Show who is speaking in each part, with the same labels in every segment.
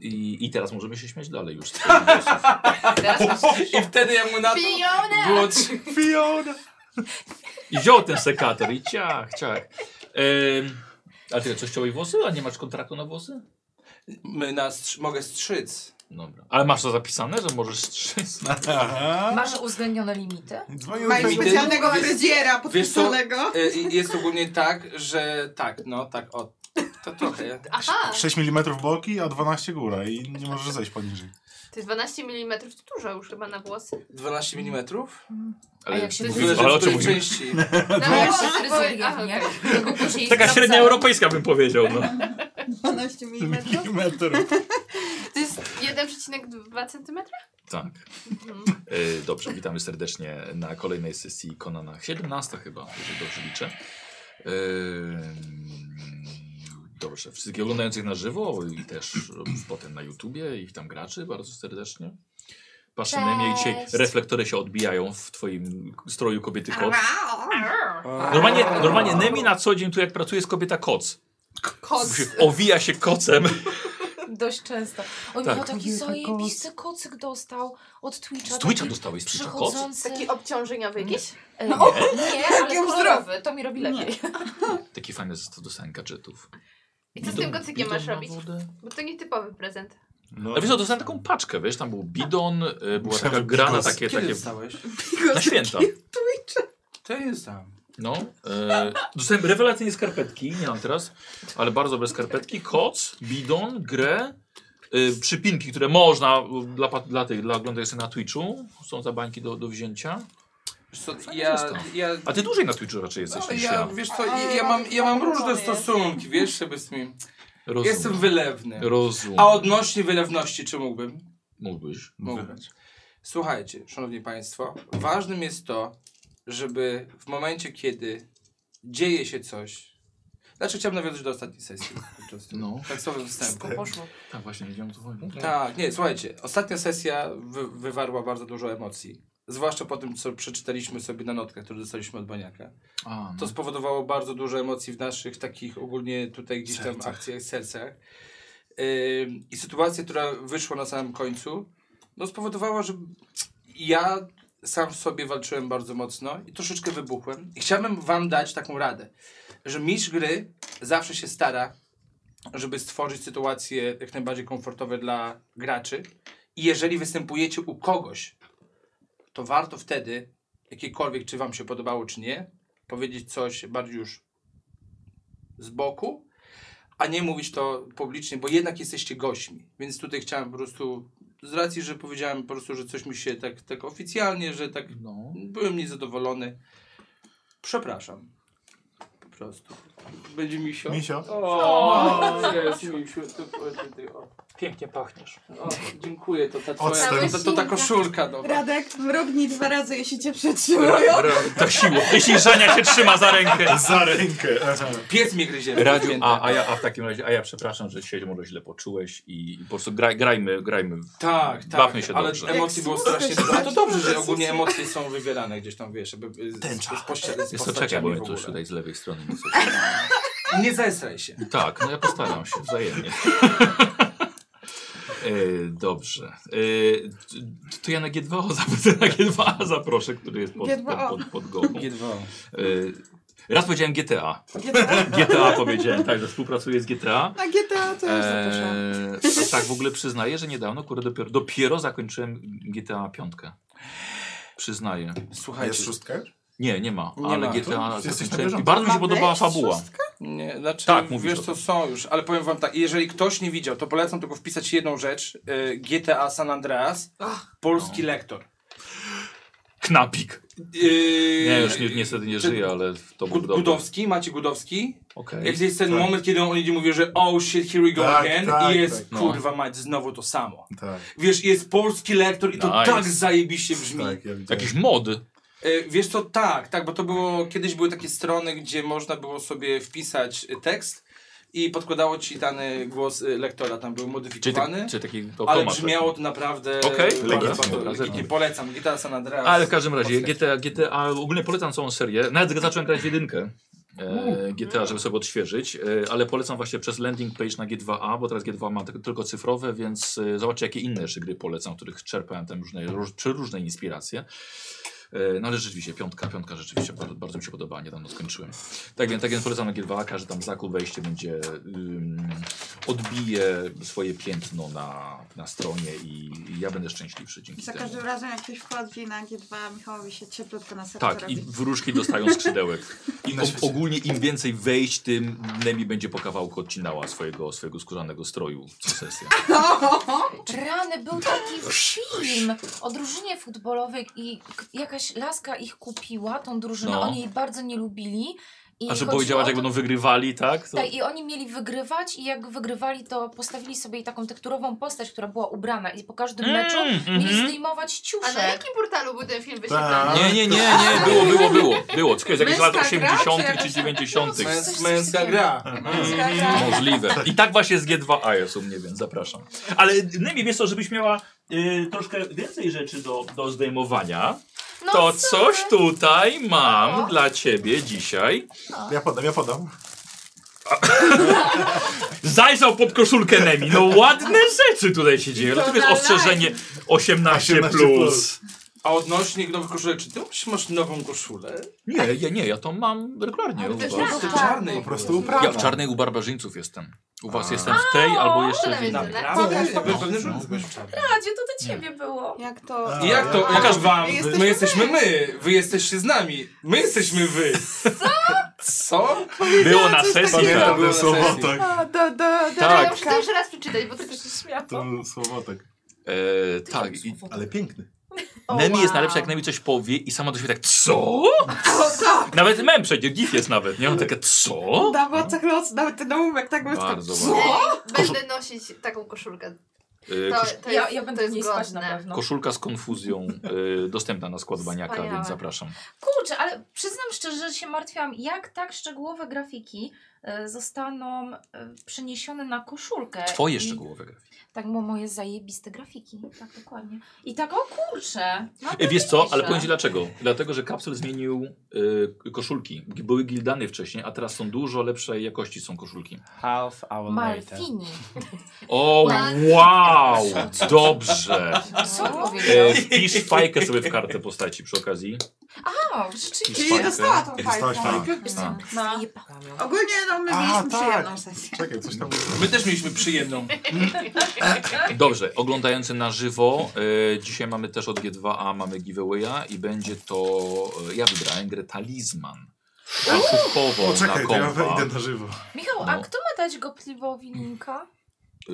Speaker 1: I, I teraz możemy się śmiać dalej już. z twoich głosów.
Speaker 2: Teraz masz
Speaker 3: I wtedy jak mu na to
Speaker 2: Fiona!
Speaker 3: było trzy...
Speaker 1: Fiona! I wziął ten sekator i ciach, ciach. Ym, a ty coś chciałeś włosy? A nie masz kontraktu na włosy?
Speaker 3: My na str- mogę strzyc.
Speaker 1: Dobra. Ale masz to zapisane, że możesz strzec?
Speaker 4: Aha.
Speaker 2: Masz uwzględnione limity?
Speaker 4: Dzwonił
Speaker 5: Mają
Speaker 4: do
Speaker 3: Limity.
Speaker 5: specjalnego
Speaker 3: Wiesz-
Speaker 5: fryzjera
Speaker 3: wiesz co?
Speaker 5: podpisanego.
Speaker 3: Y, i jest ogólnie tak, że tak, no tak, o, to trochę.
Speaker 6: Aha,
Speaker 4: 6 mm boki, a 12 góra i nie możesz zejść poniżej.
Speaker 6: ty 12 mm to dużo już chyba na włosy.
Speaker 3: 12 mm?
Speaker 1: Ale
Speaker 2: A jak się
Speaker 3: Tyle,
Speaker 1: mówimy,
Speaker 3: że
Speaker 1: ale o
Speaker 3: w
Speaker 1: czym
Speaker 3: której
Speaker 1: mówimy?
Speaker 3: części.
Speaker 6: No,
Speaker 2: No,
Speaker 6: ale
Speaker 2: no,
Speaker 6: tryzuje,
Speaker 2: no,
Speaker 6: nie?
Speaker 2: no.
Speaker 6: Tego później
Speaker 1: Taka
Speaker 2: Sprawdzałem.
Speaker 1: średnia europejska bym powiedział. No.
Speaker 5: 12 mm.
Speaker 4: Milimetrów.
Speaker 6: To jest 1,2 cm?
Speaker 1: Tak.
Speaker 6: Mhm.
Speaker 1: Y, dobrze, witamy serdecznie na kolejnej sesji Konana 17 chyba, jeżeli dobrze liczę. Ym, Dobrze, wszystkich oglądających na żywo i też potem na YouTubie i tam graczy bardzo serdecznie. Patrzę na mnie i dzisiaj
Speaker 2: Cześć.
Speaker 1: reflektory się odbijają w twoim stroju kobiety koc.
Speaker 3: A.
Speaker 1: Normalnie, normalnie Nemi na co dzień tu jak pracuje jest kobieta koc.
Speaker 5: Koc.
Speaker 1: Się Owija się kocem.
Speaker 2: Dość często. O,
Speaker 1: Tak.
Speaker 2: miał taki zajebisty kocyk dostał od Twitcha.
Speaker 1: Z Twitcha
Speaker 2: taki
Speaker 1: dostałeś, z Twitcha koc?
Speaker 2: Przychodzący...
Speaker 6: Taki obciążeniowy jakiś?
Speaker 2: E,
Speaker 1: No.
Speaker 2: Nie, ale
Speaker 5: Takim
Speaker 2: kolorowy. To mi robi lepiej.
Speaker 1: Taki fajny zestaw dostałem gadżetów.
Speaker 6: I co z tym kocykiem masz
Speaker 1: Bidon na
Speaker 6: robić?
Speaker 1: wodę.
Speaker 6: Bo to nietypowy prezent.
Speaker 4: No,
Speaker 1: A wiesz, co, dostałem taką paczkę, wiesz, tam był bidon, y, była
Speaker 4: Myślałem,
Speaker 1: taka
Speaker 4: że
Speaker 1: gra na
Speaker 4: bigos.
Speaker 1: takie,
Speaker 3: Kiedy
Speaker 1: takie
Speaker 3: dostałeś?
Speaker 1: na święta.
Speaker 3: To jest tam.
Speaker 1: No, e, dostałem rewelacyjne skarpetki, nie mam teraz, ale bardzo dobre skarpetki, koc, bidon, grę, y, przypinki, które można y, dla, pa- dla tych, dla oglądających na Twitchu, są za bańki do, do wzięcia.
Speaker 3: Wiesz co,
Speaker 1: Fajny
Speaker 3: ja,
Speaker 1: zestaw.
Speaker 3: ja,
Speaker 1: A ty dłużej na Twitchu raczej jesteś
Speaker 3: no,
Speaker 1: niż
Speaker 3: ja,
Speaker 1: ja.
Speaker 3: wiesz co, ja, ja mam, ja mam różne stosunki, wiesz, żeby z tym.
Speaker 1: Rozumiem.
Speaker 3: Jestem wylewny.
Speaker 1: Rozumiem.
Speaker 3: A odnośnie wylewności, czy mógłbym?
Speaker 1: Mógłbyś.
Speaker 3: Mógłbym. Słuchajcie, szanowni państwo, ważnym jest to, żeby w momencie, kiedy dzieje się coś... Znaczy chciałem nawiązać do ostatniej sesji. po prostu.
Speaker 1: No.
Speaker 3: Tak słowem wstępu.
Speaker 2: Poszło.
Speaker 1: Tak, właśnie, nie wiem, co chodzi.
Speaker 3: Tak, nie, słuchajcie, ostatnia sesja wy wywarła bardzo dużo emocji. Zwłaszcza po tym, co przeczytaliśmy sobie na notkach, które dostaliśmy od Baniaka.
Speaker 1: A,
Speaker 3: To
Speaker 1: no.
Speaker 3: spowodowało bardzo dużo emocji w naszych takich ogólnie tutaj gdzieś tam
Speaker 4: Sercach.
Speaker 3: akcjach, sercach. Ym, I sytuacja, która wyszła na samym końcu, no spowodowała, że ja sam w sobie walczyłem bardzo mocno i troszeczkę wybuchłem. I chciałbym wam dać taką radę, że mistrz gry zawsze się stara, żeby stworzyć sytuacje jak najbardziej komfortowe dla graczy. I jeżeli występujecie u kogoś, to warto wtedy, jakiekolwiek czy wam się podobało, czy nie, powiedzieć coś bardziej już z boku, a nie mówić to publicznie, bo jednak jesteście gośćmi. Więc tutaj chciałem po prostu, z racji, że powiedziałem po prostu, że coś mi się tak, tak oficjalnie, że tak
Speaker 1: no.
Speaker 3: byłem niezadowolony. Przepraszam. Po prostu. Będzie misio.
Speaker 4: Misio?
Speaker 3: O, jest misiu. Ty, ty, ty, o.
Speaker 1: Pięknie pachniesz.
Speaker 3: O, dziękuję, to ta
Speaker 4: Odstęp.
Speaker 3: twoja, to, to, to ta koszulka. No.
Speaker 5: Radek, mrugnij dwa razy, jeśli cię przetrzymują.
Speaker 1: To Tak siło. Jeśli Żania się trzyma za rękę.
Speaker 4: Za rękę. Aha.
Speaker 3: Pies mnie gryzie.
Speaker 1: Radiu,
Speaker 3: pamiętam.
Speaker 1: a, a, ja, a w takim razie, a ja przepraszam, że się może źle poczułeś i, i po prostu graj, grajmy, grajmy. w-
Speaker 3: Tak, tak.
Speaker 1: Bawmy się
Speaker 3: ale
Speaker 1: dobrze.
Speaker 3: emocji było strasznie
Speaker 5: Jak
Speaker 3: dużo. No to dobrze, że
Speaker 5: słuchasz,
Speaker 3: ogólnie
Speaker 5: to
Speaker 3: emocje są wywierane gdzieś tam, wiesz, żeby y, z, z,
Speaker 4: Tęcza.
Speaker 3: z, pościa- z
Speaker 1: Jest to czekaj, bo
Speaker 3: postaciami
Speaker 1: mnie
Speaker 3: w
Speaker 1: tu już
Speaker 3: ogóle.
Speaker 1: tutaj z lewej strony. nie słyszę.
Speaker 3: Nie zesraj się.
Speaker 1: Tak, no ja postaram się, wzajemnie. E, dobrze. E, t- to ja na G2O zapytam, na G2A zaproszę, który jest pod,
Speaker 5: G2O.
Speaker 1: pod, pod, pod gołą. E,
Speaker 3: G2.
Speaker 1: raz powiedziałem GTA.
Speaker 5: GTA?
Speaker 1: GTA powiedziałem, tak, że współpracuję z GTA.
Speaker 5: Na GTA to już zapraszam.
Speaker 1: Eee, tak, w ogóle przyznaję, że niedawno, kurde, dopiero, dopiero zakończyłem GTA 5. Przyznaję.
Speaker 4: Jest
Speaker 3: Słuchajcie,
Speaker 4: szóstka?
Speaker 1: Nie, nie ma,
Speaker 3: Nie
Speaker 1: ale
Speaker 3: ma.
Speaker 1: GTA
Speaker 4: Jesteś na
Speaker 1: zakończyłem.
Speaker 4: bieżąco.
Speaker 1: I bardzo mi się
Speaker 5: Ma
Speaker 1: podobała
Speaker 5: być
Speaker 1: fabuła.
Speaker 5: szóstka?
Speaker 3: nie, znaczy,
Speaker 1: Tak, mówisz o
Speaker 3: wiesz
Speaker 1: tym.
Speaker 3: co, są już, ale powiem wam tak, jeżeli ktoś nie widział, to polecam tylko wpisać jedną rzecz, y, GTA San Andreas, polski lektor.
Speaker 1: Knapik.
Speaker 3: Y,
Speaker 1: Nie, już ni niestety nie
Speaker 3: Czy-
Speaker 1: żyje, ale to był
Speaker 3: Gud
Speaker 1: dobry.
Speaker 3: Gudowski, Macie Gudowski.
Speaker 1: Okej.
Speaker 3: Jak jest ten
Speaker 4: Tak.
Speaker 3: moment, kiedy on idzie mówi, że oh shit, here we go
Speaker 4: Tak,
Speaker 3: again
Speaker 4: tak,
Speaker 3: i jest,
Speaker 1: tak.
Speaker 3: kurwa mać, znowu to samo.
Speaker 4: Tak.
Speaker 3: Wiesz, jest polski lektor i to
Speaker 1: Nice.
Speaker 3: tak zajebiście brzmi.
Speaker 4: Tak, ja widziałem.
Speaker 1: Jakiś mod.
Speaker 3: E, wiesz co, tak, tak, bo to było, kiedyś były takie strony, gdzie można było sobie wpisać e, tekst i podkładało ci dany głos e, lektora, tam był
Speaker 1: Czyli, tak,
Speaker 3: modyfikowany,
Speaker 1: czyli taki
Speaker 3: ale
Speaker 1: automat.
Speaker 3: brzmiało to naprawdę
Speaker 1: Okej,
Speaker 3: bardzo,
Speaker 4: legitnie,
Speaker 3: bardzo
Speaker 1: dobra,
Speaker 3: legitnie.
Speaker 1: zerknę.
Speaker 3: Polecam, GTA San Andreas.
Speaker 1: Ale w każdym razie GTA,
Speaker 3: Polska.
Speaker 1: GTA, ogólnie polecam całą serię. Nawet zacząłem grać w jedynkę. e, GTA, żeby sobie odświeżyć, e, ale polecam właśnie przez landing page na G2A, bo teraz G2 ma tylko- tylko cyfrowe, więc e, zobaczcie jakie inne jeszcze gry polecam, w których czerpałem tam różne, róż, czy różne inspiracje. E, No ale rzeczywiście, piątka, piątka rzeczywiście bardzo, bardzo mi się podoba, niedawno skończyłem. Tak więc, tak więc polecam na G2A, każdy tam zakup, wejście będzie, ym, odbije swoje piętno na, na stronie i ja będę szczęśliwszy dzięki
Speaker 5: Za
Speaker 1: temu.
Speaker 5: każdym razem jak ktoś wchodzi na G2, Michałowi się cieplutko na serce
Speaker 1: Tak, i
Speaker 5: robi.
Speaker 1: wróżki dostają skrzydełek. I
Speaker 7: Na świecie.
Speaker 1: o, ogólnie im więcej wejść, tym Nemi będzie po kawałku odcinała swojego, swojego skórzanego stroju co sesja.
Speaker 2: Rany,
Speaker 1: No.
Speaker 2: był taki film o drużynie futbolowej i k- jakaś laska ich kupiła, tą drużynę,
Speaker 1: No.
Speaker 2: oni jej bardzo nie lubili. I
Speaker 1: A że
Speaker 2: chodziło
Speaker 1: powiedziała,
Speaker 2: o
Speaker 1: że jak
Speaker 2: to-
Speaker 1: będą wygrywali, tak? To...
Speaker 2: Tak, i oni mieli wygrywać i jak wygrywali, to postawili sobie taką tekturową postać, która była ubrana i po każdym meczu
Speaker 1: Mm,
Speaker 2: mieli
Speaker 1: mhm.
Speaker 2: zdejmować
Speaker 6: A no na
Speaker 2: ciuszek.
Speaker 6: jakim portalu był ten
Speaker 2: Tak.
Speaker 6: film wyświetlany?
Speaker 1: Nie, nie, nie, nie, było, było, było. Było, tylko jest jakieś lat
Speaker 5: Męska gra,
Speaker 1: 80.
Speaker 5: czy
Speaker 1: czy
Speaker 5: jakaś-
Speaker 1: 90.
Speaker 2: coś
Speaker 7: Męs,
Speaker 2: z
Speaker 7: męska
Speaker 2: tym.
Speaker 7: gra.
Speaker 1: Możliwe. I tak właśnie z G2A jest u mnie, więc zapraszam. Ale Nemi, wiesz co, żebyś miała y, troszkę więcej rzeczy do, do zdejmowania,
Speaker 6: No,
Speaker 1: to
Speaker 6: co
Speaker 1: coś
Speaker 6: ty?
Speaker 1: tutaj mam
Speaker 6: No.
Speaker 1: dla ciebie dzisiaj.
Speaker 8: Ja podam, ja podam.
Speaker 1: Zajrzał pod koszulkę Nemi. No ładne rzeczy tutaj się dzieje.
Speaker 5: to
Speaker 1: Dlatego jest
Speaker 5: na
Speaker 1: ostrzeżenie 18,
Speaker 8: 18
Speaker 1: plus.
Speaker 8: plus.
Speaker 7: A odnośnie nowych koszulek, czy ty masz nową koszulę?
Speaker 1: Nie, ja nie, ja to mam regularnie
Speaker 6: Ale
Speaker 1: u
Speaker 6: to jest
Speaker 1: was.
Speaker 6: raz.
Speaker 7: Czy
Speaker 6: Tak.
Speaker 7: czarnej?
Speaker 8: Po prostu uprawa.
Speaker 1: Ja w czarnej u barbarzyńców jestem. U was
Speaker 8: A.
Speaker 1: jestem w tej albo jeszcze w
Speaker 6: to
Speaker 1: innej.
Speaker 6: nawet
Speaker 7: Naprawdę? Ja byłem pewny, że już byłeś w czarnej.
Speaker 2: Radzie, to do ciebie było.
Speaker 5: Jak to...
Speaker 8: A,
Speaker 7: I jak to?
Speaker 8: ja-
Speaker 7: Pokaż wam.
Speaker 5: My
Speaker 7: My
Speaker 5: jesteśmy
Speaker 7: jesteśmy my. Wy jesteście z nami. My jesteśmy wy. Co?
Speaker 1: Było na sesji.
Speaker 8: Pamiętam,
Speaker 1: tak.
Speaker 7: było
Speaker 8: ten
Speaker 7: na sesji.
Speaker 8: słowotek.
Speaker 5: A, do, do, do.
Speaker 6: Ja
Speaker 1: Tak.
Speaker 6: muszę to jeszcze raz przeczytać, bo to też Tak się śmiało.
Speaker 8: To był słowotek.
Speaker 1: E, tak. I
Speaker 8: Ale piękny.
Speaker 2: O,
Speaker 1: Nemi jest
Speaker 2: wow.
Speaker 1: najlepsza, jak Nemi coś powie i sama do siebie tak, co? Nawet mem przecież, gif jest nawet. Nie on takie, co?
Speaker 5: Dawa, cechlos, nawet ten ołówek tak błyska.
Speaker 1: Bardzo
Speaker 5: Co?
Speaker 1: ładnie.
Speaker 6: Będę nosić taką koszulkę.
Speaker 1: E,
Speaker 6: To,
Speaker 1: kosz-
Speaker 6: to
Speaker 2: ja,
Speaker 6: jest,
Speaker 2: ja będę
Speaker 6: to
Speaker 2: w
Speaker 6: jest
Speaker 2: niej spać na
Speaker 6: godne.
Speaker 2: pewno.
Speaker 1: Koszulka z konfuzją e, dostępna na skład baniaka,
Speaker 6: Wspaniałe.
Speaker 1: więc zapraszam.
Speaker 2: Kurczę, ale przyznam szczerze, że się martwiłam, jak tak szczegółowe grafiki e, zostaną e, przeniesione na koszulkę.
Speaker 1: Twoje
Speaker 2: E, I-
Speaker 1: szczegółowe grafiki.
Speaker 2: Tak, bo moje zajebiste grafiki. Tak, dokładnie. I tak, o kurczę. No
Speaker 1: E, Wiesz co, ale powiem
Speaker 2: powiedz
Speaker 1: ci dlaczego. Dlatego, że kapsul zmienił y, koszulki. Były gildany wcześniej, a teraz są dużo lepszej jakości są koszulki.
Speaker 3: Half hour later.
Speaker 2: Malfini.
Speaker 1: O, wow! Dobrze!
Speaker 6: No.
Speaker 2: Co on powiedział?
Speaker 1: E, wpisz fajkę sobie w kartę postaci przy okazji.
Speaker 2: O, No, rzeczywiście.
Speaker 5: Czyli dostała tą
Speaker 8: Dostałaś
Speaker 5: fajkę.
Speaker 2: Wiesz co,
Speaker 5: No.
Speaker 2: zajebałam ją.
Speaker 5: Ogólnie no, my
Speaker 8: A,
Speaker 5: mieliśmy
Speaker 8: tak.
Speaker 5: przyjemną sesję.
Speaker 8: Czekaj, coś tam.
Speaker 1: No.
Speaker 7: My też mieliśmy przyjemną.
Speaker 1: Dobrze, oglądający na żywo. E, dzisiaj mamy też od G2A, mamy giveawaya i będzie to... E, ja wybrałem grę Talizman. Kupową
Speaker 8: O,
Speaker 1: na
Speaker 8: czekaj, to ja
Speaker 1: kompa.
Speaker 8: wejdę na żywo.
Speaker 2: Michał, a
Speaker 1: No.
Speaker 2: kto ma dać Gopliwowi linka?
Speaker 1: Y,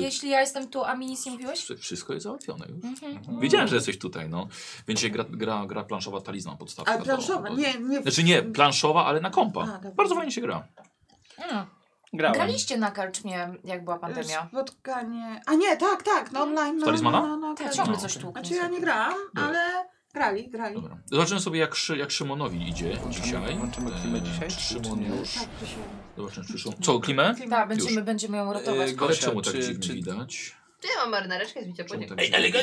Speaker 2: Jeśli ja jestem tu, a mi nic nie mówiłeś?
Speaker 1: wszystko jest załatwione już.
Speaker 2: Mhm.
Speaker 1: Wiedziałem, że jesteś tutaj, no. Więc się gra, gra, gra planszowa talizman podstawka.
Speaker 5: Ale
Speaker 1: do-
Speaker 5: planszowa,
Speaker 1: do-
Speaker 5: nie, nie.
Speaker 1: Znaczy nie, planszowa, ale na kompa.
Speaker 5: A, dobra.
Speaker 1: Bardzo fajnie się gra.
Speaker 2: Mm.
Speaker 3: Grałem.
Speaker 2: Graliście na karczmie, jak była pandemia. Mhm.
Speaker 5: Spotkanie. A nie, tak, tak, no online. No,
Speaker 1: Talizmana?
Speaker 5: No, no,
Speaker 2: Tak,
Speaker 5: tak.
Speaker 2: ciągle
Speaker 1: No,
Speaker 2: coś
Speaker 1: okej.
Speaker 2: tu.
Speaker 5: Znaczy ja nie grałam,
Speaker 1: Dobra.
Speaker 5: ale grali, grali.
Speaker 1: Dobra. Zobaczymy sobie jak, Szy- jak Szymonowi idzie dzisiaj.
Speaker 3: Włączymy klimę
Speaker 1: E,
Speaker 3: dzisiaj,
Speaker 1: Czy
Speaker 3: czy-
Speaker 1: Szymon
Speaker 3: czy nie?
Speaker 1: już...
Speaker 5: Tak, to się...
Speaker 1: Zobaczymy, czy Szymon... Co, klimę?
Speaker 2: Tak, będziemy, będziemy ją ratować.
Speaker 7: E, go-
Speaker 1: Ale
Speaker 7: Gosia,
Speaker 1: czemu tak
Speaker 7: czy-
Speaker 1: dziwnie
Speaker 7: czy-
Speaker 1: widać?
Speaker 6: Ja mam marynareczkę z bicia
Speaker 1: Czemu
Speaker 6: podziękuję.
Speaker 1: tak dziwnie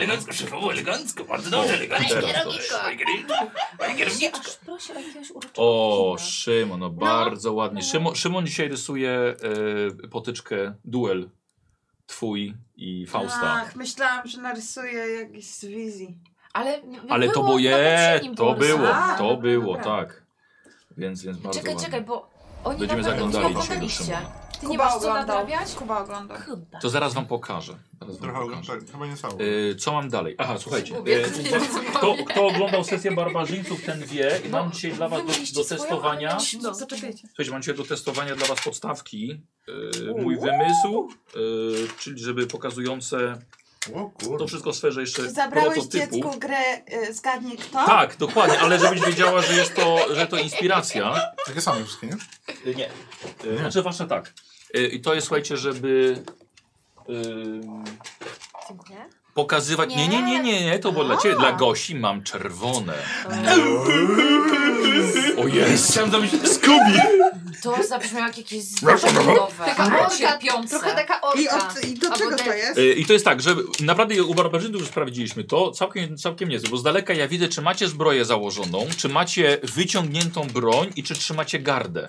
Speaker 1: widać?
Speaker 7: szefowo, elegancko, bardzo
Speaker 1: dobrze,
Speaker 7: elegancko.
Speaker 1: teraz
Speaker 2: Ja aż prosi o jakiegoś uroczego
Speaker 1: O,
Speaker 2: kina.
Speaker 1: Szymon, no bardzo ładnie. Szymon, Szymon dzisiaj rysuje e, potyczkę, duel twój i Fausta.
Speaker 5: Ach, myślałam, że narysuję jakiś z wizji.
Speaker 2: Ale,
Speaker 1: Ale
Speaker 2: No
Speaker 1: to
Speaker 2: było,
Speaker 1: było, je,
Speaker 2: poprzednim
Speaker 1: to było,
Speaker 5: A,
Speaker 1: to
Speaker 5: dobra,
Speaker 1: było,
Speaker 5: dobra.
Speaker 1: tak. Więc, więc bardzo
Speaker 2: Czekaj,
Speaker 1: ładnie.
Speaker 2: czekaj, bo oni
Speaker 1: Będziemy
Speaker 2: na pewno
Speaker 1: zaglądali
Speaker 2: nie
Speaker 1: dzisiaj do
Speaker 2: oglądaliście.
Speaker 1: Szymona.
Speaker 2: Ty nie masz co
Speaker 5: oglądał.
Speaker 2: nadrabiać?
Speaker 5: Kuba Tak. oglądał.
Speaker 2: Chyba.
Speaker 1: To zaraz wam pokażę. Zaraz wam pokażę.
Speaker 8: Trochę
Speaker 4: tak,
Speaker 8: oglądałem, chyba nie cało.
Speaker 1: Y, co mam dalej? Aha, słuchajcie.
Speaker 6: Gubię,
Speaker 1: y,
Speaker 6: co
Speaker 1: uwa-
Speaker 6: się
Speaker 1: kto, kto oglądał sesję barbarzyńców, ten wie. I mam
Speaker 2: No,
Speaker 1: dzisiaj dla was
Speaker 2: wy
Speaker 1: do,
Speaker 2: mieliście
Speaker 1: do
Speaker 2: swoją,
Speaker 1: testowania.
Speaker 2: ale ja-
Speaker 5: No, zaczekajcie.
Speaker 1: Słuchajcie, mam dzisiaj do testowania dla was podstawki. y, mój wymysł, y, czyli żeby pokazujące
Speaker 8: O
Speaker 1: to
Speaker 8: kurde.
Speaker 1: wszystko w sferze jeszcze
Speaker 5: Zabrałeś
Speaker 1: prototypu.
Speaker 5: dziecku grę, y, zgadnij kto?
Speaker 1: Tak, dokładnie, ale żebyś wiedziała, że jest to, że to inspiracja.
Speaker 8: Takie same wszystkie, nie?
Speaker 1: Y, Nie. Y, Znaczy wasze tak. Y, I to jest, słuchajcie, żeby. ym,
Speaker 6: Dziękuję.
Speaker 1: Pokazywać. Nie, nie, nie, nie, nie, to było dla ciebie. Dla Gosi mam czerwone. O jest!
Speaker 3: Chciałem zrobić...
Speaker 1: Skubi!
Speaker 2: To zabrzmiało jak jakieś
Speaker 1: no.
Speaker 2: zwierzędowe.
Speaker 6: Taka orka,
Speaker 2: cierpiące.
Speaker 6: trochę taka orka.
Speaker 5: I, od, I do
Speaker 6: Albo
Speaker 5: czego
Speaker 6: ten-
Speaker 5: to jest?
Speaker 1: I to jest tak, że naprawdę u barbarzyńców już sprawdziliśmy to, całkiem, całkiem niezłe, bo z daleka ja widzę, czy macie zbroję założoną, czy macie wyciągniętą broń i czy trzymacie gardę.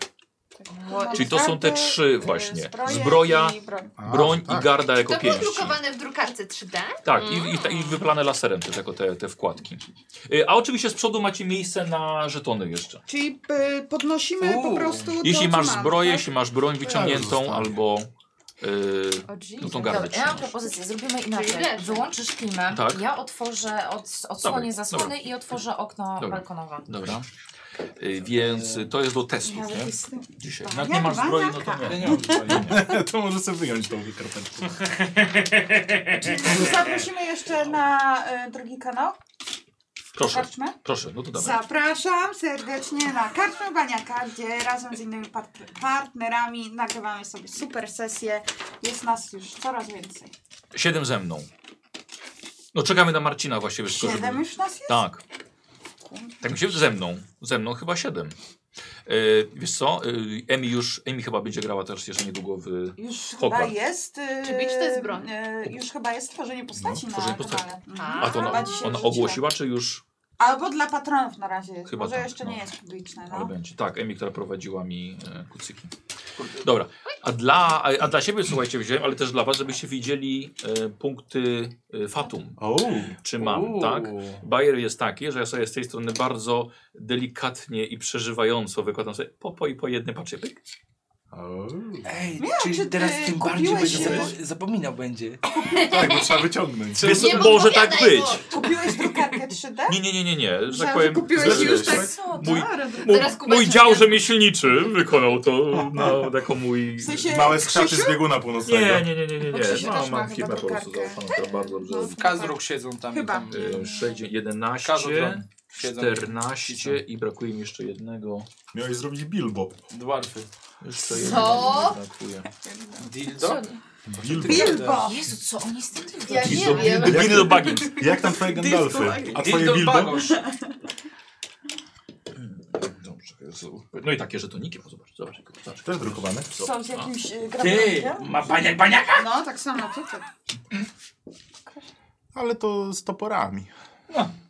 Speaker 1: Czyli to są te
Speaker 5: y,
Speaker 1: trzy właśnie. Zbroja,
Speaker 4: A,
Speaker 1: broń
Speaker 4: że tak.
Speaker 1: i garda jako
Speaker 6: To było
Speaker 1: pięści.
Speaker 6: drukowane w drukarce Mm. 3D.
Speaker 1: Tak, i, i, ta- i wyplane laserem też jako te, te wkładki. Y, A oczywiście z przodu macie miejsce na żetony jeszcze.
Speaker 5: Czyli y, podnosimy
Speaker 3: Uuu.
Speaker 5: po prostu to,
Speaker 1: Jeśli
Speaker 5: co
Speaker 1: masz
Speaker 5: mamy,
Speaker 1: zbroję,
Speaker 5: tak?
Speaker 1: jeśli masz broń
Speaker 4: Ja
Speaker 1: wyciągniętą
Speaker 4: już
Speaker 1: albo... y, no tą gardę
Speaker 2: Dobra, ja mam
Speaker 1: trzymasz.
Speaker 2: propozycję, zrobimy inaczej.
Speaker 6: Czyli lepiej.
Speaker 2: Wyłączysz klimę,
Speaker 1: Tak.
Speaker 2: ja otworzę, od, odsłonię
Speaker 1: Dobra,
Speaker 2: zasłony
Speaker 1: dobra.
Speaker 2: i otworzę okno
Speaker 1: Dobra.
Speaker 2: balkonowe.
Speaker 1: Dobra. Y, Więc y, to jest do testów, nie? Dzisiaj. Jak nie
Speaker 5: Ja
Speaker 1: masz
Speaker 5: dwa
Speaker 1: zbroi, no to
Speaker 5: lata.
Speaker 1: nie.
Speaker 3: Nie, nie mam zbroi.
Speaker 4: to może sobie wyjąć tą wykarpetkę.
Speaker 5: Zaprosimy jeszcze na y, drugi kanał.
Speaker 1: Proszę,
Speaker 5: Karczmę.
Speaker 1: proszę, no to dawaj.
Speaker 5: Zapraszam serdecznie na Karczmę Baniaka, gdzie razem z innymi part- partnerami nagrywamy sobie super sesje. Jest nas już coraz więcej.
Speaker 1: Siedem ze mną. No czekamy na Marcina właściwie. tylko żeby-
Speaker 5: Siedem już nas jest?
Speaker 1: Tak. Tak mi się ze mną. Ze mną chyba siedem. Y, wiesz co, y, Emi już, Emi chyba będzie grała też jeszcze niedługo w...
Speaker 5: Już
Speaker 1: Hogwarts.
Speaker 5: chyba jest. y,
Speaker 6: Czy być to jest broń?
Speaker 5: y, już chyba jest tworzenie postaci
Speaker 1: No,
Speaker 5: na
Speaker 1: tworzenie postaci.
Speaker 5: kanale.
Speaker 6: A,
Speaker 1: A to ona,
Speaker 5: Chyba dzisiaj
Speaker 1: ona
Speaker 5: wrzuciła.
Speaker 1: ogłosiła, czy już...
Speaker 5: Albo dla patronów na razie jest.
Speaker 1: Chyba
Speaker 5: Może
Speaker 1: tak,
Speaker 5: jeszcze
Speaker 1: no.
Speaker 5: nie jest publiczne.
Speaker 1: Ale
Speaker 5: No.
Speaker 1: będzie. Tak, Emi, która prowadziła mi e, kucyki. Dobra. A dla, a, a dla siebie, słuchajcie, wziąłem, ale też dla was, żebyście widzieli e, punkty e, Fatum.
Speaker 4: O,
Speaker 1: Czy mam,
Speaker 3: Uuu.
Speaker 1: tak? Bajer jest taki, że ja sobie z tej strony bardzo delikatnie i przeżywająco wykładam sobie po, po i po jednym patrzę. pyk.
Speaker 4: o.
Speaker 3: Ej,
Speaker 5: Nie, czy
Speaker 3: czyli
Speaker 5: ty
Speaker 3: teraz tym bardziej
Speaker 5: kupiłeś
Speaker 3: będzie
Speaker 5: się?
Speaker 3: zapo- zapominał będzie.
Speaker 4: Tak, bo trzeba wyciągnąć.
Speaker 1: Wiesz co,
Speaker 6: Nie
Speaker 1: może tak
Speaker 6: podpowiadaj,
Speaker 1: być.
Speaker 6: bo-
Speaker 5: Kupiłeś drukarkę 3D?
Speaker 1: Nie, nie, nie, nie, nie. Że tak
Speaker 5: Myślałam,
Speaker 1: powiem,
Speaker 5: kupiłeś
Speaker 1: zlepiłeś,
Speaker 5: już tak.
Speaker 2: Co,
Speaker 1: Mój-
Speaker 2: dobra.
Speaker 1: Mój,
Speaker 6: Zaraz Kuba
Speaker 1: mój
Speaker 6: się
Speaker 1: dział
Speaker 6: wpier-
Speaker 1: rzemieślniczy wykonał to na taką mój...
Speaker 5: W sensie
Speaker 4: Małe skrzaty
Speaker 5: Krzysiu?
Speaker 4: z bieguna
Speaker 1: Nie,
Speaker 4: północnego.
Speaker 1: nie, nie, nie, nie, nie.
Speaker 2: Bo Krzysiu
Speaker 1: Mam,
Speaker 2: też ma
Speaker 1: mam
Speaker 2: chyba
Speaker 1: firmę po prostu
Speaker 2: drukarkę.
Speaker 1: zaufaną, która bardzo dobrze...
Speaker 5: No.
Speaker 1: robi.
Speaker 3: Kazruch siedzą tam
Speaker 5: Chyba.
Speaker 3: i tam. y,
Speaker 1: Y, sześć-
Speaker 3: Kazodron.
Speaker 1: 11,
Speaker 3: Siedzą.
Speaker 1: 14 i brakuje mi jeszcze jednego.
Speaker 4: Miałeś zrobić Bilbo.
Speaker 3: Dwarfy.
Speaker 1: Jeszcze
Speaker 6: Co?
Speaker 1: jednego mi brakuje.
Speaker 3: Dildo?
Speaker 2: Co?
Speaker 4: Bilbo.
Speaker 5: Bilbo!
Speaker 2: Jezu, co on jest ten typ?
Speaker 6: Ja nie
Speaker 1: do-
Speaker 6: wiem.
Speaker 4: Jak-
Speaker 1: Bilbo Baggins.
Speaker 4: Jak tam twoje Gandalfy? A twoje
Speaker 3: Dildo
Speaker 4: Bilbo?
Speaker 3: bagosz.
Speaker 1: Dobrze, Jezu. No i takie żetoniki, bo zobacz, zobacz. zobacz.
Speaker 4: Też drukowane.
Speaker 5: Są z jakimś y,
Speaker 3: Ty,
Speaker 5: grafikiem?
Speaker 3: ma baniak baniaka!
Speaker 5: No, tak samo tutaj.
Speaker 4: Ale to z toporami.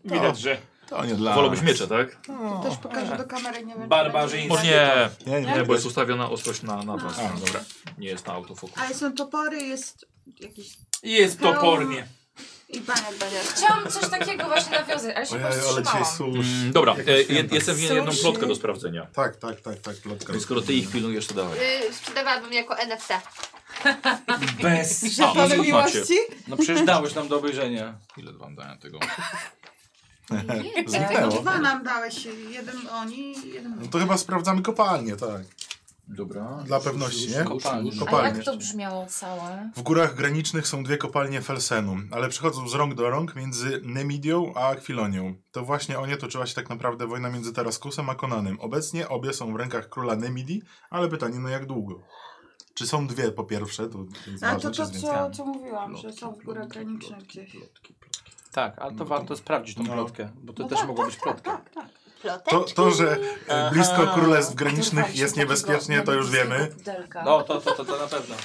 Speaker 1: Widać, że...
Speaker 4: To nie dla
Speaker 1: Wolałbyś
Speaker 4: nas.
Speaker 1: miecze, tak?
Speaker 4: No.
Speaker 5: Też pokażę do kamery, nie wiem. czy
Speaker 3: Barbarzyńcy.
Speaker 5: będzie
Speaker 1: Może
Speaker 5: widać.
Speaker 1: nie,
Speaker 4: Nie, nie,
Speaker 1: nie,
Speaker 4: nie.
Speaker 1: bo jest ustawiona ostrość na, na was.
Speaker 4: A.
Speaker 1: Dobra, nie jest na autofokus.
Speaker 5: Ale są topory, jest jakiś...
Speaker 3: Jest
Speaker 5: No.
Speaker 3: topornie.
Speaker 5: I baniak będzie.
Speaker 2: Chciałam coś takiego właśnie nawiązać, ale się
Speaker 4: Ojej,
Speaker 2: powstrzymałam.
Speaker 4: ale dzisiaj susz.
Speaker 1: Mm, dobra,
Speaker 4: Jakoś
Speaker 1: e, jed,
Speaker 4: święta.
Speaker 1: jestem winien jedną
Speaker 5: Sushi.
Speaker 1: plotkę do sprawdzenia.
Speaker 4: Tak, tak, tak, tak. Lotka
Speaker 1: Więc No skoro ty ich pilnujesz, to dawaj.
Speaker 6: Y, sprzedawałabym jako NFT.
Speaker 3: Bez.
Speaker 1: A, no skąd
Speaker 5: Ale
Speaker 1: macie?
Speaker 5: miłości?
Speaker 3: No przecież dałeś nam do obejrzenia.
Speaker 1: Ile wam dałem tego?
Speaker 2: Nie,
Speaker 4: Zniknęło.
Speaker 5: Dwa nam dałeś, jeden oni, jeden
Speaker 4: No to chyba sprawdzamy kopalnię, tak.
Speaker 1: Dobra.
Speaker 4: Dla pewności, nie?
Speaker 3: Kopalnie.
Speaker 2: Ale
Speaker 4: Kopalnie.
Speaker 2: jak to brzmiało całe?
Speaker 4: W górach granicznych są dwie kopalnie Felsenu, ale przechodzą z rąk do rąk między Nemidią a Akwilonią. To właśnie o nie toczyła się tak naprawdę wojna między Taraskusem a Konanem. Obecnie obie są w rękach króla Nemidii, ale pytanie na jak długo? Czy są dwie po pierwsze? To jest
Speaker 5: A
Speaker 4: ważne,
Speaker 5: to
Speaker 4: czy
Speaker 5: to,
Speaker 4: jest
Speaker 5: co,
Speaker 4: więcej?
Speaker 5: co mówiłam, że są w górach granicznych gdzieś.
Speaker 3: Tak, ale to warto sprawdzić tą
Speaker 4: No.
Speaker 3: plotkę, bo to
Speaker 5: No
Speaker 3: też
Speaker 5: tak,
Speaker 3: mogło być plotka.
Speaker 5: Tak, tak.
Speaker 6: Ploteczki.
Speaker 4: To, to, że e, blisko
Speaker 3: Aha.
Speaker 4: królestw granicznych jest niebezpiecznie, to już wiemy.
Speaker 5: tak.
Speaker 3: No, to, to, to, to na pewno.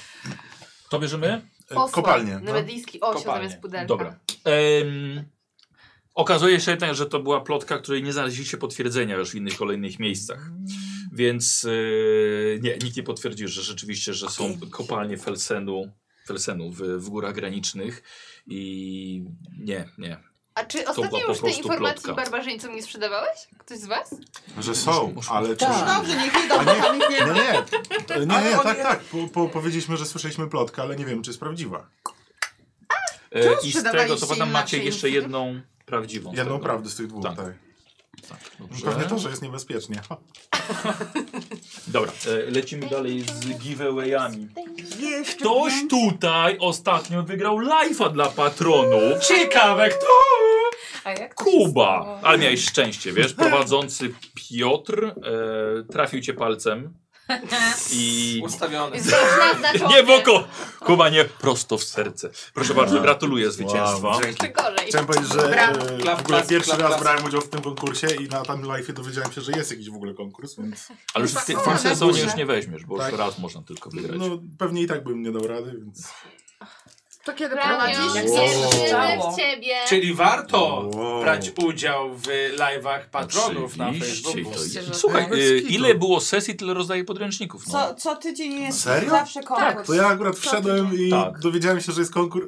Speaker 1: To bierzemy?
Speaker 4: E, Kopalnie. No.
Speaker 6: Nemedyjski osioł
Speaker 3: Kopalnie.
Speaker 6: zamiast pudelka.
Speaker 1: Dobra. Em, okazuje się jednak, że to była plotka, której nie znaleźliście potwierdzenia już w innych kolejnych miejscach. Więc e, nie, nikt nie potwierdził, że rzeczywiście, że są kopalnie Felsenu, Felsenu w, w górach granicznych i nie, nie.
Speaker 6: A czy
Speaker 1: była
Speaker 6: ostatnio
Speaker 1: po
Speaker 6: już tej
Speaker 1: prostu
Speaker 6: informacji
Speaker 1: plotka.
Speaker 6: barbarzyńcom nie sprzedawałeś? Ktoś z was?
Speaker 4: Że są,
Speaker 1: Muszę-
Speaker 4: ale czy...
Speaker 3: Tak.
Speaker 5: Dobrze, niech idą,
Speaker 4: A nie,
Speaker 5: tam ich nie
Speaker 4: Nie,
Speaker 5: ma.
Speaker 4: nie, nie, nie,
Speaker 5: Ale on
Speaker 4: tak,
Speaker 5: je-
Speaker 4: tak. Po, po, powiedzieliśmy, że słyszeliśmy plotkę, ale nie wiem, czy jest prawdziwa.
Speaker 1: E, I z
Speaker 6: sprzedawaliście
Speaker 1: tego co pamiętam
Speaker 6: im
Speaker 1: macie
Speaker 6: naczyń?
Speaker 1: jeszcze jedną prawdziwą. z
Speaker 4: Jedną
Speaker 1: tego.
Speaker 4: prawdę z tych dwóch,
Speaker 1: Tak.
Speaker 4: tak.
Speaker 1: Tak, dobrze.
Speaker 4: Pewnie to, że jest niebezpiecznie. Ha.
Speaker 1: Dobra, e, lecimy dalej z giveawayami.
Speaker 5: Jeszcze
Speaker 1: Ktoś
Speaker 5: więcej.
Speaker 1: tutaj ostatnio wygrał live'a dla patronów.
Speaker 3: Ciekawe, kto?
Speaker 2: A jak to się
Speaker 1: Kuba!
Speaker 2: stało?
Speaker 1: Ale miałeś szczęście, wiesz? Prowadzący Piotr e, trafił cię palcem I...
Speaker 3: Ustawione.
Speaker 6: Zręczna, znaczona.
Speaker 1: Nie w oko! Kuba, nie, prosto w serce. Proszę bardzo, gratuluję zwycięstwa.
Speaker 4: Wow.
Speaker 6: Czy gorzej.
Speaker 4: Chciałem powiedzieć, że
Speaker 5: Brawo.
Speaker 4: e,
Speaker 3: Klap,
Speaker 4: w ogóle
Speaker 3: klap,
Speaker 4: pierwszy
Speaker 3: klap,
Speaker 4: raz
Speaker 3: klap.
Speaker 4: brałem udział w tym konkursie i na tam live dowiedziałem się, że jest jakiś w ogóle konkurs, więc
Speaker 1: Ale już w tej- w
Speaker 5: Kurwa,
Speaker 1: tym sezonie
Speaker 5: kurwa.
Speaker 1: już nie weźmiesz, bo
Speaker 4: Tak.
Speaker 1: już raz można tylko wygrać.
Speaker 4: no, pewnie i tak bym nie dał rady, więc...
Speaker 5: To kiedy
Speaker 6: Prowadzisz
Speaker 5: prowadzisz?
Speaker 4: Wow.
Speaker 6: wierzymy w ciebie.
Speaker 3: Czyli warto
Speaker 4: Wow.
Speaker 3: brać udział w live'ach patronów na
Speaker 1: Oczywiście,
Speaker 3: Facebooku.
Speaker 1: to
Speaker 5: Oczywiście, że
Speaker 1: jest. Słuchaj,
Speaker 4: tak.
Speaker 1: y, ile było sesji, tyle rozdaje podręczników. No.
Speaker 5: Co, co tydzień jest
Speaker 4: Serio? Tak,
Speaker 5: zawsze konkurs.
Speaker 4: To ja akurat wszedłem i
Speaker 1: Tak.
Speaker 4: dowiedziałem się, że jest konkurs.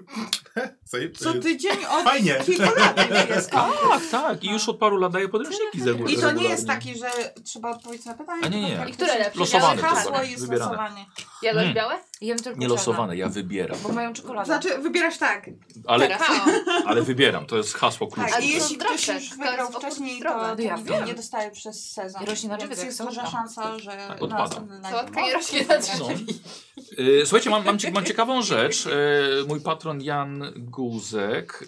Speaker 5: Co tydzień od
Speaker 4: Fajnie.
Speaker 5: kilku lat już jest konkurs.
Speaker 1: Tak, tak. I już od paru lat daje podręczniki ze
Speaker 5: I to nie jest
Speaker 1: regularnie.
Speaker 5: taki, że trzeba odpowiedzieć na pytanie.
Speaker 1: A nie, nie.
Speaker 5: tylko tak
Speaker 6: I które lepsze?
Speaker 1: Losowane
Speaker 6: Białe
Speaker 1: to są.
Speaker 6: czy
Speaker 5: Hasło
Speaker 6: czarne?
Speaker 5: jest
Speaker 1: Wybierane.
Speaker 5: losowanie.
Speaker 6: Jadłeś
Speaker 1: Mm.
Speaker 6: białe?
Speaker 2: Jem tylko
Speaker 1: Nie losowane, ja wybieram.
Speaker 2: czarne, Bo mają czekoladę.
Speaker 5: Znaczy, wybierasz tak.
Speaker 1: Ale,
Speaker 6: Teraz. O,
Speaker 1: ale wybieram, to jest hasło
Speaker 5: Tak,
Speaker 1: klucz.
Speaker 6: Ale to
Speaker 5: i jeśli ktoś
Speaker 6: są drobne,
Speaker 5: już
Speaker 6: to
Speaker 5: wygrał
Speaker 6: jest opór
Speaker 5: wcześniej,
Speaker 6: zdrowia.
Speaker 5: to,
Speaker 2: Ja
Speaker 5: to
Speaker 2: wiem.
Speaker 5: nie dostaje przez sezon.
Speaker 2: I rośnie na
Speaker 5: Więc
Speaker 2: drzewek,
Speaker 5: jest
Speaker 2: są
Speaker 5: duża
Speaker 2: tam.
Speaker 5: szansa, że
Speaker 1: Tak,
Speaker 5: na
Speaker 1: odpada.
Speaker 5: następny
Speaker 6: Sałatka
Speaker 5: live-
Speaker 6: nie rośnie na drzewie.
Speaker 1: No. Y, Słuchajcie, mam, mam, cie- mam ciekawą rzecz. Y, Mój patron Jan Guzek.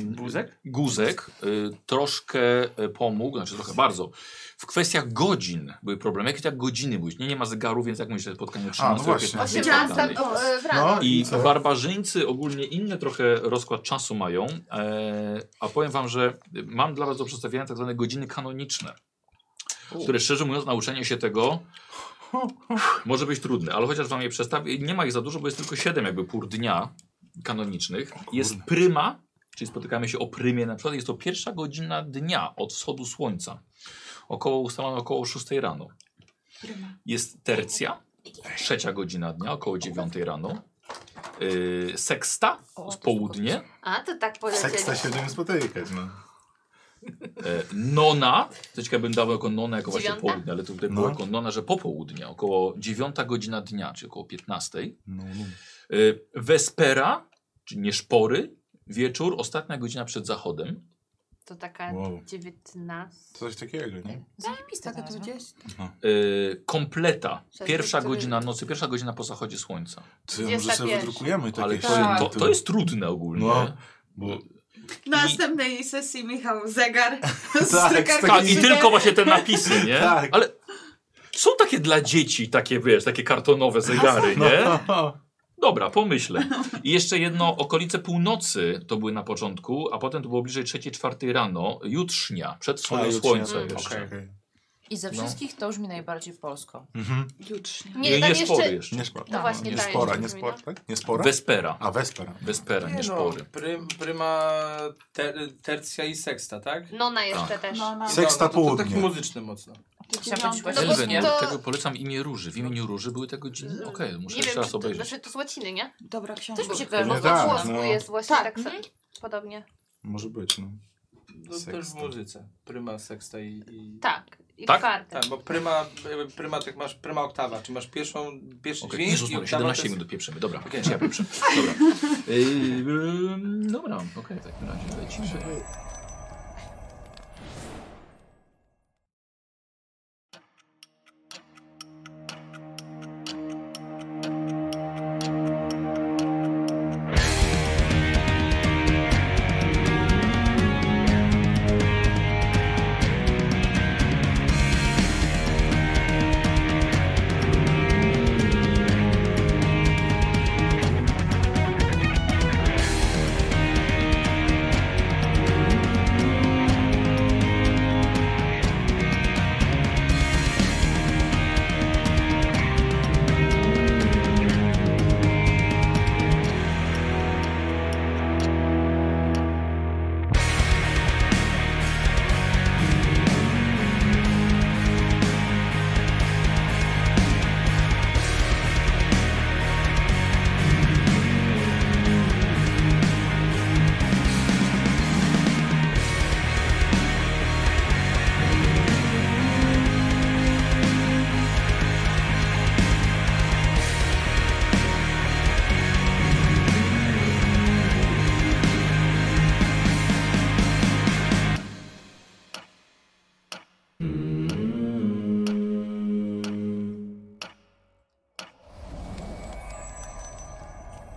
Speaker 1: y,
Speaker 9: Buzek?
Speaker 1: Guzek y, troszkę y, pomógł, znaczy trochę bardzo, w kwestiach godzin były problemy. Jakie tak godziny były? Nie, nie ma zegaru, więc jak myślę, że spotkanie
Speaker 4: A,
Speaker 1: 13,
Speaker 4: no właśnie.
Speaker 1: 15, i tak dalej.
Speaker 6: 18 o, e, w rano.
Speaker 4: No
Speaker 1: I
Speaker 4: i co?
Speaker 1: barbarzyńcy ogólnie inny trochę rozkład czasu mają, e, a powiem wam, że mam dla was do przedstawienia tak zwane godziny kanoniczne, które szczerze mówiąc nauczenie się tego może być trudne, ale chociaż wam je przedstawię, nie ma ich za dużo, bo jest tylko 7 jakby pór dnia kanonicznych. Jest pryma, czyli spotykamy się o prymie na przykład, jest to pierwsza godzina dnia od wschodu słońca, około ustalone około 6 rano. Jest tercja, trzecia godzina dnia, około 9 rano. Yy, sexta z południe,
Speaker 6: A, to tak polecieli.
Speaker 4: Seksta się będziemy spotykać, no.
Speaker 1: e, nona, to ciekawe bym dał jako nona, jako właśnie
Speaker 6: Dziewiąta?
Speaker 1: południe, ale to tutaj
Speaker 4: No.
Speaker 1: było jako nona, że popołudnie, około 9 godzina dnia, czyli około 15.
Speaker 4: no, no.
Speaker 1: Y, Wespera, czyli nieszpory, wieczór, ostatnia godzina przed zachodem.
Speaker 6: To taka
Speaker 4: Wow.
Speaker 6: 19.
Speaker 4: Coś takiego, nie?
Speaker 2: Zajebista
Speaker 5: Taka
Speaker 2: ta nazwa.
Speaker 5: 20.
Speaker 1: Y, kompleta,
Speaker 6: Sześć
Speaker 1: pierwsza
Speaker 6: godzin.
Speaker 1: godzina nocy, pierwsza godzina po zachodzie słońca.
Speaker 4: Ty, może sobie
Speaker 6: 21.
Speaker 4: wydrukujemy takie
Speaker 1: Ale to,
Speaker 4: filmy,
Speaker 1: to, to jest trudne ogólnie.
Speaker 4: No. Bo
Speaker 5: Na następnej sesji Michał zegar. z
Speaker 4: Tak,
Speaker 5: drukarki
Speaker 1: Tak, i
Speaker 5: zegar.
Speaker 1: tylko właśnie te napisy, nie?
Speaker 4: Tak.
Speaker 1: Ale są takie dla dzieci, takie wiesz, takie kartonowe zegary,
Speaker 4: No.
Speaker 1: nie? Dobra, pomyślę. I jeszcze jedno, okolice północy to były na początku, a potem to było bliżej 3-4 rano, jutrznia, przed
Speaker 4: A,
Speaker 1: wschodem
Speaker 4: jutrznia,
Speaker 1: słońca
Speaker 4: tak,
Speaker 1: jeszcze.
Speaker 4: okej.
Speaker 2: I ze
Speaker 1: No.
Speaker 2: wszystkich to już mi najbardziej polsko.
Speaker 4: Mhm.
Speaker 5: Jutrznie.
Speaker 1: Nie,
Speaker 6: Nie,
Speaker 1: nie
Speaker 6: tam
Speaker 1: spory
Speaker 6: jeszcze...
Speaker 1: jeszcze.
Speaker 4: Nie spora.
Speaker 6: No właśnie,
Speaker 4: nie
Speaker 6: daje się
Speaker 4: spora,
Speaker 6: to
Speaker 4: nie
Speaker 6: wymienia.
Speaker 4: spora, tak? Nie spora?
Speaker 1: Wespera.
Speaker 4: A, Wespera.
Speaker 1: Wespera, nie
Speaker 3: no,
Speaker 1: szpory.
Speaker 3: prym, pryma, ter, tercja i seksta, tak?
Speaker 6: Nona jeszcze też.
Speaker 5: No, na
Speaker 4: Seksta
Speaker 3: to- to
Speaker 4: południe.
Speaker 3: Taki muzyczny mocno.
Speaker 5: dziewiątej.
Speaker 6: No bo
Speaker 1: Elwen, ja
Speaker 6: to-
Speaker 1: tego polecam imię Róży. W imieniu Róży były te godziny. Okej, muszę
Speaker 6: nie
Speaker 1: jeszcze
Speaker 6: wiem,
Speaker 1: raz
Speaker 6: czy to,
Speaker 1: obejrzeć.
Speaker 6: znaczy to z łaciny, nie?
Speaker 5: Dobra książka.
Speaker 2: Coś mi się
Speaker 6: Bo
Speaker 4: Pewnie
Speaker 2: kojarzy.
Speaker 6: po
Speaker 4: tak,
Speaker 6: włosku
Speaker 4: no.
Speaker 6: jest właśnie
Speaker 5: Tak,
Speaker 6: tak, samo.
Speaker 2: mhm.
Speaker 6: podobnie.
Speaker 4: Może być, no.
Speaker 3: No, też w
Speaker 4: Seksta.
Speaker 3: muzyce. Pryma, seksta i... i...
Speaker 6: Tak. I
Speaker 1: Tak?
Speaker 6: kwartet.
Speaker 3: Tak, bo pryma, pryma, tak masz pryma oktawa, czyli masz pierwszą, pierwszy
Speaker 1: Okay.
Speaker 3: dźwięk
Speaker 1: Jezus,
Speaker 3: i
Speaker 1: Maria,
Speaker 3: oktawa
Speaker 1: 17
Speaker 3: to jest-
Speaker 1: minut pieprzemy. Dobra,
Speaker 3: Okej.
Speaker 1: okay. ja pieprzę. Dobra, yy, ym, dobra okej, w takim razie lecimy.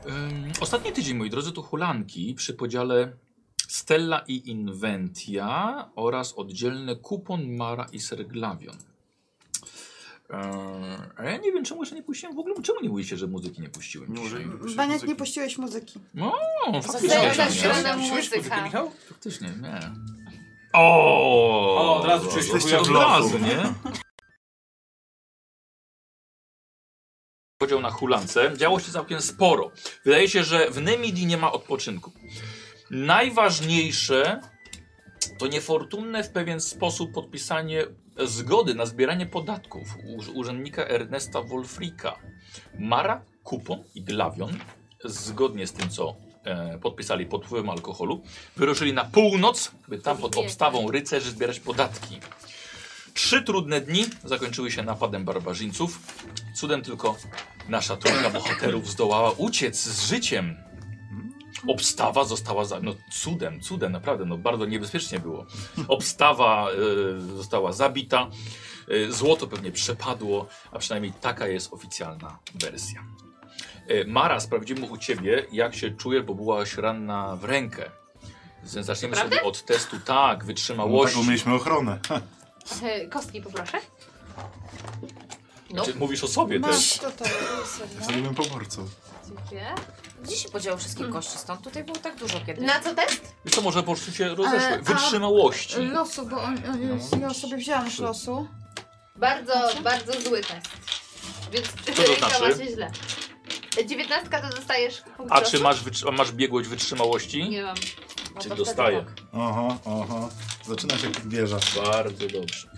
Speaker 1: Ym, ostatni tydzień, moi drodzy, to hulanki przy podziale Stella i Inventia oraz oddzielny kupon Mara i Serglavion. Eee, a ja nie wiem, czemu jeszcze nie puściłem w ogóle. Czemu nie mówiliście, że muzyki nie puściłem?
Speaker 8: Nie może-
Speaker 1: dzisiaj?
Speaker 5: Baniak, nie puściłeś muzyki.
Speaker 1: No,
Speaker 6: Zostaje
Speaker 1: faktycznie.
Speaker 6: zagrana
Speaker 1: nie.
Speaker 6: muzyka.
Speaker 7: Michał?
Speaker 1: Faktycznie, nie. O,
Speaker 7: O, od razu czuję się
Speaker 8: Jesteście
Speaker 1: Od
Speaker 8: w
Speaker 7: chujowo.
Speaker 1: razu,
Speaker 8: losu.
Speaker 1: nie? Podział na hulance. Działo się całkiem sporo. Wydaje się, że w Nemidii nie ma odpoczynku. Najważniejsze to niefortunne w pewien sposób podpisanie zgody na zbieranie podatków u- urzędnika Ernesta Wolfrika. Mara, Kupon i Glawion, zgodnie z tym, co e, podpisali pod wpływem alkoholu, wyruszyli na północ, by tam pod obstawą rycerzy zbierać podatki. Trzy trudne dni zakończyły się napadem barbarzyńców. Cudem tylko nasza trójka bohaterów zdołała uciec z życiem. Obstawa została. Za... No cudem, cudem, naprawdę, no bardzo niebezpiecznie było. Obstawa y, została zabita. y, Złoto pewnie przepadło, a przynajmniej taka jest oficjalna wersja. Y, Mara, sprawdzimy u ciebie, jak się czuje, bo byłaś ranna w rękę. Więc Zaczniemy
Speaker 6: Naprawdę?
Speaker 1: sobie od testu, tak,
Speaker 8: No, tak,
Speaker 1: wytrzymałości.
Speaker 8: bo mieliśmy ochronę.
Speaker 1: Tak.
Speaker 6: E, Kostki poproszę.
Speaker 1: Znaczy, mówisz o sobie też.
Speaker 5: Masz, to to.
Speaker 8: Zrobimy poborcą.
Speaker 6: Dziękuję.
Speaker 2: Gdzie się podziały wszystkie kości stąd? Tutaj było tak dużo kiedyś.
Speaker 6: Tak. Na co test?
Speaker 1: Wiesz co, może po prostu się
Speaker 5: Ale-
Speaker 1: rozeszły.
Speaker 5: a- no,
Speaker 1: Wytrzymałości.
Speaker 5: Losu, bo on, on, ja sobie wziąłem już losu.
Speaker 6: Bardzo, bardzo zły test. Więc
Speaker 1: to
Speaker 6: ręka
Speaker 1: znaczy?
Speaker 6: ma się źle. E, Dziewiętnastka to dostajesz punkt
Speaker 1: A
Speaker 6: losu?
Speaker 1: czy masz, wytrzy- masz biegłość wytrzymałości?
Speaker 6: Nie mam.
Speaker 2: No
Speaker 1: Czy
Speaker 2: to wtedy
Speaker 1: dostaję?
Speaker 2: tak.
Speaker 8: Aha, aha. Zaczyna się jak wieża.
Speaker 1: Bardzo dobrze.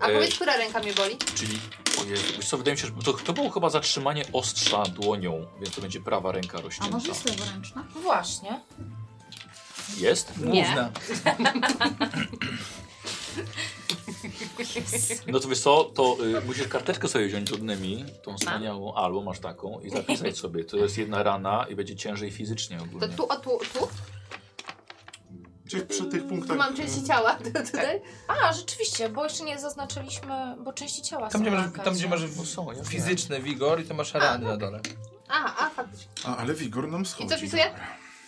Speaker 6: A
Speaker 1: E,
Speaker 6: powiedz, która ręka mnie boli?
Speaker 1: Czyli, ojej, wiesz co, wydaje mi się, że to, to było chyba zatrzymanie ostrza dłonią, więc to będzie prawa ręka
Speaker 5: A
Speaker 1: rozcięta.
Speaker 5: może jest leworęczna?
Speaker 2: Właśnie.
Speaker 1: Jest?
Speaker 6: Nie.
Speaker 1: Główna. No to wiesz co, to y, musisz karteczkę sobie wziąć od Nemi, tą
Speaker 6: Tak.
Speaker 1: wspaniałą, albo masz taką i zapisać sobie. To jest jedna rana i będzie ciężej fizycznie
Speaker 6: To
Speaker 1: ogólnie.
Speaker 6: tu, o tu, tu?
Speaker 8: Gdzieś przy tych
Speaker 6: Tu
Speaker 8: punktach...
Speaker 6: mam części ciała, to tutaj.
Speaker 2: A, rzeczywiście, bo jeszcze nie zaznaczyliśmy, bo części ciała
Speaker 7: Tam,
Speaker 2: są
Speaker 7: gdzie
Speaker 2: na
Speaker 7: masz, tam,
Speaker 2: karcie.
Speaker 7: gdzie masz
Speaker 1: Bo No są, ja
Speaker 7: fizyczny wigor i to masz rany na dole.
Speaker 6: A, a, faktycznie.
Speaker 8: A, ale wigor nam
Speaker 6: I
Speaker 8: schodzi.
Speaker 6: co wpisuję?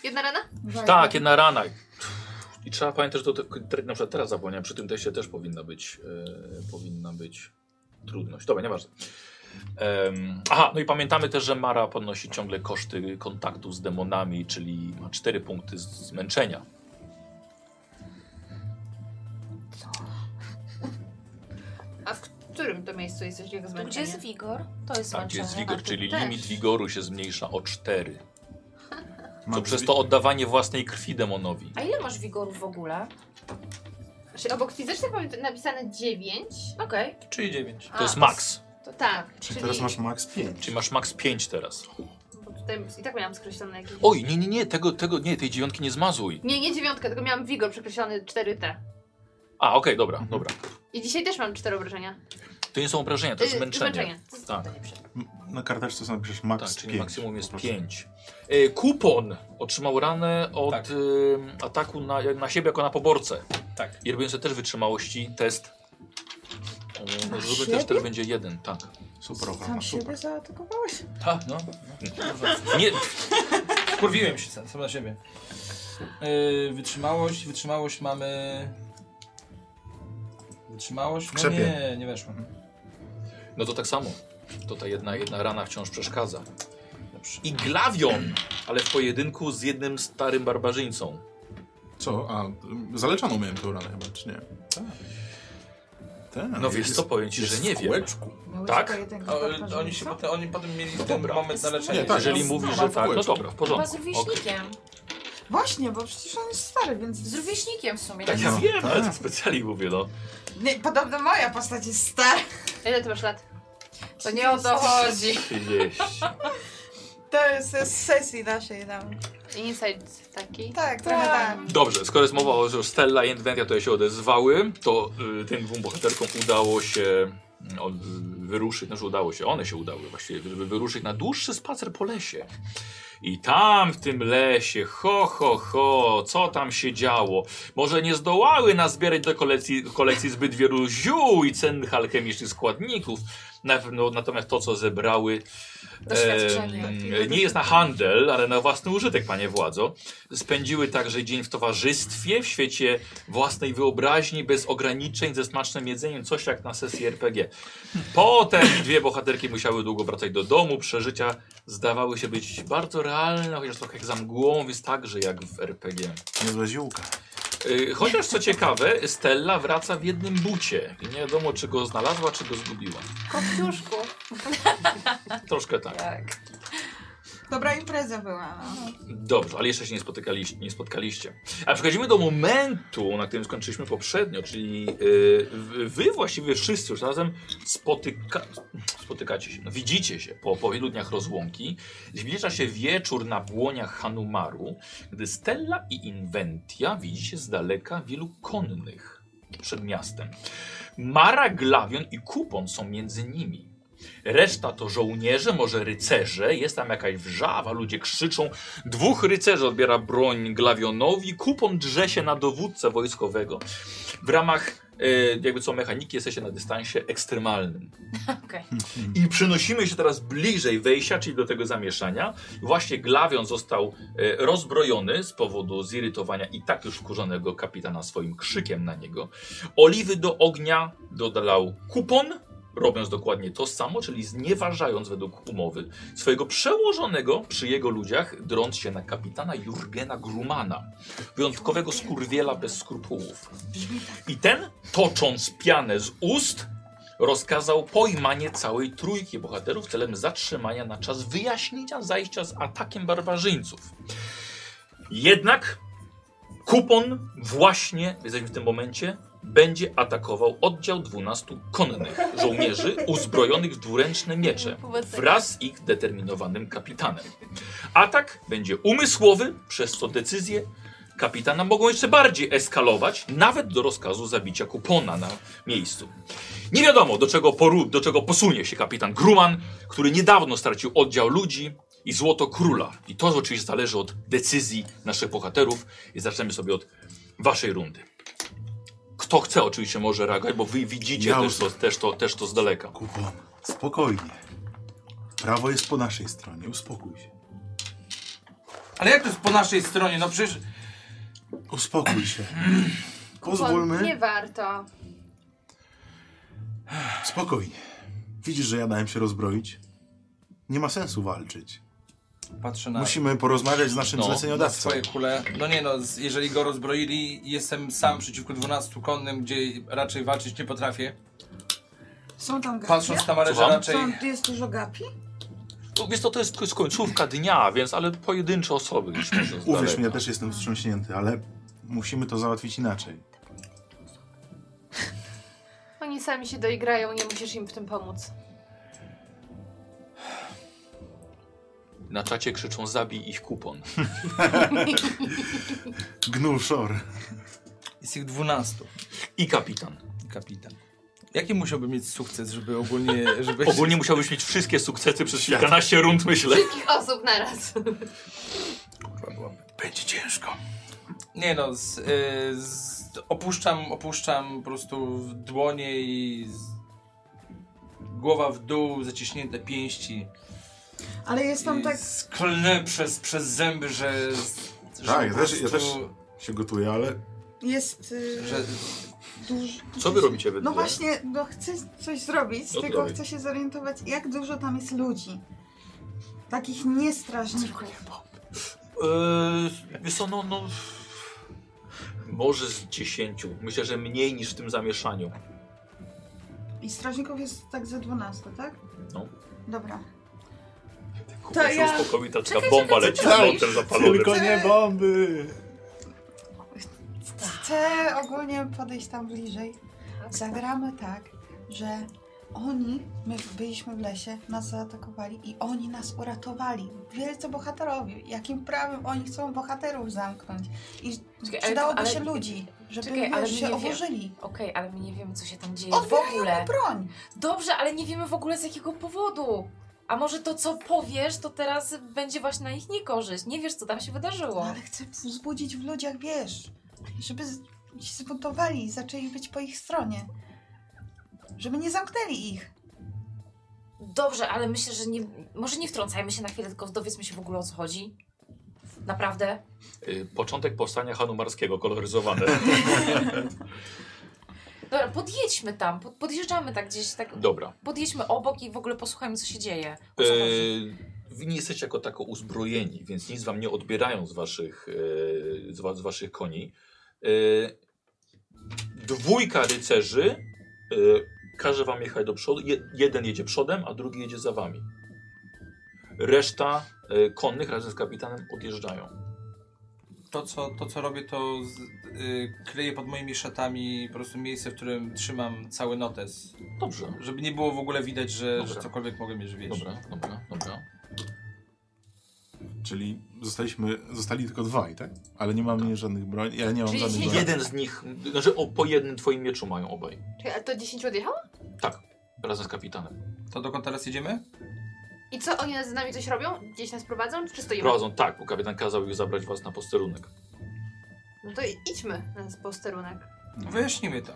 Speaker 6: Jedna rana?
Speaker 1: Tak, jedna rana. I trzeba pamiętać, że to, to te- na przykład teraz zapomniałem, przy tym teście też powinna być, e, powinna być trudność. Dobra, nieważne. Um, aha, no i pamiętamy też, że Mara podnosi ciągle koszty kontaktu z demonami, czyli ma 4 punkty z- zmęczenia. Tak,
Speaker 6: A w którym to miejscu jest coś jak
Speaker 2: To gdzie jest
Speaker 6: zmęczenie?
Speaker 2: wigor? To jest
Speaker 1: Tak,
Speaker 2: zmęczenie.
Speaker 1: jest wigor,
Speaker 6: to
Speaker 1: czyli
Speaker 6: też.
Speaker 1: limit wigoru się zmniejsza o 4.
Speaker 8: Mam
Speaker 1: To przez
Speaker 8: drzwi-
Speaker 1: to oddawanie własnej krwi demonowi.
Speaker 2: A ile masz wigorów w ogóle?
Speaker 6: Czy Znaczy, obok fizycznych mamy napisane 9?
Speaker 2: Okej.
Speaker 7: Czyli dziewięć.
Speaker 1: To jest max,
Speaker 6: To tak,
Speaker 8: Czyli
Speaker 6: czyli...
Speaker 8: teraz masz max 5.
Speaker 1: czyli masz max 5 teraz.
Speaker 6: Bo tutaj i tak miałam skreślone jakieś...
Speaker 1: Oj, nie, nie, nie, tego, tego, nie, tej dziewiątki nie zmazuj.
Speaker 6: Nie, nie dziewiątkę, tylko miałam wigor przekreślony 4T.
Speaker 1: A, okej, dobra, dobra.
Speaker 6: I dzisiaj też mam cztery obrażenia.
Speaker 1: To nie są obrażenia, to jest
Speaker 6: Y,
Speaker 1: zmęczenie.
Speaker 6: zmęczenie.
Speaker 1: Tak,
Speaker 8: Na karteczce sobie napiszesz max
Speaker 1: tak czyli
Speaker 8: 5.
Speaker 1: maksimum jest
Speaker 8: po prostu.
Speaker 1: 5. E, kupon otrzymał ranę od
Speaker 7: Tak.
Speaker 1: ym, ataku na, na siebie jako na poborcę.
Speaker 7: Tak.
Speaker 1: I robiąc sobie też wytrzymałości, test. O, Może zróbmy
Speaker 5: siebie?
Speaker 1: też, teraz będzie jeden, tak.
Speaker 8: Super ochrona,
Speaker 5: Sam
Speaker 8: super.
Speaker 5: siebie zaatakowałeś?
Speaker 7: Tak, no.
Speaker 1: Nie,
Speaker 7: Kurwiłem się sam, sam na siebie. Yy, wytrzymałość, wytrzymałość mamy... Wytrzymałość? No
Speaker 8: Krzepie.
Speaker 7: nie, nie weszło.
Speaker 1: no to tak samo. To ta jedna, jedna rana wciąż przeszkadza.
Speaker 7: Dobrze.
Speaker 1: I glawion, ale w pojedynku z jednym starym barbarzyńcą.
Speaker 8: Co? A, ym, zaleczoną miałem tą ranę chyba, czy nie? Tak.
Speaker 1: No wiesz co, powiem ci, że nie
Speaker 8: w
Speaker 1: wiem.
Speaker 8: kółeczku.
Speaker 5: Miałeś
Speaker 1: Tak?
Speaker 5: pojedynkę
Speaker 7: O, y,
Speaker 5: barbarzyńca?
Speaker 7: oni, się potem, oni potem mieli ten
Speaker 1: Dobra.
Speaker 7: moment na leczenie.
Speaker 8: Nie, tak.
Speaker 1: Jeżeli
Speaker 8: Ja
Speaker 1: mówisz, że
Speaker 8: znam,
Speaker 1: tak, no
Speaker 8: kółeczko.
Speaker 1: dobra, w
Speaker 2: Chyba
Speaker 1: porządku.
Speaker 2: z
Speaker 1: Okej.
Speaker 2: rówieśnikiem.
Speaker 5: Właśnie, bo przecież on jest stary, więc...
Speaker 2: Z rówieśnikiem w sumie.
Speaker 1: Tak, ja
Speaker 8: No,
Speaker 1: wiem, ale
Speaker 8: tak.
Speaker 1: specjalnie mówię, no.
Speaker 5: Nie, podobno moja postać jest stara.
Speaker 6: A Ile ty masz lat?
Speaker 2: To nie o to chodzi.
Speaker 1: 30.
Speaker 5: To jest z sesji naszej tam.
Speaker 6: Insight taki.
Speaker 5: Tak, trochę tak.
Speaker 1: Dobrze, skoro jest mowa o że Stella i Edwentia, to się odezwały, to y, tym dwóm bohaterkom udało się y, od, wyruszyć, znaczy udało się, one się udały właściwie, żeby wyruszyć na dłuższy spacer po lesie. I tam w tym lesie, ho, ho, ho, co tam się działo? Może nie zdołały nazbierać do kolekcji, kolekcji zbyt wielu ziół i cennych alchemicznych składników, Na pewno, natomiast to, co zebrały,
Speaker 2: Doświadczenie.
Speaker 1: em, nie jest na handel, ale na własny użytek, panie władzo. Spędziły także dzień w towarzystwie, w świecie własnej wyobraźni, bez ograniczeń, ze smacznym jedzeniem, coś jak na sesji RPG. Potem dwie bohaterki musiały długo wracać do domu, przeżycia zdawały się być bardzo realne, chociaż trochę jak za mgłą, więc także jak w RPG.
Speaker 8: Niezła ziółka.
Speaker 1: Y, Chociaż co ciekawe, Stella wraca w jednym bucie. I nie wiadomo, czy go znalazła, czy go zgubiła.
Speaker 6: Kopciuszku.
Speaker 1: Troszkę tak.
Speaker 2: Tak.
Speaker 5: Dobra impreza była. No.
Speaker 1: Dobrze, ale jeszcze się nie spotykaliście. Nie spotkaliście. A przechodzimy do momentu, na którym skończyliśmy poprzednio, czyli y, w- wy właściwie wszyscy już razem spotyka, spotykacie się, no, widzicie się po, po wielu dniach rozłąki. Zbliża się wieczór na błoniach Hanumaru, gdy Stella i Inventia widzicie z daleka wielu konnych przed miastem. Mara, Glawion i Kupon są między nimi. Reszta to żołnierze, może rycerze. Jest tam jakaś wrzawa, ludzie krzyczą. Dwóch rycerzy odbiera broń Glawionowi. Kupon drze się na dowódcę wojskowego. W ramach e, jakby co mechaniki jesteście na dystansie ekstremalnym.
Speaker 2: Okej.
Speaker 1: I przenosimy się teraz bliżej wejścia, czyli do tego zamieszania. Właśnie Glawion został e, rozbrojony z powodu zirytowania i tak już wkurzonego kapitana swoim krzykiem na niego. Oliwy do ognia dodał kupon, robiąc dokładnie to samo, czyli znieważając według umowy swojego przełożonego przy jego ludziach, drąc się na kapitana Jurgena Grumana, wyjątkowego skurwiela bez skrupułów. I ten, tocząc pianę z ust, rozkazał pojmanie całej trójki bohaterów celem zatrzymania na czas wyjaśnienia zajścia z atakiem barbarzyńców. Jednak kupon właśnie, jesteśmy w tym momencie, będzie atakował oddział 12 konnych żołnierzy uzbrojonych w dwuręczne miecze wraz z ich determinowanym kapitanem. Atak będzie umysłowy, przez co decyzje kapitana mogą jeszcze bardziej eskalować, nawet do rozkazu zabicia kupona na miejscu. Nie wiadomo, do czego, poru, do czego posunie się kapitan Gruman, który niedawno stracił oddział ludzi i złoto króla. I to oczywiście zależy od decyzji naszych bohaterów. I zaczniemy sobie od waszej rundy. Kto chce oczywiście może reagować, bo wy widzicie
Speaker 8: Ja
Speaker 1: też,
Speaker 8: już-
Speaker 1: to, też, to, też to z daleka.
Speaker 8: Kupon, spokojnie. Prawo jest po naszej stronie, uspokój się.
Speaker 7: Ale jak to jest po naszej stronie? No przecież
Speaker 8: Uspokój się.
Speaker 6: Kupon, nie
Speaker 8: Pozwólmy.
Speaker 6: warto.
Speaker 8: Spokojnie. Widzisz, że ja dałem się rozbroić? Nie ma sensu walczyć.
Speaker 7: patrzę na,
Speaker 8: Musimy porozmawiać z naszym
Speaker 1: Tak. No,
Speaker 7: na
Speaker 8: zleceniodawcą.
Speaker 7: swoje kule. No nie no, z- jeżeli go rozbroili, jestem sam przeciwko 12 konnym, gdzie raczej walczyć nie potrafię.
Speaker 5: Są tam gapie?
Speaker 7: Patrząc na Marę, że
Speaker 1: Słucham?
Speaker 7: raczej...
Speaker 5: Są, tu jest dużo gapi?
Speaker 1: No, Wiesz, to, to jest tylko końcówka dnia, więc ale pojedyncze osoby już może z
Speaker 8: Uwierz
Speaker 1: daleka.
Speaker 8: mi, ja też jestem wstrząśnięty, ale musimy to załatwić inaczej.
Speaker 6: Oni sami się doigrają, nie musisz im w tym pomóc.
Speaker 1: Na czacie krzyczą zabij ich kupon.
Speaker 8: Gnu szor.
Speaker 7: Jest ich 12.
Speaker 1: I kapitan.
Speaker 7: Kapitan. Jaki musiałby mieć sukces, żeby ogólnie... Żeby
Speaker 1: Ogólnie musiałbyś mieć wszystkie sukcesy przez kilkanaście rund, myślę.
Speaker 6: Wszystkich osób naraz.
Speaker 7: Będzie ciężko. Nie no, z, y, z, opuszczam, opuszczam po prostu w dłonie i z, głowa w dół, zaciśnięte pięści.
Speaker 5: Ale jest tam
Speaker 7: I
Speaker 5: tak...
Speaker 7: Sklnę przez, przez zęby, że... że
Speaker 8: Tak, ja
Speaker 7: po
Speaker 8: też- ja
Speaker 7: prostu-
Speaker 8: Się gotuję, ale
Speaker 5: Jest y,
Speaker 7: Że,
Speaker 5: dużo...
Speaker 1: Co wy robicie we
Speaker 5: No
Speaker 1: dwie?
Speaker 5: właśnie, no chcę coś zrobić,
Speaker 1: No to
Speaker 5: tylko
Speaker 1: dawaj.
Speaker 5: chcę się zorientować, jak dużo tam jest ludzi. Takich niestrażników.
Speaker 1: Yy, wiesz co, no, no... Może z dziesięciu. Myślę, że mniej niż w tym zamieszaniu.
Speaker 5: I strażników jest tak ze 12, tak?
Speaker 1: No.
Speaker 5: Dobra.
Speaker 1: Kupon się
Speaker 5: ja-
Speaker 1: uspokoi, ta taka
Speaker 2: Czekaj,
Speaker 1: bomba
Speaker 2: czekaj,
Speaker 1: leci z
Speaker 2: czekaj.
Speaker 1: motem zapalonym.
Speaker 3: Tylko nie bomby!
Speaker 5: Chcę ogólnie podejść tam bliżej.
Speaker 2: Tak,
Speaker 5: Zagramy tak, że oni, my byliśmy w lesie, nas zaatakowali i oni nas uratowali. Wielcy bohaterowie. Jakim prawem oni chcą bohaterów zamknąć? I
Speaker 2: Czekaj, ale-
Speaker 5: przydałoby
Speaker 2: ale-
Speaker 5: się ludzi, żeby
Speaker 2: Czekaj, ale
Speaker 5: wiesz,
Speaker 2: my
Speaker 5: się
Speaker 2: nie wiemy.
Speaker 5: oburzyli.
Speaker 2: Okej, ale my nie wiemy, co się tam dzieje w
Speaker 5: Odbierają
Speaker 2: ogóle.
Speaker 5: mu broń.
Speaker 2: Dobrze, ale nie wiemy w ogóle z jakiego powodu. A może to, co powiesz, to teraz będzie właśnie na ich niekorzyść. Nie wiesz, co tam się
Speaker 5: No,
Speaker 2: wydarzyło.
Speaker 5: ale chcę wzbudzić w ludziach, wiesz, żeby z- się zbuntowali i zaczęli być po ich stronie. Żeby nie zamknęli ich.
Speaker 2: Dobrze, ale myślę, że nie, może nie wtrącajmy się na chwilę, tylko dowiedzmy się w ogóle o co chodzi. Naprawdę.
Speaker 1: Y, Początek powstania hanumarskiego, koloryzowane.
Speaker 2: Dobra, podjedźmy tam, pod, podjeżdżamy tak gdzieś, tak
Speaker 1: Dobra.
Speaker 2: podjedźmy obok i w ogóle posłuchajmy co się dzieje. O co chodzi.
Speaker 1: Y, Wy nie jesteście jako tako uzbrojeni, więc nic wam nie odbierają z waszych, y, z wa- z waszych koni. Y, Dwójka rycerzy y, każe wam jechać do przodu. Je- Jeden jedzie przodem, a drugi jedzie za wami. Reszta y, konnych razem z kapitanem odjeżdżają.
Speaker 3: To co, to, co robię, to z, y, kryję pod moimi szatami po prostu miejsce, w którym trzymam cały notes.
Speaker 1: Dobrze.
Speaker 3: Żeby nie było w ogóle widać, że, że
Speaker 1: Dobra.
Speaker 3: cokolwiek mogę mieć wiedzieć.
Speaker 1: Dobra, dobra, dobra.
Speaker 4: Czyli zostaliśmy, zostali tylko dwaj, tak? Ale nie mamy żadnych broni, ja nie mam
Speaker 6: Czyli
Speaker 4: żadnych broni.
Speaker 1: Jeden z nich, znaczy o, po jednym twoim mieczu mają obaj.
Speaker 6: Czekaj, a to 10 odjechało?
Speaker 1: Razem z kapitanem.
Speaker 3: To dokąd teraz jedziemy?
Speaker 6: I co, oni z nami coś robią? Gdzieś nas prowadzą? Czy stoimy?
Speaker 1: Prowadzą tak, bo kapitan kazał ich zabrać was na posterunek.
Speaker 6: No to i- idźmy na posterunek.
Speaker 3: Wyjaśnimy to.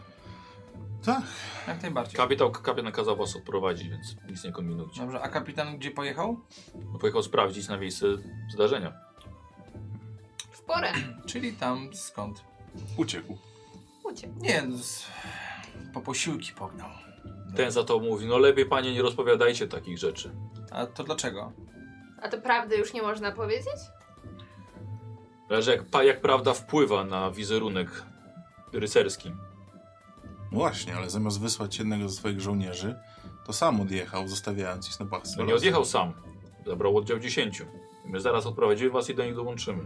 Speaker 4: Tak.
Speaker 3: Jak najbardziej.
Speaker 1: Kapitał, kapitan kazał was odprowadzić, więc nic nie kombinujcie.
Speaker 3: Dobrze, a kapitan gdzie pojechał?
Speaker 1: No, Pojechał sprawdzić na miejsce zdarzenia.
Speaker 6: W porę.
Speaker 3: Czyli tam skąd?
Speaker 4: Uciekł.
Speaker 6: Ucie.
Speaker 3: Nie, no z... po posiłki pognał.
Speaker 1: Ten za to mówi, no lepiej panie nie rozpowiadajcie takich rzeczy.
Speaker 3: A to dlaczego?
Speaker 6: A to prawdy już nie można powiedzieć?
Speaker 1: Zależy jak, pa- jak prawda wpływa na wizerunek rycerski.
Speaker 4: No właśnie, ale zamiast wysłać jednego ze swoich żołnierzy, to sam odjechał, zostawiając ich na pastwę.
Speaker 1: No nie odjechał sam, zabrał oddział 10. My zaraz odprowadzimy was i do nich dołączymy.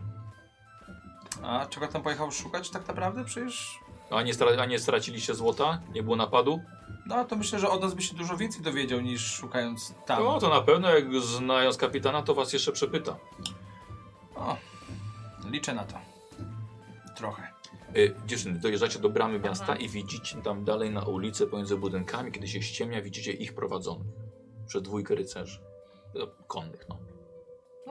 Speaker 3: A czego tam pojechał szukać tak naprawdę? Przecież...
Speaker 1: No, A nie, stra- a nie straciliście złota? Nie było napadu?
Speaker 3: No to myślę, że od nas by się dużo więcej dowiedział niż szukając tam.
Speaker 1: No to na pewno, jak znając kapitana, to was jeszcze przepyta.
Speaker 3: O, liczę na to. Trochę.
Speaker 1: Y, dziewczyny, dojeżdżacie do bramy miasta i widzicie tam dalej na ulicy pomiędzy budynkami, kiedy się ściemnia, widzicie ich prowadzonych. Przez dwójkę rycerzy. No, Konnych, no.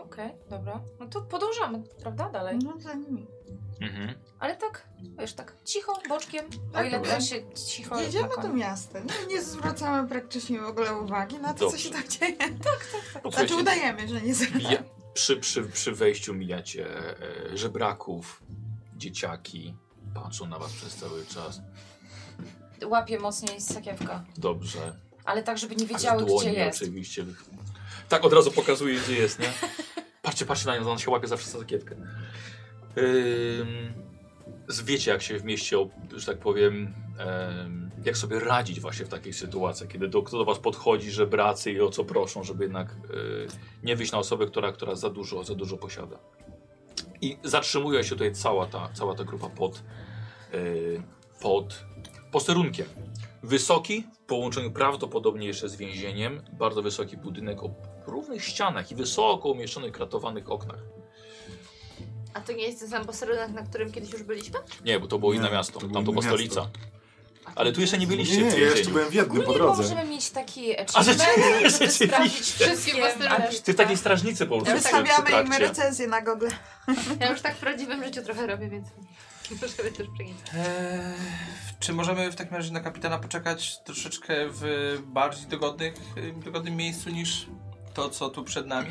Speaker 2: Okej, dobra. No to podążamy, prawda, dalej.
Speaker 5: No za nimi.
Speaker 1: No,
Speaker 2: Ale tak, wiesz, tak cicho, boczkiem, o
Speaker 5: Tak,
Speaker 2: ile
Speaker 5: dobra.
Speaker 2: da się cicho. tak na
Speaker 5: Jedziemy do
Speaker 2: koniec.
Speaker 5: miasta. Nie, nie zwracamy praktycznie w ogóle uwagi na to,
Speaker 1: Dobrze.
Speaker 5: co się tam dzieje. Znaczy
Speaker 1: Posłuchajcie,
Speaker 5: udajemy, że nie zwracamy.
Speaker 1: mija- przy, przy, przy wejściu mijacie e, żebraków, dzieciaki. Patrzą na was przez cały czas.
Speaker 2: Łapię mocniej z sakiewka,
Speaker 1: Dobrze.
Speaker 2: ale tak, żeby nie
Speaker 1: A z
Speaker 2: wiedziały,
Speaker 1: dłoni
Speaker 2: gdzie jest.
Speaker 1: oczywiście. Tak od razu pokazuje, gdzie jest, nie? Patrzcie, patrzcie na nią, ona się łapie zawsze za sakiewkę. Ym, z- wiecie, jak się w mieście, o- że tak powiem, em, jak sobie radzić właśnie w takich sytuacjach, kiedy do, kto do was podchodzi, że bracy i o co proszą, żeby jednak y, nie wyjść na osobę, która, która za dużo, za dużo posiada. I zatrzymuje się tutaj cała ta, cała ta grupa pod, y, pod posterunkiem. Wysoki, w połączeniu prawdopodobnie jeszcze z więzieniem, bardzo wysoki budynek o równych ścianach i wysoko umieszczonych kratowanych oknach.
Speaker 6: A to nie jest ten sam posterunek, na którym kiedyś już byliśmy?
Speaker 1: Nie, bo to było
Speaker 4: Nie,
Speaker 1: inne miasto,
Speaker 4: to było
Speaker 1: tam to
Speaker 4: inne
Speaker 1: była stolica.
Speaker 6: A to
Speaker 1: Ale tu jeszcze nie
Speaker 4: Nie,
Speaker 1: byliście
Speaker 4: nie,
Speaker 1: w
Speaker 4: ja jeszcze
Speaker 1: więzieniu.
Speaker 4: byłem w
Speaker 5: No
Speaker 4: jednym po
Speaker 2: Ogólnie
Speaker 4: drodze.
Speaker 2: możemy mieć taki e,
Speaker 1: A, rzeczywiście,
Speaker 2: achievement, żeby
Speaker 1: rzeczywiście.
Speaker 2: sprawdzić wszystkie
Speaker 6: Wszystkie posterunki.
Speaker 1: Ty w takiej strażnicy po prostu. w- w
Speaker 5: Wystawiamy im
Speaker 1: trakcie.
Speaker 5: recenzję na Google.
Speaker 6: Ja już tak w prawdziwym życiu trochę robię, więc proszę mnie też przynieść.
Speaker 3: Eee, czy możemy w takim razie na kapitana poczekać troszeczkę w bardziej dogodnych, y, dogodnym miejscu niż to, co tu przed nami?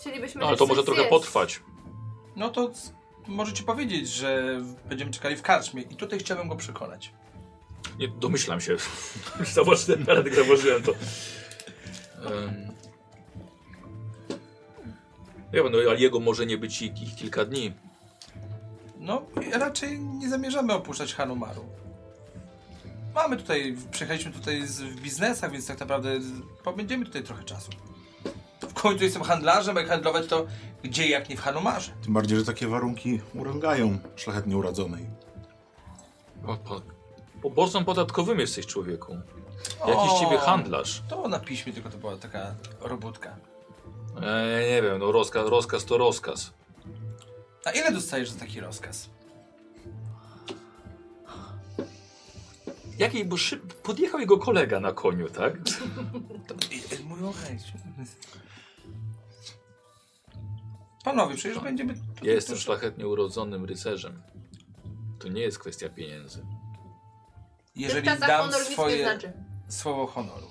Speaker 6: Chcielibyśmy,
Speaker 1: No ale
Speaker 6: że
Speaker 1: to może
Speaker 6: coś
Speaker 1: trochę
Speaker 6: zjeść.
Speaker 1: potrwać.
Speaker 3: No to c- możecie powiedzieć, że będziemy czekali w karczmie i tutaj chciałbym go przekonać.
Speaker 1: Nie, domyślam się. Zobaczcie, Radek, zauważyłem to. Em, Ja wiem, no, ale jego może nie być ich, ich kilka dni.
Speaker 3: No, raczej nie zamierzamy opuszczać Hanumaru. Mamy tutaj, przyjechaliśmy tutaj z, w biznesach, więc tak naprawdę z- pobędziemy tutaj trochę czasu. W końcu jestem handlarzem, a jak handlować to gdzie jak nie w Hanumarze.
Speaker 4: Tym bardziej, że takie warunki urągają szlachetnie urodzonej.
Speaker 1: Po, po, po borsą podatkowym jesteś człowieku. Jakiś
Speaker 3: O,
Speaker 1: ciebie handlarz.
Speaker 3: To na piśmie tylko to była taka robótka.
Speaker 1: E, nie wiem, no rozkaz, rozkaz to rozkaz.
Speaker 3: A ile dostajesz za taki rozkaz?
Speaker 1: Jakiej, bo szyb, podjechał jego kolega na koniu, tak?
Speaker 3: I- i- Mój ochaj. Panowie, przecież będziemy...
Speaker 1: No, Ja jestem szlachetnie urodzonym rycerzem. To nie jest kwestia pieniędzy.
Speaker 3: Jeżeli
Speaker 6: Ten za
Speaker 3: dam
Speaker 6: honor znaczy. nic nie
Speaker 3: swoje
Speaker 6: znaczy.
Speaker 3: słowo honoru.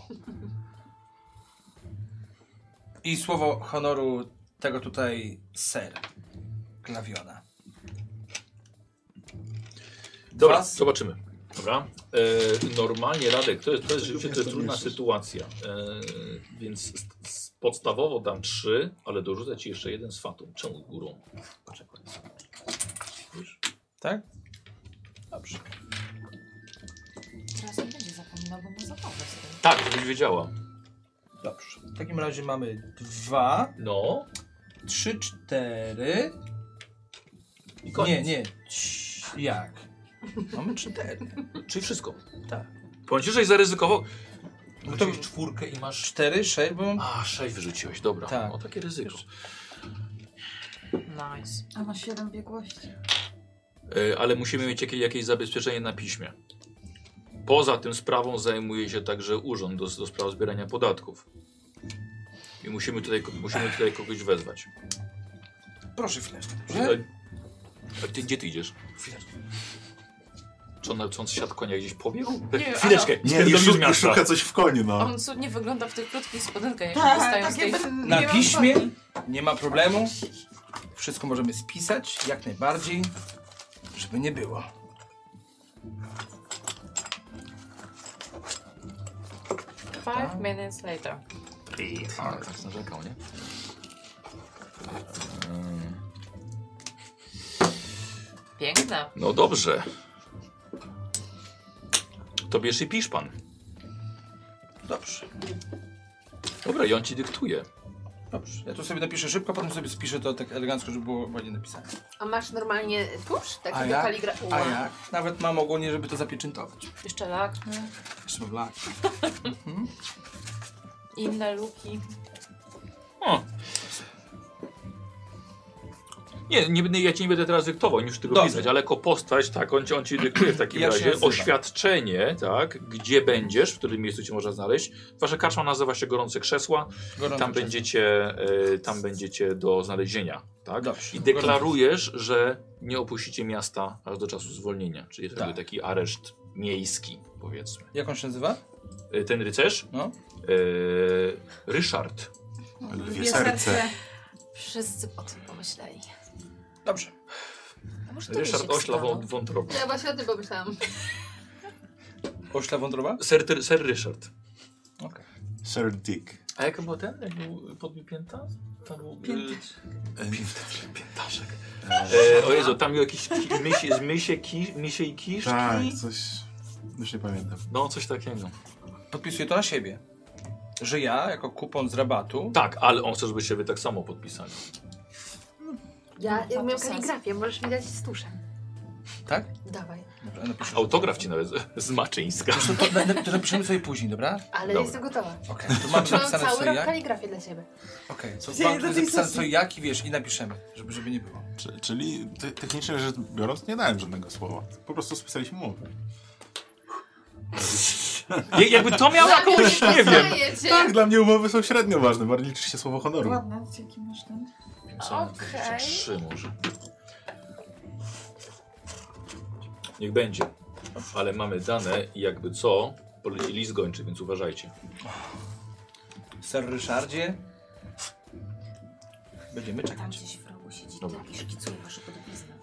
Speaker 3: I słowo honoru tego tutaj ser Glawiona.
Speaker 1: Dobra,
Speaker 3: Was?
Speaker 1: zobaczymy. Dobra. E, normalnie Radek, to jest, to jest rzeczywiście to jest trudna sytuacja. E, więc s- s- podstawowo dam trzy, ale dorzucę ci jeszcze jeden z fatum. Czemu górą? Poczekaj. Widzisz?
Speaker 3: Tak?
Speaker 1: Dobrze.
Speaker 2: Teraz nie będzie zapominał, bo ma zabawę z tym.
Speaker 1: Tak, żebyś wiedziała.
Speaker 3: Dobrze. W takim razie mamy dwa,
Speaker 1: No
Speaker 3: trzy, cztery.
Speaker 1: i koniec.
Speaker 3: Nie, nie. Cii- Jak? Mamy cztery.
Speaker 1: Czyli wszystko.
Speaker 3: Tak.
Speaker 1: Powiem ci, żeś zaryzykował. No
Speaker 3: No
Speaker 1: to
Speaker 3: to-
Speaker 1: już czwórkę i masz...
Speaker 3: Cztery, sześć, bo mam...
Speaker 1: A, sześć wyrzuciłeś, dobra.
Speaker 3: Tak.
Speaker 1: O, takie ryzyko.
Speaker 2: Nice.
Speaker 5: A masz 7 biegłości.
Speaker 1: E, ale musimy mieć jakieś, jakieś zabezpieczenie na piśmie. Poza tym sprawą zajmuje się także urząd do, do spraw zbierania podatków. I musimy tutaj, ko- musimy tutaj kogoś wezwać.
Speaker 3: Proszę chwileczkę. dobrze?
Speaker 1: Tutaj... A ty, gdzie ty idziesz? Chwileczkę. Czy on, czy on z siat konia gdzieś pobiegł?
Speaker 2: Nie,
Speaker 1: Chwileczkę,
Speaker 4: Nie,
Speaker 1: spierdolił
Speaker 4: i,
Speaker 1: z
Speaker 4: szuka, i
Speaker 1: miasta.
Speaker 4: szuka coś w koniu, no.
Speaker 2: On cudnie wygląda w tych krótkich spodenkach, jak
Speaker 5: Tak,
Speaker 2: dostają z
Speaker 5: tak
Speaker 2: tej...
Speaker 5: jakby nie
Speaker 3: Na
Speaker 5: miał
Speaker 3: piśmie
Speaker 5: stopni.
Speaker 3: nie ma problemu. Wszystko możemy spisać, jak najbardziej, żeby nie było.
Speaker 2: Five minutes later.
Speaker 1: Tak, narzekał, nie?
Speaker 2: Piękna.
Speaker 1: No dobrze. To bierz i pisz pan.
Speaker 3: Dobrze,
Speaker 1: Dobra, i on ci dyktuje.
Speaker 3: dobrze. Ja tu sobie napiszę szybko, potem sobie spiszę to tak elegancko, żeby było ładnie napisane.
Speaker 6: A masz normalnie tusz? Taki
Speaker 3: A
Speaker 6: do
Speaker 3: jak?
Speaker 6: kaligrafii.
Speaker 3: A jak? Nawet mam ogólnie, żeby to zapieczętować.
Speaker 2: Jeszcze tak. lak.
Speaker 3: Jeszcze mam lak.
Speaker 2: Inne luki.
Speaker 1: O. Nie, nie, będę- ja ci nie będę teraz dyktował, nie muszę tego
Speaker 3: Dobrze.
Speaker 1: pisać, ale jako postać, tak, on, ci- on ci dyktuje w takim
Speaker 3: Ja się
Speaker 1: razie
Speaker 3: nazywam.
Speaker 1: oświadczenie, tak, gdzie będziesz, w którym miejscu cię można znaleźć. Wasza karczma nazywa się Gorące Krzesła,
Speaker 3: Gorąco
Speaker 1: tam będziecie, e, tam będziecie do znalezienia, tak?
Speaker 3: Dobrze.
Speaker 1: I deklarujesz, że nie opuścicie miasta aż do czasu zwolnienia, czyli jest
Speaker 3: Tak.
Speaker 1: jakby taki areszt miejski, powiedzmy.
Speaker 3: Jak on się nazywa?
Speaker 1: E, Ten rycerz,
Speaker 3: No.
Speaker 1: e, Ryszard,
Speaker 4: Lwie serce.
Speaker 2: Wszyscy o tym pomyśleli.
Speaker 3: Dobrze.
Speaker 2: A może to tak
Speaker 1: Ryszard
Speaker 2: Ryszard
Speaker 1: Ośla Wą- Wątroba.
Speaker 6: Ja właśnie o tym pomyślałam.
Speaker 3: Ośla wątroba?
Speaker 1: Ser, Ty- ser Ryszard.
Speaker 3: Okej.
Speaker 4: Sir Dick.
Speaker 1: A jak był ten? Jak był podbił pięta? Tam był, e, Piętaszek. E, o Jezu, tam był jakiś ki- mysie, z mysie, ki, misiej kiszki.
Speaker 4: Tak, coś... Już nie pamiętam.
Speaker 1: No, coś takiego.
Speaker 3: Podpisuję to na siebie. Że ja, jako kupon z rabatu...
Speaker 1: Tak, ale on chce, żebyście wy tak samo podpisali.
Speaker 6: Ja
Speaker 2: to
Speaker 6: umiem
Speaker 2: sens.
Speaker 6: kaligrafię, możesz mi dać z tuszem.
Speaker 3: Tak?
Speaker 6: Dawaj.
Speaker 3: Dobrze, ja napiszę.
Speaker 1: Autograf ci nawet z- z Maczyńska.
Speaker 3: Zresztą to, na, na, to napiszemy sobie później, dobra?
Speaker 6: Ale
Speaker 1: Dobra.
Speaker 6: jestem gotowa.
Speaker 3: Okej. To macie
Speaker 6: Mam
Speaker 3: napisane
Speaker 6: cały
Speaker 3: co i
Speaker 6: rok
Speaker 3: jak?
Speaker 6: kaligrafię dla siebie.
Speaker 3: Okej. Co
Speaker 5: Ja
Speaker 3: Mam
Speaker 5: nie
Speaker 3: tu
Speaker 5: do tej
Speaker 3: napisane
Speaker 5: sesji.
Speaker 3: co i jak i wiesz, i napiszemy, żeby, żeby nie było.
Speaker 4: Czy- Czyli te- technicznie rzecz biorąc nie dałem żadnego słowa. Po prostu spisaliśmy umowę.
Speaker 1: Je, jakby to miało jakąś, nie wiem.
Speaker 4: Tak, dla mnie umowy są średnio ważne, bardziej liczy się słowo honoru.
Speaker 5: Ładne, dzięki masz ten.
Speaker 2: Okej.
Speaker 1: Trzy może. Niech będzie. Ale mamy dane i jakby co, poleci list gończy, więc uważajcie.
Speaker 3: Ser Ryszardzie... Będziemy
Speaker 2: Tam
Speaker 3: czekać.
Speaker 2: gdzieś w rogu siedzi
Speaker 1: Dobra.
Speaker 2: tak i szkicuje wasze podobizny.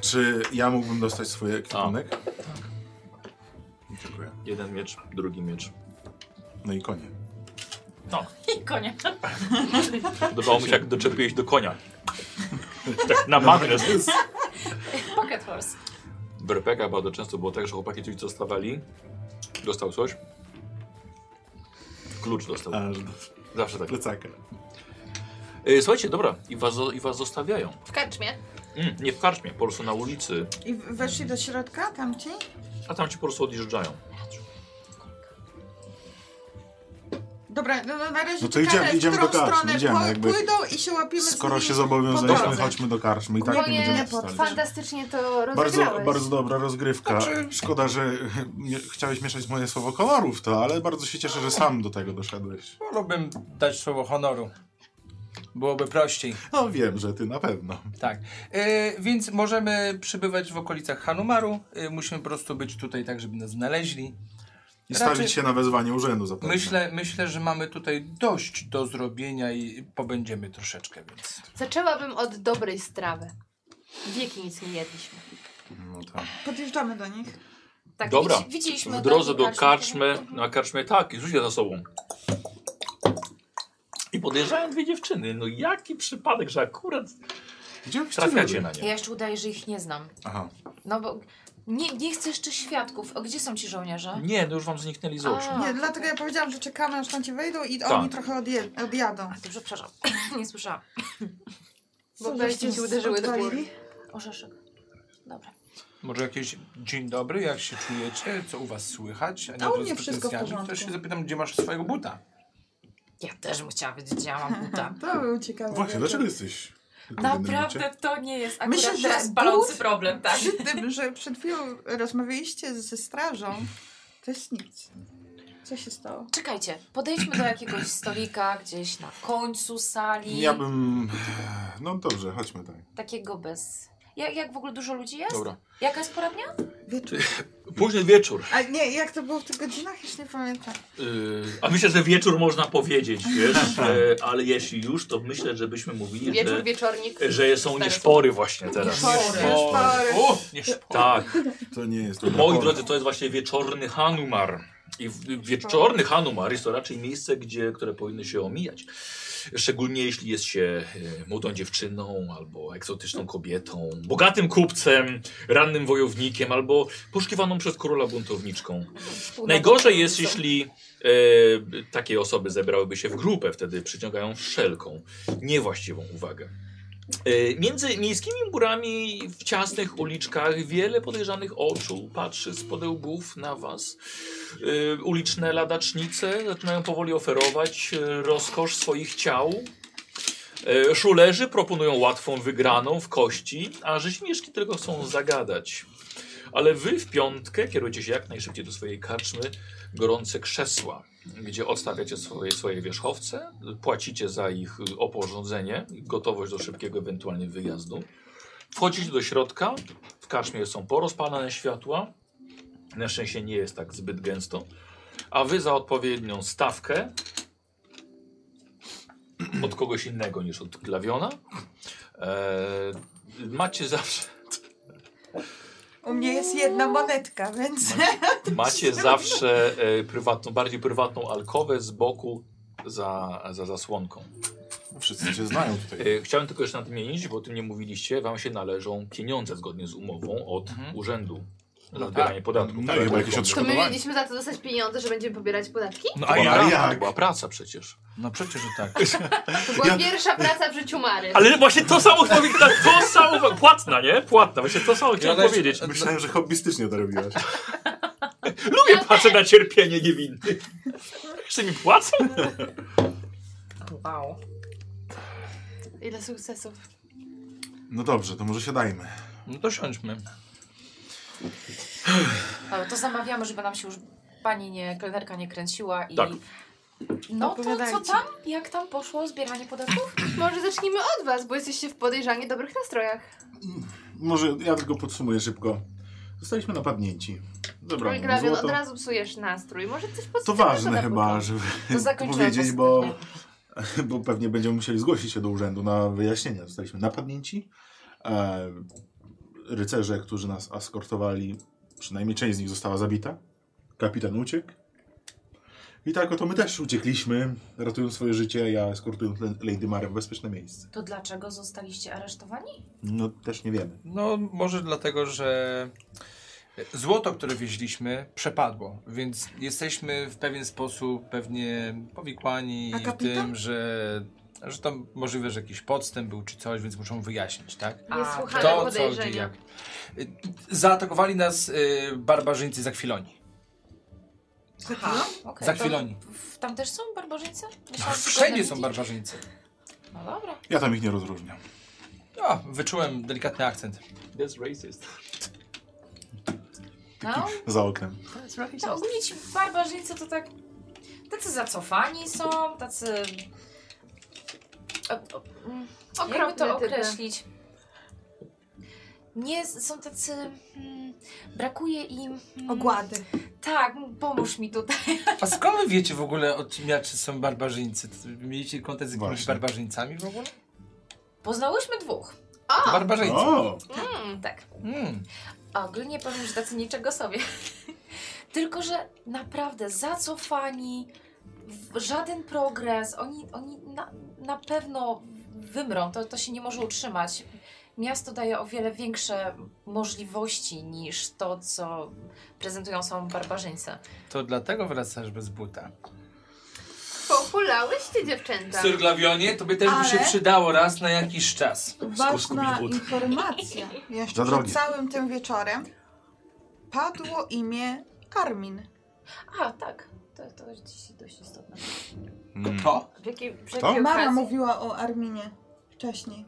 Speaker 4: Czy ja mógłbym dostać swoje kwiatunek? Tak. Dziękuję.
Speaker 1: Jeden miecz, drugi miecz.
Speaker 4: No i konie.
Speaker 2: I konia.
Speaker 1: Podobało mi się, jak doczepiłeś do konia. Tak na magnes.
Speaker 2: Pocket horse.
Speaker 1: W RPG bardzo często było tak, że chłopaki coś dostawali. Dostał coś. Klucz dostał.
Speaker 4: Aż do
Speaker 1: Zawsze tak.
Speaker 4: plecaka.
Speaker 1: Y, Słuchajcie, dobra, i was, zo- i was zostawiają.
Speaker 6: W karczmie.
Speaker 1: Mm, nie w karczmie, po prostu na ulicy.
Speaker 5: I weszli do środka, tam ci?
Speaker 1: A tam ci po prostu odjeżdżają.
Speaker 5: Dobra, no, no na razie
Speaker 4: No to
Speaker 5: czekamy,
Speaker 4: idziemy- idziemy
Speaker 5: w którą
Speaker 4: do karczmy,
Speaker 5: stronę
Speaker 4: idziemy,
Speaker 5: pły-
Speaker 4: jakby.
Speaker 5: pójdą i się łapiemy z
Speaker 4: Skoro
Speaker 5: nimi
Speaker 4: się
Speaker 5: po
Speaker 4: zobowiązaliśmy,
Speaker 5: drodze.
Speaker 4: chodźmy do karczmy i tak nie
Speaker 6: Moje
Speaker 4: będziemy wstali.
Speaker 6: fantastycznie to
Speaker 4: Bardzo,
Speaker 6: rozegrałeś.
Speaker 4: bardzo dobra rozgrywka. Znaczy, Szkoda, że nie, chciałeś mieszać moje słowo kolorów, to, ale bardzo się cieszę, że sam do tego doszedłeś.
Speaker 3: Wolałbym dać słowo honoru. Byłoby prościej.
Speaker 4: No wiem, że ty na pewno.
Speaker 3: Tak. E, więc Y, możemy przybywać w okolicach Hanumaru. E, musimy po prostu być tutaj tak, żeby nas znaleźli.
Speaker 4: I
Speaker 3: Raczej-
Speaker 4: stawić się na wezwanie urzędu zapewne.
Speaker 3: Myślę, myślę, że mamy tutaj dość do zrobienia i pobędziemy troszeczkę, więc...
Speaker 6: Zaczęłabym od dobrej strawy. Wieki nic nie jedliśmy.
Speaker 4: No tak.
Speaker 5: Podjeżdżamy do nich.
Speaker 6: Tak,
Speaker 1: Dobra.
Speaker 2: Widzi- Widzieliśmy
Speaker 1: W drodze
Speaker 2: taką
Speaker 1: do karczmy,
Speaker 2: Mhm.
Speaker 1: na karczmie tak, i rzuć je za sobą. I podjeżdżają dwie dziewczyny. No jaki przypadek, że akurat
Speaker 4: Gdzie byście
Speaker 1: trafiacie
Speaker 4: byli?
Speaker 1: na
Speaker 2: Ja
Speaker 1: nie.
Speaker 2: jeszcze udaję, że ich nie znam.
Speaker 4: Aha.
Speaker 2: No bo nie, nie chcę jeszcze świadków. O, gdzie są ci żołnierze?
Speaker 1: Nie, no już wam zniknęli z oczu.
Speaker 2: A.
Speaker 5: Nie, dlatego ja powiedziałam, że czekamy, aż tam ci wejdą i
Speaker 1: Tak.
Speaker 5: oni trochę odje- odjadą.
Speaker 2: Dobrze, przepraszam. nie słyszałam.
Speaker 6: Bo belki ci uderzyły do głowy.
Speaker 5: Odwalili?
Speaker 2: Orzeszek. Dobra.
Speaker 3: Może jakieś dzień dobry, jak się czujecie, co u was słychać? A
Speaker 5: A u
Speaker 3: od razu
Speaker 5: mnie
Speaker 3: z
Speaker 5: wszystko w
Speaker 3: pretensjami. To
Speaker 5: porządku.
Speaker 3: się zapytam, gdzie masz swojego buta?
Speaker 2: Ja też bym chciała wiedzieć, gdzie ja mam buta.
Speaker 5: To był ciekawy.
Speaker 4: No Właśnie,
Speaker 5: wieczór.
Speaker 4: dlaczego jesteś? w
Speaker 2: Naprawdę to nie jest akurat
Speaker 5: Myślę, że
Speaker 2: teraz palący
Speaker 5: but-
Speaker 2: problem, tak?
Speaker 5: Przy tym, że przed chwilą rozmawialiście ze strażą, to jest nic. Co się stało?
Speaker 2: Czekajcie, podejdźmy do jakiegoś stolika gdzieś na końcu sali.
Speaker 4: Ja bym... No dobrze, chodźmy tak.
Speaker 2: Takiego bez... Jak, jak w ogóle dużo ludzi jest?
Speaker 1: Dobra.
Speaker 2: Jaka jest pora dnia?
Speaker 5: Wieczór.
Speaker 1: Późny wieczór.
Speaker 5: A nie, jak to było w tych godzinach? Już nie pamiętam.
Speaker 1: Yy, a myślę, że wieczór można powiedzieć, wiesz, yy, ale jeśli już, to myślę, żebyśmy mówili,
Speaker 6: Wieczór, wieczornik.
Speaker 1: że, że są nieszpory właśnie teraz.
Speaker 2: Nieszpory.
Speaker 5: Nieszpory.
Speaker 1: O, nieszpory. Tak,
Speaker 4: To nie jest...
Speaker 1: moi drodzy, to jest właśnie wieczorny Hanumar. I w- wieczorny Hanumar jest to raczej miejsce, gdzie, które powinny się omijać. Szczególnie jeśli jest się e, młodą dziewczyną, albo egzotyczną kobietą, bogatym kupcem, rannym wojownikiem, albo poszukiwaną przez króla buntowniczką. Najgorzej jest, jeśli e, takie osoby zebrałyby się w grupę, wtedy przyciągają wszelką niewłaściwą uwagę. E, między miejskimi murami w ciasnych uliczkach wiele podejrzanych oczu patrzy z podełbów na was. E, uliczne ladacznice zaczynają powoli oferować e, rozkosz swoich ciał. E, Szulerzy proponują łatwą wygraną w kości, a rzeźmieszki tylko chcą zagadać. Ale wy w piątkę kierujecie się jak najszybciej do swojej karczmy gorące krzesła, gdzie odstawiacie swoje, swoje wierzchowce, płacicie za ich y, oporządzenie, i gotowość do szybkiego ewentualnie wyjazdu. Wchodzicie do środka, w karczmie są porozpalane światła, na szczęście nie jest tak zbyt gęsto, a wy za odpowiednią stawkę od kogoś innego niż od Glawiona e, macie zawsze
Speaker 5: U mnie jest jedna monetka, więc
Speaker 1: Macie zawsze e, prywatną, bardziej prywatną alkowę z boku za, za zasłonką.
Speaker 4: Wszyscy się znają tutaj.
Speaker 1: E, chciałem tylko jeszcze nadmienić, bo o tym nie mówiliście, wam się należą pieniądze zgodnie z umową od
Speaker 3: Mhm.
Speaker 1: urzędu za zbieranie Tak, podatków.
Speaker 4: No i chyba jakieś
Speaker 6: To my
Speaker 4: odszkodowanie.
Speaker 6: mieliśmy za to dostać pieniądze, że będziemy pobierać podatki?
Speaker 3: No
Speaker 4: a ja- jak?
Speaker 1: To była praca przecież.
Speaker 3: No przecież, że tak.
Speaker 6: To była
Speaker 4: Ja-
Speaker 6: pierwsza praca w życiu Mary.
Speaker 1: Ale właśnie to samo powiedzieć, to samo, płatna, nie? Płatna, właśnie to samo
Speaker 3: chciałem
Speaker 1: chciałem
Speaker 3: też-
Speaker 1: powiedzieć.
Speaker 3: powiedzieć.
Speaker 4: Myślałem, że hobbystycznie to robiłaś.
Speaker 1: Lubię patrzeć na cierpienie niewinnych. Jeszcze mi płacą?
Speaker 2: Wow.
Speaker 6: Ile sukcesów.
Speaker 4: No dobrze, to może siadajmy.
Speaker 3: No to siądźmy.
Speaker 2: Dobra, to zamawiamy, żeby nam się już pani nie, kelnerka nie kręciła i...
Speaker 1: Tak.
Speaker 2: No to co
Speaker 5: Opowiadajcie.
Speaker 2: tam? Jak tam poszło zbieranie podatków?
Speaker 6: Może zacznijmy od was, bo jesteście w podejrzanie dobrych nastrojach.
Speaker 4: Może ja tylko podsumuję szybko. Zostaliśmy napadnięci.
Speaker 6: Mój
Speaker 4: Dobra,
Speaker 6: grawion, od
Speaker 4: złoto.
Speaker 6: razu psujesz nastrój. Może coś
Speaker 4: To
Speaker 6: podsumujesz
Speaker 4: ważne
Speaker 6: na
Speaker 4: chyba,
Speaker 6: początek?
Speaker 4: żeby
Speaker 2: To zakończyłam
Speaker 4: powiedzieć, bo, bo pewnie będziemy musieli zgłosić się do urzędu na wyjaśnienia. Zostaliśmy napadnięci. E, rycerze, którzy nas eskortowali, przynajmniej część z nich została zabita. Kapitan uciekł. I tak oto my też uciekliśmy, ratując swoje życie, ja eskortując Le- Lady Marę w bezpieczne miejsce.
Speaker 2: To dlaczego zostaliście aresztowani?
Speaker 4: No też nie wiemy.
Speaker 3: No może dlatego, że złoto, które wieźliśmy, przepadło, więc jesteśmy w pewien sposób pewnie powikłani
Speaker 5: A
Speaker 3: w
Speaker 5: kapitan?
Speaker 3: tym, że, że tam możliwe, że jakiś podstęp był czy coś, więc muszą wyjaśnić, tak?
Speaker 6: Niesłuchane
Speaker 2: Kto,
Speaker 6: podejrzenia.
Speaker 3: Y, Zaatakowali nas y, barbarzyńcy za chwiloni.
Speaker 2: Aha, okay.
Speaker 3: Za chwiloni.
Speaker 2: W- Tam też są barbarzyńcy? Myślałam, że
Speaker 3: Wszędzie
Speaker 2: tylko
Speaker 3: są
Speaker 2: na
Speaker 3: barbarzyńcy.
Speaker 2: Indii. No dobra.
Speaker 4: Ja tam ich nie rozróżniam.
Speaker 3: O, wyczułem delikatny akcent.
Speaker 1: That's racist.
Speaker 2: No,
Speaker 4: Za oknem.
Speaker 2: no ogólnie ci barbarzyńcy to tak... Tacy zacofani są, tacy... O- o- mm, Jakby
Speaker 6: Okropne
Speaker 2: to
Speaker 6: typy.
Speaker 2: określić? Nie, z- są tacy... mm, Brakuje im... mm,
Speaker 5: Ogłady.
Speaker 2: Tak, pomóż mi tutaj.
Speaker 3: A skąd wy wiecie w ogóle o tym, jacy są barbarzyńcy? To Mieliście kontakt z jakimiś
Speaker 8: Właśnie.
Speaker 3: barbarzyńcami w ogóle?
Speaker 2: Poznałyśmy dwóch.
Speaker 3: Barbarzyńcy.
Speaker 8: O!
Speaker 6: Mm.
Speaker 2: Tak.
Speaker 3: Mm.
Speaker 2: A ogólnie powiem, że tacy niczego sobie. Tylko, że naprawdę zacofani, w- żaden progres, oni, oni na, na pewno wymrą, to, to się nie może utrzymać. Miasto daje o wiele większe możliwości niż to, co prezentują są barbarzyńcy.
Speaker 3: To dlatego wracasz bez buta.
Speaker 6: Populałyście dziewczęta.
Speaker 3: Syrglawionie, Tak. tobie też
Speaker 5: Ale-
Speaker 3: by się przydało raz na jakiś czas.
Speaker 5: Ważna
Speaker 8: Skubić but.
Speaker 5: informacja. Jeszcze
Speaker 8: Za drogie.
Speaker 5: przed całym tym wieczorem padło imię Armin.
Speaker 2: A, tak. To, to jest dziś dość istotne.
Speaker 4: Hmm.
Speaker 8: Mm.
Speaker 3: To?
Speaker 6: W jakiej, przy
Speaker 8: Kto?
Speaker 6: jakiej
Speaker 5: Mama
Speaker 6: okazji?
Speaker 5: mówiła o Arminie wcześniej.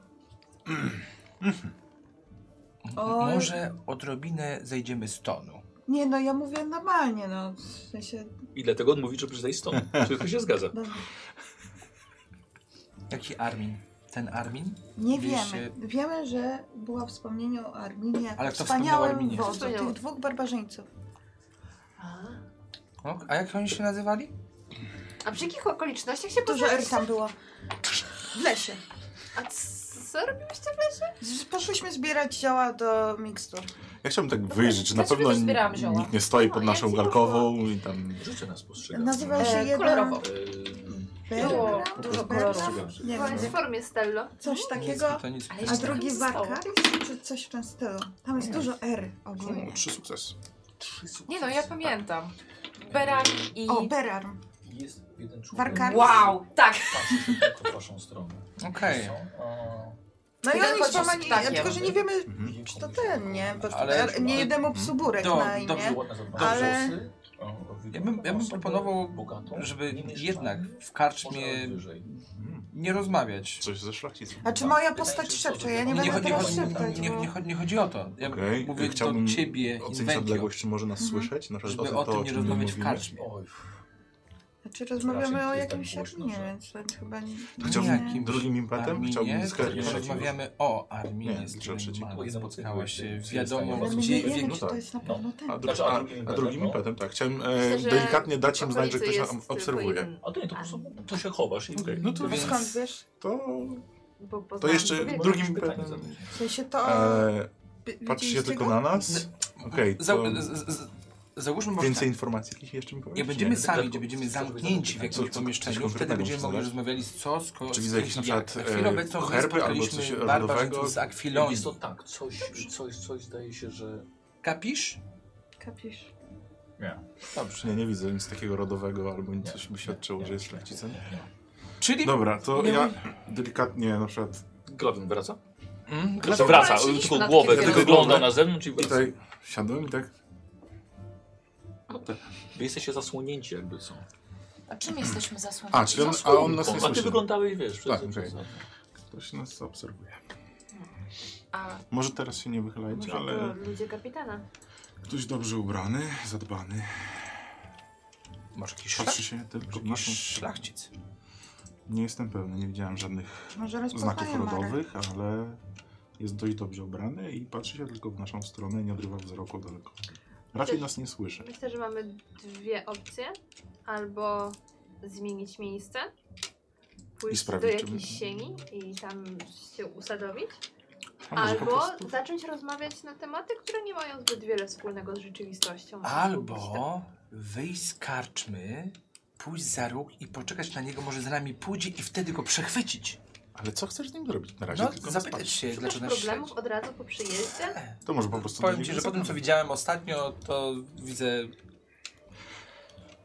Speaker 5: Oj.
Speaker 3: Może odrobinę zejdziemy z tonu.
Speaker 5: Nie no, ja mówię normalnie, no. W sensie, no,
Speaker 1: I dlatego on mówi, że przyjdzie stąd. Tylko się zgadza.
Speaker 5: dobra.
Speaker 3: Jaki Armin? Ten Armin?
Speaker 5: Nie
Speaker 3: Wiecie-
Speaker 5: wiemy. Wiemy, że była wspomnienie o Arminie,
Speaker 3: Ale
Speaker 5: Ale
Speaker 3: kto wspomniał o
Speaker 5: wspaniałym
Speaker 3: Arminie?
Speaker 6: Kto
Speaker 5: wodzu,
Speaker 6: wspomniał?
Speaker 5: tych dwóch barbarzyńców.
Speaker 6: A.
Speaker 3: O, a jak oni się nazywali?
Speaker 6: A przy jakich okolicznościach się
Speaker 5: Dużo R
Speaker 6: poznaliście?
Speaker 5: tam było. W lesie.
Speaker 6: A c- co robiłyście w lesie?
Speaker 5: Z- Poszłyśmy zbierać zioła do mikstur.
Speaker 8: Ja chciałbym tak wyjrzeć, czy na
Speaker 2: Dlaczego
Speaker 8: pewno
Speaker 2: nie zbierałam zioła?
Speaker 8: nikt nie stoi pod
Speaker 6: No,
Speaker 8: naszą
Speaker 6: ja
Speaker 8: galkową i tam...
Speaker 1: Życie nas postrzega. E,
Speaker 5: Nazywa się
Speaker 2: E,
Speaker 5: jeden...
Speaker 2: kolorowo.
Speaker 5: Bergram?
Speaker 2: dużo
Speaker 5: Bergram?
Speaker 8: kolorów.
Speaker 5: Nie
Speaker 6: Byłaś
Speaker 5: wiem.
Speaker 6: w formie Stello.
Speaker 5: Coś takiego.
Speaker 3: To nic.
Speaker 2: Ale
Speaker 5: A
Speaker 2: jeszcze
Speaker 5: drugi
Speaker 2: trochę zostało.
Speaker 5: Warkar? Czy coś w tym stylu. Tam jest dużo R ogólnie.
Speaker 8: No, Trzy sukcesy.
Speaker 2: Nie no, ja pamiętam. Berak i...
Speaker 5: O, Berarm.
Speaker 1: tak, Jest jeden człowiek.
Speaker 5: Warkar.
Speaker 2: wow, tak.
Speaker 1: Patrzy tylko w waszą stronę. e,
Speaker 3: Okej.
Speaker 5: No i
Speaker 2: Jeden
Speaker 5: oni
Speaker 2: chodzi z
Speaker 5: wspomnieli,
Speaker 2: ptakiem.
Speaker 5: tylko że nie wiemy,
Speaker 8: Mhm.
Speaker 5: czy to ten, nie? Bo
Speaker 3: Ale- no,
Speaker 5: R- nie jednemu psu burek
Speaker 3: Do-
Speaker 5: na
Speaker 3: dobrze,
Speaker 5: imię.
Speaker 1: Ale...
Speaker 5: Ale-
Speaker 1: Ja bym, ja bym proponował,
Speaker 3: żeby jednak w karczmie nie rozmawiać.
Speaker 8: Coś ze szlachcicą.
Speaker 5: A czy moja postać szepcze? Ja nie
Speaker 3: Nie,
Speaker 5: będę
Speaker 3: chodzi, nie,
Speaker 5: teraz
Speaker 3: chodzi,
Speaker 5: szeptać,
Speaker 3: nie,
Speaker 5: bo...
Speaker 3: nie, chodzi, nie chodzi o to. Ja
Speaker 8: Okej, e,
Speaker 3: mówię
Speaker 8: chciałbym
Speaker 3: do ciebie,
Speaker 8: Ocenić
Speaker 3: Inwentio,
Speaker 8: odległość, czy może nas słyszeć? Na przykład
Speaker 3: żeby
Speaker 8: o
Speaker 3: o
Speaker 8: tym, to,
Speaker 3: tym
Speaker 8: o
Speaker 3: nie
Speaker 8: czym
Speaker 3: rozmawiać w
Speaker 8: mówimy.
Speaker 3: karczmie.
Speaker 5: Znaczy rozmawiamy
Speaker 1: Raczej
Speaker 5: o
Speaker 1: jest
Speaker 5: jakimś
Speaker 1: tak głośno,
Speaker 5: Arminie,
Speaker 1: że-
Speaker 5: więc to chyba nie...
Speaker 8: To chciałbym
Speaker 3: Jakimś
Speaker 8: drugim impetem?
Speaker 3: Arminie,
Speaker 8: Chciałbym skrać
Speaker 3: tylko rozmawiamy o Arminie,
Speaker 8: Nie,
Speaker 3: z
Speaker 8: trzeba
Speaker 3: którym
Speaker 8: trzeci.
Speaker 3: Maria
Speaker 1: Powiedzmy,
Speaker 3: spotkała się,
Speaker 1: co
Speaker 3: wiadomo
Speaker 5: Ale my
Speaker 3: gdzie,
Speaker 5: nie
Speaker 3: w jakim
Speaker 5: wiemy,
Speaker 8: no
Speaker 5: czy to
Speaker 8: tak.
Speaker 5: jest na
Speaker 1: No.
Speaker 5: pewno ten.
Speaker 8: A, drugi,
Speaker 1: Znaczy, a
Speaker 8: a,
Speaker 1: drugim
Speaker 8: a
Speaker 1: impetem,
Speaker 8: drugim
Speaker 1: no.
Speaker 8: impetem, tak. Chciałem e,
Speaker 6: Myślę, że
Speaker 8: delikatnie dać im
Speaker 6: w
Speaker 8: znać, że
Speaker 6: okolicy
Speaker 8: ktoś
Speaker 6: jest
Speaker 8: nam
Speaker 6: tylko
Speaker 8: obserwuje.
Speaker 6: jeden.
Speaker 1: A to nie, to po prostu no, to się chowasz. I...
Speaker 8: Okej, No to,
Speaker 5: A
Speaker 3: Więc-
Speaker 5: skąd wiesz?
Speaker 8: to,
Speaker 6: Bo
Speaker 8: to
Speaker 6: poznałam
Speaker 8: jeszcze
Speaker 6: człowieka.
Speaker 8: drugim
Speaker 1: Możesz pytanie
Speaker 8: impetem.
Speaker 1: zadać.
Speaker 5: W sensie to...
Speaker 8: E,
Speaker 5: by-
Speaker 8: patrzycie
Speaker 5: widzieliście
Speaker 8: tylko
Speaker 5: go?
Speaker 8: na nas? Okej,
Speaker 3: Za,
Speaker 8: to
Speaker 3: z, z, z, załóżmy może
Speaker 8: więcej
Speaker 3: tak.
Speaker 8: informacji jakich jeszcze mi
Speaker 3: Nie
Speaker 8: powiesz?
Speaker 3: będziemy sami,
Speaker 1: tylko-
Speaker 3: gdzie będziemy
Speaker 1: chcesz coś
Speaker 3: zamknięci w
Speaker 1: zapytać?
Speaker 3: jakimś
Speaker 8: Co- co- coś
Speaker 3: pomieszczeniu, wtedy
Speaker 8: konkretnego
Speaker 3: będziemy
Speaker 8: musisz
Speaker 3: mogli
Speaker 8: zadać?
Speaker 3: rozmawiali z co, z ko,
Speaker 8: Czy
Speaker 3: z
Speaker 8: widzę jakiś
Speaker 3: kim,
Speaker 8: na
Speaker 3: jak.
Speaker 8: przykład,
Speaker 3: Na chwilę
Speaker 8: e,
Speaker 3: obecną my
Speaker 8: herby albo coś
Speaker 3: spotkaliśmy barbarzyńców
Speaker 8: rodowego?
Speaker 3: z Akwilonii.
Speaker 1: Jest to tak, coś, coś, coś zdaje się, że...
Speaker 3: Kapisz?
Speaker 5: Kapisz.
Speaker 3: Dobrze.
Speaker 8: Nie, nie widzę nic takiego rodowego albo nic,
Speaker 1: Nie.
Speaker 8: coś by świadczyło, że jest szlachcicem.
Speaker 3: Czyli...
Speaker 8: Dobra, to
Speaker 3: Nie
Speaker 8: ja delikatnie na przykład
Speaker 1: Glawin wraca?
Speaker 3: Mm,
Speaker 1: Znaczy
Speaker 2: Dlaczego
Speaker 1: wraca,
Speaker 2: walczyliśmy
Speaker 1: tylko
Speaker 2: nad
Speaker 1: głowę,
Speaker 2: kiedy
Speaker 1: tylko
Speaker 8: wiemy?
Speaker 1: wygląda na zewnątrz i wraca.
Speaker 8: tutaj siadłem i tak
Speaker 1: Wy jesteście zasłonięci jakby są.
Speaker 2: A czym jesteśmy zasłonięci?
Speaker 8: A, czyli on, a
Speaker 1: Zasłonką.
Speaker 8: on nas nie
Speaker 1: A ty
Speaker 8: słyszy.
Speaker 1: wyglądałeś, wiesz, przez...
Speaker 8: Tak,
Speaker 1: przez-
Speaker 8: okej. Ktoś nas obserwuje.
Speaker 2: A
Speaker 8: Może teraz się nie wychylajcie,
Speaker 6: Może to
Speaker 8: ale
Speaker 6: ludzie kapitana.
Speaker 8: ktoś dobrze ubrany, zadbany.
Speaker 3: Masz jakiś
Speaker 8: Patrzy
Speaker 3: szlach-
Speaker 8: się tylko w
Speaker 3: jakiś
Speaker 8: naszą...
Speaker 3: szlachcic.
Speaker 8: Nie jestem pewny, nie widziałem żadnych
Speaker 5: Może
Speaker 8: znaków
Speaker 5: rozpoznaję Marę.
Speaker 8: rodowych, ale jest dość dobrze ubrany i patrzy się tylko w naszą stronę i nie odrywa wzroku daleko. Raczej
Speaker 6: Też-
Speaker 8: nas nie słyszy.
Speaker 6: Myślę, że mamy dwie opcje. Albo zmienić miejsce, pójść do
Speaker 8: sprawdzić, czy
Speaker 6: jakiejś
Speaker 8: my-
Speaker 6: sieni i tam się usadowić,
Speaker 8: A może po
Speaker 6: albo
Speaker 8: prostu-
Speaker 6: zacząć rozmawiać na tematy, które nie mają zbyt wiele wspólnego z rzeczywistością.
Speaker 3: Albo wyjść z karczmy, pójść za róg i poczekać na niego, może za nami pójdzie i wtedy go przechwycić.
Speaker 8: Ale co chcesz z nim zrobić na razie?
Speaker 3: No,
Speaker 8: tylko
Speaker 3: zapytać
Speaker 8: patrz.
Speaker 3: się,
Speaker 6: Szukasz
Speaker 3: dlaczego nas
Speaker 6: tak, problemów
Speaker 3: śledzi.
Speaker 6: od razu po przyjeździe?
Speaker 8: To może po prostu... do
Speaker 3: Powiem ci,
Speaker 8: niego
Speaker 3: że po tym co
Speaker 8: zagadać.
Speaker 3: widziałem ostatnio, to widzę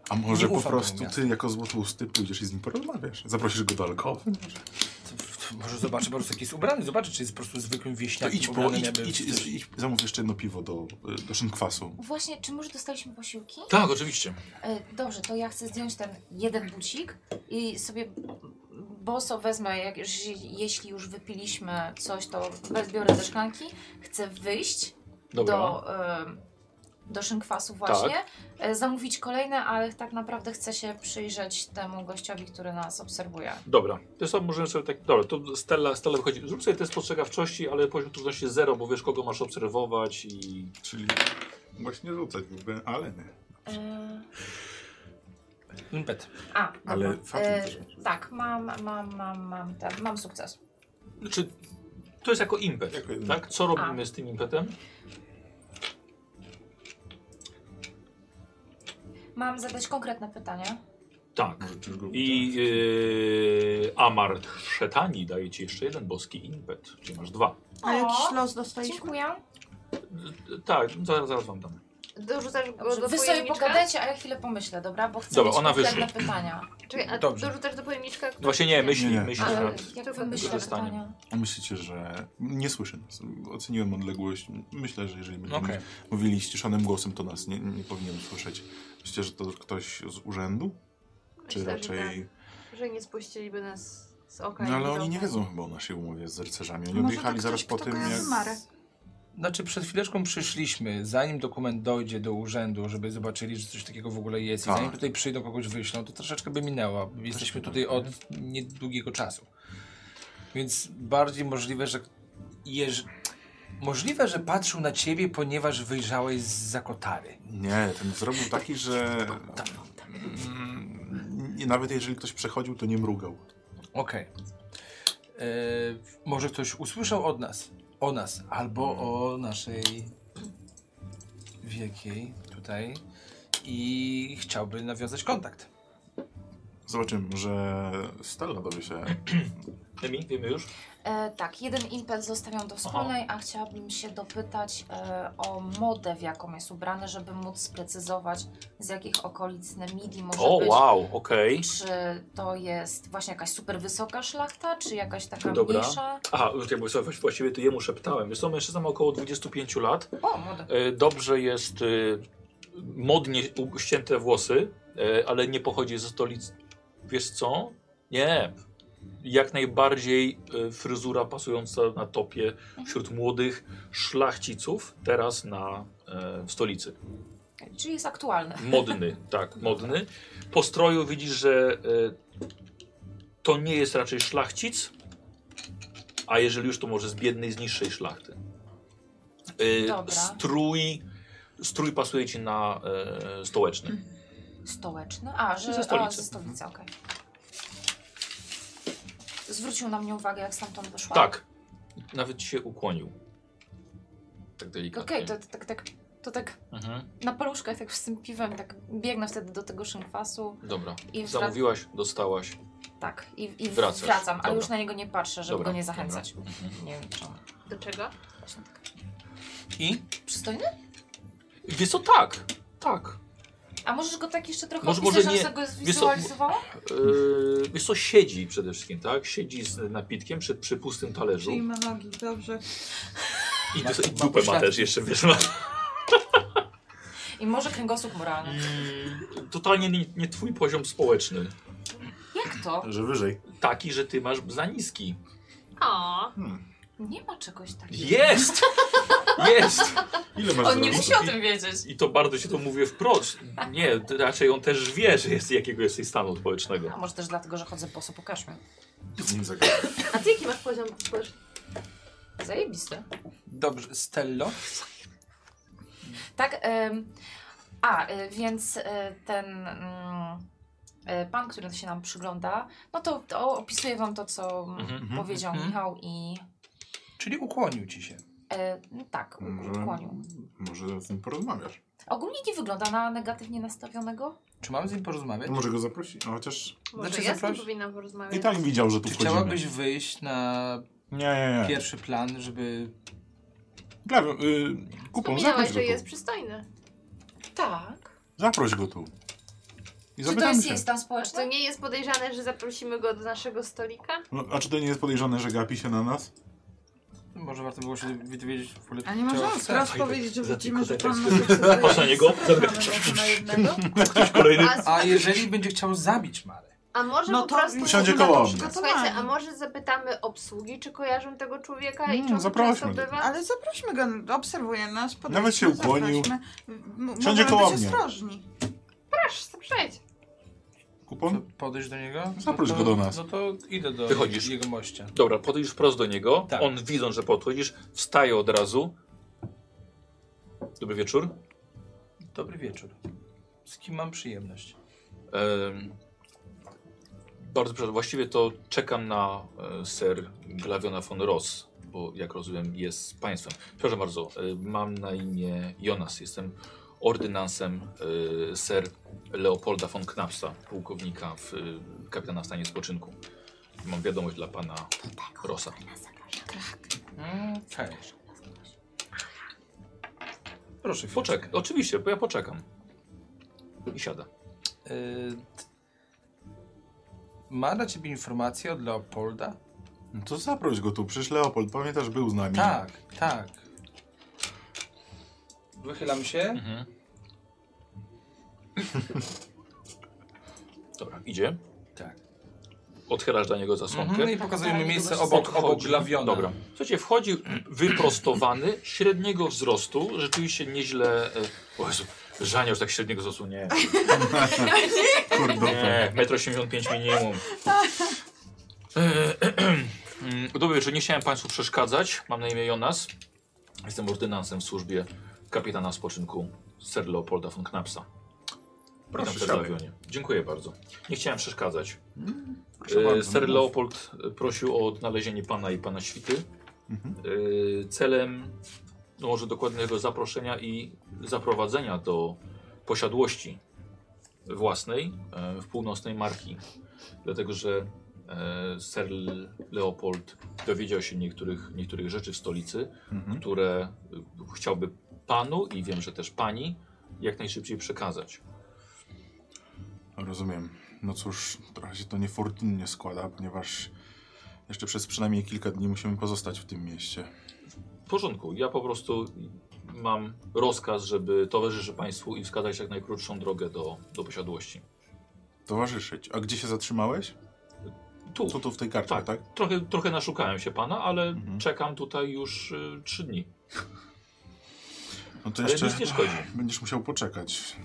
Speaker 8: A może
Speaker 3: nie
Speaker 8: po
Speaker 3: ufam
Speaker 8: prostu
Speaker 3: temu
Speaker 8: ty jako złotłusty pójdziesz i z nim porozmawiasz? Zaprosisz go do alkowy?
Speaker 3: To- to Może zobaczy po prostu, jaki jest ubrany, zobaczy, czy jest po prostu zwykłym
Speaker 8: To
Speaker 3: wieśniakiem.
Speaker 8: idź, po,
Speaker 3: ubranym
Speaker 8: idź,
Speaker 3: jakby w
Speaker 8: idź,
Speaker 3: coś.
Speaker 8: idź, idź, zamów jeszcze jedno piwo do, y, do szynkwasu.
Speaker 2: właśnie, czy może dostaliśmy posiłki?
Speaker 1: Tak, oczywiście.
Speaker 2: E, Dobrze, to ja chcę zdjąć ten jeden bucik i sobie boso wezmę, jak, już- jeśli już wypiliśmy coś, to wezbiorę ze szklanki. Chcę wyjść
Speaker 1: Dobra.
Speaker 2: do e, do szynkwasu właśnie, e, zamówić kolejne, ale tak naprawdę chcę się przyjrzeć temu gościowi, który nas obserwuje.
Speaker 1: Dobra, to sobie możemy sobie tak. Dobra, to Stella, Stella wychodzi. Zrób sobie test spostrzegawczości, ale poziom trudności jest zero, bo wiesz, kogo masz obserwować i.
Speaker 8: Czyli właśnie rzucać byłby, ale nie.
Speaker 2: E,
Speaker 3: Impet.
Speaker 2: a, dobra.
Speaker 8: Ale faktem
Speaker 2: e,
Speaker 8: też nie.
Speaker 2: Tak, mam, mam, mam, mam, ten, mam sukces.
Speaker 1: Czy Znaczy, to jest jako impet,
Speaker 8: Jako jedyny.
Speaker 1: tak? Co robimy z tym impetem?
Speaker 2: Mam zadać konkretne pytanie.
Speaker 1: Tak.
Speaker 8: Może też go
Speaker 1: I yy, Amar Szetani daje ci jeszcze jeden boski impet, czyli masz dwa.
Speaker 5: A jakiś
Speaker 2: O,
Speaker 5: los dostaliśmy?
Speaker 2: dziękuję.
Speaker 1: Yy, Tak, zaraz, zaraz wam dam.
Speaker 6: Dorzucasz go
Speaker 2: Dobrze,
Speaker 6: do
Speaker 2: wy sobie
Speaker 6: pojemniczka?
Speaker 2: pogadajcie, a ja chwilę pomyślę, dobra? Bo chcę
Speaker 1: Dobra,
Speaker 2: mieć
Speaker 1: ona
Speaker 2: konkretne pytania.
Speaker 6: Czekaj, a
Speaker 7: Dobrze.
Speaker 6: dorzucasz do pojemniczka? który-
Speaker 1: No Właśnie nie, myśli,
Speaker 8: Nie, nie.
Speaker 1: myśli.
Speaker 2: Ale
Speaker 1: nad-
Speaker 2: jak
Speaker 6: To
Speaker 2: wy myślę
Speaker 1: wykorzystanie.
Speaker 2: pytania?
Speaker 8: A myślicie, że... Nie słyszę nas. Oceniłem odległość. Myślę, że jeżeli będziemy
Speaker 3: Okej.
Speaker 8: mówili ściszonym głosem, to nas nie, nie powinien słyszeć. Myślicie, że to ktoś z urzędu? Czy
Speaker 6: Myślę, że
Speaker 8: raczej...
Speaker 6: tak, Że nie spuściliby nas z oka.
Speaker 8: No ale
Speaker 6: widzą.
Speaker 8: oni nie wiedzą chyba o naszej umowie z rycerzami. Oni
Speaker 5: Może tak
Speaker 8: odjechali
Speaker 5: to
Speaker 8: zaraz
Speaker 5: ktoś,
Speaker 8: po
Speaker 5: kto
Speaker 8: tym,
Speaker 5: kojarzy
Speaker 8: jak...
Speaker 5: Marę.
Speaker 3: Znaczy, przed chwileczką przyszliśmy, zanim dokument dojdzie do urzędu, żeby zobaczyli, że coś takiego w ogóle jest, i
Speaker 8: Tak.
Speaker 3: zanim tutaj przyjdą, kogoś wyślą, to troszeczkę by minęło. Jesteśmy tutaj od niedługiego czasu. Więc bardziej możliwe, że. Jeż... Możliwe, że patrzył na ciebie, ponieważ wyjrzałeś z zakotary.
Speaker 8: Nie, ten zrobił taki, że... Mm, i Nawet jeżeli ktoś przechodził, to nie mrugał.
Speaker 3: Okej. E, Może ktoś usłyszał od nas, o nas, albo o naszej wielkiej tutaj i chciałby nawiązać kontakt.
Speaker 8: Zobaczymy, może Stella dowie się.
Speaker 1: Emi, wiemy już.
Speaker 2: E, tak, jeden impet zostawiam do wspólnej, a chciałabym się dopytać e, o modę, w jaką jest ubrany, żeby móc sprecyzować, z jakich okolic Nemidi może
Speaker 1: O,
Speaker 2: być.
Speaker 1: wow, okej.
Speaker 2: Czy to jest właśnie jakaś super wysoka szlachta, czy jakaś taka
Speaker 1: Dobra.
Speaker 2: mniejsza?
Speaker 1: Aha, ja bo sobie właściwie to jemu szeptałem. Jest to mężczyzna ma około 25 lat.
Speaker 2: O, modę.
Speaker 1: E, Dobrze jest e, modnie u- ścięte włosy, e, ale nie pochodzi ze stolic. Wiesz co? Nie. Jak najbardziej e, fryzura pasująca na topie wśród młodych szlachciców, teraz na, e, w stolicy.
Speaker 2: Czyli jest aktualny.
Speaker 1: Modny, tak, modny. Po stroju widzisz, że e, to nie jest raczej szlachcic, a jeżeli już, to może z biednej, z niższej szlachty. E,
Speaker 2: Dobra.
Speaker 1: Strój, strój pasuje ci na e, stołeczny.
Speaker 2: Mhm. Stołeczny? A, że
Speaker 1: Ze stolicy.
Speaker 2: ze stolicy, a, ze stolicy okej. Zwrócił na mnie uwagę, jak stamtąd wyszła.
Speaker 1: Tak, nawet ci się ukłonił. Tak delikatnie.
Speaker 2: Okej, to, to, tak, tak, to tak
Speaker 1: Mhm.
Speaker 2: na paluszkach, tak z tym piwem, tak biegnę wtedy do tego szynkwasu
Speaker 1: Dobra,
Speaker 2: i wracam.
Speaker 1: zamówiłaś, dostałaś.
Speaker 2: Tak, i, i
Speaker 1: Wracasz.
Speaker 2: wracam,
Speaker 1: Dobra.
Speaker 2: ale już na niego nie patrzę, żeby
Speaker 1: Dobra,
Speaker 2: go nie zachęcać.
Speaker 1: Mhm.
Speaker 2: Nie wiem czemu.
Speaker 6: Do czego?
Speaker 2: Właśnie tak.
Speaker 3: I
Speaker 2: Przystojny?
Speaker 1: Wiesz co, tak, tak.
Speaker 2: A możesz go tak jeszcze trochę
Speaker 1: Może-
Speaker 2: może,
Speaker 1: może
Speaker 2: opisać,
Speaker 1: nie.
Speaker 2: żebym sobie go
Speaker 1: co,
Speaker 2: zwizualizowała?
Speaker 1: Yy, wiesz co, siedzi przede wszystkim, tak? Siedzi z napitkiem przy, przy pustym talerzu.
Speaker 5: Czyli ma nogi, dobrze.
Speaker 1: I,
Speaker 3: Ma-
Speaker 1: du- i
Speaker 3: ma
Speaker 1: dupę ma
Speaker 3: pośladki.
Speaker 1: też jeszcze, wiesz, ma.
Speaker 2: I może kręgosłup moralny.
Speaker 1: Mm, Totalnie nie, nie twój poziom społeczny.
Speaker 2: Jak to?
Speaker 8: Że wyżej.
Speaker 1: Taki, że ty masz za niski.
Speaker 6: O,
Speaker 2: Nie ma czegoś takiego.
Speaker 1: Jest! Jest!
Speaker 8: Ile masz
Speaker 2: On nie
Speaker 8: zrobić?
Speaker 2: musi o tym wiedzieć.
Speaker 1: I to bardzo się to mówię wprost. Nie, t- raczej on też wie, że jest jakiego jesteś stanu społecznego.
Speaker 2: A może też dlatego, że chodzę po sobie, pokaż mi.
Speaker 8: Z nim zagadać.
Speaker 6: a ty jaki masz poziom społeczny?
Speaker 2: Zajebiste.
Speaker 3: dobrze, Stello.
Speaker 2: Tak, em, a y, więc y, ten mm, y, pan, który się nam przygląda, no to, to opisuję wam to, co mm,
Speaker 1: Mhm,
Speaker 2: powiedział
Speaker 3: mhm.
Speaker 2: Michał i
Speaker 3: Czyli ukłonił ci się.
Speaker 2: e, no tak, u- ukłonił.
Speaker 8: Może z nim porozmawiasz.
Speaker 2: Ogólnie nie wygląda na negatywnie nastawionego.
Speaker 3: Czy mam z nim porozmawiać?
Speaker 8: Może go zaprosi. A chociaż
Speaker 6: Może
Speaker 3: Znaczy,
Speaker 6: ja z nim
Speaker 3: zaproś-
Speaker 6: powinnam porozmawiać.
Speaker 8: i tak widział, że tu
Speaker 3: Czy
Speaker 8: wchodzimy.
Speaker 3: chciałabyś wyjść na
Speaker 8: Nie, nie, nie.
Speaker 3: pierwszy plan, żeby.
Speaker 8: Prawie, y, kupon,
Speaker 6: Wspominałaś,
Speaker 8: zaproś go
Speaker 6: że
Speaker 8: tu.
Speaker 6: jest przystojny.
Speaker 2: Tak.
Speaker 8: Zaproś go tu. I
Speaker 2: Czy to
Speaker 8: zapytam
Speaker 2: jest
Speaker 8: się.
Speaker 2: jej stan
Speaker 6: Czy to
Speaker 2: społeczny?
Speaker 6: nie jest podejrzane, że zaprosimy go do naszego stolika?
Speaker 8: No, a czy to nie jest podejrzane, że gapi się na nas?
Speaker 3: no, Może warto było się dowiedzieć w ogóle.
Speaker 5: A nie
Speaker 3: czego
Speaker 5: możemy
Speaker 3: chce.
Speaker 5: teraz powiedzieć, że
Speaker 1: Za
Speaker 5: widzimy, że
Speaker 1: tylko
Speaker 5: pan
Speaker 1: tak- Patrz na niego.
Speaker 5: na jednego?
Speaker 1: Ktoś kolejny.
Speaker 6: A,
Speaker 3: A jeżeli będzie chciał zabić Marę?
Speaker 6: A może
Speaker 5: No
Speaker 6: po
Speaker 5: to
Speaker 6: prostu...
Speaker 8: Usiądzie
Speaker 5: jesteśmy na to
Speaker 8: koło mnie.
Speaker 5: przygotowani.
Speaker 6: Słuchajcie, a może zapytamy obsługi, czy kojarzą tego człowieka i
Speaker 8: Mm,
Speaker 6: czy on
Speaker 8: zaprośmy
Speaker 6: często
Speaker 8: go.
Speaker 6: bywa?
Speaker 5: Ale zaprośmy go, obserwuje nas. podejdźmy,
Speaker 8: Nawet się ukłonił.
Speaker 5: zaprośmy. M-
Speaker 8: Siądzie
Speaker 5: Możemy
Speaker 8: koło
Speaker 5: być
Speaker 8: mnie.
Speaker 5: ostrożni.
Speaker 6: Proszę, przejdź.
Speaker 3: To
Speaker 8: Kupon?
Speaker 3: podejść do niego?
Speaker 8: Zaproś
Speaker 3: No
Speaker 8: go
Speaker 3: to-
Speaker 8: do nas.
Speaker 3: No to idę do
Speaker 1: Wychodzisz.
Speaker 3: jego mościa.
Speaker 1: Dobra, podejdziesz wprost do niego.
Speaker 3: Tak.
Speaker 1: On widząc, że podchodzisz, wstaje od razu. Dobry wieczór.
Speaker 3: Dobry wieczór. Z kim mam przyjemność?
Speaker 1: Em, bardzo proszę, właściwie to czekam na e, ser Glawiona von Ross, bo jak rozumiem jest z państwem. Przepraszam bardzo, e, mam na imię Jonas, jestem ordynansem e, ser Leopolda von Knapsa, pułkownika, w, e, kapitana w stanie spoczynku. Mam wiadomość dla pana
Speaker 3: Tak.
Speaker 1: Rossa.
Speaker 3: Okej. Proszę, chwileczkę.
Speaker 1: Poczekaj, oczywiście, bo ja poczekam. I siada.
Speaker 3: Y, t- Ma dla ciebie informację od Leopolda?
Speaker 8: No to zaproś go tu, przecież Leopold, pamiętasz, był z nami.
Speaker 3: Tak, tak. Wychylam się.
Speaker 1: Mhm. Dobra, idzie.
Speaker 3: Tak.
Speaker 1: Odchylasz dla niego zasłonkę.
Speaker 3: Mhm, no i pokazuję mu miejsce obok,
Speaker 1: Podchodzi.
Speaker 3: obok glawiona.
Speaker 1: Dobra. Słuchajcie, wchodzi wyprostowany, średniego wzrostu, rzeczywiście nieźle... e, O Jezu, Żania już tak średniego wzrostu nie.
Speaker 8: Kurde.
Speaker 1: Nie, 1,85 m minimum. E, Mm, Dobry wieczór, nie chciałem Państwu przeszkadzać. Mam na imię Jonas. Jestem ordynansem w służbie kapitana spoczynku Sir Leopolda von Knapsa. Witam
Speaker 8: Proszę,
Speaker 1: w
Speaker 8: siadaj.
Speaker 1: Pelagonie. Dziękuję bardzo. Nie chciałem przeszkadzać.
Speaker 8: proszę
Speaker 1: E,
Speaker 8: bardzo, no,
Speaker 1: Sir
Speaker 8: mów.
Speaker 1: Leopold e, prosił o odnalezienie Pana i Pana świty.
Speaker 8: Mhm.
Speaker 1: E, Celem no może dokładnego zaproszenia i zaprowadzenia do posiadłości własnej e, w północnej marki. Dlatego, że e, Sir Leopold dowiedział się niektórych, niektórych rzeczy w stolicy,
Speaker 8: Mhm.
Speaker 1: które y, chciałby panu i wiem, że też pani jak najszybciej przekazać.
Speaker 8: Rozumiem. No cóż, trochę się to niefortunnie składa, ponieważ jeszcze przez przynajmniej kilka dni musimy pozostać w tym mieście.
Speaker 1: W porządku, ja po prostu mam rozkaz, żeby towarzyszyć państwu i wskazać jak najkrótszą drogę do, do posiadłości.
Speaker 8: Towarzyszyć. A gdzie się zatrzymałeś?
Speaker 1: Tu,
Speaker 8: Tu, tu w tej karcie,
Speaker 1: Tak.
Speaker 8: tak?
Speaker 1: Trochę, trochę naszukałem się pana, ale
Speaker 8: Mhm.
Speaker 1: czekam tutaj już y, trzy dni.
Speaker 8: No to
Speaker 1: Ale
Speaker 8: jeszcze
Speaker 1: nic nie szkodzi.
Speaker 8: będziesz musiał poczekać.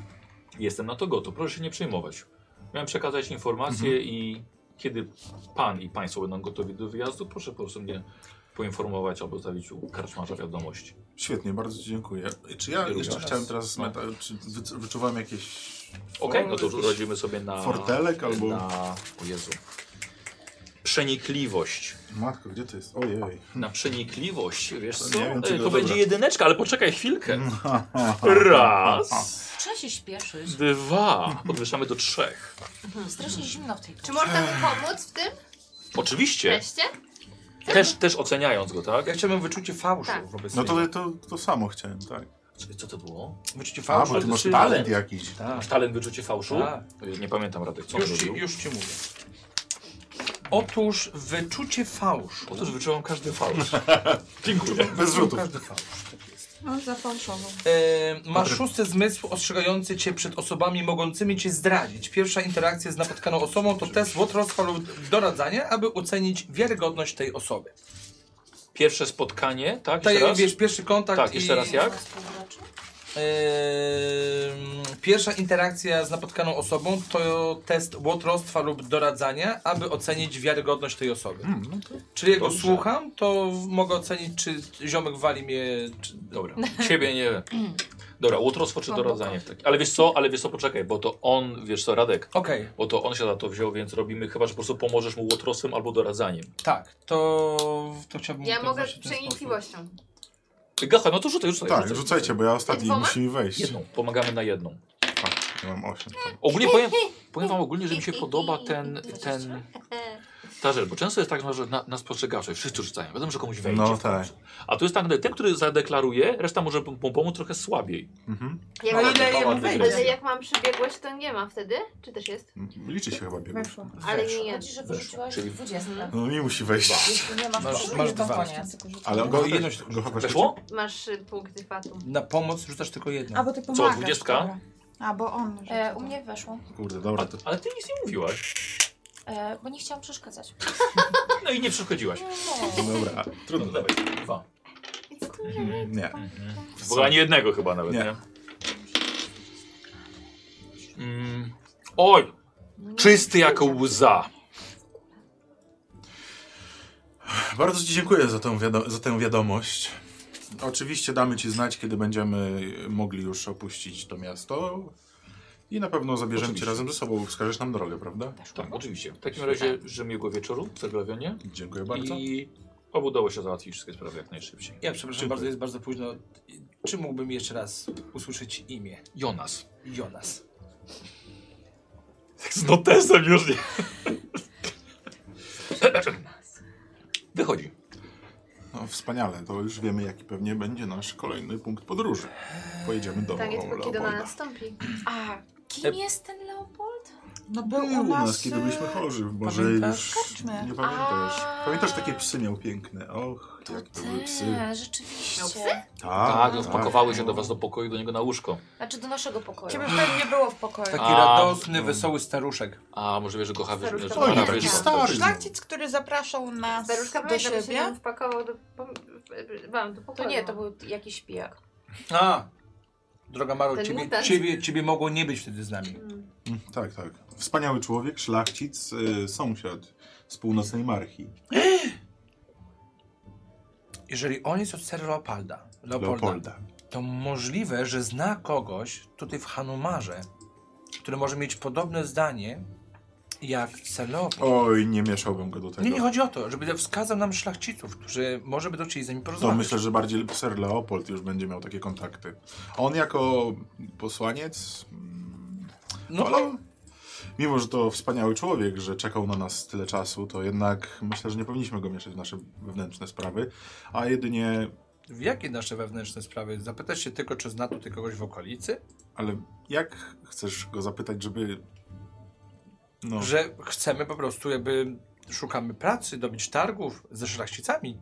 Speaker 1: Jestem na to gotów, proszę się nie przejmować. Miałem przekazać informacje
Speaker 8: Mhm.
Speaker 1: i kiedy pan i państwo będą gotowi do wyjazdu, proszę po prostu mnie poinformować albo zostawić u karczmarza wiadomości.
Speaker 8: Świetnie, bardzo Ci dziękuję. Czy ja
Speaker 1: Dziękuję.
Speaker 8: jeszcze chciałem teraz,
Speaker 1: No.
Speaker 8: meta- czy wy, wyczuwam jakieś...
Speaker 1: Okej, no to
Speaker 8: jakieś-
Speaker 1: już urodzimy sobie na...
Speaker 8: fortelek albo-
Speaker 1: Na... O Jezu. Przenikliwość.
Speaker 8: Matko, gdzie to jest? Ojej.
Speaker 1: Na przenikliwość, wiesz
Speaker 8: To
Speaker 1: co?
Speaker 8: nie wiem, czy
Speaker 1: Ej,
Speaker 8: to
Speaker 1: to będzie
Speaker 8: dobra.
Speaker 1: jedyneczka, ale poczekaj chwilkę. Raz,
Speaker 2: Trzeba się śpieszyć.
Speaker 1: dwa, podwyższamy do trzech.
Speaker 2: Strasznie zimno w tej
Speaker 6: Czy można mu pomóc w tym
Speaker 1: Oczywiście,
Speaker 6: teście?
Speaker 1: też, też oceniając go, tak?
Speaker 3: Ja chciałbym wyczucie fałszu
Speaker 6: Tak.
Speaker 3: wobec
Speaker 8: No to,
Speaker 3: niego.
Speaker 8: to, to samo chciałem, tak.
Speaker 1: Co- Co to było?
Speaker 3: Wyczucie
Speaker 8: A,
Speaker 3: fałszu.
Speaker 8: bo Ty masz
Speaker 1: czy-
Speaker 8: talent jakiś.
Speaker 3: Tak.
Speaker 1: Masz talent wyczucie fałszu?
Speaker 3: Tak.
Speaker 1: Nie pamiętam Radek, co on
Speaker 3: Już ci,
Speaker 1: robił.
Speaker 3: już ci mówię. Otóż wyczucie fałszu.
Speaker 1: Otóż wyczułam każdy fałsz. Dziękuję.
Speaker 8: Bez rzutów.
Speaker 3: Każdy fałsz. tak jest.
Speaker 5: No, zafałszował.
Speaker 3: E, masz szósty zmysł ostrzegający cię przed osobami mogącymi cię zdradzić. Pierwsza interakcja z napotkaną osobą to test Wotrostwa lub doradzania, aby ocenić wiarygodność tej osoby.
Speaker 1: Pierwsze spotkanie, tak?
Speaker 3: Tak,
Speaker 1: Jeszcze raz?
Speaker 3: wiesz, pierwszy kontakt
Speaker 1: Tak, jeszcze
Speaker 3: i-
Speaker 1: raz jak?
Speaker 3: Em, Pierwsza interakcja z napotkaną osobą to test łotrostwa lub doradzania, aby ocenić wiarygodność tej osoby. Czyli jak go
Speaker 1: Hmm, no Dobrze.
Speaker 3: słucham, to w- mogę ocenić, czy ziomek wali mnie. Czy...
Speaker 1: Dobra, ciebie nie. Dobra, łotrostwo czy doradzanie w takim. Ale wiesz co, ale wiesz co, poczekaj, bo to on, wiesz co, Radek,
Speaker 3: Okej,
Speaker 1: bo to on się za to wziął, więc robimy chyba, że po prostu pomożesz mu łotrostwem albo doradzaniem.
Speaker 3: tak, to, to chciałbym.
Speaker 6: Ja
Speaker 3: to
Speaker 6: mogę
Speaker 3: właśnie w ten
Speaker 6: przenikliwością.
Speaker 1: Gacha, no to rzucaj, rzucaj.
Speaker 8: Tak, rzucajcie, bo ja ostatni
Speaker 6: Dwoma?
Speaker 8: musi wejść.
Speaker 1: Jedną, pomagamy na jedną.
Speaker 8: A, ja mam osiem. tam.
Speaker 1: Ogólnie powiem, powiem wam ogólnie, że mi się podoba ten, ten,
Speaker 6: E.
Speaker 1: ta rzecz, bo często jest tak, no, że na, na spostrzegawczość wszyscy rzucają, wiadomo, że komuś wejdzie.
Speaker 8: No tak.
Speaker 1: A tu jest tak, że ten, który zadeklaruje, reszta może mu pomóc trochę słabiej.
Speaker 8: Mhm.
Speaker 6: Jak
Speaker 5: No
Speaker 6: mam,
Speaker 5: ile
Speaker 1: Mała
Speaker 5: jemu wejdzie?
Speaker 1: dygresja.
Speaker 6: ale jak mam przebiegłość, to nie ma wtedy? Czy też jest?
Speaker 8: Liczy się chyba biegł.
Speaker 5: Weszło.
Speaker 6: Ale
Speaker 3: Weszło.
Speaker 6: nie jest.
Speaker 2: Chodzi, że wyrzuciłaś
Speaker 1: Czyli-
Speaker 2: 20.
Speaker 8: No mi musi wejść.
Speaker 2: Jeśli nie masz,
Speaker 3: Masz-
Speaker 2: masz,
Speaker 3: masz
Speaker 2: to
Speaker 3: dwa.
Speaker 2: koniec.
Speaker 8: Ale go, jedność, go chyba
Speaker 1: Weszło?
Speaker 6: Masz y, punkty fatu.
Speaker 3: Na pomoc rzucasz tylko jedną.
Speaker 5: A, bo ty pomagasz.
Speaker 1: dwudziestka?
Speaker 5: dobra. A, bo on.
Speaker 2: E, u mnie weszło.
Speaker 8: Kurde, dobra.
Speaker 1: A,
Speaker 8: To...
Speaker 1: ale ty nic nie mówiłaś.
Speaker 2: E, bo nie chciałam przeszkadzać.
Speaker 1: No i nie przeszkodziłaś.
Speaker 2: No.
Speaker 8: Dobra, trudno dalej.
Speaker 1: Dwa.
Speaker 6: It's cool.
Speaker 8: Nie.
Speaker 1: Bo ani jednego chyba nawet, nie?
Speaker 8: Nie.
Speaker 1: Mm. Oj! Czysty jak łza.
Speaker 8: Bardzo Ci dziękuję za tę, wiado- za tę wiadomość. Oczywiście damy Ci znać, kiedy będziemy mogli już opuścić to miasto. I na pewno zabierzemy
Speaker 1: Oczywiście.
Speaker 8: Cię razem ze sobą. Wskażesz nam drogę, prawda?
Speaker 1: Tak, oczywiście. W takim razie, że miłego wieczoru w Serglawionie
Speaker 8: Dziękuję bardzo.
Speaker 1: i obu udało się załatwić wszystkie sprawy jak najszybciej.
Speaker 3: Ja przepraszam
Speaker 8: Dziękuję.
Speaker 3: bardzo, jest bardzo późno. Czy mógłbym jeszcze raz usłyszeć imię
Speaker 1: Jonas.
Speaker 3: Jonas?
Speaker 1: Tak z notesem już nie. Wychodzi.
Speaker 8: No, wspaniale, to już wiemy, jaki pewnie będzie nasz kolejny punkt podróży. Pojedziemy do
Speaker 5: Tak
Speaker 6: Pytanie
Speaker 4: no,
Speaker 6: tylko, kiedy ona
Speaker 8: Leopolda.
Speaker 6: nastąpi.
Speaker 2: A
Speaker 8: E,
Speaker 2: kim jest ten Leopold?
Speaker 5: No
Speaker 8: Był u nas, kiedy byliśmy
Speaker 5: e,
Speaker 8: chorzy. Może
Speaker 5: pamiętasz?
Speaker 8: już
Speaker 5: Karczmy.
Speaker 8: nie pamiętasz.
Speaker 2: A.
Speaker 8: Pamiętasz, takie psy miał piękne. Och,
Speaker 2: To
Speaker 8: jak to były
Speaker 2: te,
Speaker 8: psy.
Speaker 6: Miał psy?
Speaker 2: rzeczywiście.
Speaker 1: Tak, rozpakowały się do was do pokoju, do niego na łóżko.
Speaker 2: Znaczy do naszego pokoju.
Speaker 5: Ciebie wtedy nie było w pokoju.
Speaker 3: Taki
Speaker 1: A,
Speaker 3: radosny,
Speaker 8: no.
Speaker 3: wesoły staruszek.
Speaker 1: A może wiesz, że kocha
Speaker 6: Staruszka
Speaker 1: że
Speaker 6: była.
Speaker 1: kocha
Speaker 6: Oj, taki
Speaker 1: wyższą.
Speaker 8: stary.
Speaker 5: Szlachcic, który zapraszał nas
Speaker 6: Staruszka
Speaker 5: do
Speaker 6: pamiętam, że się
Speaker 5: siebie.
Speaker 6: nam wpakował do, pom- wam do
Speaker 2: To
Speaker 6: pokoju.
Speaker 2: nie, to był jakiś pijak.
Speaker 3: A! Droga Maro,
Speaker 6: Ten
Speaker 3: ciebie,
Speaker 6: mutant.
Speaker 3: ciebie, ciebie mogło nie być wtedy z nami.
Speaker 6: Mm.
Speaker 8: Mm, Tak, tak. Wspaniały człowiek, szlachcic, y, sąsiad z północnej marchi.
Speaker 3: Jeżeli on jest od Sir Leopolda, Leopolda,
Speaker 8: Leopolda.
Speaker 3: to możliwe, że zna kogoś tutaj w Hanumarze, który może mieć podobne zdanie jak Sir Leopold.
Speaker 8: Oj, nie mieszałbym go do tego.
Speaker 3: Nie, nie chodzi o to, żeby wskazał nam szlachciców, którzy może by do chcieli z nimi
Speaker 8: to
Speaker 3: porozmawiać.
Speaker 8: myślę, że bardziej Sir Leopold już będzie miał takie kontakty. On jako posłaniec. mm,
Speaker 3: No,
Speaker 8: ale mimo, że to wspaniały człowiek, że czekał na nas tyle czasu, to jednak myślę, że nie powinniśmy go mieszać w nasze wewnętrzne sprawy, a jedynie.
Speaker 3: W jakie nasze wewnętrzne sprawy? Zapytasz się tylko, czy zna tutaj kogoś w okolicy?
Speaker 8: Ale jak chcesz go zapytać, żeby. No.
Speaker 3: Że chcemy po prostu jakby szukamy pracy, dobić targów ze szlachcicami.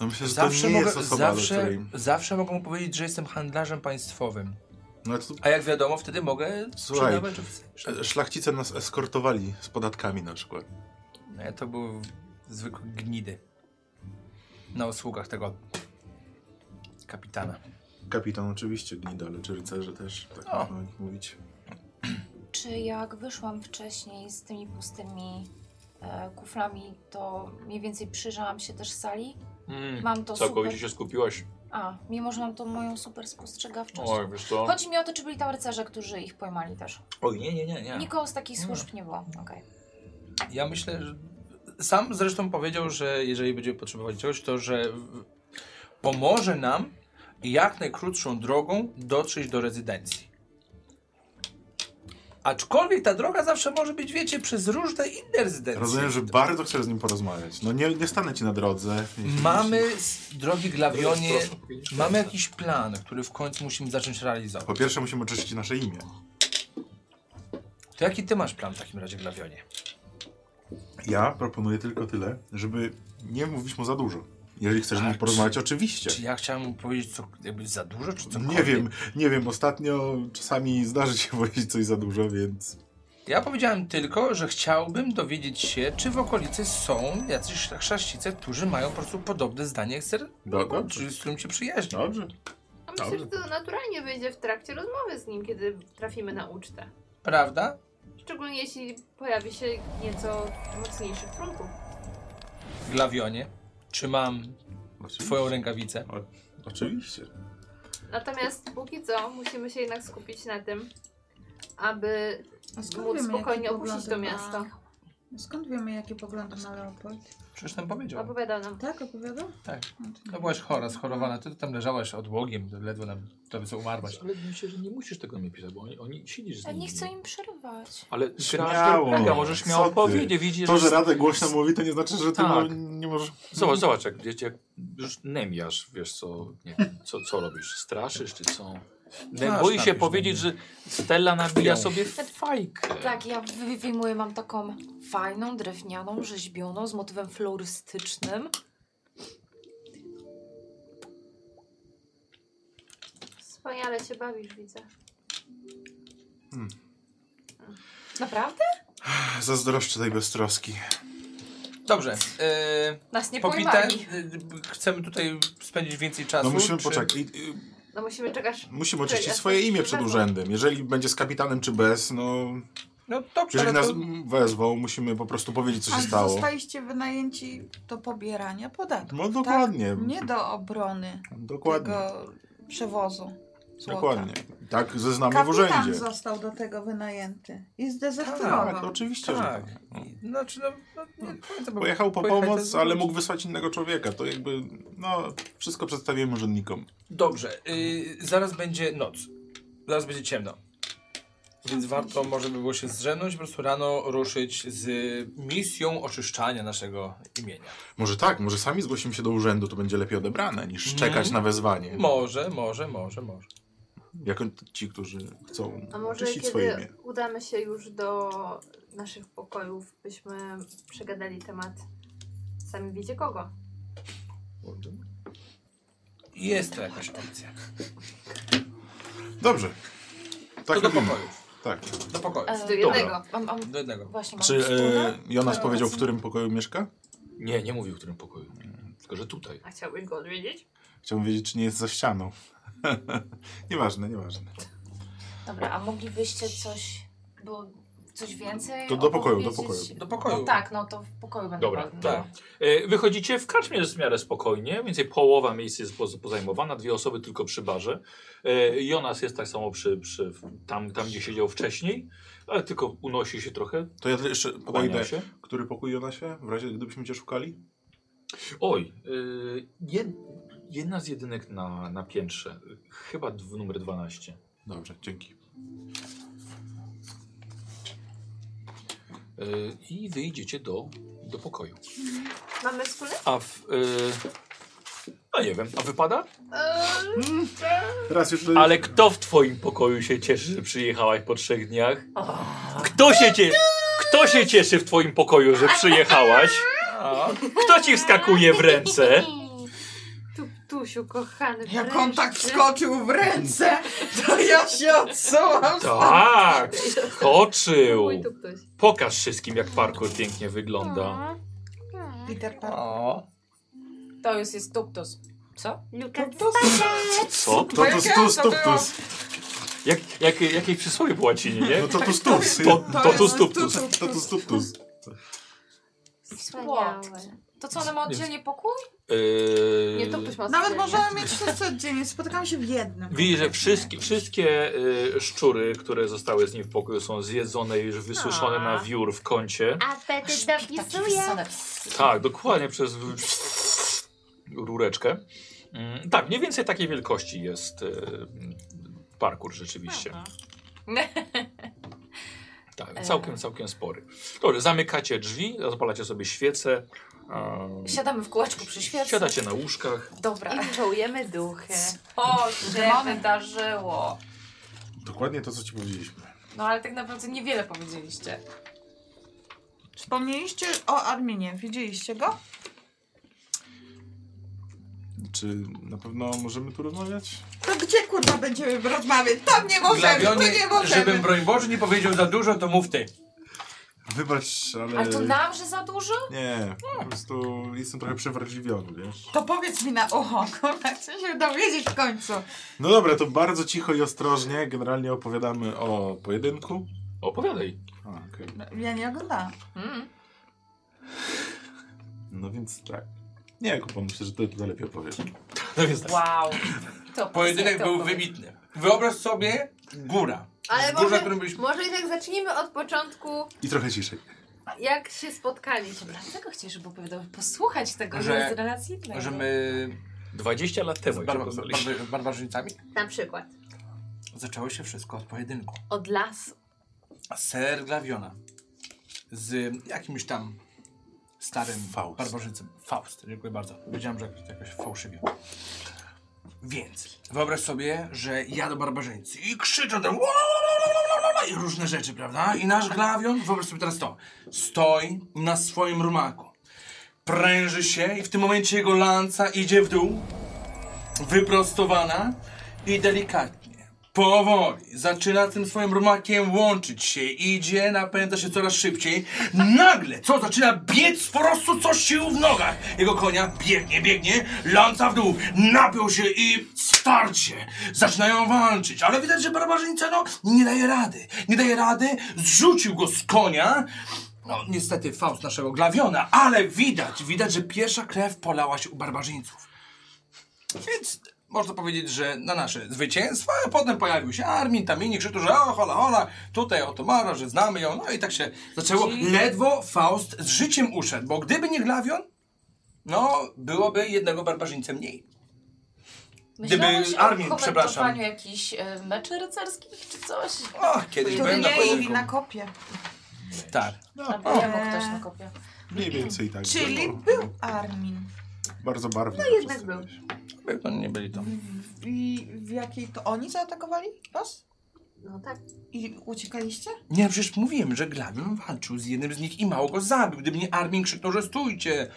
Speaker 8: no myślę, że to
Speaker 3: Zawsze,
Speaker 8: nie
Speaker 3: mogę,
Speaker 8: jest osoba, do
Speaker 3: zawsze,
Speaker 8: której.
Speaker 3: zawsze mogą powiedzieć, że jestem handlarzem państwowym.
Speaker 8: No, to
Speaker 3: A jak wiadomo, wtedy mogę
Speaker 8: Słuchaj, e,
Speaker 3: sprzedawać oficjalnie.
Speaker 8: Sz- Szlachcice nas eskortowali z podatkami na przykład.
Speaker 3: Nie, No to były zwykłe gnidy. Na usługach tego kapitana.
Speaker 8: Kapitan oczywiście gnida, ale czy rycerze też, tak
Speaker 3: O.
Speaker 8: można o nich mówić.
Speaker 2: Czy jak wyszłam wcześniej z tymi pustymi e, kuflami, to mniej więcej przyjrzałam się też sali?
Speaker 1: Mm,
Speaker 2: Mam to
Speaker 1: całkowicie
Speaker 2: super...
Speaker 1: się skupiłaś.
Speaker 2: A, mimo że mam tą moją super spostrzegawczość.
Speaker 1: Oj, wiesz
Speaker 8: no.
Speaker 1: co?
Speaker 2: Chodzi mi o to, czy byli tam rycerze, którzy ich pojmali też.
Speaker 1: Oj, nie, nie, nie, nie.
Speaker 2: Nikogo z takich
Speaker 3: Nie.
Speaker 2: służb nie było. Okej.
Speaker 3: Ja myślę, że sam zresztą powiedział, że jeżeli będziemy potrzebowali czegoś, to że w- pomoże nam jak najkrótszą drogą dotrzeć do rezydencji. Aczkolwiek ta droga zawsze może być, wiecie, przez różne inne rezydencje.
Speaker 8: Rozumiem, że bardzo chcę z nim porozmawiać. No nie, nie stanę ci na drodze. jeśli-
Speaker 3: Mamy, s- drogi Glawionie,
Speaker 1: Proszę powiedzieć,
Speaker 3: mamy jakiś plan, który w końcu musimy zacząć realizować.
Speaker 8: Po pierwsze musimy oczyścić nasze imię.
Speaker 3: To jaki ty masz plan w takim razie, Glawionie?
Speaker 8: Ja proponuję tylko tyle, żeby nie mówić mu za dużo. Jeżeli chcesz z
Speaker 3: A,
Speaker 8: nim
Speaker 3: czy-
Speaker 8: porozmawiać, oczywiście.
Speaker 3: Czy ja chciałem mu powiedzieć co, jakby za dużo, czy co?
Speaker 8: Nie wiem, nie wiem, ostatnio czasami zdarzy się powiedzieć coś za dużo, więc...
Speaker 3: Ja powiedziałem tylko, że chciałbym dowiedzieć się, czy w okolicy są jacyś szla- szlachcice, którzy mają po prostu podobne zdanie jak ser,
Speaker 8: No, dobrze.
Speaker 3: czy z którym się przyjaźni.
Speaker 8: Dobrze.
Speaker 6: A No, myślę, że to naturalnie wyjdzie w trakcie rozmowy z nim, kiedy trafimy na ucztę.
Speaker 3: Prawda?
Speaker 6: Szczególnie jeśli pojawi się nieco mocniejszych trunków.
Speaker 3: Glawionie, czy mam twoją rękawicę?
Speaker 8: Oczywiście.
Speaker 6: Natomiast póki co musimy się jednak skupić na tym, aby móc spokojnie opuścić to miasto.
Speaker 5: Skąd wiemy, jakie poglądy ma Leopold?
Speaker 3: Przecież tam powiedział.
Speaker 6: Opowiadał nam.
Speaker 5: Tak, opowiadał?
Speaker 3: Tak.
Speaker 5: No to nie.
Speaker 3: No byłaś chora, schorowana, ty tam leżałaś odłogiem, ledwo nam to co umarłaś.
Speaker 1: Ale myślę, że nie musisz tego mi pisać, bo oni, oni siedzisz z
Speaker 2: Ja
Speaker 1: nimi.
Speaker 2: nie chcę im przerywać.
Speaker 1: Ale
Speaker 8: Śmiało.
Speaker 1: śmiało. Ja może
Speaker 8: Co
Speaker 1: śmiało
Speaker 8: ty?
Speaker 1: powiedzieć, widzisz.
Speaker 8: To, że Radek głośno mówi, to nie znaczy, że ty
Speaker 1: Tak.
Speaker 8: mo- nie możesz...
Speaker 1: Zobacz, zobacz, jak wiecie, jak już nemiasz, wiesz co, nie wiem, co, co robisz, straszysz czy co? Ne,
Speaker 3: Masz
Speaker 1: boi się
Speaker 3: napisz
Speaker 1: powiedzieć,
Speaker 3: do
Speaker 1: że Stella nabija
Speaker 3: Krwią.
Speaker 1: sobie fajkę.
Speaker 2: Tak, ja wy- wyjmuję, mam taką fajną, drewnianą, rzeźbioną, z motywem florystycznym.
Speaker 6: Wspaniale się bawisz, widzę.
Speaker 2: Naprawdę?
Speaker 8: Zazdroszczę tej beztroski. No,
Speaker 3: Dobrze. Yy,
Speaker 2: Nas nie
Speaker 3: popite.
Speaker 2: pojmali.
Speaker 3: y, Chcemy tutaj spędzić więcej czasu.
Speaker 8: No musimy
Speaker 3: czy-
Speaker 8: poczekać. I, i,
Speaker 6: No musimy czekać.
Speaker 8: musimy
Speaker 6: Czekaj,
Speaker 8: oczyścić
Speaker 6: ja
Speaker 8: swoje
Speaker 6: sobie
Speaker 8: imię przed
Speaker 6: wezmę.
Speaker 8: urzędem. Jeżeli będzie z kapitanem czy bez, no...
Speaker 3: No dobrze,
Speaker 8: Jeżeli
Speaker 3: ale
Speaker 8: nas
Speaker 3: to...
Speaker 8: wezwą, musimy po prostu powiedzieć, co
Speaker 5: Ale
Speaker 8: się stało.
Speaker 5: zostaliście wynajęci do pobierania podatku.
Speaker 8: No dokładnie.
Speaker 5: Tak, Nie do obrony
Speaker 8: Dokładnie.
Speaker 5: tego przewozu. Złota.
Speaker 8: Dokładnie. Tak zeznamy w
Speaker 5: Kapitan
Speaker 8: urzędzie.
Speaker 5: został do tego wynajęty i
Speaker 8: Tak,
Speaker 5: zdezerterował.
Speaker 8: oczywiście,
Speaker 3: Tak.
Speaker 8: że tak.
Speaker 3: Znaczy, no, no, nie, powiedzmy, bo-
Speaker 8: Pojechał po
Speaker 3: pojechać
Speaker 8: pomoc,
Speaker 3: to
Speaker 8: ale
Speaker 3: zrobić.
Speaker 8: mógł wysłać innego człowieka. To jakby, no, wszystko przedstawiłem urzędnikom.
Speaker 3: Dobrze, y, zaraz będzie noc. Zaraz będzie ciemno. Więc warto może by było się zrzemnąć, po prostu rano ruszyć z misją oczyszczania naszego imienia.
Speaker 8: Może tak, może sami zgłosimy się do urzędu, to będzie lepiej odebrane, niż czekać
Speaker 3: Mhm.
Speaker 8: na wezwanie.
Speaker 3: Może, może, może, może.
Speaker 8: Jako ci, którzy chcą
Speaker 6: A może
Speaker 8: oczyścić swoje
Speaker 6: kiedy
Speaker 8: imię.
Speaker 6: udamy się już do naszych pokojów, byśmy przegadali temat. Sami wiecie kogo.
Speaker 3: Jest to jakaś opcja.
Speaker 8: Dobrze.
Speaker 3: To
Speaker 8: Tak
Speaker 3: do
Speaker 8: robimy.
Speaker 3: pokoju.
Speaker 8: Tak.
Speaker 3: Do pokoju.
Speaker 2: E,
Speaker 6: Do jednego.
Speaker 2: Mam, mam,
Speaker 3: Do jednego.
Speaker 2: właśnie, mam
Speaker 8: Czy
Speaker 2: wspólne?
Speaker 8: e, Jonas
Speaker 2: Tak,
Speaker 8: powiedział, w
Speaker 2: obecnie.
Speaker 8: którym pokoju mieszka?
Speaker 1: Nie, nie mówił w którym pokoju. Tylko, że tutaj.
Speaker 6: A chciałbyś go odwiedzić?
Speaker 8: Chciałbym wiedzieć, czy nie jest za ścianą. nieważne, nieważne.
Speaker 2: Dobra, a moglibyście coś, bo coś więcej
Speaker 8: To do pokoju, do
Speaker 2: opowiedzieć?
Speaker 8: pokoju.
Speaker 3: Do pokoju. tak.
Speaker 2: No tak, no to w pokoju będę.
Speaker 1: Dobra,
Speaker 2: robił.
Speaker 1: dobra. E, Wychodzicie, w karczmie jest w miarę spokojnie, mniej więcej połowa miejsc jest poz- pozajmowana, dwie osoby tylko przy barze. E, Jonas jest tak samo przy, przy w- tam, tam, gdzie siedział wcześniej, ale tylko unosi się trochę,
Speaker 8: To ja jeszcze
Speaker 1: kłania
Speaker 8: pójdę.
Speaker 1: się.
Speaker 8: Który pokój Jonasie? W razie gdybyśmy cię szukali?
Speaker 1: Oj, y, jed, jedna z jedynek na, na piętrze, chyba dw, numer 12.
Speaker 8: Dobrze, dzięki.
Speaker 1: Y, I wyjdziecie do, do pokoju.
Speaker 6: Mamy wspólny?
Speaker 1: A w... y, no nie wiem, a wypada?
Speaker 6: Eee,
Speaker 8: Teraz już...
Speaker 1: Ale kto w twoim pokoju się cieszy, że przyjechałaś po trzech dniach? Kto się cieszy? Kto się cieszy w twoim pokoju, że przyjechałaś?
Speaker 3: A,
Speaker 1: Kto ci wskakuje w ręce?
Speaker 6: tu, tusiu, kochany.
Speaker 5: Jak on tak
Speaker 6: wreszcie.
Speaker 5: wskoczył w ręce, to ja się odsułam.
Speaker 1: Tak, skoczył.
Speaker 6: Mój tu ktoś.
Speaker 1: Pokaż wszystkim, jak parkour pięknie wygląda.
Speaker 5: Peter Pan.
Speaker 3: o.
Speaker 2: To już jest tuptus. Co?
Speaker 6: Luka, Tak.
Speaker 1: Co?
Speaker 8: To tu stus,
Speaker 5: to
Speaker 8: tu
Speaker 5: było-
Speaker 8: stus.
Speaker 1: Jak, jak, jakie przysłowie po łacinie, nie?
Speaker 8: No to tu stus.
Speaker 1: To, to tu
Speaker 5: jest
Speaker 1: stuptus.
Speaker 8: To tu stus, tus.
Speaker 6: wspaniałe.
Speaker 2: To co, one ma oddzielnie pokój? Tak,
Speaker 1: Yy,
Speaker 6: Nie, to ktoś ma
Speaker 5: Nawet
Speaker 6: oddzielnie.
Speaker 5: możemy mieć wszyscy oddzielnie. Spotykam się w jednym.
Speaker 1: Widzisz, że wszystkie, wszystkie y, szczury, które zostały z nim w pokoju, są zjedzone i już wysuszone
Speaker 6: A.
Speaker 1: na wiór w kącie.
Speaker 4: Apetyt
Speaker 2: Taki
Speaker 4: dopisuje.
Speaker 2: wysony.
Speaker 1: Tak, dokładnie przez w- rureczkę. Mm, tak, mniej więcej takiej wielkości jest y, parkour rzeczywiście. Tak,
Speaker 6: E.
Speaker 1: całkiem, całkiem spory. Dobrze, zamykacie drzwi, zapalacie sobie świece. Um,
Speaker 2: Siadamy w kółeczku przy świetle.
Speaker 1: siadacie na łóżkach.
Speaker 2: Dobra.
Speaker 6: I wywołujemy duchy.
Speaker 2: O, się wydarzyło.
Speaker 8: Dokładnie to, co ci powiedzieliśmy.
Speaker 2: No ale tak naprawdę niewiele powiedzieliście.
Speaker 5: Wspomnieliście o Arminie. Widzieliście go?
Speaker 8: Czy na pewno możemy tu rozmawiać?
Speaker 5: To gdzie kurwa będziemy rozmawiać? Tam nie możemy, tu
Speaker 3: Glawionie,
Speaker 5: nie możemy.
Speaker 3: żebym broń Boże nie powiedział za dużo, to mów ty.
Speaker 8: Wybacz, ale...
Speaker 2: Ale to nam, że za dużo?
Speaker 8: Nie, po prostu jestem trochę przewrażliwiony, wiesz?
Speaker 5: To powiedz mi na ucho, kurwa, chcę się dowiedzieć w końcu.
Speaker 8: No dobra, to bardzo cicho i ostrożnie. Generalnie opowiadamy o pojedynku.
Speaker 1: Opowiadaj.
Speaker 8: A, okej.
Speaker 5: No, Ja nie oglądałam.
Speaker 2: Mm.
Speaker 8: No więc tak. Nie, Kuba, myślę, że ty to lepiej opowiesz.
Speaker 3: No więc
Speaker 2: Wow. To
Speaker 3: Pojedynek
Speaker 2: tak. to
Speaker 3: był
Speaker 2: powiedz.
Speaker 3: wybitny. Wyobraź sobie góra.
Speaker 6: Ale
Speaker 3: Górze,
Speaker 6: może,
Speaker 3: którym byliśmy.
Speaker 6: może i tak zacznijmy od początku,
Speaker 8: I trochę ciszej.
Speaker 6: jak się spotkaliśmy.
Speaker 2: Dobra, dlatego chciałeś, żeby opowiadał, posłuchać tego, że,
Speaker 3: Że-
Speaker 2: jest relacji innej.
Speaker 3: Że my
Speaker 1: 20 lat temu.
Speaker 3: z
Speaker 1: jak się
Speaker 3: barba,
Speaker 1: poznaliśmy.
Speaker 3: barba, barbarzyńcami
Speaker 6: Na przykład
Speaker 3: zaczęło się wszystko od pojedynku.
Speaker 6: od lasu.
Speaker 3: Ser Glaviona z jakimś tam starym
Speaker 8: Faust.
Speaker 3: barbarzyńcem. Faust, dziękuję bardzo. Wiedziałem, że jakoś, jakoś fałszywie. Więc wyobraź sobie, że ja do barbarzyńcy i krzyczę tam "Ła, la, la, la, la, la, la", i różne rzeczy, prawda? I nasz Glavion, wyobraź sobie teraz to, stoi na swoim rumaku. Pręży się i w tym momencie jego lanca idzie w dół, wyprostowana i delikatnie
Speaker 7: Powoli zaczyna tym swoim rumakiem łączyć się, idzie, napędza się coraz szybciej. Nagle, co zaczyna biec po prostu coś sił w nogach. Jego konia biegnie, biegnie, lanca w dół, napiął się i starcie. Zaczynają walczyć, ale widać, że barbarzyńca no nie daje rady. Nie daje rady, zrzucił go z konia. No, niestety Faust naszego glawiona, ale widać, widać, że pierwsza krew polała się u barbarzyńców. Więc można powiedzieć, że na nasze zwycięstwa, a potem pojawił się Armin, tam inni krzyczą, że o, hola, hola, tutaj oto Mara, że znamy ją, no i tak się zaczęło. Ledwo Faust z życiem uszedł, bo gdyby nie Glawion, no, byłoby jednego barbarzyńca mniej.
Speaker 2: Myślałeś
Speaker 7: Gdyby
Speaker 2: o
Speaker 7: Armin,
Speaker 2: komentowaniu
Speaker 7: przepraszam.
Speaker 2: jakichś e, meczy rycerskich czy coś?
Speaker 7: O, kiedyś
Speaker 5: Który
Speaker 7: byłem na
Speaker 5: nie i
Speaker 7: pojedynku.
Speaker 5: na kopie.
Speaker 3: Tak.
Speaker 2: Albo jemu ktoś nakopie.
Speaker 8: Mniej więcej tak.
Speaker 5: Czyli
Speaker 8: było.
Speaker 5: był Armin.
Speaker 8: Bardzo barwnie.
Speaker 6: No jednak
Speaker 8: przedstawiłeś.
Speaker 6: był.
Speaker 3: No, nie byli to.
Speaker 5: I w jakiej to oni zaatakowali was?
Speaker 6: No tak.
Speaker 5: I uciekaliście?
Speaker 7: Nie, no przecież mówiłem, że Glawion walczył z jednym z nich i mało go zabił. Gdyby nie Armin krzyknął, że stójcie,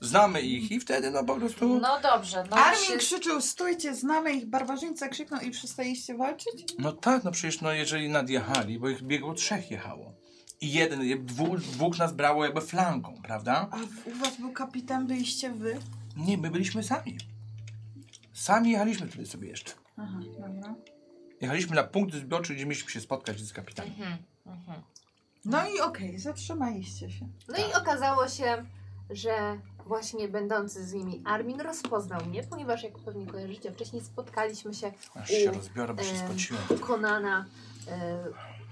Speaker 7: znamy ich i wtedy no po prostu...
Speaker 2: No dobrze, no
Speaker 5: Armin
Speaker 2: się-
Speaker 5: krzyczał, stójcie, znamy ich, barbarzyńca krzyknął i przestaliście walczyć?
Speaker 7: No tak, no przecież no jeżeli nadjechali, bo ich biegło trzech jechało. I jeden, je- dwóch, dwóch nas brało jakby flanką, prawda?
Speaker 5: A w- u was był kapitan, byliście wy?
Speaker 7: Nie, my byliśmy sami. Sami jechaliśmy wtedy sobie jeszcze.
Speaker 5: Aha, dobra.
Speaker 7: Jechaliśmy na punkt zbiorczy, gdzie mieliśmy się spotkać z kapitanem.
Speaker 2: Mhm, mhm.
Speaker 5: No i okej, zatrzymaliście się.
Speaker 6: No i okazało się, że właśnie będący z nimi Armin rozpoznał mnie, ponieważ jak pewnie kojarzycie, wcześniej spotkaliśmy się
Speaker 3: Aż się
Speaker 6: U,
Speaker 3: rozbiorę, bo się
Speaker 6: em,
Speaker 3: spociłem.
Speaker 6: u Konana. e,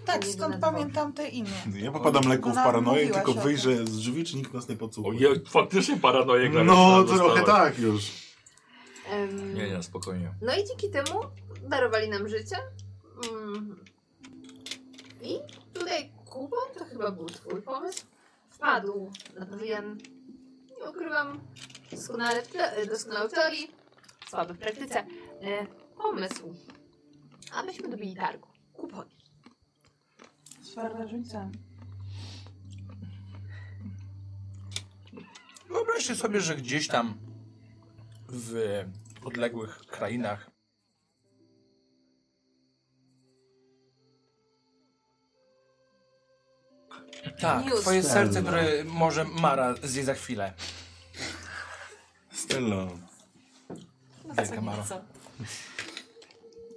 Speaker 5: Tak,
Speaker 6: nie
Speaker 5: stąd
Speaker 6: nazywał.
Speaker 5: pamiętam te imię.
Speaker 8: Ja popadam lekko w
Speaker 5: Ona
Speaker 8: paranoję i
Speaker 5: No, mówiłaś
Speaker 8: tylko
Speaker 5: o tym.
Speaker 8: wyjrzę z drzwi, czy nikt nas nie podsłuchuje.
Speaker 1: Ojej, faktycznie paranoję gra.
Speaker 8: No, trochę tak już.
Speaker 6: em,
Speaker 1: Nie, nie, spokojnie.
Speaker 6: No i dzięki temu darowali nam życie. Mm. I tutaj Kubon, to chyba był twój pomysł, wpadł na pewien, nie ukrywam, doskonały, te- doskonały w teorii, słaby w praktyce, e, pomysł, abyśmy dobili targu. Kupon.
Speaker 5: Z barbarzyńcami.
Speaker 3: Wyobraźcie sobie, że gdzieś tam w odległych krainach Tak,
Speaker 6: News.
Speaker 3: twoje serce, które może Mara zje za chwilę.
Speaker 8: Stella.
Speaker 2: No,
Speaker 3: Wielka
Speaker 2: co nie
Speaker 3: Maro.
Speaker 2: chcą.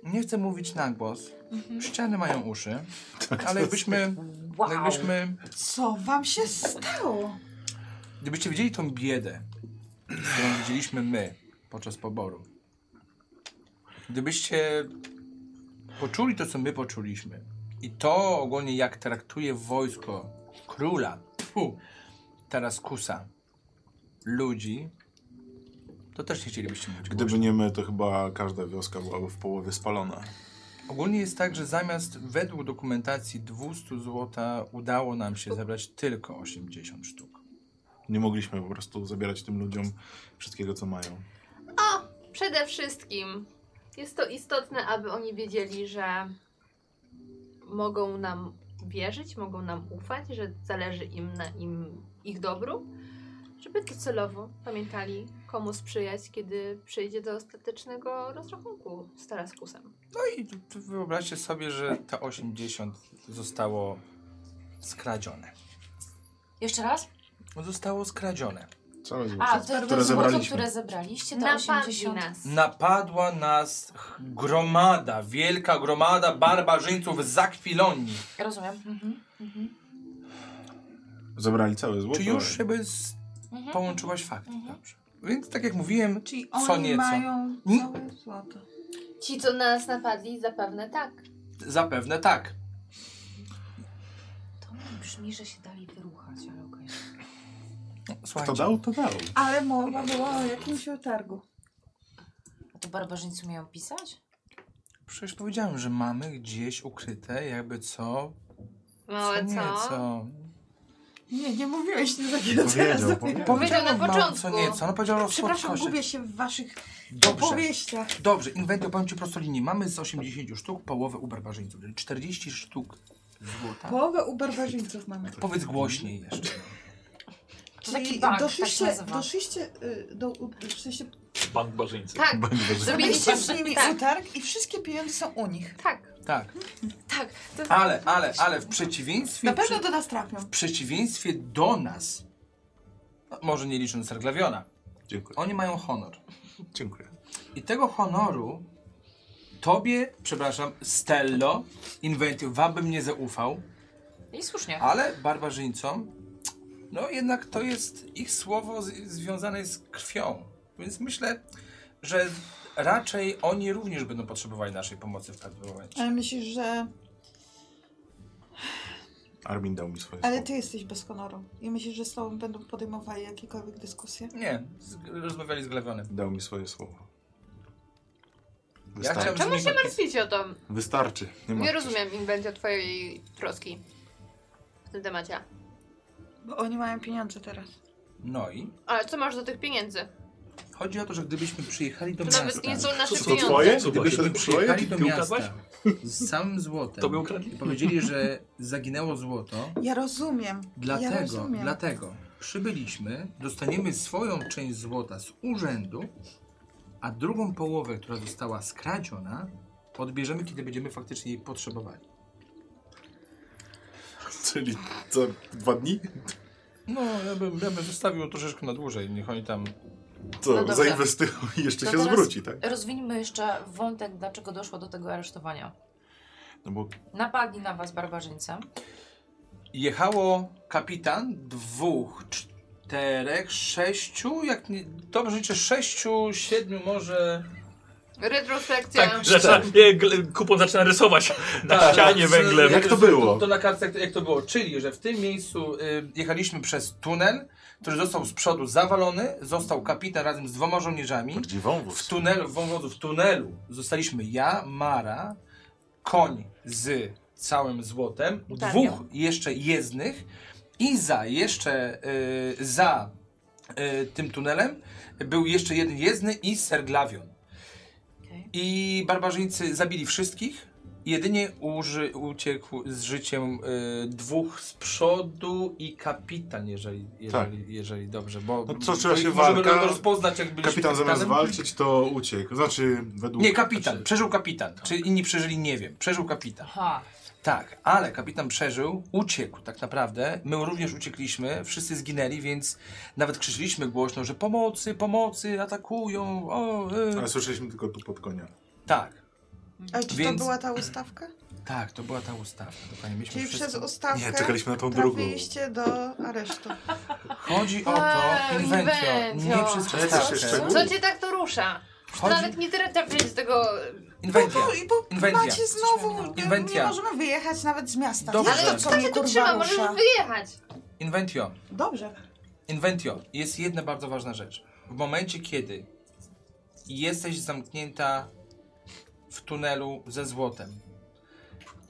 Speaker 3: Nie chcę mówić na głos. Ściany mają uszy. Ale jakbyśmy,
Speaker 2: Wow.
Speaker 3: No jakbyśmy
Speaker 5: Co wam się stało?
Speaker 3: Gdybyście wiedzieli tą biedę, którą widzieliśmy my podczas poboru, gdybyście poczuli to, co my poczuliśmy i to ogólnie, jak traktuje wojsko króla, tfu, teraz kusa, ludzi, to też nie chcielibyście mówić
Speaker 8: Gdyby nie my, to chyba każda wioska byłaby w połowie spalona.
Speaker 3: Ogólnie jest tak, że zamiast według dokumentacji 200 złota udało nam się zebrać tylko 80 sztuk.
Speaker 8: Nie mogliśmy po prostu zabierać tym ludziom wszystkiego, co mają.
Speaker 6: Przede wszystkim jest to istotne, aby oni wiedzieli, że mogą nam wierzyć, mogą nam ufać, że zależy im na im, ich dobru, żeby docelowo pamiętali, komu sprzyjać, kiedy przyjdzie do ostatecznego rozrachunku z Taraskusem.
Speaker 3: I tu- tu wyobraźcie sobie, że te 80 zostało skradzione.
Speaker 2: Jeszcze raz?
Speaker 3: No Zostało skradzione.
Speaker 8: Całe
Speaker 2: A,
Speaker 8: złoto,
Speaker 2: to złoto,
Speaker 8: które zebraliśmy.
Speaker 2: które zebraliście, to
Speaker 6: Napadli
Speaker 2: 80.
Speaker 6: nas.
Speaker 3: Napadła nas ch- gromada, wielka gromada barbarzyńców z Akwilonii.
Speaker 2: Rozumiem. Mhm, mhm,
Speaker 8: Zebrali całe złoto.
Speaker 3: Czy już jakby s-
Speaker 2: mhm.
Speaker 3: połączyłaś fakty? Dobrze. Więc tak jak mówiłem,
Speaker 5: Czyli
Speaker 3: Co
Speaker 5: oni
Speaker 3: nieco.
Speaker 5: mają
Speaker 3: Nie-
Speaker 5: całe złoto.
Speaker 6: Ci, co nas napadli, zapewne tak.
Speaker 3: zapewne tak.
Speaker 2: To mi brzmi, że się dali wyruchać, ale okej.
Speaker 3: Słuchajcie,
Speaker 8: Kto dał, to dał.
Speaker 5: Ale mowa była o jakimś otargu.
Speaker 2: A to barbarzyńcy umieją pisać?
Speaker 3: przecież powiedziałem, że mamy gdzieś ukryte jakby co,
Speaker 6: Małe
Speaker 3: co
Speaker 6: No, co?
Speaker 3: nieco.
Speaker 5: Nie, nie mówiłeś nic takiego teraz
Speaker 8: Powiedział,
Speaker 5: dopiero.
Speaker 8: powiedział.
Speaker 6: Powiedział na
Speaker 3: Mało Co
Speaker 6: początku.
Speaker 3: nieco, no powiedział o
Speaker 5: Przepraszam,
Speaker 3: słodkościach.
Speaker 5: gubię się w waszych
Speaker 3: Dobrze.
Speaker 5: opowieściach.
Speaker 3: Dobrze, inwentio powiem ci prosto linii. Mamy z 80 sztuk połowę u barbarzyńców, czyli 40 sztuk złota.
Speaker 5: Połowę u barbarzyńców mamy.
Speaker 3: Powiedz głośniej jeszcze.
Speaker 2: To taki
Speaker 5: Czyli
Speaker 2: bank, tak się
Speaker 5: doszliście,
Speaker 2: nazywa.
Speaker 5: doszliście, y, do, u- w sensie
Speaker 1: bank barzyńcy.
Speaker 6: Tak, zrobiliście
Speaker 5: Byliście z nimi
Speaker 6: tak,
Speaker 5: utarg i wszystkie pieniądze są u nich.
Speaker 6: tak.
Speaker 3: Tak.
Speaker 2: Tak, to
Speaker 3: Ale, ale, ale w przeciwieństwie.
Speaker 5: Na pewno do nas trafią.
Speaker 3: W przeciwieństwie do nas. no, Może nie licząc Serglawiona.
Speaker 8: Dziękuję.
Speaker 3: Oni mają honor.
Speaker 8: Dziękuję.
Speaker 3: I tego honoru tobie, przepraszam, Stello, Inventive, wam bym nie zaufał,
Speaker 2: i słusznie.
Speaker 3: ale barbarzyńcom, no jednak to jest ich słowo z, związane jest z krwią. Więc myślę, że raczej oni również będą potrzebowali naszej pomocy w pewnym momencie.
Speaker 5: Ale myślisz, że...
Speaker 8: Armin dał mi swoje
Speaker 5: Ale
Speaker 8: słowo.
Speaker 5: ty jesteś bez honoru. I myślisz, że z tobą będą podejmowali jakiekolwiek dyskusje?
Speaker 3: Nie, z, rozmawiali z Glawionem.
Speaker 1: No,
Speaker 8: Dał mi swoje słowo.
Speaker 3: Ja chciałem
Speaker 8: Wystarczy.
Speaker 6: Czemu
Speaker 3: z
Speaker 6: się
Speaker 3: nim-
Speaker 6: martwicie o to?
Speaker 8: Wystarczy. Nie ma
Speaker 6: Nie rozumiem inwencja twojej troski w tym temacie.
Speaker 5: Bo oni mają pieniądze teraz.
Speaker 3: No i
Speaker 6: Ale co masz do tych pieniędzy?
Speaker 3: chodzi o to, że gdybyśmy przyjechali do
Speaker 6: To
Speaker 3: miasta...
Speaker 6: nawet nie są nasze
Speaker 1: To
Speaker 6: pieniądze.
Speaker 1: twoje?
Speaker 3: Gdybyśmy
Speaker 1: Zobaczcie,
Speaker 3: przyjechali do
Speaker 1: Ty
Speaker 3: miasta
Speaker 1: ukradłaś?
Speaker 3: z samym złotem
Speaker 1: Tobie ukradli?
Speaker 3: i powiedzieli, że zaginęło złoto,
Speaker 5: Ja rozumiem. ja
Speaker 3: dlatego,
Speaker 5: rozumiem.
Speaker 3: dlatego przybyliśmy, dostaniemy swoją część złota z urzędu, a drugą połowę, która została skradziona, odbierzemy, kiedy będziemy faktycznie jej potrzebowali.
Speaker 8: Czyli co, dwa dni?
Speaker 3: No, ja bym, ja bym zostawił troszeczkę na dłużej, niech oni tam...
Speaker 8: Co,
Speaker 2: No dobra.
Speaker 8: zainwestują i jeszcze
Speaker 2: To
Speaker 8: się
Speaker 2: teraz-
Speaker 8: zwróci, tak?
Speaker 2: Rozwiniemy jeszcze wątek, dlaczego doszło do tego aresztowania.
Speaker 8: No bo
Speaker 2: Napadli na was barbarzyńcy.
Speaker 3: Jechało kapitan dwóch, czterech, sześciu, jak nie, dobrze liczę, sześciu, siedmiu może...
Speaker 6: Retrospekcja.
Speaker 1: Tak, zaczyna, e, gle- kupon zaczyna rysować na
Speaker 3: Tak,
Speaker 1: ścianie
Speaker 3: z-
Speaker 1: węglem.
Speaker 8: Jak to było?
Speaker 3: To, to na kartce, jak to, jak to było. Czyli, że w tym miejscu y, jechaliśmy przez tunel, który został z przodu zawalony, został kapitan razem z dwoma żołnierzami.
Speaker 8: bardziej wąwóz.
Speaker 3: W tunelu, w wąwozu, w tunelu zostaliśmy ja, Mara, koń z całym złotem,
Speaker 6: Utaniał.
Speaker 3: dwóch jeszcze jezdnych i za jeszcze y, za y, tym tunelem był jeszcze jeden jezdny i Serglawion.
Speaker 2: Okej.
Speaker 3: I barbarzyńcy zabili wszystkich. Jedynie uży, uciekł z życiem y, dwóch z przodu i kapitan, jeżeli, jeżeli, jeżeli dobrze. Bo,
Speaker 8: Tak. No co,
Speaker 3: bo
Speaker 8: trzeba
Speaker 3: ich
Speaker 8: się
Speaker 3: możemy
Speaker 8: walka-
Speaker 3: rozpoznać, jak byliśmy
Speaker 8: Kapitan zamiast
Speaker 3: kapitanem.
Speaker 8: walczyć, to uciekł. Znaczy, według...
Speaker 3: Nie, kapitan.
Speaker 8: znaczy,
Speaker 3: Przeżył kapitan. Czy inni przeżyli, nie wiem. Przeżył kapitan.
Speaker 2: Aha,
Speaker 3: Tak, ale kapitan przeżył, uciekł tak naprawdę. My również uciekliśmy, wszyscy zginęli, więc nawet krzyczeliśmy głośno, że pomocy, pomocy, atakują. O, y.
Speaker 8: Ale słyszeliśmy tylko tu pod konia.
Speaker 3: Tak,
Speaker 5: Ale czy
Speaker 3: Więc-
Speaker 5: to była ta ustawka?
Speaker 3: tak, to była ta ustawka. Dokładnie mieliśmy
Speaker 5: Czyli
Speaker 3: wszystko.
Speaker 5: przez ustawkę
Speaker 8: Nie, czekaliśmy na tą drugą.
Speaker 5: trafiliście do aresztu.
Speaker 3: Chodzi o to,
Speaker 6: Eee,
Speaker 3: Inventio,
Speaker 6: Inventio.
Speaker 3: nie przez
Speaker 8: Ale
Speaker 3: ustawkę.
Speaker 8: też jeszcze-
Speaker 6: Co cię tak to rusza? To
Speaker 3: Chodzi...
Speaker 6: nawet nie tyle trafiłeś z tego...
Speaker 5: Bo,
Speaker 3: Inventio.
Speaker 5: bo, No i bo
Speaker 3: Inwentia.
Speaker 5: macie znowu,
Speaker 3: Inwentia.
Speaker 5: nie możemy wyjechać nawet z miasta.
Speaker 3: Dobrze.
Speaker 5: Ale
Speaker 3: Co
Speaker 5: to, co
Speaker 6: Kto cię
Speaker 5: mnie
Speaker 6: tu
Speaker 5: kurwa
Speaker 6: trzyma? Możesz
Speaker 5: rusza.
Speaker 6: wyjechać.
Speaker 3: Inventio.
Speaker 5: Dobrze.
Speaker 3: Inventio, jest jedna bardzo ważna rzecz. W momencie, kiedy jesteś zamknięta w tunelu ze złotem,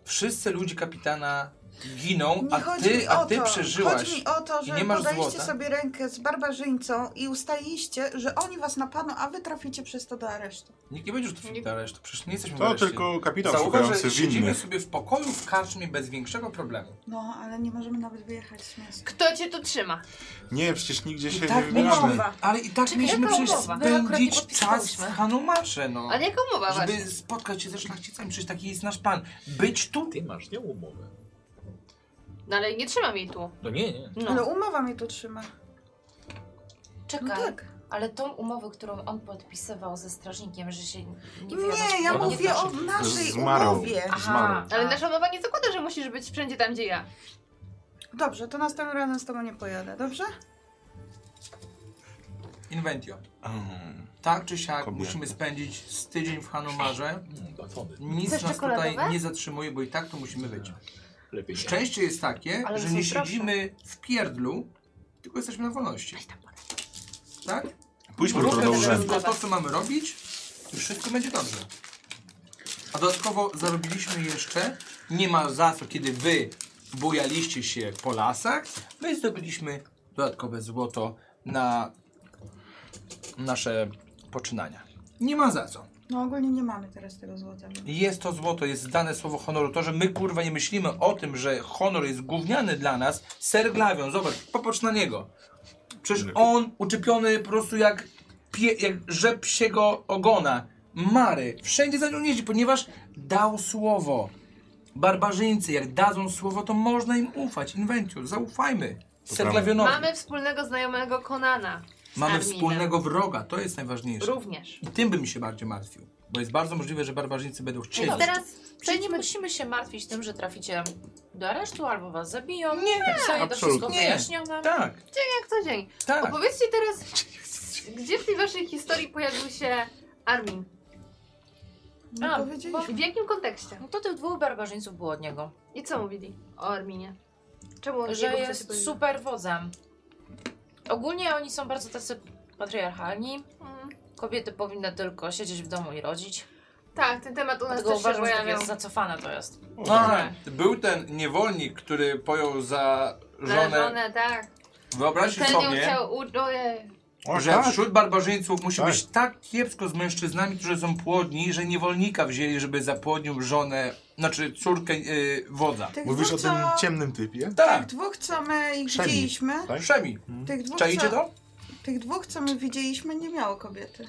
Speaker 3: wszyscy ludzie kapitana giną,
Speaker 5: Nie
Speaker 3: a
Speaker 5: chodzi mi
Speaker 3: ty,
Speaker 5: o
Speaker 3: a ty
Speaker 5: to. Chodzi
Speaker 3: przeżyłaś.
Speaker 5: mi o to,
Speaker 3: i
Speaker 5: że
Speaker 3: nie masz
Speaker 5: podaliście
Speaker 3: złota.
Speaker 5: sobie rękę z barbarzyńcą i ustaliście, że oni was napadną, a wy traficie przez to do aresztu.
Speaker 3: Nikt nie będzie rzucił do aresztu, przecież nie jesteśmy w
Speaker 8: To
Speaker 3: areszcie.
Speaker 8: tylko kapitan
Speaker 3: Zauważ, że
Speaker 8: szukający
Speaker 3: siedzimy
Speaker 8: winnych.
Speaker 3: sobie w pokoju w karczmie bez większego problemu.
Speaker 5: No, ale nie możemy nawet wyjechać z miasta.
Speaker 6: Kto cię tu trzyma?
Speaker 8: Nie, przecież nigdzie się
Speaker 3: tak
Speaker 8: nie
Speaker 3: mieliśmy,
Speaker 8: wybieramy.
Speaker 5: Umowa.
Speaker 3: ale i tak
Speaker 2: Czekaj,
Speaker 3: mieliśmy
Speaker 2: jaka
Speaker 3: przecież
Speaker 2: umowa? My akurat nie
Speaker 3: spędzić czas w
Speaker 2: podpisałyśmy.
Speaker 3: Hanumarze, no.
Speaker 6: Ale jaka umowa właśnie?
Speaker 3: Żeby spotkać się ze szlachcicami, przecież taki jest nasz pan. Być tu
Speaker 1: Ty masz nie umowę.
Speaker 6: No ale nie trzymam jej tu.
Speaker 1: No nie, nie.
Speaker 6: No.
Speaker 5: Ale umowa mnie tu trzyma.
Speaker 2: czekaj.
Speaker 5: No tak.
Speaker 2: Ale tą umowę, którą on podpisywał ze strażnikiem, że się nie wiadomo...
Speaker 5: Nie, ja
Speaker 1: ona
Speaker 5: mówię o
Speaker 2: znaczy-
Speaker 5: naszej
Speaker 8: Zmarł.
Speaker 5: umowie.
Speaker 2: Aha,
Speaker 8: Zmarł.
Speaker 6: Ale nasza umowa nie zakłada, że musisz być wszędzie tam, gdzie ja.
Speaker 5: Dobrze, to następnym razem z tobą nie pojadę, dobrze?
Speaker 3: Inventio.
Speaker 8: Mm,
Speaker 3: Tak czy siak
Speaker 8: Kobiety.
Speaker 3: musimy spędzić z tydzień w Hanumarze.
Speaker 1: Mm, batony.
Speaker 3: Nic
Speaker 6: Chcesz
Speaker 3: nas tutaj
Speaker 6: czekoladowe?
Speaker 3: nie zatrzymuje, bo i tak to musimy być.
Speaker 1: Lepiej nie.
Speaker 3: Szczęście jest takie,
Speaker 2: Ale
Speaker 3: że
Speaker 2: są
Speaker 3: nie
Speaker 2: zdrowsze.
Speaker 3: siedzimy w pierdlu, tylko jesteśmy na wolności. Tak?
Speaker 8: Pójdźmy jutro
Speaker 3: Róbmy
Speaker 8: do
Speaker 3: po
Speaker 8: urzędu.
Speaker 3: prostu to, co mamy robić i wszystko będzie dobrze. A dodatkowo zarobiliśmy jeszcze, nie ma za co, kiedy wy bujaliście się po lasach, my zdobyliśmy dodatkowe złoto na nasze poczynania. Nie ma za co.
Speaker 5: No ogólnie nie mamy teraz tego złota. więc-
Speaker 3: Jest to złoto, jest dane słowo honoru. To, że my kurwa nie myślimy o tym, że honor jest gówniany dla nas, ser Glawion, zobacz, popatrz na niego. Przecież on uczepiony po prostu jak pie, jak rzep siego ogona. Mary, wszędzie za nią jeździ, ponieważ dał słowo. Barbarzyńcy, jak dadzą słowo, to można im ufać. Inwencjus, zaufajmy. Serklawionowi.
Speaker 6: Mamy wspólnego znajomego Konana. z
Speaker 3: Mamy
Speaker 6: Arminem.
Speaker 3: wspólnego wroga, to jest najważniejsze.
Speaker 6: Również.
Speaker 3: I tym bym się bardziej martwił. Bo jest bardzo możliwe, że barbarzyńcy będą chcieli.
Speaker 6: Więc No teraz
Speaker 2: Czyli nie
Speaker 6: przejdźmy
Speaker 2: musimy się martwić tym, że traficie do aresztu albo was zabiją.
Speaker 3: Nie,
Speaker 2: Zostanie to wszystko
Speaker 3: absolutnie.
Speaker 2: wyjaśnione.
Speaker 3: Tak,
Speaker 6: jak co dzień.
Speaker 3: tak.
Speaker 6: Opowiedzcie teraz, gdzie w tej waszej historii pojawił się Armin?
Speaker 5: Nie
Speaker 2: A,
Speaker 5: powiedzieliśmy.
Speaker 6: I W jakim kontekście?
Speaker 2: No to tych dwóch barbarzyńców było od niego.
Speaker 6: I co mówili o Arminie? Czemu on
Speaker 2: Że jest super wodzem. Ogólnie oni są bardzo tacy patriarchalni.
Speaker 6: Mhm.
Speaker 2: Kobiety powinny tylko siedzieć w domu i rodzić.
Speaker 6: Tak, ten temat u nas
Speaker 2: Dlatego
Speaker 6: też się
Speaker 2: uważam, że tak
Speaker 6: pojawiał.
Speaker 2: jest zacofane to jest.
Speaker 6: No
Speaker 3: A,
Speaker 8: Tak.
Speaker 6: tak.
Speaker 3: był ten niewolnik, który pojął za żonę.
Speaker 6: Żonę, tak.
Speaker 3: Wyobraźcie
Speaker 6: Ten ją
Speaker 3: sobie,
Speaker 6: chciał u... no, Ojej.
Speaker 8: O,
Speaker 3: że
Speaker 8: tak.
Speaker 3: wśród barbarzyńców musi
Speaker 8: Tak.
Speaker 3: być tak kiepsko z mężczyznami, którzy są płodni, że niewolnika wzięli, żeby zapłodnił żonę, znaczy córkę yy, wodza.
Speaker 5: Tych
Speaker 8: Mówisz o
Speaker 5: dwóch,
Speaker 8: tym
Speaker 5: co,
Speaker 8: ciemnym typie?
Speaker 5: Tych
Speaker 3: Tak,
Speaker 5: dwóch, co my ich
Speaker 8: Przemi.
Speaker 5: widzieliśmy,
Speaker 8: Tak?
Speaker 3: Szemi.
Speaker 5: tych
Speaker 6: No
Speaker 5: dwóch,
Speaker 3: Czajcie
Speaker 5: co,
Speaker 3: to?
Speaker 5: tych dwóch, co my widzieliśmy, nie miało kobiety.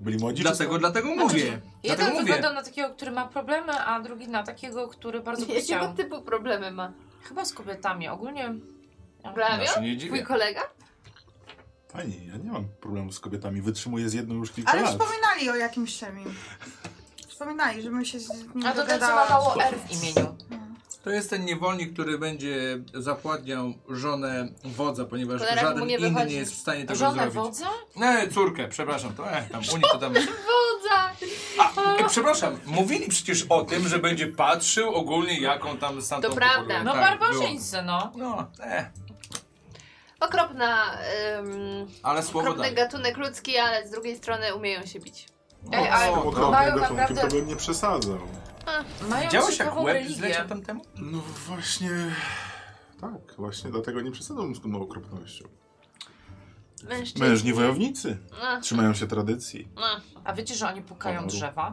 Speaker 8: Byli młodzi? czy
Speaker 3: Dlatego,
Speaker 8: są-
Speaker 3: dlatego
Speaker 6: Znaczy,
Speaker 3: mówię. Dlatego
Speaker 2: Jeden
Speaker 3: mówię.
Speaker 2: wygląda na takiego, który ma problemy, a drugi na takiego, który bardzo by
Speaker 6: Jakiego
Speaker 2: chciał.
Speaker 6: typu problemy ma?
Speaker 2: Chyba z kobietami. Ogólnie
Speaker 6: Blavio?
Speaker 3: nie
Speaker 6: Twój kolega?
Speaker 8: Pani, ja nie mam problemu z kobietami. Wytrzymuję z jedną już kilka
Speaker 5: Ale
Speaker 8: lat.
Speaker 5: wspominali o jakimś szemim. Wspominali, że my się z nim
Speaker 2: A to ten, co ma
Speaker 5: dogadała.
Speaker 2: mało R w imieniu.
Speaker 3: Tak To jest ten niewolnik, który będzie zapładniał żonę wodza, ponieważ
Speaker 6: Cholera, mu
Speaker 3: żaden
Speaker 6: nie
Speaker 3: inny
Speaker 6: wychodzi.
Speaker 3: nie jest w stanie tego
Speaker 2: Żonę
Speaker 3: zrobić.
Speaker 2: wodza?
Speaker 3: Nie, córkę, przepraszam, to e, tam u nich to tam.
Speaker 6: Wodza!
Speaker 3: A, e, przepraszam, mówili przecież o tym, że będzie patrzył ogólnie jaką tam stantą
Speaker 6: To prawda.
Speaker 2: No
Speaker 3: tak,
Speaker 2: barbarzyńcy, no.
Speaker 3: było. No, e,
Speaker 6: Okropna, ym,
Speaker 3: ale słowo
Speaker 6: okropny
Speaker 3: daje.
Speaker 6: gatunek ludzki, ale z drugiej strony umieją się bić.
Speaker 2: Ej, ale
Speaker 8: Z tym
Speaker 2: mają
Speaker 8: okropnym gatunkiem to
Speaker 2: naprawdę-
Speaker 8: bym nie przesadzał.
Speaker 2: Mają
Speaker 3: Działaś jak
Speaker 2: ciekawą
Speaker 3: łeb
Speaker 2: religię.
Speaker 3: zleciał tam temu?
Speaker 8: No właśnie... Tak, właśnie dlatego nie przesadzam z tą okropnością.
Speaker 6: Mężczyźni.
Speaker 8: Mężni wojownicy
Speaker 6: No,
Speaker 8: trzymają się tradycji.
Speaker 6: no.
Speaker 2: A wiecie, że oni pukają
Speaker 8: Honoru.
Speaker 2: drzewa?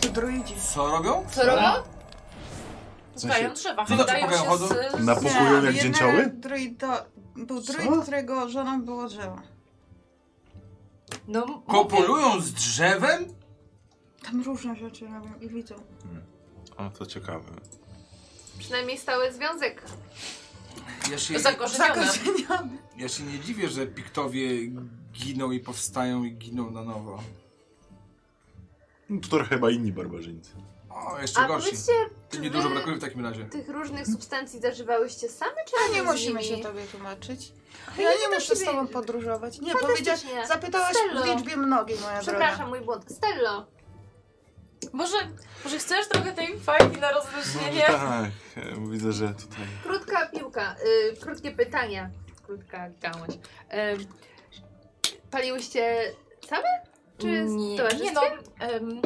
Speaker 5: To druidzi.
Speaker 3: Co robią?
Speaker 6: Co robią?
Speaker 8: W sensie-
Speaker 2: Pukają drzewa,
Speaker 3: to
Speaker 2: wydają
Speaker 3: pukają?
Speaker 2: się
Speaker 3: Chodzą?
Speaker 2: z...
Speaker 8: Na
Speaker 2: z-
Speaker 8: pokój. Pokoju jak
Speaker 5: Jeden
Speaker 8: dzięcioły?
Speaker 5: Druid do, był
Speaker 8: Co?
Speaker 5: druid, którego żoną było drzewo.
Speaker 2: No,
Speaker 3: Kopulują z drzewem?
Speaker 5: Tam różne rzeczy robią i widzą.
Speaker 8: A, to ciekawe.
Speaker 6: Przynajmniej stały związek.
Speaker 3: Ja się,
Speaker 2: zakorzenione.
Speaker 5: Zakorzeniony.
Speaker 3: ja się nie dziwię, że piktowie giną i powstają i giną na nowo.
Speaker 8: No, To chyba inni barbarzyńcy.
Speaker 3: O, jeszcze
Speaker 6: A
Speaker 3: gorsi.
Speaker 6: powiedzcie,
Speaker 3: Ty
Speaker 6: czy
Speaker 3: nie
Speaker 6: wy
Speaker 3: dużo brakuje w takim razie.
Speaker 6: tych różnych substancji zażywałyście same, czy
Speaker 5: A nie
Speaker 6: razem z
Speaker 5: musimy
Speaker 6: nimi?
Speaker 5: się tobie tłumaczyć.
Speaker 6: A
Speaker 5: Ja
Speaker 6: ja
Speaker 5: nie
Speaker 6: to
Speaker 5: muszę z
Speaker 6: sobie-
Speaker 5: tobą podróżować. Nie,
Speaker 6: Fantastycznie.
Speaker 5: powiedziałaś, zapytałaś
Speaker 6: Stello.
Speaker 5: w liczbie mnogiej, moja droga.
Speaker 6: Przepraszam, mój błąd. Stello,
Speaker 2: Może, może chcesz trochę tej fajki na rozluźnienie?
Speaker 3: No,
Speaker 8: tak, e, widzę, że tutaj...
Speaker 6: krótka piłka, y, krótkie pytania. Krótka gałąź. Y, paliłyście same? Czy z
Speaker 2: nie, nie no, em,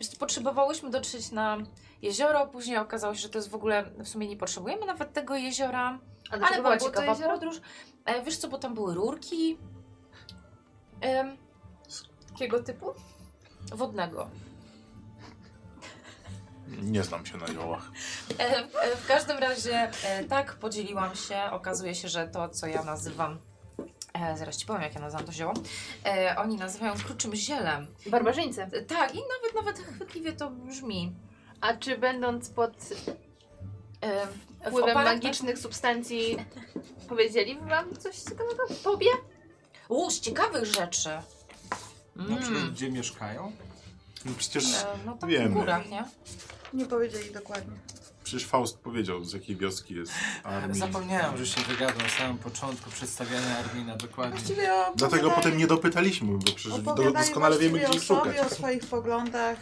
Speaker 2: wiesz, co, potrzebowałyśmy dotrzeć na jezioro, później okazało się, że to jest w ogóle, w sumie nie potrzebujemy nawet tego jeziora, ale była ciekawa podróż. E, wiesz co, bo tam były rurki em,
Speaker 6: Jakiego typu?
Speaker 2: wodnego.
Speaker 8: Nie znam się na ziołach.
Speaker 2: E, w- e, w każdym razie e, tak podzieliłam się. Okazuje się, że to, co ja nazywam, e, zaraz ci powiem, jak ja nazywam to zioło, e, oni nazywają kruczym zielem.
Speaker 6: Barbarzyńcy.
Speaker 2: E, Tak, i nawet nawet chwytliwie to brzmi.
Speaker 6: A czy będąc pod
Speaker 2: E, w
Speaker 6: wpływem
Speaker 2: oparach-
Speaker 6: magicznych substancji powiedzieli wam coś ciekawego? Tobie?
Speaker 2: U, z ciekawych rzeczy.
Speaker 3: Na
Speaker 6: Hmm.
Speaker 3: przykład
Speaker 2: Mm.
Speaker 3: gdzie mieszkają?
Speaker 8: No Przecież,
Speaker 2: E, No tak
Speaker 8: Znaczy, Wiemy.
Speaker 2: w górach, nie?
Speaker 5: Nie powiedzieli dokładnie.
Speaker 8: przecież Faust powiedział, z jakiej wioski jest armii.
Speaker 3: Zapomniałem, że się wygadał na samym początku przedstawiania Armina, dokładnie.
Speaker 5: Właściwie opowiadali-
Speaker 8: Dlatego potem nie dopytaliśmy, bo przecież do,
Speaker 5: opowiadali
Speaker 8: doskonale wiemy,
Speaker 5: właściwie
Speaker 8: gdzie ich
Speaker 5: o sobie,
Speaker 8: szukać.
Speaker 5: o swoich poglądach,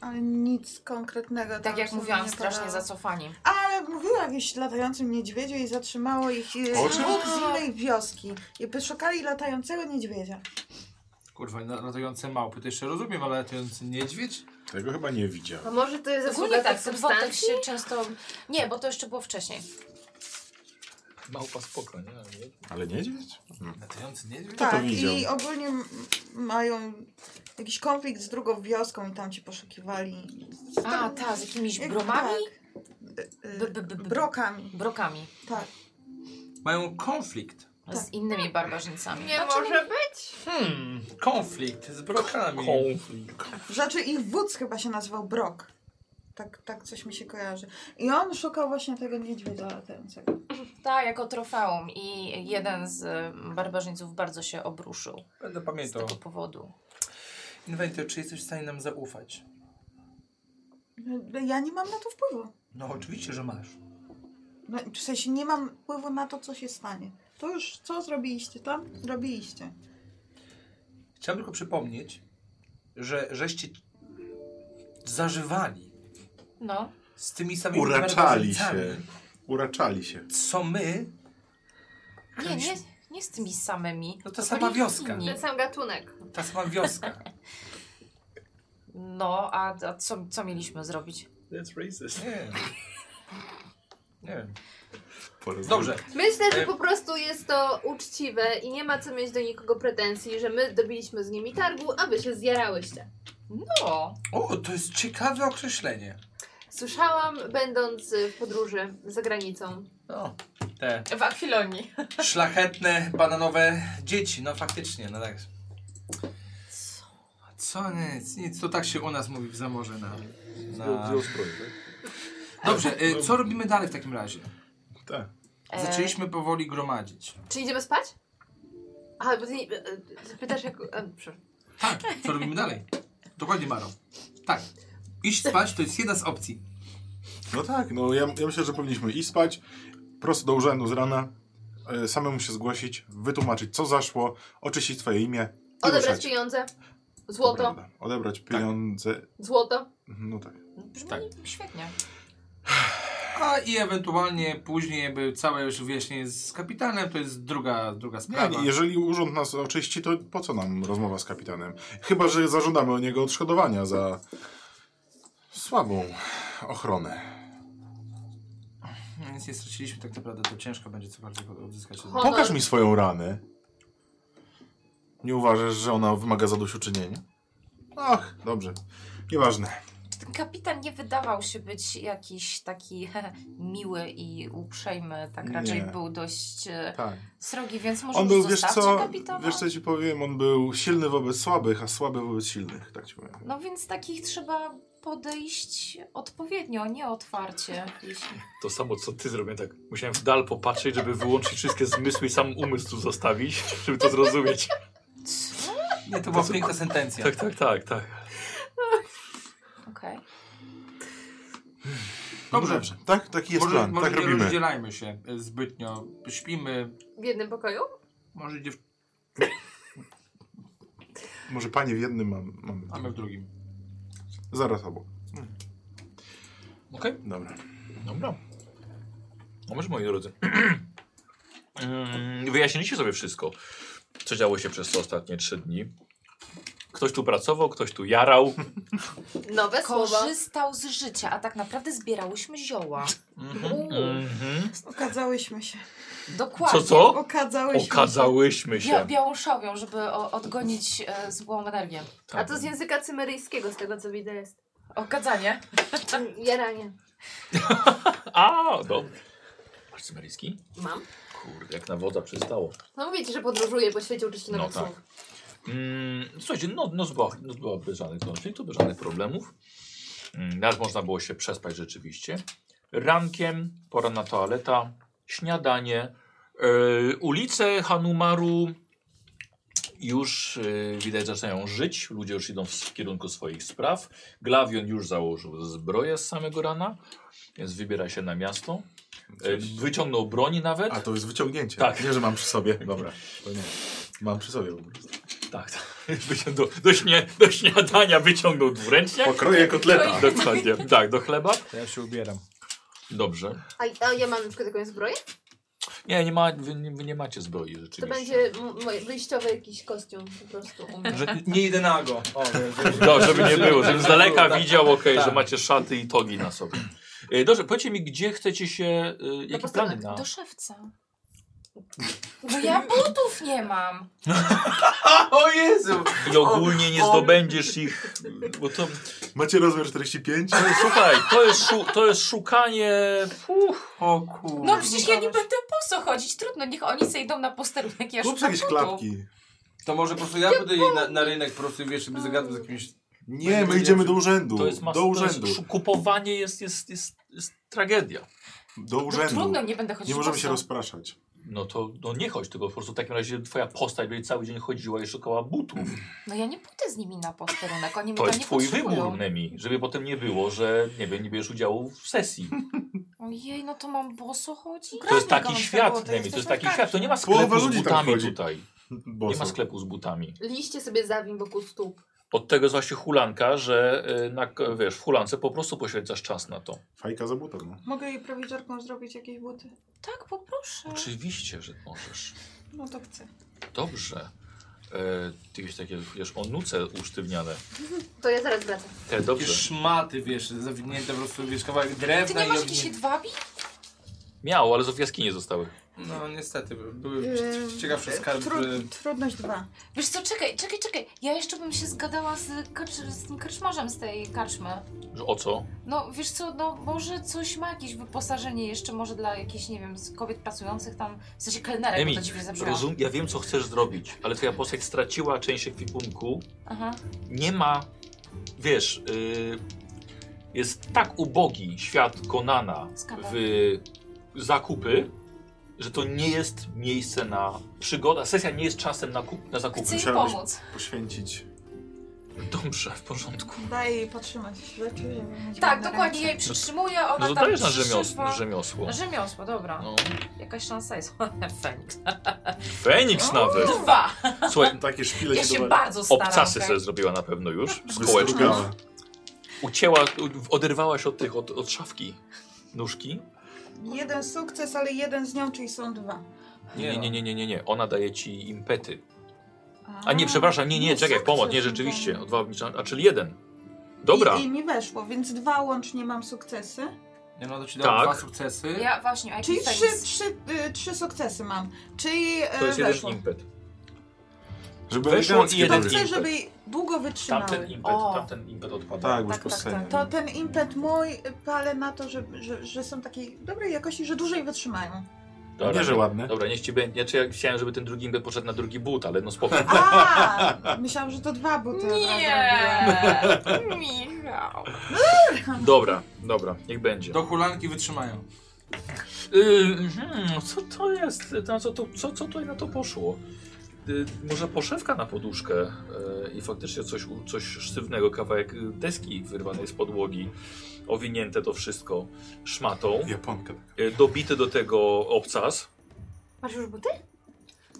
Speaker 5: ale nic konkretnego tam
Speaker 2: Tak jak
Speaker 5: sobie
Speaker 2: mówiłam,
Speaker 5: nie
Speaker 2: strasznie
Speaker 5: padało.
Speaker 2: zacofani.
Speaker 5: Ale mówiła o jakimś latającym niedźwiedziu i zatrzymało ich e,
Speaker 8: O czym?
Speaker 5: dwóch z innej wioski. I poszukali latającego niedźwiedzia.
Speaker 3: Kurwa, na- latające małpy to jeszcze rozumiem, ale latający niedźwiedź?
Speaker 8: Tego chyba nie widziałem.
Speaker 6: A może to jest
Speaker 2: Ogólnie
Speaker 6: zasługa
Speaker 2: tak,
Speaker 6: tak,
Speaker 2: ten wątek
Speaker 6: substancji?
Speaker 2: się często... Nie, bo to jeszcze było wcześniej.
Speaker 1: Małpa spoko, nie?
Speaker 8: Ale niedźwiedź? Hmm.
Speaker 3: Latający niedźwiedź?
Speaker 5: Tak,
Speaker 8: widział?
Speaker 5: i ogólnie m- mają jakiś konflikt z drugą wioską i tam ci poszukiwali. Z-
Speaker 2: A,
Speaker 5: tam-
Speaker 2: ta, z jakimiś
Speaker 5: jak-
Speaker 2: bromami?
Speaker 5: tak. Y, y,
Speaker 2: B- b- b- b-
Speaker 5: Brokami,
Speaker 2: Brokami.
Speaker 5: tak.
Speaker 3: Mają konflikt.
Speaker 2: z innymi barbarzyńcami.
Speaker 6: Nie
Speaker 2: Znaczy,
Speaker 6: może być.
Speaker 3: Hmm, konflikt z brokami.
Speaker 1: Konflikt.
Speaker 5: Rzeczy Znaczy ich wódz chyba się nazywał Brok. Tak, tak coś mi się kojarzy. I on szukał właśnie tego niedźwiedzia latającego.
Speaker 2: Tak, jako trofeum i jeden z y, barbarzyńców bardzo się obruszył
Speaker 3: Będę
Speaker 2: z
Speaker 3: pamiętał.
Speaker 2: tego powodu.
Speaker 3: Inwentor, czy jesteś w stanie nam zaufać?
Speaker 5: Ja nie mam na to wpływu.
Speaker 3: No oczywiście, że masz.
Speaker 5: No, w sensie nie mam wpływu na to, co się stanie. To już co zrobiliście tam? Zrobiliście.
Speaker 3: Chciałem tylko przypomnieć, że żeście zażywali
Speaker 2: No,
Speaker 3: z tymi samymi
Speaker 8: Uraczali
Speaker 3: barbarzyńcami,
Speaker 8: się. Uraczali się.
Speaker 3: co my.
Speaker 2: nie, nie, nie z tymi samymi.
Speaker 3: No to
Speaker 2: byli
Speaker 3: sama wioska.
Speaker 2: inni.
Speaker 6: Ten sam gatunek.
Speaker 3: Ta sama wioska.
Speaker 2: No, a, a co, co mieliśmy zrobić?
Speaker 1: That's racist.
Speaker 3: Nie wiem. Nie wiem.
Speaker 8: Porozum-
Speaker 3: Dobrze.
Speaker 6: Myślę, że
Speaker 3: E-
Speaker 6: po prostu jest to uczciwe i nie ma co mieć do nikogo pretensji, że my dobiliśmy z nimi targu, a wy się zjarałyście.
Speaker 2: No,
Speaker 3: O, to jest ciekawe określenie.
Speaker 6: Słyszałam, będąc y, w podróży za granicą.
Speaker 3: No, te
Speaker 2: w Akwilonii.
Speaker 3: szlachetne, bananowe dzieci. No faktycznie, no tak.
Speaker 7: Co nic, nic, to tak się u nas mówi w zamorze na...
Speaker 3: Na...
Speaker 7: Dobrze, y, co robimy dalej w takim razie?
Speaker 8: Tak.
Speaker 2: E,
Speaker 7: Zaczęliśmy powoli gromadzić.
Speaker 6: Czy idziemy spać? A, bo ty, e, e, pytasz jak... e, przepraszam.
Speaker 7: Tak, co robimy dalej? Dokładnie, Maro. Tak, iść spać to jest jedna z opcji.
Speaker 8: No tak, no ja, ja myślę, że powinniśmy iść spać, prosto do urzędu z rana, e, samemu się zgłosić, wytłumaczyć co zaszło, oczyścić twoje imię i
Speaker 6: Odebrać
Speaker 8: ruszać.
Speaker 6: pieniądze.
Speaker 8: To
Speaker 6: Złoto.
Speaker 8: prawda. Odebrać pieniądze.
Speaker 6: Złoto.
Speaker 8: No tak.
Speaker 2: Brzmi
Speaker 8: tak.
Speaker 2: świetnie.
Speaker 7: A i ewentualnie później, jakby całe już wyjaśnienie z kapitanem, to jest druga, druga
Speaker 8: Nie,
Speaker 7: sprawa.
Speaker 3: no.
Speaker 8: jeżeli urząd nas oczyści, to po co nam rozmowa z kapitanem? Chyba, że zażądamy od niego odszkodowania za słabą ochronę.
Speaker 7: Nic nie straciliśmy tak naprawdę, to ciężko będzie cokolwiek odzyskać.
Speaker 6: Ho-
Speaker 8: Pokaż mi swoją ranę. Nie uważasz, że ona wymaga zadośćuczynienia? Ach, dobrze. Nieważne.
Speaker 2: Ten kapitan nie wydawał się być jakiś taki miły i uprzejmy, tak raczej
Speaker 8: Nie.
Speaker 2: był dość e,
Speaker 8: Tak.
Speaker 2: srogi, więc może
Speaker 8: On był,
Speaker 2: już
Speaker 8: wiesz
Speaker 2: zostawcie
Speaker 8: co,
Speaker 2: kapitana.
Speaker 8: wiesz co ci powiem, on był silny wobec słabych, a słaby wobec silnych, tak ci powiem.
Speaker 2: No więc takich trzeba podejść odpowiednio, nie otwarcie. Jeśli...
Speaker 1: To samo co ty zrobiłem tak. Musiałem w dal popatrzeć, żeby wyłączyć wszystkie zmysły i sam umysł tu zostawić, żeby to zrozumieć.
Speaker 2: Co?
Speaker 3: Nie, to była piękna sentencja.
Speaker 1: Tak, tak, tak, tak.
Speaker 2: Okej.
Speaker 7: Dobrze.
Speaker 8: Dobrze, tak? Taki jest
Speaker 7: może
Speaker 8: plan,
Speaker 7: może
Speaker 8: tak
Speaker 7: nie
Speaker 8: robimy.
Speaker 7: rozdzielajmy się y, zbytnio. Śpimy,
Speaker 6: W jednym pokoju?
Speaker 7: może dziewczyny
Speaker 8: Może panie w jednym mam, mamy.
Speaker 7: w drugim.
Speaker 8: Zaraz obok. Hmm.
Speaker 1: Okej.
Speaker 8: Dobra.
Speaker 1: Dobra. No może moi drodzy. Ym, Wyjaśniliście sobie wszystko, co działo się przez te ostatnie trzy dni. Ktoś tu pracował, ktoś tu jarał.
Speaker 6: Nowe słowa.
Speaker 2: Korzystał z życia, a tak naprawdę zbierałyśmy zioła.
Speaker 1: Mhm.
Speaker 5: Okazałyśmy się.
Speaker 2: Dokładnie.
Speaker 1: Co, co?
Speaker 5: Okazałyśmy
Speaker 1: Okazałyśmy
Speaker 2: Bia
Speaker 1: się.
Speaker 2: białą szawią, żeby o- odgonić e, złą energię.
Speaker 6: A to z języka cymeryjskiego, z tego co widzę jest.
Speaker 2: Okadzanie.
Speaker 6: Jaranie.
Speaker 1: A, dobra. Masz cymeryjski?
Speaker 6: Mam.
Speaker 1: Kurde, jak na wodza przystało.
Speaker 6: No mówię ci, że podróżuję po świecie, uczę się
Speaker 1: No
Speaker 6: nowych
Speaker 1: tak.
Speaker 6: słów.
Speaker 1: Mm, słuchajcie, no, no, zba, no zbyłaby żadnych konfliktów, bez żadnych problemów. Mm, Nawet można było się przespać rzeczywiście. Rankiem, pora na toaleta, śniadanie. Yy, ulice Hanumaru już yy, widać zaczynają żyć. Ludzie już idą w, w kierunku swoich spraw. Glawion już założył zbroję z samego rana, więc wybiera się na miasto. Yy, wyciągnął broni nawet.
Speaker 8: A to jest wyciągnięcie.
Speaker 1: Tak.
Speaker 8: Nie, że mam przy sobie. Dobra. To nie. Mam przy sobie po prostu.
Speaker 1: Tak, tak. Wyciągnął, do, śnie, do śniadania wyciągnął dwuręczniak.
Speaker 6: No
Speaker 2: Tak,
Speaker 8: Pokroję kotleta.
Speaker 1: Dokładnie, tak, do chleba.
Speaker 3: To ja się ubieram.
Speaker 1: Dobrze.
Speaker 6: A, a ja mam na przykład jakąś zbroję?
Speaker 1: Nie, nie, ma, wy, nie- wy nie macie zbroi
Speaker 6: To
Speaker 1: rzeczywiście.
Speaker 6: będzie m- moje wyjściowy jakiś kostium po prostu u mnie.
Speaker 3: Że nie idę nago. O, że- że-
Speaker 1: No, żeby nie było, żebym z daleka
Speaker 3: Tak.
Speaker 1: widział, okej,
Speaker 3: Tak.
Speaker 1: że macie szaty i togi na sobie. E, Dobrze, powiedzcie mi, gdzie chcecie się,
Speaker 6: No
Speaker 1: y, jakie plany na...
Speaker 2: Do szewca. No ja butów nie mam.
Speaker 3: O Jezu!
Speaker 1: I ogólnie nie zdobędziesz ich, bo to...
Speaker 8: Macie rozmiar 45?
Speaker 1: No, słuchaj, to jest, szu, to jest szukanie... Uff,
Speaker 3: O kur...
Speaker 2: No przecież ja nie będę posą co chodzić, trudno, niech oni se idą na posterunek, ja
Speaker 8: Kup
Speaker 2: szukam
Speaker 8: jakieś
Speaker 2: kotu.
Speaker 8: klapki.
Speaker 3: To może po prostu ja pójdę jej na, na rynek po prostu, wiesz, żeby zagadnął z jakimś...
Speaker 8: Nie, my idziemy do urzędu.
Speaker 1: To jest mas-
Speaker 8: do
Speaker 1: to
Speaker 8: urzędu.
Speaker 1: jest, Kupowanie jest, jest, jest, jest tragedia.
Speaker 8: Do
Speaker 2: No,
Speaker 8: urzędu.
Speaker 2: trudno, nie będę chodzić
Speaker 8: Nie możemy się
Speaker 2: po
Speaker 8: rozpraszać.
Speaker 1: No to no nie chodź tylko, po prostu w takim razie twoja postać będzie cały dzień chodziła i szukała butów.
Speaker 5: Mm.
Speaker 2: No ja nie pójdę z nimi na posterunek, oni mnie
Speaker 1: To
Speaker 2: tam
Speaker 1: jest
Speaker 2: nie
Speaker 1: twój
Speaker 2: potrzebują.
Speaker 1: wybór, Nemi, żeby potem nie było, że nie wiem, nie bierzesz udziału w sesji.
Speaker 2: Ojej, no to mam boso chodzi?
Speaker 1: To jest taki
Speaker 5: Grom
Speaker 1: świat,
Speaker 5: było, to
Speaker 1: Nemi, to
Speaker 5: jesteśmy
Speaker 1: jest taki
Speaker 5: w
Speaker 1: świat, to nie ma
Speaker 8: Połowa
Speaker 1: sklepu z
Speaker 8: ludzi tam
Speaker 1: butami
Speaker 8: chodzi.
Speaker 1: tutaj. Nie
Speaker 8: Boso.
Speaker 1: ma sklepu z butami.
Speaker 6: Liście sobie zawim wokół stóp.
Speaker 1: Od tego jest właśnie hulanka, że y, na, wiesz, w hulance po prostu poświęcasz czas na to.
Speaker 8: Fajka za butem. No.
Speaker 5: Mogę jej prowizorką zrobić jakieś buty?
Speaker 2: Tak, poproszę.
Speaker 1: Oczywiście, że możesz.
Speaker 5: No to chcę.
Speaker 1: Dobrze. E, ty jakieś takie, wiesz, onuce usztywniane.
Speaker 6: To ja zaraz wracam.
Speaker 1: Te,
Speaker 3: Takie
Speaker 1: dobrze.
Speaker 3: szmaty, wiesz, zawinięte po prostu, wiesz, kawałek
Speaker 2: Ty
Speaker 3: drewna
Speaker 2: nie
Speaker 3: i
Speaker 2: masz jakichś
Speaker 3: owinięte.
Speaker 2: jedwabi?
Speaker 1: Miało, ale w jaskinie zostały.
Speaker 3: No niestety, były ciekawsze skarby.
Speaker 5: Tru- trudność dwa.
Speaker 2: Wiesz co, czekaj, czekaj, czekaj. Ja jeszcze bym się zgadała z, karcz z tym karczmarzem z tej karczmy.
Speaker 1: Że o co?
Speaker 2: No wiesz co, no może coś ma jakieś wyposażenie jeszcze może dla jakichś, nie wiem, z kobiet pracujących tam, w sensie kelnerek,
Speaker 1: Emi,
Speaker 2: Tak, bo to dziwnie zabrzmiało.
Speaker 1: Rozum, ja wiem, co chcesz zrobić, ale twoja postać straciła część ekwipunku.
Speaker 2: Aha.
Speaker 1: Nie ma, wiesz, y, jest tak ubogi świat Konana
Speaker 2: Skandal.
Speaker 1: w zakupy, że to nie jest miejsce na przygoda. Sesja nie jest czasem na, kup, na zakupy.
Speaker 2: Chcę jej
Speaker 8: musiałabyś-
Speaker 2: pomóc.
Speaker 8: Poświęcić.
Speaker 1: Dobrze, w porządku.
Speaker 5: Daję jej potrzymać rzeczy, żeby mieć
Speaker 2: Tak,
Speaker 5: na
Speaker 2: dokładnie, ja
Speaker 5: ręce.
Speaker 2: jej przytrzymuję, ona
Speaker 1: No to
Speaker 2: tam
Speaker 1: dajesz na
Speaker 2: przyszywa.
Speaker 1: rzemiosło. rzemiosło.
Speaker 2: Rzemiosło, dobra.
Speaker 1: No.
Speaker 2: Jakaś szansa jest. Feniks.
Speaker 1: Feniks nawet.
Speaker 2: Dwa!
Speaker 1: Słuchaj,
Speaker 8: Takie szpile
Speaker 2: Ja
Speaker 8: się
Speaker 2: się
Speaker 8: dowali.
Speaker 2: bardzo staram. tak?
Speaker 1: obcasy
Speaker 2: okej?
Speaker 1: sobie zrobiła na pewno już
Speaker 5: Mhm.
Speaker 1: z kołeczka.
Speaker 8: Wystrugane.
Speaker 1: Ucięła, u- oderwała się od tych, od, od szafki nóżki.
Speaker 5: Jeden sukces, ale jeden z nią, czyli są dwa.
Speaker 1: Nie, nie, nie, nie, nie, nie. Ona daje ci impety. A nie, przepraszam, nie, nie,
Speaker 5: no
Speaker 1: czekaj,
Speaker 5: sukces,
Speaker 1: pomoc, nie,
Speaker 5: no
Speaker 1: rzeczywiście.
Speaker 5: to-
Speaker 1: O dwa obniża- a czyli jeden. Dobra,
Speaker 5: I, I mi weszło, więc dwa łącznie mam sukcesy.
Speaker 3: Nie, no to ci dało
Speaker 1: Tak.
Speaker 3: dwa sukcesy.
Speaker 2: Ja właśnie, a jaki
Speaker 5: Czyli trzy,
Speaker 2: Feniks?
Speaker 5: trzy, y, trzy sukcesy mam. Czyli y,
Speaker 1: to jest jeden
Speaker 5: weszło.
Speaker 1: impet.
Speaker 8: Żeby
Speaker 1: Weszło
Speaker 8: elegancki
Speaker 1: i jeden
Speaker 5: To
Speaker 8: był.
Speaker 5: chcę,
Speaker 1: impet.
Speaker 5: żeby jej długo wytrzymały.
Speaker 1: Tamten impet,
Speaker 2: O.
Speaker 1: tamten impet odpada.
Speaker 8: Tak, bo już
Speaker 2: Tak, tak,
Speaker 8: po
Speaker 2: tak.
Speaker 5: To ten impet mój y, palę na to, że, że, że są takiej dobrej jakości, że dłużej wytrzymają.
Speaker 1: Dobra,
Speaker 8: Nie, że ładne.
Speaker 1: Dobra, niech ci będzie. Znaczy, ja chciałem, żeby ten drugi impet poszedł na drugi but, ale no spoko.
Speaker 5: A, myślałam, że to dwa buty od razu robiłam.
Speaker 2: Nie! Michał.
Speaker 1: Dobra, dobra, niech będzie.
Speaker 3: Do hulanki wytrzymają.
Speaker 1: Y, hmm, co to jest? Na co, to, co, co tutaj na to poszło? Y, może poszewka na poduszkę y, i faktycznie coś, u- coś sztywnego, kawałek y, deski wyrwanej z podłogi, owinięte to wszystko szmatą,
Speaker 8: Japonka.
Speaker 1: y, dobity do tego obcas.
Speaker 6: Masz już buty?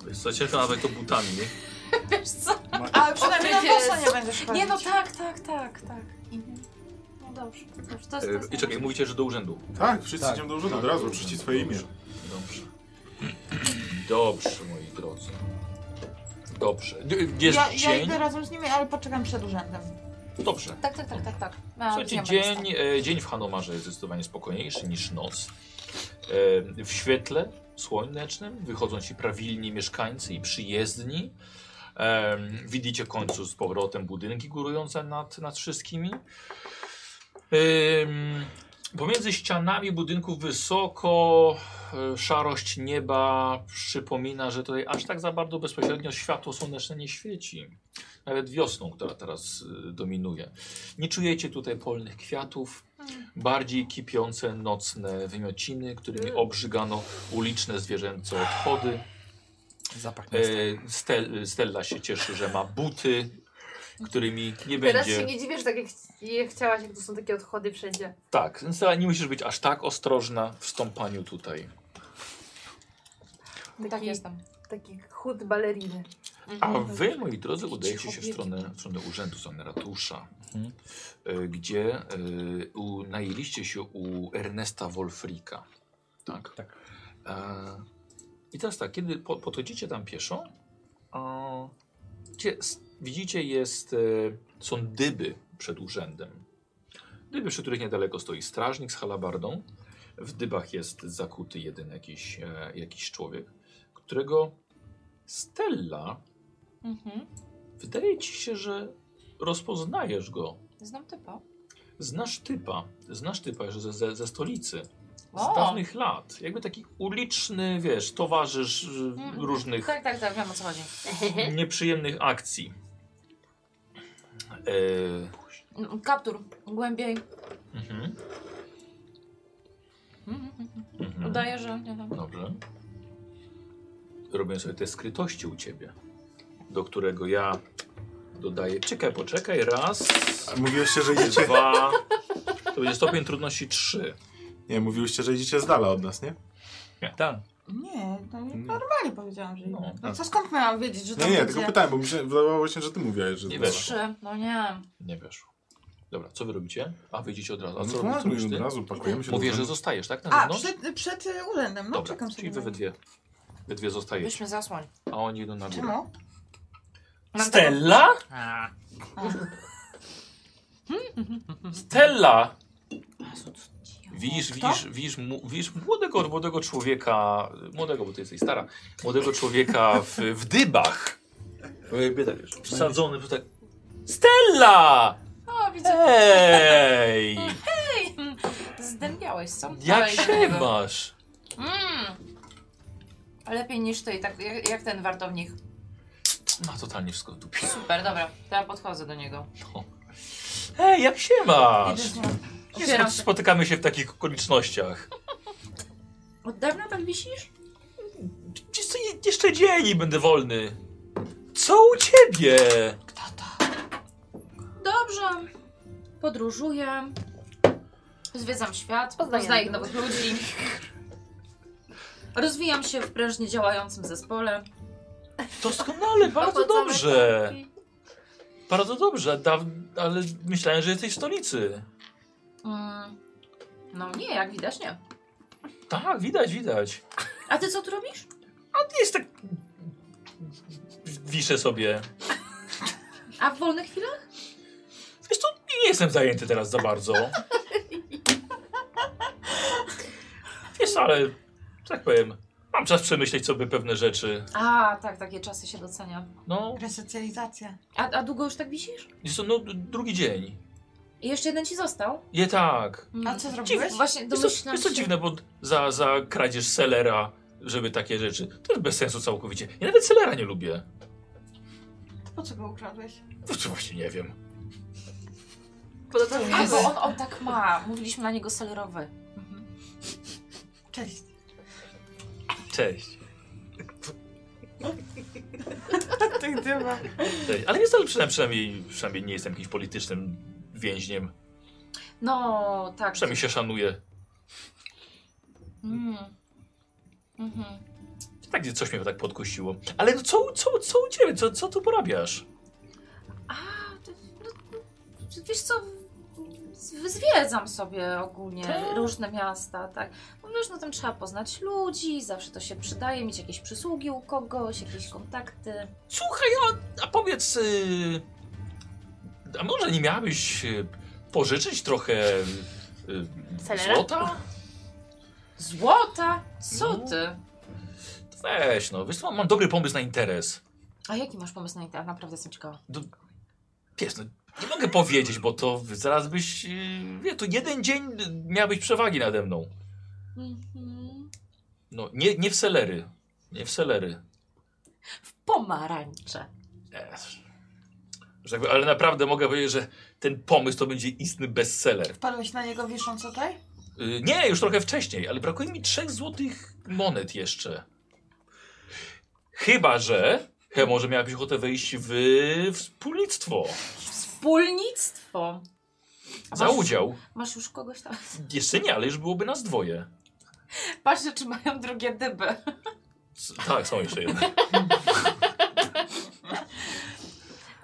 Speaker 1: Wiesz Co ciężko nawet to butami.
Speaker 2: Wiesz co?
Speaker 5: Ale przynajmniej na
Speaker 6: Odkrycie
Speaker 5: bosa nie
Speaker 6: jest-
Speaker 5: będziesz chodzić.
Speaker 2: Nie no tak, tak, tak, tak. Mhm. No dobrze, dobrze. To jest, to
Speaker 1: Y,
Speaker 2: jest
Speaker 1: I czekaj, mówicie, że do urzędu.
Speaker 8: Tak, wszyscy
Speaker 3: Tak.
Speaker 8: idziemy do urzędu od razu, oczywiście swoje imię.
Speaker 1: Dobrze. Dobrze. Dobrze, moi drodzy. Dobrze. Y, Jest
Speaker 5: Ja, ja
Speaker 1: dzień.
Speaker 5: idę razem z nimi, ale poczekam przed urzędem.
Speaker 1: Dobrze.
Speaker 2: Tak, tak, tak, tak, tak. No,
Speaker 1: Słuchajcie,
Speaker 2: wiem, jak
Speaker 1: dzień,
Speaker 2: jest.
Speaker 1: e, dzień w Hanomarze jest zdecydowanie spokojniejszy niż noc. E, w świetle słonecznym wychodzą ci prawilni mieszkańcy i przyjezdni. E, widzicie w końcu z powrotem budynki górujące nad, nad wszystkimi. Ym, Pomiędzy ścianami budynków wysoko e, szarość nieba przypomina, że tutaj aż tak za bardzo bezpośrednio światło słoneczne nie świeci. Nawet wiosną, która teraz e, dominuje. Nie czujecie tutaj polnych kwiatów, bardziej kipiące nocne wymiociny, którymi
Speaker 6: Hmm.
Speaker 1: obrzygano uliczne zwierzęce odchody.
Speaker 3: Zapach miasta.
Speaker 1: E, Stel, Stella się cieszy, że ma buty, którymi nie
Speaker 6: Teraz
Speaker 1: będzie...
Speaker 6: się nie dziwię, że tak jak ch- je chciałaś, jak to są takie odchody wszędzie.
Speaker 1: Tak, więc Stella, nie musisz być aż tak ostrożna w stąpaniu tutaj.
Speaker 2: Tak
Speaker 6: Taki-
Speaker 2: No jestem.
Speaker 6: Taki chód baleriny.
Speaker 1: A wy, moi drodzy, udajecie się w
Speaker 6: Cicho,
Speaker 1: stronę, w stronę urzędu, w stronę ratusza, e, gdzie y, u, najęliście się u Ernesta Wolfrika. Tak.
Speaker 3: Tak.
Speaker 1: E, I teraz tak, kiedy po, podchodzicie tam pieszo, e, gdzie, s- widzicie, jest, e, są dyby przed urzędem. Dyby, przy których niedaleko stoi strażnik z halabardą. W dybach jest zakuty jeden jakiś, e, jakiś człowiek, którego Stella
Speaker 2: Mhm.
Speaker 1: Wydaje ci się, że rozpoznajesz go.
Speaker 2: Znam typa.
Speaker 1: Znasz typa. Znasz typa że ze, ze, ze stolicy. z dawnych lat. Jakby taki uliczny, wiesz, towarzysz y,
Speaker 2: Mm.
Speaker 1: różnych
Speaker 2: Tak, tak, tak, wiem o co chodzi.
Speaker 1: nieprzyjemnych akcji. Yy,
Speaker 2: Mm, Kaptur, głębiej.
Speaker 1: mhm,
Speaker 2: Mm, mm, mm.
Speaker 1: mhm.
Speaker 2: Udaję, że nie wiem.
Speaker 1: Dobrze. Robię sobie te skrytości u ciebie, do którego ja dodaję. Czekaj, poczekaj. Raz,
Speaker 8: Mówiłyście, że idziecie...
Speaker 1: dwa. To będzie stopień trudności trzy.
Speaker 8: Nie, mówiłyście, że idziecie z dala od nas, nie? No
Speaker 3: Tak.
Speaker 5: Nie, no nie
Speaker 8: Nie.
Speaker 5: normalnie powiedziałam, że
Speaker 1: No,
Speaker 5: no,
Speaker 8: tak.
Speaker 5: co skąd miałam wiedzieć, że to
Speaker 8: Nie, nie,
Speaker 5: będzie?
Speaker 8: tylko pytałem, bo mi się wydawało się, że ty mówiłeś, że...
Speaker 1: Nie
Speaker 8: to-
Speaker 1: wiesz.
Speaker 2: Trzy, no nie.
Speaker 1: Nie weszło. Dobra, co wy robicie? A wyjdziecie od razu. A
Speaker 8: No
Speaker 1: co
Speaker 8: tak,
Speaker 1: robisz, co robisz
Speaker 8: my
Speaker 1: ty?
Speaker 8: od razu pakujemy się
Speaker 1: Mówię,
Speaker 8: do
Speaker 1: że
Speaker 8: urzędu.
Speaker 1: zostajesz, tak? Na
Speaker 5: A,
Speaker 1: zewnątrz?
Speaker 5: przed, przed y, urzędem, no
Speaker 1: Dobra,
Speaker 5: czekam sobie.
Speaker 1: czyli
Speaker 5: na
Speaker 1: wy we
Speaker 5: nie.
Speaker 1: dwie, we dwie zostajecie,
Speaker 2: Byśmy zasłoń.
Speaker 1: a oni idą na górę.
Speaker 5: Czemu?
Speaker 1: Stella? Stella! Widzisz, widzisz, widzisz, mu- widzisz młodego, młodego człowieka, młodego, bo ty jesteś stara, młodego człowieka w, w dybach. Jakby tak, wiesz, Przesadzony, bo tak... Stella!
Speaker 2: O, widzę.
Speaker 1: Hej!
Speaker 2: Zdębiałeś, co?
Speaker 1: Jak
Speaker 2: Dalej do
Speaker 1: się
Speaker 2: niego.
Speaker 1: masz?
Speaker 2: Mm. Lepiej niż ty, i tak jak, jak ten wartownik.
Speaker 1: Ma totalnie wszystko w dupie.
Speaker 2: Super, dobra, to ja podchodzę do niego.
Speaker 1: Hej, jak się masz?
Speaker 2: Idę z nim.
Speaker 1: Spo-
Speaker 2: Opieram się.
Speaker 1: Spotykamy się w takich okolicznościach.
Speaker 2: Od dawna tak wisisz?
Speaker 1: Wiesz co, je- jeszcze dzień i będę wolny. Co u ciebie?
Speaker 2: Dobrze. Podróżuję. Zwiedzam świat,
Speaker 6: Poznaję
Speaker 2: poznaję
Speaker 6: nowych
Speaker 2: nowych ludzi. Rozwijam się w prężnie działającym zespole.
Speaker 1: Doskonale, bardzo
Speaker 6: Owocowe
Speaker 1: dobrze.
Speaker 6: kąki.
Speaker 1: Bardzo dobrze, daw... ale myślałem, że jesteś w stolicy.
Speaker 2: Mm. No nie, jak widać nie.
Speaker 1: Tak, widać, widać.
Speaker 2: A ty co tu robisz?
Speaker 1: A ty jest tak... Wiszę sobie.
Speaker 2: A w wolnych chwilach?
Speaker 1: Wiesz co, nie jestem zajęty teraz za bardzo. Wiesz co, ale, że tak powiem, mam czas przemyśleć sobie pewne rzeczy.
Speaker 2: A, tak, takie czasy się docenia.
Speaker 1: No,
Speaker 5: Resocjalizacja.
Speaker 2: A, a długo już tak wisisz?
Speaker 1: jest to no, drugi dzień.
Speaker 2: I jeszcze jeden ci został?
Speaker 1: Je tak.
Speaker 5: A co zrobiłeś?
Speaker 2: Dziwne. Mm. Właśnie
Speaker 1: Jest to,
Speaker 2: domyślam
Speaker 1: jest to
Speaker 2: się.
Speaker 1: dziwne, bo za, za kradzież selera, żeby takie rzeczy. To jest bez sensu całkowicie. Ja nawet selera nie lubię.
Speaker 5: To po co go ukradłeś?
Speaker 1: No to właśnie nie wiem.
Speaker 2: A,
Speaker 6: Podobno
Speaker 2: bo on, on tak ma. Mówiliśmy na niego selerowy.
Speaker 5: Cześć.
Speaker 1: Cześć.
Speaker 5: Ty gdyba.
Speaker 1: Cześć. Ale jest, ale przynajmniej, przynajmniej, przynajmniej nie jestem jakimś politycznym więźniem.
Speaker 2: No, tak.
Speaker 1: Przynajmniej się szanuję.
Speaker 2: Mm. Mhm.
Speaker 1: Tak, gdzie coś mnie tak podkusiło. Ale no co, co, co u ciebie? Co, co tu porabiasz?
Speaker 2: A, to, no, no, wiesz co, z- zwiedzam sobie ogólnie
Speaker 1: Tak.
Speaker 2: różne miasta, tak. No wiesz, no tam trzeba poznać ludzi, zawsze to się przydaje, mieć jakieś przysługi u kogoś, jakieś kontakty.
Speaker 1: Słuchaj, a, a powiedz. y, a może nie miałabyś y, pożyczyć trochę yy,
Speaker 6: Selera?
Speaker 1: złota?
Speaker 2: Złota? Co
Speaker 1: No.
Speaker 2: ty?
Speaker 1: Weź, no, wiesz, co, mam dobry pomysł na interes.
Speaker 2: A jaki masz pomysł na internet? Naprawdę jestem ciekawa.
Speaker 1: Wiesz, no, nie mogę powiedzieć, bo to zaraz byś. Yy, wie, to jeden dzień miałbyś przewagi nade mną.
Speaker 2: Mhm.
Speaker 1: No, nie, nie w selery. Nie w selery.
Speaker 2: W pomarańcze.
Speaker 1: Ech. Że jakby, ale naprawdę mogę powiedzieć, że ten pomysł to będzie istny bestseller.
Speaker 5: Wpadłeś na niego wisząc tutaj?
Speaker 1: Yy, nie, już trochę wcześniej, ale brakuje mi trzech złotych monet jeszcze. Chyba, że. He, może miałabyś ochotę wejść w wspólnictwo.
Speaker 2: Wspólnictwo. A
Speaker 1: Za
Speaker 2: masz-
Speaker 1: udział.
Speaker 2: Masz już kogoś tam?
Speaker 1: Jeszcze nie, ale już byłoby nas dwoje.
Speaker 2: Patrzę, czy mają drugie dyby.
Speaker 1: S- Tak, są jeszcze jedne.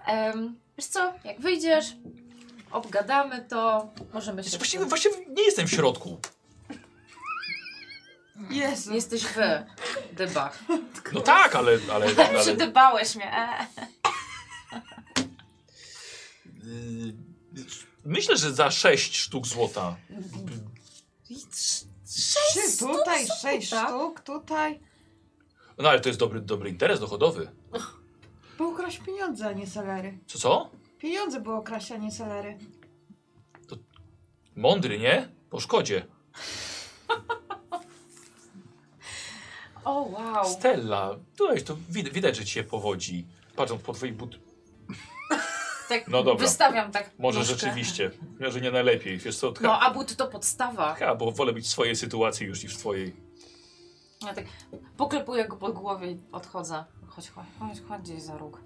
Speaker 2: Em, wiesz co, jak wyjdziesz, obgadamy to, możemy się...
Speaker 1: Właściwie, właściwie nie jestem w środku.
Speaker 5: Jezu.
Speaker 2: Jesteś w dybach.
Speaker 1: No tak, ale. ale, ale
Speaker 2: Przydybałeś mnie. E.
Speaker 1: Yy, myślę, że za 6 sztuk złota.
Speaker 5: Trzy tutaj, sześć
Speaker 2: tak?
Speaker 5: sztuk, tutaj.
Speaker 1: No ale to jest dobry, dobry interes dochodowy.
Speaker 5: Był kraść pieniądze, a nie salery.
Speaker 1: Co, co?
Speaker 5: Pieniądze było kraść, a nie salery.
Speaker 1: Mądry, nie? Po szkodzie.
Speaker 2: O, wow.
Speaker 1: Stella, tutaj to widać, widać, że cię powodzi. Patrząc po twoich but...
Speaker 2: Tak
Speaker 1: No dobra.
Speaker 2: Wystawiam tak.
Speaker 1: Może
Speaker 2: nóżkę.
Speaker 1: rzeczywiście, że nie najlepiej. Wiesz co,
Speaker 2: No,
Speaker 1: tka,
Speaker 2: a but to podstawa.
Speaker 1: tka, bo wolę być w swojej sytuacji już niż w twojej.
Speaker 2: Ja tak poklepuję go po głowie i odchodzę. Chodź, chodź, chodź, chodź gdzieś za róg.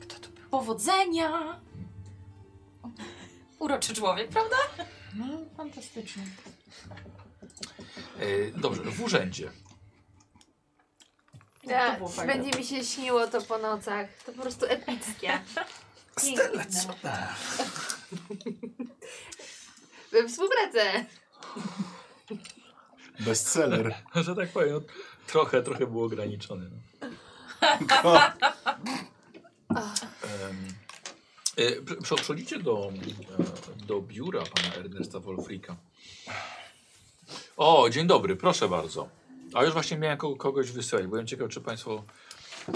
Speaker 2: Kto tu był? Powodzenia! Uroczy człowiek, prawda?
Speaker 5: No, fantastycznie.
Speaker 1: E, dobrze, w urzędzie.
Speaker 6: Ja,
Speaker 2: było fajne.
Speaker 6: będzie mi się śniło to po nocach. To po prostu epickie. Piękne. We współpracę.
Speaker 8: Bestseller.
Speaker 1: Że tak powiem, no, trochę, trochę było ograniczone. No.
Speaker 8: O,
Speaker 1: Em, e, prze- prze- Przechodzicie do, e, do biura pana Ernesta Wolfrika. O, dzień dobry, proszę bardzo. A już właśnie miałem ko- kogoś wysyłać. Byłem ciekaw, czy państwo,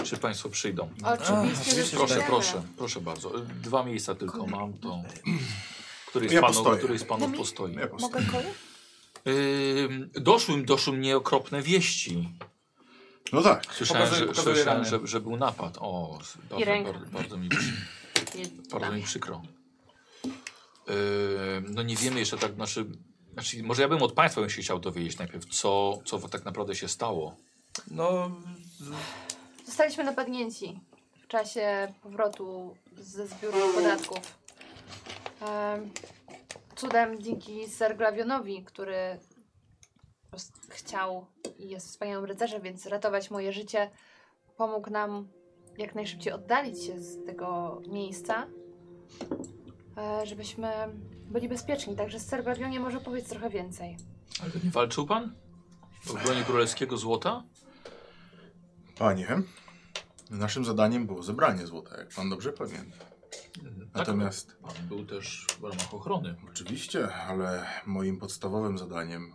Speaker 1: czy państwo przyjdą.
Speaker 6: Oczywiście, że
Speaker 1: Proszę,
Speaker 6: przyjdziemy.
Speaker 1: proszę, proszę bardzo. E, Dwa miejsca tylko mam, to który z
Speaker 8: Ja
Speaker 1: panów,
Speaker 8: postoję.
Speaker 1: który z panów postoi.
Speaker 8: nie, po prostu.
Speaker 5: Mogę kolor?
Speaker 1: Ym, doszły, doszły mnie okropne wieści.
Speaker 8: No tak.
Speaker 1: Słyszałem,
Speaker 3: Pokazuję-
Speaker 1: że,
Speaker 3: pokazuję
Speaker 1: słyszałem
Speaker 3: rany.
Speaker 1: że, że był napad. O, bardzo,
Speaker 2: ręka.
Speaker 1: bardzo, bardzo, mi, bardzo mi przykro. Yy, no nie wiemy jeszcze tak, znaczy, znaczy, może ja bym od Państwa bym się chciał dowiedzieć najpierw, co, co tak naprawdę się stało.
Speaker 3: No,
Speaker 6: Zostaliśmy napadnięci w czasie powrotu ze zbioru podatków. Em, Cudem dzięki Serglawionowi, który os- chciał i jest wspaniałym rycerzem, więc ratować moje życie, pomógł nam jak najszybciej oddalić się z tego miejsca, e, żebyśmy byli bezpieczni. Także Serglawionie może powiedz trochę więcej.
Speaker 1: Ale nie walczył Pan? W broni królewskiego złota?
Speaker 8: Panie, naszym zadaniem było zebranie złota, jak pan dobrze pamięta. Natomiast
Speaker 1: Tak, pan był też w ramach ochrony.
Speaker 8: Oczywiście, ale moim podstawowym zadaniem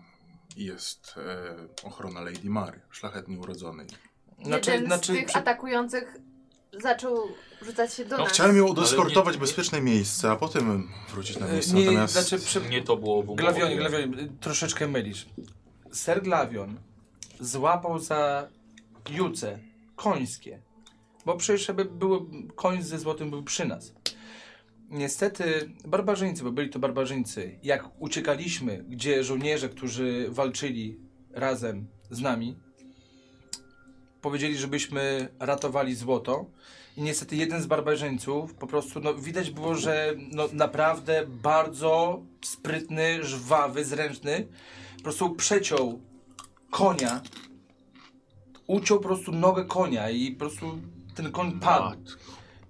Speaker 8: jest e, ochrona Lady Mary, szlachetnie urodzonej.
Speaker 3: Znaczy,
Speaker 6: Jeden z tych atakujących zaczął rzucać się do
Speaker 1: No,
Speaker 6: nas.
Speaker 8: Chciałem ją
Speaker 1: Ale
Speaker 8: odeskortować
Speaker 1: nie-
Speaker 8: w bezpieczne miejsce, a potem wrócić na
Speaker 3: e,
Speaker 8: miejsce.
Speaker 3: nie,
Speaker 8: Natomiast
Speaker 3: znaczy, przy,
Speaker 1: Nie to było w umowie.
Speaker 3: Glawion, Glawion, y, troszeczkę mylisz. Ser Glawion złapał za juce końskie, bo przecież żeby było, koń ze złotym był przy nas. Niestety barbarzyńcy, bo byli to barbarzyńcy, jak uciekaliśmy, gdzie żołnierze, którzy walczyli razem z nami, powiedzieli, żebyśmy ratowali złoto. I niestety jeden z barbarzyńców po prostu no, widać było, że no, naprawdę bardzo sprytny, żwawy, zręczny. Po prostu przeciął konia. Uciął po prostu nogę konia i po prostu ten koń padł.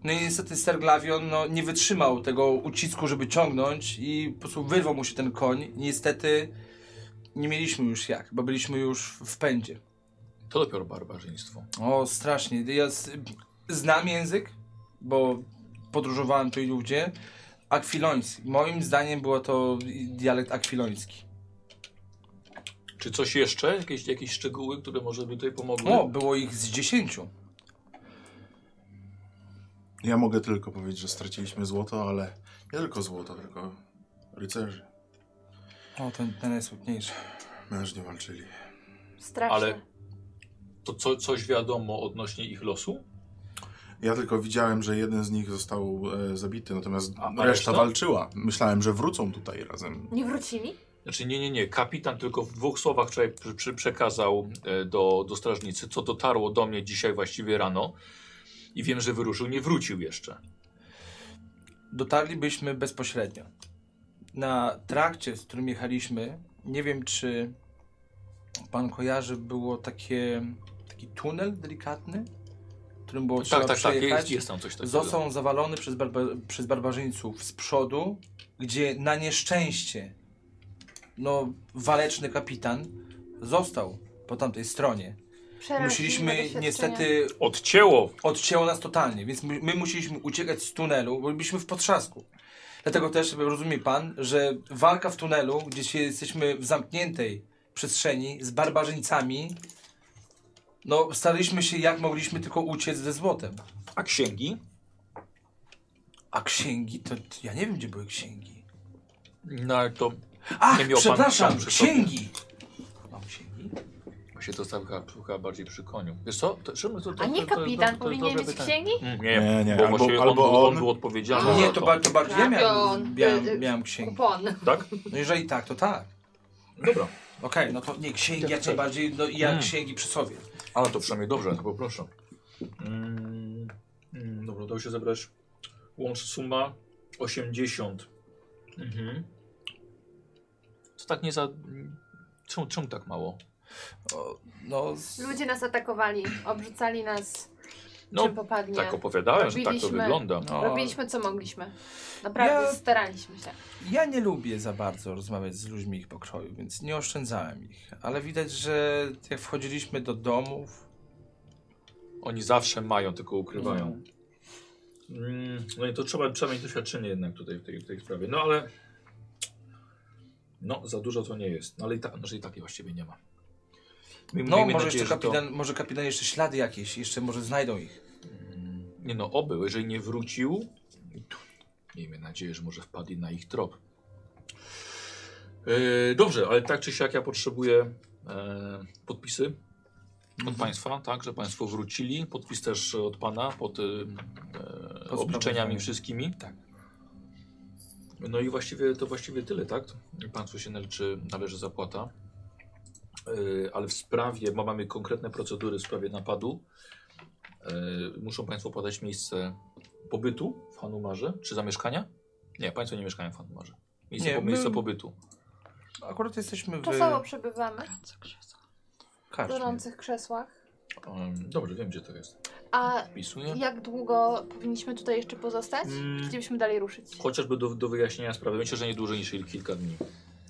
Speaker 3: No i niestety Serglavion no, nie wytrzymał tego ucisku, żeby ciągnąć i po prostu wyrwał mu się ten koń. Niestety nie mieliśmy już jak, bo byliśmy już w pędzie.
Speaker 1: To dopiero barbarzyństwo.
Speaker 3: O, strasznie. Ja z, znam język, bo podróżowałem tu i ludzie. Akwiloński. Moim zdaniem było to dialekt akwiloński.
Speaker 1: Czy coś jeszcze? Jakieś, jakieś szczegóły, które może by tutaj pomogły?
Speaker 3: O, było ich z dziesięciu.
Speaker 8: Ja mogę tylko powiedzieć, że straciliśmy złoto, ale nie tylko złoto, tylko rycerzy.
Speaker 3: O, ten, ten najsmutniejszy.
Speaker 8: Mężnie walczyli.
Speaker 6: Strasznie.
Speaker 1: Ale- To co, coś wiadomo odnośnie ich losu?
Speaker 8: Ja tylko widziałem, że jeden z nich został e, zabity, natomiast
Speaker 1: A- a
Speaker 8: reszta,
Speaker 1: reszta?
Speaker 8: walczyła. Myślałem, że wrócą tutaj razem.
Speaker 6: Nie wrócili?
Speaker 1: Znaczy nie, nie, nie. Kapitan tylko w dwóch słowach wczoraj przy, przy przekazał e, do, do strażnicy, co dotarło do mnie dzisiaj właściwie rano. I wiem, że wyruszył, nie wrócił jeszcze.
Speaker 3: Dotarlibyśmy bezpośrednio. Na trakcie, z którym jechaliśmy, nie wiem czy pan kojarzy, było takie, taki tunel delikatny, którym było trzeba
Speaker 1: tak, tak, tak,
Speaker 3: przejechać.
Speaker 1: jest, jest tam coś takiego.
Speaker 3: Został zawalony przez, barba przez barbarzyńców z przodu, gdzie na nieszczęście no, waleczny kapitan został po tamtej stronie.
Speaker 6: Przeraźliwe
Speaker 3: Musieliśmy
Speaker 6: doświadczenie.
Speaker 3: niestety,
Speaker 1: Odcięło.
Speaker 3: odcięło nas totalnie, więc my, my musieliśmy uciekać z tunelu, bo byliśmy w potrzasku. Dlatego też rozumie pan, że walka w tunelu, gdzie się jesteśmy w zamkniętej przestrzeni z barbarzyńcami, no staraliśmy się jak mogliśmy tylko uciec ze złotem.
Speaker 1: A księgi?
Speaker 3: A księgi? To t- ja nie wiem, gdzie były księgi.
Speaker 1: No ale to
Speaker 7: Ach,
Speaker 1: Nie miał pan
Speaker 7: przepraszam,
Speaker 1: ksiąg przy sobie.
Speaker 7: księgi! Mam księgi?
Speaker 1: Się to stawka puka bardziej przy koniu. Wiesz co? To, czemu to, to,
Speaker 6: A nie
Speaker 1: to- to- to-
Speaker 6: kapitan
Speaker 1: to- to
Speaker 6: powinien
Speaker 1: dobre
Speaker 6: mieć
Speaker 1: pytanie.
Speaker 6: księgi?
Speaker 1: Mm,
Speaker 8: Nie,
Speaker 1: Nie,
Speaker 8: nie,
Speaker 1: bo
Speaker 8: albo-
Speaker 1: właśnie
Speaker 8: albo
Speaker 1: on, był- on
Speaker 8: on.
Speaker 1: był odpowiedzialny
Speaker 7: Nie,
Speaker 1: za
Speaker 7: to, ba to bardziej ja miałem,
Speaker 6: Krapion, y, y,
Speaker 7: miałem, miałem księgi.
Speaker 6: Kupon.
Speaker 1: Tak?
Speaker 7: No jeżeli tak, to tak.
Speaker 1: Dobra.
Speaker 7: Okej, no to nie, księgi jak
Speaker 1: chcę.
Speaker 7: najbardziej, no i ja
Speaker 1: Mm.
Speaker 7: księgi przy sobie.
Speaker 1: Ale to przynajmniej dobrze, to poproszę. Mm, mm, dobra, udało się zebrać. Łącz suma 80. Mhm. To tak nie za... Czemu, czemu tak mało?
Speaker 7: O, no, z-
Speaker 6: Ludzie nas atakowali, obrzucali nas
Speaker 1: No,
Speaker 6: czym popadnie.
Speaker 1: tak opowiadałem, że tak to
Speaker 6: Robiliśmy.
Speaker 1: wygląda.
Speaker 7: no,
Speaker 6: Robiliśmy co mogliśmy. Naprawdę
Speaker 7: Ja-
Speaker 6: staraliśmy się.
Speaker 7: Ja nie lubię za bardzo rozmawiać z ludźmi ich pokroju, więc nie oszczędzałem ich. Ale widać, że jak wchodziliśmy do domów,
Speaker 1: Oni zawsze mają, tylko ukrywają. Mm, no i to trzeba, trzeba mieć doświadczenie jednak tutaj w tej, w tej sprawie. No ale... No, za dużo to nie jest. No ale i, ta, no, że i takiej właściwie nie ma. Miejmy-
Speaker 7: No,
Speaker 1: miejmy
Speaker 7: może
Speaker 1: nadzieję,
Speaker 7: jeszcze
Speaker 1: że to-
Speaker 7: kapitan, może kapitan jeszcze ślady jakieś, jeszcze może znajdą ich.
Speaker 1: Nie no, obył. Jeżeli nie wrócił, to miejmy nadzieję, że może wpadli na ich trop. Yy, dobrze, ale tak czy siak ja potrzebuję e, podpisy
Speaker 7: Mhm.
Speaker 1: od Państwa, tak, że Państwo wrócili. Podpis też od Pana pod, e, e,
Speaker 7: Pod
Speaker 1: obliczeniami
Speaker 7: sprawozdaniem.
Speaker 1: wszystkimi.
Speaker 7: Tak.
Speaker 1: No i właściwie to właściwie tyle, tak? Państwu się należy, należy zapłata. Yy, ale w sprawie, bo mamy konkretne procedury w sprawie napadu, Yy, muszą Państwo podać miejsce pobytu w Hanumarze, czy zamieszkania? Nie, Państwo nie mieszkają w Hanumarze. Miejsce,
Speaker 7: Nie,
Speaker 1: po, miejsce
Speaker 7: my-
Speaker 1: pobytu.
Speaker 7: Akurat jesteśmy w
Speaker 6: Czasowo przebywamy w
Speaker 7: karczmie.
Speaker 6: gorących krzesłach.
Speaker 1: Ym, dobrze, wiem gdzie to jest.
Speaker 6: A
Speaker 1: Wpisuję.
Speaker 6: jak długo powinniśmy tutaj jeszcze pozostać?
Speaker 1: No. Mm.
Speaker 6: Chcielibyśmy dalej ruszyć.
Speaker 1: Chociażby do, do wyjaśnienia sprawy. Myślę, że nie dłużej niż kilka dni.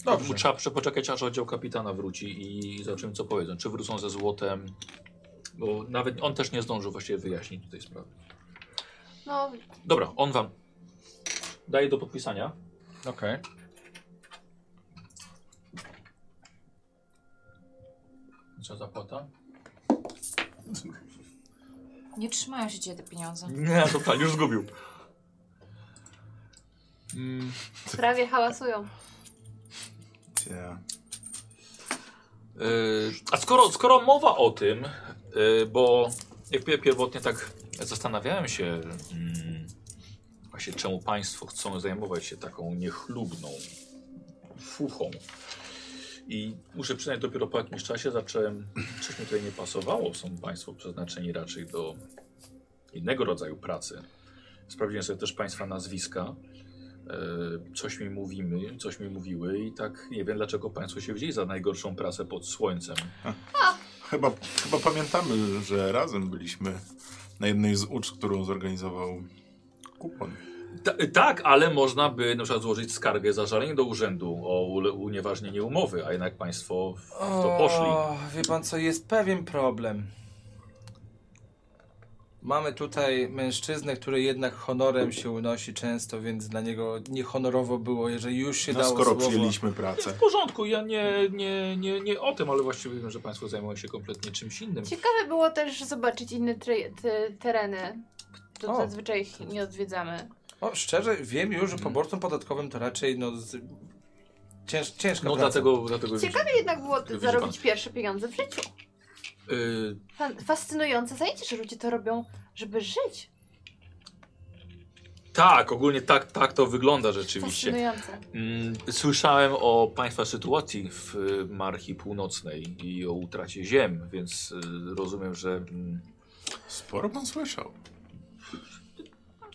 Speaker 7: Dobrze.
Speaker 1: Mu Trzeba prze- poczekać, aż oddział kapitana wróci i zobaczymy, co powiedzą. Czy wrócą ze złotem, bo nawet on też nie zdążył właściwie wyjaśnić tej sprawy.
Speaker 6: No,
Speaker 1: Dobra, on Wam daje do podpisania.
Speaker 3: Okej.
Speaker 1: Co zapłata?
Speaker 2: Nie trzymają się cię te pieniądze.
Speaker 1: Nie, to pan już zgubił.
Speaker 6: prawie hałasują.
Speaker 8: Yeah.
Speaker 1: Yy, A skoro, skoro mowa o tym, yy, bo jak pier- pierwotnie tak zastanawiałem się, mm, właśnie czemu państwo chcą zajmować się taką niechlubną fuchą. I muszę przyznać, dopiero po jakimś czasie zacząłem, coś mi tutaj nie pasowało. Są państwo przeznaczeni raczej do innego rodzaju pracy. Sprawdziłem sobie też państwa nazwiska. E, coś mi mówimy, coś mi mówiły i tak nie wiem dlaczego państwo się wzięli za najgorszą pracę pod słońcem.
Speaker 8: Chyba, chyba pamiętamy, że razem byliśmy na jednej z ucz, którą zorganizował kupon.
Speaker 1: Ta, tak, ale można by na przykład złożyć skargę za żalenie do urzędu o ule- unieważnienie umowy, a jednak państwo w to poszli.
Speaker 7: O, wie pan co, jest pewien problem. Mamy tutaj mężczyznę, który jednak honorem się unosi często, więc dla niego niehonorowo było, jeżeli już się
Speaker 8: No,
Speaker 7: dało
Speaker 8: skoro
Speaker 7: słowo.
Speaker 8: przyjęliśmy pracę.
Speaker 1: W porządku, ja nie, nie, nie, nie o tym, ale właściwie wiem, że państwo zajmują się kompletnie czymś innym.
Speaker 6: Ciekawe było też zobaczyć inne tre- te- tereny. To
Speaker 7: O.
Speaker 6: zazwyczaj ich nie odwiedzamy.
Speaker 7: O, szczerze, wiem już, że
Speaker 1: Mhm.
Speaker 7: poborcom podatkowym to raczej no, z... Cięż, ciężka
Speaker 1: No
Speaker 7: praca.
Speaker 1: dlatego, dlatego
Speaker 6: Ciekawe No, jednak było
Speaker 1: Widzi pan.
Speaker 6: zarobić pierwsze pieniądze w życiu.
Speaker 1: Y,
Speaker 6: Fan- fascynujące zajęcie, że ludzie to robią, żeby żyć.
Speaker 1: tak, ogólnie tak, tak to wygląda rzeczywiście.
Speaker 6: Fascynujące.
Speaker 1: Mm, Słyszałem o Państwa sytuacji w y, Marchi Północnej i o utracie ziem, więc y, rozumiem, że mm,
Speaker 8: Sporo pan słyszał.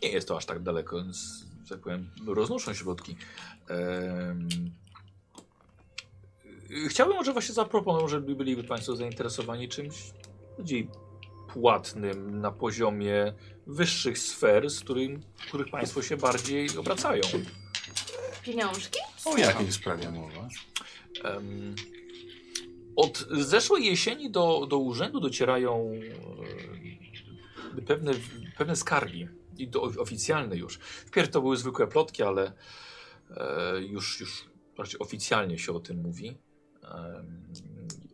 Speaker 1: nie jest to aż tak daleko, więc, że tak powiem, roznoszą środki. Em, y, Chciałbym może właśnie zaproponować, żeby byliby Państwo zainteresowani czymś bardziej płatnym na poziomie wyższych sfer, z którym, których Państwo się bardziej obracają.
Speaker 6: Pieniążki?
Speaker 8: O jakiej sprawie mowa?
Speaker 1: Em, Od zeszłej jesieni do, do urzędu docierają e, pewne, pewne skargi. I do, oficjalne już. Wpierw to były zwykłe plotki, ale e, już, już bardziej oficjalnie się o tym mówi. Em,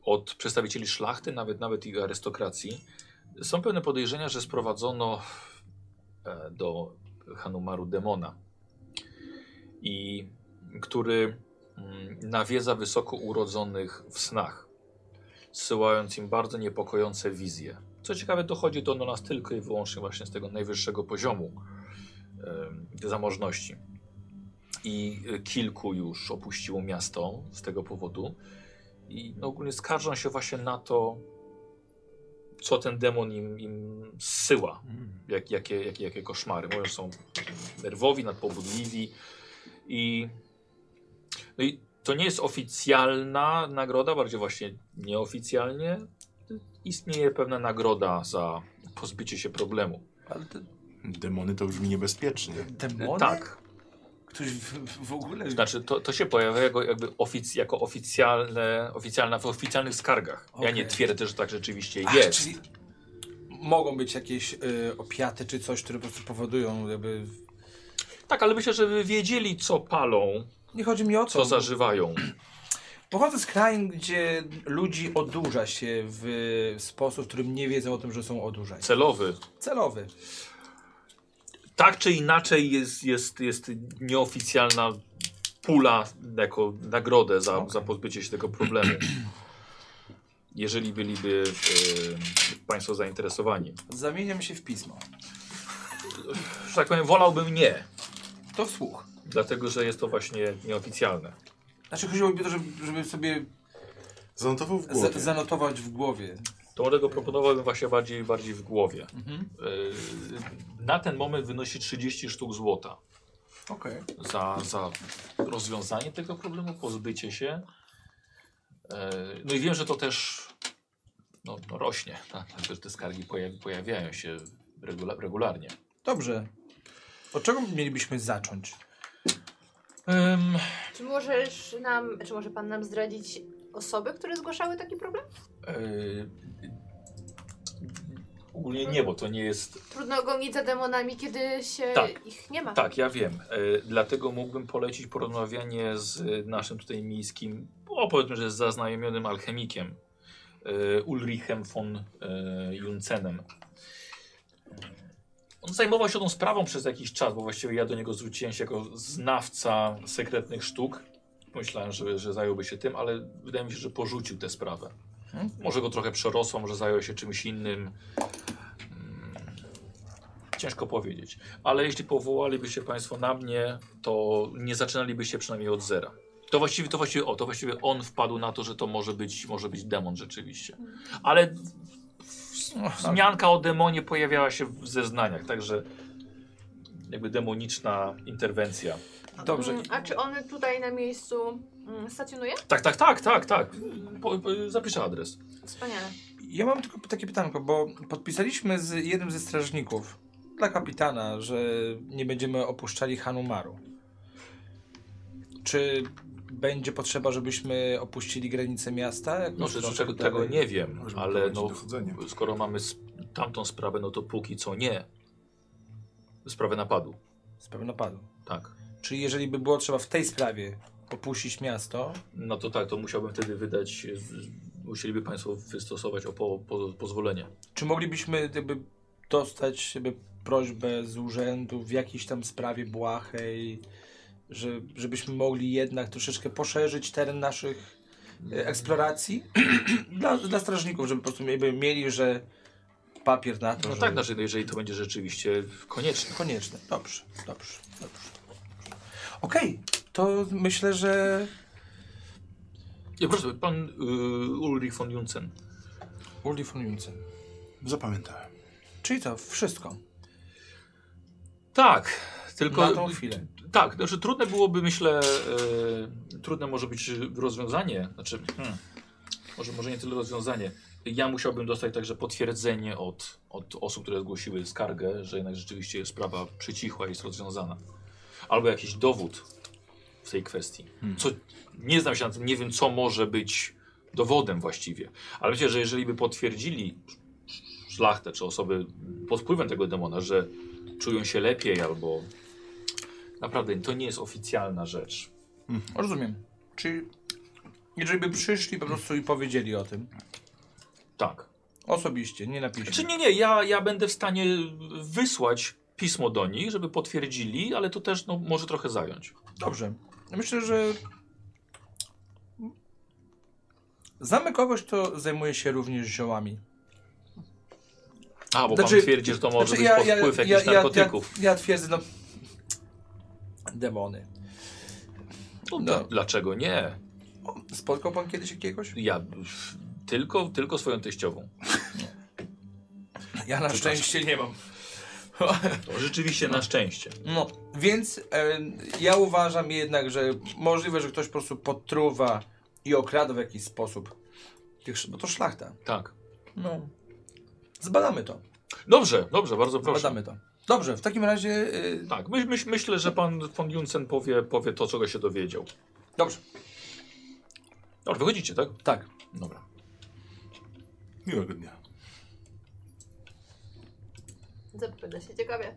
Speaker 1: od przedstawicieli szlachty, nawet, nawet i arystokracji. Są pewne podejrzenia, że sprowadzono e, do Hanumaru demona. I który mm, nawiedza wysoko urodzonych w snach, zsyłając im bardzo niepokojące wizje. Co ciekawe, dochodzi to do nas tylko i wyłącznie właśnie z tego najwyższego poziomu em, zamożności. I y, kilku już opuściło miasto z tego powodu. I no, ogólnie skarżą się właśnie na to, co ten demon im, im zsyła jak, jakie, jakie, jakie koszmary. Mówią, że są nerwowi, nadpobudliwi i, no i to nie jest oficjalna nagroda, bardziej właśnie nieoficjalnie istnieje pewna nagroda za pozbycie się problemu.
Speaker 10: Ale te
Speaker 8: Demony to brzmi niebezpiecznie.
Speaker 10: demony?
Speaker 1: Tak,
Speaker 10: Ktoś w, w- w ogóle...
Speaker 1: znaczy to, to się pojawia jako, jakby ofic, jako oficjalne, oficjalna, w oficjalnych skargach. Ja nie
Speaker 10: Okej.
Speaker 1: twierdzę, że tak rzeczywiście
Speaker 10: Ach,
Speaker 1: jest.
Speaker 10: czyli-
Speaker 3: Mogą być jakieś y, opiaty czy coś, które po prostu powodują jakby...
Speaker 1: Tak, ale myślę, że wy wiedzieli co palą,
Speaker 3: Nie chodzi mi o to.
Speaker 1: co zażywają.
Speaker 3: Pochodzę z krain, gdzie ludzi odurza się w sposób, w którym nie wiedzą o tym, że są odurzani.
Speaker 1: Celowy.
Speaker 3: Celowy.
Speaker 1: tak czy inaczej jest, jest, jest nieoficjalna pula jako nagrodę za, za pozbycie się tego problemu. Jeżeli byliby e, Państwo zainteresowani.
Speaker 3: Zamieniam się w pismo.
Speaker 1: Że tak powiem, wolałbym nie,
Speaker 3: To wsłuch.
Speaker 1: dlatego że jest to właśnie nieoficjalne.
Speaker 3: Znaczy chodziłoby o to, żeby, żeby sobie
Speaker 8: Zanotował w
Speaker 3: za,
Speaker 8: głowie.
Speaker 3: zanotować w głowie.
Speaker 1: To dlatego proponowałbym właśnie bardziej, bardziej w głowie.
Speaker 3: Mhm.
Speaker 1: E, na ten moment wynosi 30 sztuk złota
Speaker 3: Okej.
Speaker 1: za, za rozwiązanie tego problemu, pozbycie się. E, No i wiem, że to też no, no rośnie, tak? Też te skargi pojawi, pojawiają się regula regularnie.
Speaker 3: Dobrze. Od czego mielibyśmy zacząć?
Speaker 1: Em,
Speaker 6: Czy możesz nam, czy może pan nam zdradzić osoby, które zgłaszały taki problem?
Speaker 1: e, Ogólnie nie, bo to nie jest.
Speaker 6: Trudno gonić za demonami, kiedy się
Speaker 1: Tak.
Speaker 6: ich nie ma.
Speaker 1: Tak, ja wiem. E, dlatego mógłbym polecić porozmawianie z naszym tutaj miejskim, o powiedzmy, że z zaznajomionym alchemikiem e, Ulrichem von e, Juncenem. On zajmował się tą sprawą przez jakiś czas, bo właściwie ja do niego zwróciłem się jako znawca sekretnych sztuk. Myślałem, że, że zająłby się tym, ale wydaje mi się, że porzucił tę sprawę.
Speaker 3: Hmm?
Speaker 1: Może go trochę przerosło, może zajął się czymś innym. Mm, Ciężko powiedzieć. Ale jeśli powołalibyście Państwo na mnie, to nie zaczynalibyście przynajmniej od zera. To właściwie, to właściwie, o, to właściwie on wpadł na to, że to może być, może być demon rzeczywiście. Ale wzmianka o demonie pojawiała się w zeznaniach, także jakby demoniczna interwencja.
Speaker 3: Dobrze.
Speaker 6: Mm, A czy on tutaj na miejscu mm, stacjonuje?
Speaker 1: Tak, tak, tak, tak, tak. Po, po, zapiszę adres.
Speaker 6: Wspaniale.
Speaker 3: Ja mam tylko takie pytanko, bo podpisaliśmy z jednym ze strażników dla kapitana, że nie będziemy opuszczali Hanumaru. Czy będzie potrzeba, żebyśmy opuścili granice miasta? Jak
Speaker 1: No,
Speaker 3: myślisz,
Speaker 1: że tego,
Speaker 3: dalej?
Speaker 1: tego nie wiem,
Speaker 8: Możemy
Speaker 1: ale
Speaker 8: prowadzić
Speaker 1: no,
Speaker 8: dochodzenie.
Speaker 1: skoro mamy sp- tamtą sprawę, no to póki co nie. Sprawę napadu,
Speaker 3: Sprawę napadu.
Speaker 1: tak.
Speaker 3: Czyli jeżeli by było trzeba w tej sprawie opuścić miasto,
Speaker 1: No to tak, to musiałbym wtedy wydać, y, z- musieliby Państwo wystosować o po, po, pozwolenie.
Speaker 3: czy moglibyśmy jakby dostać jakby prośbę z urzędu w jakiejś tam sprawie błahej, że, żebyśmy mogli jednak troszeczkę poszerzyć teren naszych e, eksploracji dla, dla strażników, żeby po prostu jakby mieli, że papier na to,
Speaker 1: No
Speaker 3: że
Speaker 1: tak, znaczy, no jeżeli to będzie rzeczywiście konieczne.
Speaker 3: konieczne. Dobrze, dobrze, dobrze. Okej, to myślę, że
Speaker 1: Ja proszę, Pan y, Ulrich von Junsen.
Speaker 3: Uli von Junzen.
Speaker 8: Zapamiętałem.
Speaker 3: Czyli to wszystko
Speaker 1: Tak, tylko...
Speaker 3: na tą chwilę.
Speaker 1: Tak, znaczy trudne byłoby, myślę, e, trudne może być e, rozwiązanie, znaczy, hmm, może, może nie tyle rozwiązanie. Ja musiałbym dostać także potwierdzenie od, od osób, które zgłosiły skargę, że jednak rzeczywiście sprawa przycichła i jest rozwiązana. Albo jakiś dowód w tej kwestii. Co, nie znam się na tym, nie wiem, co może być dowodem właściwie. Ale myślę, że jeżeli by potwierdzili szlachtę czy osoby pod wpływem tego demona, że czują się lepiej albo Naprawdę, to nie jest oficjalna rzecz.
Speaker 3: Rozumiem. Czyli jeżeli by przyszli po prostu i powiedzieli o tym,
Speaker 1: Tak.
Speaker 3: Osobiście, nie na piśmie.
Speaker 1: Czy Znaczy, nie, nie, ja, ja będę w stanie wysłać pismo do nich, żeby potwierdzili, ale to też no, może trochę zająć.
Speaker 3: Dobrze. Myślę, że Znamy kogoś, kto zajmuje się również ziołami.
Speaker 1: A, bo
Speaker 3: Znaczy-
Speaker 1: pan twierdzi, że to może
Speaker 3: Znaczy,
Speaker 1: być pod wpływ jakichś narkotyków.
Speaker 3: Ja, ja twierdzę, no... Demony.
Speaker 1: No,
Speaker 3: no.
Speaker 1: d- Dlaczego nie?
Speaker 3: Spotkał pan kiedyś jakiegoś?
Speaker 1: Ja pff, tylko, tylko swoją teściową.
Speaker 3: Ja na szczęście nie mam.
Speaker 1: To rzeczywiście na szczęście.
Speaker 3: No, więc e, ja uważam jednak, że możliwe, że ktoś po prostu potruwa i okrada w jakiś sposób. tych sz- Bo to szlachta.
Speaker 1: Tak.
Speaker 3: No. Zbadamy to.
Speaker 1: Dobrze, dobrze, bardzo proszę.
Speaker 3: Zbadamy to. Dobrze, w takim razie. e,
Speaker 1: Tak, my, myś- myślę, że pan von Junsen powie, powie to, czego się dowiedział.
Speaker 3: dobrze,
Speaker 1: Dobrze, wychodzicie, tak?
Speaker 3: tak.
Speaker 1: Dobra.
Speaker 8: Miłego dnia.
Speaker 6: Zapowiada się ciekawie.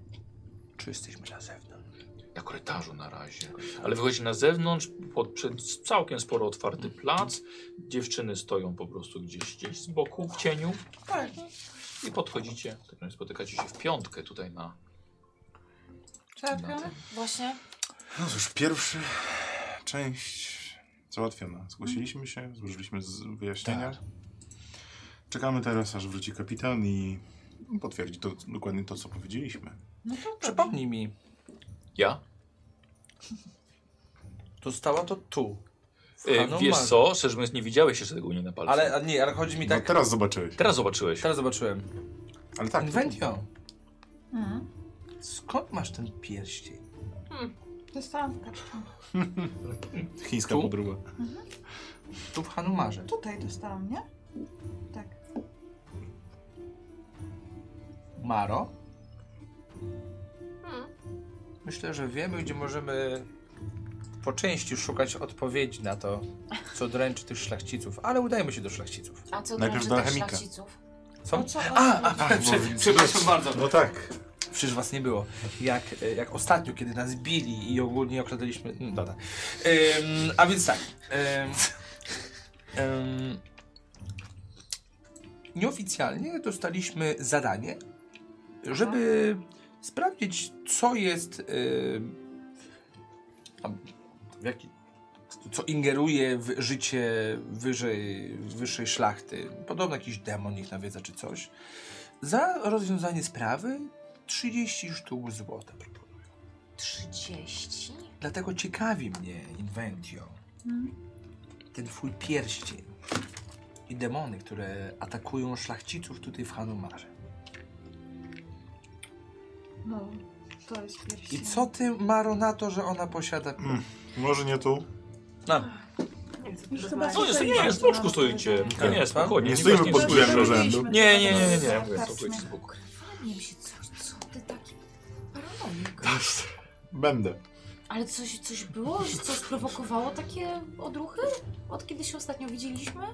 Speaker 3: Czy jesteśmy na zewnątrz?
Speaker 1: Na korytarzu na razie. Ale wychodzi na zewnątrz, pod, przed całkiem sporo otwarty
Speaker 3: Mhm.
Speaker 1: plac. Dziewczyny stoją po prostu gdzieś, gdzieś z boku, w cieniu.
Speaker 5: Tak.
Speaker 1: I podchodzicie, tak naprawdę spotykacie się w piątkę tutaj na...
Speaker 3: tak.
Speaker 5: Czerpiamy?
Speaker 2: Właśnie.
Speaker 8: No cóż, pierwsza część załatwiona. Zgłosiliśmy się, złożyliśmy z wyjaśnienia. Czekamy teraz, aż wróci kapitan i potwierdzi to, dokładnie to, co powiedzieliśmy.
Speaker 5: No to dobrze.
Speaker 3: Przypomnij mi,
Speaker 1: Ja?
Speaker 3: to stała to tu. W
Speaker 1: E,
Speaker 3: Hanomar-
Speaker 1: wiesz co, szczerze mówiąc nie widziałeś jeszcze tego nie na palcu.
Speaker 3: Ale Tak. a nie, ale chodzi mi
Speaker 8: Tak.
Speaker 3: tak.
Speaker 8: No teraz zobaczyłeś.
Speaker 1: Teraz zobaczyłeś.
Speaker 3: Teraz zobaczyłem.
Speaker 8: Ale tak.
Speaker 3: Inventio,
Speaker 5: Mhm.
Speaker 3: skąd masz ten pierścień?
Speaker 5: Dostałam w kaczkę.
Speaker 8: Chińska
Speaker 3: Tu?
Speaker 8: podróba.
Speaker 3: Tu w Hanumarze.
Speaker 5: Tutaj dostałam, nie? Tak.
Speaker 3: Maro?
Speaker 6: Hmm.
Speaker 3: Myślę, że wiemy, gdzie możemy po części szukać odpowiedzi na to, co dręczy tych szlachciców, ale udajmy się do szlachciców.
Speaker 2: A co
Speaker 8: Najpierw
Speaker 2: dręczy
Speaker 8: do
Speaker 2: tych
Speaker 8: alchemika.
Speaker 2: szlachciców?
Speaker 3: Co?
Speaker 2: O co chodzi?
Speaker 8: Tak,
Speaker 3: prze-
Speaker 8: bo-
Speaker 3: przepraszam bardzo.
Speaker 8: No tak.
Speaker 3: Przecież was nie było. Jak, e, jak ostatnio, kiedy nas bili i ogólnie okradaliśmy... mm, Dobra. Ym, a więc tak. Ym, ym, nieoficjalnie dostaliśmy zadanie, żeby sprawdzić, co jest... ym, tam, w jaki, co ingeruje w życie wyżej, wyższej szlachty. Podobno jakiś demon ich nawiedza czy coś. Za rozwiązanie sprawy 30 sztuk złota proponuję.
Speaker 2: 30?
Speaker 3: Dlatego ciekawi mnie, Inventio,
Speaker 5: Mhm.
Speaker 3: ten twój pierścień i demony, które atakują szlachciców tutaj w Hanumarze.
Speaker 5: No, to jest pierścień.
Speaker 3: I co ty, Maro, na to, że ona posiada...
Speaker 8: Mm. Może nie tu.
Speaker 3: No,
Speaker 6: Nie chcę
Speaker 5: Już
Speaker 6: rozmawiać.
Speaker 5: chyba-
Speaker 1: No jest, nie, jest, w boczku stoicie.
Speaker 3: Tak.
Speaker 1: Nie, spokojnie.
Speaker 8: Nie
Speaker 1: nikt
Speaker 8: stoimy
Speaker 1: was
Speaker 8: pod
Speaker 1: słyszy.
Speaker 8: wpływem rzędu.
Speaker 1: Nie, nie, nie, nie, nie.
Speaker 5: Tak,
Speaker 1: Mówię,
Speaker 5: tak,
Speaker 1: spokojnie,
Speaker 5: tak.
Speaker 1: spokojnie.
Speaker 2: Panie się, co, co ty taki paranoik?
Speaker 8: Będę.
Speaker 2: Ale coś, coś było, że co sprowokowało takie odruchy? Od kiedy się ostatnio widzieliśmy?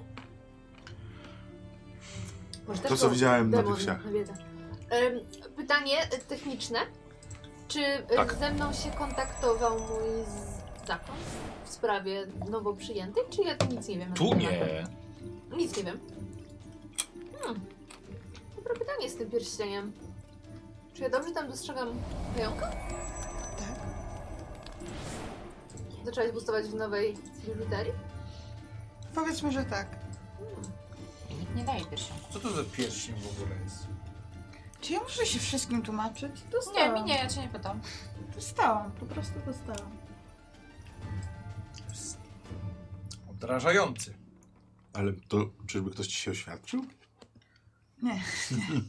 Speaker 6: Może też
Speaker 8: To, co
Speaker 6: był
Speaker 8: widziałem na tych
Speaker 6: demon
Speaker 8: wsiach.
Speaker 6: nawiedza. Ym, no Pytanie y, techniczne. Czy y,
Speaker 1: Tak.
Speaker 6: ze mną się kontaktował mój z- zakon w sprawie nowo przyjętych, czy ja tu nic nie wiem? na
Speaker 1: Tu
Speaker 6: ten temat?
Speaker 1: nie.
Speaker 6: Nic nie wiem. Hmm. Dobre pytanie z tym pierścieniem. Czy ja dobrze tam dostrzegam pająka?
Speaker 5: Tak.
Speaker 6: Zaczęłaś bustować w nowej biblioterii?
Speaker 5: Powiedzmy, że tak.
Speaker 2: Nikt nie daje pierścionku.
Speaker 3: co to za pierścień w ogóle jest?
Speaker 5: Czy ja muszę się wszystkim tłumaczyć?
Speaker 2: Nie,
Speaker 5: Dostałam.
Speaker 2: mi nie, ja cię nie pytam.
Speaker 5: Dostałam, po prostu dostałam.
Speaker 3: Odrażający.
Speaker 8: Ale to, czyżby ktoś ci się oświadczył?
Speaker 5: Nie.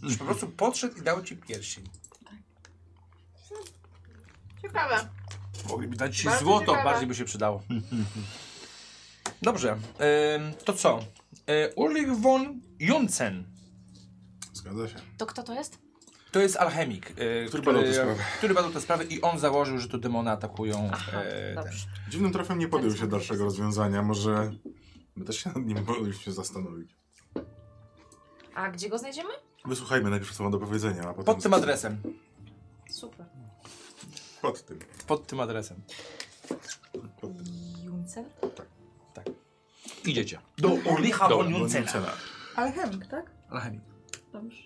Speaker 3: Już po prostu podszedł i dał ci pierścień.
Speaker 6: Ciekawe.
Speaker 3: Mogliby dać ci
Speaker 6: Bardzo
Speaker 3: złoto,
Speaker 6: ciekawe.
Speaker 3: bardziej by się przydało. Dobrze, ym, to co? Y, Ulrich von Junsen.
Speaker 8: Zgadza się.
Speaker 2: To kto to jest?
Speaker 3: To jest alchemik, y,
Speaker 8: Który badał tę sprawę.
Speaker 3: który badał tę sprawę i on założył, że to demony atakują.
Speaker 2: Aha,
Speaker 3: e, ten.
Speaker 2: dobrze.
Speaker 8: Dziwnym trafem nie podjął
Speaker 2: Tak,
Speaker 8: się
Speaker 2: tak.
Speaker 8: dalszego rozwiązania. Może my też się nad nim powinniśmy zastanowić.
Speaker 2: A gdzie go znajdziemy?
Speaker 8: Wysłuchajmy najpierw, co ma do powiedzenia, a potem...
Speaker 3: Pod tym adresem.
Speaker 2: Super.
Speaker 8: Pod tym.
Speaker 3: Pod tym adresem.
Speaker 8: Pod tym.
Speaker 2: Juncer?
Speaker 1: Idziecie.
Speaker 3: Do Ulricha
Speaker 1: Dobra,
Speaker 3: von Junsena.
Speaker 8: Cena.
Speaker 5: Alchemik, tak?
Speaker 3: Alchemik.
Speaker 5: Dobrze.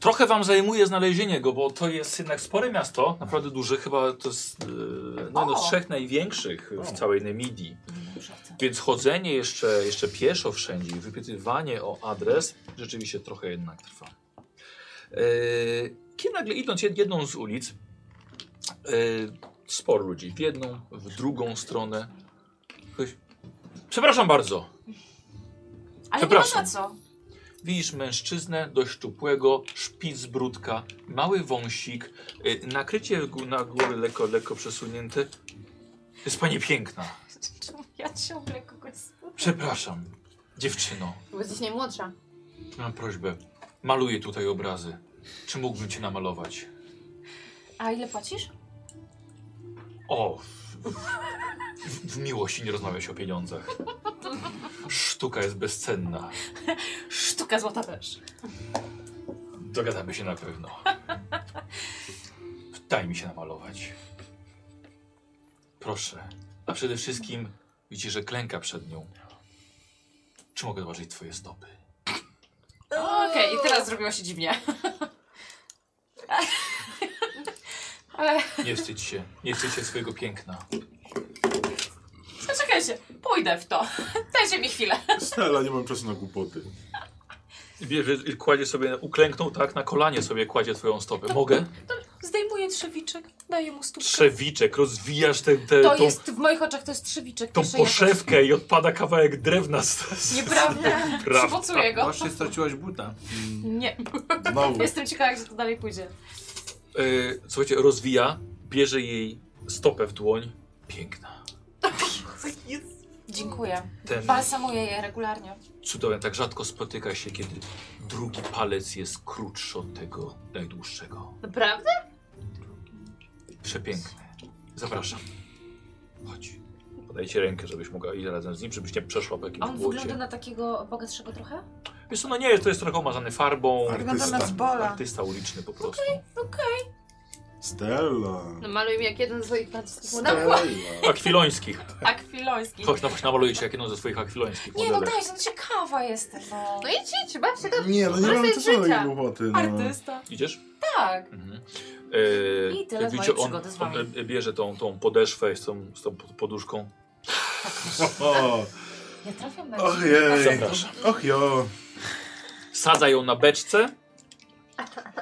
Speaker 1: Trochę wam zajmuje znalezienie go, bo to jest jednak spore miasto, naprawdę duże, chyba to jest yy, no, jedno
Speaker 2: O!
Speaker 1: z trzech największych w całej Nemidii.
Speaker 2: Nie, dobrze, chcę.
Speaker 1: Więc chodzenie jeszcze, jeszcze pieszo wszędzie i wypytywanie o adres rzeczywiście trochę jednak trwa. E, Kiedy nagle idąc jed- jedną z ulic, e, sporo ludzi w jedną, w drugą stronę. Ktoś, Przepraszam bardzo.
Speaker 2: Ale nie ma
Speaker 1: Przepraszam.
Speaker 2: za co.
Speaker 1: Widzisz mężczyznę dość szczupłego, szpic brudka, mały wąsik, y, nakrycie gó- na głowy lekko, lekko przesunięte. Jest pani piękna.
Speaker 2: Czemu ja ciągle kogoś słucham?
Speaker 1: Przepraszam, dziewczyno,
Speaker 6: Bo jesteś najmłodsza.
Speaker 1: mam prośbę. Maluję tutaj obrazy. Czy mógłbym cię namalować?
Speaker 2: A ile płacisz?
Speaker 1: O! W, w miłości nie rozmawia się o pieniądzach. Sztuka jest bezcenna.
Speaker 2: Sztuka złota też.
Speaker 1: Dogadamy się na pewno. Daj mi się namalować. Proszę. A przede wszystkim widzisz, że klęka przed nią. Czy mogę zobaczyć twoje stopy?
Speaker 2: Okej, i teraz zrobiło się dziwnie. Ale
Speaker 1: Nie wstydź się. Nie wstydź się swojego piękna.
Speaker 2: zaczekajcie, No pójdę w to. Dajcie mi chwilę.
Speaker 8: Stella, nie mam czasu na głupoty.
Speaker 1: Bierze i kładzie sobie, uklęknął tak, na kolanie sobie kładzie twoją stopę. Mogę?
Speaker 2: Zdejmuję trzewiczek, daję mu stówkę.
Speaker 1: Trzewiczek, rozwijasz tę tę-
Speaker 2: To
Speaker 1: tą,
Speaker 2: jest, w moich oczach to jest trzewiczek.
Speaker 1: tą
Speaker 2: pierwszej jakości.
Speaker 1: poszewkę i odpada kawałek drewna z, z, z
Speaker 2: Nieprawda.
Speaker 1: praw.
Speaker 2: Przywocuję go.
Speaker 3: Właśnie straciłaś buta.
Speaker 2: Nie.
Speaker 8: Znowu.
Speaker 2: Jestem ciekawa, jak to dalej pójdzie.
Speaker 1: Y, Słuchajcie, rozwija, bierze jej stopę w dłoń. Piękna.
Speaker 2: Dziękuję.
Speaker 1: Ten
Speaker 2: Balsamuję je regularnie.
Speaker 1: cudowny, tak rzadko spotyka się, kiedy drugi palec jest krótszy od tego najdłuższego.
Speaker 6: Naprawdę?
Speaker 1: Przepiękny. Zapraszam. Chodź. Podaj ci rękę, żebyś mogła iść razem z nim, żebyś nie przeszła po
Speaker 2: A
Speaker 1: jakimś
Speaker 2: on wygląda
Speaker 1: błocie.
Speaker 2: na takiego bogatszego trochę?
Speaker 1: Wiesz co, no nie, to jest trochę omazany farbą.
Speaker 8: Artysta.
Speaker 5: Wygląda na zbola.
Speaker 1: Artysta uliczny po prostu.
Speaker 8: Stella.
Speaker 6: No maluj mi jak jeden z No swoich artystów. Na
Speaker 8: Stella.
Speaker 1: Akwilońskich.
Speaker 2: Akwiloński.
Speaker 1: Tak, Chodź, no na- namaluje ci jak jedną ze swoich akwilońskich
Speaker 2: Nie no
Speaker 1: modelek.
Speaker 2: daj, no ciekawa jestem. No.
Speaker 6: No idź, idź, baw się do...
Speaker 8: Nie, no nie
Speaker 6: Ale
Speaker 8: mam
Speaker 6: to jest
Speaker 8: czasu na
Speaker 6: życia.
Speaker 8: takie głupoty. No.
Speaker 2: Artysta.
Speaker 1: Idziesz?
Speaker 2: Tak.
Speaker 1: Mhm. E,
Speaker 2: I tyle
Speaker 1: jak
Speaker 2: z
Speaker 1: widzicie,
Speaker 2: mojej
Speaker 1: on,
Speaker 2: przygody z
Speaker 1: on
Speaker 2: wami.
Speaker 1: e, bierze tą, tą podeszwę z tą, z tą pod- poduszką.
Speaker 8: O,
Speaker 2: Ja trafiam na
Speaker 8: och
Speaker 2: ciebie.
Speaker 8: jej.
Speaker 1: Zapraszam.
Speaker 8: Och jo.
Speaker 1: Sadza ją na beczce,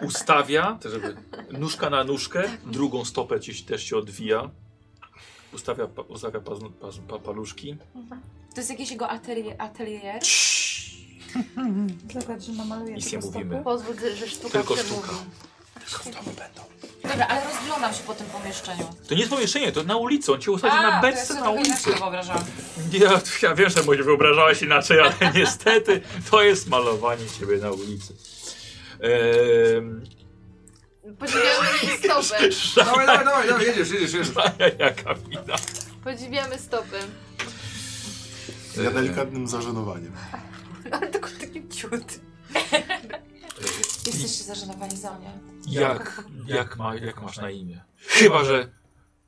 Speaker 1: ustawia, to żeby nóżka na nóżkę, drugą stopę ci, też się odwija. Ustawia, pa- ustawia pazn- paz, pa, paluszki.
Speaker 2: To jest jakieś jego atelier. atelier.
Speaker 5: Zobacz, że namaluję
Speaker 1: Nic nie
Speaker 5: tylko
Speaker 1: mówimy.
Speaker 5: stopy.
Speaker 6: Pozwól, że sztuka
Speaker 1: Tylko
Speaker 6: przemówi.
Speaker 1: sztuka.
Speaker 2: Dobra, ale rozglądam się po tym pomieszczeniu.
Speaker 1: To nie jest pomieszczenie, to na ulicy. On cię usadzi na
Speaker 2: to ja sobie
Speaker 1: beczce na
Speaker 2: trochę
Speaker 1: ulicy.
Speaker 2: inaczej wyobrażałam.
Speaker 1: Ja, ja wiem, że może wyobrażałeś inaczej, ale niestety to jest malowanie ciebie na ulicy. Ehm,
Speaker 6: Podziwiamy jej stopy.
Speaker 3: Dawaj, dawaj, dawaj, dawaj, jedziesz, jedziesz, jedziesz.
Speaker 1: Jaka wina.
Speaker 6: Podziwiamy stopy.
Speaker 8: Ja delikatnym zażenowaniem.
Speaker 6: Ale tylko taki ciut.
Speaker 1: E,
Speaker 2: Jesteście zażenowani za mnie.
Speaker 1: Jak, jak, ma, jak masz na imię? Chyba, że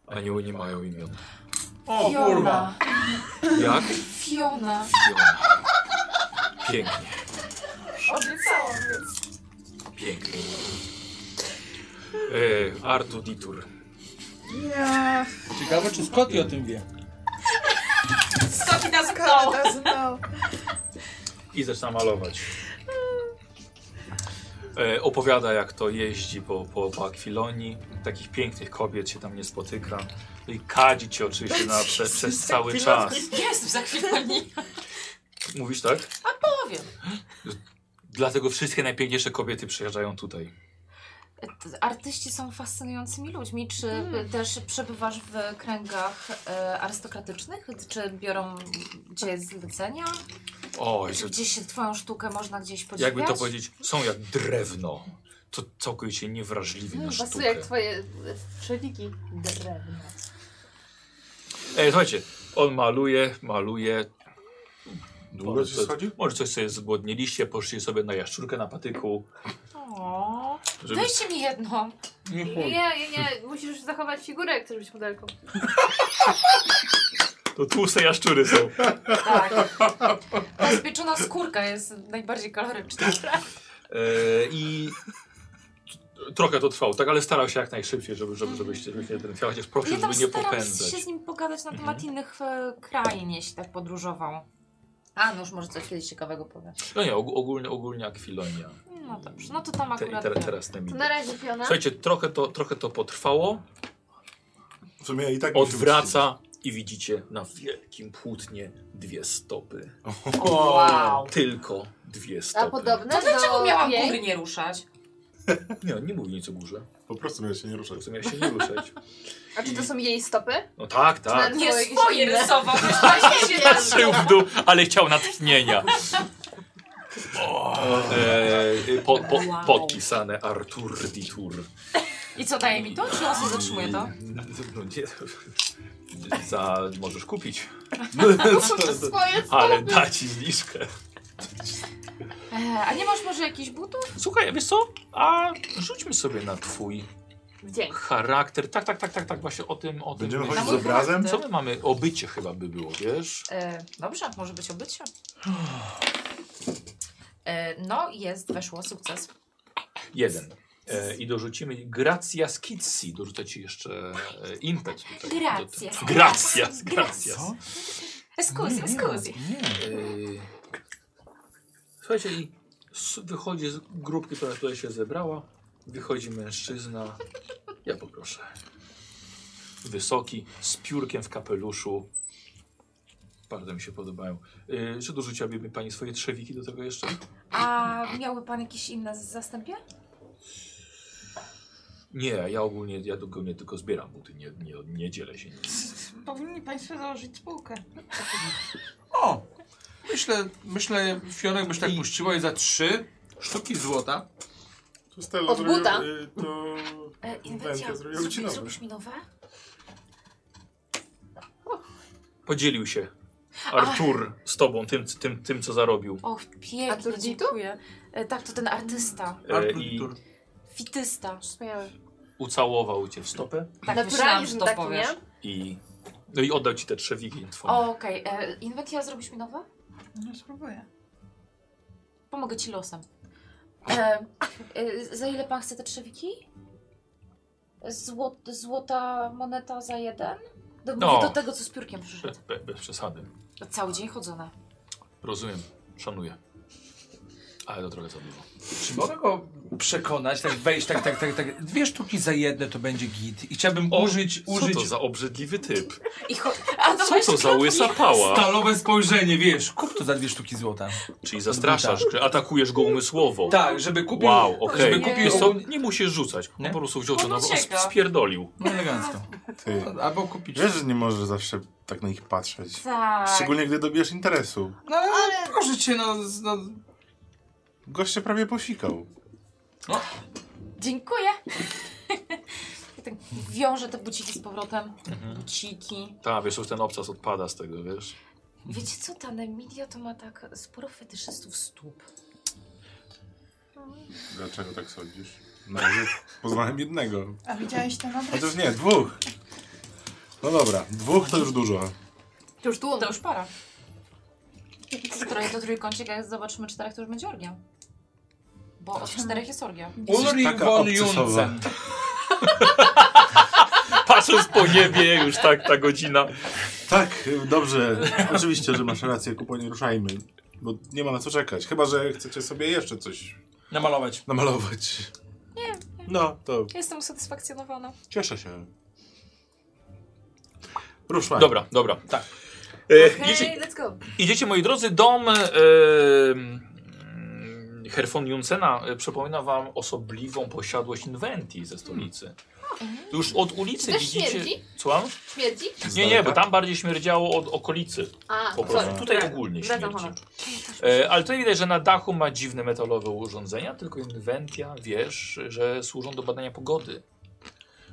Speaker 1: anioły nie mają imion.
Speaker 3: O kurwa.
Speaker 1: Jak?
Speaker 2: Fiona.
Speaker 1: Fiona. Pięknie,
Speaker 2: Obiecałam.
Speaker 1: pięknie. E, Artur Ditur.
Speaker 3: Ciekawe, czy Scotty o tym wie.
Speaker 2: Skoki nas
Speaker 5: Kogo
Speaker 2: ukało.
Speaker 5: to znał?
Speaker 1: I zaczyna malować. E, opowiada, jak to jeździ po, po, po Akwilonii. Takich pięknych kobiet się tam nie spotyka. No I kadzi cię oczywiście na, przez, przez cały czas.
Speaker 2: Jestem za chwilę nie
Speaker 1: Mówisz tak?
Speaker 2: powiem.
Speaker 1: Dlatego wszystkie najpiękniejsze kobiety przyjeżdżają tutaj.
Speaker 2: T- Artyści są fascynującymi ludźmi. Czy y, też przebywasz w kręgach e, arystokratycznych? Czy biorą cię zlecenia?
Speaker 1: Oj,
Speaker 2: Czy
Speaker 1: że
Speaker 2: gdzieś się twoją sztukę można gdzieś podziwiać?
Speaker 1: Jakby to powiedzieć, są jak drewno. To całkowicie niewrażliwi na
Speaker 6: Pasuje
Speaker 1: sztukę.
Speaker 6: No, jak twoje e, przeliki. Drewno.
Speaker 1: Ej, E, słuchajcie, on maluje, maluje.
Speaker 8: Długo ci
Speaker 1: to-
Speaker 8: schodzi?
Speaker 1: Może coś sobie zgłodniliście, poszli sobie na jaszczurkę na patyku.
Speaker 2: O,
Speaker 1: Żeby...
Speaker 2: Dajcie mi jedną.
Speaker 3: Nie
Speaker 6: Nie, nie, nie. Musisz zachować figurę, jak chcesz być modelką.
Speaker 1: To tłuste jaszczury są.
Speaker 2: Tak. Ta spieczona skórka jest najbardziej kaloryczna.
Speaker 1: E, I E, trochę to trwało, tak, ale starał się jak najszybciej, żeby, żeby, żebyście żeby się drętwiało, chociaż prosił,
Speaker 2: Ja tam
Speaker 1: żeby nie
Speaker 2: staram
Speaker 1: popędzać. Mhm.
Speaker 2: się z nim pogadać na temat innych e, krain, jeśli tak podróżował. A, no już może coś kiedyś ciekawego powiem.
Speaker 1: No nie, og- ogólnie, ogólnie akwilonia.
Speaker 2: No dobrze, no to tam
Speaker 1: Te, i
Speaker 2: akurat...
Speaker 1: teraz,
Speaker 2: nie.
Speaker 1: teraz te
Speaker 6: To
Speaker 1: mity.
Speaker 6: na razie Fiona.
Speaker 1: Słuchajcie, trochę to, trochę to potrwało,
Speaker 8: W sumie i tak mi się
Speaker 1: odwraca i widzicie na wielkim płótnie dwie stopy.
Speaker 2: Wow.
Speaker 1: Tylko dwie
Speaker 6: A
Speaker 1: stopy.
Speaker 6: podobne
Speaker 2: To dlaczego
Speaker 6: do
Speaker 2: miałam
Speaker 6: jej?
Speaker 2: góry nie ruszać?
Speaker 1: Nie, on nie mówi nic o górze.
Speaker 8: mści. Po prostu miałeś się nie
Speaker 1: Po
Speaker 8: ruszać.
Speaker 1: prostu miał się nie ruszać.
Speaker 6: A czy to są jej stopy?
Speaker 1: No tak, tak.
Speaker 6: Czy
Speaker 2: Nie
Speaker 6: nawet jakieś
Speaker 2: swoje
Speaker 6: inne?
Speaker 2: rysował, to jest właśnie się
Speaker 1: Patrzył w dół, ale chciał natchnienia. O, e, po, po,
Speaker 2: Wow.
Speaker 1: podpisane Artur Ditur.
Speaker 2: I co, daje mi to? Czy on sobie zatrzymuje to?
Speaker 1: No, nie, za, możesz kupić,
Speaker 6: Swoje
Speaker 1: ale da ci zniżkę.
Speaker 2: E, a nie masz może jakichś butów?
Speaker 1: Słuchaj, wiesz co? A rzućmy sobie na twój
Speaker 6: Dzień.
Speaker 1: charakter. Tak, tak, tak, tak, tak, właśnie o tym, o tym.
Speaker 8: Będziemy
Speaker 1: myślę.
Speaker 8: chodzić z obrazem?
Speaker 1: Co my mamy? Obycie chyba by było, wiesz?
Speaker 2: E, dobrze, może być obycie. E, no, jest, weszło, sukces.
Speaker 1: Jeden. E, I dorzucimy Gracia Skizzi. Dorzucę ci jeszcze e, impet. tutaj do
Speaker 2: Gracias,
Speaker 1: tego. Gracias, gracias.
Speaker 2: gracias. Co? Eskuzi,
Speaker 8: Mm.
Speaker 2: eskuzi.
Speaker 1: Yy, Słuchajcie, i s- wychodzi z grupki, która tutaj się zebrała. Wychodzi mężczyzna. Ja poproszę. Wysoki, z piórkiem w kapeluszu. Bardzo mi się podobają. Yy, czy dorzuciłaby mi pani swoje trzewiki do tego jeszcze?
Speaker 2: A miałby pan jakieś inne z- zastępie?
Speaker 1: Nie, ja ogólnie, ja ogólnie tylko zbieram buty, nie, nie, nie dzielę się nic.
Speaker 5: Powinni Państwo założyć spółkę.
Speaker 7: O! Myślę, myślę, Fionek byś tak puściła i za trzy sztuki złota.
Speaker 8: Tu Stella
Speaker 6: Od
Speaker 8: zrobiła,
Speaker 6: buta.
Speaker 8: y, to...
Speaker 2: E,
Speaker 8: Inwencja zrobiła
Speaker 2: zrobi-
Speaker 8: wycinowe.
Speaker 2: zrobisz mi nowe?
Speaker 1: Podzielił się Artur z tobą, tym, tym, tym co zarobił.
Speaker 2: Och,
Speaker 6: A
Speaker 2: pięknie,
Speaker 6: Turdzitu?
Speaker 2: dziękuję. E, tak, to ten artysta,
Speaker 1: E, I
Speaker 7: Artur.
Speaker 2: fitysta.
Speaker 6: Wspaniały.
Speaker 1: ucałował cię w stopę.
Speaker 2: Tak, myślałam, że
Speaker 6: Naturalizm
Speaker 2: to
Speaker 6: taki,
Speaker 2: powiesz.
Speaker 6: nie?
Speaker 1: I, no i oddał ci te trzewiki twoje.
Speaker 2: O, Okej, okay. inwentia zrobisz mi nowe?
Speaker 5: No spróbuję.
Speaker 2: Pomogę ci losem. E, e, za ile pan chce te trzewiki? Zło, złota moneta za jeden? Do,
Speaker 1: No.
Speaker 2: Mówię do tego, co z piórkiem przyszedł.
Speaker 1: Be, be, bez przesady.
Speaker 2: Cały dzień chodzone.
Speaker 1: Rozumiem, szanuję. Ale to trochę za dużo.
Speaker 3: Czy mogę go No, przekonać, tak wejść, tak, tak, tak, tak. Dwie sztuki za jedne to będzie git. I chciałbym użyć,
Speaker 1: Co
Speaker 3: użyć
Speaker 1: to za obrzydliwy typ?
Speaker 2: I cho- A, to
Speaker 1: Co
Speaker 2: weź
Speaker 1: to za
Speaker 2: klapki.
Speaker 1: łysa pała?
Speaker 3: stalowe spojrzenie, wiesz, kup to za dwie sztuki złota.
Speaker 1: Czyli zastraszasz, że atakujesz go umysłowo.
Speaker 3: Tak, żeby kupił,
Speaker 1: Wow, okej.
Speaker 3: żeby kupił
Speaker 1: Wiesz co, nie musisz rzucać. On
Speaker 3: Nie?
Speaker 1: po prostu wziął to
Speaker 2: On
Speaker 1: na
Speaker 2: ucieka.
Speaker 1: spierdolił.
Speaker 3: No elegancko.
Speaker 8: Ty,
Speaker 7: Albo kupić.
Speaker 8: wiesz, że nie możesz zawsze tak na nich patrzeć.
Speaker 2: Tak.
Speaker 8: Szczególnie, gdy dobijesz interesu.
Speaker 7: No ale proszę cię, no, z- no
Speaker 8: Gość się prawie posikał.
Speaker 2: Dziękuję. Ja tak wiążę te buciki z powrotem.
Speaker 1: Mhm.
Speaker 2: Buciki.
Speaker 1: Tak, wiesz, już ten obcas odpada z tego, wiesz.
Speaker 2: Wiecie co, ta Nemidia to ma tak sporo fetyszystów stóp.
Speaker 8: Dlaczego tak sądzisz? Na razie poznałem jednego.
Speaker 5: A widziałeś ten obraz?
Speaker 8: Chociaż nie, dwóch. No dobra, dwóch to już dużo.
Speaker 6: To już tłum.
Speaker 2: To już para. Troje to trójkącik, a jak zobaczymy czterech, to już będzie orgia. Bo od czterech jest orgia.
Speaker 3: Ulrich
Speaker 8: taka
Speaker 3: von
Speaker 8: obcesowa.
Speaker 3: Junzen.
Speaker 1: Patrząc po niebie, już tak, ta godzina.
Speaker 8: Tak, dobrze. Oczywiście, że masz rację, kupo, nie ruszajmy. Bo nie ma na co czekać. Chyba, że chcecie sobie jeszcze coś
Speaker 3: Namalować.
Speaker 8: namalować. Nie. No, to
Speaker 2: Jestem usatysfakcjonowana.
Speaker 8: cieszę się. Ruszaj.
Speaker 1: Dobra, dobra.
Speaker 3: Tak.
Speaker 1: E, idzie-
Speaker 6: Hej, let's go.
Speaker 1: Idziecie, moi drodzy, dom e, mm, Herfon Juncena e, przypomina wam osobliwą posiadłość Inventii ze stolicy. Już od ulicy
Speaker 6: Czy to
Speaker 1: widzicie...
Speaker 6: śmierdzi?
Speaker 1: Słucham?
Speaker 6: Śmierdzi?
Speaker 1: Nie, nie, bo tam bardziej śmierdziało od okolicy.
Speaker 6: A,
Speaker 1: Po prostu.
Speaker 6: Tak. sorry.
Speaker 1: Tutaj
Speaker 6: Wracam.
Speaker 1: ogólnie
Speaker 6: Wracam
Speaker 1: śmierdzi.
Speaker 6: honor.
Speaker 1: E, ale tutaj widać, że na dachu ma dziwne metalowe urządzenia, tylko Inventia, wiesz, że służą do badania pogody.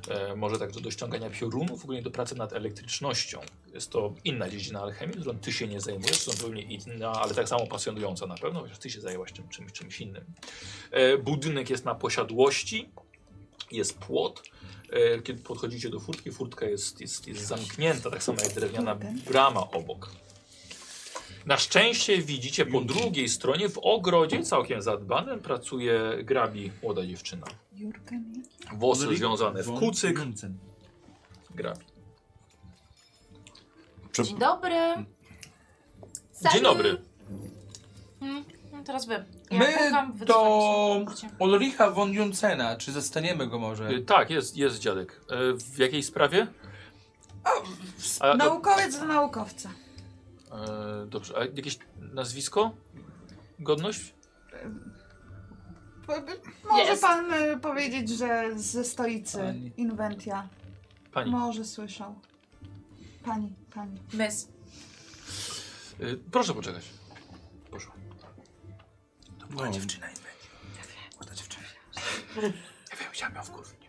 Speaker 1: E, może także do ściągania piorunów, w ogóle do pracy nad elektrycznością. Jest to inna dziedzina alchemii, którą ty się nie zajmujesz, są zupełnie inna, ale tak samo pasjonująca na pewno, chociaż ty się zajęłaś czym, czymś, czymś innym. E, budynek jest na posiadłości, jest płot. E, kiedy podchodzicie do furtki, furtka jest, jest, jest zamknięta, tak samo jak drewniana brama obok. Na szczęście widzicie po drugiej stronie w ogrodzie całkiem zadbanym pracuje grabi młoda dziewczyna.
Speaker 5: Jurgen jaki?
Speaker 1: Włosy związane w kucyk. Grabi.
Speaker 2: Dzień dobry.
Speaker 1: Dzień dobry.
Speaker 2: Mm, no teraz wy. Ja
Speaker 7: My
Speaker 2: pukam, wy tak
Speaker 7: to
Speaker 2: dzwonicie.
Speaker 7: Ulricha von Juncena. Czy zastaniemy go może?
Speaker 1: Y, Tak, jest, jest dziadek. E, W jakiej sprawie? A, do-
Speaker 5: Naukowiec do naukowca.
Speaker 1: e, dobrze, a jakieś nazwisko? Godność?
Speaker 5: P- p- Może
Speaker 2: Jest.
Speaker 5: pan y, powiedzieć, że ze stolicy
Speaker 7: Pani.
Speaker 5: Inventia.
Speaker 1: Pani.
Speaker 5: Może słyszał. Pani, pani.
Speaker 2: Mys.
Speaker 1: Y, Proszę poczekać. Proszę.
Speaker 7: To była
Speaker 8: No.
Speaker 7: dziewczyna i będzie. Młoda dziewczyna. Ja wiem, chciałem ją wkurwić.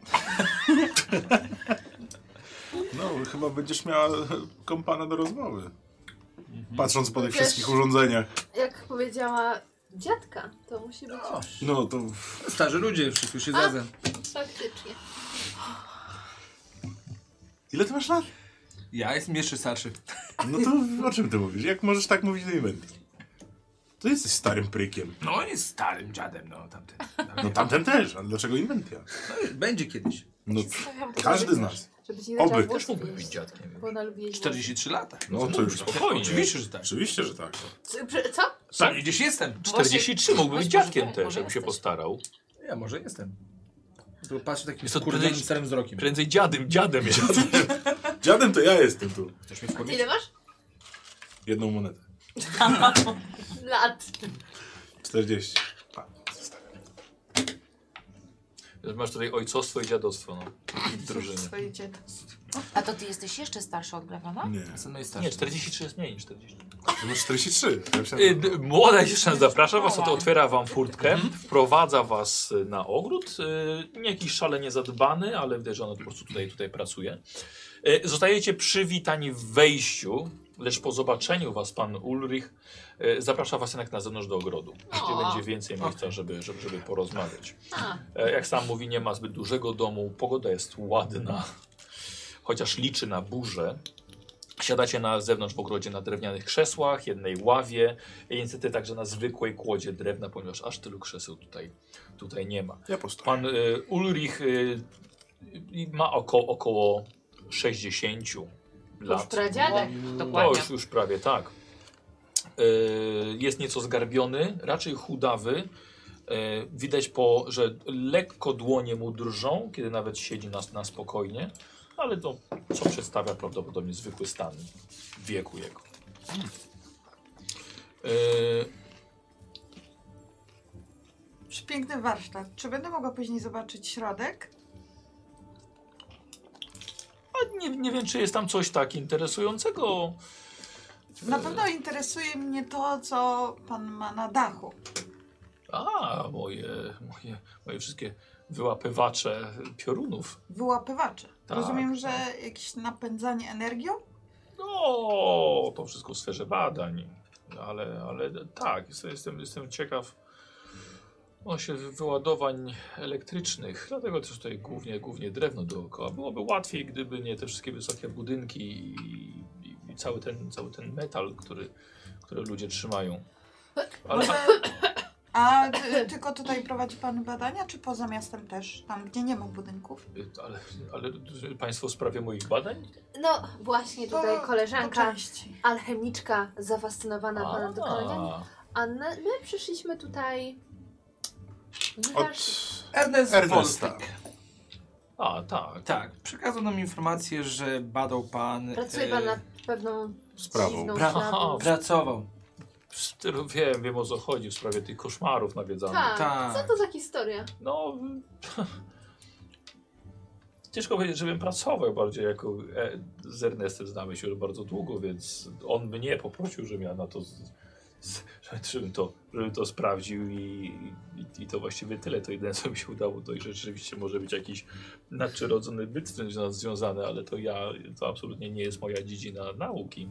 Speaker 8: No, chyba będziesz miała kompana do rozmowy.
Speaker 1: Mhm.
Speaker 8: Patrząc po tych wszystkich urządzeniach.
Speaker 6: Jak powiedziała dziadka, to musi być
Speaker 8: No to...
Speaker 7: Starzy ludzie, wszystko się zgadza.
Speaker 6: faktycznie.
Speaker 8: Ile ty masz lat?
Speaker 7: Ja jestem jeszcze starszy.
Speaker 8: No to o czym ty mówisz? Jak możesz tak mówić do inwenty? To jesteś starym prykiem.
Speaker 7: No on jest starym dziadem, no tamten.
Speaker 8: No tamten też, ale dlaczego inwentia?
Speaker 7: No, będzie kiedyś.
Speaker 8: No
Speaker 2: Zostawiam
Speaker 8: każdy z nas.
Speaker 6: Żeby ci inaczej
Speaker 8: Oby.
Speaker 1: Też
Speaker 6: włosy
Speaker 1: mógłby być
Speaker 6: jeść,
Speaker 1: dziadkiem.
Speaker 6: Bo ona lubi jeść
Speaker 7: 43 lata.
Speaker 8: No to już
Speaker 1: Spokojnie.
Speaker 7: Oczywiście, że tak.
Speaker 8: Oczywiście, że tak.
Speaker 6: włosy. Co- prze- Co?
Speaker 1: Tak.
Speaker 7: Tak, gdzieś jestem.
Speaker 1: 43 mógłby być
Speaker 2: Właśnie-
Speaker 1: dziadkiem
Speaker 2: może
Speaker 1: też, jakby się
Speaker 2: jesteś.
Speaker 1: postarał.
Speaker 7: Ja może jestem. Tylko patrzę takim
Speaker 1: Jest to
Speaker 7: skurwionym
Speaker 1: prędzej-
Speaker 7: starym wzrokiem.
Speaker 1: Prędzej dziadem, dziadem.
Speaker 8: Dziadem to ja jestem tu.
Speaker 7: Chcesz mnie
Speaker 6: A ty
Speaker 7: wkurwić?
Speaker 6: ile masz?
Speaker 8: Jedną monetę.
Speaker 6: Lat.
Speaker 8: 40.
Speaker 1: Masz tutaj ojcostwo i dziadostwo, no. W drużynie.
Speaker 5: Swoje dziecko.
Speaker 2: A to ty jesteś jeszcze starszy od Gravana?
Speaker 8: Nie.
Speaker 7: Jestem
Speaker 6: no
Speaker 7: najstarszy.
Speaker 1: Nie, 43 jest mniej niż 40.
Speaker 8: Ty masz 43. Ja
Speaker 1: Y,
Speaker 8: myślałem,
Speaker 1: d- Młoda dziewczyna zaprasza was, oto otwiera wam furtkę,
Speaker 6: Mhm.
Speaker 1: wprowadza was y, na ogród. y, Nie jakiś szalenie zadbany, ale widać, że ona po prostu tutaj, tutaj pracuje. Y, Zostajecie przywitani w wejściu, lecz po zobaczeniu was pan Ulrich y, zaprasza was jednak na zewnątrz do ogrodu, gdzie
Speaker 6: O.
Speaker 1: będzie więcej miejsca, żeby, żeby, żeby porozmawiać.
Speaker 6: A,
Speaker 1: E, Jak sam mówi, nie ma zbyt dużego domu, pogoda jest ładna, chociaż liczy na burzę. Siadacie na zewnątrz w ogrodzie na drewnianych krzesłach, jednej ławie, i niestety także na zwykłej kłodzie drewna, ponieważ aż tylu krzeseł tutaj, tutaj nie ma.
Speaker 8: Ja postoję.
Speaker 1: Pan y, Ulrich y, y, ma około, około 60
Speaker 6: już
Speaker 1: lat.
Speaker 6: pradziadek.
Speaker 1: No,
Speaker 2: Dokładnie.
Speaker 1: już, już prawie tak. E, jest nieco zgarbiony, raczej chudawy. E, widać, po, że lekko dłonie mu drżą, kiedy nawet siedzi na, na spokojnie, ale to co przedstawia prawdopodobnie zwykły stan wieku jego. E,
Speaker 5: Przepiękny warsztat. Czy będę mogła później zobaczyć środek?
Speaker 1: a nie, nie wiem, czy jest tam coś tak interesującego. Yy.
Speaker 5: Na pewno interesuje mnie to, co pan ma na dachu.
Speaker 1: A, moje, moje, moje wszystkie wyłapywacze piorunów.
Speaker 5: Wyłapywacze.
Speaker 1: Tak,
Speaker 5: Rozumiem,
Speaker 1: tak.
Speaker 5: że jakieś napędzanie energią?
Speaker 1: No, to wszystko w sferze badań, ale, ale tak, jestem- jestem, jestem ciekaw właśnie wyładowań elektrycznych, dlatego też tutaj głównie, głównie drewno dookoła. Byłoby łatwiej, gdyby nie te wszystkie wysokie budynki i, i cały, ten, cały ten metal, który, który ludzie trzymają. Ale
Speaker 5: Może... A ty, tylko tutaj prowadzi pan badania, czy poza miastem też? Tam, gdzie nie ma budynków?
Speaker 1: Ale, ale Państwo w sprawie moich badań?
Speaker 6: No właśnie tutaj
Speaker 5: Po
Speaker 6: koleżanka,
Speaker 5: części.
Speaker 6: alchemiczka, zafascynowana panem dokonaniem.
Speaker 1: A,
Speaker 6: A na- my przyszliśmy tutaj...
Speaker 8: Od
Speaker 6: Ponieważ
Speaker 7: Ernest
Speaker 8: Ernesta.
Speaker 7: Wolfgang.
Speaker 1: a tak.
Speaker 7: Tak, przekazał nam informację, że badał pan.
Speaker 3: e,
Speaker 6: pracuje pan nad pewną
Speaker 8: y, sprawą.
Speaker 6: dziwną
Speaker 7: Brawo.
Speaker 6: sprawą. Tak.
Speaker 7: Pracował.
Speaker 1: Wiem, wiem o co chodzi w sprawie tych koszmarów nawiedzanych.
Speaker 6: Tak.
Speaker 7: Tak.
Speaker 6: Co to za historia?
Speaker 1: No. Ciężko powiedzieć, żebym pracował bardziej jako. E, z Ernestem znamy się już bardzo długo, więc on mnie poprosił, żebym ja na to. Z, z, żebym, to żebym to sprawdził i, i, i to właściwie tyle. To jedyne, co mi się udało, to i rzeczywiście może być jakiś nadprzyrodzony byt z tym zwią- związany, ale to ja, to absolutnie nie jest moja dziedzina nauki.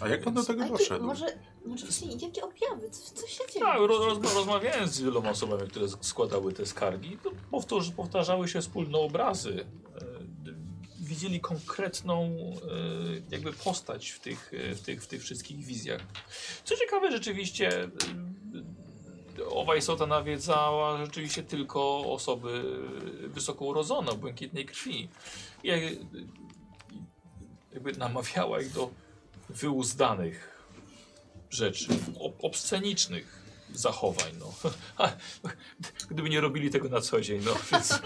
Speaker 8: A jak pan do tego
Speaker 6: Jakie-
Speaker 8: doszedł?
Speaker 6: może, może właśnie jakie objawy? Co, co się dzieje?
Speaker 1: Tak, roz, roz, rozmawiałem z wieloma osobami, które sk- składały te skargi, to powtórz, powtarzały się wspólne obrazy. E, d- Widzieli konkretną e, jakby postać w tych, e, w, tych, w tych wszystkich wizjach. Co ciekawe, rzeczywiście e, owa istota nawiedzała rzeczywiście tylko osoby e, wysoko urodzone, błękitnej krwi. I jak- jakby namawiała ich do wyuzdanych rzeczy, ob obscenicznych zachowań. No. Gdyby nie robili tego na co dzień, no więc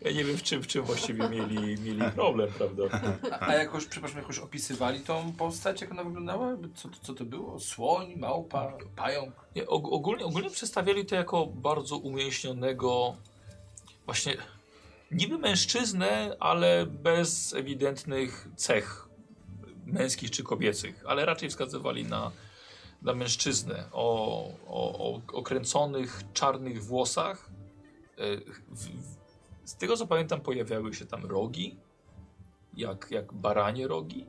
Speaker 1: ja nie wiem w czym, w czym właściwie mieli, mieli problem, prawda?
Speaker 3: A, a jakoś, przepraszam, jakoś opisywali tą postać, jak ona wyglądała? Jakby Co, co to było? Słoń, małpa, pająk?
Speaker 1: Nie, og ogólnie, ogólnie przedstawiali to jako bardzo umięśnionego, właśnie niby mężczyznę, ale bez ewidentnych cech męskich czy kobiecych, ale raczej wskazywali na, na mężczyznę o, o, o okręconych czarnych włosach. E, W, w, z tego co pamiętam, pojawiały się tam rogi, jak, jak baranie rogi.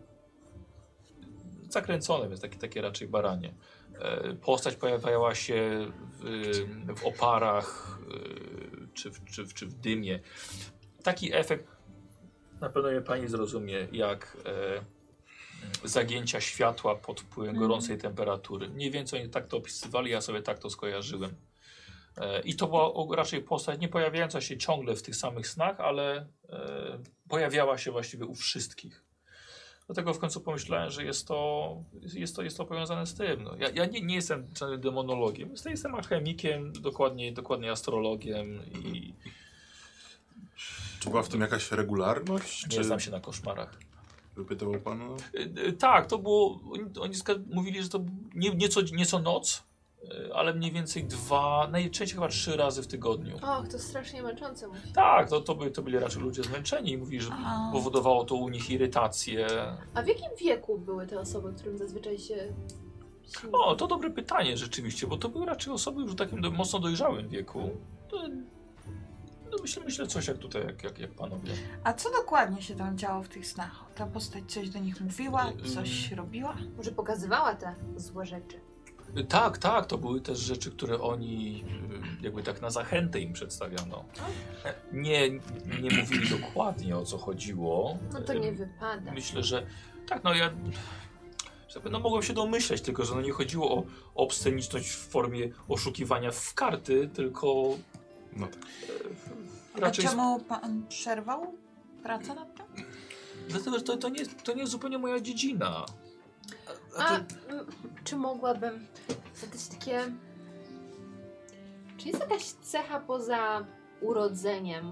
Speaker 1: Zakręcone, więc takie, takie raczej baranie. E, Postać pojawiała się w, y, w oparach y, czy w, czy, w, czy w dymie. Taki efekt, na pewno mnie pani zrozumie, jak e, zagięcia światła pod wpływem gorącej temperatury. Mniej więcej oni tak to opisywali, ja sobie tak to skojarzyłem. E, I to była o- raczej postać nie pojawiająca się ciągle w tych samych snach, ale e, pojawiała się właściwie u wszystkich. Dlatego w końcu pomyślałem, że jest to, jest to, jest to powiązane z tym. No, ja ja nie, nie jestem żadnym demonologiem, jestem, jestem alchemikiem, dokładnie, dokładnie astrologiem i
Speaker 8: Czy była w tym jakaś regularność?
Speaker 1: nie
Speaker 8: czy
Speaker 1: znam się na koszmarach.
Speaker 8: Wypytywał pan? o-
Speaker 1: Y, y, Tak, to było, oni, oni zga- mówili, że to nie, nieco, nieco noc, y, ale mniej więcej dwa, najczęściej chyba trzy razy w tygodniu.
Speaker 6: Och, to strasznie męczące musi.
Speaker 1: Tak, to, to, by, to byli raczej ludzie zmęczeni i mówili, że
Speaker 5: A.
Speaker 1: powodowało to u nich irytację.
Speaker 6: A w jakim wieku były te osoby, którym zazwyczaj się śni?
Speaker 1: O, to dobre pytanie rzeczywiście, bo to były raczej osoby już w takim do, mocno dojrzałym wieku. To, no myślę, myślę coś jak tutaj, jak, jak, jak panowie.
Speaker 5: A co dokładnie się tam działo w tych snach? Ta postać coś do nich mówiła,
Speaker 1: Y, y.
Speaker 5: coś robiła?
Speaker 6: Może pokazywała te złe rzeczy.
Speaker 1: Y, Tak, tak, to były też rzeczy, które oni y, jakby tak na zachętę im przedstawiano. Nie, nie mówili dokładnie o co chodziło.
Speaker 6: No to nie
Speaker 1: Y,
Speaker 6: wypada.
Speaker 1: Myślę, że tak, no ja że no, mogłem się domyśleć, tylko że no, nie chodziło o obsceniczność w formie oszukiwania w karty, tylko
Speaker 8: No tak.
Speaker 1: y,
Speaker 5: A
Speaker 1: raczej z
Speaker 5: czemu pan przerwał pracę nad tym?
Speaker 1: Dlatego, że to, to, nie, jest- to nie jest zupełnie moja dziedzina. znaczy,
Speaker 6: A m, czy mogłabym zadać takie. Czy jest jakaś cecha poza urodzeniem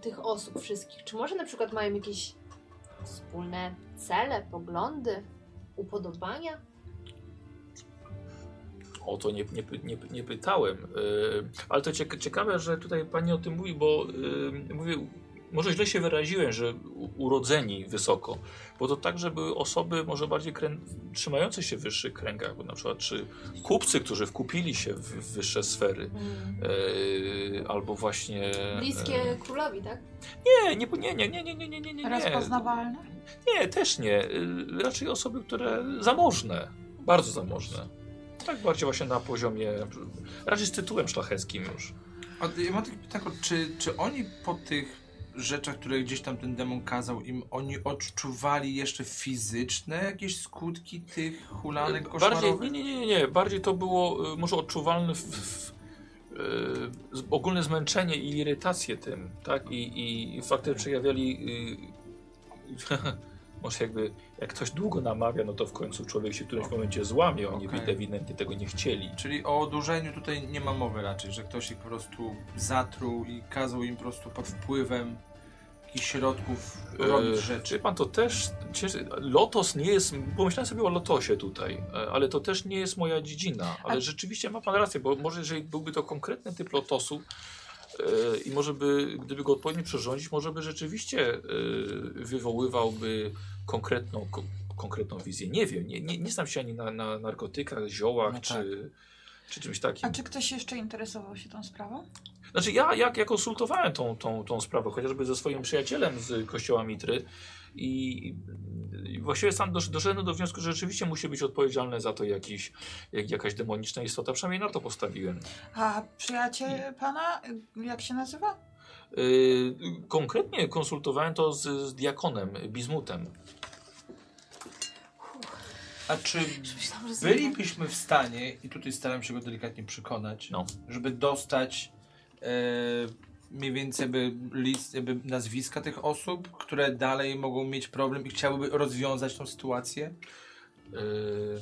Speaker 6: tych osób wszystkich? Czy może na przykład mają jakieś wspólne cele, poglądy, upodobania?
Speaker 1: O to nie, nie, py- nie, py- nie pytałem. Yy, ale to cieka ciekawe, że tutaj pani o tym mówi, bo yy, mówię, może źle się wyraziłem, że u- urodzeni wysoko, bo to także były osoby może bardziej krę- trzymające się w wyższych kręgach, bo na przykład czy kupcy, którzy wkupili się w w wyższe sfery, yy, albo właśnie... E,
Speaker 6: Bliskie królowi, tak?
Speaker 1: Nie, nie, nie, nie, nie, nie, nie, nie, nie, nie.
Speaker 5: Rozpoznawalne?
Speaker 1: Nie, też nie. Y, Raczej osoby, które zamożne, bardzo zamożne. Tak bardziej właśnie na poziomie, raczej z tytułem szlacheckim już.
Speaker 3: A ja mam takie pytanie, czy, czy oni po tych rzeczach, które gdzieś tam ten demon kazał im, oni odczuwali jeszcze fizyczne jakieś skutki tych hulanek
Speaker 1: Y, Bardziej,
Speaker 3: koszmarowych?
Speaker 1: nie, nie, nie, nie, nie, bardziej to było y, może odczuwalne w, w, y, z- ogólne zmęczenie i irytację tym, tak? I, i, i fakty przejawiali, y, może jakby, jak ktoś długo namawia, no to w końcu człowiek się w którymś momencie złamie, oni
Speaker 3: Okej.
Speaker 1: ewidentnie tego nie chcieli.
Speaker 3: Czyli o odurzeniu tutaj nie ma mowy raczej, że ktoś ich po prostu zatruł i kazał im po prostu pod wpływem jakichś środków robić
Speaker 1: Eee, Czy
Speaker 3: rzeczy.
Speaker 1: pan to też. cieszy- Lotos nie jest. Pomyślałem sobie o lotosie tutaj, e, ale to też nie jest moja dziedzina. Ale
Speaker 5: A-
Speaker 1: rzeczywiście ma pan rację, bo może jeżeli byłby to konkretny typ lotosu e, i może by, gdyby go odpowiednio przyrządzić, może by rzeczywiście e, wywoływałby konkretną, ko, konkretną wizję. Nie wiem, nie, nie, nie znam się ani na, na narkotykach, ziołach
Speaker 3: No
Speaker 1: czy,
Speaker 3: tak.
Speaker 1: czy czymś takim.
Speaker 5: A czy ktoś jeszcze interesował się tą sprawą?
Speaker 1: Znaczy ja, ja, ja konsultowałem tą, tą, tą sprawę, chociażby ze swoim przyjacielem z kościoła Mitry i, i właściwie sam dosz, doszedłem do wniosku, że rzeczywiście musi być odpowiedzialny za to jakiś, jak, jakaś demoniczna istota, przynajmniej na to postawiłem.
Speaker 5: A przyjaciel pana, y, jak się nazywa?
Speaker 1: Yy, konkretnie konsultowałem to z, z diakonem, Bizmutem.
Speaker 3: A czy
Speaker 2: Myślałam, że
Speaker 3: bylibyśmy w stanie, i tutaj staram się go delikatnie przekonać,
Speaker 1: No.
Speaker 3: żeby dostać e, mniej więcej jakby list, jakby nazwiska tych osób, które dalej mogą mieć problem i chciałyby rozwiązać tą sytuację?
Speaker 1: Yy,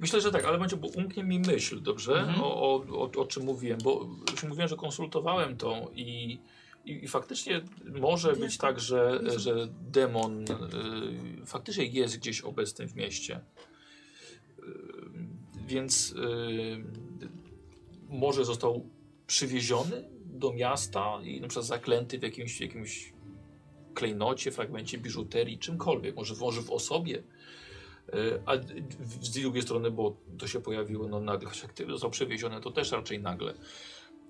Speaker 1: Myślę, że tak, ale będzie, bo umknie mi myśl, dobrze?
Speaker 3: Mhm.
Speaker 1: O, o, o, o czym mówiłem, bo już mówiłem, że konsultowałem to i, i, i faktycznie może być tak, że, że demon yy, faktycznie jest gdzieś obecny w mieście. Yy, Więc yy, może został przywieziony do miasta i na przykład zaklęty w jakimś, jakimś klejnocie, fragmencie biżuterii, czymkolwiek, może, może w osobie. E, A d- d- z drugiej strony, bo to się pojawiło no, nagle, chociaż gdyby został przewieziony, to też raczej nagle.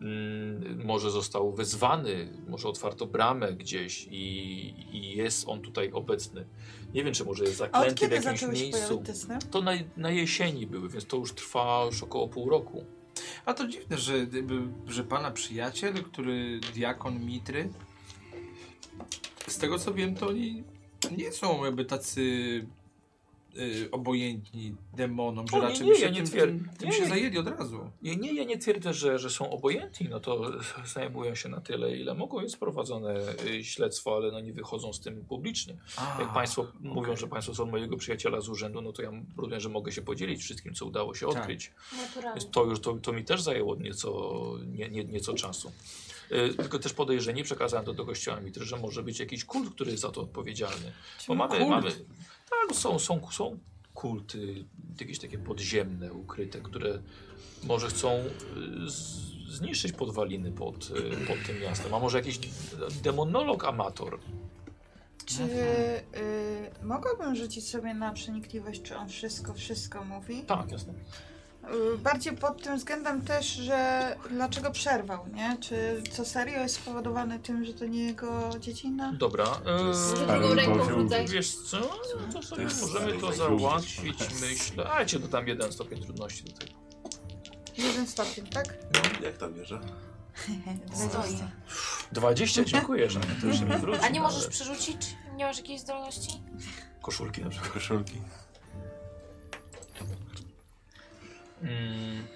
Speaker 1: Mm, Może został wezwany, może otwarto bramę gdzieś i, i jest on tutaj obecny. Nie wiem, czy może jest
Speaker 5: A od
Speaker 1: zaklęty w
Speaker 5: kiedy
Speaker 1: jakimś
Speaker 5: zaczęły się
Speaker 1: miejscu.
Speaker 5: pojawiać te sny?
Speaker 1: To na, na jesieni były, więc to już trwa już około pół roku.
Speaker 3: A to dziwne, że, jakby, że pana przyjaciel, który diakon Mitry, z tego co wiem, to oni nie są jakby tacy y, obojętni demonom, że
Speaker 1: O, nie,
Speaker 3: raczej
Speaker 1: nie,
Speaker 3: by się
Speaker 1: ja nie
Speaker 3: tym,
Speaker 1: twierdzę.
Speaker 3: tym, tym
Speaker 1: Nie,
Speaker 3: się
Speaker 1: nie.
Speaker 3: zajęli od razu.
Speaker 1: Nie, nie, ja nie twierdzę, że, że są obojętni, no to zajmują się na tyle, ile mogą. Jest prowadzone y, śledztwo, ale no nie wychodzą z tym publicznie. Jak Państwo mówią, że Państwo są mojego przyjaciela z urzędu, no to ja rozumiem, że mogę się podzielić wszystkim, co udało się
Speaker 3: Tak.
Speaker 1: odkryć.
Speaker 2: naturalnie.
Speaker 1: Więc to już to, to mi też zajęło nieco, nie, nie, nieco czasu. Y, tylko też podejrzenie przekazałem to do kościoła mitry, że może być jakiś kult, który jest za to odpowiedzialny. Bo mamy,
Speaker 3: kult?
Speaker 1: mamy. Tak, są, są, są kulty, jakieś takie podziemne, ukryte, które może chcą y, z, zniszczyć podwaliny pod, y, pod tym miastem. A może jakiś demonolog amator.
Speaker 5: Czy
Speaker 1: Mhm.
Speaker 5: y, mogłabym rzucić sobie na przenikliwość, czy on wszystko, wszystko mówi?
Speaker 1: Tak, jasne.
Speaker 5: Y, Bardziej pod tym względem też, że dlaczego przerwał, nie? Czy co serio jest spowodowane tym, że to nie jego dziedzina?
Speaker 1: Dobra.
Speaker 6: Z
Speaker 1: y,
Speaker 6: drugą
Speaker 8: Ale to
Speaker 6: ręką
Speaker 8: się
Speaker 6: rzucaj.
Speaker 1: Wiesz co? To sobie
Speaker 8: jest
Speaker 1: możemy to
Speaker 8: fajne.
Speaker 1: załatwić, myślę. A cię dodam jeden stopień trudności do tego.
Speaker 5: Jeden stopień, tak?
Speaker 4: Jak tam wierzę?
Speaker 2: Stoi.
Speaker 1: 20, dziękuję, że to już mi wróci.
Speaker 2: A nie możesz
Speaker 1: ale
Speaker 2: przerzucić? Nie masz jakiejś zdolności?
Speaker 1: Koszulki na przykład.
Speaker 4: Koszulki.
Speaker 1: Mm.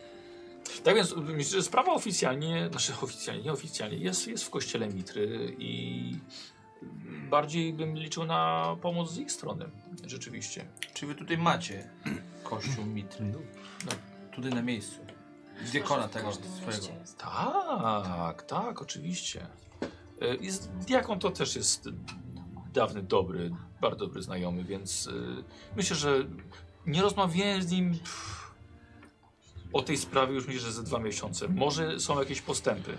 Speaker 1: Tak więc myślę, że sprawa oficjalnie, znaczy oficjalnie, nieoficjalnie jest, jest w kościele Mitry i bardziej bym liczył na pomoc z ich strony, rzeczywiście.
Speaker 3: Czy wy tutaj macie kościół Mitry? No, tutaj na miejscu. Diakona
Speaker 2: Myślę,
Speaker 3: tego
Speaker 2: że w każdym mieście
Speaker 3: swojego.
Speaker 2: jest.
Speaker 1: Tak, tak, oczywiście. E, Jest, diakon to też jest dawny, dobry, bardzo dobry znajomy, więc e, myślę, że nie rozmawiałem z nim pff, o tej sprawie już myślę, że ze dwa miesiące. Może są jakieś postępy,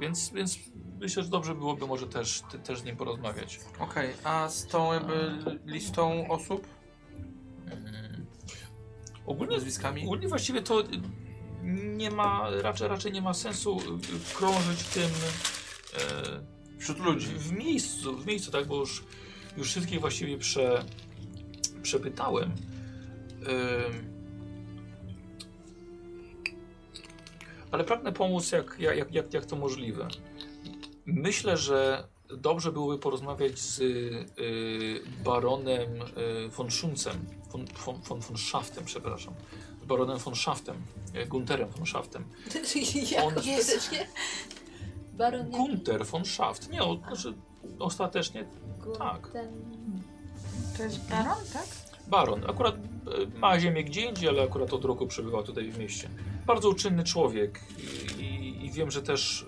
Speaker 1: więc, więc myślę, że dobrze byłoby może też, te, też z nim porozmawiać.
Speaker 3: Okej, a z tą jakby listą osób,
Speaker 1: Mm. Ogólnie
Speaker 3: nazwiskami?
Speaker 1: Ogólnie właściwie to y, nie ma, raczej, raczej nie ma sensu y, y, krążyć tym e,
Speaker 3: Wśród ludzi.
Speaker 1: w miejscu, w miejscu, tak, bo już, już wszystkich właściwie prze, przepytałem. Ym. ale pragnę pomóc, jak, jak, jak- jak, jak to możliwe. Myślę, że dobrze byłoby porozmawiać z y, baronem y, von Schunzem, von, von, von, von Schaftem, przepraszam, z baronem von Schaftem, y, Gunterem von Schaftem. On-
Speaker 6: Jak ostatecznie? Baron jak
Speaker 1: Gunter von Schaft, nie, o, znaczy ostatecznie tak.
Speaker 6: Ten...
Speaker 5: To jest baron, tak?
Speaker 1: Baron. Akurat e, ma ziemię gdzie indziej, ale akurat od roku przebywa tutaj w mieście. Bardzo uczynny człowiek i, i wiem, że też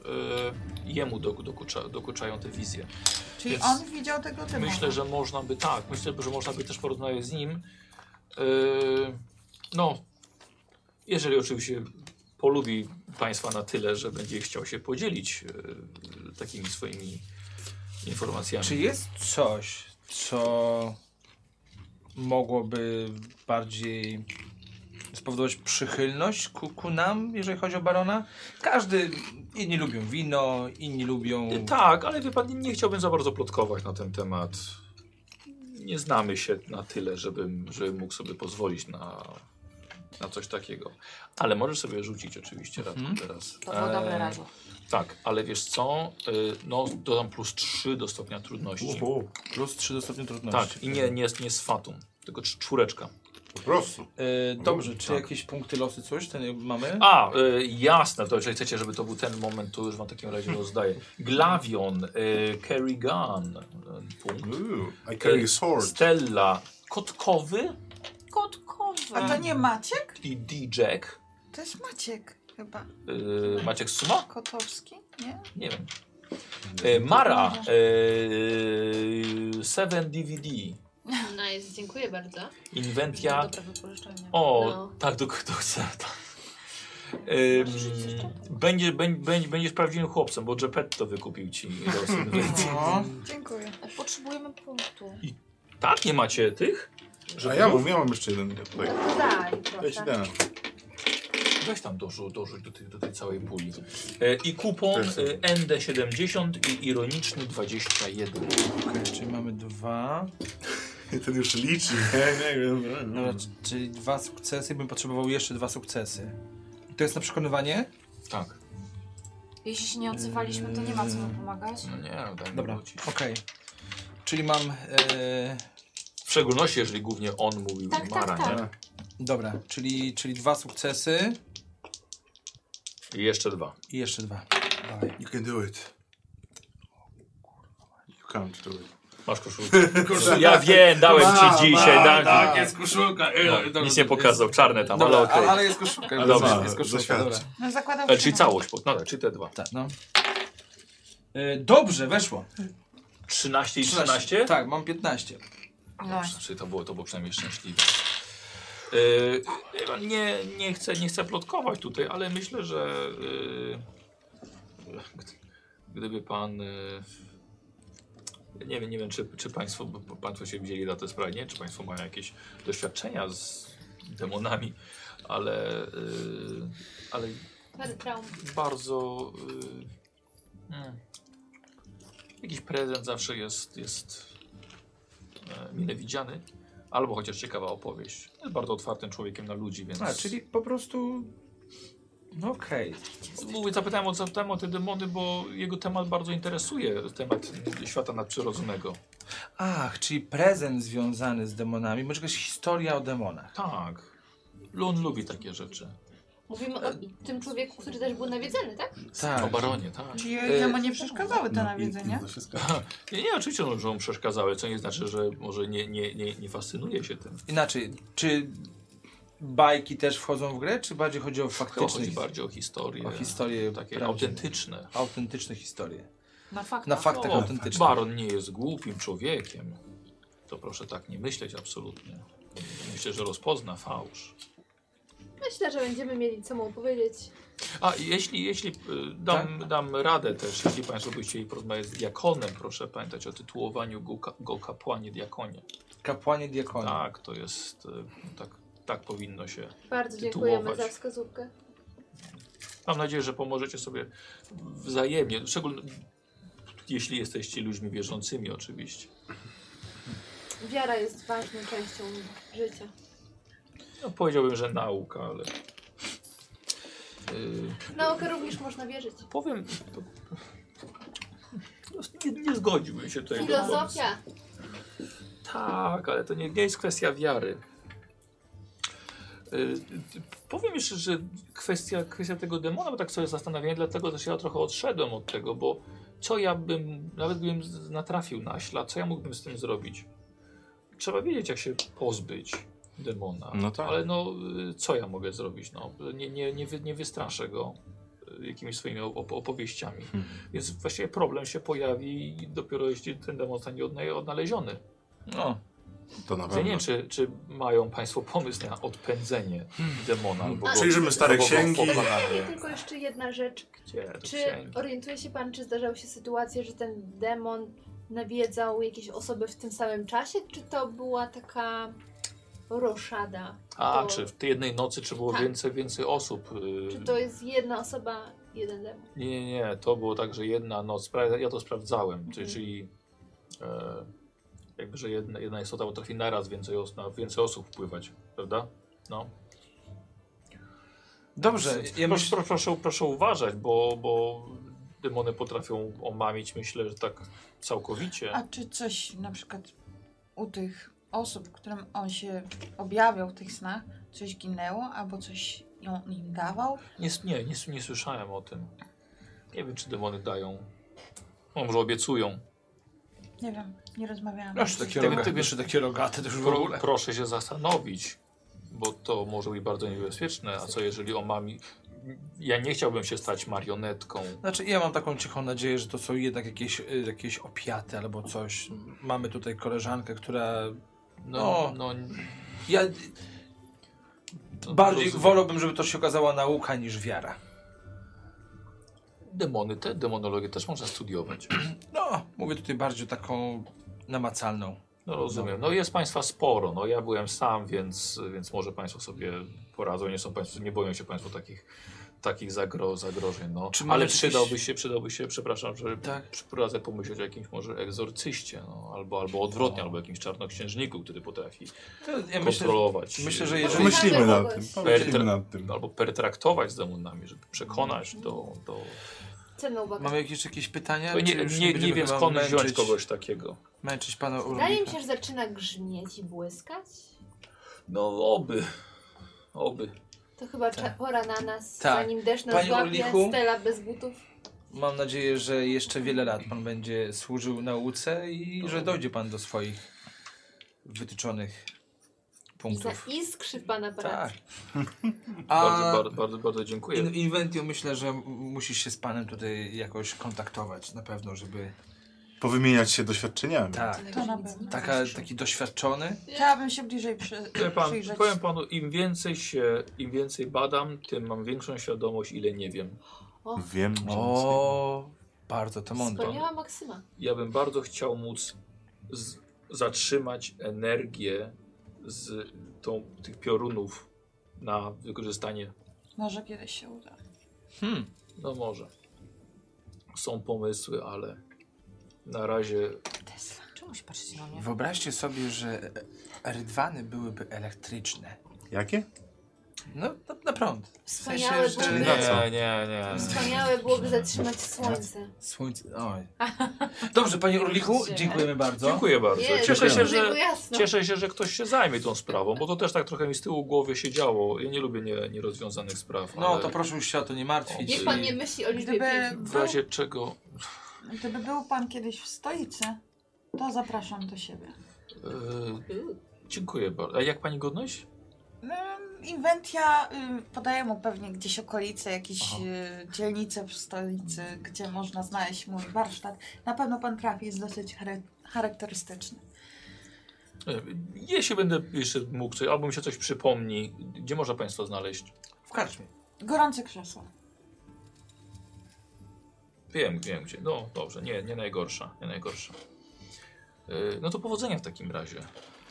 Speaker 1: e, jemu doku- dokucza, dokuczają te wizje.
Speaker 5: Czyli
Speaker 1: Więc
Speaker 5: on widział tego demona.
Speaker 1: Myślę, że można by tak, myślę, że można by też porozmawiać z nim. E, no, jeżeli oczywiście polubi Państwa na tyle, że będzie chciał się podzielić e, takimi swoimi informacjami.
Speaker 3: Czy jest coś, co mogłoby bardziej spowodować przychylność ku, ku nam, jeżeli chodzi o barona? Każdy, inni lubią wino, inni lubią...
Speaker 1: Y, Tak, ale wie pan, nie- nie chciałbym za bardzo plotkować na ten temat. Nie znamy się na tyle, żebym, żebym mógł sobie pozwolić na na coś takiego. Ale możesz sobie rzucić oczywiście raz, teraz.
Speaker 2: To było dobre
Speaker 1: Eee,
Speaker 2: razu.
Speaker 1: Tak, ale wiesz co, y, no dodam plus 3 do stopnia trudności.
Speaker 3: Plus 3 do stopnia trudności.
Speaker 1: Tak, i nie, nie, nie z fatum, tylko cz- czwóreczka.
Speaker 8: Po prostu.
Speaker 3: E, dobrze, czy
Speaker 1: Tak.
Speaker 3: jakieś punkty losy, coś ten mamy?
Speaker 1: A, y, jasne, to jeżeli chcecie, żeby to był ten moment, to już wam w takim razie rozdaję. Glavion, y, Carry Gun, y, punkt.
Speaker 8: Ooh, I carry a sword.
Speaker 1: Stella, Kotkowy
Speaker 2: Kotkowy.
Speaker 5: A to nie Maciek?
Speaker 1: i D-Jack.
Speaker 5: To jest Maciek chyba.
Speaker 1: Y, Maciek Suma?
Speaker 5: Kotowski? Nie?
Speaker 1: Nie wiem. Y, Mara, y, Seven DVD,
Speaker 6: Nice, dziękuję bardzo.
Speaker 1: Inventia.
Speaker 2: Dobre wypożyczenie.
Speaker 1: O,
Speaker 6: No.
Speaker 1: tak, do doktora. Ym, będzie, będzie, będzie, będziesz prawdziwym chłopcem, bo Geppetto wykupił ci los inwencji.
Speaker 7: No.
Speaker 5: Dziękuję.
Speaker 2: E, Potrzebujemy punktu.
Speaker 1: Tak, nie macie tych?
Speaker 8: A ja mam, ja mam jeszcze jeden tutaj.
Speaker 6: Tak. Daj,
Speaker 8: Ja ci
Speaker 6: proszę.
Speaker 8: dam.
Speaker 1: Weź tam dorzu, dorzuć do tej, do tej całej puli. E, I kupon
Speaker 8: Też sobie.
Speaker 1: e, ND70 i ironiczny 21.
Speaker 3: Okej, czyli mamy dwa.
Speaker 8: Ten już liczy. Nie, nie wiem.
Speaker 3: Dobra, c- czyli dwa sukcesy, bym potrzebował jeszcze dwa sukcesy. I To jest na przekonywanie?
Speaker 1: Tak.
Speaker 2: Jeśli się nie odzywaliśmy, to nie ma co nam pomagać.
Speaker 1: No nie, no daj mi
Speaker 3: Dobra,
Speaker 1: wrócić.
Speaker 3: okej. Czyli mam. E,
Speaker 1: W szczególności, jeżeli głównie on mówił
Speaker 2: Tak,
Speaker 1: i Mara,
Speaker 2: tak, tak.
Speaker 1: nie?
Speaker 3: dobra, czyli, czyli dwa sukcesy
Speaker 1: I jeszcze dwa.
Speaker 3: i jeszcze dwa. Dawaj.
Speaker 8: You can do it. You can't do it.
Speaker 1: Masz koszulkę. Ja wiem, dałem ci dzisiaj. dałem ci.
Speaker 7: Tak, jest koszulka. Ej,
Speaker 1: No,
Speaker 7: dobra,
Speaker 1: nic nie
Speaker 7: jest-
Speaker 1: pokazał, czarne tam,
Speaker 3: Dobra,
Speaker 1: ale okej.
Speaker 3: a- ale jest koszulka.
Speaker 1: A
Speaker 3: dobra,
Speaker 1: dobra,
Speaker 3: jest koszulka.
Speaker 8: zaświadczy.
Speaker 3: Dobra.
Speaker 5: No zakładam
Speaker 1: E, czyli
Speaker 5: że-
Speaker 1: całość, pod- no tak, czyli te dwa.
Speaker 3: Tak, no. E, dobrze, weszło.
Speaker 1: 13 i 13?
Speaker 3: Tak, mam 15.
Speaker 5: No.
Speaker 1: Dobrze, czyli to było, to było przynajmniej szczęśliwe. Yy, Ewan, nie, nie, chcę, nie chcę plotkować tutaj, ale myślę, że yy, gdy- gdyby pan... Yy, nie wiem, nie wiem czy, czy państwo, bo- bo państwo się widzieli na tej sprawie, nie wiem, czy państwo mają jakieś doświadczenia z demonami, ale, yy, ale
Speaker 6: Pan Traum.
Speaker 1: bardzo. Y,
Speaker 3: Hmm.
Speaker 1: mm, jakiś prezent zawsze jest, jest e, mile widziany. Albo chociaż ciekawa opowieść. Jest bardzo otwartym człowiekiem na ludzi, więc.
Speaker 3: A, czyli po prostu. No okej.
Speaker 1: Mówię, zapytałem o, zapytałem o te demony, bo jego temat bardzo interesuje. Temat świata nadprzyrodzonego.
Speaker 3: Ach, czyli prezent związany z demonami, może jakaś historia o demonach.
Speaker 1: Tak. On lubi takie rzeczy.
Speaker 6: Mówimy o tym człowieku, który też był nawiedzony, tak?
Speaker 1: O
Speaker 3: Tak.
Speaker 1: baronie, tak.
Speaker 5: Czyli jemu nie przeszkadzały
Speaker 1: no
Speaker 5: te nawiedzenia?
Speaker 8: To wszystko.
Speaker 1: Nie, nie oczywiście, no, że mu przeszkadzały, co nie znaczy, że może nie, nie, nie, nie fascynuje się tym.
Speaker 3: Inaczej, czy bajki też wchodzą w grę, czy bardziej chodzi o
Speaker 1: Chyba
Speaker 3: faktyczne
Speaker 1: chodzi
Speaker 3: his-
Speaker 1: bardziej o historię.
Speaker 3: o historie
Speaker 1: takie
Speaker 3: prawdziwe,
Speaker 1: autentyczne.
Speaker 3: autentyczne historie.
Speaker 2: Na faktach.
Speaker 3: Na faktach
Speaker 1: O,
Speaker 3: autentycznych.
Speaker 1: Baron nie jest głupim człowiekiem. To proszę tak nie myśleć absolutnie. Myślę, że rozpozna fałsz.
Speaker 6: Myślę, że będziemy mieli co mu powiedzieć.
Speaker 1: A jeśli, jeśli y, dam, dam radę też, jeśli Państwo by chcieli porozmawiać z diakonem, proszę pamiętać o tytułowaniu go, ka- go kapłanie diakonie.
Speaker 3: Kapłanie diakoni.
Speaker 1: Tak, to jest, y, tak, tak powinno się.
Speaker 6: Bardzo
Speaker 1: Tytułować.
Speaker 6: dziękujemy za wskazówkę.
Speaker 1: Mam nadzieję, że pomożecie sobie wzajemnie, szczególnie jeśli jesteście ludźmi wierzącymi oczywiście.
Speaker 6: Wiara jest ważną częścią życia.
Speaker 1: No, powiedziałbym, że nauka, ale... y,
Speaker 6: W naukę również można wierzyć.
Speaker 1: Powiem. To, nie, nie zgodziłbym się tutaj. do końca.
Speaker 6: Filozofia.
Speaker 1: Tak, ale to nie, nie jest kwestia wiary. Y, y, Powiem jeszcze, że kwestia, kwestia tego demona, bo tak sobie zastanawiałem, dlatego też ja trochę odszedłem od tego, bo co ja bym, nawet gdybym z- natrafił na ślad, co ja mógłbym z tym zrobić? Trzeba wiedzieć, jak się pozbyć demona.
Speaker 8: No tak.
Speaker 1: Ale no, y, co ja mogę zrobić? No, nie, nie, nie, wy, nie wystraszę go y, jakimiś swoimi op opowieściami.
Speaker 8: Hmm.
Speaker 1: Więc właściwie problem się pojawi dopiero jeśli ten demon zostanie odna- odnaleziony.
Speaker 3: No.
Speaker 8: To na
Speaker 1: Ja nie
Speaker 8: pewno.
Speaker 1: wiem, czy, czy mają Państwo pomysł na odpędzenie demona albo go,
Speaker 8: Przejrzymy stare
Speaker 1: albo go
Speaker 8: księgi.
Speaker 1: pokonanie.
Speaker 6: I tylko jeszcze jedna rzecz.
Speaker 1: Gdzie to
Speaker 6: Czy
Speaker 1: księgi?
Speaker 6: orientuje się pan, czy zdarzały się sytuacje, że ten demon nawiedzał jakieś osoby w tym samym czasie? Czy to była taka roszada?
Speaker 1: A,
Speaker 6: to-
Speaker 1: czy w tej jednej nocy, czy było
Speaker 6: Tak.
Speaker 1: więcej, więcej osób? y,
Speaker 6: Czy to jest jedna osoba, jeden demon?
Speaker 1: Nie, nie, nie, to było tak, że jedna noc, pra- ja to sprawdzałem, czyli,
Speaker 6: Mhm.
Speaker 1: czyli e, jakby, że jedna, jedna istota potrafi naraz więcej, os- na więcej osób wpływać, prawda? No.
Speaker 3: Dobrze, ja
Speaker 1: proszę,
Speaker 3: myślę,
Speaker 1: pro- proszę, proszę uważać, bo, bo demony potrafią omamić, myślę, że tak
Speaker 5: A
Speaker 1: całkowicie.
Speaker 5: czy coś na przykład u tych osób, którym on się objawiał w tych snach, coś ginęło albo coś ją, im dawał?
Speaker 1: Nie, s- nie, nie, s- nie słyszałem o tym. Nie wiem, czy demony dają. No, może obiecują.
Speaker 5: Nie wiem, nie rozmawiałam. Tak
Speaker 3: proszę tak takie,
Speaker 1: Tego
Speaker 3: roga,
Speaker 1: typu-
Speaker 3: jeszcze takie rogate to już w
Speaker 1: Pro,
Speaker 3: ogóle.
Speaker 1: proszę się zastanowić, bo to może być bardzo niebezpieczne. A co jeżeli omami... Ja nie chciałbym się stać marionetką.
Speaker 3: Znaczy ja mam taką cichą nadzieję, że to są jednak jakieś, y, jakieś opiaty albo coś. Mamy tutaj koleżankę, która...
Speaker 1: No, no,
Speaker 3: No, ja
Speaker 1: no
Speaker 3: bardziej
Speaker 1: rozumiem.
Speaker 3: wolałbym, żeby to się okazała nauka niż wiara.
Speaker 1: Demony, te demonologię też można studiować.
Speaker 3: No, mówię tutaj bardziej o taką namacalną.
Speaker 1: No rozumiem. No jest Państwa sporo. No ja byłem sam, więc, więc może Państwo sobie poradzą. Nie są Państwo, nie boją się Państwo takich, takich zagro, zagrożeń. No.
Speaker 3: Czy mamy
Speaker 1: Ale
Speaker 3: jakieś-
Speaker 1: przydałby się, przydałby się, przepraszam, że
Speaker 3: Tak.
Speaker 1: prowadzę pomyśleć o jakimś może egzorcyście, no, albo, albo odwrotnie, albo jakimś czarnoksiężniku, który potrafi
Speaker 3: To ja myślę,
Speaker 1: kontrolować.
Speaker 3: myślę, że
Speaker 1: e,
Speaker 3: jeżeli-
Speaker 8: Pomyślimy nad tym.
Speaker 2: Kogoś.
Speaker 8: Pomyślimy
Speaker 1: Pertra-
Speaker 8: nad tym.
Speaker 1: Albo pertraktować z demonami, żeby
Speaker 3: No.
Speaker 1: przekonać do... do...
Speaker 6: Cenna uwaga.
Speaker 3: Mamy jakieś, jakieś pytania?
Speaker 1: To nie,
Speaker 3: Czy już
Speaker 1: nie, nie
Speaker 3: będziemy
Speaker 1: wiem
Speaker 3: chyba
Speaker 1: skąd wziąć
Speaker 3: męczyć-
Speaker 1: kogoś takiego.
Speaker 3: Męczyć pana
Speaker 6: Wydaje mi
Speaker 3: Urlika.
Speaker 6: się, że zaczyna grzmieć i błyskać.
Speaker 1: No oby. Oby.
Speaker 6: To chyba cza- pora na nas,
Speaker 3: Tak.
Speaker 6: zanim deszcz nas
Speaker 3: Panie
Speaker 6: złapie,
Speaker 3: Ulrichu?
Speaker 6: Stella bez butów.
Speaker 3: Mam nadzieję, że jeszcze wiele lat pan będzie służył nauce i że dojdzie pan do swoich wytyczonych
Speaker 6: I
Speaker 3: punktów.
Speaker 6: zaiskrzy w pana
Speaker 3: Tak.
Speaker 6: pracy.
Speaker 1: Bardzo,
Speaker 3: A
Speaker 1: bardzo, bardzo, bardzo dziękuję.
Speaker 3: in, Inventio myślę, że m- musisz się z panem tutaj jakoś kontaktować na pewno, żeby...
Speaker 8: Powymieniać się doświadczeniami.
Speaker 3: Tak.
Speaker 5: To na pewno.
Speaker 3: Taka, taki doświadczony.
Speaker 5: Chciałabym się bliżej przy,
Speaker 1: Wie Pan,
Speaker 5: przyjrzeć.
Speaker 1: powiem panu, im więcej się, im więcej badam, tym mam większą świadomość, ile nie wiem.
Speaker 8: Wiem. że
Speaker 3: O, bardzo to mądre.
Speaker 6: Wspaniała Maksyma.
Speaker 1: Ja bym bardzo chciał móc z, zatrzymać energię z tą, tych piorunów na wykorzystanie.
Speaker 5: Może kiedyś się uda.
Speaker 3: Hmm.
Speaker 1: No może. Są pomysły, ale na razie
Speaker 2: Tesla, czemuś patrzycie na mnie?
Speaker 3: Wyobraźcie sobie, że rydwany byłyby elektryczne.
Speaker 8: Jakie?
Speaker 3: No, na, na prąd.
Speaker 6: Wspaniałe
Speaker 3: że-
Speaker 6: byłoby,
Speaker 8: Na co?
Speaker 1: nie, nie.
Speaker 6: wspaniałe byłoby zatrzymać słońce.
Speaker 3: Słońce. Oj. Dobrze, panie Urlichu, dziękujemy bardzo.
Speaker 1: Dziękuję bardzo.
Speaker 6: Jest,
Speaker 1: Cieszę się,
Speaker 6: żeby
Speaker 1: że,
Speaker 6: było jasno.
Speaker 1: Cieszę się, że ktoś się zajmie tą sprawą, bo to też tak trochę mi z tyłu głowy się działo. Ja nie lubię nie- nierozwiązanych spraw.
Speaker 3: No
Speaker 1: ale
Speaker 3: to proszę już się o to nie martwić.
Speaker 6: Niech pan nie myśli o liczbie
Speaker 5: Gdyby
Speaker 6: pięć.
Speaker 1: W
Speaker 5: był,
Speaker 1: razie czego.
Speaker 5: gdyby był pan kiedyś w stolicy, to zapraszam do siebie.
Speaker 1: e, dziękuję bardzo. A jak pani godność?
Speaker 5: Ym, Mm, Inwentia y, podaje mu pewnie gdzieś okolice, jakieś
Speaker 1: Aha.
Speaker 5: y, dzielnice w stolicy, gdzie można znaleźć mój warsztat. Na pewno pan trafi, jest dosyć chare- charakterystyczny.
Speaker 1: E, jeśli będę jeszcze mógł, coś, albo mi się coś przypomni, gdzie można państwo znaleźć?
Speaker 3: W karczmie.
Speaker 5: Gorące krzesło.
Speaker 1: Wiem, wiem gdzie. No dobrze, nie, nie najgorsza, nie najgorsza. E, no to powodzenia w takim razie.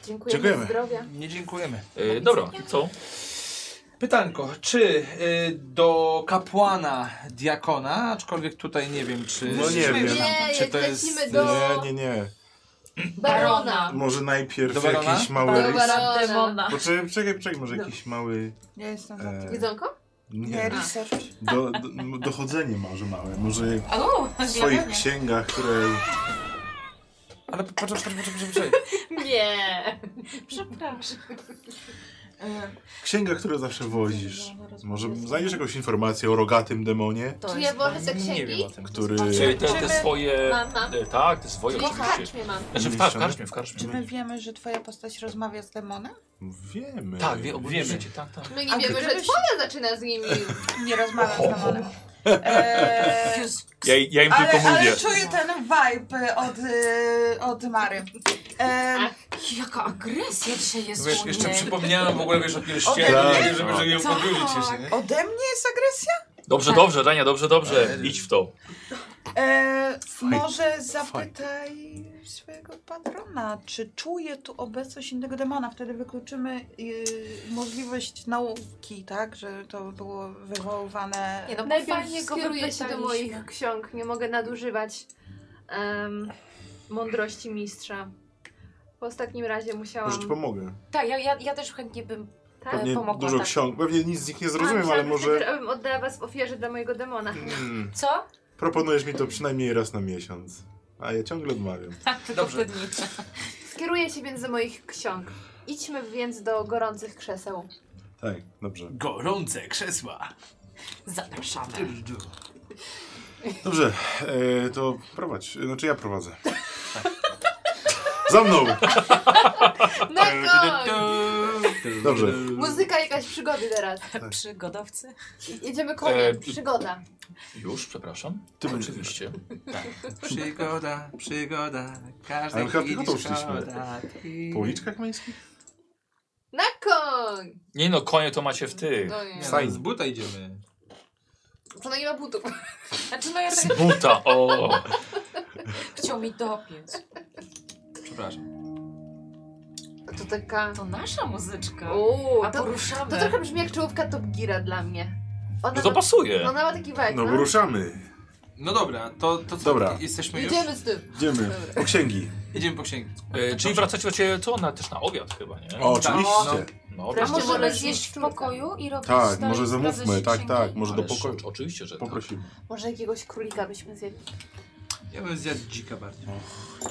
Speaker 6: Dziękujemy.
Speaker 8: Dziękujemy.
Speaker 6: Zdrowia.
Speaker 3: Nie dziękujemy.
Speaker 1: E, dobra, co?
Speaker 3: Pytanko, czy y, do kapłana diakona, aczkolwiek tutaj nie wiem, czy.
Speaker 8: No nie
Speaker 3: czy-
Speaker 8: wiem.
Speaker 6: Nie,
Speaker 3: Czy to jest-
Speaker 6: lecimy do
Speaker 8: Nie, No nie, nie.
Speaker 6: barona.
Speaker 8: Może najpierw
Speaker 3: Dobra,
Speaker 8: jakiś
Speaker 3: Rona?
Speaker 8: mały...
Speaker 6: Dobra.
Speaker 2: Barona. Demona.
Speaker 8: Poczekaj, czekaj, czekaj, może jakiś mały...
Speaker 5: Ja jestem za
Speaker 8: E,
Speaker 6: Jedzonko?
Speaker 5: Nie,
Speaker 8: nie,
Speaker 5: research.
Speaker 8: do, do, dochodzenie może małe. Może
Speaker 2: O,
Speaker 8: w swoich księgach, które...
Speaker 3: Ale poczekaj, poczekaj, poczekaj, poczekaj.
Speaker 6: Nie.
Speaker 2: Przepraszam.
Speaker 5: E,
Speaker 8: Księgach, które zawsze wozisz. Może znajdziesz jakąś informację o rogatym demonie,
Speaker 2: To
Speaker 6: Czy
Speaker 2: jest...
Speaker 6: ja włożę te
Speaker 3: Nie wiem
Speaker 6: księgi?
Speaker 3: o tym.
Speaker 8: który...
Speaker 1: E, Te, te, te swoje.
Speaker 6: Mam, mam.
Speaker 1: E, tak, te swoje
Speaker 6: Czyli w
Speaker 1: oczywiście.
Speaker 6: karczmie mam.
Speaker 1: Znaczy w, kar- w karczmie, w karczmie.
Speaker 5: Czy my wiemy, że twoja postać rozmawia z demonem?
Speaker 8: Wiemy.
Speaker 1: Tak, wie,
Speaker 3: Wiemy.
Speaker 1: wiecie, tak, tak.
Speaker 6: My
Speaker 5: A
Speaker 6: nie wiemy, że
Speaker 5: gdybyś-
Speaker 6: twoja zaczyna z nimi.
Speaker 5: Nie rozmawiam z demonem. E,
Speaker 1: Ja, ja im
Speaker 5: ale,
Speaker 1: tylko mówię.
Speaker 5: ale czuję ten vibe od, y, od Mary. E,
Speaker 2: Jaka agresja dzisiaj jest
Speaker 3: Wiesz,
Speaker 2: u
Speaker 3: jeszcze
Speaker 2: niej.
Speaker 3: przypomniałem w ogóle wiesz, o pierścieniu,
Speaker 8: Tak.
Speaker 3: żeby, żeby ją
Speaker 2: Tak.
Speaker 3: podłużyć jeszcze, nie?
Speaker 5: ode mnie jest agresja?
Speaker 1: Dobrze, dobrze, Dania, dobrze, dobrze. Idź w to.
Speaker 5: E, może zapytaj swojego patrona, czy czuje tu obecność innego demona. Wtedy wykluczymy y, możliwość nauki, tak? Że to było wywoływane.
Speaker 2: Nie, no,
Speaker 6: Najpierw
Speaker 2: fajnie go
Speaker 6: skieruję się do
Speaker 2: wypytaliśmy.
Speaker 6: moich ksiąg. Nie mogę nadużywać em, mądrości mistrza. Po ostatnim razie musiałam...
Speaker 8: Może ci pomogę.
Speaker 2: Tak, ja, ja, ja też chętnie bym
Speaker 6: Tak?
Speaker 8: Pewnie
Speaker 2: pomogła,
Speaker 8: dużo
Speaker 2: tak.
Speaker 8: ksiąg. Pewnie nic z nich nie zrozumiem,
Speaker 6: Mam
Speaker 8: ale
Speaker 6: żal,
Speaker 8: może...
Speaker 6: że Abym oddała was w ofierze dla mojego demona.
Speaker 8: Mm,
Speaker 2: Co?
Speaker 8: proponujesz mi to przynajmniej raz na miesiąc. A ja ciągle odmawiam.
Speaker 2: Tylko w te dni.
Speaker 6: Skieruję się więc do moich ksiąg. Idźmy więc do gorących krzeseł.
Speaker 8: Tak, dobrze.
Speaker 11: Gorące krzesła.
Speaker 2: Zapraszamy.
Speaker 8: Dobrze, e, to prowadź. Znaczy ja prowadzę. Za mną!
Speaker 6: Na koń!
Speaker 8: Dobrze.
Speaker 6: Muzyka jakaś przygody teraz.
Speaker 2: Przygodowcy.
Speaker 6: Jedziemy
Speaker 1: E,
Speaker 6: koniem, przygoda.
Speaker 1: Już, przepraszam.
Speaker 8: Ty będziesz.
Speaker 1: Oczywiście.
Speaker 3: Przygoda, przygoda,
Speaker 8: Ale
Speaker 3: każdej
Speaker 8: my chyba
Speaker 3: chwili
Speaker 8: piechotą szliśmy.
Speaker 3: szkoda.
Speaker 8: Po uliczkach miejskich?
Speaker 6: Na koń!
Speaker 1: Nie no, konie to macie w tych.
Speaker 6: No nie.
Speaker 3: Fajnie. Z buta idziemy.
Speaker 6: To no nie ma butów.
Speaker 2: Znaczy no ja tak
Speaker 1: Z buta, o!
Speaker 2: chciał mi dopiąć.
Speaker 3: Przepraszam.
Speaker 6: To taka...
Speaker 2: To nasza muzyczka.
Speaker 6: Uuu,
Speaker 2: A
Speaker 6: to,
Speaker 2: poruszamy.
Speaker 6: to trochę brzmi jak czołówka Top Gira dla mnie. Ona
Speaker 1: No to
Speaker 6: ma,
Speaker 1: pasuje.
Speaker 6: ona ma taki
Speaker 2: Tak,
Speaker 6: vibe,
Speaker 8: No
Speaker 6: no?
Speaker 8: bo ruszamy.
Speaker 3: No dobra, to, to co?
Speaker 8: Dobra.
Speaker 3: Jesteśmy już?
Speaker 6: Jedziemy z tym.
Speaker 8: Idziemy.
Speaker 6: Dobra.
Speaker 8: Po księgi.
Speaker 3: Idziemy po księgi.
Speaker 1: E, czyli wracacie do ciebie, to na, też na obiad chyba, nie?
Speaker 8: O,
Speaker 3: Tak.
Speaker 8: oczywiście.
Speaker 1: no,
Speaker 2: A
Speaker 6: Wreszcie
Speaker 1: wreszcie
Speaker 2: możemy
Speaker 6: wolę
Speaker 2: zjeść w
Speaker 6: szczurka.
Speaker 2: pokoju i robić
Speaker 8: Tak,
Speaker 2: dalej
Speaker 8: może
Speaker 2: sprawę
Speaker 8: zamówmy.
Speaker 2: z
Speaker 8: Tak, tak.
Speaker 2: księgi?
Speaker 8: Może do
Speaker 1: Ale
Speaker 8: pokoju.
Speaker 1: sz- Oczywiście, że tak.
Speaker 8: Poprosimy.
Speaker 6: Może jakiegoś królika byśmy zjedli.
Speaker 3: Ja bym zjadł dzika bardziej.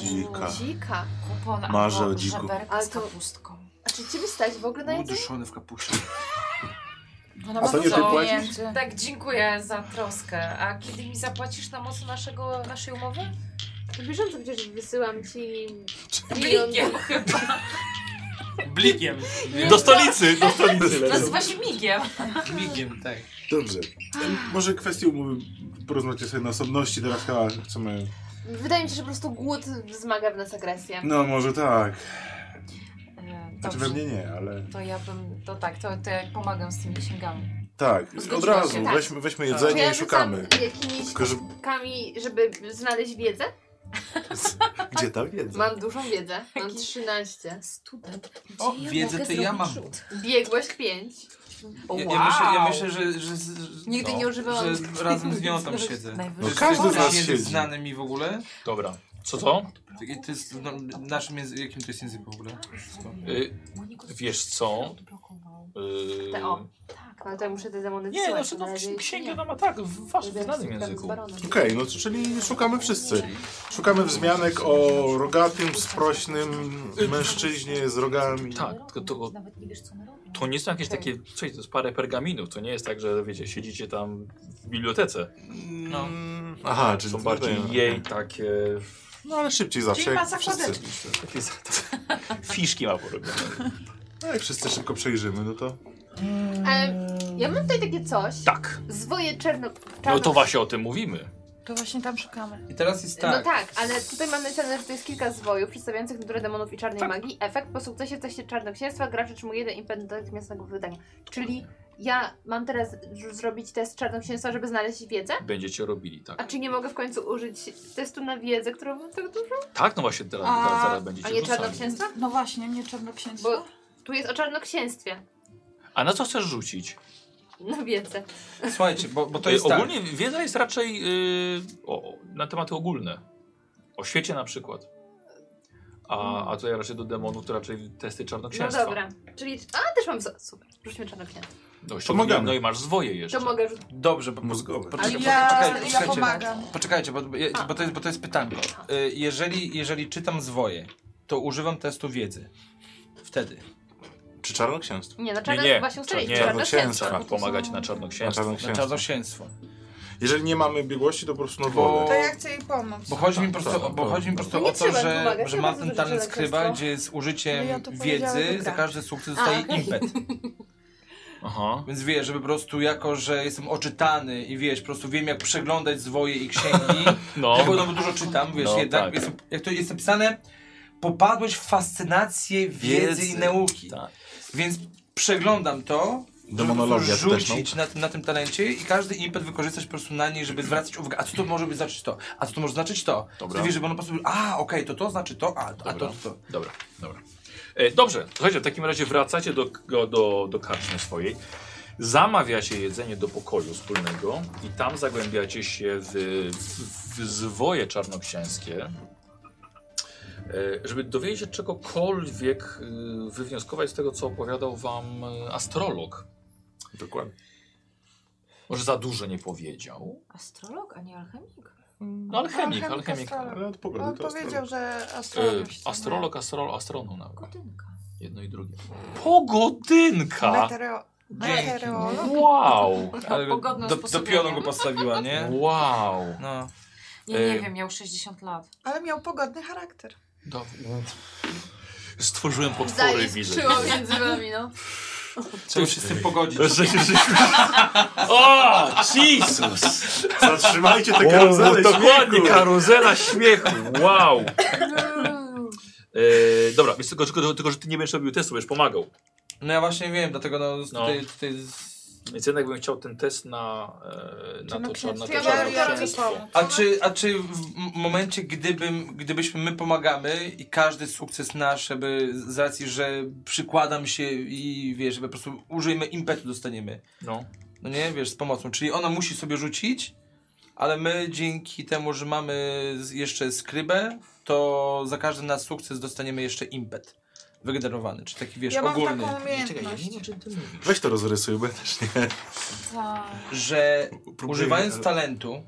Speaker 8: Dzika.
Speaker 2: No.
Speaker 6: Dzika.
Speaker 2: Kupon
Speaker 8: Marzę
Speaker 2: albo
Speaker 8: o dziku.
Speaker 2: żeberka
Speaker 6: Ale
Speaker 2: z
Speaker 6: to-
Speaker 2: kapustką.
Speaker 6: A czy ciebie stać w ogóle na jedzenie?
Speaker 3: Uduszony w kapuście.
Speaker 2: Ona
Speaker 8: A to nie ty płacisz?
Speaker 2: Tak, dziękuję za troskę. A kiedy mi zapłacisz na mocy naszego, naszej umowy?
Speaker 6: Na bieżąco przecież wysyłam ci...
Speaker 2: Blikiem chyba.
Speaker 3: Blikiem.
Speaker 1: Do stolicy, do stolicy
Speaker 2: To
Speaker 1: lecą.
Speaker 2: nazywa się migiem.
Speaker 3: Blikiem, tak.
Speaker 8: Dobrze. E, Może kwestię umowy porozmawiacie sobie na osobności. Teraz chyba chcemy...
Speaker 6: Wydaje mi się, że po prostu głód wzmaga w nas agresję.
Speaker 8: No może tak.
Speaker 2: E, dobrze.
Speaker 8: Znaczy we mnie nie, ale...
Speaker 2: To ja bym, to tak, to, to ja pomagam z tymi księgami.
Speaker 8: Tak, od
Speaker 2: Zgodziłam
Speaker 8: razu.
Speaker 2: się, tak.
Speaker 8: Weźmy, weźmy
Speaker 6: Czy
Speaker 8: jedzenie
Speaker 6: ja
Speaker 8: i
Speaker 6: rzucam
Speaker 8: szukamy.
Speaker 6: jakimiś
Speaker 8: Tylko, że...
Speaker 6: kami, żeby znaleźć wiedzę?
Speaker 8: Gdzie ta wiedza?
Speaker 6: Mam dużą wiedzę. Mam 13.
Speaker 2: Student. Gdzie
Speaker 3: O, wiedzę
Speaker 2: mogę
Speaker 3: to ja
Speaker 2: zrobić
Speaker 3: mam.
Speaker 2: rzut?
Speaker 6: Biegłość 5.
Speaker 2: O,
Speaker 3: Ja,
Speaker 2: wow.
Speaker 3: ja myślę, ja myślę że, że, z-
Speaker 6: Nigdy
Speaker 1: No,
Speaker 6: nie używałam.
Speaker 3: że razem z nią tam siedzę.
Speaker 2: Najwyżej.
Speaker 8: No każdy
Speaker 3: to
Speaker 8: z nas
Speaker 3: jest
Speaker 8: siedzi.
Speaker 3: język znany mi w ogóle.
Speaker 1: tak. Dobra. Co to?
Speaker 3: I to jest no, naszym język, jakim to jest język w ogóle?
Speaker 1: Y, wiesz co? Y,
Speaker 6: Te o.
Speaker 2: Tak,
Speaker 6: Ale to ja muszę te demony
Speaker 1: Nie, no,
Speaker 6: wysyłać,
Speaker 1: to
Speaker 6: na
Speaker 1: no
Speaker 6: razie
Speaker 1: księgę
Speaker 6: nie.
Speaker 1: tam ma tak, w waszym
Speaker 6: Żeby
Speaker 1: znanym
Speaker 6: tam z
Speaker 1: języku.
Speaker 6: baronem.
Speaker 8: Okej, no czyli szukamy wszyscy. Szukamy wzmianek o rogatym, sprośnym mężczyźnie z rogami.
Speaker 1: Tak, tylko to,
Speaker 2: Nawet nie wiesz, co one robią.
Speaker 1: to nie są jakieś takie, coś, to jest parę pergaminów, to nie jest tak, że wiecie, siedzicie tam w bibliotece.
Speaker 3: No.
Speaker 8: Mm, Aha, czyli
Speaker 1: Są bardziej
Speaker 8: no,
Speaker 1: jej takie,
Speaker 8: No ale szybciej zawsze.
Speaker 5: Czyli ma
Speaker 8: jak
Speaker 5: zakładeczki.
Speaker 8: wszyscy.
Speaker 1: takie za- fiszki ma porobione.
Speaker 8: No jak wszyscy szybko przejrzymy, no to.
Speaker 6: E, ja mam tutaj takie coś.
Speaker 1: Tak,
Speaker 6: Zwoje czarno...
Speaker 1: no to właśnie o tym mówimy.
Speaker 5: To właśnie tam szukamy.
Speaker 3: I teraz jest
Speaker 6: Tak. No
Speaker 3: tak.
Speaker 6: tak, ale tutaj mamy napisane, że to jest kilka zwojów przedstawiających naturę demonów i czarnej
Speaker 1: Tak.
Speaker 6: magii. Efekt po sukcesie w teście czarnoksięstwa gracz otrzymuje jeden impet do natychmiastowego wydania. Czyli ja mam teraz r- zrobić test czarnoksięstwa, żeby znaleźć wiedzę?
Speaker 1: Będziecie robili,
Speaker 6: A
Speaker 1: tak.
Speaker 6: czy nie mogę w końcu użyć testu na wiedzę, którą mam tak dużo?
Speaker 1: Tak, no właśnie teraz,
Speaker 5: A-
Speaker 1: zaraz, zaraz
Speaker 6: A
Speaker 1: będziecie
Speaker 6: nie
Speaker 1: rzucali.
Speaker 6: czarnoksięstwa?
Speaker 5: No właśnie, nie czarnoksięstwo.
Speaker 6: Bo tu jest o czarnoksięstwie.
Speaker 1: A na co chcesz rzucić?
Speaker 6: Na wiedzę.
Speaker 3: Słuchajcie, bo, bo to
Speaker 1: Y,
Speaker 3: jest tak.
Speaker 1: Ogólnie wiedza jest raczej y, o, o, na tematy ogólne. O świecie na przykład. A, a tutaj raczej do demonów to raczej testy
Speaker 6: No
Speaker 1: czarnoksięstwa.
Speaker 6: dobra. Czyli... A, też mam... zo- Super, rzućmy czarnoksięstwo.
Speaker 1: No,
Speaker 8: Pomagamy.
Speaker 1: no i masz zwoje jeszcze.
Speaker 6: To mogę rzucić.
Speaker 3: Dobrze, bo
Speaker 8: Mózgowe.
Speaker 3: Poczekaj,
Speaker 5: Ale
Speaker 3: poczekaj,
Speaker 5: ja,
Speaker 3: poczekajcie.
Speaker 5: ja pomagam.
Speaker 3: Poczekajcie, bo, ja- bo, to jest, bo to jest pytanko. Y, Jeżeli, jeżeli czytam zwoje, to używam testu wiedzy. Wtedy.
Speaker 8: Czy czarnoksięstwo?
Speaker 6: Nie, na
Speaker 1: nie,
Speaker 6: czarno...
Speaker 1: nie,
Speaker 6: Właśnie
Speaker 1: czar-
Speaker 6: ustaliliśmy
Speaker 1: nie
Speaker 6: czarnoksięstwo.
Speaker 1: trzeba pomagać na
Speaker 8: Na
Speaker 1: czarnoksięstwo.
Speaker 3: Na
Speaker 8: czarnoksięstwo.
Speaker 3: czarnoksięstwo.
Speaker 8: Jeżeli nie mamy biegłości, to po prostu no, na
Speaker 3: Bo-
Speaker 8: wodę.
Speaker 5: To ja chcę jej pomóc.
Speaker 3: Bo chodzi mi po
Speaker 8: Tak,
Speaker 3: prostu,
Speaker 8: tak,
Speaker 3: bo
Speaker 8: tak.
Speaker 3: chodzi mi po prostu
Speaker 6: No nie
Speaker 3: o to,
Speaker 6: trzeba
Speaker 3: że,
Speaker 6: pomagać,
Speaker 3: że
Speaker 6: ja
Speaker 3: mam
Speaker 6: bardzo
Speaker 3: ten
Speaker 6: dużo
Speaker 3: talent
Speaker 6: żelazia
Speaker 3: skryba,
Speaker 6: chcę.
Speaker 3: gdzie jest użyciem
Speaker 5: Ale tak No ja to powiedziałam,
Speaker 3: wiedzy,
Speaker 5: że
Speaker 3: za
Speaker 5: tak.
Speaker 3: każdy sukces dostaje
Speaker 6: okej.
Speaker 3: impet.
Speaker 1: Aha.
Speaker 3: Więc wiesz, żeby po prostu jako, że jestem oczytany i wiesz, po prostu wiem jak przeglądać zwoje i księgi,
Speaker 1: No,
Speaker 3: Dlatego, no bo dużo czytam, wiesz,
Speaker 1: No,
Speaker 3: jednak
Speaker 1: tak.
Speaker 3: jest, jak to jest napisane, popadłeś w fascynację wiedzy,
Speaker 8: Wiedzy.
Speaker 3: i nauki.
Speaker 1: Tak.
Speaker 3: Więc przeglądam to, żeby po
Speaker 8: Demonologia
Speaker 3: prostu
Speaker 8: też, no.
Speaker 3: rzucić na, tym- na tym talencie i każdy impet wykorzystać po prostu na niej, żeby zwracać uwagę, a co to może być znaczyć to, a co to może znaczyć to.
Speaker 1: Dobra.
Speaker 3: Ty wiesz, żeby ono po prostu, a okej, to to znaczy to, a, a to,
Speaker 1: Dobra.
Speaker 3: to to.
Speaker 1: dobra, dobra. E, dobrze, słuchajcie, w takim razie wracacie do, do, do, do karczmy swojej. Zamawiacie jedzenie do pokoju wspólnego i tam zagłębiacie się w, w, w zwoje czarnoksięskie. E, Żeby dowiedzieć się czegokolwiek, e, wywnioskować z tego, co opowiadał wam e, astrolog.
Speaker 8: Dokładnie.
Speaker 1: Może za dużo nie powiedział.
Speaker 2: Astrolog, a nie alchemik.
Speaker 1: No alchemik,
Speaker 5: Alchemik,
Speaker 1: alchemik.
Speaker 5: astrolog.
Speaker 8: Ale odpowiada
Speaker 5: On
Speaker 8: to
Speaker 5: powiedział,
Speaker 8: astrolog.
Speaker 5: że
Speaker 1: E,
Speaker 5: astrolog. się
Speaker 1: astrolog, astrolog, astronom nawet.
Speaker 2: Godynka.
Speaker 1: Jedno i drugie. Pogodynka!
Speaker 5: Meteoro...
Speaker 1: Dzięki.
Speaker 5: Meteorolog.
Speaker 1: Wow!
Speaker 3: Ale
Speaker 2: pogodną
Speaker 3: do, do
Speaker 2: sposobem.
Speaker 3: pionu go postawiła, nie?
Speaker 1: Wow!
Speaker 3: No.
Speaker 2: Nie, nie
Speaker 1: E,
Speaker 2: wiem, miał 60 lat.
Speaker 5: Ale miał pogodny charakter.
Speaker 1: Do... Stworzyłem potwory, widzę.
Speaker 6: Zaiskrzyło między wami, no.
Speaker 7: Trzeba się z tym pogodzić.
Speaker 1: Że się żeśmy- O, Jesus!
Speaker 8: Zatrzymajcie te
Speaker 1: O,
Speaker 8: karuzele
Speaker 1: Dokładnie,
Speaker 8: śmiechu.
Speaker 1: karuzela śmiechu. Wow. E, dobra, więc tylko, tylko, tylko, że ty nie będziesz robił testu, będziesz pomagał.
Speaker 3: No ja właśnie wiem, dlatego no, tutaj, tutaj z...
Speaker 1: Więc jednak bym chciał ten test na, e, na to czarne.
Speaker 2: Ja
Speaker 5: Ja-
Speaker 2: bym
Speaker 5: ja-
Speaker 2: to robiła.
Speaker 3: A czy, a czy w m- momencie, gdybym, gdybyśmy my pomagamy i każdy sukces nasz, żeby z racji, że przykładam się i wiesz, żeby po prostu użyjmy impetu dostaniemy.
Speaker 1: No.
Speaker 3: No nie, wiesz, z pomocą. Czyli ona musi sobie rzucić, ale my dzięki temu, że mamy z- jeszcze skrybę, to za każdy nasz sukces dostaniemy jeszcze impet wygenerowany, czy taki wiesz,
Speaker 5: Ja mam e,
Speaker 3: ogólny.
Speaker 5: taką
Speaker 1: Czekaj, ja nie
Speaker 5: umiejętność.
Speaker 1: wiem, o czym ty mówisz.
Speaker 8: Weź to rozrysuj, bo ja też nie.
Speaker 2: Tak.
Speaker 3: Że
Speaker 8: Próbuję,
Speaker 3: używając
Speaker 8: ale-
Speaker 3: talentu,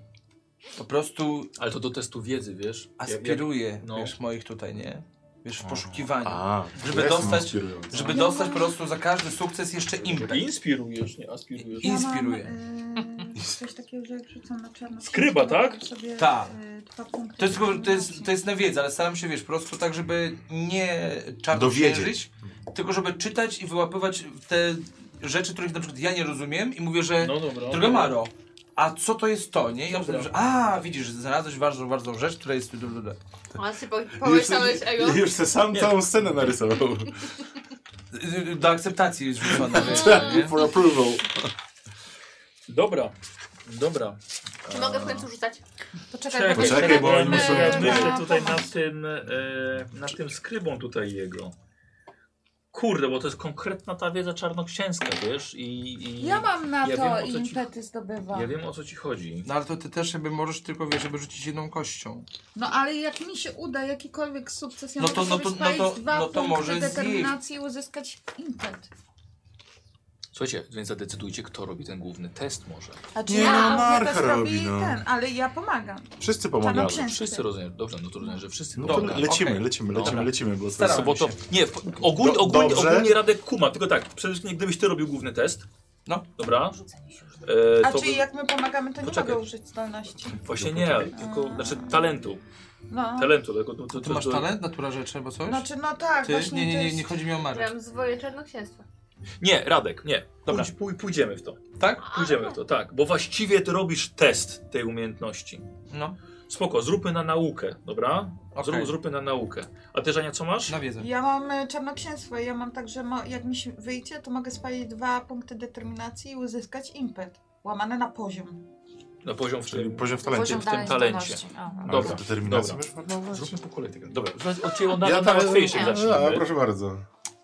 Speaker 3: po prostu
Speaker 1: Ale to do testu wiedzy, wiesz? Ja- ja-
Speaker 3: aspiruję,
Speaker 1: no.
Speaker 3: wiesz, moich tutaj, nie? Wiesz, w poszukiwaniu.
Speaker 8: A,
Speaker 3: Żeby
Speaker 8: to jest
Speaker 3: dostać-
Speaker 8: inspirujące.
Speaker 3: Żeby dostać po prostu za każdy sukces jeszcze impet.
Speaker 1: Inspirujesz, nie aspirujesz.
Speaker 3: I- inspiruje.
Speaker 5: Ja mam, y, coś takiego, że jak rzucam na czarno.
Speaker 1: Skryba, tak?
Speaker 5: Sobie,
Speaker 3: Tak.
Speaker 5: y, dwa punkty
Speaker 3: To jest, tylko- to, jest, to
Speaker 5: determinacji.
Speaker 3: jest na wiedzę, ale staram się, wiesz, po prostu tak, żeby nie
Speaker 8: Dowiedzieć.
Speaker 3: czarnoksiężyć, tylko żeby czytać i wyłapywać te rzeczy, których na przykład ja nie rozumiem i mówię, że
Speaker 1: No dobra.
Speaker 3: droga Maro, a co to jest to, nie? I ja
Speaker 1: Dobra.
Speaker 3: mówię, że a, widzisz, znalazłeś ważną, ważną rzecz, która jest...
Speaker 6: Ona sobie po- połysałeś ego.
Speaker 8: Już se sam całą scenę narysował.
Speaker 3: do akceptacji jest rzucona, wiesz,
Speaker 1: Tak.
Speaker 3: nie?
Speaker 8: For approval.
Speaker 1: Dobra, dobra.
Speaker 6: Czy mogę w końcu rzucać?
Speaker 2: To czekaj,
Speaker 1: Czekaj,
Speaker 2: bo też-
Speaker 8: Poczekaj, bo oni muszą...
Speaker 1: Ja myślę
Speaker 5: na
Speaker 1: tutaj
Speaker 5: pomoc.
Speaker 1: nad tym, e, nad tym skrybą tutaj jego. Kurde, bo to jest konkretna ta wiedza czarnoksięska, wiesz? I, i
Speaker 2: Ja mam na
Speaker 1: Ja
Speaker 2: to
Speaker 1: wiem, o co ci-
Speaker 2: impety zdobywam.
Speaker 1: ja wiem o co ci chodzi.
Speaker 3: No ale to ty też jakby możesz tylko, wiesz, żeby rzucić jedną kością.
Speaker 5: No ale jak mi się uda jakikolwiek sukces, ja
Speaker 3: No
Speaker 5: mogę
Speaker 3: to- no
Speaker 5: sobie
Speaker 3: to- no
Speaker 5: spalić
Speaker 3: to-
Speaker 5: dwa
Speaker 3: no to
Speaker 5: punkty
Speaker 3: może zjeść.
Speaker 5: determinacji i uzyskać impet.
Speaker 1: Słuchajcie, więc zadecydujcie, kto robi ten główny test może.
Speaker 5: A
Speaker 8: Nie, no, Marcha
Speaker 5: też robi
Speaker 8: robi, no.
Speaker 5: ten, ale ja pomagam.
Speaker 8: Wszyscy pomagają.
Speaker 5: Czarnoksiężnik.
Speaker 1: Wszyscy rozumiem. Dobrze, no to rozumiem, że wszyscy
Speaker 8: No to
Speaker 1: pomagają.
Speaker 3: le-
Speaker 8: lecimy,
Speaker 3: okej.
Speaker 8: lecimy,
Speaker 1: Dobra.
Speaker 8: lecimy, lecimy, bo to
Speaker 3: Staramy.
Speaker 8: jest...
Speaker 1: Sobotą. Nie, w- ogólnie,
Speaker 8: Do-
Speaker 1: ogólnie,
Speaker 8: dobrze.
Speaker 1: ogólnie radę kuma, tylko tak, przede wszystkim gdybyś ty robił główny test.
Speaker 3: No.
Speaker 1: Dobra.
Speaker 2: Rzucenie się już.
Speaker 1: E,
Speaker 5: A
Speaker 1: to
Speaker 5: czyli
Speaker 1: by-
Speaker 5: jak my pomagamy, to nie
Speaker 1: Poczekaj.
Speaker 5: mogę użyć zdolności.
Speaker 1: Właśnie nie, tylko, znaczy talentu.
Speaker 5: No.
Speaker 1: Talentu, tylko to, to,
Speaker 3: Ty masz talent, natura rzeczy albo coś?
Speaker 5: Znaczy, no tak,
Speaker 3: Ty?
Speaker 5: właśnie
Speaker 3: Nie, nie,
Speaker 5: to
Speaker 3: nie,
Speaker 5: jest...
Speaker 3: nie chodzi mi o Marę.
Speaker 6: Gram zwoje czarnoksięstwa.
Speaker 1: Nie, Radek, nie.
Speaker 3: Dobra.
Speaker 1: Pójdź, pój, pójdziemy w to.
Speaker 3: Tak?
Speaker 1: Pójdziemy w to, tak. Bo właściwie ty robisz test tej umiejętności.
Speaker 3: No,
Speaker 1: Spoko, zróbmy na naukę, dobra? Zrób,
Speaker 3: Okej.
Speaker 1: Zróbmy na naukę. A ty, Żania, co masz?
Speaker 3: na wiedzę.
Speaker 5: Ja mam y, czarnoksięstwo, ja mam tak, że mo- jak mi się wyjdzie, to mogę spalić dwa punkty determinacji i uzyskać impet. Łamane na poziom.
Speaker 1: Na poziom w
Speaker 8: Czyli
Speaker 1: tym.
Speaker 8: poziom w talencie.
Speaker 2: Poziom
Speaker 1: w tym
Speaker 2: dalej
Speaker 1: talencie.
Speaker 2: zdolności. A.
Speaker 8: Ale
Speaker 1: Dobra,
Speaker 8: to Determinacja.
Speaker 1: dobra.
Speaker 8: wiesz, marnować?
Speaker 1: Zróbmy po kolei tego. Dobra, od ciebie od ja
Speaker 8: tam-
Speaker 1: najłatwiejszych
Speaker 8: no,
Speaker 1: zacznijmy.
Speaker 8: no, proszę bardzo.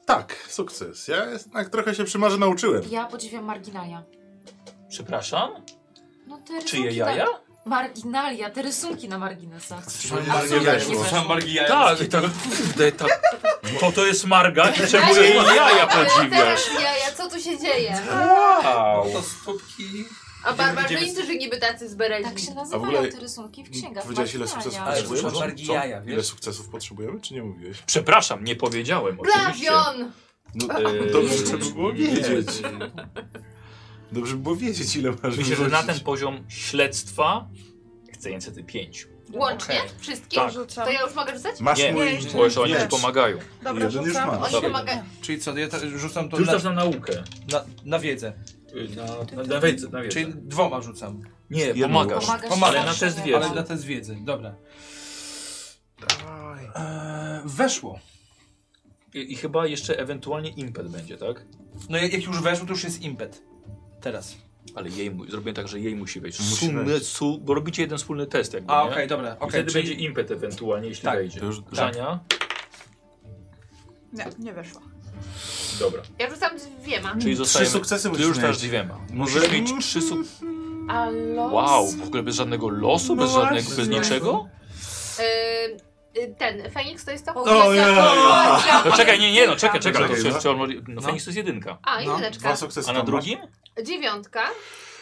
Speaker 8: Tak, sukces. Ja jednak trochę się przy Marze nauczyłem.
Speaker 2: Ja podziwiam marginalia.
Speaker 1: Przepraszam?
Speaker 2: No te rysunki
Speaker 1: Czyje
Speaker 2: na-
Speaker 1: jaja?
Speaker 2: Marginalia, te rysunki na
Speaker 3: Tak
Speaker 2: marginesach.
Speaker 8: Marnie weszło.
Speaker 2: weszło.
Speaker 1: Tak, i tak, kurde, ta, to to jest marga i czemu jej jaja podziwiasz?
Speaker 6: Teraz jaja, co tu się dzieje?
Speaker 1: Wow.
Speaker 3: To stópki...
Speaker 6: A barbarzyńcy, że no niby tacy zbereźni.
Speaker 2: Tak się
Speaker 8: w
Speaker 2: nazywają
Speaker 8: ogóle
Speaker 2: te rysunki w księgach.
Speaker 8: Powiedziałeś ile
Speaker 2: marginalia.
Speaker 8: sukcesów
Speaker 3: Ale
Speaker 8: potrzebujemy?
Speaker 3: to są
Speaker 8: Co?
Speaker 3: wargi
Speaker 1: Tak,
Speaker 3: jaja, wiesz?
Speaker 8: Ile sukcesów potrzebujemy, czy nie mówiłeś?
Speaker 1: Przepraszam, nie powiedziałem oczywiście.
Speaker 6: Glawion!
Speaker 8: No,
Speaker 1: Eee,
Speaker 8: dobrze, żeby było
Speaker 1: nie.
Speaker 8: wiedzieć. Dobrze by było wiedzieć, ile masz
Speaker 1: Myślę, że na
Speaker 8: wyrzucić.
Speaker 1: ten poziom śledztwa chcę niestety 5.
Speaker 6: Łącznie?
Speaker 3: Okej.
Speaker 6: Wszystkie?
Speaker 1: Tak.
Speaker 5: Rzucam.
Speaker 6: To ja już mogę rzucać?
Speaker 8: Masz
Speaker 1: Nie,
Speaker 8: mój...
Speaker 5: nie,
Speaker 1: Bo jeszcze oni
Speaker 8: Wiesz.
Speaker 1: ci pomagają.
Speaker 5: Dobra,
Speaker 8: Jeden już
Speaker 5: rzucam.
Speaker 8: mam.
Speaker 6: Oni
Speaker 1: Dobra.
Speaker 6: pomagają.
Speaker 3: Czyli co, ja ta, rzucam to
Speaker 1: Ty
Speaker 3: na,
Speaker 1: rzucasz na naukę.
Speaker 3: na, na wiedzę.
Speaker 1: Na, na wiedzę, na wiedzę.
Speaker 3: Czyli dwoma rzucam.
Speaker 1: Nie,
Speaker 8: Jedną.
Speaker 1: pomagasz.
Speaker 2: Pomagasz
Speaker 3: Pomagasz.
Speaker 1: Ale na test
Speaker 2: zawsze.
Speaker 1: wiedzy.
Speaker 3: Ale na test wiedzy, dobra. Eee, weszło.
Speaker 1: I, I chyba jeszcze ewentualnie impet będzie, tak?
Speaker 3: No jak, jak już weszło, to już jest impet. Teraz.
Speaker 1: Ale jej, mu- zrobię tak, że jej musi wejść.
Speaker 8: Musi
Speaker 1: Sumny,
Speaker 8: wejść.
Speaker 1: su, bo robicie jeden wspólny test jakby,
Speaker 3: A,
Speaker 1: nie?
Speaker 3: okej, dobra.
Speaker 1: I
Speaker 3: Okej,
Speaker 1: wtedy
Speaker 3: czyli...
Speaker 1: będzie impet ewentualnie, jeśli
Speaker 3: Tak,
Speaker 1: wejdzie.
Speaker 8: to już-
Speaker 1: Żania?
Speaker 5: Nie, nie weszło.
Speaker 1: Dobra.
Speaker 6: Ja rzucam dwiema.
Speaker 1: Czyli zostajemy...
Speaker 8: sukcesy
Speaker 1: Ty
Speaker 8: musisz
Speaker 1: już też
Speaker 8: mieć. No
Speaker 1: dwiema. Musisz mieć trzy su...
Speaker 2: A los?
Speaker 1: Wow, w ogóle bez żadnego losu,
Speaker 8: No
Speaker 1: bez żadnego, bez
Speaker 8: właśnie.
Speaker 1: niczego?
Speaker 6: Yy, Y, Ten, Feniks to jest to?
Speaker 8: O, nie.
Speaker 1: No czekaj, nie, nie, no czekaj, czekaj.
Speaker 8: Czekaj,
Speaker 1: to,
Speaker 8: no.
Speaker 1: czy, czy on, może- no, Feniks to jest jedynka.
Speaker 6: A,
Speaker 8: No,
Speaker 6: jedyneczka.
Speaker 8: dwa sukcesy.
Speaker 1: A na
Speaker 8: tam
Speaker 1: drugim?
Speaker 6: Dziewiątka.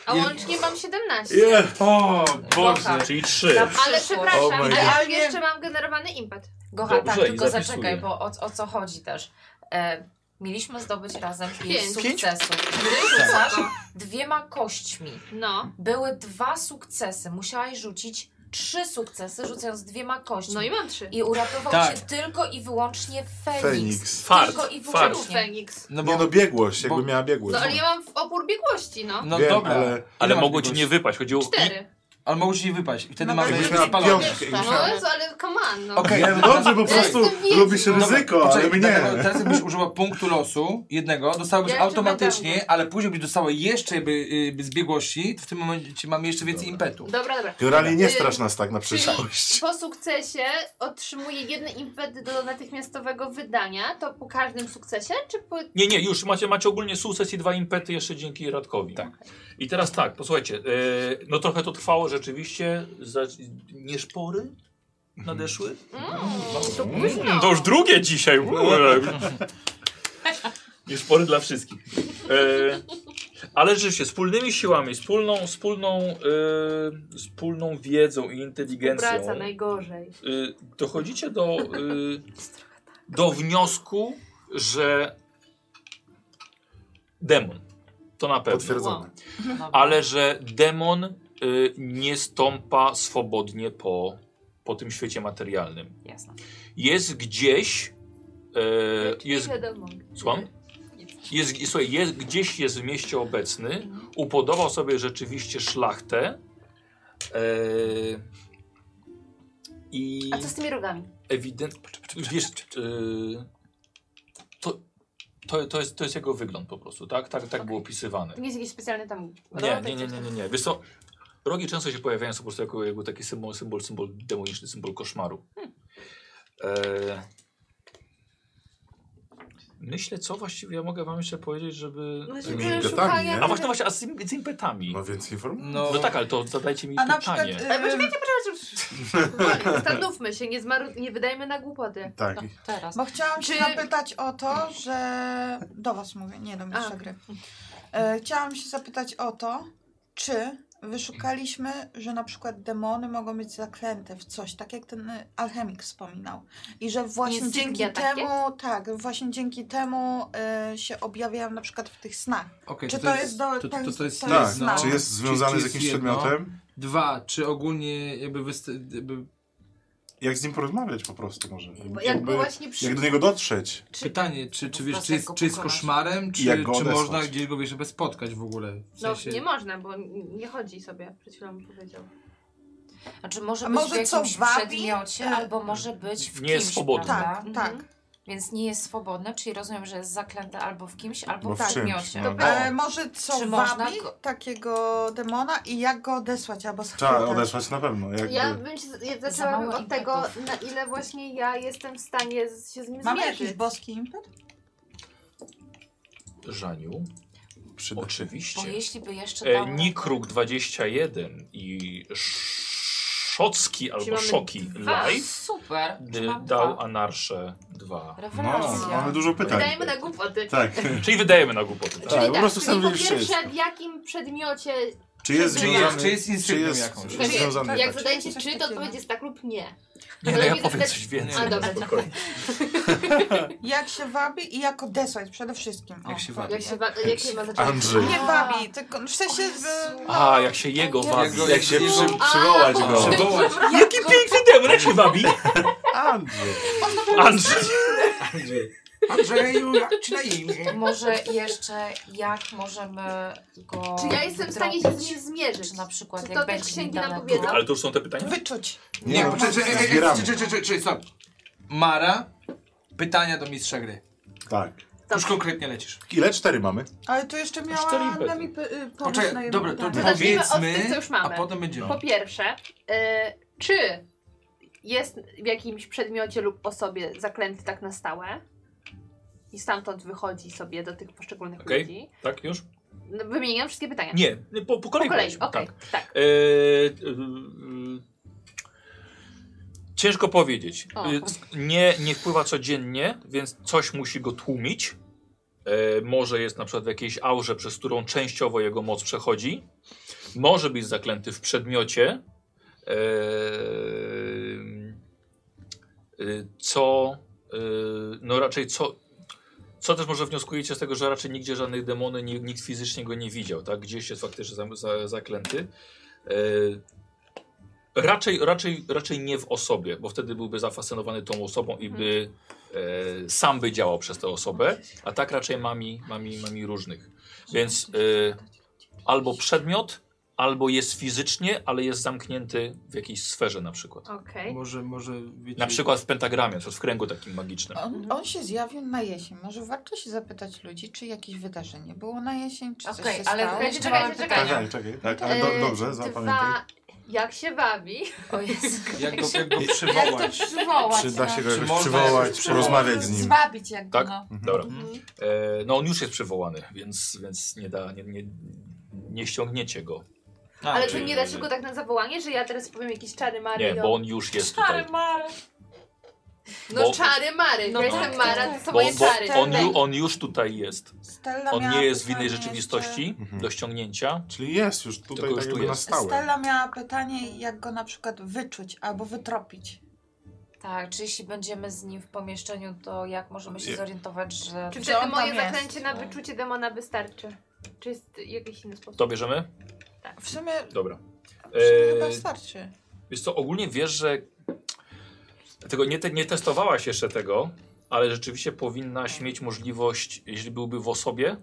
Speaker 6: A
Speaker 7: Je-
Speaker 6: łącznie mam 17.
Speaker 8: masz. Je.
Speaker 1: O
Speaker 2: Boże.
Speaker 1: Czyli trzy.
Speaker 6: Ale
Speaker 8: Oh
Speaker 6: przepraszam,
Speaker 8: my
Speaker 6: ale
Speaker 5: God.
Speaker 6: ja jeszcze mam generowany impet.
Speaker 2: Gocha,
Speaker 1: Dobrze,
Speaker 2: tak,
Speaker 1: i
Speaker 2: tylko
Speaker 1: zapisuję.
Speaker 2: zaczekaj, bo o, o co chodzi też. E, mieliśmy zdobyć razem pięć,
Speaker 6: Pięć.
Speaker 2: sukcesów. Ty rzucasz
Speaker 1: Tak.
Speaker 2: dwiema kośćmi.
Speaker 6: No.
Speaker 2: Były dwa sukcesy. Musiałaś rzucić trzy sukcesy, rzucając dwiema kośćmi.
Speaker 6: No i mam trzy.
Speaker 2: I uratował
Speaker 3: Tak.
Speaker 2: cię tylko i wyłącznie Feniks.
Speaker 8: Feniks.
Speaker 1: Fart,
Speaker 2: Tylko i
Speaker 1: fart.
Speaker 6: Czemu
Speaker 2: wyłącznie.
Speaker 6: Feniks?
Speaker 3: No
Speaker 8: Nie
Speaker 3: bo,
Speaker 8: no, biegłość, jakby
Speaker 3: bo-
Speaker 8: miała biegłość.
Speaker 6: No ale ja mam w opór biegłości, no.
Speaker 3: no
Speaker 8: Wiem,
Speaker 3: dobra.
Speaker 8: ale-
Speaker 1: Ale
Speaker 3: Ile
Speaker 1: mogło ci
Speaker 3: masz
Speaker 1: nie
Speaker 3: biegłości?
Speaker 1: wypaść, chodziło...
Speaker 6: Cztery.
Speaker 3: Ale mogło ci nie wypaść. I wtedy
Speaker 5: No
Speaker 3: mamy
Speaker 5: tak,
Speaker 8: Jakbyś
Speaker 5: Jakbyś
Speaker 8: miała
Speaker 3: spalone.
Speaker 8: piątkę.
Speaker 6: No,
Speaker 8: jakbyś
Speaker 6: no
Speaker 8: miała-
Speaker 6: Jezu, ale come on, no.
Speaker 3: Okej.
Speaker 8: Nie, no dobrze, po
Speaker 6: Ja
Speaker 8: prostu
Speaker 6: jestem wiedźmą.
Speaker 8: lubi się
Speaker 3: Dobra,
Speaker 8: ryzyko, ale
Speaker 3: poczekaj, dlatego
Speaker 8: mnie.
Speaker 3: Teraz byś użyła punktu losu jednego, dostałabyś
Speaker 6: Ja jeszcze będę
Speaker 3: automatycznie, ale później byś dostała jeszcze by, y, by z biegłości, to w tym momencie mamy jeszcze więcej impetu.
Speaker 6: Dobra, dobra.
Speaker 8: Generalnie nie
Speaker 6: Yy,
Speaker 8: strasz nas tak na
Speaker 6: Czyli
Speaker 8: przyszłość.
Speaker 6: po sukcesie otrzymuję jeden impet do natychmiastowego wydania, to po każdym sukcesie, czy po...
Speaker 1: Nie, nie, już macie, macie ogólnie sukces i dwa impety jeszcze dzięki Radkowi. Tak. I teraz tak, posłuchajcie, e, no trochę to trwało rzeczywiście, za, nieszpory nadeszły.
Speaker 6: Mm, to
Speaker 1: Mm,
Speaker 6: późno.
Speaker 1: to już drugie dzisiaj. Już spory dla wszystkich. E, ale rzeczywiście, wspólnymi siłami, wspólną, wspólną, e, wspólną wiedzą i inteligencją
Speaker 6: Praca najgorzej.
Speaker 1: y, dochodzicie do, y, do wniosku, że demon. To na pewno.
Speaker 8: Potwierdzone.
Speaker 2: No
Speaker 1: Ale że demon y, nie stąpa swobodnie po, po tym świecie materialnym.
Speaker 2: Jasne.
Speaker 1: Jest gdzieś. e, jest,
Speaker 6: Nie wiadomo.
Speaker 1: Słucham? Jest, słuchaj, jest, gdzieś jest w mieście obecny, upodobał sobie rzeczywiście szlachtę e, i
Speaker 6: A co z tymi rogami?
Speaker 1: ewidentnie, wiesz, e, to, to, to, jest, to jest jego wygląd po prostu, tak? Tak, tak było opisywane.
Speaker 6: To nie jest jakiś specjalny tam...
Speaker 5: No, tak,
Speaker 1: Nie, nie, nie, nie, nie, nie. Wiesz co, rogi często się pojawiają po prostu jako, jako taki symbol, symbol, symbol demoniczny, symbol koszmaru.
Speaker 5: Hmm.
Speaker 1: E... Myślę, co właściwie ja mogę wam jeszcze powiedzieć, żeby...
Speaker 6: No,
Speaker 8: Tymi
Speaker 6: Szukanie-
Speaker 8: gadami, nie?
Speaker 1: A właśnie, właśnie, a z, im- z impetami.
Speaker 8: No więc informacji.
Speaker 3: No,
Speaker 1: No tak, ale to zadajcie mi
Speaker 5: A na przykład... y,
Speaker 1: pytanie.
Speaker 5: ym,
Speaker 6: Zastanówmy się, nie, zmaru... nie wydajmy na głupoty.
Speaker 8: Tak.
Speaker 2: Teraz.
Speaker 5: Bo chciałam
Speaker 6: Czy-
Speaker 5: się zapytać o to, że... Do was mówię, nie do mistrza
Speaker 6: A.
Speaker 5: gry. E, chciałam się zapytać o to, czy wyszukaliśmy, że na przykład demony mogą być zaklęte w coś, tak jak ten y, alchemik wspominał. I że właśnie
Speaker 6: Insygnia
Speaker 5: dzięki
Speaker 6: takie?
Speaker 5: temu, tak, właśnie dzięki temu y, się objawiają na przykład w tych snach.
Speaker 3: okej,
Speaker 5: Czy to jest do...
Speaker 3: to, to, to jest
Speaker 5: to
Speaker 8: Tak,
Speaker 5: jest no.
Speaker 8: czy jest związany
Speaker 3: czy
Speaker 8: z jakimś
Speaker 3: jest jedno?
Speaker 8: przedmiotem?
Speaker 3: Dwa, czy ogólnie jakby, wyst- jakby
Speaker 8: Jak z nim porozmawiać po prostu może?
Speaker 6: Bo jak
Speaker 8: Jakby,
Speaker 6: właśnie przy...
Speaker 8: jak do niego dotrzeć?
Speaker 6: Czy-
Speaker 3: pytanie, czy, czy wiesz,
Speaker 2: Wprost
Speaker 3: czy jest,
Speaker 2: go
Speaker 3: czy jest
Speaker 2: pokonać.
Speaker 3: koszmarem, czy,
Speaker 8: jak go
Speaker 3: czy
Speaker 8: odesłać?
Speaker 3: można gdzieś go wiesz, żeby spotkać w ogóle? W
Speaker 6: No,
Speaker 3: sensie...
Speaker 6: nie można, bo nie chodzi sobie, przed chwilą mi powiedział.
Speaker 2: Znaczy może
Speaker 5: A
Speaker 2: być
Speaker 5: może
Speaker 2: w
Speaker 5: co,
Speaker 2: jakimś
Speaker 5: wabi?
Speaker 2: przedmiocie,
Speaker 5: E,
Speaker 2: albo może być w
Speaker 1: Nie jest
Speaker 2: kimś,
Speaker 1: swobodny.
Speaker 2: prawda?
Speaker 5: Tak,
Speaker 6: Mhm.
Speaker 5: tak.
Speaker 2: Więc nie jest swobodne, czyli rozumiem, że jest zaklęte albo w kimś, albo
Speaker 8: Bo
Speaker 2: w
Speaker 8: w czymś.
Speaker 2: przedmiocie.
Speaker 8: No.
Speaker 5: Ale E, może co
Speaker 2: Czy
Speaker 5: wabi
Speaker 2: można go-
Speaker 5: takiego demona i jak go odesłać albo
Speaker 8: Trzeba
Speaker 5: schwytać?
Speaker 8: Tak, odesłać na pewno. Jakby, No,
Speaker 6: Ja bym się z- ja zaczęłabym
Speaker 2: Mhm. mało
Speaker 6: od tego, na ile właśnie ja jestem w stanie z, się z nim
Speaker 5: Mamy jakiś
Speaker 6: zmierzyć.
Speaker 5: boski No impet?
Speaker 1: Żaniu,
Speaker 8: Przyda.
Speaker 2: Bo
Speaker 1: oczywiście.
Speaker 2: jeśli by jeszcze
Speaker 1: E,
Speaker 2: dało...
Speaker 1: Nikruk 21 i Szocki albo
Speaker 6: mamy
Speaker 1: Szoki
Speaker 6: dwa.
Speaker 2: A,
Speaker 1: Live
Speaker 2: super,
Speaker 1: y,
Speaker 2: czy mam
Speaker 1: dał
Speaker 2: dwa?
Speaker 1: Anarsze 2.
Speaker 8: No,
Speaker 2: Rewelacja.
Speaker 8: mamy dużo pytań.
Speaker 6: Wydajemy na głupoty.
Speaker 8: Tak.
Speaker 1: Czyli wydajemy na głupoty.
Speaker 8: Tak,
Speaker 1: Tak?
Speaker 6: Czyli
Speaker 8: po prostu
Speaker 6: czyli po
Speaker 8: chcemy wiedzieć, czy
Speaker 6: pierwsze,
Speaker 8: jest.
Speaker 6: w jakim przedmiocie,
Speaker 8: Czy jest
Speaker 3: Czy
Speaker 8: związany...
Speaker 3: jest, czy jest
Speaker 8: czy
Speaker 3: insygniem
Speaker 8: jest-
Speaker 3: jakąś?
Speaker 8: czy jest
Speaker 6: Czy-
Speaker 8: związany...
Speaker 6: jak
Speaker 8: tak.
Speaker 6: zadajecie
Speaker 5: Coś
Speaker 6: czy, to
Speaker 5: takiego.
Speaker 6: odpowiedź jest tak lub nie.
Speaker 1: Nie, no
Speaker 6: Ale
Speaker 1: ja
Speaker 6: nie
Speaker 1: powiem
Speaker 6: widać-
Speaker 1: coś więcej.
Speaker 6: A, dobra.
Speaker 1: Spokojnie.
Speaker 5: Jak się wabi i jak odesłać przede wszystkim. O,
Speaker 3: Jak się
Speaker 5: to.
Speaker 3: wabi?
Speaker 6: Jak się, wa- jak się ma zacząć?
Speaker 8: Andrzej.
Speaker 5: Nie wabi, tylko w sensie... y,
Speaker 1: A, jak się jego
Speaker 2: Jak
Speaker 1: wabi.
Speaker 3: go-
Speaker 1: Jak
Speaker 3: jak
Speaker 1: się
Speaker 3: się przy-
Speaker 8: przywołać go.
Speaker 3: Przywołać.
Speaker 1: Jaki piękny demon, jak tak się wabi?
Speaker 8: Andrzej.
Speaker 1: Andrzej.
Speaker 3: Andrzeju, jak ci na imię?
Speaker 2: Może jeszcze jak możemy go
Speaker 6: Czy ja jestem w stanie się z
Speaker 2: zrobić?
Speaker 6: nim zmierzyć?
Speaker 2: Czy na przykład
Speaker 6: Czy
Speaker 2: jak
Speaker 6: to te
Speaker 2: będzie mi
Speaker 6: księgi nam
Speaker 2: daleko?
Speaker 6: powiedzą?
Speaker 1: Ale to już są te pytania?
Speaker 5: Wyczuć.
Speaker 3: Nie,
Speaker 8: No,
Speaker 3: poczekaj, czekaj, czekaj,
Speaker 8: zbieramy.
Speaker 3: czekaj, czekaj, czekaj, czekaj, stop. Mara, pytania do mistrza gry.
Speaker 8: Tak.
Speaker 3: Już konkretnie lecisz.
Speaker 8: Ile? Cztery mamy?
Speaker 5: Ale tu jeszcze miała
Speaker 1: Cztery
Speaker 5: Anna
Speaker 1: impety.
Speaker 5: mi p- y, pomysł na
Speaker 3: Poczekaj,
Speaker 5: jedno
Speaker 3: Znaczy, dobra, to
Speaker 5: pytanie.
Speaker 6: Zacznijmy od tych,
Speaker 3: powiedzmy,
Speaker 6: co już mamy.
Speaker 3: a potem będziemy.
Speaker 1: No.
Speaker 6: Po pierwsze, y, czy jest w jakimś przedmiocie lub osobie zaklęty tak na stałe? I stamtąd wychodzi sobie do tych poszczególnych
Speaker 1: Okej.
Speaker 6: ludzi.
Speaker 1: Tak, już?
Speaker 6: No, Wymieniam wszystkie pytania.
Speaker 1: Nie, tak. po, po
Speaker 6: po
Speaker 1: kolei.
Speaker 6: tak. kolei.
Speaker 1: powiedzmy,
Speaker 6: Okej,
Speaker 1: Tak.
Speaker 6: tak.
Speaker 1: E, y, y, Ciężko powiedzieć.
Speaker 6: O.
Speaker 1: Y, c- Nie, nie wpływa codziennie, więc coś musi go tłumić. E, może jest na przykład w jakiejś aurze, przez którą częściowo jego moc przechodzi. Może być zaklęty w przedmiocie. E, y, co. y, no raczej co. Co też może wnioskujecie z tego, że raczej nigdzie żadnych demony, ni- nikt fizycznie go nie widział, tak? Gdzieś jest faktycznie za, za, zaklęty. E, Raczej, raczej, raczej nie w osobie, bo wtedy byłby zafascynowany tą osobą i by e, sam by działał przez tę osobę, a tak raczej mami, mami, mami różnych. Więc e, albo przedmiot, albo jest fizycznie, ale jest zamknięty w jakiejś sferze na przykład.
Speaker 6: Okej.
Speaker 7: Może, może wiecie,
Speaker 1: Na przykład w pentagramie, na przykład w kręgu takim magicznym.
Speaker 5: On, on się zjawił na jesień. Może warto się zapytać ludzi, czy jakieś wydarzenie było na jesień, czy coś
Speaker 2: Okej,
Speaker 5: się
Speaker 2: ale
Speaker 5: stało.
Speaker 2: czekajcie,
Speaker 5: Czy
Speaker 6: czekajcie,
Speaker 5: mamy
Speaker 6: czekajcie.
Speaker 5: pytania?
Speaker 8: Czekaj, czekaj. Tak, ale do,
Speaker 6: Y,
Speaker 8: dobrze, zapamiętaj.
Speaker 6: Dwa, jak się bawi?
Speaker 2: O Jezu.
Speaker 3: Jak go, jak go
Speaker 5: Jak to
Speaker 3: przywołać?
Speaker 5: przywołać?
Speaker 8: Czy da się go
Speaker 3: Czy
Speaker 5: no?
Speaker 8: jakoś
Speaker 3: można
Speaker 8: przywołać,
Speaker 3: jakoś przywołać?
Speaker 8: porozmawiać z nim?
Speaker 5: Zwabić jakby,
Speaker 1: Tak?
Speaker 5: no.
Speaker 1: Dobra.
Speaker 6: Mhm.
Speaker 1: E, no on już jest przywołany, więc, więc nie da, nie, nie, nie ściągniecie go.
Speaker 3: A,
Speaker 6: Ale to
Speaker 3: czyli-
Speaker 6: nie da się go tak na zawołanie, że ja teraz powiem jakieś czary Mary.
Speaker 1: Nie,
Speaker 6: i on-
Speaker 1: bo on już jest tutaj.
Speaker 2: Stary Mary.
Speaker 6: No
Speaker 1: bo-
Speaker 6: czary Mary,
Speaker 2: No
Speaker 6: no, ja jestem
Speaker 2: tak,
Speaker 6: Mara,
Speaker 2: tak,
Speaker 6: to są
Speaker 1: Bo,
Speaker 6: moje
Speaker 1: bo
Speaker 6: czary.
Speaker 1: on, ju, on już tutaj jest.
Speaker 5: Stella
Speaker 1: On
Speaker 5: miała
Speaker 1: nie jest w
Speaker 5: pytanie
Speaker 1: innej rzeczywistości
Speaker 8: Mhm.
Speaker 1: do ściągnięcia.
Speaker 8: Czyli jest już tutaj
Speaker 1: Tylko już
Speaker 8: tak
Speaker 1: tu
Speaker 8: jakby na
Speaker 1: jest.
Speaker 5: Jeszcze...
Speaker 8: stałe.
Speaker 5: Stella miała pytanie, jak go na przykład wyczuć albo wytropić.
Speaker 2: Tak, czy jeśli będziemy z nim w pomieszczeniu, to jak możemy się
Speaker 8: Je-
Speaker 2: zorientować, że...
Speaker 6: Czy
Speaker 5: że
Speaker 6: wtedy
Speaker 5: on tam
Speaker 6: moje
Speaker 5: jest?
Speaker 6: zaklęcie na wyczucie demona wystarczy? Czy jest jakiś inny sposób?
Speaker 1: To bierzemy?
Speaker 5: W sumie,
Speaker 1: Dobra.
Speaker 5: w sumie
Speaker 1: Eee,
Speaker 5: chyba wystarczy.
Speaker 1: Wiesz co, ogólnie wiesz, że tego nie, te, nie testowałaś jeszcze tego, ale rzeczywiście powinnaś mieć możliwość, jeśli byłby w osobie,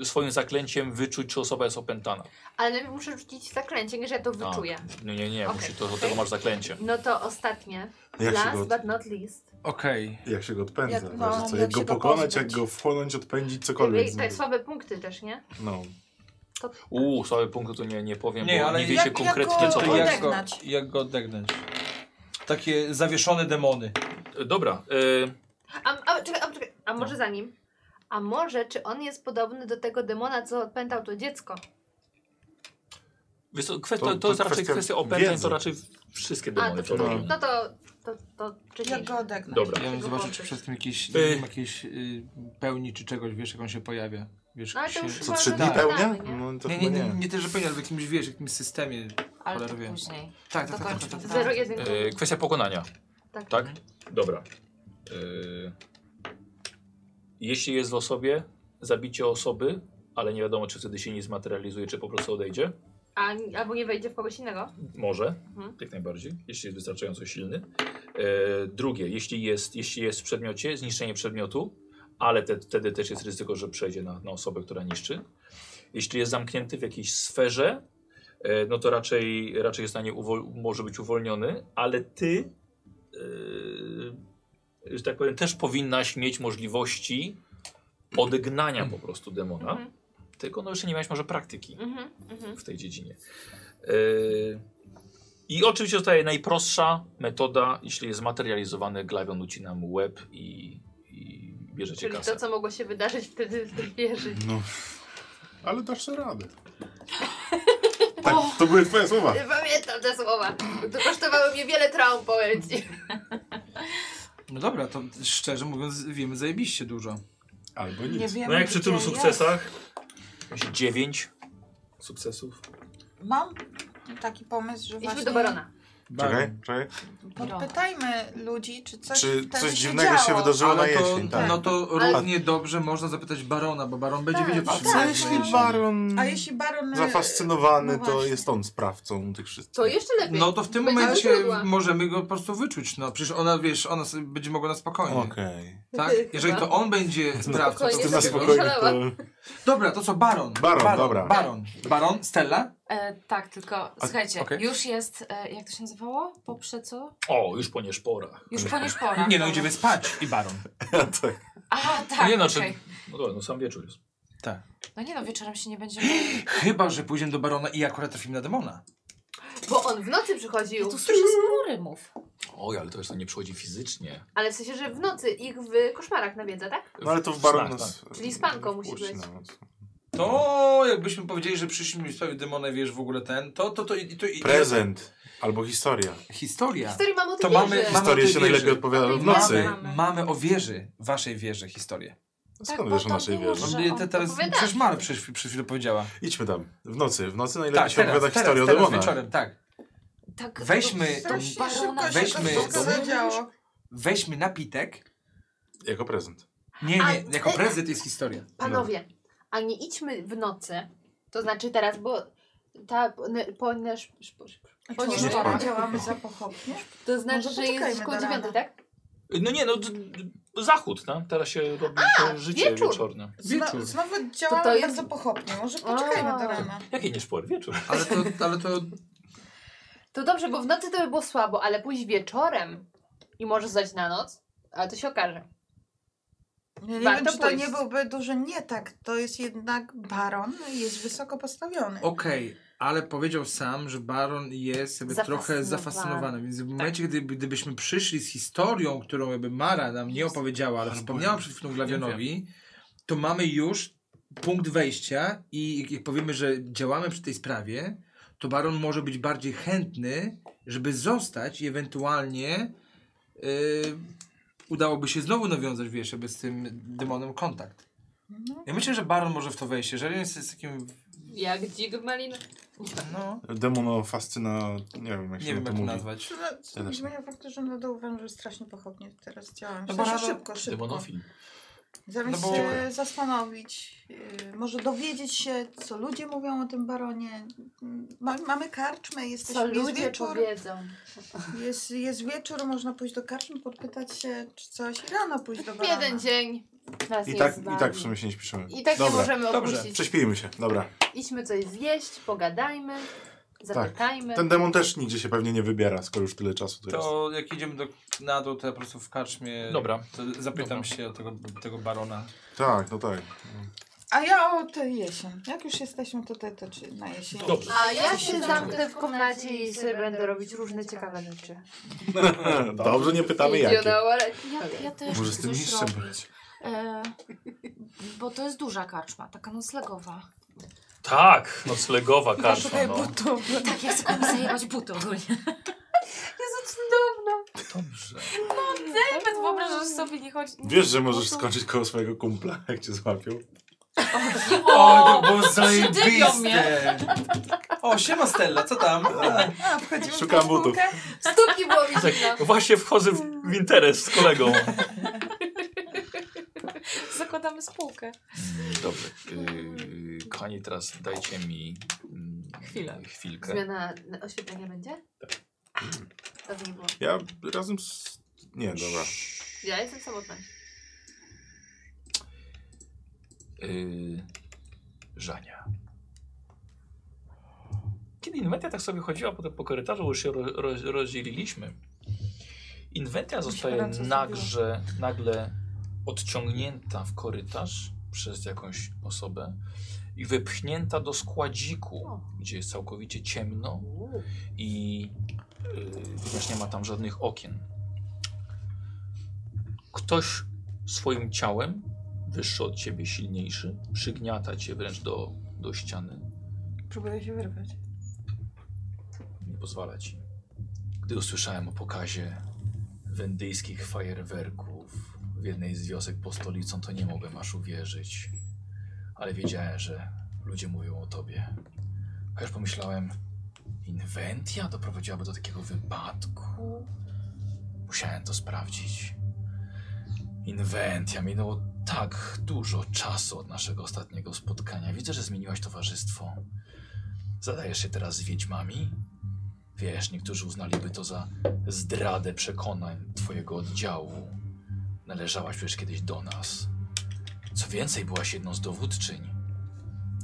Speaker 1: y, swoim zaklęciem wyczuć, czy osoba jest opętana.
Speaker 6: Ale najpierw muszę rzucić zaklęcie, nie, że ja to wyczuję.
Speaker 1: Nie, nie, nie,
Speaker 6: Okej.
Speaker 1: musi, to, do tego masz zaklęcie.
Speaker 6: No to ostatnie.
Speaker 8: Jak się
Speaker 6: Last
Speaker 8: go,
Speaker 6: but not least.
Speaker 3: Okej.
Speaker 8: jak się go odpędza?
Speaker 5: Jak-
Speaker 8: Jak,
Speaker 5: no,
Speaker 8: co,
Speaker 5: jak
Speaker 8: jak,
Speaker 5: się
Speaker 8: go
Speaker 5: go
Speaker 8: pokonać,
Speaker 5: pozbyć?
Speaker 8: jak go wchłonąć, odpędzić, cokolwiek.
Speaker 6: Te
Speaker 8: z nim.
Speaker 6: słabe punkty też, nie?
Speaker 8: No.
Speaker 1: Uuu, słabe punkty tu nie, nie powiem,
Speaker 3: Nie,
Speaker 1: bo
Speaker 3: ale
Speaker 1: nie wiecie
Speaker 5: jak-
Speaker 1: konkretnie,
Speaker 5: jako-
Speaker 1: co to
Speaker 3: To
Speaker 1: jest.
Speaker 3: jak go,
Speaker 5: Odegnać.
Speaker 3: jak go odegnać? Takie zawieszone demony.
Speaker 1: Y, Dobra, y,
Speaker 6: A, a, czekaj, a, czekaj, a może za nim? A może, czy on jest podobny do tego demona, co odpętał to dziecko?
Speaker 1: wiesz co, kwe,
Speaker 8: To-
Speaker 1: to, to,
Speaker 8: to
Speaker 1: jest raczej
Speaker 8: kwestia
Speaker 1: kwestia opętań,
Speaker 8: wiedzy.
Speaker 1: to raczej wszystkie
Speaker 6: A,
Speaker 1: demony
Speaker 6: to
Speaker 1: to
Speaker 8: no.
Speaker 1: robią.
Speaker 6: wcześniej. No to, to, to wcześniej.
Speaker 5: Jak go odegnać.
Speaker 1: Dobra.
Speaker 3: Ja bym
Speaker 6: Tego
Speaker 3: zobaczył,
Speaker 6: wątek.
Speaker 3: czy przed tym jakiejś,
Speaker 1: Y.
Speaker 3: y... jakiejś y, pełni czy czegoś, wiesz, jak on się pojawia. Wiesz,
Speaker 6: No, ale
Speaker 3: jak
Speaker 6: to
Speaker 3: się... Tak.
Speaker 6: już
Speaker 8: Co,
Speaker 6: chyba
Speaker 8: trzy dni
Speaker 6: znamy,
Speaker 8: pełnia?
Speaker 6: nie?
Speaker 8: No to
Speaker 3: Nie, nie,
Speaker 8: chyba
Speaker 3: nie,
Speaker 8: nie.
Speaker 3: nie też, że pełnia, ale w jakimś, wiesz, jakimś systemie.
Speaker 2: Ale to
Speaker 3: Cholera wie.
Speaker 2: później.
Speaker 3: Tak, tak, tak, tak,
Speaker 2: Dokończmy.
Speaker 3: tak.
Speaker 6: Zero jeden.
Speaker 1: Y, kwestia pokonania.
Speaker 6: tak.
Speaker 1: Tak? Dobra. Y, Jeśli jest w osobie, zabicie osoby, ale nie wiadomo, czy wtedy się nie zmaterializuje, czy po prostu odejdzie.
Speaker 6: A, albo nie wejdzie w kogoś innego?
Speaker 1: Może,
Speaker 6: Mhm.
Speaker 1: jak najbardziej, jeśli jest wystarczająco silny. Y, drugie, jeśli jest, jeśli jest w przedmiocie, zniszczenie przedmiotu, ale te, wtedy też jest ryzyko, że przejdzie na, na osobę, która niszczy. Jeśli jest zamknięty w jakiejś sferze, e, no to raczej, raczej jest na nie uwol- może być uwolniony, ale ty, e, że tak powiem, też powinnaś mieć możliwości odegnania po prostu demona,
Speaker 6: Mhm.
Speaker 1: tylko no jeszcze nie miałeś może praktyki
Speaker 6: Mhm, mhm.
Speaker 1: w tej dziedzinie. E, I oczywiście zostaje najprostsza metoda, jeśli jest zmaterializowany, glawion ucina mu łeb i, i bierzecie
Speaker 6: Czyli
Speaker 1: kasę.
Speaker 6: to, co mogło się wydarzyć wtedy w tej wieży.
Speaker 8: No. Ale dasz sobie radę. Tak, to były twoje słowa.
Speaker 6: Pamiętam te słowa. To kosztowało mnie wiele traum, powiem ci.
Speaker 3: No dobra, to szczerze mówiąc, wiemy zajebiście dużo.
Speaker 8: Albo
Speaker 5: Nie
Speaker 8: nic.
Speaker 5: wiem,
Speaker 1: No jak przy tylu
Speaker 5: gdzie
Speaker 1: sukcesach? 9 sukcesów.
Speaker 5: jest. Mam taki pomysł, że
Speaker 6: Idźmy
Speaker 5: właśnie
Speaker 6: do barona.
Speaker 3: Tak.
Speaker 8: Czekaj, czekaj.
Speaker 5: podpytajmy ludzi, czy coś,
Speaker 8: Czy
Speaker 5: wtedy
Speaker 8: coś
Speaker 5: się
Speaker 8: dziwnego
Speaker 5: działo.
Speaker 8: się wydarzyło na
Speaker 3: Ale to,
Speaker 8: jesień? Tak.
Speaker 3: no to
Speaker 6: Ale-
Speaker 3: równie dobrze można zapytać barona, bo baron będzie
Speaker 6: Tak,
Speaker 3: wiedział
Speaker 6: no
Speaker 3: wszystko.
Speaker 8: Co
Speaker 5: tak.
Speaker 8: jeśli baron
Speaker 5: A jeśli
Speaker 8: Hmm.
Speaker 5: baron...
Speaker 8: zafascynowany,
Speaker 5: no
Speaker 8: to
Speaker 5: właśnie.
Speaker 8: jest on sprawcą tych wszystkich?
Speaker 6: To jeszcze lepiej.
Speaker 3: No to w tym
Speaker 6: Będzie
Speaker 3: momencie
Speaker 6: źródła.
Speaker 3: możemy go po prostu wyczuć. No przecież ona, wiesz, ona sobie będzie mogła na spokojnie.
Speaker 8: Okej.
Speaker 3: Tak? Jeżeli to on
Speaker 8: No,
Speaker 3: będzie sprawcą,
Speaker 6: Spokojnie,
Speaker 3: to
Speaker 8: Ty
Speaker 6: na
Speaker 8: na
Speaker 3: wszystkiego-
Speaker 8: spokojnie to...
Speaker 6: szalała.
Speaker 3: Dobra, to co, baron?
Speaker 8: Baron, dobra.
Speaker 3: Baron, baron Stella?
Speaker 2: E, tak, tylko słuchajcie,
Speaker 3: okej.
Speaker 2: już jest, e, jak to się nazywało? Poprze co?
Speaker 1: O, już po nieszporach.
Speaker 2: Już po nieszporach.
Speaker 3: Nie no, idziemy spać i baron.
Speaker 8: Tak.
Speaker 2: A, tak,
Speaker 1: nie no,
Speaker 2: okej.
Speaker 1: czy... No dobra, no sam wieczór jest.
Speaker 3: Tak.
Speaker 2: No nie no, wieczorem się nie będziemy...
Speaker 3: Chyba, że pójdziemy do barona i akurat trafimy na demona.
Speaker 6: Bo on w nocy
Speaker 2: Ja
Speaker 6: przychodził.
Speaker 2: tu słyszę sporo rymów.
Speaker 1: Oj, ale to już to nie przychodzi fizycznie.
Speaker 6: Ale w sensie, że w nocy ich w koszmarach nawiedza, tak?
Speaker 8: No ale to w baron
Speaker 1: Snach,
Speaker 8: nas... no,
Speaker 6: Czyli z panką musi
Speaker 8: wpuści
Speaker 6: być.
Speaker 8: na noc.
Speaker 3: To jakbyśmy powiedzieli, że przyszliśmy w sprawie demona, wiesz, w ogóle ten, to to, to, i- to, i-
Speaker 8: Prezent. Albo historia.
Speaker 7: Historia.
Speaker 6: Historii mam o
Speaker 3: Tak. To
Speaker 6: tym
Speaker 3: mamy-
Speaker 6: wieży.
Speaker 3: mamy-
Speaker 8: Historia
Speaker 7: tej wieży.
Speaker 8: się najlepiej odpowiada
Speaker 6: Tej
Speaker 8: w nocy.
Speaker 6: wieży. Mamy.
Speaker 3: Mamy o wieży, waszej wieży historię.
Speaker 8: Skąd
Speaker 2: Tak,
Speaker 8: wiesz
Speaker 2: bo
Speaker 8: o
Speaker 2: tam
Speaker 8: naszej
Speaker 2: było,
Speaker 8: wieży?
Speaker 2: że-
Speaker 3: No, nie, te, teraz,
Speaker 6: opowiadałeś.
Speaker 3: przecież Mara przecież przez chwilę powiedziała.
Speaker 8: Idźmy tam. W nocy. W nocy najlepiej
Speaker 3: Tak,
Speaker 8: się
Speaker 3: teraz,
Speaker 8: opowiada
Speaker 3: teraz,
Speaker 8: historia
Speaker 3: teraz
Speaker 8: o demonach.
Speaker 3: wieczorem, tak.
Speaker 2: Tak,
Speaker 3: Weźmy tą,
Speaker 5: Strasznie szybko się
Speaker 3: weźmy-
Speaker 5: to wszystko
Speaker 3: Weźmy-
Speaker 5: zadziało.
Speaker 3: weźmy napitek.
Speaker 8: Jako prezent.
Speaker 3: Nie,
Speaker 6: A-
Speaker 3: nie, jako prezent jest historia.
Speaker 6: Panowie, a nie idźmy w nocy, to znaczy teraz, bo ta ne- po nasz.
Speaker 5: Bo nie
Speaker 6: Wieczorem.
Speaker 5: działamy za pochopnie.
Speaker 6: To znaczy, że
Speaker 5: poczekajmy
Speaker 6: jest koło
Speaker 5: do rana.
Speaker 6: dziewiątej, tak?
Speaker 1: No nie, no d- d- zachód, tak? Teraz się robi to życie
Speaker 6: wieczór.
Speaker 1: wieczorne.
Speaker 5: Zno,
Speaker 3: Wieczór.
Speaker 5: znowu działamy
Speaker 6: To to jest-
Speaker 5: bardzo pochopnie. Może poczekajmy
Speaker 6: A.
Speaker 5: do rana.
Speaker 1: Jakie nie szpory?
Speaker 3: No.
Speaker 1: Wieczór.
Speaker 7: Ale to, ale to
Speaker 6: To dobrze, bo w nocy to by było słabo, ale pójść wieczorem i może zdać na noc, ale to się okaże.
Speaker 5: Ja nie
Speaker 6: Warto
Speaker 5: wiem, czy to
Speaker 6: pójść.
Speaker 5: nie byłby duży nie tak. To jest jednak baron, jest wysoko postawiony.
Speaker 3: Okej, ale powiedział sam, że Baron jest jakby trochę
Speaker 6: Zafascynowany.
Speaker 3: zafascynowany, więc w momencie, gdyby, gdybyśmy przyszli z historią, którą jakby Mara nam nie opowiedziała, ale
Speaker 8: Albo-
Speaker 3: wspomniała przed chwilą Glawianowi, to mamy już punkt wejścia i jak powiemy, że działamy przy tej sprawie, to Baron może być bardziej chętny, żeby zostać i ewentualnie yy, udałoby się znowu nawiązać, wiesz, jakby z tym demonem kontakt.
Speaker 5: No.
Speaker 3: Ja myślę, że Baron może w to wejść, jeżeli jest z takim,
Speaker 6: Jak dzik w malinę.
Speaker 3: no,
Speaker 8: Demonofascyna... Nie wiem, jak się
Speaker 3: nie wiem
Speaker 8: to
Speaker 3: jak to
Speaker 8: mówi.
Speaker 3: nazwać.
Speaker 8: Ja też nie.
Speaker 5: Zmienia fakt, że nadal uważam, że strasznie pochopnie teraz działam.
Speaker 3: No
Speaker 5: No
Speaker 3: bo
Speaker 5: bo
Speaker 3: rano-
Speaker 5: szybko, szybko.
Speaker 1: Demonofil.
Speaker 5: Zamiast
Speaker 3: No bo-
Speaker 5: się zastanowić, yy, może dowiedzieć się, co ludzie mówią o tym baronie. Mm, Ma, mamy karczmę, jesteśmy,
Speaker 6: Co
Speaker 5: jest
Speaker 6: ludzie
Speaker 5: wieczór,
Speaker 6: powiedzą.
Speaker 5: jest, jest wieczór, można pójść do karczmy, podpytać się, czy coś i rano pójść do barona.
Speaker 6: Jeden dzień. Nas
Speaker 8: I
Speaker 6: nie
Speaker 8: tak,
Speaker 6: zbawi.
Speaker 8: I tak w sumie się nie śpieszymy.
Speaker 6: I tak nie
Speaker 8: Dobra.
Speaker 6: możemy
Speaker 3: Dobrze.
Speaker 6: opuścić.
Speaker 8: Prześpijmy się. Dobra.
Speaker 6: Idźmy coś zjeść, pogadajmy, zapytajmy.
Speaker 8: Tak. Ten demon też nigdzie się pewnie nie wybiera, skoro już tyle czasu tu jest.
Speaker 3: To jak idziemy do, na dół, to ja po prostu w karczmie
Speaker 1: Dobra.
Speaker 3: to zapytam
Speaker 1: Dobra.
Speaker 3: się tego, tego barona.
Speaker 8: Tak, no tak.
Speaker 5: A ja o tę jesień. Jak już jesteśmy tutaj, to czy na jesień?
Speaker 1: Dobrze.
Speaker 6: A ja się zamknę w komnacie i sobie będę robić różne ciekawe rzeczy.
Speaker 8: Dobrze, nie pytamy
Speaker 6: You
Speaker 8: jakie.
Speaker 6: know what I-
Speaker 2: Ja, ja też
Speaker 8: Może
Speaker 2: chcę
Speaker 8: z tym
Speaker 2: coś
Speaker 8: mistrzem
Speaker 2: robić.
Speaker 8: być.
Speaker 2: E, bo to jest duża karczma, taka noclegowa.
Speaker 1: Tak, noclegowa karczma.
Speaker 5: Poszukaj
Speaker 1: No.
Speaker 5: butów.
Speaker 2: Tak, ja chcę komuś zajebać buty ogólnie.
Speaker 6: Jezu, cudowna.
Speaker 1: Dobrze.
Speaker 2: Nawet No, wyobrażasz sobie, nie chodzi... nie-
Speaker 8: Wiesz, że
Speaker 6: No
Speaker 8: możesz
Speaker 2: to-
Speaker 8: skończyć koło swojego kumpla, jak cię złapią.
Speaker 3: O, to było
Speaker 2: przydymią mnie.
Speaker 3: zajebiste! O, siema Stella, co tam? A,
Speaker 5: A, wchodzimy
Speaker 8: Szukam
Speaker 5: w koszulkę.
Speaker 6: Stópki było
Speaker 8: Tak.
Speaker 6: mi zimno.
Speaker 1: No Właśnie wchodzę w, w interes z kolegą.
Speaker 2: Zakładamy spółkę.
Speaker 1: Dobrze. Yy, kochani, teraz dajcie mi mm,
Speaker 2: Chwilę.
Speaker 1: chwilkę.
Speaker 6: Zmiana na- oświetlenia będzie? Tak. Dobrze nie było.
Speaker 8: Ja razem z... Nie, dobra.
Speaker 6: Ja jestem samotna.
Speaker 1: Yy, Żania. Kiedy Inwentia tak sobie chodziła potem po korytarzu, bo już się ro, roz- rozdzieliliśmy. Inwentia zostaje
Speaker 5: Myślałam, co
Speaker 1: nagle, nagle odciągnięta w korytarz przez jakąś osobę i wypchnięta do składziku,
Speaker 6: O.
Speaker 1: gdzie jest całkowicie ciemno i yy, ponieważ nie ma tam żadnych okien. Ktoś swoim ciałem, wyższy od ciebie, silniejszy, przygniata cię wręcz do, do ściany.
Speaker 5: Próbuję się wyrwać.
Speaker 1: Nie pozwala ci. Gdy usłyszałem o pokazie wendyjskich fajerwerków w jednej z wiosek pod stolicą, to nie mogłem aż uwierzyć. Ale wiedziałem, że ludzie mówią o tobie. A już pomyślałem, inwentia doprowadziłaby do takiego wypadku? Musiałem to sprawdzić. Inwentia, minęło tak dużo czasu od naszego ostatniego spotkania. Widzę, że zmieniłaś towarzystwo. Zadajesz się teraz z wiedźmami? Wiesz, niektórzy uznaliby to za zdradę przekonań twojego oddziału. Należałaś przecież kiedyś do nas. Co więcej, byłaś jedną z dowódczyń.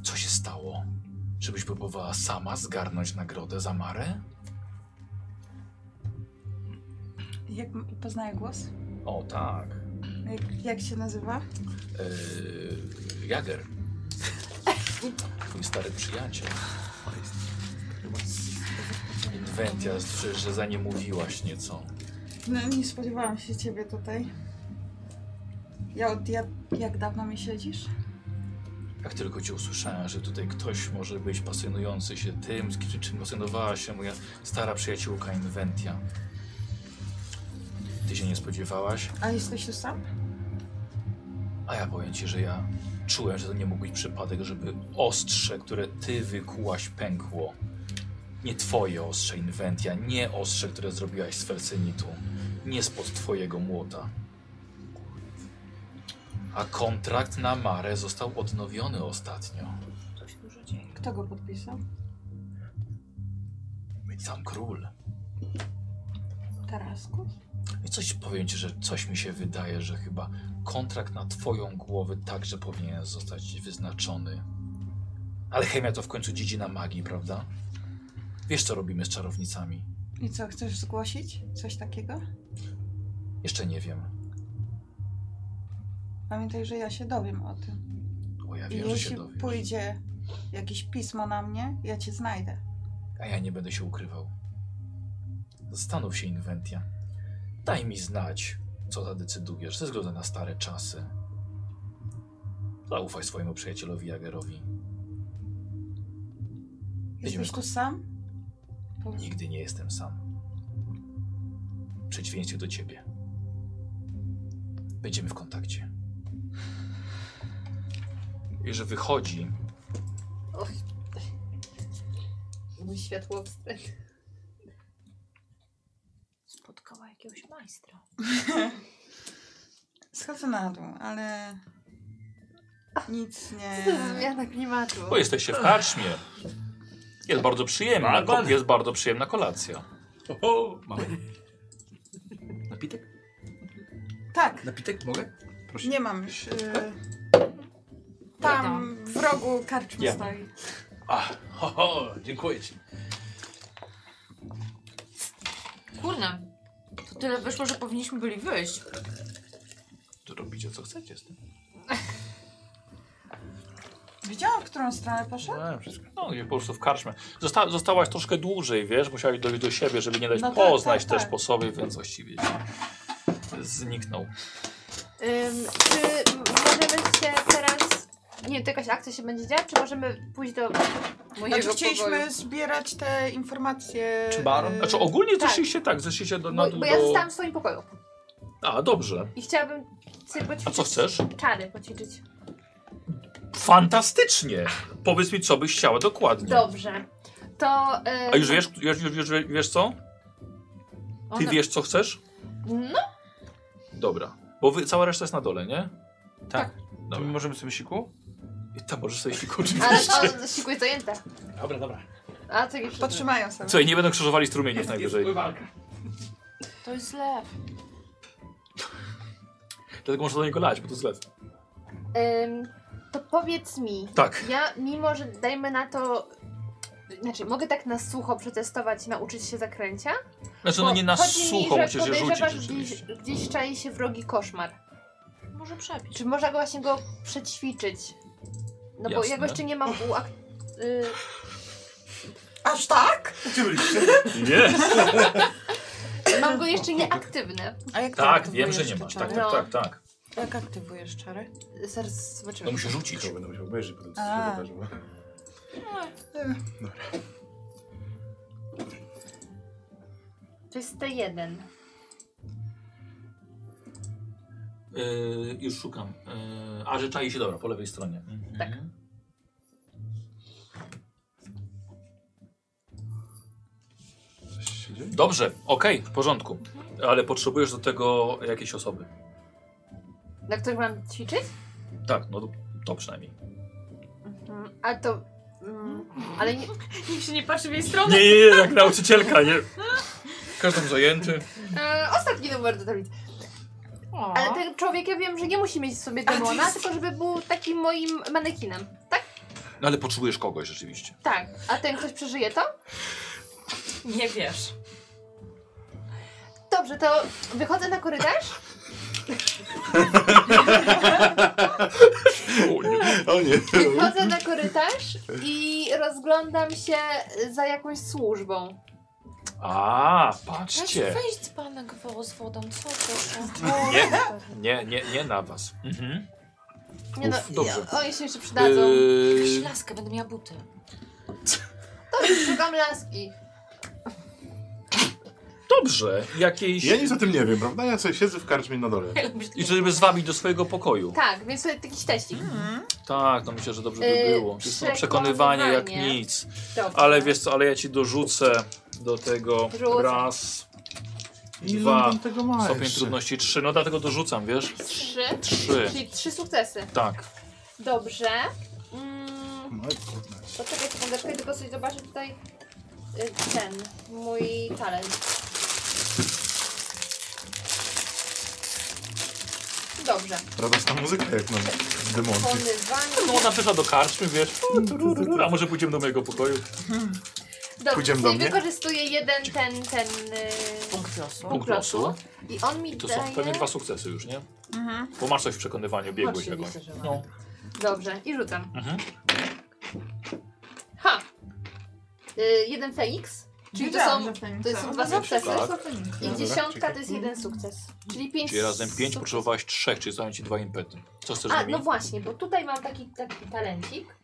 Speaker 1: Co się stało? Żebyś próbowała sama zgarnąć nagrodę za Marę?
Speaker 5: Jak poznaję głos?
Speaker 1: O tak.
Speaker 5: Jak, jak się nazywa?
Speaker 1: Yy, Jager. Twój stary przyjaciel. Inwentia, przecież, że za nie mówiłaś nieco.
Speaker 5: No, nie spodziewałam się ciebie tutaj. Ja od ja, jak dawno mi siedzisz?
Speaker 1: Jak tylko cię usłyszałem, że tutaj ktoś może być pasjonujący się tym, z kim- czym pasjonowała się moja stara przyjaciółka Inventia. Ty się nie spodziewałaś,
Speaker 5: A jesteś tu sam?
Speaker 1: a ja powiem ci, że ja czułem, że to nie mógł być przypadek, żeby ostrze, które ty wykułaś, pękło. Nie twoje ostrze, Inventia, nie ostrze, które zrobiłaś z Felsenitu. Nie spod twojego młota. A kontrakt na Marę został odnowiony ostatnio.
Speaker 5: To się dużo dzieje. Kto go podpisał?
Speaker 1: Sam król.
Speaker 5: Tarasku?
Speaker 1: I coś powiem ci, że coś mi się wydaje, że chyba kontrakt na twoją głowę także powinien zostać wyznaczony. Alchemia to w końcu dziedzina magii, prawda? Wiesz, co robimy z czarownicami?
Speaker 5: I co, chcesz zgłosić? Coś takiego?
Speaker 1: Jeszcze nie wiem.
Speaker 5: Pamiętaj, że ja się dowiem o tym.
Speaker 1: Bo ja
Speaker 5: I
Speaker 1: wiem, że się
Speaker 5: jeśli
Speaker 1: dowiesz.
Speaker 5: pójdzie jakieś pismo na mnie, ja cię znajdę.
Speaker 1: A ja nie będę się ukrywał. Zastanów się, Inventia. Daj mi znać, co zadecydujesz ze względu na stare czasy. Zaufaj swojemu przyjacielowi Jagerowi. Będziemy
Speaker 5: Jesteś tu sam? Bo
Speaker 1: Nigdy nie jestem sam. W przeciwieństwie do ciebie. Będziemy w kontakcie. I że wychodzi,
Speaker 6: Mój światło wstręt.
Speaker 2: Spotkała jakiegoś majstra.
Speaker 5: Schodzę na dół, ale nic
Speaker 6: Co
Speaker 5: nie...
Speaker 6: to za zmiana klimatu?
Speaker 1: bo jesteście w karczmie. Jest bardzo przyjemna,
Speaker 4: Barbar.
Speaker 1: jest bardzo przyjemna kolacja.
Speaker 4: Oho, mamy. Napitek?
Speaker 5: Tak,
Speaker 4: Napitek mogę? Proszę.
Speaker 5: nie mam już.
Speaker 1: Tak?
Speaker 5: y, Tam w rogu karczmy
Speaker 1: Ja.
Speaker 5: stoi.
Speaker 4: A, ho, ho, dziękuję ci.
Speaker 2: Kurna, to tyle wyszło, że powinniśmy byli wyjść.
Speaker 1: To robicie co chcecie z tym.
Speaker 5: Widziałam, w którą stronę poszedł?
Speaker 1: No, wszystko. No, i po prostu w karczmie. Zosta zostałaś troszkę dłużej, wiesz, musiałeś dojść do siebie, żeby nie dać
Speaker 5: No tak,
Speaker 1: poznać
Speaker 5: tak,
Speaker 1: też
Speaker 5: tak.
Speaker 1: po sobie, więc właściwie się zniknął.
Speaker 6: Ym, czy możemy się teraz... Nie wiem, to jakaś akcja się będzie działa, czy możemy pójść do mojego
Speaker 5: Znaczy chcieliśmy
Speaker 6: No, pokoju?
Speaker 5: zbierać te informacje.
Speaker 3: Czy baron?
Speaker 5: y,
Speaker 1: Znaczy ogólnie
Speaker 6: Tak.
Speaker 1: zeszliście tak, zeszliście do... Na,
Speaker 6: Bo,
Speaker 1: do...
Speaker 6: bo ja zostałam w swoim pokoju
Speaker 1: A, dobrze.
Speaker 6: i chciałabym sobie poćwiczyć.
Speaker 1: A co chcesz?
Speaker 6: Czary poćwiczyć.
Speaker 1: Fantastycznie! Powiedz mi, co byś chciała dokładnie.
Speaker 6: Dobrze. To... e, ym,
Speaker 1: A już wiesz, już, już, już wiesz co? Ty
Speaker 6: ona-
Speaker 1: wiesz, co chcesz?
Speaker 6: No,
Speaker 1: Dobra. Bo wy, cała reszta jest na dole, nie?
Speaker 3: Tak.
Speaker 1: Dobra.
Speaker 3: To my możemy sobie siku?
Speaker 1: I tam możesz sobie kurczyć.
Speaker 6: ale to sikły zajęte.
Speaker 4: Dobra, dobra.
Speaker 6: A co jeszcze?
Speaker 5: Potrzymają sobie.
Speaker 1: Słuchaj, nie będą krzyżowali strumieni najwyżej.
Speaker 4: pływalka.
Speaker 2: To jest lew.
Speaker 1: Dlatego można do niego lać, bo to jest lew.
Speaker 6: Ym, to powiedz mi,
Speaker 1: Tak.
Speaker 6: ja mimo, że dajmy na to, znaczy mogę tak na sucho przetestować, nauczyć się zakręcia?
Speaker 1: Znaczy, no
Speaker 6: Bo
Speaker 1: nie na
Speaker 6: chodzi mi,
Speaker 1: sucho
Speaker 6: że
Speaker 1: musisz się rzucić
Speaker 6: podejrzewasz gdzieś,
Speaker 1: rzeczywiście.
Speaker 6: gdzieś czai się wrogi koszmar.
Speaker 2: Może przebić.
Speaker 6: Czy można go właśnie go przećwiczyć? No bo
Speaker 1: Jasne.
Speaker 6: ja go jeszcze nie mam u... Ak- y-
Speaker 5: Aż tak?
Speaker 4: Gdzie byliście?
Speaker 1: Nie!
Speaker 6: mam go jeszcze nieaktywny.
Speaker 5: A jak ty
Speaker 1: Tak, wiem,
Speaker 5: aktywujesz
Speaker 1: że nie
Speaker 5: te
Speaker 1: masz. Tak,
Speaker 5: czary?
Speaker 1: tak, tak, tak.
Speaker 5: Jak aktywujesz czary?
Speaker 6: Zaraz
Speaker 1: No
Speaker 6: zobaczymy.
Speaker 1: musisz rzucić.
Speaker 4: To będę musiał obejrzeć potem, co
Speaker 5: A.
Speaker 4: się wydarzyło.
Speaker 6: To jest T1.
Speaker 1: Yy, już szukam. Yy, a, że czai się, dobra, po lewej stronie. Mhm.
Speaker 6: Tak.
Speaker 4: Coś się dzieje?
Speaker 1: Dobrze, okej, w porządku. Ale potrzebujesz do tego jakiejś osoby.
Speaker 6: Na których mam ćwiczyć?
Speaker 1: Tak, no to przynajmniej.
Speaker 6: Mhm. A to... Mm, ale nie,
Speaker 2: Nikt się nie patrzy w jej stronę.
Speaker 1: Nie, nie, nie, jak nauczycielka, nie. Każdy zajęty.
Speaker 6: e, ostatni numer do tablicy.
Speaker 5: No.
Speaker 2: O.
Speaker 6: Ale ten człowiek, ja wiem, że nie musi mieć w sobie demona, tylko żeby był takim moim manekinem. Tak?
Speaker 1: No ale potrzebujesz kogoś rzeczywiście.
Speaker 6: Tak. A ten ktoś przeżyje to?
Speaker 2: Nie wiesz.
Speaker 6: Dobrze, to wychodzę na korytarz.
Speaker 4: O nie.
Speaker 6: Wychodzę na korytarz i rozglądam się za jakąś służbą.
Speaker 1: A,
Speaker 2: Weź
Speaker 1: patrzcie.
Speaker 2: weź dzbanek woło z wodą, co proszę.
Speaker 1: Nie, nie, nie, nie na was. Mhm.
Speaker 6: Nie no,
Speaker 1: Uf, dobrze.
Speaker 6: ja- Oni się jeszcze przydadzą.
Speaker 1: Eee,
Speaker 2: Weź laskę, będę miała buty.
Speaker 6: Dobrze, szukam laski.
Speaker 1: dobrze, jakieś...
Speaker 8: Ja nic o tym nie wiem, prawda? Ja sobie siedzę w karczmie na dole.
Speaker 1: I żeby zwabić do swojego pokoju.
Speaker 6: Tak, więc sobie taki teścik.
Speaker 1: Tak, no myślę, że dobrze by
Speaker 6: Yy,
Speaker 1: było. Jest to przekonywanie jak
Speaker 6: przekonywanie.
Speaker 1: nic.
Speaker 6: Dobrze.
Speaker 1: Ale wiesz co, ale ja ci dorzucę do tego
Speaker 6: Rzucę.
Speaker 1: raz,
Speaker 8: Ile
Speaker 1: Dwa.
Speaker 8: on tam tego ma
Speaker 1: stopień
Speaker 8: jeszcze?
Speaker 1: trudności trzy. No dlatego dorzucam, wiesz?
Speaker 6: Trzy.
Speaker 1: Trzy.
Speaker 6: Czyli trzy sukcesy.
Speaker 1: Tak.
Speaker 6: Dobrze. Mm,
Speaker 8: No, kurde.
Speaker 6: poczekaj sekundeczkę, tylko sobie zobaczę tutaj y, ten mój talent. Dobrze.
Speaker 8: Radosna muzyka jak na demonki.
Speaker 1: No
Speaker 6: Ponywanie.
Speaker 1: ona przyszła do karczmy, wiesz? A może pójdziemy do mojego pokoju?
Speaker 6: Dobrze,
Speaker 8: Pójdziemy
Speaker 6: czyli
Speaker 8: do mnie?
Speaker 6: wykorzystuję jeden ten, ten... Y,
Speaker 2: Punkt losu.
Speaker 1: Punkt losu.
Speaker 6: I on mi
Speaker 1: I to
Speaker 6: daje...
Speaker 1: są pewnie dwa sukcesy już, nie?
Speaker 5: Mhm.
Speaker 1: Bo masz coś w przekonywaniu, biegłeś jakąś.
Speaker 2: Oczywiście, że mam.
Speaker 1: No.
Speaker 6: Dobrze, i rzucam.
Speaker 1: Mhm.
Speaker 6: Ha! Y, jeden Feniks, czyli to są, to są dwa sukcesy.
Speaker 1: Tak.
Speaker 6: I dziesiątka to jest jeden sukces. Czyli pięć
Speaker 1: Czyli razem pięć,
Speaker 6: sukcesów.
Speaker 1: potrzebowałeś trzech, czyli zostają ci dwa impety. Co chcesz z
Speaker 6: A,
Speaker 1: nimi?
Speaker 6: no właśnie, bo tutaj mam taki, taki talencik,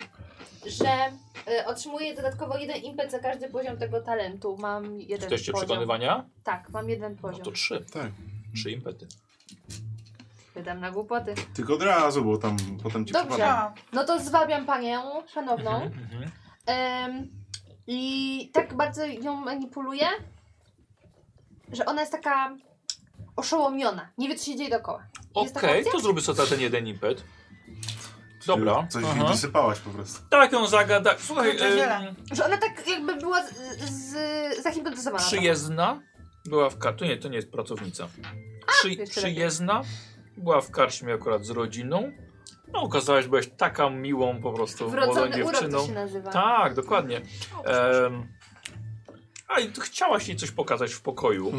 Speaker 6: że y, otrzymuję dodatkowo jeden impet za każdy poziom tego talentu. Mam jeden
Speaker 1: Jesteście
Speaker 6: poziom.
Speaker 1: przekonywania?
Speaker 6: Tak, mam jeden poziom.
Speaker 1: No to trzy.
Speaker 8: Tak.
Speaker 1: Trzy impety.
Speaker 6: Wydam na głupoty.
Speaker 8: Tylko od razu, bo tam potem ci
Speaker 6: Dobrze.
Speaker 8: przypada.
Speaker 6: No to zwabiam panię, szanowną.
Speaker 1: Mhm, mhm.
Speaker 6: Em, I tak bardzo ją manipuluje, że ona jest taka oszołomiona. Nie wie, co się dzieje dookoła. Jest taka
Speaker 1: Okej,
Speaker 6: opcja?
Speaker 1: to zróbmy sobie ten jeden impet. Dobra.
Speaker 8: Coś
Speaker 1: Aha.
Speaker 8: mi wysypałaś po prostu.
Speaker 1: Tak ją zagada. Słuchaj,
Speaker 7: y,
Speaker 5: Kurczę, ziele.
Speaker 1: em,
Speaker 6: Że ona tak jakby była z, z, zahipnotyzowana.
Speaker 1: przyjezdna była w karczmie. Nie, to nie jest pracownica. Przy,
Speaker 6: lepiej.
Speaker 1: przyjezdna była w karczmie akurat z rodziną. No, okazałaś, że byłaś taka miłą po prostu młodą
Speaker 6: Wrodzony urok
Speaker 1: dziewczyną.
Speaker 6: to się nazywa.
Speaker 1: Tak, dokładnie. Em, a i tu chciałaś jej coś pokazać w pokoju.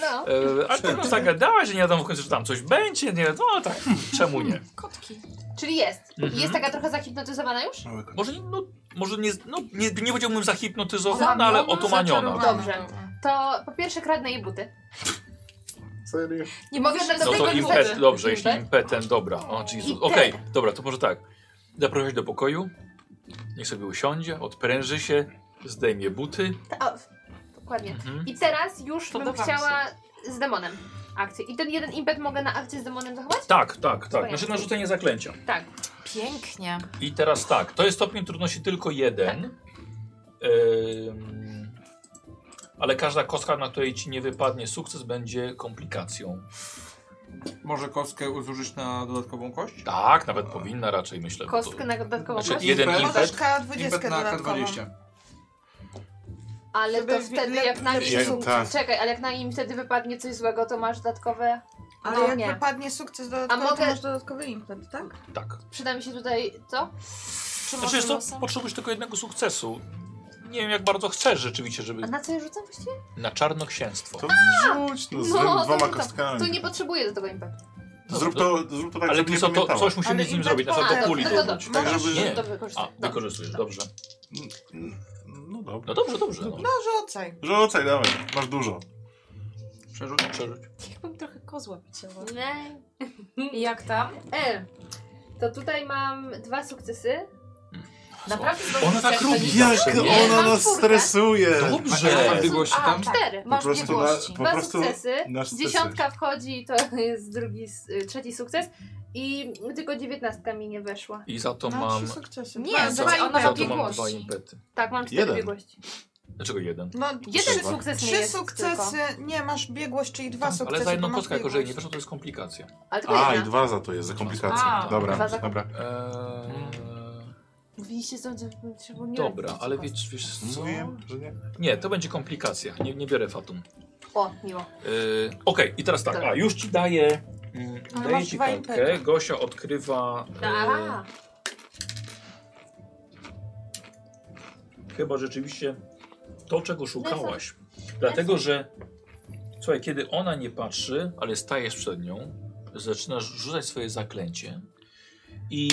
Speaker 6: No.
Speaker 1: E, a tylko zagadałaś, że nie wiadomo w końcu, że tam coś będzie. Nie, no ale tak, czemu nie?
Speaker 2: Kotki.
Speaker 6: Czyli jest.
Speaker 1: Mhm.
Speaker 6: Jest taka trochę zahipnotyzowana już?
Speaker 8: Mały kot.
Speaker 1: Może, nie- no, może nie, no, nie, nie powiedziałbym zahipnotyzowana,
Speaker 6: Zamiona,
Speaker 1: ale otumaniona.
Speaker 6: Dobrze. To po pierwsze kradnę jej buty.
Speaker 8: Serio?
Speaker 2: Nie
Speaker 6: Mogę
Speaker 2: mogę
Speaker 6: na
Speaker 2: na
Speaker 1: No
Speaker 6: tego
Speaker 1: to
Speaker 6: nie
Speaker 1: impet,
Speaker 6: mogę.
Speaker 1: dobrze,
Speaker 6: Impet?
Speaker 1: jeśli impetem, dobra. O, Jezus.
Speaker 6: Impet.
Speaker 1: Okej, dobra, to może tak. Zaprosiłeś do pokoju, niech sobie usiądzie, odpręży się, zdejmie buty.
Speaker 6: Ta, o, dokładnie.
Speaker 1: Mhm.
Speaker 6: I teraz już bym
Speaker 2: Podoba mi
Speaker 6: chciała z demonem akcję. I ten jeden impet mogę na akcję z demonem zachować?
Speaker 1: Tak, tak, tak. Znaczy narzucenie zaklęcia.
Speaker 6: Tak.
Speaker 2: Pięknie.
Speaker 1: I teraz tak, to jest stopień trudności tylko jeden. Ym, ale każda kostka, na której ci nie wypadnie sukces, będzie komplikacją.
Speaker 7: Może kostkę zużyć na dodatkową kość?
Speaker 1: Tak, nawet powinna raczej, myślę. bo to-
Speaker 6: Kostkę na dodatkową
Speaker 1: Znaczy,
Speaker 6: kość.
Speaker 1: jeden
Speaker 7: Impet.
Speaker 1: impet.
Speaker 5: Możesz
Speaker 7: Impet
Speaker 5: K20
Speaker 7: na
Speaker 5: dodatkowo.
Speaker 7: K20.
Speaker 6: Ale to
Speaker 5: Żeby
Speaker 6: wtedy
Speaker 5: le-
Speaker 6: jak na
Speaker 5: lepiej
Speaker 6: nim
Speaker 8: sukces. Tak.
Speaker 6: czekaj, ale jak na nim wtedy wypadnie coś złego, to masz dodatkowe.
Speaker 5: Ale
Speaker 6: No
Speaker 5: jak
Speaker 6: nie.
Speaker 5: wypadnie sukces dodatkowy,
Speaker 6: A mogę-
Speaker 5: to masz dodatkowy impet, tak?
Speaker 1: Tak.
Speaker 6: Przyda mi się tutaj co?
Speaker 2: Czy
Speaker 1: Znaczy,
Speaker 2: może
Speaker 1: jest to,
Speaker 2: losem?
Speaker 1: potrzebujesz tylko jednego sukcesu. Nie wiem, jak bardzo chcesz rzeczywiście, żeby.
Speaker 6: A na co ja rzucam właściwie?
Speaker 1: Na czarnoksięstwo.
Speaker 8: To wrzuć, no, z
Speaker 6: No, to
Speaker 8: dwoma
Speaker 6: rzucam.
Speaker 8: kostkami.
Speaker 6: Tu nie potrzebuję do tego impetu.
Speaker 8: Zrób, to, zrób to tak,
Speaker 1: Ale
Speaker 8: żeby
Speaker 1: ty
Speaker 8: nie
Speaker 1: co, to,
Speaker 8: pamiętała.
Speaker 1: coś musimy
Speaker 5: Ale
Speaker 1: z nim
Speaker 5: impet
Speaker 1: zrobić, na przykład
Speaker 5: pomaga.
Speaker 1: do kuli
Speaker 6: No to
Speaker 1: dodać.
Speaker 6: dobrze.
Speaker 8: Tak, żeby...
Speaker 1: Nie.
Speaker 6: To wykorzystam.
Speaker 1: A, wykorzystujesz, dobrze.
Speaker 8: No
Speaker 1: No
Speaker 8: dobra.
Speaker 1: dobrze, dobrze. No.
Speaker 5: No rzucaj.
Speaker 8: Rzucaj, dawaj. Masz dużo.
Speaker 7: Przerzuć.
Speaker 1: Przerzuć.
Speaker 2: Jakbym trochę kozła piciała.
Speaker 6: Nie.
Speaker 2: I jak tam?
Speaker 6: E, to tutaj mam dwa sukcesy.
Speaker 2: Naprawdę
Speaker 1: Ona tak robi.
Speaker 8: Jak
Speaker 1: Nie,
Speaker 8: ona
Speaker 6: mam
Speaker 8: nas
Speaker 6: czwórkę.
Speaker 8: stresuje.
Speaker 7: Masz
Speaker 1: Dobrze.
Speaker 7: biegłości
Speaker 2: A,
Speaker 7: tam?
Speaker 2: tak.
Speaker 6: Cztery.
Speaker 8: Po
Speaker 2: Masz
Speaker 8: prostu, na,
Speaker 2: biegłości.
Speaker 8: po
Speaker 6: Dwa
Speaker 8: prostu
Speaker 6: sukcesy.
Speaker 8: nasz stres
Speaker 6: Dziesiątka wchodzi, to jest drugi, s- y, trzeci sukces. I tylko dziewiętnastka mi nie weszła.
Speaker 1: I za to
Speaker 5: No,
Speaker 1: mam.
Speaker 5: trzy sukcesy.
Speaker 2: Nie,
Speaker 5: Dwa-
Speaker 2: za-
Speaker 5: dwa
Speaker 2: ona
Speaker 1: Za
Speaker 5: impety.
Speaker 1: to mam dwa
Speaker 2: biegłości.
Speaker 1: impety.
Speaker 6: Tak, mam cztery
Speaker 8: Jeden.
Speaker 6: biegłości.
Speaker 1: Dlaczego jeden?
Speaker 5: No,
Speaker 6: Jeden
Speaker 8: Trzy.
Speaker 6: sukces nie
Speaker 5: trzy
Speaker 6: jest
Speaker 5: sukcesy,
Speaker 6: Tylko.
Speaker 5: nie masz biegłość, czyli dwa sukcesy.
Speaker 1: Tak, Ale za jedną
Speaker 5: to masz
Speaker 1: kostkę, jako że jej nie
Speaker 5: biegłość.
Speaker 1: weszło, No to jest komplikacja.
Speaker 6: Ale tylko
Speaker 8: A, i
Speaker 6: jedna.
Speaker 8: dwa za to jest, za komplikację.
Speaker 2: A,
Speaker 8: Dobra,
Speaker 6: dwa za-
Speaker 8: dobra.
Speaker 1: Eee,
Speaker 6: Widzicie, są potrzebujemy.
Speaker 1: dobra, ale wiesz, wiesz co?
Speaker 8: Mówiłem, że nie.
Speaker 1: Nie, to będzie komplikacja. Nie, nie biorę fatum.
Speaker 6: O, miło.
Speaker 1: Yy, Okej, i teraz tak.
Speaker 6: Dobra.
Speaker 1: A, już ci daję. mm,
Speaker 5: Ale
Speaker 1: Daję
Speaker 5: masz
Speaker 1: ci
Speaker 5: dwa
Speaker 1: kartkę.
Speaker 5: impety.
Speaker 1: Gosia odkrywa. eee,
Speaker 6: A,
Speaker 1: e, chyba rzeczywiście to, czego szukałaś. Dlatego, że. Słuchaj, kiedy ona nie patrzy, ale stajesz przed nią, zaczynasz rzucać swoje zaklęcie i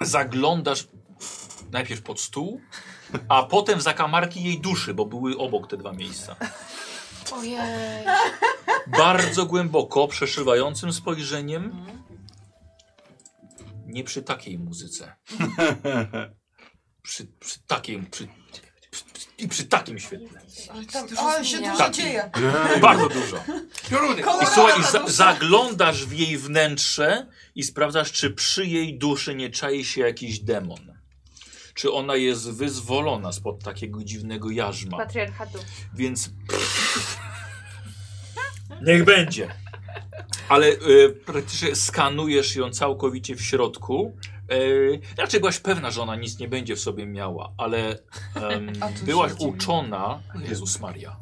Speaker 1: zaglądasz najpierw pod stół, a potem w zakamarki jej duszy, bo były obok te dwa miejsca.
Speaker 2: Ojej.
Speaker 1: bardzo głęboko, przeszywającym spojrzeniem Nie przy takiej muzyce. Przy, przy takiej, przy, przy, i przy takim świetle.
Speaker 2: Ale tam
Speaker 5: Ale się
Speaker 2: zmienia.
Speaker 5: dużo
Speaker 1: Tak.
Speaker 5: dzieje.
Speaker 1: Bardzo dużo.
Speaker 7: Pioruny!
Speaker 1: I słuchaj, i za, zaglądasz w jej wnętrze i sprawdzasz, czy przy jej duszy nie czai się jakiś demon. Czy ona jest wyzwolona spod takiego dziwnego jarzma.
Speaker 6: Patriarchatu.
Speaker 12: Tak.
Speaker 1: Więc. Niech będzie. Ale e, praktycznie skanujesz ją całkowicie w środku. E, raczej byłaś pewna, że ona nic nie będzie w sobie miała, ale em,
Speaker 5: A tu
Speaker 1: byłaś
Speaker 5: się dziwię.
Speaker 1: uczona. Jezus Maria.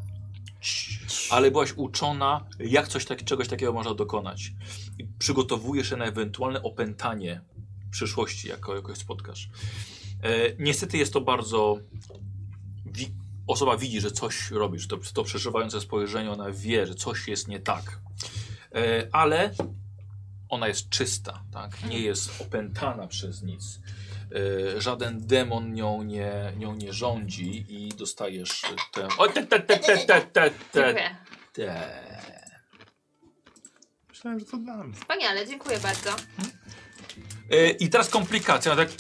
Speaker 1: Ale byłaś uczona, jak coś tak, czegoś takiego można dokonać. I przygotowujesz się na ewentualne opętanie w przyszłości, jako jakoś spotkasz. E, niestety jest to bardzo. Wi osoba widzi, że coś robisz. To, to przeżywające spojrzenie, ona wie, że coś jest nie tak. E, ale ona jest czysta, tak? Nie jest opętana przez nic. E, żaden demon nią nie, nią nie rządzi i dostajesz tę. O, te, te, te, te, te, te, te,
Speaker 6: Dziękuję.
Speaker 1: te.
Speaker 8: Myślałem, że to dla mnie.
Speaker 6: Wspaniale, dziękuję bardzo.
Speaker 1: E, I teraz komplikacja. ona Tak.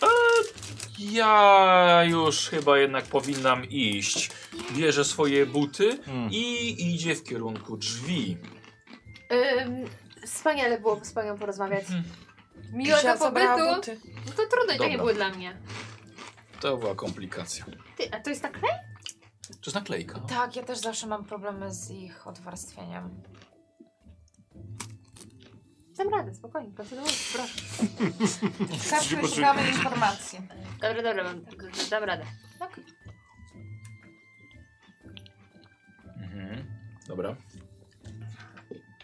Speaker 1: E, ja już chyba jednak powinnam iść. Bierze swoje buty i idzie w kierunku drzwi.
Speaker 6: Ym, wspaniale było z panią porozmawiać.
Speaker 1: Mhm.
Speaker 6: Miłego
Speaker 5: zabrała
Speaker 6: pobytu.
Speaker 5: buty.
Speaker 6: No to trudno i
Speaker 1: Dobra.
Speaker 6: takie było dla mnie.
Speaker 1: To była komplikacja.
Speaker 6: Ty, a to jest tak klej?
Speaker 1: To jest naklejka.
Speaker 2: Tak, ja też zawsze mam problemy z ich odwarstwieniem.
Speaker 6: Dam radę, spokojnie, kontynuuj, proszę.
Speaker 5: Zawsze szukamy informacji.
Speaker 6: Dobra, dobra, mam, dam radę. Tak.
Speaker 1: Mhm. Dobra.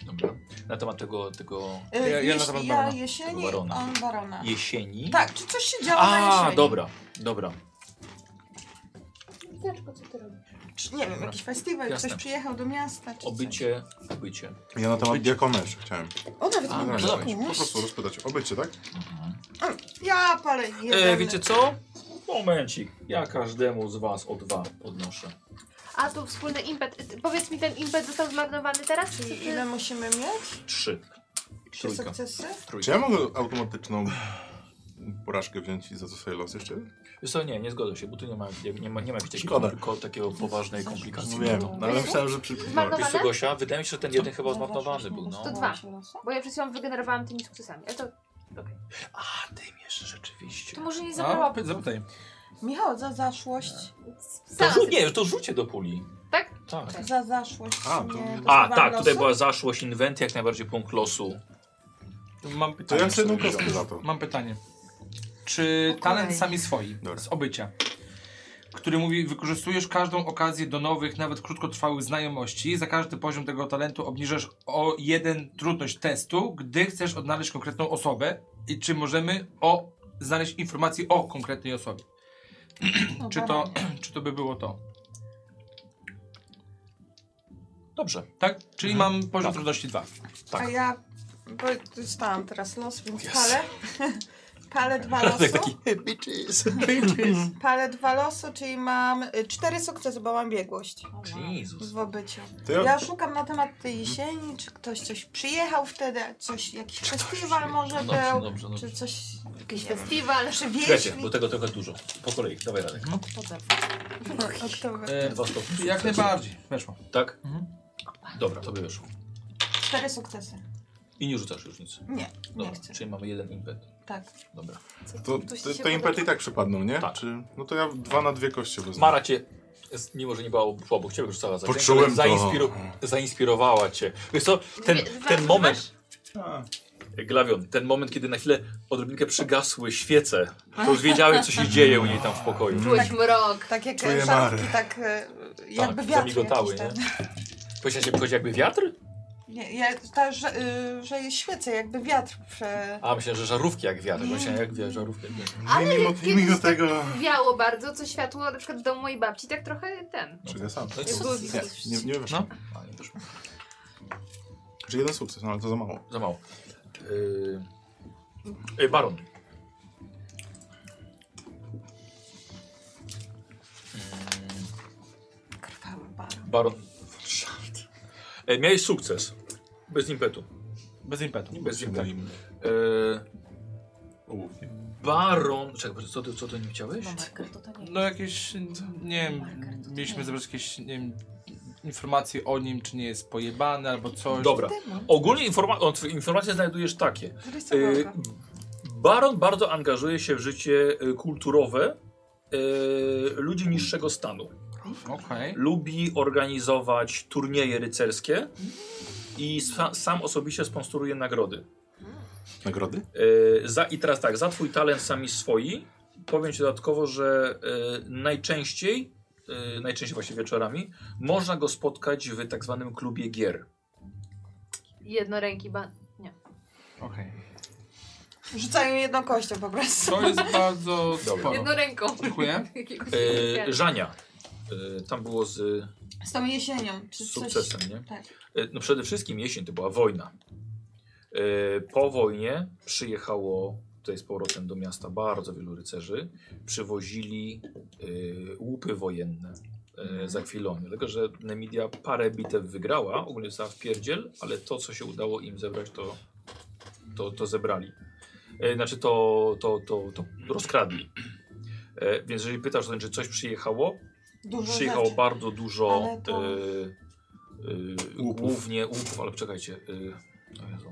Speaker 1: Dobra. Na temat tego, tego
Speaker 5: Ja,
Speaker 3: ja
Speaker 5: ja,
Speaker 3: nazywam
Speaker 5: Y, ja
Speaker 3: barona.
Speaker 5: jesieni,
Speaker 1: Barona.
Speaker 5: on barona.
Speaker 1: jesieni.
Speaker 5: Tak, czy coś się działo na
Speaker 1: A,
Speaker 5: jesieni?
Speaker 1: dobra, dobra.
Speaker 6: Znaczko, co ty robisz?
Speaker 5: Czy, nie wiem, jakiś festiwal,
Speaker 1: Jasne.
Speaker 5: ktoś przyjechał do miasta, czy coś.
Speaker 1: Obycie, obycie. E,
Speaker 8: Ja na temat diakomeszy chciałem.
Speaker 5: O, nawet
Speaker 1: A,
Speaker 5: mam
Speaker 1: no
Speaker 5: taki
Speaker 8: tak,
Speaker 1: dobra.
Speaker 5: pomysł.
Speaker 4: Po prostu rozpytać. Obycie, tak?
Speaker 5: Ja palę jeden.
Speaker 1: E, wiecie co? Momencik. Ja każdemu z was o dwa podnoszę.
Speaker 6: A tu wspólny impet. Y, Powiedz mi, ten impet został zmarnowany teraz? Czy
Speaker 5: I ile musimy mieć?
Speaker 1: Trzy.
Speaker 5: Trzy
Speaker 1: Trójka.
Speaker 5: sukcesy?
Speaker 4: Czy
Speaker 1: Trójka.
Speaker 4: ja mogę automatyczną porażkę wziąć i za to sobie los jeszcze?
Speaker 1: Wiesz co, nie, nie zgodzę się, bo tu nie ma, nie, nie ma, nie ma jakiejś takiej
Speaker 8: Szkoda.
Speaker 1: kompliko- takiego poważnej komplikacji.
Speaker 8: Wiem, no, ale myślałem, że przy...
Speaker 6: Zmarnowa-
Speaker 1: Wiesz co, Gosia? Wydaje mi się, że ten jeden chyba zmarnowany był, no.
Speaker 6: To dwa. Bo ja przed chwilą wygenerowałam tymi sukcesami. Ale to
Speaker 1: A, ty jeszcze rzeczywiście.
Speaker 2: To może nie
Speaker 3: A,
Speaker 2: zabrała.
Speaker 3: py- zapytaj.
Speaker 5: Michał, za zaszłość.
Speaker 1: To
Speaker 6: sama
Speaker 1: rzu-
Speaker 6: sobie-
Speaker 1: nie, to rzucie do puli.
Speaker 6: Tak?
Speaker 1: Tak.
Speaker 5: Za zaszłość.
Speaker 4: A, to-
Speaker 5: nie
Speaker 1: A,
Speaker 5: dostawam
Speaker 1: tak, tutaj
Speaker 5: losu?
Speaker 1: była zaszłość, inwenty, jak najbardziej punkt losu.
Speaker 3: Mam
Speaker 4: To
Speaker 8: Tak,
Speaker 3: pytanie.
Speaker 4: ja chcę jedną kostkę za to.
Speaker 3: Mam pytanie. Czy
Speaker 5: Po
Speaker 3: talent
Speaker 5: kolei.
Speaker 3: sami swoi,
Speaker 4: Dobra.
Speaker 3: z obycia, który mówi, wykorzystujesz każdą okazję do nowych, nawet krótkotrwałych znajomości, za każdy poziom tego talentu obniżasz o jeden trudność testu, gdy chcesz odnaleźć konkretną osobę i czy możemy o, znaleźć informacje o konkretnej osobie.
Speaker 5: No,
Speaker 3: Czy to,
Speaker 5: barona.
Speaker 3: czy to by było to?
Speaker 1: Dobrze.
Speaker 3: Tak? Czyli mam poziom trudności 2.
Speaker 1: tak.
Speaker 5: A ja, bo dostałam teraz los, więc
Speaker 1: Yes.
Speaker 5: palę. palę dwa losy.
Speaker 1: bitches.
Speaker 5: Palę dwa losy, czyli mam y, cztery sukcesy, bo mam biegłość.
Speaker 1: Jezus.
Speaker 5: W obyciu.
Speaker 4: To
Speaker 5: Ja
Speaker 4: ja...
Speaker 5: szukam na temat tej jesieni, czy ktoś coś przyjechał wtedy, coś, jakiś festiwal może
Speaker 1: Dobrze,
Speaker 5: był,
Speaker 1: dobrze, dobrze.
Speaker 5: czy coś,
Speaker 6: Jakiś festiwal.
Speaker 5: czy
Speaker 1: Wiecie,
Speaker 5: wieśni.
Speaker 1: bo tego trochę dużo. Po kolei, dawaj Radek.
Speaker 5: Oktober.
Speaker 3: E,
Speaker 1: Dwa stopnie.
Speaker 3: Mhm. jak najbardziej. Weszło.
Speaker 1: Tak?
Speaker 3: Mhm.
Speaker 1: Dobra, tobie wyszło.
Speaker 5: Cztery sukcesy.
Speaker 1: I nie rzucasz już nic.
Speaker 5: Nie,
Speaker 1: Dobra,
Speaker 5: nie chcę.
Speaker 1: czyli mamy jeden impet.
Speaker 5: Tak.
Speaker 1: Dobra.
Speaker 4: To, te, te impety i tak przypadną, nie?
Speaker 1: Tak.
Speaker 4: Czy... No to ja dwa na dwie kości wezmę.
Speaker 1: Mara cię, z- mimo że nie była obok- obok ciebie, rzucała za pięć,
Speaker 4: Poczułem
Speaker 1: ale zainspiru- zainspirowała cię. Wiesz co, ten,
Speaker 6: Dwie- dwa-
Speaker 1: ten moment,
Speaker 4: A,
Speaker 1: Glawion, Tak. ten moment, kiedy na chwilę odrobinkę przygasły świece, to już wiedziałeś, co się dzieje u niej tam w pokoju.
Speaker 6: Czułeś mrok.
Speaker 5: Tak jak
Speaker 4: Czuję
Speaker 5: szafki,
Speaker 4: mary.
Speaker 5: tak e, jakby
Speaker 1: tak,
Speaker 5: wiatr
Speaker 1: zamigotały,
Speaker 5: jakiś
Speaker 1: nie? Powiedziałeś, że wchodzi jakby wiatr?
Speaker 5: Nie, ja, ta, że, y, że jest świece, jakby wiatr prze...
Speaker 1: A, myślę, że żarówki jak wiatr. Myślę, jak wie, żarówki jak wiatr.
Speaker 6: Ale
Speaker 4: nie mimo,
Speaker 6: kiedyś
Speaker 4: mimo
Speaker 6: tak
Speaker 4: tego...
Speaker 6: Wiało bardzo, co światło na przykład w domu mojej babci, tak trochę ten.
Speaker 4: Czego ja sam?
Speaker 1: No i
Speaker 6: Jak
Speaker 1: co?
Speaker 6: było
Speaker 4: Nie,
Speaker 6: widać.
Speaker 4: nie, nie weszło.
Speaker 3: No.
Speaker 1: A, nie wyszło.
Speaker 4: Czy jeden sukces, no ale to za mało.
Speaker 1: Za mało. Yy... Ej,
Speaker 12: yy,
Speaker 1: Baron.
Speaker 5: Krwawy bar.
Speaker 1: Baron. E, miałeś sukces. Bez impetu.
Speaker 3: Bez impetu.
Speaker 1: Bez impetu. E,
Speaker 8: ołówkiem.
Speaker 1: No,
Speaker 12: Baron... Czekaj, co ty, co ty nie chciałeś?
Speaker 2: No marker to to nie
Speaker 3: No jakieś, nie wiem, mieliśmy zebrać jakieś, nie wiem, informacje o nim, czy nie jest pojebany albo coś.
Speaker 12: Dobra.
Speaker 5: Demon.
Speaker 12: Ogólnie informa o, tw- informacje znajdujesz takie. Y,
Speaker 1: E,
Speaker 5: Rysowanka.
Speaker 12: baron bardzo angażuje się w życie y, kulturowe y, ludzi niższego stanu.
Speaker 3: Okej.
Speaker 12: Lubi organizować turnieje rycerskie i sa sam osobiście sponsoruje nagrody.
Speaker 8: Nagrody?
Speaker 12: Y, za, I teraz tak, za twój talent sami swoi. Powiem ci dodatkowo, że y, najczęściej, y, najczęściej właśnie wieczorami, można go spotkać w tak zwanym klubie gier.
Speaker 6: Jednoręki ban.
Speaker 3: Okej.
Speaker 5: Rzucają jedną kością po prostu.
Speaker 3: To jest bardzo sporo.
Speaker 6: Jednoręką.
Speaker 3: No. Dziękuję.
Speaker 6: Jakiegoś
Speaker 12: Y,
Speaker 6: kwiatu.
Speaker 12: Żania. Y, tam było z...
Speaker 5: Z tą jesienią. Czy
Speaker 12: Z
Speaker 5: coś...
Speaker 12: sukcesem, nie?
Speaker 5: Tak.
Speaker 12: E, No przede wszystkim jesień to była wojna. E, Po wojnie przyjechało tutaj z powrotem do miasta bardzo wielu rycerzy. Przywozili e, łupy wojenne e, za chwilę. Dlatego, że Nemidia parę bitew wygrała, ogólnie została w pierdziel, ale to, co się udało im zebrać, to, to, to zebrali. E, Znaczy to, to, to, to rozkradli. E, Więc jeżeli pytasz, to znaczy coś przyjechało,
Speaker 5: Dużo
Speaker 12: przyjechało
Speaker 5: rzeczy.
Speaker 12: bardzo dużo
Speaker 5: Ale to-
Speaker 12: e, e,
Speaker 8: Łupów.
Speaker 12: głównie łupów, ale czekajcie. E, o Jezu.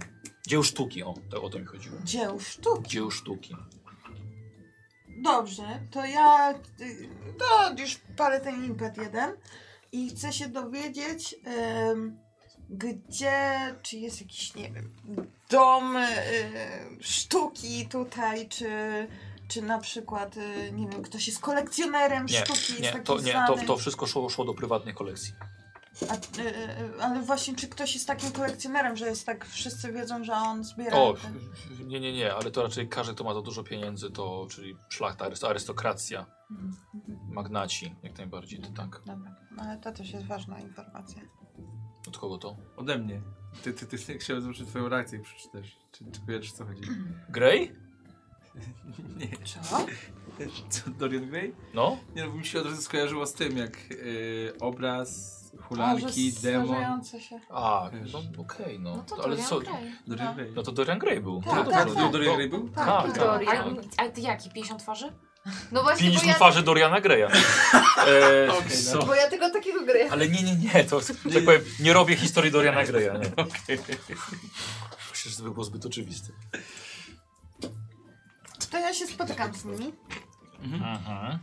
Speaker 12: dzieł sztuki, o, to, o to mi chodziło.
Speaker 5: Dzieł sztuki.
Speaker 12: Dzieł sztuki.
Speaker 5: Dobrze, to ja... y, To już palę ten impet jeden. I chcę się dowiedzieć, em, gdzie... Czy jest jakiś, nie wiem, dom y, sztuki tutaj, czy... Czy na przykład, y, nie wiem, ktoś jest kolekcjonerem
Speaker 12: Nie,
Speaker 5: sztuki, jest
Speaker 12: nie,
Speaker 5: takim
Speaker 12: to, nie to,
Speaker 5: znanym.
Speaker 12: to wszystko szło, szło do prywatnej kolekcji.
Speaker 5: A, y, y, ale właśnie, czy ktoś jest takim kolekcjonerem, że jest tak, wszyscy wiedzą, że on zbiera.
Speaker 12: O,
Speaker 5: te-
Speaker 12: nie, nie, nie, ale to raczej każdy, kto ma za dużo pieniędzy, to czyli szlachta, aryst- arystokracja,
Speaker 5: Mhm, mhm.
Speaker 12: magnaci, jak najbardziej, to tak.
Speaker 5: Dobra, no, ale to też jest ważna informacja.
Speaker 12: Od kogo to?
Speaker 3: Ode mnie. Ty, ty, ty chciałem zobaczyć twoją reakcję, jak przeczytasz. Czy, czy wiesz, o co chodzi?
Speaker 12: Grey?
Speaker 3: Nie.
Speaker 5: Co?
Speaker 3: Co, Dorian Gray?
Speaker 12: No?
Speaker 3: Nie no, bo mi się od razu skojarzyło z tym, jak y, obraz,
Speaker 5: A, że
Speaker 3: hulanki, demon.
Speaker 5: starzejące się.
Speaker 12: A,
Speaker 3: Wiesz.
Speaker 12: no okej, no.
Speaker 2: No to
Speaker 12: ale
Speaker 2: Dorian
Speaker 12: co?
Speaker 2: Gray.
Speaker 3: Dorian Gray.
Speaker 12: No to Dorian Gray był.
Speaker 5: Tak, tak,
Speaker 12: no, dobrze,
Speaker 5: tak.
Speaker 12: do-
Speaker 3: Dorian Gray był?
Speaker 12: Tak, tak.
Speaker 2: A,
Speaker 6: Dorian.
Speaker 2: a ty jaki? 50 twarzy?
Speaker 6: No właśnie, bo
Speaker 12: 50
Speaker 6: ja,
Speaker 12: twarzy Doriana Greya. E,
Speaker 3: Okej,
Speaker 12: so,
Speaker 6: bo ja tego takiego gry.
Speaker 12: ale nie, nie, nie, to nie, tak powiem, nie robię historii Doriana Greya. Nie. Myślę, że to by było zbyt oczywiste.
Speaker 5: To ja się spotykam z nimi.
Speaker 12: Mhm.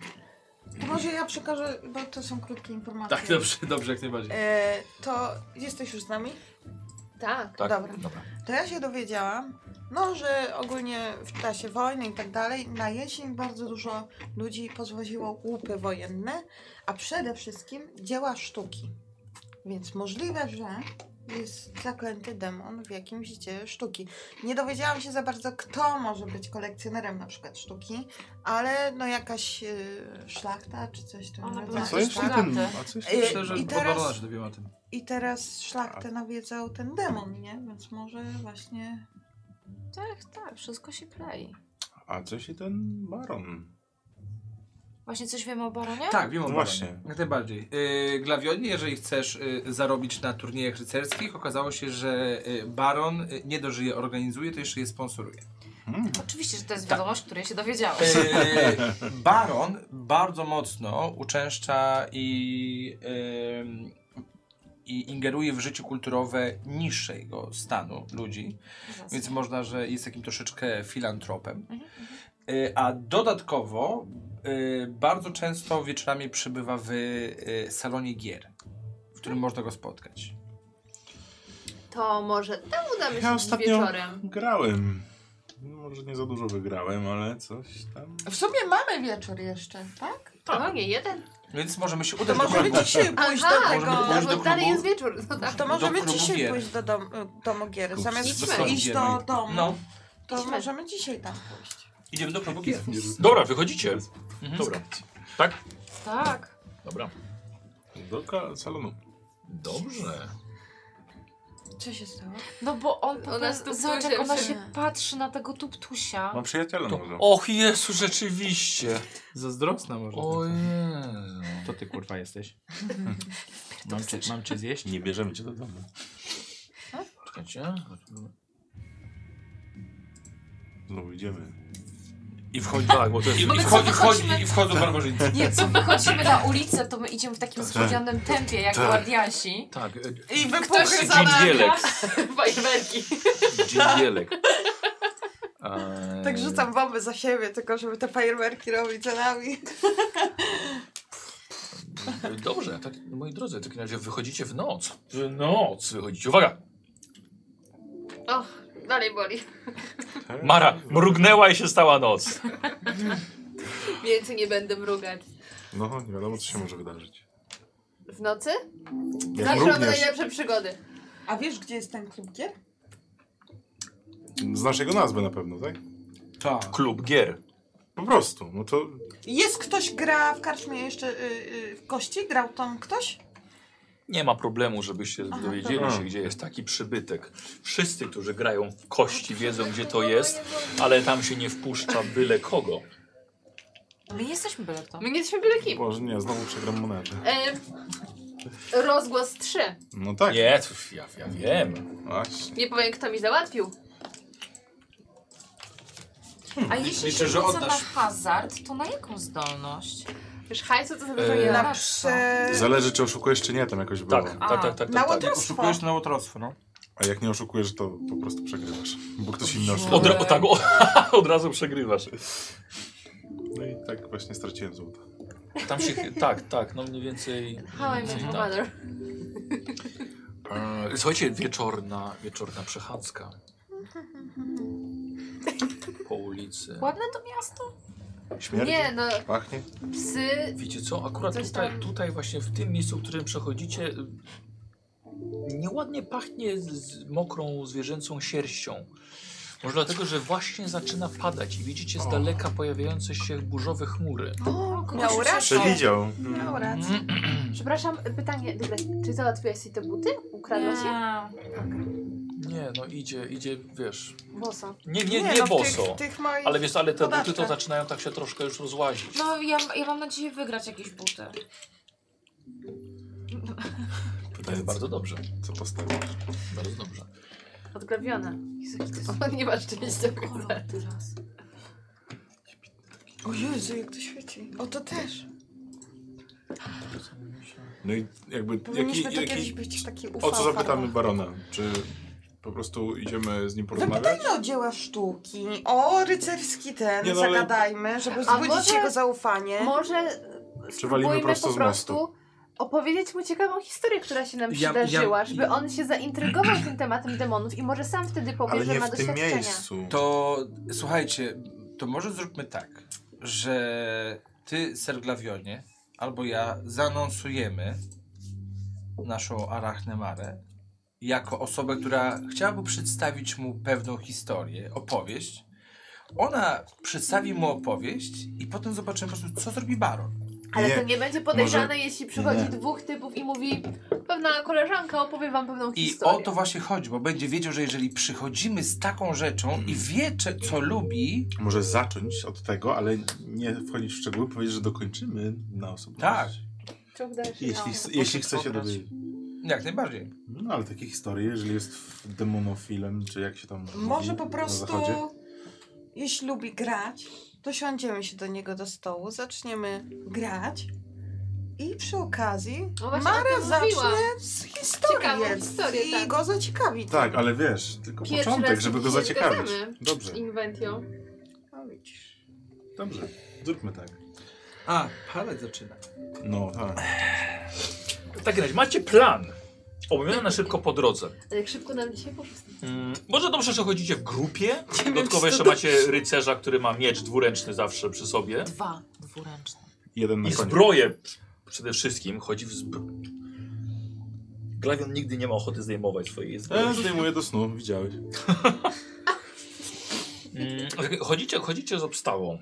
Speaker 5: To może ja przekażę, bo to są krótkie informacje.
Speaker 3: Tak, dobrze, dobrze, jak najbardziej.
Speaker 5: E, to jesteś już z nami?
Speaker 6: Tak.
Speaker 12: Tak,
Speaker 5: Dobra.
Speaker 12: dobra.
Speaker 5: To ja się dowiedziałam, no, że ogólnie w czasie wojny i tak dalej, na jesień bardzo dużo ludzi pozwoziło łupy wojenne, a przede wszystkim dzieła sztuki. Więc możliwe, że jest zaklęty demon w jakimś dziele sztuki. Nie dowiedziałam się za bardzo, kto może być kolekcjonerem na przykład sztuki, ale no jakaś yy, szlachta czy coś w tym
Speaker 2: Ona
Speaker 5: rodzaju.
Speaker 2: była
Speaker 8: A co jeszcze
Speaker 2: Szlachty.
Speaker 8: ten... A co jeszcze...
Speaker 5: Y,
Speaker 3: Myślę, że
Speaker 5: i
Speaker 3: od
Speaker 5: teraz-
Speaker 3: Barona się dowiemy o tym.
Speaker 5: I teraz szlachtę nawiedzał ten demon, nie? Więc może właśnie...
Speaker 2: Tak, tak, wszystko się klei.
Speaker 8: A co się ten baron?
Speaker 2: Właśnie coś wiemy o baronie?
Speaker 3: Tak, wiem o
Speaker 8: No
Speaker 3: Baronie.
Speaker 8: właśnie.
Speaker 3: Jak najbardziej. Yy, Glawionie, jeżeli chcesz y, zarobić na turniejach rycerskich, okazało się, że y, Baron y, nie dożyje, organizuje, to jeszcze je sponsoruje.
Speaker 2: Oczywiście, że to jest
Speaker 3: Tak.
Speaker 2: wiadomość, której się dowiedziałeś.
Speaker 3: Yy, Baron bardzo mocno uczęszcza i, ym, i ingeruje w życie kulturowe niższego stanu ludzi,
Speaker 2: Zaraz.
Speaker 3: więc można, że jest takim troszeczkę filantropem.
Speaker 2: Mhm,
Speaker 3: Y, A dodatkowo y, bardzo często wieczorami przebywa w y, salonie gier, w którym można go spotkać.
Speaker 6: To może tam udamy się
Speaker 8: Ja
Speaker 6: ostatnio...
Speaker 8: ostatnio-
Speaker 6: wieczorem.
Speaker 8: Grałem. No, może nie za dużo wygrałem, ale coś tam...
Speaker 5: W sumie mamy wieczór jeszcze, tak?
Speaker 6: Tak. No nie, jeden.
Speaker 3: Więc możemy się udać
Speaker 5: To
Speaker 3: do
Speaker 5: możemy
Speaker 3: klubu.
Speaker 5: dzisiaj pójść do
Speaker 6: Aha,
Speaker 5: tego.
Speaker 3: możemy pójść
Speaker 6: no
Speaker 3: do
Speaker 6: bo dalej
Speaker 3: klubu.
Speaker 6: jest wieczór. No tak.
Speaker 5: To
Speaker 3: do
Speaker 5: możemy
Speaker 3: klubu
Speaker 5: dzisiaj
Speaker 3: gier.
Speaker 5: pójść do dom, y, domu gier. Zamiast
Speaker 6: Idźmy.
Speaker 3: salonie
Speaker 5: iść
Speaker 3: gier,
Speaker 5: do
Speaker 3: no i-
Speaker 5: domu,
Speaker 3: No,
Speaker 5: to
Speaker 6: Idźmy.
Speaker 5: możemy dzisiaj tam pójść.
Speaker 3: idziemy do klubu gier.
Speaker 12: Dobra, wychodzicie.
Speaker 3: Mhm.
Speaker 12: Dobra. Tak?
Speaker 2: Tak.
Speaker 12: Dobra.
Speaker 8: Do ka- salonu.
Speaker 12: Dobrze.
Speaker 5: Co się stało?
Speaker 2: No bo on po
Speaker 6: Ona
Speaker 2: prostu...
Speaker 6: stupuje
Speaker 2: Zobacz, jak ona
Speaker 6: się.
Speaker 2: się patrzy na tego tuptusia.
Speaker 8: Mam przyjaciela nowego.
Speaker 12: Och Jezu, rzeczywiście.
Speaker 3: Zazdrosna może.
Speaker 12: O Jezu.
Speaker 3: To ty kurwa jesteś. mam, cię, mam cię zjeść?
Speaker 8: Nie bierzemy cię do domu.
Speaker 12: Czekajcie.
Speaker 4: Znowu No, idziemy.
Speaker 3: I wchodzi.
Speaker 1: Tak, bo to jest...
Speaker 3: I,
Speaker 2: Wobec
Speaker 3: i, wchodzi,
Speaker 2: co
Speaker 3: wchodzi,
Speaker 2: wychodzimy-
Speaker 3: I wchodzą barbarzyńcy.
Speaker 2: Nie, co wychodzimy na ulicę, to my idziemy w takim spóźnionym tempie, jak
Speaker 8: Tak.
Speaker 2: guardiansi.
Speaker 1: Tak, e,
Speaker 5: I
Speaker 2: Ktoś
Speaker 5: wypuchy
Speaker 2: się
Speaker 5: za nami.
Speaker 1: dżingielek.
Speaker 6: Fajerwerki.
Speaker 1: Dżingielek. Eee,
Speaker 5: Tak rzucam bomby za siebie, tylko żeby te fajerwerki robić za nami.
Speaker 1: Dobrze, tak, moi drodzy, w takim razie wychodzicie w noc. W noc wychodzicie. Uwaga!
Speaker 6: Och, dalej boli.
Speaker 4: Tak.
Speaker 1: Mara Tak, mrugnęła i się stała noc.
Speaker 6: Więcej nie będę mrugać.
Speaker 4: No, nie wiadomo, co się może wydarzyć.
Speaker 6: W nocy?
Speaker 4: Jak
Speaker 6: Zawsze mamy
Speaker 4: również
Speaker 6: najlepsze przygody.
Speaker 5: A wiesz, gdzie jest ten klub gier?
Speaker 4: znasz jego nazwę na pewno, tak?
Speaker 3: Tak.
Speaker 1: Klub gier.
Speaker 4: Po prostu, no to
Speaker 5: Jest ktoś gra w karczmie jeszcze y, y, w kości? Grał tam ktoś?
Speaker 1: Nie ma problemu, żebyście
Speaker 5: Aha,
Speaker 1: dowiedzieli
Speaker 4: dobra.
Speaker 1: się, gdzie jest taki przybytek. Wszyscy, którzy grają w kości, wiedzą, gdzie to jest, ale tam się nie wpuszcza byle kogo.
Speaker 2: My nie jesteśmy byle kto.
Speaker 6: My nie jesteśmy byle kim.
Speaker 4: Boże, nie, znowu przegram monetę.
Speaker 6: E, rozgłos 3.
Speaker 4: No tak.
Speaker 1: Nie, tf, ja, ja wiem.
Speaker 4: Właśnie.
Speaker 6: Nie powiem, kto mi załatwił.
Speaker 2: A jeśli
Speaker 7: Liczę, że
Speaker 2: się rzuca na
Speaker 7: oddasz.
Speaker 2: hazard, to na jaką zdolność?
Speaker 6: Wiesz, hajsu
Speaker 1: E,
Speaker 6: to
Speaker 4: Eee,
Speaker 6: zaburzenie.
Speaker 5: Na
Speaker 6: na...
Speaker 5: prze...
Speaker 4: Zależy, czy oszukujesz, czy nie, tam jakoś było.
Speaker 1: Tak, tak, tak, tak.
Speaker 5: Na
Speaker 1: tak, tak.
Speaker 5: łotrostwo.
Speaker 3: Oszukujesz na łotrostwo, no.
Speaker 4: A jak nie oszukujesz, to po prostu przegrywasz. Bo ktoś inny oszukuje.
Speaker 1: Od, ra- tak o, od razu przegrywasz.
Speaker 4: No i tak właśnie straciłem złoto.
Speaker 1: Tam się, tak, tak, no mniej więcej.
Speaker 6: How I
Speaker 1: mniej
Speaker 6: met
Speaker 1: więcej
Speaker 6: your
Speaker 1: tak.
Speaker 6: mother.
Speaker 1: E, Słuchajcie, wieczorna, wieczorna przechadzka. Po ulicy.
Speaker 2: Ładne to miasto?
Speaker 4: Śmierć?
Speaker 6: Nie, no,
Speaker 4: Pachnie?
Speaker 6: psy...
Speaker 1: Wiecie co, akurat
Speaker 6: Coś
Speaker 1: tutaj,
Speaker 6: tam-
Speaker 1: tutaj właśnie w tym miejscu, w którym przechodzicie, y, nieładnie pachnie z- z mokrą zwierzęcą sierścią. Może dlatego, że właśnie zaczyna padać i widzicie z daleka pojawiające się burzowe chmury.
Speaker 6: O,
Speaker 5: Miał
Speaker 6: kogoś...
Speaker 5: rację.
Speaker 4: Przewidział.
Speaker 6: No.
Speaker 5: Miał rację.
Speaker 6: Przepraszam, pytanie, dobra, czy załatwiłaś sobie te buty? Ukradłaś je?
Speaker 1: Nie, no idzie, idzie, wiesz,
Speaker 6: Boso.
Speaker 1: nie, nie, nie,
Speaker 5: no, w
Speaker 1: boso,
Speaker 5: Tych, tych moich...
Speaker 1: ale wiesz, ale te buty to
Speaker 5: podatkach.
Speaker 1: zaczynają tak się troszkę już rozłazić.
Speaker 2: No ja, ja mam nadzieję wygrać jakieś buty.
Speaker 1: Pytanie bardzo dobrze,
Speaker 4: Co postawił?
Speaker 1: bardzo dobrze.
Speaker 6: Odgrabiona. Jezu, jaki to jest- On nie ma szczęścia.
Speaker 2: Kolor teraz.
Speaker 5: O Jezu, jak to świeci. O, to też.
Speaker 4: No i jakby... Jaki,
Speaker 5: Powinniśmy
Speaker 6: tak
Speaker 5: to kiedyś
Speaker 4: jaki,
Speaker 5: być taki ufa,
Speaker 4: o co zapytamy barona? Czy po prostu idziemy z nim porozmawiać?
Speaker 5: Zapytajmy o dzieła sztuki, o rycerski ten,
Speaker 4: Nie, no, ale-
Speaker 5: zagadajmy, żeby
Speaker 6: A
Speaker 5: zbudzić
Speaker 6: może-
Speaker 5: jego zaufanie.
Speaker 6: Może e,
Speaker 4: Czy walimy
Speaker 6: spróbujmy
Speaker 4: prosto
Speaker 6: po
Speaker 4: z mostu?
Speaker 6: prostu opowiedzieć mu ciekawą historię, która się nam
Speaker 3: Ja-
Speaker 6: przydarzyła,
Speaker 3: ja-
Speaker 6: żeby on się zaintrygował tym tematem demonów i może sam wtedy powie,
Speaker 4: Ale
Speaker 6: że
Speaker 4: nie
Speaker 6: ma
Speaker 4: w tym
Speaker 6: doświadczenia.
Speaker 4: miejscu.
Speaker 3: To słuchajcie, to może zróbmy tak, że ty, Serglawionie, albo ja zanonsujemy naszą Arachnemarę jako osobę, która chciałaby przedstawić mu pewną historię, opowieść. Ona przedstawi mu opowieść i potem zobaczymy po prostu, co zrobi baron.
Speaker 6: Ale
Speaker 4: Nie,
Speaker 6: to nie będzie podejrzane,
Speaker 4: może-
Speaker 6: jeśli przychodzi
Speaker 4: nie.
Speaker 6: dwóch typów i mówi pewna koleżanka opowie wam pewną
Speaker 3: I
Speaker 6: historię.
Speaker 3: o to właśnie chodzi, bo będzie wiedział, że jeżeli przychodzimy z taką rzeczą i wie, czy- co lubi,
Speaker 4: Może zacząć od tego, ale nie wchodzić w szczegóły, powiedzieć, że dokończymy na osobę.
Speaker 3: Tak.
Speaker 4: Jeśli,
Speaker 5: Tak.
Speaker 4: jeśli chce się
Speaker 3: pobrać.
Speaker 4: dowiedzieć.
Speaker 3: jak najbardziej.
Speaker 4: No ale takie historie, jeżeli jest f- demonofilem, czy jak się tam.
Speaker 5: Może
Speaker 4: mówi
Speaker 5: po
Speaker 4: na
Speaker 5: prostu,
Speaker 4: zachodzie.
Speaker 5: jeśli lubi grać, to siądziemy się do niego do stołu, zaczniemy grać i przy okazji
Speaker 6: No właśnie o
Speaker 5: Mara
Speaker 6: tym mówiłam.
Speaker 5: zacznie z historii
Speaker 6: Ciekawą historię,
Speaker 5: i
Speaker 6: tak.
Speaker 5: go zaciekawi.
Speaker 4: Tak, ale wiesz, tylko
Speaker 6: Pierwszy
Speaker 4: początek,
Speaker 6: raz
Speaker 4: żeby go
Speaker 6: się
Speaker 4: zaciekawić.
Speaker 6: zgadzamy.
Speaker 4: Dobrze,
Speaker 6: Inwentio.
Speaker 5: No widzisz.
Speaker 4: dobrze. Zróbmy tak.
Speaker 3: A, palec zaczyna.
Speaker 4: No tak.
Speaker 1: W takim razie Tak, macie plan, omówiony na szybko po drodze.
Speaker 6: Ale Jak szybko nam dzisiaj poszło.
Speaker 1: Mm, Może dobrze, że chodzicie w grupie.
Speaker 5: wiem,
Speaker 1: Dodatkowo
Speaker 5: czy
Speaker 1: jeszcze
Speaker 5: to
Speaker 1: macie rycerza, który ma miecz dwuręczny zawsze przy sobie.
Speaker 2: Dwa dwuręczne.
Speaker 4: Jeden na
Speaker 1: I
Speaker 4: koniec.
Speaker 1: zbroję przede wszystkim. Chodzi w zbro... Glawion nigdy nie ma ochoty zdejmować swojej
Speaker 4: E,
Speaker 1: zbroi.
Speaker 4: zdejmuję do snu, widziałeś.
Speaker 1: Mm, tak, Chodzicie, chodzicie z obstawą.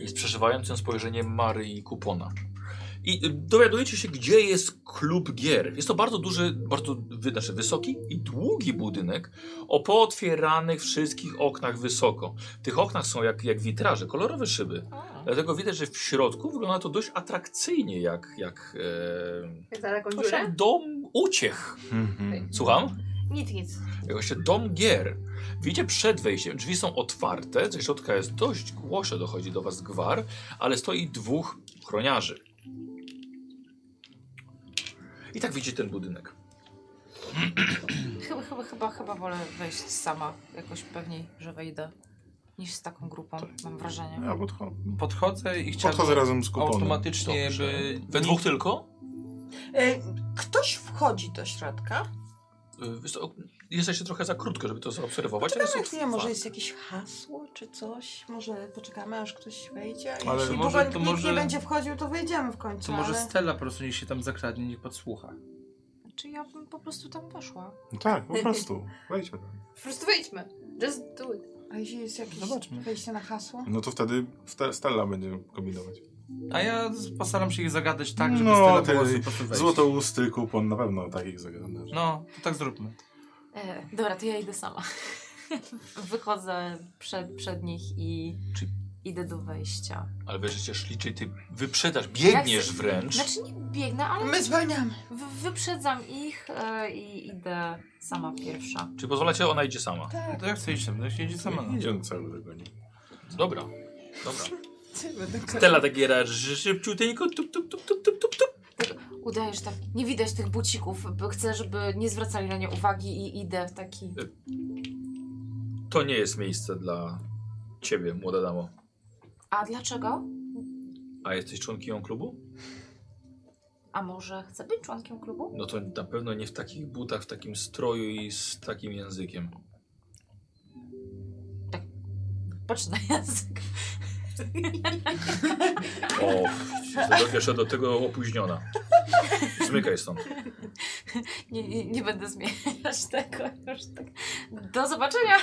Speaker 1: I z przeżywającym spojrzeniem Mary i Kupona. I y, dowiadujecie się, gdzie jest klub gier. Jest to bardzo duży, bardzo wy- znaczy wysoki i długi budynek o pootwieranych wszystkich oknach wysoko. W tych oknach są jak, jak witraże, kolorowe szyby. Dlatego widać, że w środku wygląda to dość atrakcyjnie, jak, jak
Speaker 6: Jak za taką
Speaker 1: e,
Speaker 6: dziurę?
Speaker 1: dom uciech.
Speaker 4: Mhm.
Speaker 1: Słucham?
Speaker 6: Nic, nic.
Speaker 1: Jakoś się dom gier. Widzicie przed wejściem, drzwi są otwarte, ze środka jest dość głośno, dochodzi do was gwar, ale stoi dwóch chroniarzy. I tak widzicie ten budynek.
Speaker 2: Chyba, chyba, chyba, chyba wolę wejść sama. Jakoś pewniej, że wejdę. Niż z taką grupą, mam wrażenie.
Speaker 8: Ja podchodzę,
Speaker 4: No.
Speaker 7: Podchodzę i chciałbym
Speaker 8: podchodzę razem z kuponem.
Speaker 7: automatycznie
Speaker 1: Dobrze.
Speaker 7: by...
Speaker 1: We dwóch tylko?
Speaker 5: E, ktoś wchodzi do środka.
Speaker 1: Y, wiesz co, Jesteście trochę za krótko, żeby to zaobserwować. ale
Speaker 5: Poczekamy
Speaker 1: są
Speaker 5: chwilę, może
Speaker 1: otwarte.
Speaker 5: jest jakieś hasło czy coś. Może poczekamy, aż ktoś wejdzie.
Speaker 8: Ale
Speaker 5: Ale Jeśli
Speaker 7: może-
Speaker 5: długo
Speaker 7: to
Speaker 5: nikt
Speaker 7: może-
Speaker 5: nie będzie wchodził, to wejdziemy w końcu.
Speaker 7: To może
Speaker 5: ale...
Speaker 7: Stella po prostu niech się tam zakradnie, niech podsłucha.
Speaker 2: Czy Znaczy, ja bym po prostu tam weszła?
Speaker 8: No tak, po prostu. Wejdźmy tam.
Speaker 6: Po prostu wyjdźmy. Just do it.
Speaker 5: A jeśli jest jakieś
Speaker 7: Zobaczmy.
Speaker 5: wejście na hasło?
Speaker 8: No to wtedy Ste- Stella będzie kombinować.
Speaker 7: A ja z- postaram się ich zagadać tak, żeby
Speaker 8: No,
Speaker 7: Stella
Speaker 8: ty
Speaker 7: mogła sobie po prostu wejść.
Speaker 8: Złotousty kupon na pewno takich zaglądasz.
Speaker 7: No, to tak zróbmy.
Speaker 2: E, dobra, to ja idę sama. Wychodzę przed, przed nich i
Speaker 1: Czy-
Speaker 2: idę do wejścia.
Speaker 1: Ale wiesz, że szliczy, ty wyprzedasz, biegniesz
Speaker 2: Jak-
Speaker 1: wręcz.
Speaker 2: Znaczy nie biegnę, ale
Speaker 5: My zwalniamy.
Speaker 2: w, wyprzedzam ich e, i idę sama pierwsza.
Speaker 1: Czy pozwalacie, ona idzie sama.
Speaker 5: Tak.
Speaker 7: To jak chce iść tam, to się idzie sama. no.
Speaker 8: Nie idzie on cały dogoni.
Speaker 1: Dobra, dobra.
Speaker 5: Ty, będę
Speaker 1: Stella tak giera, że szybciuteńko, tup, tup, tup, tup, tup, tup, tup.
Speaker 2: Udajesz tak, nie widać tych bucików, bo chcę, żeby nie zwracali na nie uwagi i idę w taki...
Speaker 1: To nie jest miejsce dla ciebie, młoda damo.
Speaker 2: A dlaczego?
Speaker 1: A jesteś członkinią klubu?
Speaker 2: A może chcę być członkiem klubu?
Speaker 1: No to na pewno nie w takich butach, w takim stroju i z takim językiem.
Speaker 2: Patrz na język.
Speaker 1: O, jeszcze do tego opóźniona. Zmykaj stąd.
Speaker 2: Nie, nie, nie będę zmieniać tego już tak. Do zobaczenia.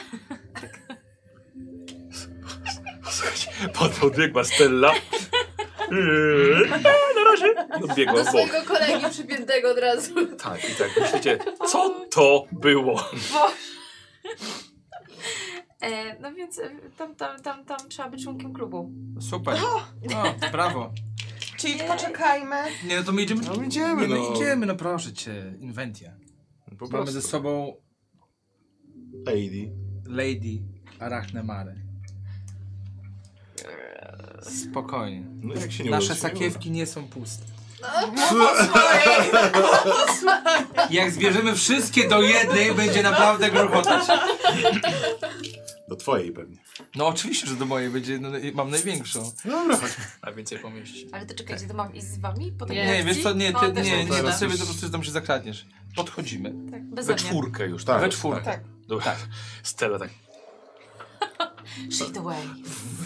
Speaker 1: Pod- Podbiegła Stella. Eee, Na razie. I odbiegła
Speaker 6: Do
Speaker 1: w bok.
Speaker 6: swojego kolegi przypiętego od razu.
Speaker 1: Tak, i tak myślicie, co to było?
Speaker 2: E, no więc e, tam, tam, tam, tam trzeba być członkiem klubu.
Speaker 7: Super. No, brawo.
Speaker 5: Czyli poczekajmy.
Speaker 7: Nie, no to my idziemy.
Speaker 8: No idziemy,
Speaker 7: nie, my
Speaker 8: no.
Speaker 7: idziemy, no proszę cię, Inventia.
Speaker 8: Po
Speaker 7: Mamy
Speaker 8: prostu.
Speaker 7: ze sobą
Speaker 8: Lady.
Speaker 7: Lady Arachnemare. Spokojnie.
Speaker 8: No
Speaker 4: tak
Speaker 8: jak się nie
Speaker 7: Nasze
Speaker 8: uda, to się
Speaker 7: sakiewki nie są puste.
Speaker 8: uda.
Speaker 7: Jak zbierzemy wszystkie do jednej, będzie naprawdę gruchotać.
Speaker 8: Do twojej pewnie.
Speaker 7: No oczywiście, że do mojej będzie, no, i mam największą.
Speaker 8: Dobra,
Speaker 7: A więcej pomieści.
Speaker 2: Ale to czekajcie, to mam iść z wami? Potem
Speaker 7: Nie,
Speaker 2: ja
Speaker 7: wiesz co, nie,
Speaker 2: O,
Speaker 7: ty,
Speaker 2: też
Speaker 7: nie,
Speaker 2: mam
Speaker 7: nie,
Speaker 2: tyle.
Speaker 7: do siebie to po prostu tam się zakradniesz. Podchodzimy.
Speaker 2: Tak, bez
Speaker 1: We
Speaker 2: mnie.
Speaker 1: czwórkę już, tak?
Speaker 8: Tak.
Speaker 7: We czwórkę.
Speaker 5: Tak.
Speaker 1: Dobra. Stella tak.
Speaker 2: Shade away.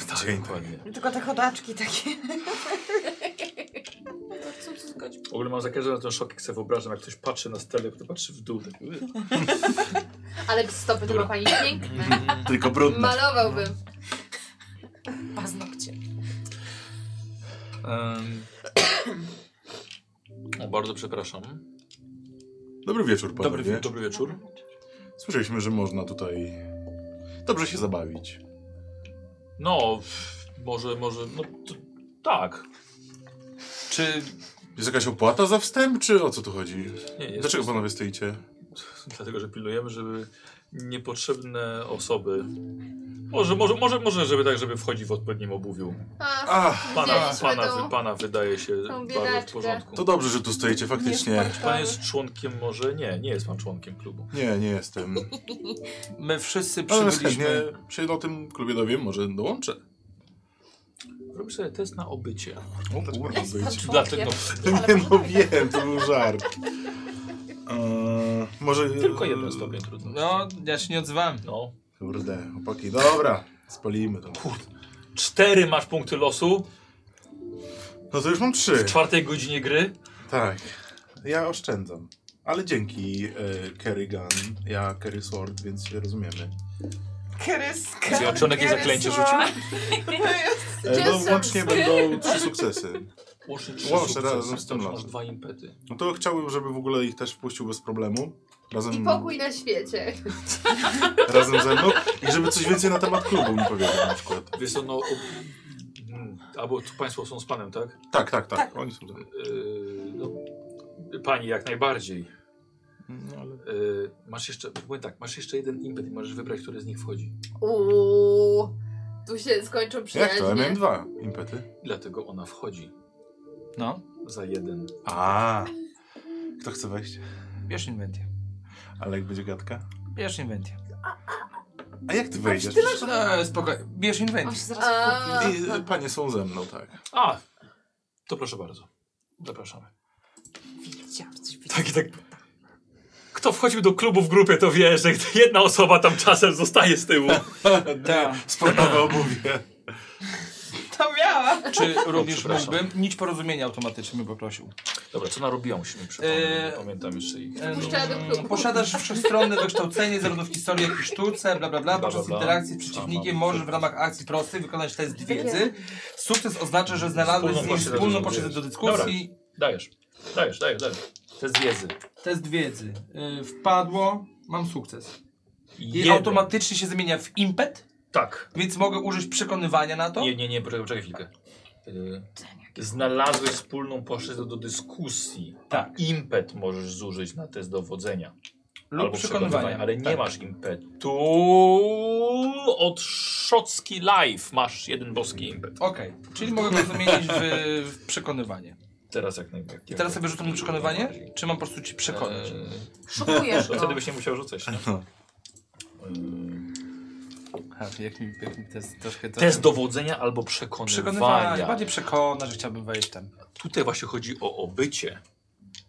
Speaker 1: tak
Speaker 8: Dzień
Speaker 1: dokładnie.
Speaker 5: Tylko te chodaczki takie.
Speaker 1: W ogóle mam zakazany ten szok, jak sobie wyobrażam, jak ktoś patrzy na Stellę, to patrzy w dół. Tak.
Speaker 6: Ale stopy to ma pani piękne.
Speaker 8: tylko brudne.
Speaker 6: Malowałbym.
Speaker 2: Paznokcie.
Speaker 1: Em, O, bardzo przepraszam.
Speaker 8: Dobry wieczór, panowie.
Speaker 1: Dobry, dobry wieczór.
Speaker 8: Słyszeliśmy, że można tutaj dobrze się zabawić.
Speaker 1: No, w- może, może, no to, tak.
Speaker 7: Czy
Speaker 8: Jest jakaś opłata za wstęp, czy o co tu chodzi?
Speaker 1: Nie, jest
Speaker 8: Dlaczego panowie stoicie?
Speaker 1: Dlatego, że pilnujemy, żeby niepotrzebne osoby... Może, może, może, może, żeby tak, żeby wchodził w odpowiednim obuwiu.
Speaker 6: A,
Speaker 8: Ach,
Speaker 1: Pana,
Speaker 6: Widzieliśmy
Speaker 1: pana,
Speaker 6: tą-
Speaker 1: wy- pana wydaje się
Speaker 6: tą
Speaker 1: bardzo w
Speaker 6: biedaczkę.
Speaker 1: porządku.
Speaker 8: to dobrze, że tu stoicie, faktycznie.
Speaker 1: Pan jest członkiem może? Nie, nie jest pan członkiem klubu.
Speaker 8: Nie, nie jestem.
Speaker 7: my wszyscy
Speaker 8: Ale chętnie
Speaker 7: przybyliśmy...
Speaker 8: się o tym klubie dowiem, może dołączę.
Speaker 1: Robię sobie test na obycie.
Speaker 8: O, kurwa, być.
Speaker 1: Dlatego
Speaker 8: Nie no, wiem, to był żart. Eee, może...
Speaker 1: tylko jeden stopień trudności.
Speaker 7: No, ja się nie odzywałem.
Speaker 1: No.
Speaker 8: Kurde, chłopaki, dobra, spalimy to.
Speaker 1: Cztery masz punkty losu
Speaker 8: No to już mam trzy.
Speaker 1: w czwartej godzinie gry.
Speaker 8: Tak. Ja oszczędzam. Ale dzięki e, Kerrigan, ja Kerry Sword, więc się rozumiemy.
Speaker 5: Kryska.
Speaker 1: Zjednoczonek i zaklęcie
Speaker 8: E, no
Speaker 6: Czasem
Speaker 8: łącznie będą trzy sukcesy.
Speaker 1: Łącznie
Speaker 8: trzy Łącznie sukcesy, razem z tym to
Speaker 1: masz
Speaker 8: masz losem.
Speaker 1: dwa impety.
Speaker 8: No to chciałbym, żeby w ogóle ich też wpuścił bez problemu. Razem,
Speaker 6: I pokój na świecie.
Speaker 8: razem ze mną. I żeby coś więcej na temat klubu mi powiedział na przykład.
Speaker 1: Wiesz co, no... O... mm, Albo tu państwo są z panem, tak?
Speaker 8: Tak, tak, tak. Oni są tam.
Speaker 1: Yy, no, pani jak najbardziej.
Speaker 8: No ale
Speaker 1: y, masz jeszcze, powiem tak, masz jeszcze jeden impet i możesz wybrać, który z nich wchodzi.
Speaker 6: Uuu, tu się skończą
Speaker 8: Jak to? Ja miałem
Speaker 6: przyjaźnie.
Speaker 8: dwa impety.
Speaker 1: I dlatego ona wchodzi
Speaker 3: No.
Speaker 1: za jeden.
Speaker 8: A. Kto chce wejść?
Speaker 3: Bierz inwentję.
Speaker 8: Ale jak będzie gadka?
Speaker 3: Bierz inwentję.
Speaker 8: A jak ty wejdziesz?
Speaker 3: No, spokojnie. Bierz
Speaker 2: On się
Speaker 3: inwentję.
Speaker 2: zaraz
Speaker 6: A,
Speaker 2: kupi.
Speaker 8: I, y, panie są ze mną, tak.
Speaker 1: A, to proszę bardzo. Zapraszamy.
Speaker 2: Wiedziałam, coś
Speaker 1: Tak i tak. Kto wchodził do klubu w grupie, to wie, że jedna osoba tam czasem zostaje z tyłu.
Speaker 3: Da.
Speaker 8: Sportowe obuwie.
Speaker 5: To miała.
Speaker 3: Czy również
Speaker 1: przepraszam.
Speaker 3: mógłbym? Nic porozumienia automatycznie bym poprosił.
Speaker 1: Dobra, co narobiłam, musimy przypomnieć.
Speaker 3: Eee,
Speaker 1: Pamiętam jeszcze ich.
Speaker 6: Puszczę do klubu.
Speaker 3: No, Posiadasz wszechstronne wykształcenie zarówno w historii, jak i sztuce, bla bla bla. Podczas
Speaker 1: bla.
Speaker 3: interakcji z przeciwnikiem możesz w ramach akcji prostej wykonać test wiedzy. Sukces oznacza, że znalazłeś z
Speaker 1: Wspólną
Speaker 3: nim
Speaker 1: płaszczyznę
Speaker 3: wspólną
Speaker 1: do
Speaker 3: płaszczyznę do
Speaker 1: wiedzy.
Speaker 3: dyskusji.
Speaker 1: Dajesz, dajesz, dajesz, dajesz. Test wiedzy.
Speaker 3: Test wiedzy. Y, Wpadło, mam sukces. I
Speaker 1: Jeden.
Speaker 3: automatycznie się zamienia w impet,
Speaker 1: Tak.
Speaker 3: więc mogę użyć przekonywania na to.
Speaker 1: Nie, nie, nie, poczekaj chwilkę. Yy, Znalazłeś wspólną płaszczyznę do dyskusji.
Speaker 3: Tak.
Speaker 1: Impet możesz zużyć na test dowodzenia.
Speaker 3: Lub przekonywania.
Speaker 1: ale nie
Speaker 3: Tak.
Speaker 1: masz impetu. Od Szocki Life masz jeden boski impet.
Speaker 3: Okej, czyli mogę go zamienić w, w przekonywanie.
Speaker 1: Teraz jak najbardziej.
Speaker 3: I teraz sobie rzucam na przekonywanie? Czy mam po prostu ci przekonać?
Speaker 1: Eee,
Speaker 2: Szukujesz
Speaker 1: to
Speaker 2: go.
Speaker 1: No, wtedy byś nie musiał rzucać.
Speaker 3: No. Ha, E, jak mi, jak mi test troszkę...
Speaker 1: Test dowodzenia albo przekonywania.
Speaker 3: Przekonywania. Bardziej przekonać, że chciałbym wejść tam.
Speaker 1: Tutaj właśnie chodzi o obycie.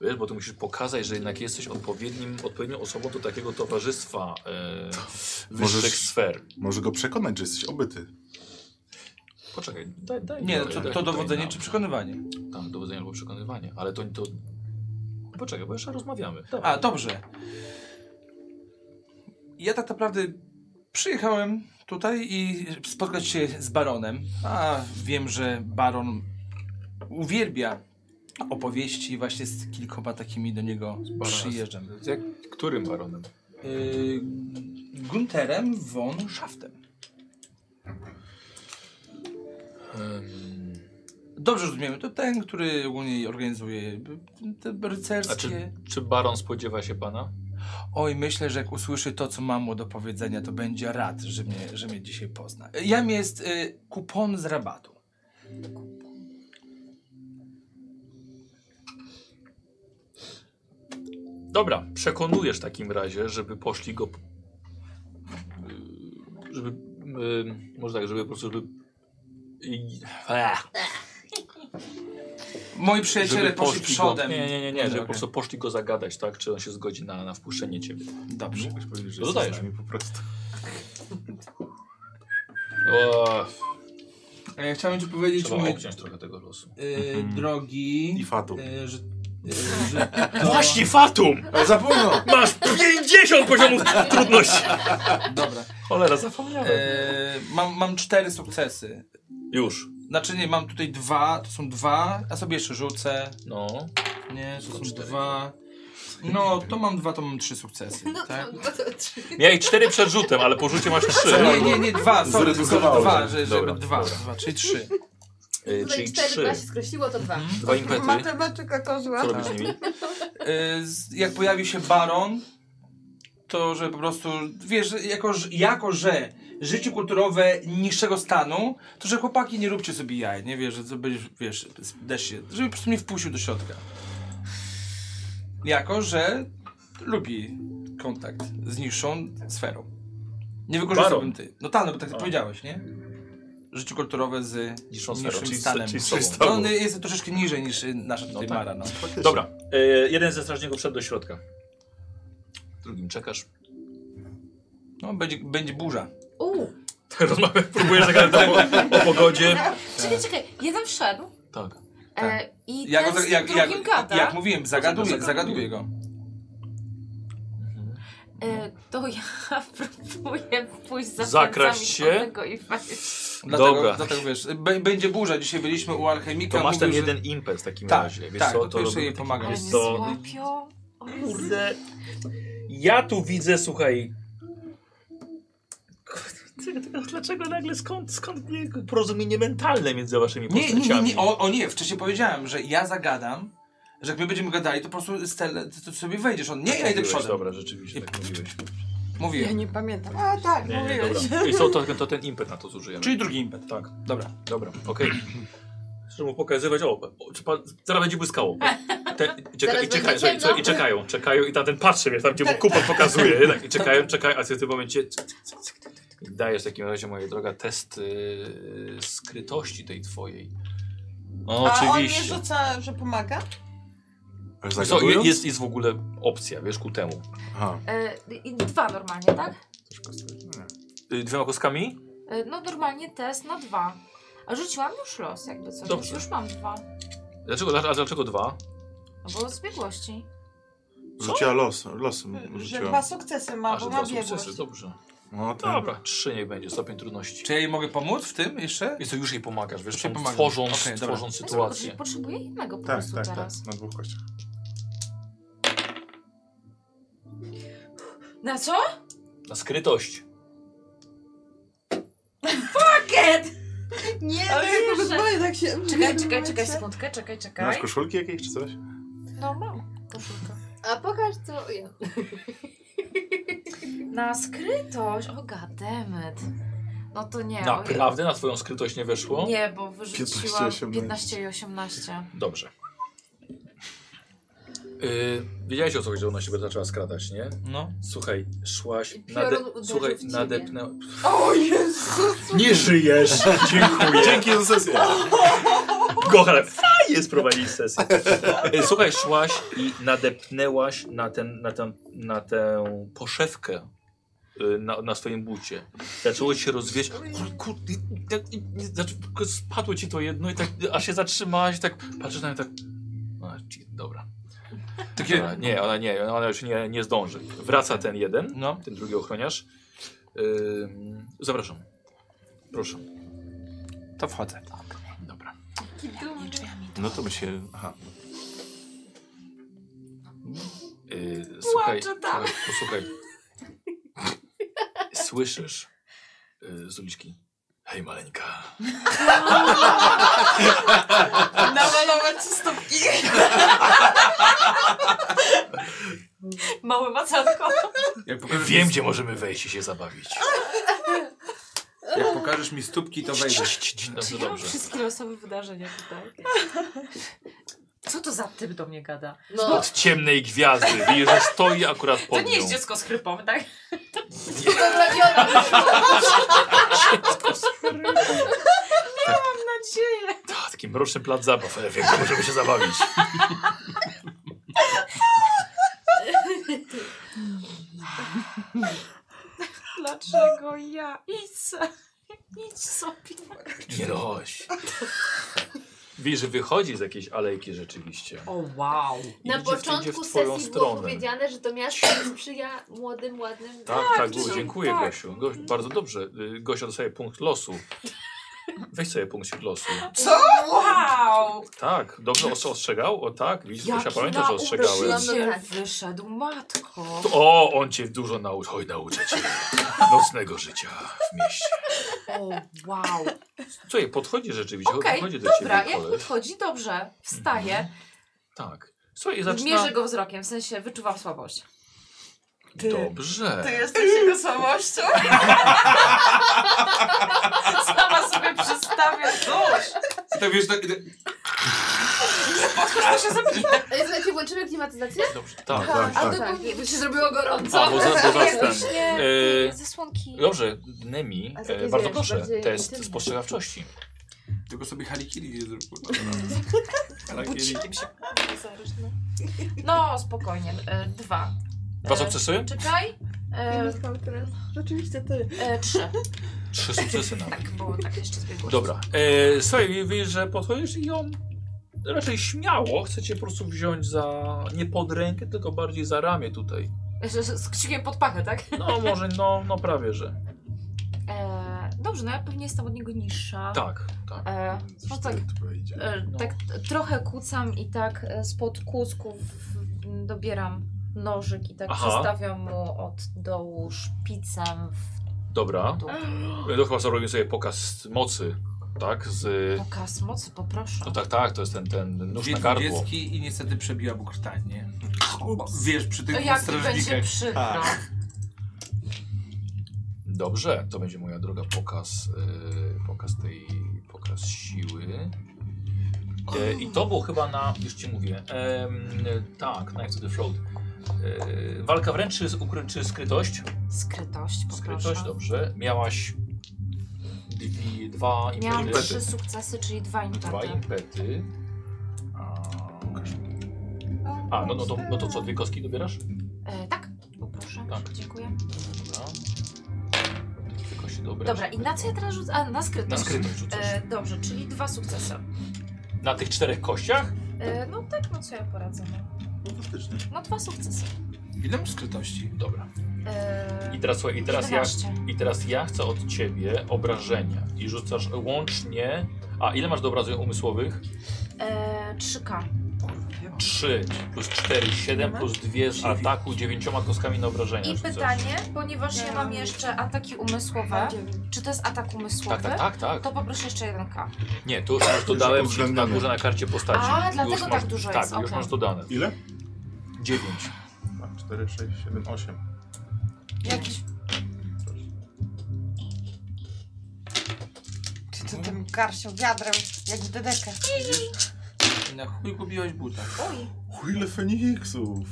Speaker 1: Wiesz, bo tu musisz pokazać, że jednak jesteś odpowiednim, odpowiednią osobą do takiego towarzystwa e, wyższych
Speaker 8: Możesz-
Speaker 1: sfer.
Speaker 8: Może go przekonać, że jesteś obyty.
Speaker 1: Poczekaj, daj, daj
Speaker 3: Nie,
Speaker 1: daj-
Speaker 3: no to,
Speaker 1: daj
Speaker 3: to
Speaker 1: tutaj
Speaker 3: dowodzenie
Speaker 1: na-
Speaker 3: czy przekonywanie?
Speaker 1: Tam, dowodzenie albo przekonywanie, ale to... to... Poczekaj, bo jeszcze rozmawiamy. Dobra.
Speaker 3: A, dobrze. Ja tak naprawdę przyjechałem tutaj i spotkać się z baronem. A wiem, że baron uwielbia opowieści właśnie z kilkoma takimi do niego przyjeżdżam.
Speaker 1: Z jak, którym baronem?
Speaker 3: Yy, Gunterem von Schaftem.
Speaker 1: Ym,
Speaker 3: Dobrze rozumiemy, to ten, który ogólnie organizuje yy, te
Speaker 1: a
Speaker 3: rycerskie...
Speaker 1: czy, czy baron spodziewa się pana?
Speaker 3: Oj, myślę, że jak usłyszy to, co mam mu do powiedzenia, to będzie rad, że mnie, że mnie dzisiaj pozna. Jam jest y, kupon z rabatu.
Speaker 1: Dobra, przekonujesz w takim razie, żeby poszli go. p- y, Żeby. y, Może tak, żeby po prostu. Żeby, i- e, ech,
Speaker 3: Moi przyjaciele poszli
Speaker 1: go,
Speaker 3: przodem.
Speaker 1: nie, nie, nie, nie żeby
Speaker 3: Okej.
Speaker 1: po prostu poszli go zagadać, tak? Czy on się zgodzi na, na wpuszczenie ciebie.
Speaker 3: Dobrze.
Speaker 8: Mógłbyś powiedzieć, że
Speaker 1: No
Speaker 8: jesteś
Speaker 1: dodajesz.
Speaker 8: z nami po prostu.
Speaker 1: O,
Speaker 3: E, chciałem ci powiedzieć,
Speaker 1: trzeba
Speaker 3: mój
Speaker 1: obciąć trochę tego losu.
Speaker 3: y,
Speaker 8: Mhm.
Speaker 3: drogi,
Speaker 8: I fatu.
Speaker 3: y, że, y, że to...
Speaker 1: Fatum!
Speaker 8: O, za późno!
Speaker 1: Masz 50 poziomów trudności!
Speaker 3: Dobra.
Speaker 1: Cholera, zapomniałem.
Speaker 3: E, mam, mam cztery sukcesy.
Speaker 1: Już.
Speaker 3: Znaczy nie, mam tutaj dwa, to są dwa, a sobie jeszcze rzucę.
Speaker 1: No.
Speaker 3: Nie, to
Speaker 1: Są
Speaker 3: są
Speaker 1: cztery.
Speaker 3: dwa. No, to mam dwa, to mam trzy sukcesy,
Speaker 6: No
Speaker 3: tak?
Speaker 6: to, no to trzy.
Speaker 1: Miałeś 4 przed rzutem, ale po rzucie masz Y, 3.
Speaker 3: Nie, nie, nie, dwa, sorry, sorry,
Speaker 8: Zredukowało
Speaker 3: dwa,
Speaker 8: się.
Speaker 3: że, żeby
Speaker 1: Dobra,
Speaker 3: dwa,
Speaker 1: dobra.
Speaker 3: dwa, czyli trzy.
Speaker 6: Tutaj
Speaker 1: Czyli
Speaker 6: cztery,
Speaker 1: 3.
Speaker 6: dwa się skreśliło, to dwa.
Speaker 1: Dwa impety.
Speaker 5: Matematyka kozła.
Speaker 1: Co robisz z nimi?
Speaker 3: Y, z- jak pojawi się baron, to że po prostu, wiesz, że jako, że- jako że życie kulturowe niższego stanu, to że chłopaki nie róbcie sobie jaj, nie wiesz, że to będziesz, wiesz, desz się, żeby po prostu mnie wpuścił do środka. Jako, że lubi kontakt z niższą sferą. Nie wykorzystałbym ty. No tak, no bo tak ty powiedziałeś, nie? Życie kulturowe z
Speaker 1: Niższą sferą,
Speaker 3: niższym
Speaker 1: czyli z-
Speaker 3: stanem.
Speaker 1: czyli z sobą.
Speaker 3: No, on jest troszeczkę niżej niż y, nasza tutaj
Speaker 1: tak.
Speaker 3: Mara, no.
Speaker 1: Dobra, y, jeden ze strażników wszedł do środka. Drugim czekasz.
Speaker 3: no będzie, będzie burza.
Speaker 2: Uuu.
Speaker 1: Rozmawiam, próbujesz tak- zagadać o, o pogodzie.
Speaker 2: Czekaj, czekaj. Jeden wszedł
Speaker 1: Tak.
Speaker 2: e, i
Speaker 3: Ja
Speaker 2: ten
Speaker 3: go,
Speaker 2: z
Speaker 3: za- jak,
Speaker 2: drugim
Speaker 3: jak,
Speaker 2: gada.
Speaker 3: jak mówiłem, zagaduję,
Speaker 1: Zagaduje.
Speaker 3: zagaduję go.
Speaker 2: E, to ja próbuję pójść za
Speaker 1: Zakraść
Speaker 2: plecami
Speaker 1: się.
Speaker 2: tego i wejść.
Speaker 3: Dlatego,
Speaker 1: Dobra.
Speaker 3: dlatego wiesz, b- będzie burza, dzisiaj byliśmy u alchemika.
Speaker 1: To masz ten
Speaker 3: mówił, że-
Speaker 1: jeden impet w takim
Speaker 3: Tak,
Speaker 1: razie. Wiesz
Speaker 3: tak,
Speaker 1: co,
Speaker 3: to pierwszy
Speaker 1: robimy
Speaker 3: jej
Speaker 1: taki-
Speaker 3: pomaga.
Speaker 2: Ale
Speaker 1: wiesz
Speaker 2: mnie
Speaker 1: co,
Speaker 2: złapią. O Jezu.
Speaker 1: Kurde. Ja tu widzę, słuchaj. Kurde, Dlaczego nagle skąd, skąd nie- porozumienie mentalne między waszymi
Speaker 3: Nie,
Speaker 1: postaciami?
Speaker 3: nie, nie, nie o, o nie, wcześniej powiedziałem, że ja zagadam, Że jak my będziemy gadali, to po prostu Stella, ty, ty sobie wejdziesz. On,
Speaker 1: Tak
Speaker 3: nie, ja idę
Speaker 12: Mówiłeś,
Speaker 3: przodem.
Speaker 12: Dobra, rzeczywiście, tak mówiłeś.
Speaker 5: Ja
Speaker 3: Mówiłem.
Speaker 5: nie pamiętam. A tak,
Speaker 12: Nie, nie,
Speaker 5: mówiłeś.
Speaker 1: dobra. I to, to, to ten impet na to zużyjemy.
Speaker 3: Czyli drugi impet.
Speaker 1: Tak.
Speaker 3: Dobra.
Speaker 1: Dobra, okej. Trzeba mu pokazywać, o, o, czy pan- zaraz będzie błyskało. Te, i czeka,
Speaker 6: Zaraz
Speaker 1: i, czeka, słuchaj,
Speaker 6: będzie
Speaker 1: słuchaj, I
Speaker 6: ciemno.
Speaker 1: czekają, czekają i tamten patrzy mnie tam, gdzie mu kupon pokazuje. Tak, I czekają, czekają, a ty w tym momencie cyk, cyk, cyk, cyk, cyk, cyk. dajesz w takim razie, moja droga, test yy, skrytości tej twojej. No,
Speaker 5: A on nie
Speaker 1: oczywiście.
Speaker 5: rzuca, że pomaga?
Speaker 1: Wiesz co, je- jest, jest w ogóle opcja, wiesz, ku temu.
Speaker 8: Aha.
Speaker 2: E, i dwa normalnie, tak?
Speaker 1: Y, Dwiema kostkami?
Speaker 2: E, no normalnie test na dwa. A rzuciłam już los, jakby coś.
Speaker 1: Dobrze.
Speaker 2: Już mam dwa.
Speaker 1: Dlaczego, dla- a dlaczego dwa?
Speaker 2: No bo z biegłości.
Speaker 8: Rzuciła los, losem
Speaker 5: Że dwa
Speaker 8: rzuciła.
Speaker 5: sukcesy
Speaker 1: A,
Speaker 5: ma,
Speaker 1: że
Speaker 5: bo
Speaker 1: dwa
Speaker 5: ma
Speaker 1: sukcesy,
Speaker 5: biegłość.
Speaker 1: dobrze.
Speaker 8: No tak.
Speaker 1: Dobra, trzy niech będzie, stopień trudności.
Speaker 3: Czy ja jej mogę pomóc w tym jeszcze?
Speaker 1: Więc to już jej pomagasz, wiesz,
Speaker 3: Już jej
Speaker 1: tą
Speaker 3: pomagam.
Speaker 1: tworząc,
Speaker 3: Okej, dobra.
Speaker 1: tworząc
Speaker 2: No spoko,
Speaker 1: sytuację.
Speaker 2: czyli Potrzebuję jednego po
Speaker 8: Tak,
Speaker 2: prostu
Speaker 8: tak, tak.
Speaker 2: teraz.
Speaker 8: Na dwóch kościach.
Speaker 2: Na co?
Speaker 1: Na skrytość.
Speaker 2: Get!
Speaker 5: Nie,
Speaker 2: Ale
Speaker 5: ale ja
Speaker 2: wiesz, że-
Speaker 5: rozmawiam tak się...
Speaker 2: Czekaj, czekaj, czekaj, sekundkę, czekaj,
Speaker 4: Masz
Speaker 2: czekaj.
Speaker 4: koszulki jakieś czy coś?
Speaker 2: No mam koszulkę.
Speaker 6: A pokaż co... Ja.
Speaker 2: Na skrytość, o gademet. No to nie.
Speaker 6: Tak.
Speaker 1: Naprawdę na twoją skrytość nie
Speaker 2: O,
Speaker 1: weszło?
Speaker 2: nie, bo wyrzuciłam
Speaker 4: 15,
Speaker 2: 15 i 18.
Speaker 1: Dobrze. Yy, wiedziałeś o co chodzi, że ona się będzie zaczęła skradać, nie?
Speaker 3: No.
Speaker 1: Słuchaj, szłaś,
Speaker 6: I piorun
Speaker 1: nade...
Speaker 6: uderzył
Speaker 1: słuchaj,
Speaker 6: w ciebie.
Speaker 1: nadepnę...
Speaker 5: O Jezu!
Speaker 1: Nie żyjesz! Dziękuję.
Speaker 4: Dzięki za sesję.
Speaker 1: Kochane, fajnie sprowadzić sesję. Yy, Słuchaj, szłaś i nadepnęłaś na, ten, na, tę na tę poszewkę yy, na, na swoim bucie. Zaczęło ci się rozwieść. Kur- kur- i- i- i- i- znaczy, Spadło ci to jedno i tak, a się zatrzymałaś i tak patrzysz na mnie tak... A, ci- dobra. Dobra,
Speaker 3: Takie...
Speaker 1: nie, ona nie, ona No, już nie, nie zdąży. Wraca ten jeden,
Speaker 3: No.
Speaker 1: ten drugi ochroniarz. Ym, zapraszam. Proszę.
Speaker 3: To wchodzę.
Speaker 1: Dobra.
Speaker 2: Nie, czy ja mi to...
Speaker 4: No to by się... Aha.
Speaker 1: Yy, słuchaj,
Speaker 2: Płacze tam.
Speaker 1: słuchaj, posłuchaj. Słyszysz yy, z uliczki. Hej maleńka.
Speaker 5: Namalować ci stópki.
Speaker 2: Małe macanko.
Speaker 3: Jak pokażesz,
Speaker 1: Wiem, gdzie możemy wejść i się zabawić.
Speaker 3: jak pokażesz mi stópki, to wejdziesz.
Speaker 2: Czy
Speaker 1: Dobrze,
Speaker 2: ja mam
Speaker 1: dobrze.
Speaker 2: wszystkie losowe wydarzenia tutaj? Co to za typ do mnie gada?
Speaker 6: No,
Speaker 1: Od ciemnej gwiazdy. Widzisz, że stoi akurat
Speaker 2: To
Speaker 1: pod
Speaker 2: nie
Speaker 1: nią.
Speaker 2: jest dziecko z chrypą, tak? Mam nadzieję.
Speaker 1: Ta, taki mroczny plac zabaw. Ale wiem, gdzie możemy się zabawić.
Speaker 2: Dlaczego ja? Idź sobie. Idź sobie.
Speaker 1: Nie dość. Widzisz, że wychodzi z jakiejś alejki rzeczywiście.
Speaker 2: O wow.
Speaker 6: na
Speaker 1: Idzie w- idzie
Speaker 6: początku
Speaker 1: w twoją
Speaker 6: sesji było
Speaker 1: stronę.
Speaker 6: powiedziane, że to miasto sprzyja młodym, ładnym...
Speaker 1: Tak, tak,
Speaker 2: dzień-
Speaker 1: było, dziękuję
Speaker 2: tak.
Speaker 1: Gosiu. Goś, bardzo dobrze. Y, Gosia dostaje punkt losu. Weź sobie punkt losu.
Speaker 2: Wow.
Speaker 1: Tak, dobrze os- ostrzegał? O tak, widzisz, Gosia
Speaker 2: Jaki
Speaker 1: pamięta, że ostrzegałem.
Speaker 2: nauczyciel wyszedł, matko.
Speaker 1: O, on cię dużo nauczy. Oj, nauczę cię nocnego życia w mieście.
Speaker 2: O wow.
Speaker 1: Słuchaj, podchodzi rzeczywiście,
Speaker 2: Okej,
Speaker 1: podchodzi do
Speaker 2: dobra,
Speaker 1: ciebie
Speaker 2: jak
Speaker 1: koleś.
Speaker 2: podchodzi, dobrze. Wstaję.
Speaker 1: Tak. Słuchaj, zaczyna...
Speaker 2: Mierzę go wzrokiem, w sensie wyczuwam słabość.
Speaker 5: Ty
Speaker 1: Dobrze.
Speaker 5: jesteś jego słabością?
Speaker 2: Sama sobie przystawię nóż.
Speaker 3: I to wiesz, tak...
Speaker 2: Otwórz się zapinę.
Speaker 6: Ej, Słuchajcie, znaczy, włączymy klimatyzację?
Speaker 1: Dobrze, tak.
Speaker 4: Tak,
Speaker 6: A
Speaker 4: tak.
Speaker 6: tak, bo się zrobiło gorąco.
Speaker 1: A, bo za, bo za ten.
Speaker 2: Nie,
Speaker 1: Y,
Speaker 2: Zasłonki.
Speaker 1: Dobrze, Nemi,
Speaker 6: A
Speaker 1: e,
Speaker 6: takie
Speaker 1: bardzo
Speaker 6: zwierzę,
Speaker 1: proszę,
Speaker 6: bardziej
Speaker 1: test
Speaker 6: intymne.
Speaker 1: spostrzegawczości.
Speaker 3: Tylko sobie halikiri nie zrób.
Speaker 1: Tak,
Speaker 2: Bucikiem się zaryżne. No, spokojnie. E, dwa.
Speaker 1: Dwa
Speaker 2: E,
Speaker 1: sukcesy?
Speaker 2: Czekaj. E,
Speaker 5: Rzeczywiście ty.
Speaker 2: e, trzy.
Speaker 1: Trzy sukcesy nawet.
Speaker 2: Tak, bo tak jeszcze zbiegło.
Speaker 1: Dobra. E, słuchaj, widzisz, że podchodzisz i on raczej śmiało chce cię po prostu wziąć za, nie pod rękę, tylko bardziej za ramię tutaj.
Speaker 2: Jeszcze z z kciukiem pod pachę, tak?
Speaker 1: No może, no, no prawie, że.
Speaker 2: E, dobrze, no ja pewnie jestem od niego niższa.
Speaker 1: Tak, tak.
Speaker 2: E, no tak,
Speaker 4: Cztery tu wejdzie.
Speaker 2: e,
Speaker 1: No.
Speaker 2: tak t- trochę kucam i tak e, spod kucków m, dobieram nożyk i tak
Speaker 1: Aha.
Speaker 2: przestawiam mu od dołu szpicem w
Speaker 1: Dobra.
Speaker 2: dół.
Speaker 1: E, To chyba zrobimy sobie pokaz mocy. tak? Z...
Speaker 2: To kasmoc, poproszę.
Speaker 1: No tak, tak, to jest ten, ten nóż
Speaker 7: Dwie
Speaker 1: na gardło.
Speaker 7: dwudziestki i niestety przebiła mu krtanie. Wiesz, przy
Speaker 2: To
Speaker 7: tych
Speaker 2: jak będzie
Speaker 7: strażnikach.
Speaker 2: przykro.
Speaker 1: Tak. Dobrze, to będzie moja droga pokaz, y, pokaz tej, pokaz siły. E, I to było chyba na, już ci mówię, em, tak, Knife to the Throat. E, walka wręcz czy, ukry- czy skrytość?
Speaker 2: Skrytość, poproszę.
Speaker 1: Skrytość, no. dobrze. Miałaś dwie, dwa
Speaker 2: Miałam
Speaker 1: impety.
Speaker 2: trzy sukcesy, czyli dwa
Speaker 1: Dwa
Speaker 2: impety.
Speaker 1: impety. A, A no, no, to, no to co, dwie kostki dobierasz?
Speaker 2: E, tak, poproszę.
Speaker 1: Tak.
Speaker 2: Dziękuję.
Speaker 1: Dobra. Dwie kości dobierasz.
Speaker 2: Dobra, i na co ja teraz rzucę? A, na skrytość.
Speaker 1: Na skrytość rzucasz.
Speaker 2: E, dobrze, czyli dwa sukcesy.
Speaker 1: Na tych czterech kościach?
Speaker 2: E, no tak, no co ja poradzę. no.
Speaker 4: Fantastycznie.
Speaker 2: No dwa sukcesy.
Speaker 7: Ile masz skrytości?
Speaker 1: Dobra.
Speaker 2: E,
Speaker 1: I teraz słuchaj, i teraz ja,
Speaker 2: 11.
Speaker 1: i teraz ja chcę od ciebie obrażenia. I rzucasz łącznie. A ile masz do obrażeń umysłowych?
Speaker 2: E, 3K.
Speaker 1: 3 plus 4, 7 plus 2 z ataku, 9 kostkami na obrażenia.
Speaker 2: I
Speaker 1: rzucasz.
Speaker 2: pytanie, ponieważ ja
Speaker 5: Ja
Speaker 2: mam
Speaker 5: mam
Speaker 2: jeszcze ataki
Speaker 5: tak.
Speaker 2: umysłowe, czy to jest atak umysłowy?
Speaker 1: Tak, tak, tak, tak.
Speaker 2: To poproszę jeszcze 1K.
Speaker 1: Nie, to już masz dodałem ci na
Speaker 4: uwzględnione.
Speaker 1: górze na karcie postaci.
Speaker 2: A, dlatego
Speaker 1: Już
Speaker 2: tak
Speaker 1: masz-
Speaker 2: dużo
Speaker 1: Tak,
Speaker 2: jest,
Speaker 1: już
Speaker 2: okej.
Speaker 1: masz dodane.
Speaker 4: Ile?
Speaker 1: 9.
Speaker 4: 4, 6, 7, 8.
Speaker 5: Jakiś... Ty to tym garścią wiadrem, jak w dedekę.
Speaker 7: I na chuj kupiłaś buta.
Speaker 2: Oj.
Speaker 4: Uj, ile Feniksów!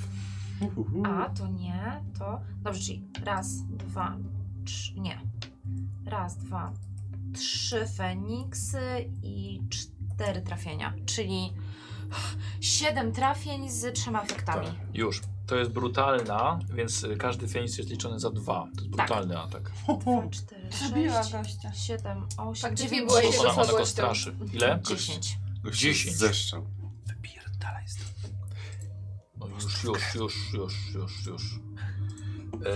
Speaker 4: Uhuhu.
Speaker 2: A, to nie, to... Dobrze, czyli raz, dwa, trzy... Nie. Raz, dwa, trzy Feniksy i cztery trafienia, czyli siedem trafień z trzema efektami.
Speaker 1: Już. To jest brutalna, więc y, każdy Feniks jest liczony za 2. To jest
Speaker 2: Tak.
Speaker 1: brutalny atak.
Speaker 2: Dwa, cztery,
Speaker 5: Zabiła
Speaker 2: sześć,
Speaker 5: gościa.
Speaker 2: siedem, osiem,
Speaker 6: Faktycznie
Speaker 2: dziewięć,
Speaker 6: była
Speaker 1: Bo
Speaker 6: jego
Speaker 1: Ona, ona go
Speaker 6: słabością.
Speaker 1: straszy. Ile?
Speaker 2: dziesięć.
Speaker 4: Gościu
Speaker 1: dziesięć.
Speaker 4: Zeszczał.
Speaker 7: Wypierdalaj z
Speaker 1: No już, już, już, już, już, już. Eee,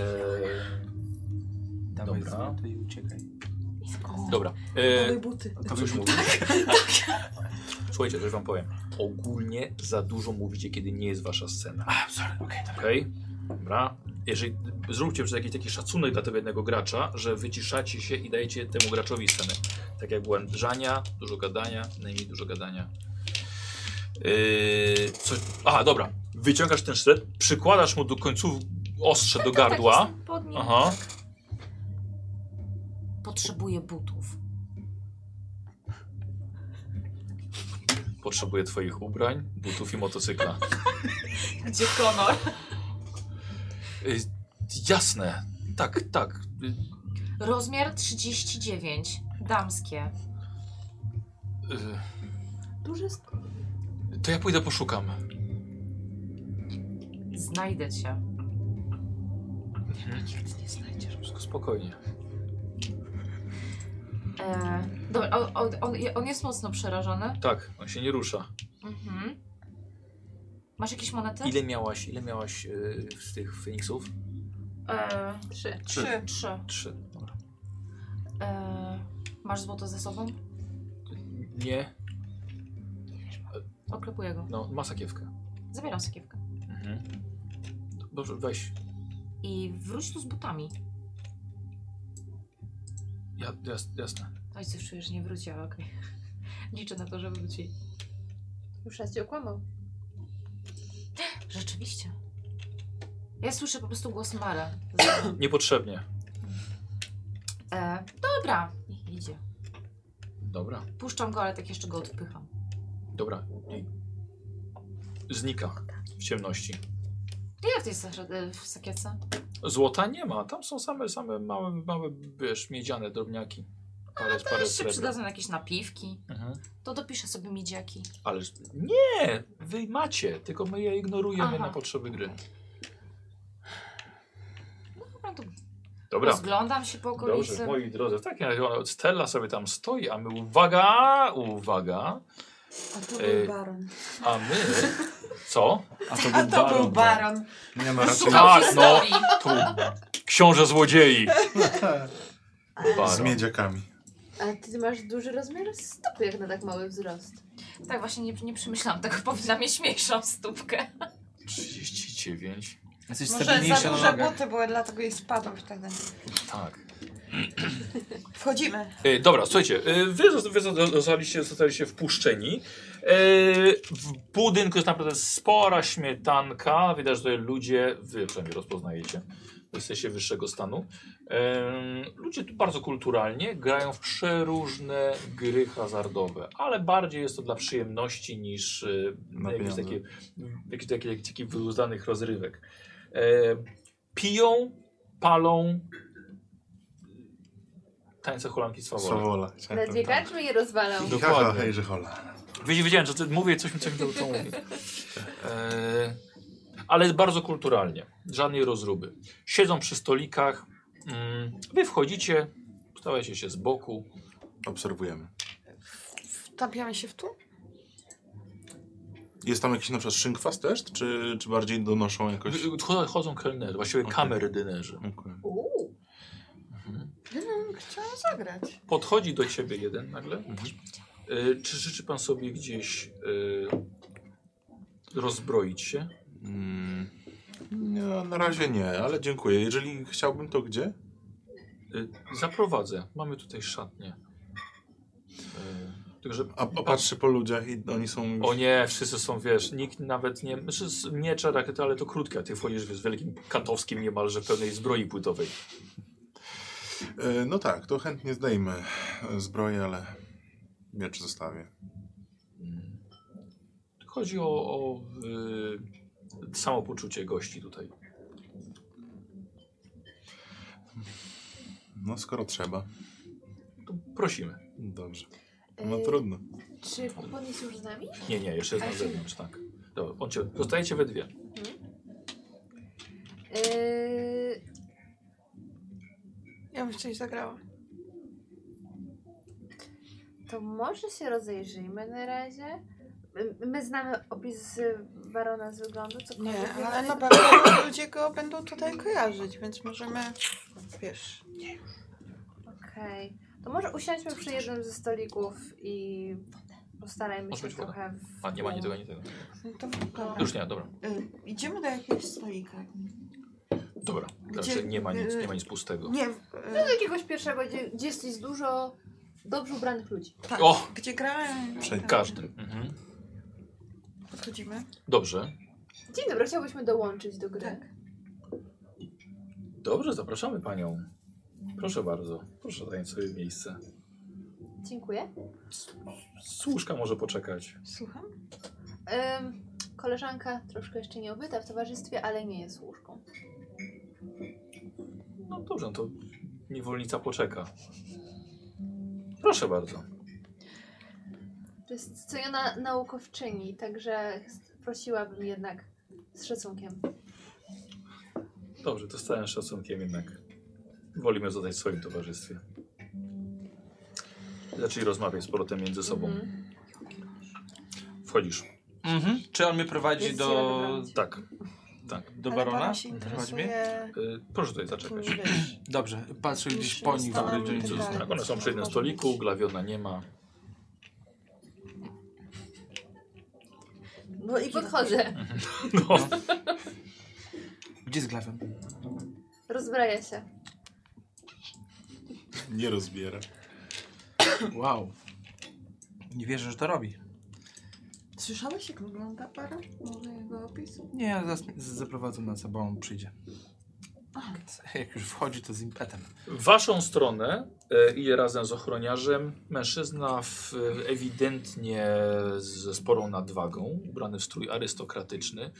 Speaker 7: Dawaj
Speaker 1: Dobra.
Speaker 7: złoto i uciekaj.
Speaker 1: dobra. Eee,
Speaker 5: buty.
Speaker 1: to już mówię. Słuchajcie, coś wam powiem. Ogólnie za dużo mówicie, kiedy nie jest wasza scena.
Speaker 7: A, sorry, okej, dobra.
Speaker 1: Okej? tak. Dobra. Jeżeli zróbcie przez jakiś taki szacunek dla tego jednego gracza, że wyciszacie się i dajecie temu graczowi scenę. Tak jak błędżania, dużo gadania, najmniej dużo gadania. Yy, co, aha, dobra. Wyciągasz ten sztylet, przykładasz mu do końców ostrze do tak. gardła.
Speaker 2: Tak, Jestem pod nim.
Speaker 1: Aha.
Speaker 2: Potrzebuję butów.
Speaker 1: Potrzebuję twoich ubrań, butów i motocykla.
Speaker 2: Gdzie Konor?
Speaker 1: Y, jasne. Tak, tak. Y,
Speaker 2: Rozmiar 39. Damskie.
Speaker 1: y,
Speaker 6: Duży
Speaker 1: to ja pójdę poszukam.
Speaker 2: Znajdę cię.
Speaker 7: Nie znajdziesz.
Speaker 1: Mhm. Wszystko spokojnie.
Speaker 2: E, dobra, on, on, on, on jest mocno przerażony.
Speaker 1: Tak, on się nie rusza.
Speaker 2: Mhm. Masz jakieś monety?
Speaker 1: Ile miałaś, ile miałaś yy, z tych Feniksów?
Speaker 2: E,
Speaker 6: Trzy.
Speaker 2: trzy. trzy.
Speaker 1: Trzy. Dobra.
Speaker 2: E, masz złoto ze sobą?
Speaker 1: Nie,
Speaker 2: Oklepuję go.
Speaker 1: no ma sakiewkę.
Speaker 2: Zabieram sakiewkę.
Speaker 1: Mhm. Dobrze, weź.
Speaker 2: I wróć tu z butami.
Speaker 1: Ja, jas, jasne.
Speaker 2: Oj, coś czuję, że nie wróci, ale okej. Liczę na to, że wróci.
Speaker 6: Już raz cię okłamał.
Speaker 2: Rzeczywiście. Ja słyszę po prostu głos Mara.
Speaker 1: Niepotrzebnie.
Speaker 2: E, dobra, niech idzie.
Speaker 1: Dobra,
Speaker 2: Puszczam go, ale tak jeszcze go odpycham.
Speaker 1: dobra. I... Znika w ciemności.
Speaker 2: Ile to jest za- e, w sakiece?
Speaker 1: Złota nie ma, tam są same, same małe, małe, wiesz, miedziane drobniaki. Parę, parę
Speaker 2: Też się
Speaker 1: srebra.
Speaker 2: przydadzą jakieś napiwki.
Speaker 1: Mhm.
Speaker 2: To dopiszę sobie miedziaki.
Speaker 1: Ale nie, wy macie, tylko my je ignorujemy
Speaker 2: Aha.
Speaker 1: na potrzeby gry.
Speaker 2: Dobra, to
Speaker 1: Dobra.
Speaker 2: rozglądam się po
Speaker 1: Dobrze,
Speaker 2: okolicy.
Speaker 1: moi drodzy, w takim razie ona- Stella sobie tam stoi, a my uwaga, uwaga,
Speaker 5: A to
Speaker 1: był Ej.
Speaker 5: baron.
Speaker 1: a my, co?
Speaker 7: A to
Speaker 5: A to był baron. tak.
Speaker 4: Nie no, raczej
Speaker 1: Tak, no,
Speaker 2: historii.
Speaker 1: tu, książę złodziei.
Speaker 4: z
Speaker 1: Baron.
Speaker 4: miedziakami.
Speaker 6: A ty masz duży rozmiar stopy jak na tak mały wzrost.
Speaker 2: Tak, właśnie nie, nie przemyślałam tego. Powinna mieć mniejszą stópkę.
Speaker 1: 39,
Speaker 7: Jesteś
Speaker 5: Może za
Speaker 7: stabilniejsza na
Speaker 5: duże
Speaker 7: nogach.
Speaker 5: buty były, dlatego jej spadł wtedy.
Speaker 1: tak.
Speaker 5: Wchodzimy.
Speaker 1: E, dobra, słuchajcie, e, wy, zosta- wy zosta- zostaliście, zostaliście wpuszczeni. E, w budynku jest naprawdę spora śmietanka. Widać, że tutaj ludzie, wy przynajmniej rozpoznajecie, bo jesteście wyższego stanu. Em, ludzie tu bardzo kulturalnie grają w przeróżne gry hazardowe, ale bardziej jest to dla przyjemności niż y, jakieś
Speaker 8: Napijane.
Speaker 1: takie, jakieś takie, jakieś takie wyuzdanych rozrywek. E, piją, palą, tańce hulanki z faworem.
Speaker 8: Sławola.
Speaker 6: Ledwie karczmy je rozwalał.
Speaker 8: Tak, Haha, hejże hola.
Speaker 1: Wiedzia- Wiedziałem, że ty mówię coś mi coś mi to to mówi. E, ale bardzo kulturalnie, żadnej rozruby. Siedzą przy stolikach, mm, wy wchodzicie, stawiacie się z boku.
Speaker 8: Obserwujemy.
Speaker 5: Wtapiamy się w tu?
Speaker 8: Jest tam jakiś na przykład szynkwas też? Czy, czy bardziej donoszą jakoś?
Speaker 1: Wy- chod- Chodzą kelnerzy, właściwie
Speaker 8: Okej.
Speaker 1: kamerdynerzy.
Speaker 8: Okej.
Speaker 6: Uuu.
Speaker 5: Ja bym chciała zagrać.
Speaker 1: Podchodzi do ciebie jeden nagle. E, czy życzy pan sobie gdzieś e, rozbroić się?
Speaker 8: Mm, nie, na razie nie, ale dziękuję. Jeżeli chciałbym, to gdzie?
Speaker 1: E, zaprowadzę, mamy tutaj szatnię. E, Także
Speaker 8: A, a patrzy po ludziach i oni są już...
Speaker 1: O nie, wszyscy są, wiesz, nikt nawet nie... Znaczy z miecze, rakiety, ale to krótkie, a ty wchodzisz z wielkim katowskim niemalże pełnej zbroi płytowej.
Speaker 8: E, No tak, to chętnie zdejmę e, zbroję, ale miecz zostawię.
Speaker 1: Chodzi o, o y, samopoczucie gości tutaj.
Speaker 8: No skoro trzeba.
Speaker 1: To prosimy.
Speaker 8: Dobrze. No trudno.
Speaker 6: E, Czy kupon jest już z nami?
Speaker 1: Nie, nie, jeszcze jest na zewnątrz, tak. Dobra, on cię, zostajecie we dwie.
Speaker 6: Yy,
Speaker 5: Ja bym coś zagrała.
Speaker 6: to może się rozejrzyjmy na razie. My, my znamy opis y, barona z wyglądu, cokolwiek.
Speaker 5: Nie,
Speaker 6: wiemy.
Speaker 5: ale na pewno No, ludzie go będą tutaj kojarzyć, więc możemy, wiesz...
Speaker 6: Okej. To może usiądźmy przy jednym ze stolików i postarajmy
Speaker 1: Może
Speaker 6: się
Speaker 1: być woda.
Speaker 6: trochę... W...
Speaker 1: A, nie ma ani tego, ani tego.
Speaker 5: No to dobra.
Speaker 1: Już nie, dobra.
Speaker 5: Y, idziemy do jakiegoś stolika.
Speaker 1: Dobra,
Speaker 5: Gdzie- y-
Speaker 1: znaczy nie ma nic, nie ma nic pustego.
Speaker 5: Nie,
Speaker 6: Do
Speaker 5: y,
Speaker 6: jakiegoś pierwszego, gdzie, gdzie jest jest dużo dobrze ubranych ludzi.
Speaker 5: tak,
Speaker 1: O!
Speaker 5: gdzie grałem...
Speaker 8: Przed
Speaker 5: tak.
Speaker 1: Każdy. Mhm.
Speaker 5: Podchodzimy.
Speaker 1: Dobrze.
Speaker 6: Dzień dobry, chciałbyśmy dołączyć do gry.
Speaker 5: Tak.
Speaker 1: Dobrze, zapraszamy panią. Proszę bardzo, proszę zająć sobie miejsce.
Speaker 6: Dziękuję.
Speaker 1: Służka może poczekać.
Speaker 5: Słucham?
Speaker 6: Ym, koleżanka troszkę jeszcze nie obyta w towarzystwie, ale nie jest łóżką.
Speaker 1: No dobrze, no to niewolnica poczeka. Proszę bardzo.
Speaker 6: To jest ceniona naukowczyni, także ch- prosiłabym jednak z szacunkiem.
Speaker 1: Dobrze, to z całym szacunkiem jednak. Wolimy zostać w swoim towarzystwie. Zaczęli rozmawiać z powrotem między sobą.
Speaker 6: Mhm.
Speaker 1: Wchodzisz.
Speaker 3: Mhm. Czy on mnie prowadzi
Speaker 6: Jest
Speaker 3: do,
Speaker 6: zielony.
Speaker 1: Tak.
Speaker 3: do
Speaker 5: Ale
Speaker 3: barona?
Speaker 5: baron się
Speaker 1: Mhm.
Speaker 5: interesuje...
Speaker 1: Y, proszę tutaj zaczekać.
Speaker 5: Takim, wiesz,
Speaker 3: Dobrze, patrzę gdzieś
Speaker 5: Niższymi
Speaker 3: po nich.
Speaker 5: stanami
Speaker 3: żeby-
Speaker 5: i Mhm. tak dalej.
Speaker 1: Tak, one są przy jednym stoliku, glawiona nie ma.
Speaker 5: No
Speaker 6: I podchodzę.
Speaker 1: No.
Speaker 3: Gdzie z glawem?
Speaker 6: Rozbraja się.
Speaker 8: Nie rozbiera.
Speaker 3: Wow. Nie wierzę, że to robi.
Speaker 5: Słyszałeś, jak wygląda para? Może jego opis?
Speaker 3: Nie, ja zaraz z- zaprowadzę na sobą, on przyjdzie.
Speaker 5: Tak.
Speaker 3: Jak już wchodzi, to z impetem.
Speaker 1: W waszą stronę e, idzie razem z ochroniarzem mężczyzna w, ewidentnie ze sporą nadwagą, ubrany w strój arystokratyczny,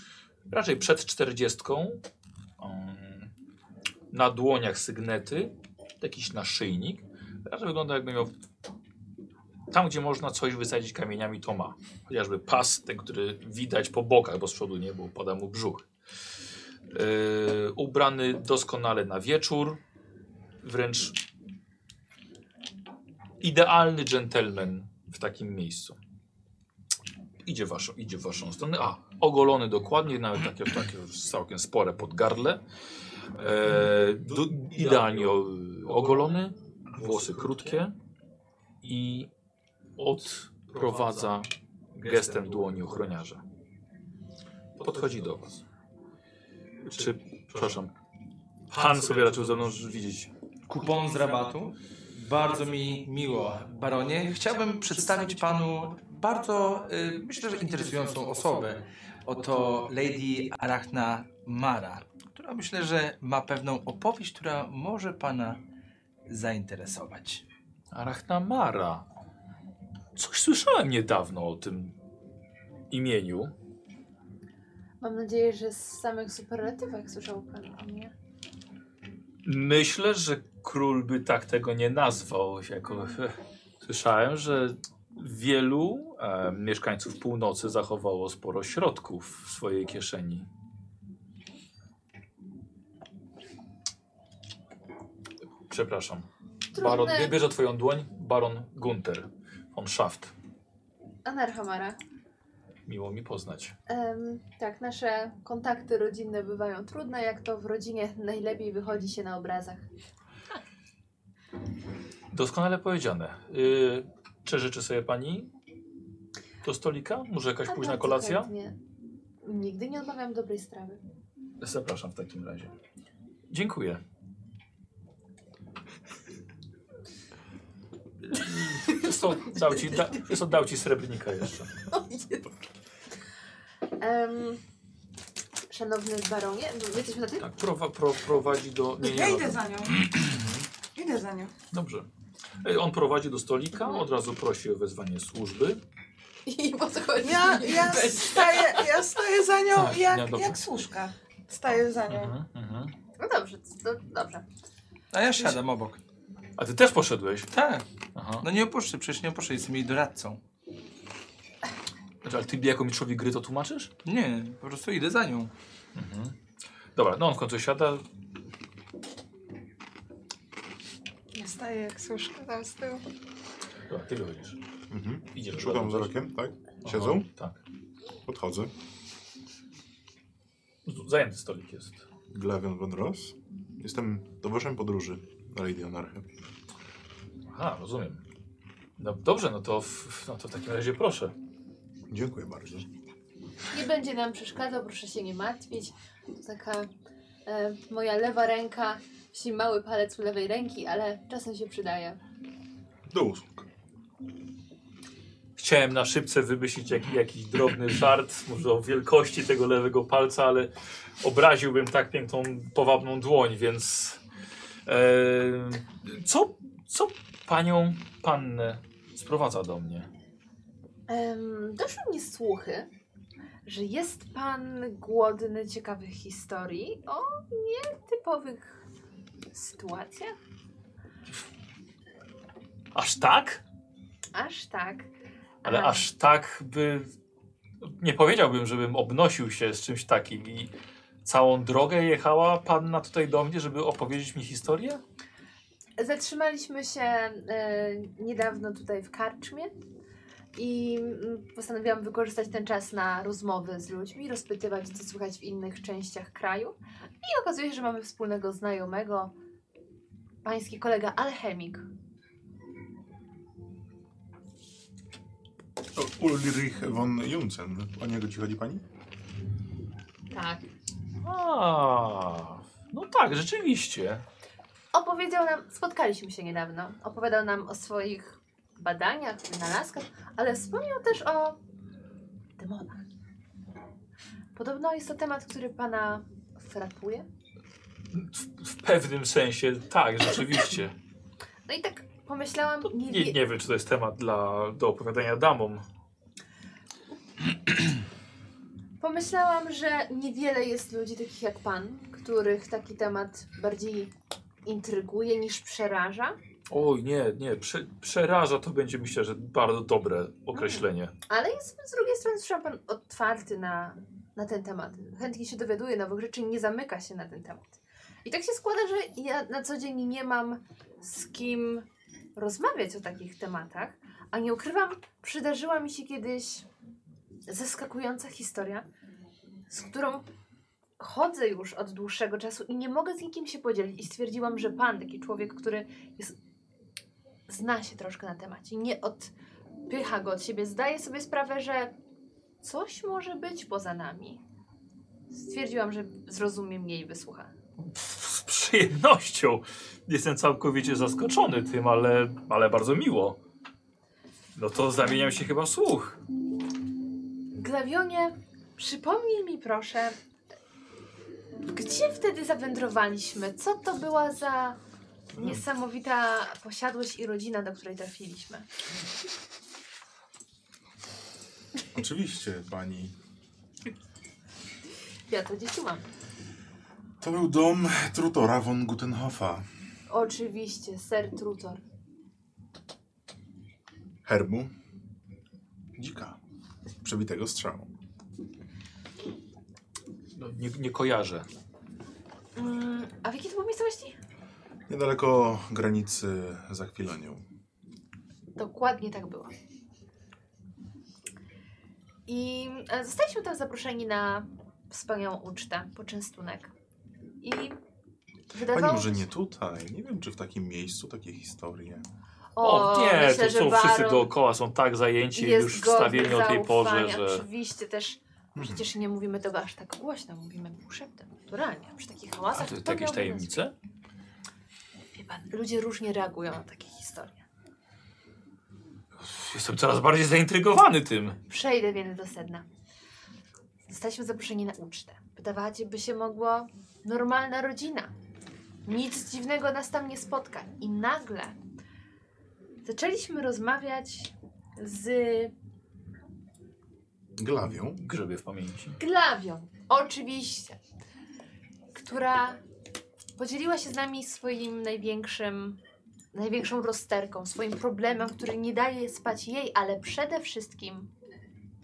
Speaker 1: raczej przed czterdziestką, mm, na dłoniach sygnety, jakiś naszyjnik, raczej wygląda jakby miał tam, gdzie można coś wysadzić kamieniami, to ma. Chociażby pas, ten, który widać po bokach, bo z przodu nie, bo upada mu brzuch. E, ubrany doskonale na wieczór, wręcz idealny dżentelmen w takim miejscu. Idzie w waszą, idzie w waszą stronę. A, ogolony dokładnie, nawet takie, takie już całkiem spore podgardle. E, du, idealnie o, ogolony, włosy krótkie i odprowadza gestem dłoni ochroniarza. Podchodzi do was. Czy, przepraszam, pan sobie raczył ze mną widzieć
Speaker 3: Kupon z rabatu? Bardzo mi miło, baronie. Chciałbym przedstawić panu bardzo, y, myślę, że interesującą osobę. Oto Lady Arachna Mara, która myślę, że ma pewną opowieść, która może pana zainteresować.
Speaker 1: Arachnamara. Coś słyszałem niedawno o tym imieniu.
Speaker 6: Mam nadzieję, że z samych superlatywek słyszał pan o mnie.
Speaker 1: Myślę, że król by tak tego nie nazwał. Jako... Słyszałem, że wielu e, mieszkańców północy zachowało sporo środków w swojej kieszeni. Przepraszam. Baron,
Speaker 6: Trudne.
Speaker 1: bierze twoją dłoń Baron Gunter von Schaft.
Speaker 6: Anarchamara.
Speaker 1: Miło mi poznać.
Speaker 6: Em, tak, nasze kontakty rodzinne bywają trudne, jak to w rodzinie najlepiej wychodzi się na obrazach.
Speaker 1: Doskonale powiedziane. Yy, czy życzy sobie pani do stolika? Może jakaś
Speaker 6: A tak,
Speaker 1: późna
Speaker 6: bardzo
Speaker 1: kolacja?
Speaker 6: chętnie. Nigdy nie odmawiam dobrej strawy.
Speaker 1: Zapraszam w takim razie. Dziękuję. Jest to, dał ci, da, jest to dał ci srebrnika jeszcze.
Speaker 6: Em, szanowny baronie, wy jesteśmy na tym?
Speaker 1: Tak, prowa, pro, prowadzi do. Nie,
Speaker 5: Ja
Speaker 1: nie,
Speaker 5: idę
Speaker 1: dobra.
Speaker 5: za nią. Idę za nią.
Speaker 1: Dobrze. Ej, On prowadzi do stolika, od razu prosi o wezwanie służby.
Speaker 6: I po co chodzi?
Speaker 5: Ja, ja, staję, ja staję za nią
Speaker 1: Tak, nie,
Speaker 5: jak,
Speaker 1: dobrze.
Speaker 5: jak słuszka. Staję za nią.
Speaker 1: Mhm, mhm.
Speaker 6: No dobrze, to, dobrze.
Speaker 3: A ja siadam obok.
Speaker 1: A ty też poszedłeś.
Speaker 3: Tak,
Speaker 1: Aha.
Speaker 3: no nie opuszczę, przecież nie opuszczę, jestem jej doradcą.
Speaker 1: Znaczy, ale ty jako mistrzowi gry to tłumaczysz?
Speaker 3: Nie, po prostu idę za nią.
Speaker 1: Dobra, no on w końcu siada,
Speaker 5: Ja staję jak słuszka tam z tyłu.
Speaker 1: Dobra, ty wychodzisz.
Speaker 8: Mhm.
Speaker 1: Idziesz
Speaker 8: Szukam
Speaker 1: badać.
Speaker 8: wzrokiem, tak?
Speaker 1: Aha,
Speaker 8: Siedzą?
Speaker 1: Tak.
Speaker 8: Podchodzę.
Speaker 1: Z- Zajęty stolik jest.
Speaker 8: Glavion von Ross. Jestem towarzyszem podróży Lady Anarchy.
Speaker 1: Aha, rozumiem. No dobrze, no to w, no to w takim razie proszę.
Speaker 8: Dziękuję bardzo.
Speaker 6: Nie będzie nam przeszkadzał, proszę się nie martwić. To taka e, moja lewa ręka, jeśli mały palec u lewej ręki, ale czasem się przydaje.
Speaker 8: Do usług.
Speaker 1: Chciałem na szybce wymyślić jak, jakiś drobny żart, może o wielkości tego lewego palca, ale obraziłbym tak piękną, powabną dłoń, więc... E, co, co panią, pannę sprowadza do mnie?
Speaker 6: Em, doszły mnie słuchy, że jest pan głodny ciekawych historii o nietypowych sytuacjach.
Speaker 1: Aż tak?
Speaker 6: Aż tak.
Speaker 1: Ale
Speaker 6: Em,
Speaker 1: aż tak by. Nie powiedziałbym, żebym obnosił się z czymś takim i całą drogę jechała panna tutaj do mnie, żeby opowiedzieć mi historię?
Speaker 6: Zatrzymaliśmy się e, niedawno tutaj w karczmie i mm, postanowiłam wykorzystać ten czas na rozmowy z ludźmi, rozpytywać, co słychać w innych częściach kraju. I okazuje się, że mamy wspólnego znajomego, pański kolega alchemik.
Speaker 8: To Ulrich von Junsen. O niego ci chodzi pani?
Speaker 6: Tak.
Speaker 1: A, no tak, rzeczywiście.
Speaker 6: Opowiedział nam, spotkaliśmy się niedawno, opowiadał nam o swoich badaniach, wynalazkach, ale wspomniał też o demonach. Podobno jest to temat, który pana frapuje.
Speaker 1: W, w pewnym sensie tak, rzeczywiście.
Speaker 6: No i tak pomyślałam, nie,
Speaker 1: Nie,
Speaker 6: wie,
Speaker 1: nie wiem, czy to jest temat dla, do opowiadania damom.
Speaker 6: pomyślałam, że niewiele jest ludzi takich jak pan, których taki temat bardziej intryguje niż przeraża,
Speaker 1: Oj, nie, nie, prze, przeraża to będzie myślę, że bardzo dobre określenie.
Speaker 6: ale jest z drugiej strony słyszałam pan otwarty na, na ten temat. Chętnie się dowiaduje nowych rzeczy i nie zamyka się na ten temat. I tak się składa, że ja na co dzień nie mam z kim rozmawiać o takich tematach, a nie ukrywam, przydarzyła mi się kiedyś zaskakująca historia, z którą chodzę już od dłuższego czasu i nie mogę z nikim się podzielić. I stwierdziłam, że pan, taki człowiek, który jest, zna się troszkę na temacie, nie odpycha go od siebie, zdaje sobie sprawę, że coś może być poza nami. Stwierdziłam, że zrozumie mnie i wysłucha.
Speaker 1: Pff, przyjemnością. Jestem całkowicie zaskoczony tym, ale, ale bardzo miło. No to zamieniam się chyba w słuch.
Speaker 6: Glawionie, przypomnij mi proszę, gdzie wtedy zawędrowaliśmy? Co to była za niesamowita posiadłość i rodzina, do której trafiliśmy?
Speaker 4: Oczywiście, pani.
Speaker 6: Ja to gdzieś tu mam.
Speaker 4: To był dom Trutora von Gutenhofa.
Speaker 6: Oczywiście, ser Trutor.
Speaker 4: Herbu. Dzika. Przebitego strzału.
Speaker 1: No, nie, nie kojarzę.
Speaker 6: Mm, a w jakiej to było miejscowości?
Speaker 4: Niedaleko granicy za chwilonią.
Speaker 6: Dokładnie tak było. I e, zostaliśmy tam zaproszeni na wspaniałą ucztę, poczęstunek. I wydawało
Speaker 4: Pani może nie tutaj. Nie wiem, czy w takim miejscu takie historie.
Speaker 1: O, nie,
Speaker 6: myślę,
Speaker 1: to
Speaker 6: że
Speaker 1: są wszyscy
Speaker 6: Baron-
Speaker 1: dookoła, są tak zajęci
Speaker 6: jest
Speaker 1: już w
Speaker 6: godny
Speaker 1: stawieniu o tej porze,
Speaker 6: zaufania.
Speaker 1: że...
Speaker 6: Oczywiście też.
Speaker 4: Mhm.
Speaker 6: Przecież nie mówimy tego aż tak głośno, mówimy szeptem, naturalnie. Przy takich
Speaker 1: A
Speaker 6: hałasach.
Speaker 1: to,
Speaker 6: kto
Speaker 1: to jakieś
Speaker 6: miałby nas-
Speaker 1: tajemnice?
Speaker 6: Wie pan, ludzie różnie reagują na takie historie.
Speaker 1: Jestem coraz bardziej zaintrygowany tym.
Speaker 6: Przejdę więc do sedna. Zostaliśmy zaproszeni na ucztę. Wydawać by się mogło normalna rodzina. Nic dziwnego nas tam nie spotka. I nagle zaczęliśmy rozmawiać z
Speaker 4: Glawią.
Speaker 1: Grzebie w pamięci.
Speaker 6: Glawią, oczywiście, która podzieliła się z nami swoim największym, największą rozterką, swoim problemem, który nie daje spać jej, ale przede wszystkim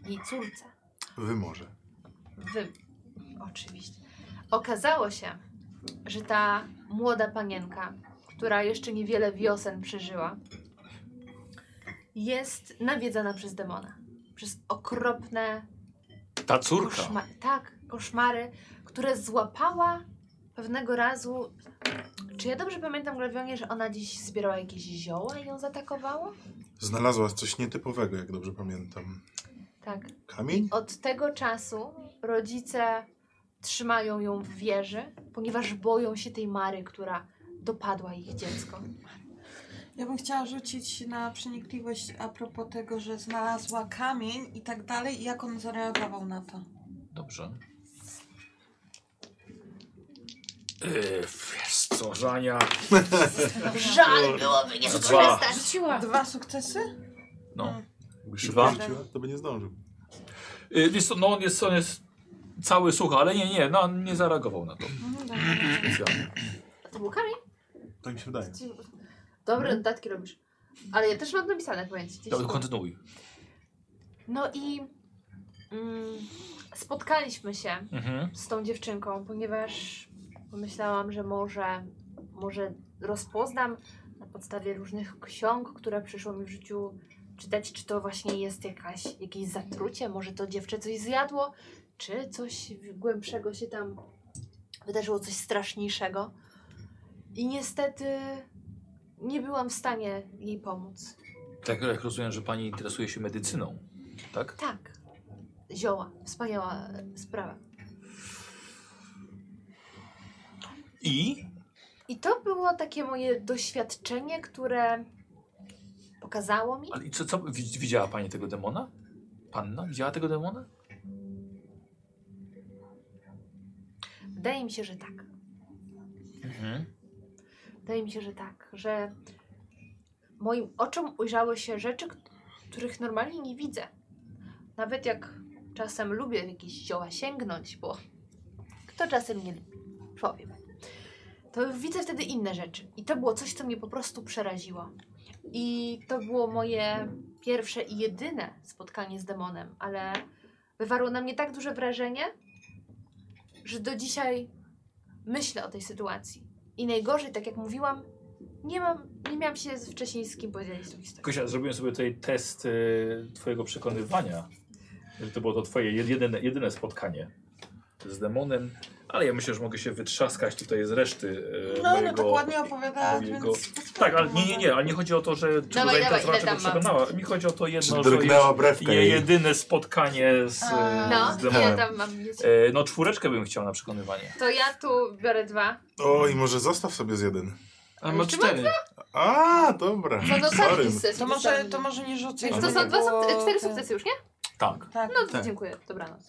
Speaker 6: jej córce.
Speaker 4: Wy może.
Speaker 6: Wy, oczywiście. Okazało się, że ta młoda panienka, która jeszcze niewiele wiosen przeżyła, jest nawiedzana przez demona. Przez okropne
Speaker 1: Ta córka.
Speaker 6: Koszma- tak, koszmary, które złapała pewnego razu. Czy ja dobrze pamiętam, Glawionie, że ona dziś zbierała jakieś zioła i ją zaatakowało?
Speaker 4: Znalazła coś nietypowego, jak dobrze pamiętam.
Speaker 6: Tak.
Speaker 4: Kamień?
Speaker 6: Od tego czasu rodzice trzymają ją w wieży, ponieważ boją się tej Mary, która dopadła ich dziecko.
Speaker 5: Ja bym chciała rzucić na przenikliwość a propos tego, że znalazła kamień i tak dalej, i jak on zareagował na to.
Speaker 1: Dobrze. Yy, wiesz co, Żania.
Speaker 6: Żal byłoby nie
Speaker 1: Dwa.
Speaker 6: skorzystać.
Speaker 2: Rzuciła.
Speaker 5: Dwa sukcesy?
Speaker 1: No.
Speaker 4: Jakby
Speaker 1: Dwa.
Speaker 4: szybko rzuciła, to by nie zdążył.
Speaker 1: Yy, wiesz co, no on jest, on jest cały suchy, ale nie, nie, no on nie zareagował na to.
Speaker 6: No,
Speaker 1: Specjalnie.
Speaker 6: To był kamień?
Speaker 4: Tak mi się wydaje.
Speaker 6: Czy- Dobre dodatki robisz. Ale ja też mam napisane, powiem ci. gdzieś
Speaker 1: Dobra,
Speaker 6: tu.
Speaker 1: kontynuuj.
Speaker 6: No i mm, spotkaliśmy się
Speaker 1: Mhm.
Speaker 6: z tą dziewczynką, ponieważ pomyślałam, że może, może rozpoznam na podstawie różnych ksiąg, które przyszło mi w życiu czytać, czy to właśnie jest jakaś, jakieś zatrucie, może to dziewczę coś zjadło, czy coś głębszego się tam wydarzyło, coś straszniejszego. I niestety nie byłam w stanie jej pomóc.
Speaker 1: Tak jak rozumiem, że pani interesuje się medycyną, tak?
Speaker 6: Tak, zioła, wspaniała e, sprawa.
Speaker 1: I
Speaker 6: I to było takie moje doświadczenie, które pokazało mi.
Speaker 1: Ale i co, co wi- widziała pani tego demona? Panna widziała tego demona?
Speaker 6: Wydaje mi się, że tak.
Speaker 1: Mhm.
Speaker 6: Wydaje mi się, że tak, że moim oczom ujrzały się rzeczy, k- których normalnie nie widzę. Nawet jak czasem lubię w jakieś zioła sięgnąć, bo kto czasem nie lubi, powiem. To widzę wtedy inne rzeczy. I to było coś, co mnie po prostu przeraziło. I to było moje pierwsze i jedyne spotkanie z demonem, ale wywarło na mnie tak duże wrażenie, że do dzisiaj myślę o tej sytuacji. I najgorzej, tak jak mówiłam, nie mam, nie miałam się z- wcześniej z kim podzielić tą historią.
Speaker 1: Kosia, zrobiłem sobie tutaj test y, twojego przekonywania, że to było to twoje jed- jedyne, jedyne spotkanie z demonem, ale ja myślę, że mogę się wytrzaskać tutaj z reszty y,
Speaker 5: No,
Speaker 1: mojego...
Speaker 5: no tak ładnie opowiadałaś,
Speaker 1: mojego-
Speaker 5: więc bez
Speaker 1: Tak, ale nie, nie, nie, ale nie chodzi o to, że czy
Speaker 6: Dawaj,
Speaker 1: tutaj
Speaker 6: dawaj,
Speaker 1: ta
Speaker 6: ile tam mam?
Speaker 1: przekonała. Mi chodzi o to jedno,
Speaker 4: Czy
Speaker 1: że już
Speaker 4: drgnęła brewka
Speaker 1: je,
Speaker 4: jej?
Speaker 1: jedyne spotkanie z, e,
Speaker 6: No,
Speaker 1: z
Speaker 6: ja
Speaker 1: demonem.
Speaker 6: tam mam mieć.
Speaker 1: E, no czwóreczkę bym chciał na przekonywanie.
Speaker 6: To ja tu biorę dwa.
Speaker 8: O, i może zostaw sobie z jeden.
Speaker 3: A ma
Speaker 6: Czy
Speaker 3: cztery.
Speaker 8: A, dobra.
Speaker 6: To do
Speaker 8: Sorry.
Speaker 6: sukces.
Speaker 5: To może, to może nie rzucę.
Speaker 6: Więc to
Speaker 5: żeby
Speaker 6: są
Speaker 5: nie
Speaker 6: dwa,
Speaker 5: było
Speaker 6: suk- cztery
Speaker 5: te-
Speaker 6: sukcesy już, nie?
Speaker 1: Tak.
Speaker 5: Tak,
Speaker 6: No to
Speaker 3: Tak.
Speaker 6: dziękuję, dobranoc.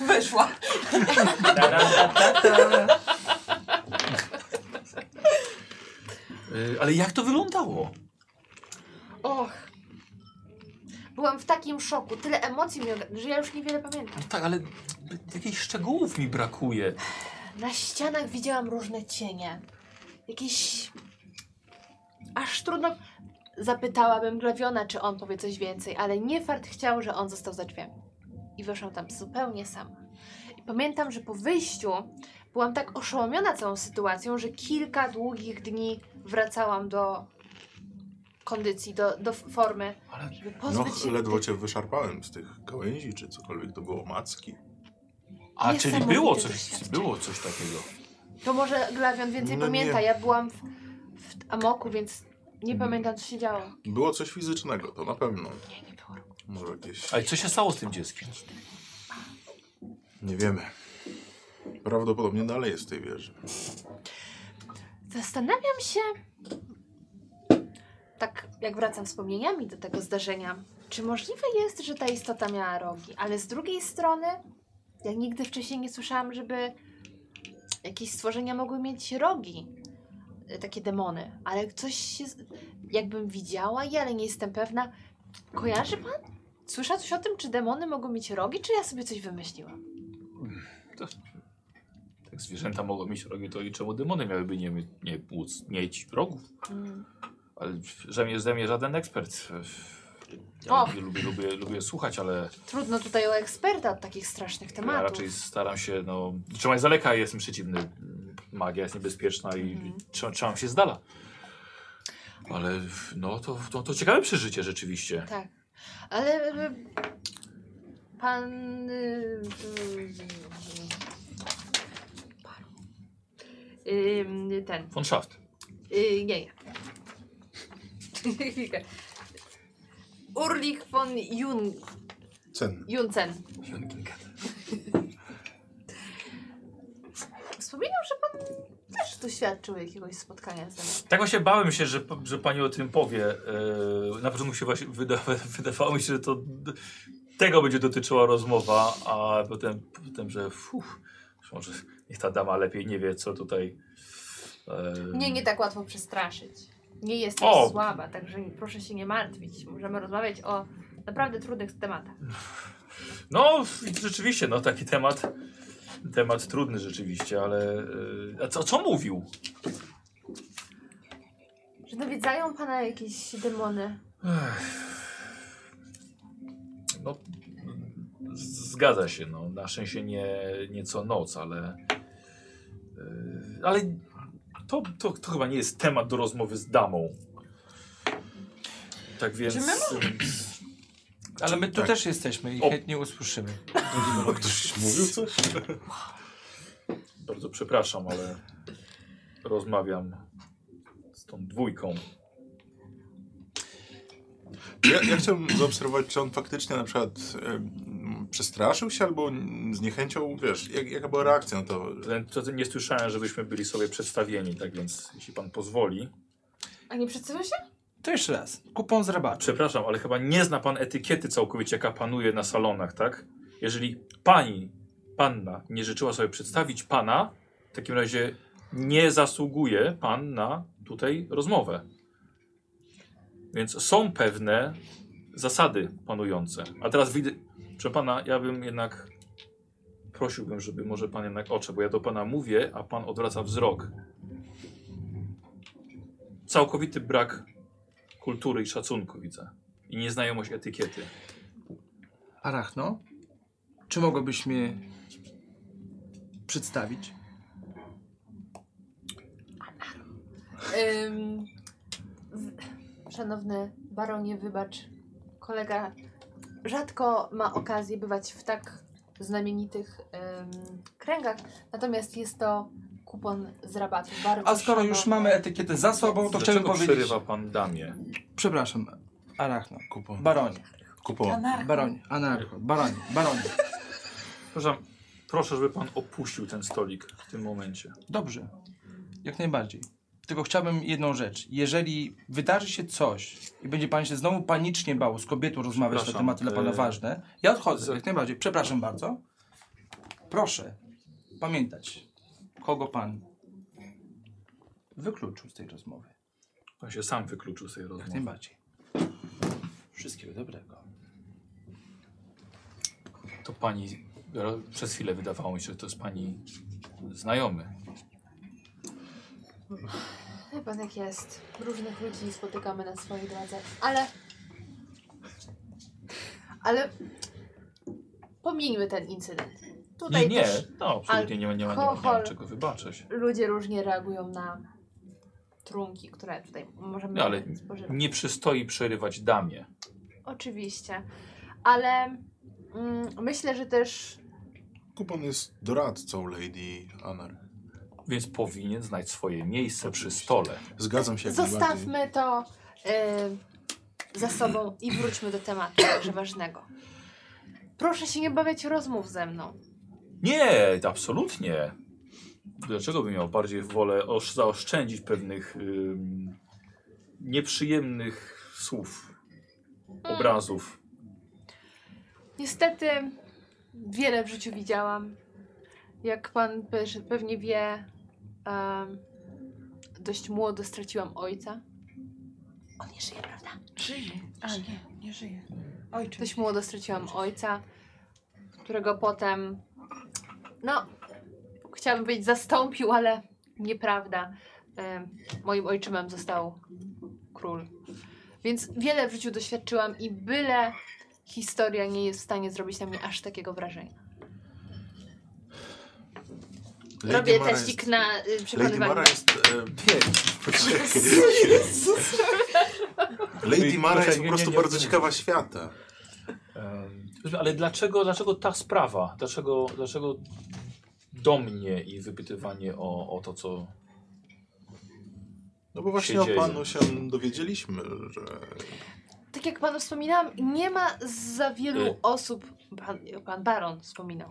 Speaker 5: wyszła.
Speaker 1: E, ale jak to wyglądało?
Speaker 6: Och. Byłam w takim szoku, tyle emocji miałem, że ja już niewiele pamiętam.
Speaker 1: No tak, ale jakichś szczegółów mi brakuje.
Speaker 6: Na ścianach widziałam różne cienie. Jakieś... Aż trudno... Zapytałabym Glawiona, czy on powie coś więcej, ale Niefart chciał, że on został za drzwiami. I wyszłam tam zupełnie sama. I pamiętam, że po wyjściu byłam tak oszołomiona całą sytuacją, że kilka długich dni wracałam do kondycji, do, do formy,
Speaker 1: Ale
Speaker 6: żeby
Speaker 8: No,
Speaker 6: pozbyć się
Speaker 8: ledwo cię wyszarpałem z tych gałęzi, czy cokolwiek to było, macki.
Speaker 1: A czyli
Speaker 6: Niesamowite
Speaker 1: było coś,
Speaker 6: doświadczenie.
Speaker 1: było coś takiego.
Speaker 6: To może Glawion więcej
Speaker 8: No
Speaker 6: pamięta.
Speaker 8: nie.
Speaker 6: Ja byłam w, w amoku, więc nie pamiętam, co się działo.
Speaker 8: Było coś fizycznego, to na pewno.
Speaker 6: Nie, nie było.
Speaker 8: Może jakieś...
Speaker 1: Ale co się stało z tym dzieckiem?
Speaker 8: Nie wiemy. Prawdopodobnie dalej jest w tej wieży.
Speaker 6: Zastanawiam się, tak jak wracam wspomnieniami do tego zdarzenia, czy możliwe jest, że ta istota miała rogi, ale z drugiej strony, ja nigdy wcześniej nie słyszałam, żeby jakieś stworzenia mogły mieć rogi, e, takie demony, ale coś się, z- jakbym widziała je, ale nie jestem pewna. Kojarzy pan? Słyszał coś o tym, czy demony mogą mieć rogi, czy ja sobie coś wymyśliłam?
Speaker 1: Jak zwierzęta mogą mieć rogi, to i czemu demony miałyby nie, mie- nie płuc, mieć rogów?
Speaker 6: Mm.
Speaker 1: Ale ze mnie, ze mnie żaden ekspert. Ja
Speaker 6: O.
Speaker 1: lubię, lubię, lubię, lubię słuchać, ale
Speaker 6: Trudno tutaj o eksperta od takich strasznych
Speaker 1: ja
Speaker 6: tematów.
Speaker 1: No, raczej staram się, no, trzymaj z daleka, jestem przeciwny. Magia jest niebezpieczna i
Speaker 6: Mhm.
Speaker 1: trzymam, trzymam się z dala. Ale no to, to, to ciekawe przeżycie rzeczywiście.
Speaker 6: Tak. Ale e, pan. e, e, e, Ten.
Speaker 1: Von Schaft.
Speaker 6: e, Nie, nie. Chwilkę. Urlich von Jun,
Speaker 4: Cen.
Speaker 6: Juncen. Wspominał, że pan też doświadczył jakiegoś spotkania z nami.
Speaker 1: Tak właśnie bałem się, że, że pani o tym powie. Yy, na początku się właśnie wyda, wydawało mi się, że to d- tego będzie dotyczyła rozmowa, a potem, potem że fuh, że może niech ta dama lepiej nie wie, co tutaj. yy,
Speaker 6: Nie, nie tak łatwo przestraszyć. Nie jestem
Speaker 1: O!
Speaker 6: słaba, także proszę się nie martwić. Możemy rozmawiać o naprawdę trudnych tematach.
Speaker 1: No, rzeczywiście, no taki temat. Temat trudny rzeczywiście, ale. yy, a co, co mówił?
Speaker 6: Czy nawiedzają pana jakieś demony?
Speaker 1: No, z- zgadza się, no. Na szczęście nie, nie co noc, ale. Yy, ale to, to, to chyba nie jest temat do rozmowy z damą. Tak więc.
Speaker 5: Czy my
Speaker 3: Ale my tu
Speaker 8: Tak.
Speaker 3: też jesteśmy i
Speaker 1: O.
Speaker 3: chętnie usłyszymy.
Speaker 4: No, ktoś mówił coś?
Speaker 1: Bardzo przepraszam, ale rozmawiam z tą dwójką.
Speaker 8: Ja, ja chciałbym zaobserwować, czy on faktycznie na przykład em, przestraszył się albo n- z niechęcią, wiesz, jak, jaka była reakcja na to?
Speaker 1: To, to nie słyszałem, żebyśmy byli sobie przedstawieni, tak więc jeśli pan pozwoli.
Speaker 6: A nie przedstawia się?
Speaker 3: To jeszcze raz. Kupon z rabatu.
Speaker 1: Przepraszam, ale chyba nie zna pan etykiety całkowicie, jaka panuje na salonach, tak? Jeżeli pani, panna nie życzyła sobie przedstawić pana, w takim razie nie zasługuje pan na tutaj rozmowę. Więc są pewne zasady panujące. A teraz widzę, proszę pana, ja bym jednak prosiłbym, żeby może pan jednak oczy, bo ja do pana mówię, a pan odwraca wzrok. Całkowity brak kultury i szacunku widzę. I nieznajomość etykiety.
Speaker 3: Arachno, czy mogłabyś mnie przedstawić?
Speaker 6: Ym, w- szanowny baronie, wybacz. Kolega rzadko ma okazję bywać w tak znamienitych ym, kręgach, natomiast jest to kupon z rabatu. Bardzo
Speaker 7: A skoro już
Speaker 6: szybko.
Speaker 7: mamy
Speaker 3: etykietę za sobą, to chciałbym
Speaker 1: Dlaczego
Speaker 3: powiedzieć...
Speaker 1: przerywa pan damie?
Speaker 3: Przepraszam, Arachno.
Speaker 8: Kupon.
Speaker 3: Baronie,
Speaker 8: Kupon.
Speaker 5: Anarcho.
Speaker 3: baronie, anarcho, baronie, baronie.
Speaker 1: Przepraszam, proszę, żeby pan opuścił ten stolik w tym momencie.
Speaker 3: Dobrze, jak najbardziej. Tylko chciałbym jedną rzecz. Jeżeli wydarzy się coś i będzie pan się znowu panicznie bał z kobietą rozmawiać na
Speaker 1: Przepraszam,
Speaker 3: tematy dla pana
Speaker 1: e,
Speaker 3: ważne, ja odchodzę, jak najbardziej. Przepraszam bardzo. Proszę pamiętać, kogo pan wykluczył z tej rozmowy.
Speaker 1: Pan się sam wykluczył z tej
Speaker 3: Jak
Speaker 1: rozmowy.
Speaker 3: najbardziej. Wszystkiego dobrego.
Speaker 1: To pani, przez chwilę wydawało mi się, że to jest pani znajomy.
Speaker 6: Wie pan jak tak jest. Różnych ludzi spotykamy na swojej drodze. Ale... Ale... Pomijmy ten incydent. Tutaj
Speaker 1: Nie, nie,
Speaker 6: też
Speaker 1: no, absolutnie nie ma, nie ma, nie ma, nie ma
Speaker 6: alkohol.
Speaker 1: czego wybaczyć.
Speaker 6: ludzie różnie reagują na trunki, które tutaj możemy
Speaker 1: No, ale
Speaker 6: spożywać.
Speaker 1: Nie przystoi przerywać damie.
Speaker 6: Oczywiście. Ale mm, myślę, że też
Speaker 8: Kupon jest doradcą Lady Anar.
Speaker 1: Więc powinien znać swoje miejsce przy stole.
Speaker 8: Zgadzam się. jak najbardziej.
Speaker 6: zostawmy to y, za sobą i wróćmy do tematu jakże ważnego. Proszę się nie bawiać rozmów ze mną.
Speaker 1: Nie, absolutnie. Dlaczego bym miał bardziej wolę osz- zaoszczędzić pewnych ym, nieprzyjemnych słów, obrazów?
Speaker 6: Niestety wiele w życiu widziałam. Jak pan pe- pewnie wie, em, dość młodo straciłam ojca. On nie żyje, prawda?
Speaker 5: Żyje. A nie, nie żyje. Ojcze.
Speaker 6: Dość młodo straciłam ojca, którego potem, no, chciałabym powiedzieć zastąpił, ale nieprawda. E, moim ojczymem został król. Więc wiele w życiu doświadczyłam i byle historia nie jest w stanie zrobić na mnie aż takiego wrażenia.
Speaker 8: Lady
Speaker 6: Robię
Speaker 8: Mara
Speaker 6: teścik
Speaker 8: jest-
Speaker 6: na y,
Speaker 8: Lady Mara
Speaker 6: przekonywanie.
Speaker 8: jest... E, Poczekaj. Lady Mara jest po
Speaker 1: Nie,
Speaker 8: prostu
Speaker 1: nie, nie,
Speaker 8: bardzo
Speaker 1: nie.
Speaker 8: ciekawa świata.
Speaker 1: Ym, ale dlaczego, dlaczego ta sprawa? Dlaczego, dlaczego do mnie i wypytywanie o, o to, co.
Speaker 8: No bo właśnie
Speaker 1: się
Speaker 8: o
Speaker 1: dzieje?
Speaker 8: panu się dowiedzieliśmy, że...
Speaker 6: Tak jak panu wspominałam, nie ma za wielu
Speaker 1: Y.
Speaker 6: osób, pan, pan baron wspominał.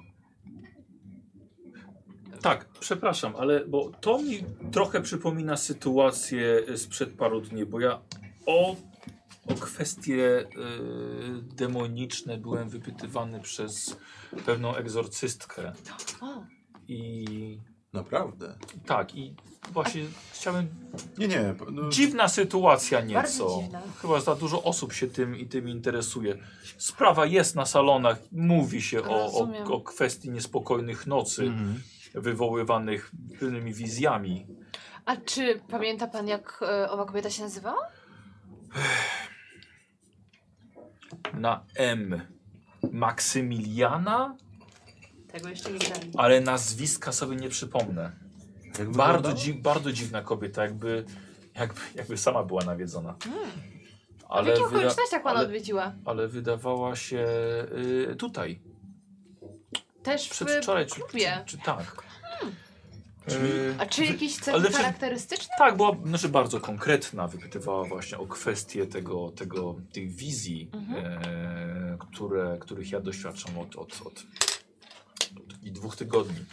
Speaker 1: Tak, przepraszam, ale bo to mi trochę przypomina sytuację y, sprzed paru dni, bo ja o, o kwestie y, demoniczne byłem wypytywany przez pewną egzorcystkę
Speaker 6: O,
Speaker 1: i
Speaker 8: Naprawdę.
Speaker 1: tak, i właśnie chciałem...
Speaker 8: Nie, nie. No,
Speaker 1: Dziwna sytuacja
Speaker 6: Bardzo
Speaker 1: nieco.
Speaker 6: dziwna.
Speaker 1: Chyba za dużo osób się tym i tym interesuje. Sprawa jest na salonach, mówi się o, o,
Speaker 6: Rozumiem.
Speaker 1: o kwestii niespokojnych nocy
Speaker 8: mhm.
Speaker 1: wywoływanych pewnymi wizjami.
Speaker 6: A czy pamięta pan, jak e, owa kobieta się nazywała?
Speaker 1: na M. Maksymiliana,
Speaker 6: Tego jeszcze nie wiem.
Speaker 1: ale nazwiska sobie nie przypomnę.
Speaker 8: Jak
Speaker 1: Bardzo,
Speaker 8: wyglądała?
Speaker 1: dzi bardzo dziwna kobieta, jakby, jakby, jakby sama była nawiedzona.
Speaker 6: Hmm. A w jakich
Speaker 1: wyda-
Speaker 6: okolicznościach pan
Speaker 1: ale,
Speaker 6: odwiedziła?
Speaker 1: ale wydawała się y, tutaj,
Speaker 6: Też w
Speaker 1: przedwczoraj, czy, czy,
Speaker 6: klubie. Hmm.
Speaker 1: czy tak. Y,
Speaker 6: A czy jakieś
Speaker 1: ale
Speaker 6: cechy
Speaker 1: przed-
Speaker 6: charakterystyczne?
Speaker 1: tak, była znaczy bardzo konkretna, wypytywała właśnie o kwestie tego, tego, tych wizji,
Speaker 6: Mhm.
Speaker 1: e, które, których ja doświadczam od, od, od, od i dwóch tygodni.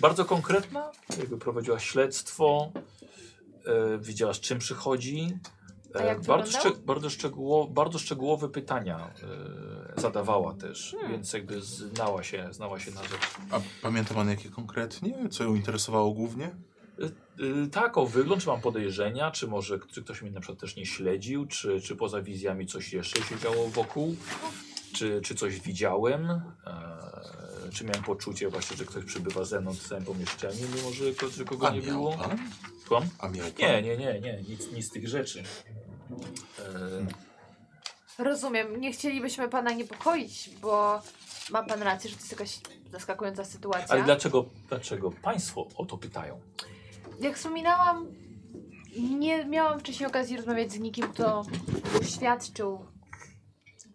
Speaker 1: Bardzo konkretna, jakby prowadziła śledztwo, e, wiedziała z czym przychodzi. E,
Speaker 6: A jak
Speaker 1: bardzo,
Speaker 6: wyglądało?
Speaker 1: bardzo, szczegóło, bardzo szczegółowe pytania e, zadawała też,
Speaker 6: Hmm.
Speaker 1: więc jakby znała się, znała się na rzecz.
Speaker 8: A pamięta pan jakie konkretnie? Co ją interesowało głównie?
Speaker 1: Y, Tak, o wygląd, czy mam podejrzenia, czy może czy ktoś mnie na przykład też nie śledził, czy, czy poza wizjami coś jeszcze się działo wokół, czy, czy coś widziałem, eee, czy miałem poczucie właśnie, że ktoś przybywa ze mną w samym pomieszczeniu, mimo że ko- że kogo
Speaker 8: A
Speaker 1: nie
Speaker 8: miał
Speaker 1: było.
Speaker 8: pan?
Speaker 1: Słucham?
Speaker 8: A miał pan?
Speaker 1: Nie, nie, nie, nie, nic, nic z tych rzeczy. Eee,
Speaker 6: Rozumiem, nie chcielibyśmy pana niepokoić, bo ma pan rację, że to jest jakaś zaskakująca sytuacja.
Speaker 1: ale dlaczego, dlaczego państwo o to pytają?
Speaker 6: Jak wspominałam, nie miałam wcześniej okazji rozmawiać z nikim, kto doświadczył,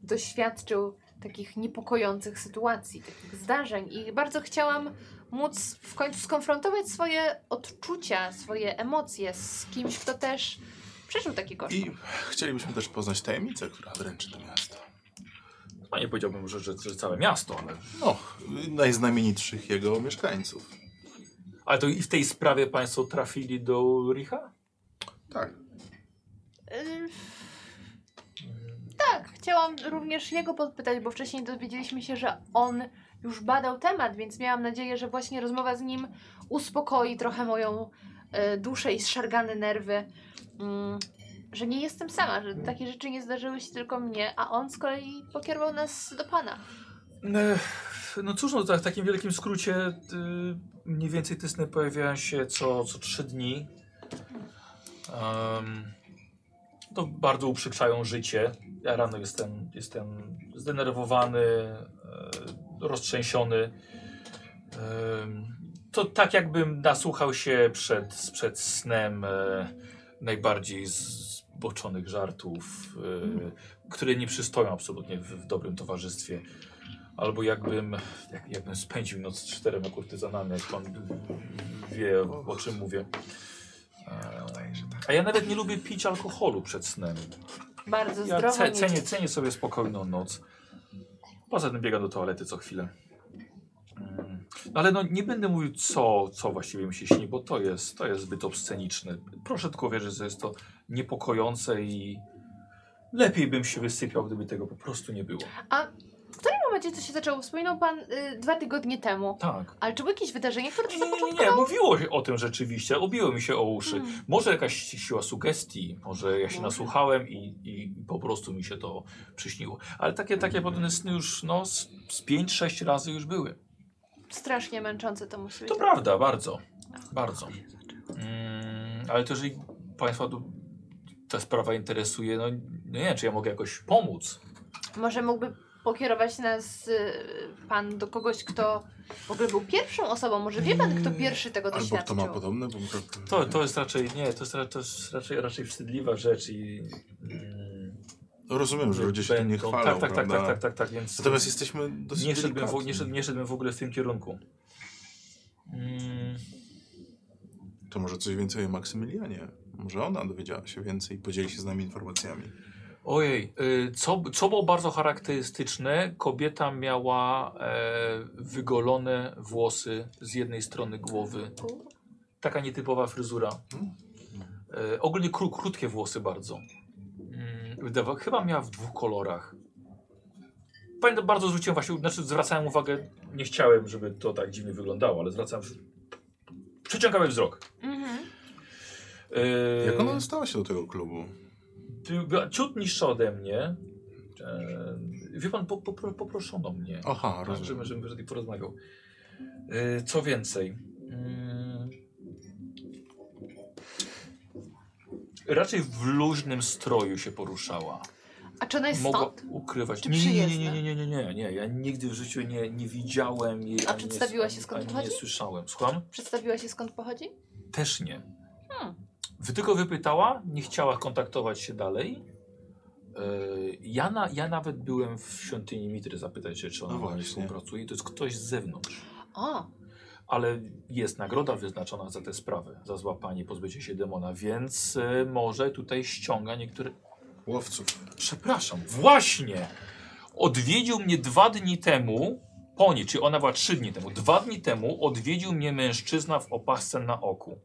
Speaker 6: doświadczył takich niepokojących sytuacji, takich zdarzeń i bardzo chciałam móc w końcu skonfrontować swoje odczucia, swoje emocje z kimś, kto też przeżył taki koszmar.
Speaker 4: I chcielibyśmy też poznać tajemnicę, która wręczy do miasta.
Speaker 1: No nie powiedziałbym, że, że, że całe miasto, ale...
Speaker 4: No, najznamienitszych jego mieszkańców.
Speaker 1: Ale to i w tej sprawie państwo trafili do Ulricha?
Speaker 4: Tak.
Speaker 6: Y, Tak, chciałam również jego podpytać, bo wcześniej dowiedzieliśmy się, że on już badał temat, więc miałam nadzieję, że właśnie rozmowa z nim uspokoi trochę moją y, duszę i zszargane nerwy. Mm, że nie jestem sama, że takie rzeczy nie zdarzyły się tylko mnie, a on z kolei pokierował nas do pana.
Speaker 1: Ech, No cóż, no tak, w takim wielkim skrócie y, mniej więcej tysny pojawiają się co, co trzy dni. Em, to bardzo uprzykrzają życie. Ja rano jestem, jestem zdenerwowany, e, roztrzęsiony. Em, to tak jakbym nasłuchał się przed, przed snem e, najbardziej zboczonych żartów, e, które nie przystoją absolutnie w, w dobrym towarzystwie. Albo jakbym, jak, jakbym spędził noc z czterema kurtyzanami, jak pan wie o czym mówię. E, A ja nawet nie lubię pić alkoholu przed snem.
Speaker 6: Bardzo
Speaker 1: Ja
Speaker 6: zdrowo.
Speaker 1: ce,
Speaker 6: nie-
Speaker 1: cenię, cenię sobie spokojną noc. Poza tym biega do toalety co chwilę. Mm, Ale no nie będę mówił co, co właściwie mi się śni, bo to jest, to jest zbyt obsceniczne. Proszę tylko wierzyć, że jest to niepokojące i lepiej bym się wysypiał, gdyby tego po prostu nie było.
Speaker 6: W tym momencie, co się zaczęło, wspominał pan y, dwa tygodnie temu.
Speaker 1: Tak.
Speaker 6: Ale czy było jakieś wydarzenie, które
Speaker 1: Nie,
Speaker 6: to
Speaker 1: nie, nie, nie, nie, mówiło się o tym rzeczywiście, obiło mi się o uszy.
Speaker 6: Hmm.
Speaker 1: Może jakaś siła sugestii, może ja się nasłuchałem i, i po prostu mi się to przyśniło. Ale takie, takie podobne sny już no, z, z 5-6 razy już były.
Speaker 6: Strasznie męczące to musi być.
Speaker 1: To prawda, bardzo, bardzo. Mm, ale to jeżeli Państwa tu ta sprawa interesuje, no nie wiem, czy ja mogę jakoś pomóc.
Speaker 6: Może mógłby pokierować nas y, pan do kogoś, kto w ogóle był pierwszą osobą. Może wie pan, kto pierwszy tego
Speaker 4: Mm, Albo kto
Speaker 6: doświadczył.
Speaker 4: ma podobne, bo
Speaker 1: To, to jest raczej, nie, to jest, ra- to jest raczej, raczej wstydliwa rzecz i... Mm,
Speaker 8: No
Speaker 4: Rozumiem, że ludzie się tym nie
Speaker 1: będą-
Speaker 4: chwalą,
Speaker 1: tak, tak, tak,
Speaker 4: prawda?
Speaker 1: tak, tak, tak, tak, więc...
Speaker 4: Natomiast jesteśmy dosyć
Speaker 1: Nie szedłbym, w,
Speaker 4: delikatni.
Speaker 1: nie, szed, nie szedłbym w ogóle w tym kierunku. Mm,
Speaker 4: To może coś więcej o Maksymilianie. Może ona dowiedziała się więcej i podzieli się z nami informacjami.
Speaker 1: ojej, y, co, co było bardzo charakterystyczne, kobieta miała e, wygolone włosy z jednej strony głowy. Taka nietypowa fryzura. E, ogólnie kró, krótkie włosy bardzo. Mm, wydawa- chyba miała w dwóch kolorach. Pamiętam, bardzo zwróciłem właśnie, znaczy zwracałem uwagę, nie chciałem, żeby to tak dziwnie wyglądało, ale zwracałem, przyciągałem wzrok.
Speaker 6: Mhm.
Speaker 1: E,
Speaker 4: Jak ona dostała się do tego klubu?
Speaker 1: Ty- była Ciut niższa ode mnie. E, Wie pan, po, po, poproszono mnie,
Speaker 4: Aha,
Speaker 1: tak, żebym,
Speaker 4: rozumiem.
Speaker 1: żebym wyszedł i porozmawiał. E, Co więcej, mm, raczej w luźnym stroju się poruszała.
Speaker 6: A czy ona jest
Speaker 1: Mogła
Speaker 6: stąd?
Speaker 1: ukrywać.
Speaker 6: Czy
Speaker 1: Nie, nie, nie,
Speaker 6: przyjezdna?
Speaker 1: nie, nie, nie, nie, nie. Ja nigdy w życiu nie, nie widziałem jej.
Speaker 6: A
Speaker 1: ani nie
Speaker 6: przedstawiła
Speaker 1: s-
Speaker 6: się, skąd
Speaker 1: ani
Speaker 6: pochodzi?
Speaker 1: Nie słyszałem. Słucham?
Speaker 6: Przedstawiła się skąd pochodzi?
Speaker 1: Też nie.
Speaker 6: Hmm.
Speaker 1: Wy tylko wypytała, nie chciała kontaktować się dalej. E, Ja, na, ja nawet byłem w świątyni Mitry zapytać się, czy ona
Speaker 4: No
Speaker 1: no
Speaker 4: właśnie.
Speaker 1: współpracuje. To jest ktoś z zewnątrz.
Speaker 6: O,
Speaker 1: Ale jest nagroda wyznaczona za tę sprawę, za złapanie, pozbycie się demona, więc e, może tutaj ściąga niektóre...
Speaker 4: Łowców.
Speaker 1: Przepraszam, właśnie! Odwiedził mnie dwa dni temu, po niej, czyli ona była trzy dni temu, dwa dni temu odwiedził mnie mężczyzna w opasce na oku.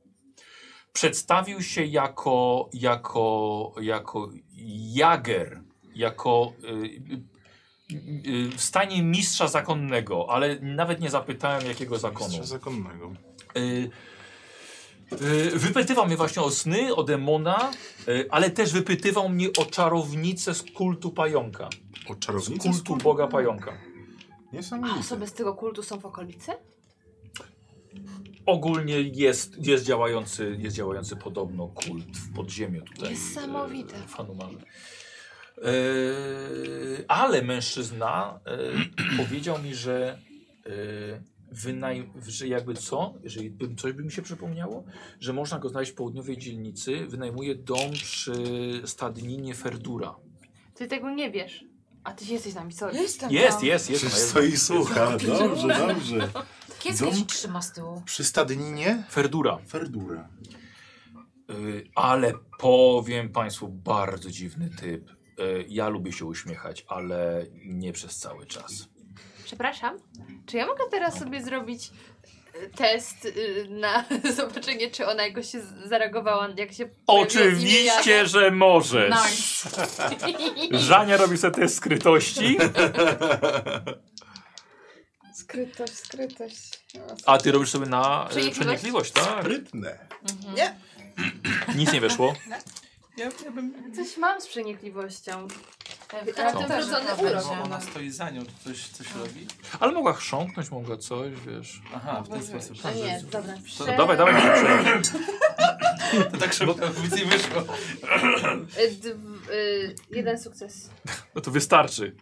Speaker 1: Przedstawił się jako, jako, jako jager, jako y, y, y, w stanie mistrza zakonnego, ale nawet nie zapytałem jakiego zakonu.
Speaker 4: Mistrza zakonnego.
Speaker 1: Y, y, Wypytywał mnie właśnie o sny, o demona, y, ale też wypytywał mnie o czarownicę z kultu pająka.
Speaker 4: O
Speaker 1: Z
Speaker 4: czarownicy?
Speaker 1: kultu boga pająka.
Speaker 6: a
Speaker 4: Niesamowite.
Speaker 6: osoby z tego kultu są w okolicy?
Speaker 1: Ogólnie jest, jest, działający, jest działający podobno kult w podziemiu tutaj.
Speaker 6: Niesamowite.
Speaker 1: y, Fanumarze. Y, E, ale mężczyzna y, powiedział mi, że, y, wynaj, że jakby co, jeżeli bym, coś by mi się przypomniało, że można go znaleźć w południowej dzielnicy, wynajmuje dom przy stadninie Ferdura.
Speaker 6: Ty tego nie wiesz. A ty jesteś z nami, sorry.
Speaker 5: Jestem
Speaker 1: Jest,
Speaker 5: tam.
Speaker 1: jest, jest.
Speaker 4: Przecież
Speaker 1: ona jest-
Speaker 4: stoi i słucha. Dobrze, dobrze.
Speaker 2: Kiecka się
Speaker 4: Dom?
Speaker 2: trzyma z tyłu.
Speaker 4: Przy stadninie?
Speaker 1: Ferdura.
Speaker 4: Ferdura.
Speaker 1: Y, ale powiem Państwu, bardzo dziwny typ. Y, ja lubię się uśmiechać, ale nie przez cały czas.
Speaker 6: Przepraszam, czy ja mogę teraz sobie zrobić e, test y, na zobaczenie, czy ona jakoś się z- zareagowała, jak się pojawiło
Speaker 1: Oczywiście, że możesz.
Speaker 2: Nice.
Speaker 5: No
Speaker 6: imię?
Speaker 1: Żania robi sobie test skrytości,
Speaker 5: Skrytość, skrytość.
Speaker 1: a ty robisz sobie na e,
Speaker 6: Przenikliwość?
Speaker 1: przenikliwość, tak?
Speaker 4: Sprytne.
Speaker 5: Nie.
Speaker 1: Nic nie weszło.
Speaker 6: Coś mam z przenikliwością.
Speaker 2: Tak,
Speaker 6: ten
Speaker 2: też
Speaker 6: wrodzony
Speaker 2: to
Speaker 6: urok.
Speaker 2: będzie.
Speaker 3: Ona stoi za nią, to coś, coś robi?
Speaker 1: Ale mogła chrząknąć, mogła coś, wiesz. No
Speaker 3: Aha, w ten sposób.
Speaker 6: A nie, dobra. Prze...
Speaker 1: Dawaj, dawaj, nie przejdź.
Speaker 3: To tak szybko nic nie wyszło.
Speaker 6: E, dw- e, jeden sukces.
Speaker 1: No to wystarczy.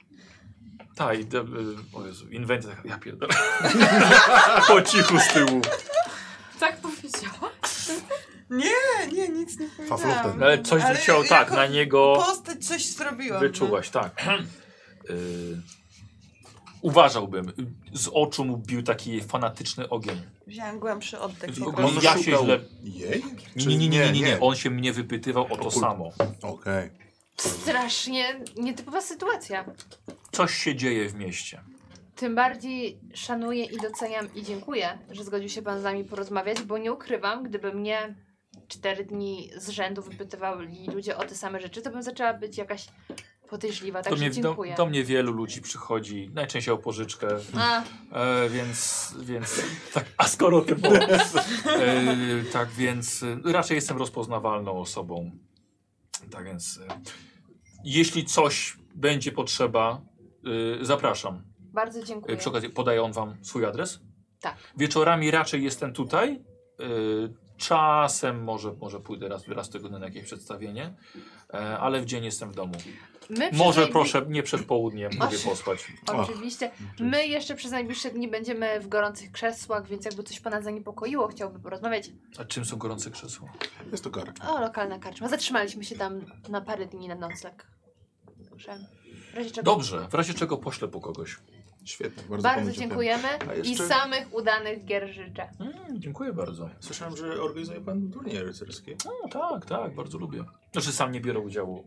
Speaker 1: Ta i de, y, o Jezu, inwencja taka, ja pierdolę. po cichu z tyłu.
Speaker 2: Tak powiedziała.
Speaker 5: Nie, nie, nic nie powiedziałam.
Speaker 4: Fafluten.
Speaker 1: No, ale coś
Speaker 5: Ale
Speaker 1: wisiało tak,
Speaker 5: jako
Speaker 1: na niego
Speaker 5: Postać coś zrobiłam. no.
Speaker 1: wyczułaś, tak. Y, uważałbym. Z oczu mu bił taki fanatyczny ogień.
Speaker 5: No. Wziąłem głębszy oddech.
Speaker 1: I-
Speaker 5: po
Speaker 1: on
Speaker 5: prostu.
Speaker 1: ja się
Speaker 4: szukał
Speaker 1: źle-
Speaker 4: Jej?
Speaker 1: Nie,
Speaker 4: Czy-
Speaker 1: nie, nie, nie, nie, nie. On się mnie wypytywał o to
Speaker 4: Okult.
Speaker 1: samo.
Speaker 4: Okej.
Speaker 6: Strasznie nietypowa sytuacja.
Speaker 1: Coś się dzieje w mieście.
Speaker 6: Tym bardziej szanuję i doceniam i dziękuję, że zgodził się pan z nami porozmawiać, bo nie ukrywam, gdyby mnie cztery dni z rzędu wypytywali ludzie o te same rzeczy, to bym zaczęła być jakaś podejrzliwa,
Speaker 1: Do
Speaker 6: także
Speaker 1: mnie, do,
Speaker 6: dziękuję.
Speaker 1: do mnie wielu ludzi przychodzi, najczęściej o pożyczkę,
Speaker 6: A,
Speaker 1: E, więc, więc tak, a skoro ty bo, e, tak więc e, raczej jestem rozpoznawalną osobą. Tak więc e, jeśli coś będzie potrzeba, e, zapraszam.
Speaker 6: bardzo
Speaker 1: E,
Speaker 6: dziękuję.
Speaker 1: przy okazji podaje on wam swój adres?
Speaker 6: Tak.
Speaker 1: Wieczorami raczej jestem tutaj. E, czasem może, może pójdę raz, raz w tygodniu na jakieś przedstawienie, e, ale w dzień jestem w domu.
Speaker 6: My przez
Speaker 1: Może
Speaker 6: najbli-
Speaker 1: proszę, nie przed południem,
Speaker 6: O,
Speaker 1: mogę
Speaker 6: się-
Speaker 1: pospać.
Speaker 6: Oczywiście. My jeszcze przez najbliższe dni będziemy w gorących krzesłach, więc jakby coś pana zaniepokoiło, chciałby porozmawiać.
Speaker 1: A czym są gorące krzesła?
Speaker 4: Jest to kark.
Speaker 6: O, lokalna karczma. Zatrzymaliśmy się tam na parę dni na nocleg. Dobrze. W razie czego
Speaker 1: Dobrze, w razie czego poślę po kogoś.
Speaker 4: Świetnie. Bardzo,
Speaker 6: Bardzo
Speaker 4: panu
Speaker 6: dziękujemy
Speaker 4: A
Speaker 6: i
Speaker 4: jeszcze-
Speaker 6: samych udanych gier życzę.
Speaker 1: Mm, dziękuję bardzo.
Speaker 4: Słyszałem, że organizuje pan turnieje rycerskie.
Speaker 1: No tak, tak, bardzo lubię. Znaczy sam nie biorę udziału.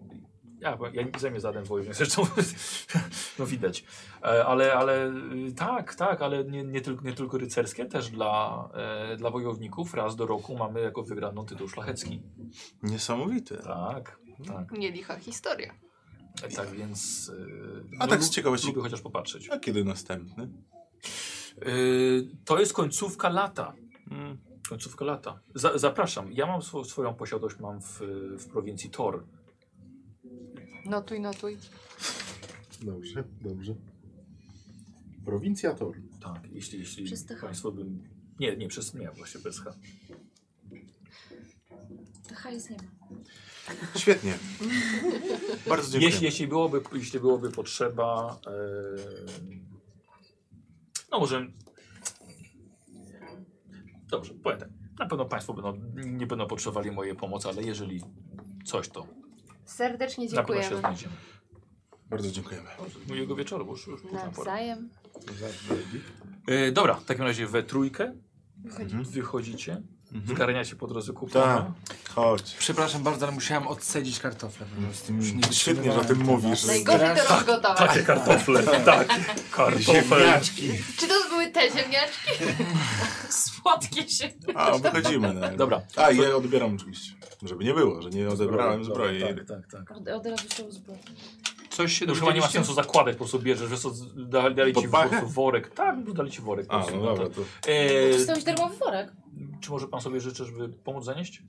Speaker 1: Ja, bo ja nie zajmę zaden wojów, więc zresztą no widać. E, Ale, ale y, tak, tak, ale nie, nie, tylko, nie tylko rycerskie, też dla, e, dla wojowników raz do roku mamy jako wygraną tytuł szlachecki.
Speaker 4: Niesamowite.
Speaker 1: Tak, tak.
Speaker 6: Nie licha historia.
Speaker 1: E, Tak więc... e,
Speaker 4: A
Speaker 1: no,
Speaker 4: tak z
Speaker 1: lu-
Speaker 4: ciekawości-
Speaker 1: Lubię chociaż popatrzeć.
Speaker 4: A kiedy następny?
Speaker 1: E, To jest końcówka lata.
Speaker 4: Mm.
Speaker 1: Końcówka lata. Za, zapraszam. Ja mam swo, swoją posiadłość mam w, w prowincji Tor.
Speaker 6: Notuj, notuj.
Speaker 4: Dobrze, dobrze. Prowincjator.
Speaker 1: Tak, jeśli, jeśli
Speaker 6: Przez TH.
Speaker 1: Państwo bym. Nie, nie, przez nie, właśnie bez H.
Speaker 2: To hajs nie ma.
Speaker 4: Świetnie. Bardzo dziękuję.
Speaker 1: Jeśli, jeśli, byłoby, jeśli byłoby potrzeba. em, No może. Dobrze, powiem tak. Na pewno Państwo będą, nie będą potrzebowali mojej pomocy, ale jeżeli coś, to
Speaker 6: Serdecznie
Speaker 1: na pewno się
Speaker 6: dziękujemy.
Speaker 1: znajdziemy.
Speaker 4: Bardzo dziękujemy.
Speaker 1: Mojego wieczoru, bo już, już późna pora.
Speaker 6: Nawzajem.
Speaker 1: E, dobra, w takim razie we trójkę
Speaker 4: Wychodzimy.
Speaker 1: wychodzicie,
Speaker 4: Mhm.
Speaker 1: zgarniacie po drodze kupona.
Speaker 4: Tak. Chodź.
Speaker 3: Przepraszam bardzo, ale musiałam odsedzić kartofle po prostu. Już nie
Speaker 4: Świetnie, że o
Speaker 3: wytrzymywałem
Speaker 4: tym
Speaker 3: tego.
Speaker 4: mówisz.
Speaker 1: No
Speaker 6: Najgorzej to rozgotować.
Speaker 1: Takie kartofle, tak, kartofle.
Speaker 4: Ziemniaczki.
Speaker 6: Czy to były te ziemniaczki?
Speaker 2: Słodkie się.
Speaker 4: A, wychodzimy. No.
Speaker 1: Dobra.
Speaker 4: A, ja odbieram oczywiście. Żeby nie było, że nie odebrałem
Speaker 1: Dobra,
Speaker 4: zbroi.
Speaker 1: Tak, tak, tak.
Speaker 2: Od, od razu się uzbroi.
Speaker 1: Coś się Chyba nie ma sensu zakładać, po prostu bierzesz, wiesz co, da, dali ci
Speaker 4: Pod
Speaker 1: po
Speaker 4: pachę?
Speaker 1: prostu worek. Tak, po prostu dali ci worek. po
Speaker 4: A,
Speaker 1: prostu,
Speaker 4: no
Speaker 1: no
Speaker 4: dobra, to
Speaker 1: to- E,
Speaker 2: Dostałeś darmowy worek.
Speaker 1: czy może pan sobie życzy, żeby pomóc zanieść?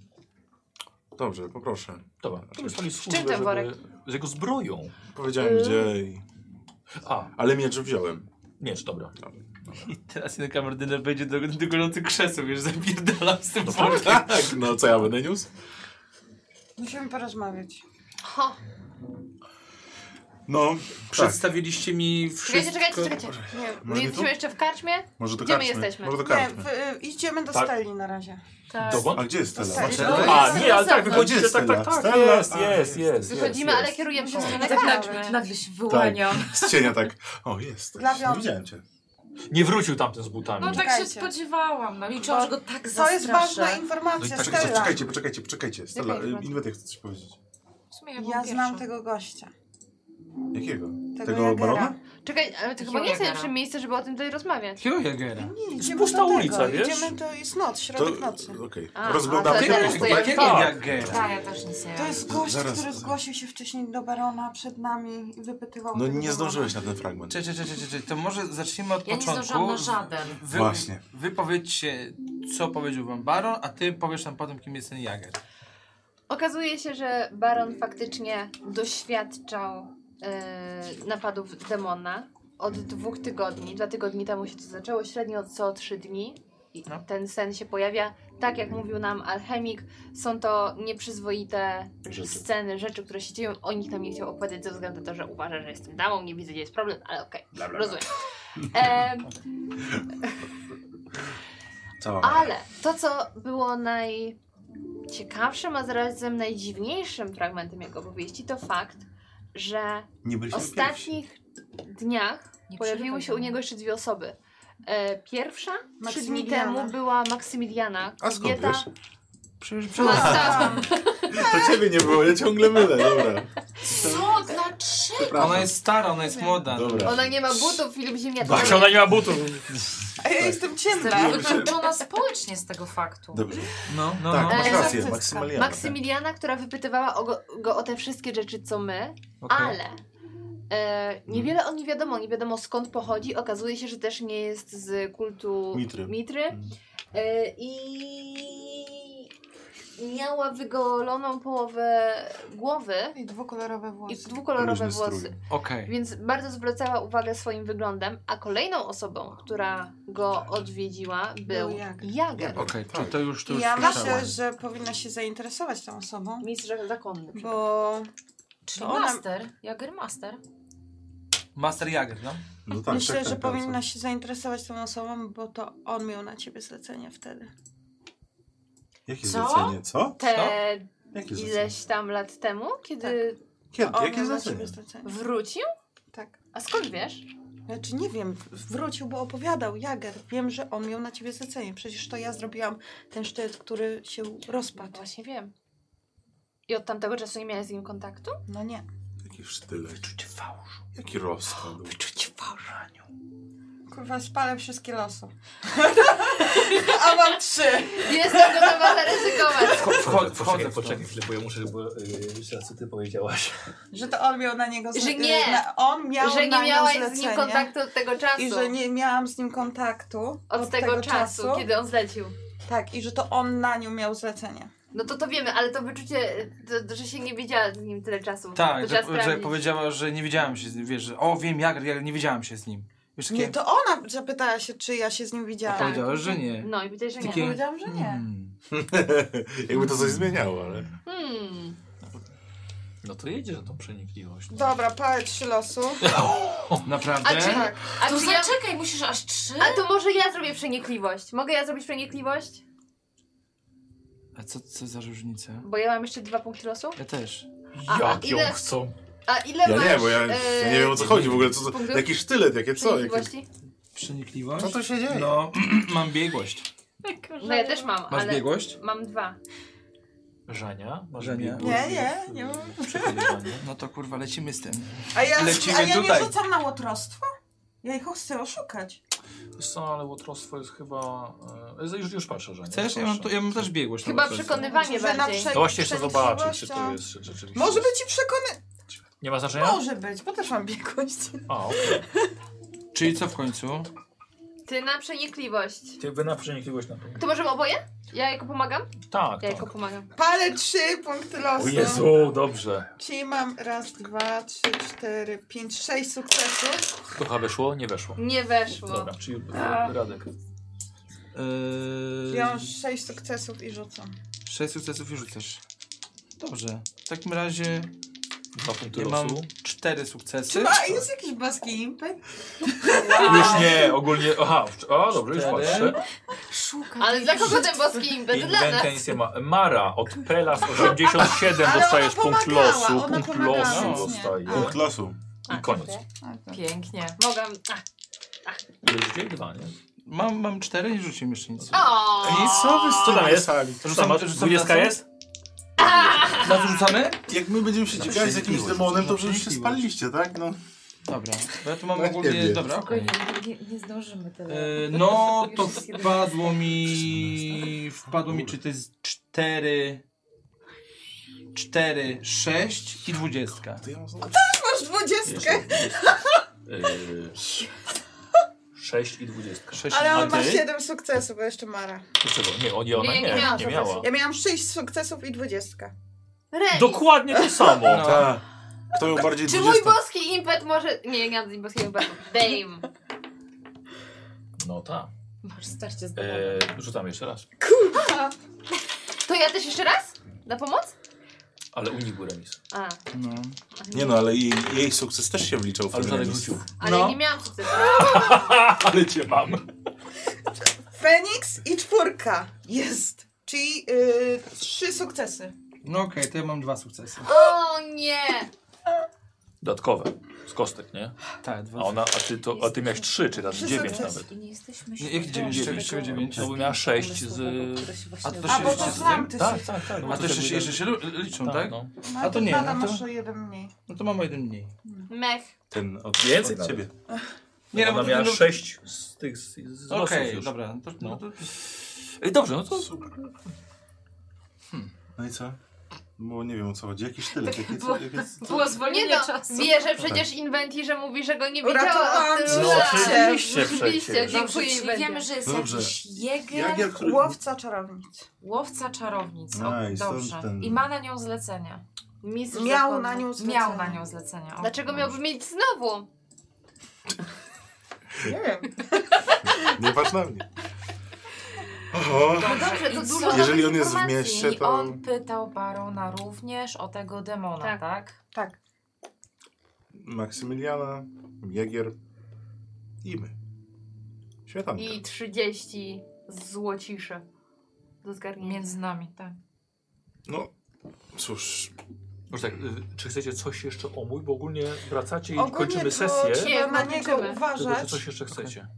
Speaker 4: dobrze, poproszę.
Speaker 1: Dobra, to dostali
Speaker 6: czym ten
Speaker 1: służbę, żeby...
Speaker 6: worek?
Speaker 1: Z jego zbroją.
Speaker 4: Powiedziałem
Speaker 6: Y.
Speaker 4: gdzie i...
Speaker 1: A,
Speaker 4: Ale miecz wziąłem.
Speaker 1: miecz, dobra.
Speaker 4: Tak.
Speaker 3: I teraz jeden kamerdyner będzie do, do gorących krzeseł, już zapierdalam z tym
Speaker 1: No
Speaker 3: workiem.
Speaker 4: Tak, no co ja będę niósł?
Speaker 5: Musimy porozmawiać.
Speaker 6: Ho,
Speaker 4: No, tak.
Speaker 3: Przedstawiliście mi wszystko.
Speaker 6: czekajcie, czekajcie, czekajcie. Nie,
Speaker 4: Może
Speaker 6: nie
Speaker 4: nie
Speaker 6: jesteśmy
Speaker 4: tu?
Speaker 6: jeszcze w karczmie?
Speaker 4: Może to
Speaker 6: Gdzie my
Speaker 4: karczmy.
Speaker 6: jesteśmy?
Speaker 4: Może to
Speaker 5: Nie,
Speaker 4: karczmy.
Speaker 5: w, y, idziemy do
Speaker 1: Tak.
Speaker 5: Steli na razie.
Speaker 2: Tak.
Speaker 1: Dokąd?
Speaker 4: A gdzie jest Stella?
Speaker 5: Stella.
Speaker 4: Właśnie,
Speaker 5: No,
Speaker 4: tutaj.
Speaker 1: A, nie, ale tak,
Speaker 2: Stella.
Speaker 1: wychodzicie, tak, tak, tak,
Speaker 4: Stella.
Speaker 1: jest,
Speaker 4: A,
Speaker 1: jest, jest.
Speaker 6: Wychodzimy,
Speaker 1: jest,
Speaker 6: ale kierujemy się w
Speaker 5: Musimy
Speaker 6: stronę
Speaker 5: tak
Speaker 6: karczmy.
Speaker 2: Nagle się wyłaniam.
Speaker 4: Z cienia tak. O, jest.
Speaker 5: Dla
Speaker 4: Nie
Speaker 5: Wiony.
Speaker 4: widziałem cię.
Speaker 1: Nie wrócił tamten z butami.
Speaker 2: No tak
Speaker 5: Czekajcie.
Speaker 2: się spodziewałam, no liczyłam,
Speaker 5: Bo
Speaker 2: że go tak
Speaker 5: To jest ważna
Speaker 2: zastraszę.
Speaker 4: No i
Speaker 5: informacja,
Speaker 4: tak,
Speaker 5: Stella.
Speaker 4: poczekajcie, poczekajcie, poczekajcie. Stella,
Speaker 2: Czekaj,
Speaker 4: y,
Speaker 2: zobacz.
Speaker 4: Inwetek chce coś powiedzieć.
Speaker 2: W sumie byłam
Speaker 5: Ja znam
Speaker 2: pierwsza.
Speaker 5: tego gościa.
Speaker 4: Jakiego?
Speaker 5: Tego,
Speaker 4: Tego
Speaker 5: Jagera.
Speaker 4: barona?
Speaker 6: Czekaj, ale to chyba nie jest
Speaker 2: Jagera.
Speaker 6: najlepsze miejsce, żeby o tym tutaj rozmawiać.
Speaker 3: Jakiego Jagera?
Speaker 5: Nie,
Speaker 1: Jest
Speaker 5: idziemy
Speaker 1: pusta
Speaker 5: do tego.
Speaker 1: ulica, wiesz?
Speaker 5: Idziemy, to jest noc,
Speaker 4: To,
Speaker 5: środek nocy.
Speaker 4: okej.
Speaker 6: A,
Speaker 4: Rozglądamy
Speaker 6: a
Speaker 4: się
Speaker 6: to
Speaker 4: po
Speaker 6: ja
Speaker 4: prostu.
Speaker 6: to ja-
Speaker 3: Jakiego
Speaker 1: Tak.
Speaker 3: Jagera?
Speaker 2: Tak, ja też nic nie
Speaker 5: To
Speaker 2: wiem.
Speaker 5: jest gość,
Speaker 4: Zaraz-
Speaker 5: który zgłosił się wcześniej do barona przed nami i wypytywał.
Speaker 4: No
Speaker 5: tego
Speaker 4: nie
Speaker 5: barona.
Speaker 4: zdążyłeś na ten fragment.
Speaker 3: Cze, cze, cze, cze, cze, cze, to może zacznijmy od
Speaker 2: Ja nie
Speaker 3: początku.
Speaker 2: zdążyłam na żaden.
Speaker 3: Wy,
Speaker 4: Właśnie.
Speaker 3: Wy powiedzcie, co powiedział wam Baron, a ty powiesz nam potem, kim jest ten Jager.
Speaker 6: Okazuje się, że Baron faktycznie doświadczał e, napadów demona od dwóch tygodni. Dwa tygodni temu się to zaczęło, średnio co trzy dni. I
Speaker 3: No.
Speaker 6: ten sen się pojawia. Tak jak mówił nam alchemik, są to nieprzyzwoite
Speaker 4: Rzeczy.
Speaker 6: sceny, rzeczy, które się dzieją. O nich nam nie chciał opowiadać ze względu na to, że uważa, że jestem damą, nie widzę, gdzie jest problem, ale okej,
Speaker 4: Bla, bla, bla.
Speaker 6: rozumiem. Em,
Speaker 4: Cała
Speaker 6: Ale to, co było najciekawszym, a zarazem najdziwniejszym fragmentem jego opowieści, to fakt, że
Speaker 4: Nie byliśmy
Speaker 6: w ostatnich dniach
Speaker 2: Nie
Speaker 6: pojawiły się u
Speaker 2: przerywaj.
Speaker 6: niego jeszcze dwie osoby. E, pierwsza trzy dni
Speaker 5: Maksymiliana. No
Speaker 6: temu była Maksymiliana,
Speaker 4: A skąd
Speaker 6: kobieta. No, tak.
Speaker 4: wiesz?
Speaker 5: tak.
Speaker 6: Masa,
Speaker 4: To ciebie nie było, ja ciągle mylę, dobra.
Speaker 2: Co? znaczy? Dlaczego?
Speaker 3: Ona jest stara, ona jest młoda.
Speaker 4: Dobra.
Speaker 6: ona nie ma butów, Filip Ziemniaczek.
Speaker 1: Właśnie ona nie ma butów.
Speaker 5: A ja jestem ciemna.
Speaker 2: Jestem wykluczona społecznie z tego faktu.
Speaker 4: Dobrze.
Speaker 3: No, no,
Speaker 4: Tak,
Speaker 3: no.
Speaker 4: masz
Speaker 6: E,
Speaker 4: rację,
Speaker 5: egzorcysta.
Speaker 4: Maksymilian.
Speaker 6: Maksymiliana, która wypytywała o go, go o te wszystkie rzeczy, co my,
Speaker 3: Okej.
Speaker 6: Ale e, niewiele o nim wiadomo, nie wiadomo skąd pochodzi. Okazuje się, że też nie jest z kultu
Speaker 4: Mitry. Mm.
Speaker 6: E, I miała wygoloną połowę głowy
Speaker 5: I dwukolorowe
Speaker 6: i
Speaker 5: włosy.
Speaker 6: dwukolorowe
Speaker 4: Różny strój.
Speaker 6: włosy.
Speaker 3: Okej.
Speaker 6: Więc bardzo zwracała uwagę swoim wyglądem. A kolejną osobą, która go odwiedziła, był
Speaker 5: Był Jager.
Speaker 6: Jager.
Speaker 3: Okej, czy to już, to już
Speaker 5: Ja
Speaker 3: słyszałam.
Speaker 5: myślę, że powinna się zainteresować tą osobą,
Speaker 6: Mistrz zakonny.
Speaker 5: bo
Speaker 4: Tak,
Speaker 2: Czyli
Speaker 5: Ona-
Speaker 2: master, Jagermaster.
Speaker 3: Master Jager, no.
Speaker 4: No tak,
Speaker 5: myślę,
Speaker 4: tak,
Speaker 5: że
Speaker 4: tak, tak,
Speaker 5: powinna się zainteresować tą osobą, bo to on miał na ciebie zlecenie wtedy.
Speaker 4: Jakie
Speaker 2: Co?
Speaker 4: zlecenie, co?
Speaker 6: Te
Speaker 4: Jakie zlecenie?
Speaker 6: ileś tam lat temu, kiedy
Speaker 4: Kiedy?
Speaker 5: On
Speaker 4: Jakie
Speaker 5: miał na
Speaker 4: zlecenie?
Speaker 5: ciebie zlecenie.
Speaker 6: wrócił?
Speaker 5: Tak.
Speaker 6: A skąd wiesz?
Speaker 5: Znaczy nie wiem, wrócił, bo opowiadał Jager. Wiem, że on miał na ciebie zlecenie. Przecież to ja zrobiłam ten sztylet, który się rozpadł.
Speaker 6: Właśnie wiem. I od tamtego czasu nie miałeś z nim kontaktu?
Speaker 5: No nie.
Speaker 4: Jaki sztylet. Wyczucie fałszu. Jaki rozkład.
Speaker 5: Kurwa, spalę wszystkie losy. A mam trzy.
Speaker 6: Jestem gotowa zaryzykować.
Speaker 3: Wcho- Wchodzę w to.
Speaker 1: poczekaj chwilę, bo ja muszę, bo jeszcze raz co ty powiedziałaś.
Speaker 5: Że to on miał na niego
Speaker 6: Że nie.
Speaker 5: Na, on miał
Speaker 6: Że
Speaker 5: na nią
Speaker 6: nie miałaś z nim
Speaker 5: zlecenie
Speaker 6: kontaktu od tego czasu.
Speaker 5: I że nie miałam z nim kontaktu
Speaker 6: od, tego, czasu, kiedy on zlecił.
Speaker 5: Tak, i że to on na nią miał zlecenie.
Speaker 6: No to to wiemy, ale to wyczucie, to, że się nie widziała z nim tyle czasu.
Speaker 3: Tak,
Speaker 6: to
Speaker 3: że,
Speaker 6: trzeba
Speaker 3: że
Speaker 6: sprawdzić.
Speaker 3: powiedziała, że nie widziałam się z nim, wiesz, że o wiem Jager, Jager, nie widziałam się z nim. Wiesz, takie,
Speaker 5: Nie, to ona zapytała się, czy ja się z nim
Speaker 3: a
Speaker 5: widziałam.
Speaker 6: Tak.
Speaker 3: powiedziała, że nie.
Speaker 6: No i powiedziałeś, że nie.
Speaker 3: Takie-
Speaker 5: Powiedziałam, że nie.
Speaker 3: Hmm.
Speaker 4: Jakby to coś zmieniało, ale...
Speaker 6: Hmm.
Speaker 1: No to jedzie na tą przenikliwość.
Speaker 5: Dobra, palę trzy losu.
Speaker 3: Naprawdę?
Speaker 6: A czy-
Speaker 5: Tak.
Speaker 6: A,
Speaker 2: To znaczy
Speaker 6: czy ja,
Speaker 2: zaczekaj, musisz aż trzy?
Speaker 6: a to może ja zrobię przenikliwość. Mogę ja zrobić przenikliwość?
Speaker 3: A co, co za różnica?
Speaker 6: Bo ja mam jeszcze dwa punkty losu.
Speaker 3: Ja też.
Speaker 6: A- a
Speaker 1: Jak ją
Speaker 6: ile-
Speaker 1: chcą?
Speaker 6: A ile
Speaker 4: Ja
Speaker 6: masz e,
Speaker 4: nie, bo ja, ja nie wiem o co chodzi w ogóle. Co, co,
Speaker 6: punktów?
Speaker 4: jaki sztylet, jakie co? Jakie...
Speaker 6: przenikliwości?
Speaker 3: Przenikliwość?
Speaker 4: Co to się dzieje?
Speaker 3: No, mam biegłość.
Speaker 6: No ja też mam,
Speaker 3: Masz
Speaker 6: ale
Speaker 3: biegłość?
Speaker 6: mam dwa.
Speaker 1: Żania? Masz
Speaker 3: Żania.
Speaker 1: biegłość?
Speaker 5: Nie, nie, nie mam.
Speaker 1: Przekonywanie.
Speaker 3: No to kurwa, lecimy z tym.
Speaker 5: A ja,
Speaker 3: Lecimy
Speaker 5: a ja nie
Speaker 3: tutaj.
Speaker 5: rzucam na łotrostwo? Ja ich chcę oszukać.
Speaker 1: Wiesz co, ale łotrostwo jest chyba... E, już, już patrzę, Żania.
Speaker 3: Chcesz? Ja mam, tu, ja mam też biegłość.
Speaker 6: Chyba
Speaker 3: nawet.
Speaker 6: przekonywanie
Speaker 5: Że na
Speaker 6: bardziej.
Speaker 5: prze-
Speaker 1: No właśnie chcę
Speaker 5: przenikliwością-
Speaker 1: zobaczyć, czy to jest rze- rzeczywiście...
Speaker 5: Może być i przekony...
Speaker 1: Nie ma znaczenia?
Speaker 5: Może być, bo też mam biegłość.
Speaker 1: A, okej.
Speaker 3: Czyli co w końcu?
Speaker 6: Ty na przenikliwość.
Speaker 1: Ty Wy na przenikliwość na pewno.
Speaker 6: To możemy oboje? Ja jako pomagam?
Speaker 1: Tak,
Speaker 6: Ja
Speaker 1: tak.
Speaker 6: jako pomagam.
Speaker 5: Palę trzy punkty losu.
Speaker 1: O Jezu, dobrze.
Speaker 5: Czyli mam raz, dwa, trzy, cztery, pięć, sześć sukcesów.
Speaker 1: To chyba weszło? Nie weszło.
Speaker 6: Nie weszło.
Speaker 1: Dobra, czyli
Speaker 5: A.
Speaker 1: Radek.
Speaker 5: Ja mam sześć sukcesów i rzucam.
Speaker 3: Yy, Sześć sukcesów i rzucasz. Dobrze. W takim razie
Speaker 1: Dwa punkty
Speaker 3: ja mam
Speaker 1: losu.
Speaker 3: cztery sukcesy.
Speaker 5: Czy ma, jest jakiś boski impet?
Speaker 1: Już nie, ogólnie. Aha, w- a dobrze, już
Speaker 3: Cztery.
Speaker 1: patrzę.
Speaker 2: Szukaj.
Speaker 6: Ale dla kogo ten boski impet? Dla nas.
Speaker 1: Inwentencja ma. Mara od Pelas 87
Speaker 5: Ale
Speaker 1: dostajesz
Speaker 5: ona
Speaker 1: punkt
Speaker 5: pomagała,
Speaker 1: losu.
Speaker 5: ona
Speaker 1: Punkt
Speaker 5: pomagała, Tak.
Speaker 1: losu
Speaker 5: więc nie.
Speaker 1: dostaje.
Speaker 4: Punkt losu.
Speaker 1: I koniec.
Speaker 5: A, tak.
Speaker 2: Pięknie.
Speaker 6: Mogę. A,
Speaker 1: Ile rzuciłeś? Dwa, nie?
Speaker 3: Mam, mam cztery i rzuciłem jeszcze nic.
Speaker 6: O!
Speaker 4: I co wy z
Speaker 1: Co tam
Speaker 4: tymi
Speaker 1: jest?
Speaker 4: sali?
Speaker 1: Rzucam, masz,
Speaker 3: rzucam
Speaker 1: 20
Speaker 3: czasem?
Speaker 1: jest?
Speaker 3: Na co rzucamy?
Speaker 4: Jak my będziemy się ciekawić z jakimś
Speaker 8: prześwietliło,
Speaker 4: demonem, to
Speaker 8: no,
Speaker 4: przecież się
Speaker 8: prześwietliło.
Speaker 4: spaliliście, tak? No.
Speaker 3: Dobra, bo ja tu mam
Speaker 4: No, nie
Speaker 3: ogólnie...
Speaker 4: wiem.
Speaker 3: Dobra, okej.
Speaker 2: Spokojnie, nie, nie zdążymy tyle.
Speaker 3: E, No,
Speaker 2: Już
Speaker 3: to
Speaker 2: jest jeden.
Speaker 3: wpadło mi... Wpadło mi, czy to jest cztery... Cztery, sześć i dwudziestka.
Speaker 8: To ja mam znowu-
Speaker 5: Masz dwudziestkę,
Speaker 1: Jeszcze 20. Yy, 6 i 20.
Speaker 3: Sześć
Speaker 5: ale
Speaker 1: A
Speaker 5: on
Speaker 1: ty?
Speaker 5: ma 7 sukcesów, bo jeszcze Mara.
Speaker 1: Dlaczego? Nie, o- nie, ona
Speaker 6: Nie,
Speaker 1: nie,
Speaker 6: nie
Speaker 1: nie,
Speaker 6: miała
Speaker 1: miała.
Speaker 5: Ja miałam 6 sukcesów i dwudziestka.
Speaker 6: Remis.
Speaker 1: Dokładnie tak. to samo.
Speaker 3: No.
Speaker 4: Tak. Kto ją bardziej
Speaker 6: Czy mój
Speaker 4: 20?
Speaker 6: boski impet może... Nie, nie mam boskiego impetu. Dame.
Speaker 1: No tak.
Speaker 2: Masz starcie z
Speaker 1: E, rzucam jeszcze raz.
Speaker 6: To ja też jeszcze raz? Na pomoc?
Speaker 1: Ale u nich był remis.
Speaker 6: A,
Speaker 3: No.
Speaker 4: Nie no, ale jej, jej sukces też się wliczał w
Speaker 1: Ale
Speaker 4: ten
Speaker 1: Zarek
Speaker 4: remis.
Speaker 1: rzucił.
Speaker 6: ale
Speaker 3: No.
Speaker 6: nie miałam sukcesu.
Speaker 1: Ale cię mam.
Speaker 5: Feniks i czwórka. Jest. Czyli y, trzy sukcesy.
Speaker 3: No okej, to ja mam dwa sukcesy.
Speaker 6: O nie!
Speaker 1: Dodatkowe. Z kostek, nie?
Speaker 3: Tak,
Speaker 1: A, ona, a, ty, to, a ty miałeś 3 czy tam
Speaker 5: Trzy
Speaker 1: 9
Speaker 5: sukcesy.
Speaker 1: nawet.
Speaker 2: I nie jesteśmy
Speaker 3: Nie, jak
Speaker 2: świadomi
Speaker 1: dziewięć,
Speaker 2: tego
Speaker 1: czego
Speaker 3: dziewięć?
Speaker 1: No bo miała 6 z...
Speaker 2: pomysłowego, który się właśnie
Speaker 3: A to
Speaker 5: A
Speaker 3: się
Speaker 5: bo
Speaker 3: liczy
Speaker 5: to
Speaker 3: z
Speaker 5: znam, ty
Speaker 1: Tak,
Speaker 5: się...
Speaker 1: tak, tak.
Speaker 3: A to
Speaker 1: tak
Speaker 3: jeszcze,
Speaker 1: jakby-
Speaker 3: jeszcze się li- liczą,
Speaker 1: Tak,
Speaker 3: tak?
Speaker 1: no.
Speaker 5: No,
Speaker 3: A to nie,
Speaker 5: Nada
Speaker 3: no to-
Speaker 5: masz o jeden mniej.
Speaker 3: No to mam o jeden mniej.
Speaker 6: Mech.
Speaker 8: Ten od,
Speaker 1: No, Więcej
Speaker 8: od ciebie.
Speaker 3: Nie,
Speaker 1: ona
Speaker 3: bo-
Speaker 1: miała
Speaker 3: no-
Speaker 1: 6 z tych z, z losów
Speaker 3: Okej,
Speaker 1: już.
Speaker 3: dobra. To, no. to,
Speaker 1: Ej, dobrze, no to...
Speaker 4: No i co? Bo nie wiem o co chodzi. Jakiś tyle.
Speaker 6: Tak,
Speaker 4: Jakie,
Speaker 2: Bo-
Speaker 4: jakie,
Speaker 2: Było
Speaker 6: Nie
Speaker 2: zwolnienie
Speaker 6: no,
Speaker 2: czasu.
Speaker 6: wierzę przecież Inventii, że mówi, że go nie widziała.
Speaker 5: Uratowałam
Speaker 6: z
Speaker 5: cię.
Speaker 6: tyłu
Speaker 5: No,
Speaker 6: lat.
Speaker 1: oczywiście
Speaker 6: Oczywiście,
Speaker 1: przecież.
Speaker 2: Dobrze,
Speaker 6: dziękuję
Speaker 2: czyli
Speaker 6: Inventii.
Speaker 2: wiemy, że jest
Speaker 4: No dobrze.
Speaker 2: jakiś jeger,
Speaker 4: jakier, który...
Speaker 5: Łowca czarownic.
Speaker 2: łowca czarownic. O,
Speaker 4: Nice, to
Speaker 2: dobrze.
Speaker 4: ten-
Speaker 2: I ma na nią zlecenia.
Speaker 6: Mistrz
Speaker 5: Miał
Speaker 6: zakonu.
Speaker 5: na nią zlecenie.
Speaker 2: Miał na nią zlecenia. O,
Speaker 6: Dlaczego miałby mieć znowu?
Speaker 5: Nie wiem.
Speaker 8: Nie patrz na mnie.
Speaker 4: Oho.
Speaker 6: No dobrze,
Speaker 2: I
Speaker 6: to
Speaker 2: co?
Speaker 6: dużo nowych
Speaker 8: Jeżeli on jest w
Speaker 6: informacji.
Speaker 8: mieście,
Speaker 2: I
Speaker 8: to-
Speaker 2: on pytał barona również o tego demona, tak?
Speaker 6: Tak.
Speaker 5: Tak.
Speaker 8: Maksymiliana, Jagier i my. Świetanka.
Speaker 6: I 30 złociszy do zgarnięcia.
Speaker 2: Między nami, tak.
Speaker 8: No, cóż,
Speaker 1: Może tak, y, czy chcecie coś jeszcze omówić? Bo ogólnie wracacie i kończymy
Speaker 5: to
Speaker 1: sesję.
Speaker 5: trzeba
Speaker 6: Nie,
Speaker 5: na
Speaker 6: no,
Speaker 5: niego
Speaker 6: kończymy.
Speaker 1: Tylko czy
Speaker 5: uważać,
Speaker 1: coś jeszcze chcecie?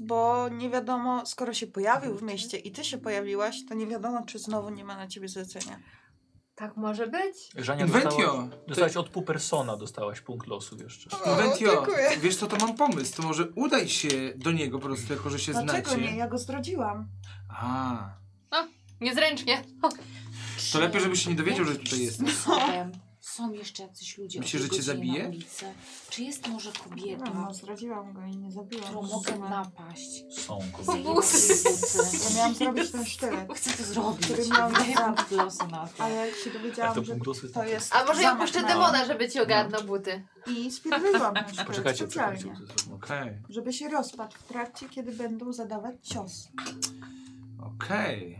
Speaker 5: bo nie wiadomo, skoro się pojawił w mieście i ty się pojawiłaś, to nie wiadomo, czy znowu nie ma na ciebie zlecenia.
Speaker 6: Tak może być?
Speaker 1: Żania dostałaś,
Speaker 3: Inventio!
Speaker 1: dostałaś od Pupersona, dostałaś punkt losu jeszcze.
Speaker 5: O,
Speaker 3: Inventio!
Speaker 5: dziękuję.
Speaker 3: Wiesz co, to mam pomysł. To może udaj się do niego po prostu, jako że się
Speaker 5: Dlaczego
Speaker 3: znacie.
Speaker 5: nie? Ja go zdradziłam.
Speaker 3: A,
Speaker 6: Niezręcznie.
Speaker 3: to lepiej, żeby się nie dowiedział, że tutaj jest.
Speaker 2: Słowem, są jeszcze jacyś ludzie.
Speaker 3: Myślisz,
Speaker 2: o
Speaker 3: że
Speaker 2: tej
Speaker 3: cię
Speaker 2: godzinie na
Speaker 3: zabije?
Speaker 2: ulicy. Czy jest może kobieta,
Speaker 5: No, zdradziłam go i nie zabiłam.
Speaker 2: którą mogę napaść?
Speaker 1: Są
Speaker 2: Zajęłam
Speaker 1: kobiety.
Speaker 2: jej buty.
Speaker 5: Ja miałam zrobić ten sztylet,
Speaker 2: Chcę to zrobić.
Speaker 5: Który miał
Speaker 2: Daję
Speaker 5: na-
Speaker 2: punkt losu na to.
Speaker 5: ale jak się
Speaker 1: Ale to
Speaker 5: dowiedziałam, że
Speaker 1: punkt losu jest
Speaker 3: znaczy.
Speaker 5: to
Speaker 1: na-
Speaker 5: jest
Speaker 6: A może ja
Speaker 5: zamach
Speaker 6: puszczę
Speaker 5: na-
Speaker 6: demona, żeby ci ogarnął buty.
Speaker 5: I spierdoliłam ten sztylet
Speaker 1: Poczekajcie,
Speaker 5: specjalnie,
Speaker 1: poczekajcie.
Speaker 3: Okej,
Speaker 5: żeby się rozpadł w trakcie, kiedy będą zadawać cios.
Speaker 3: okej.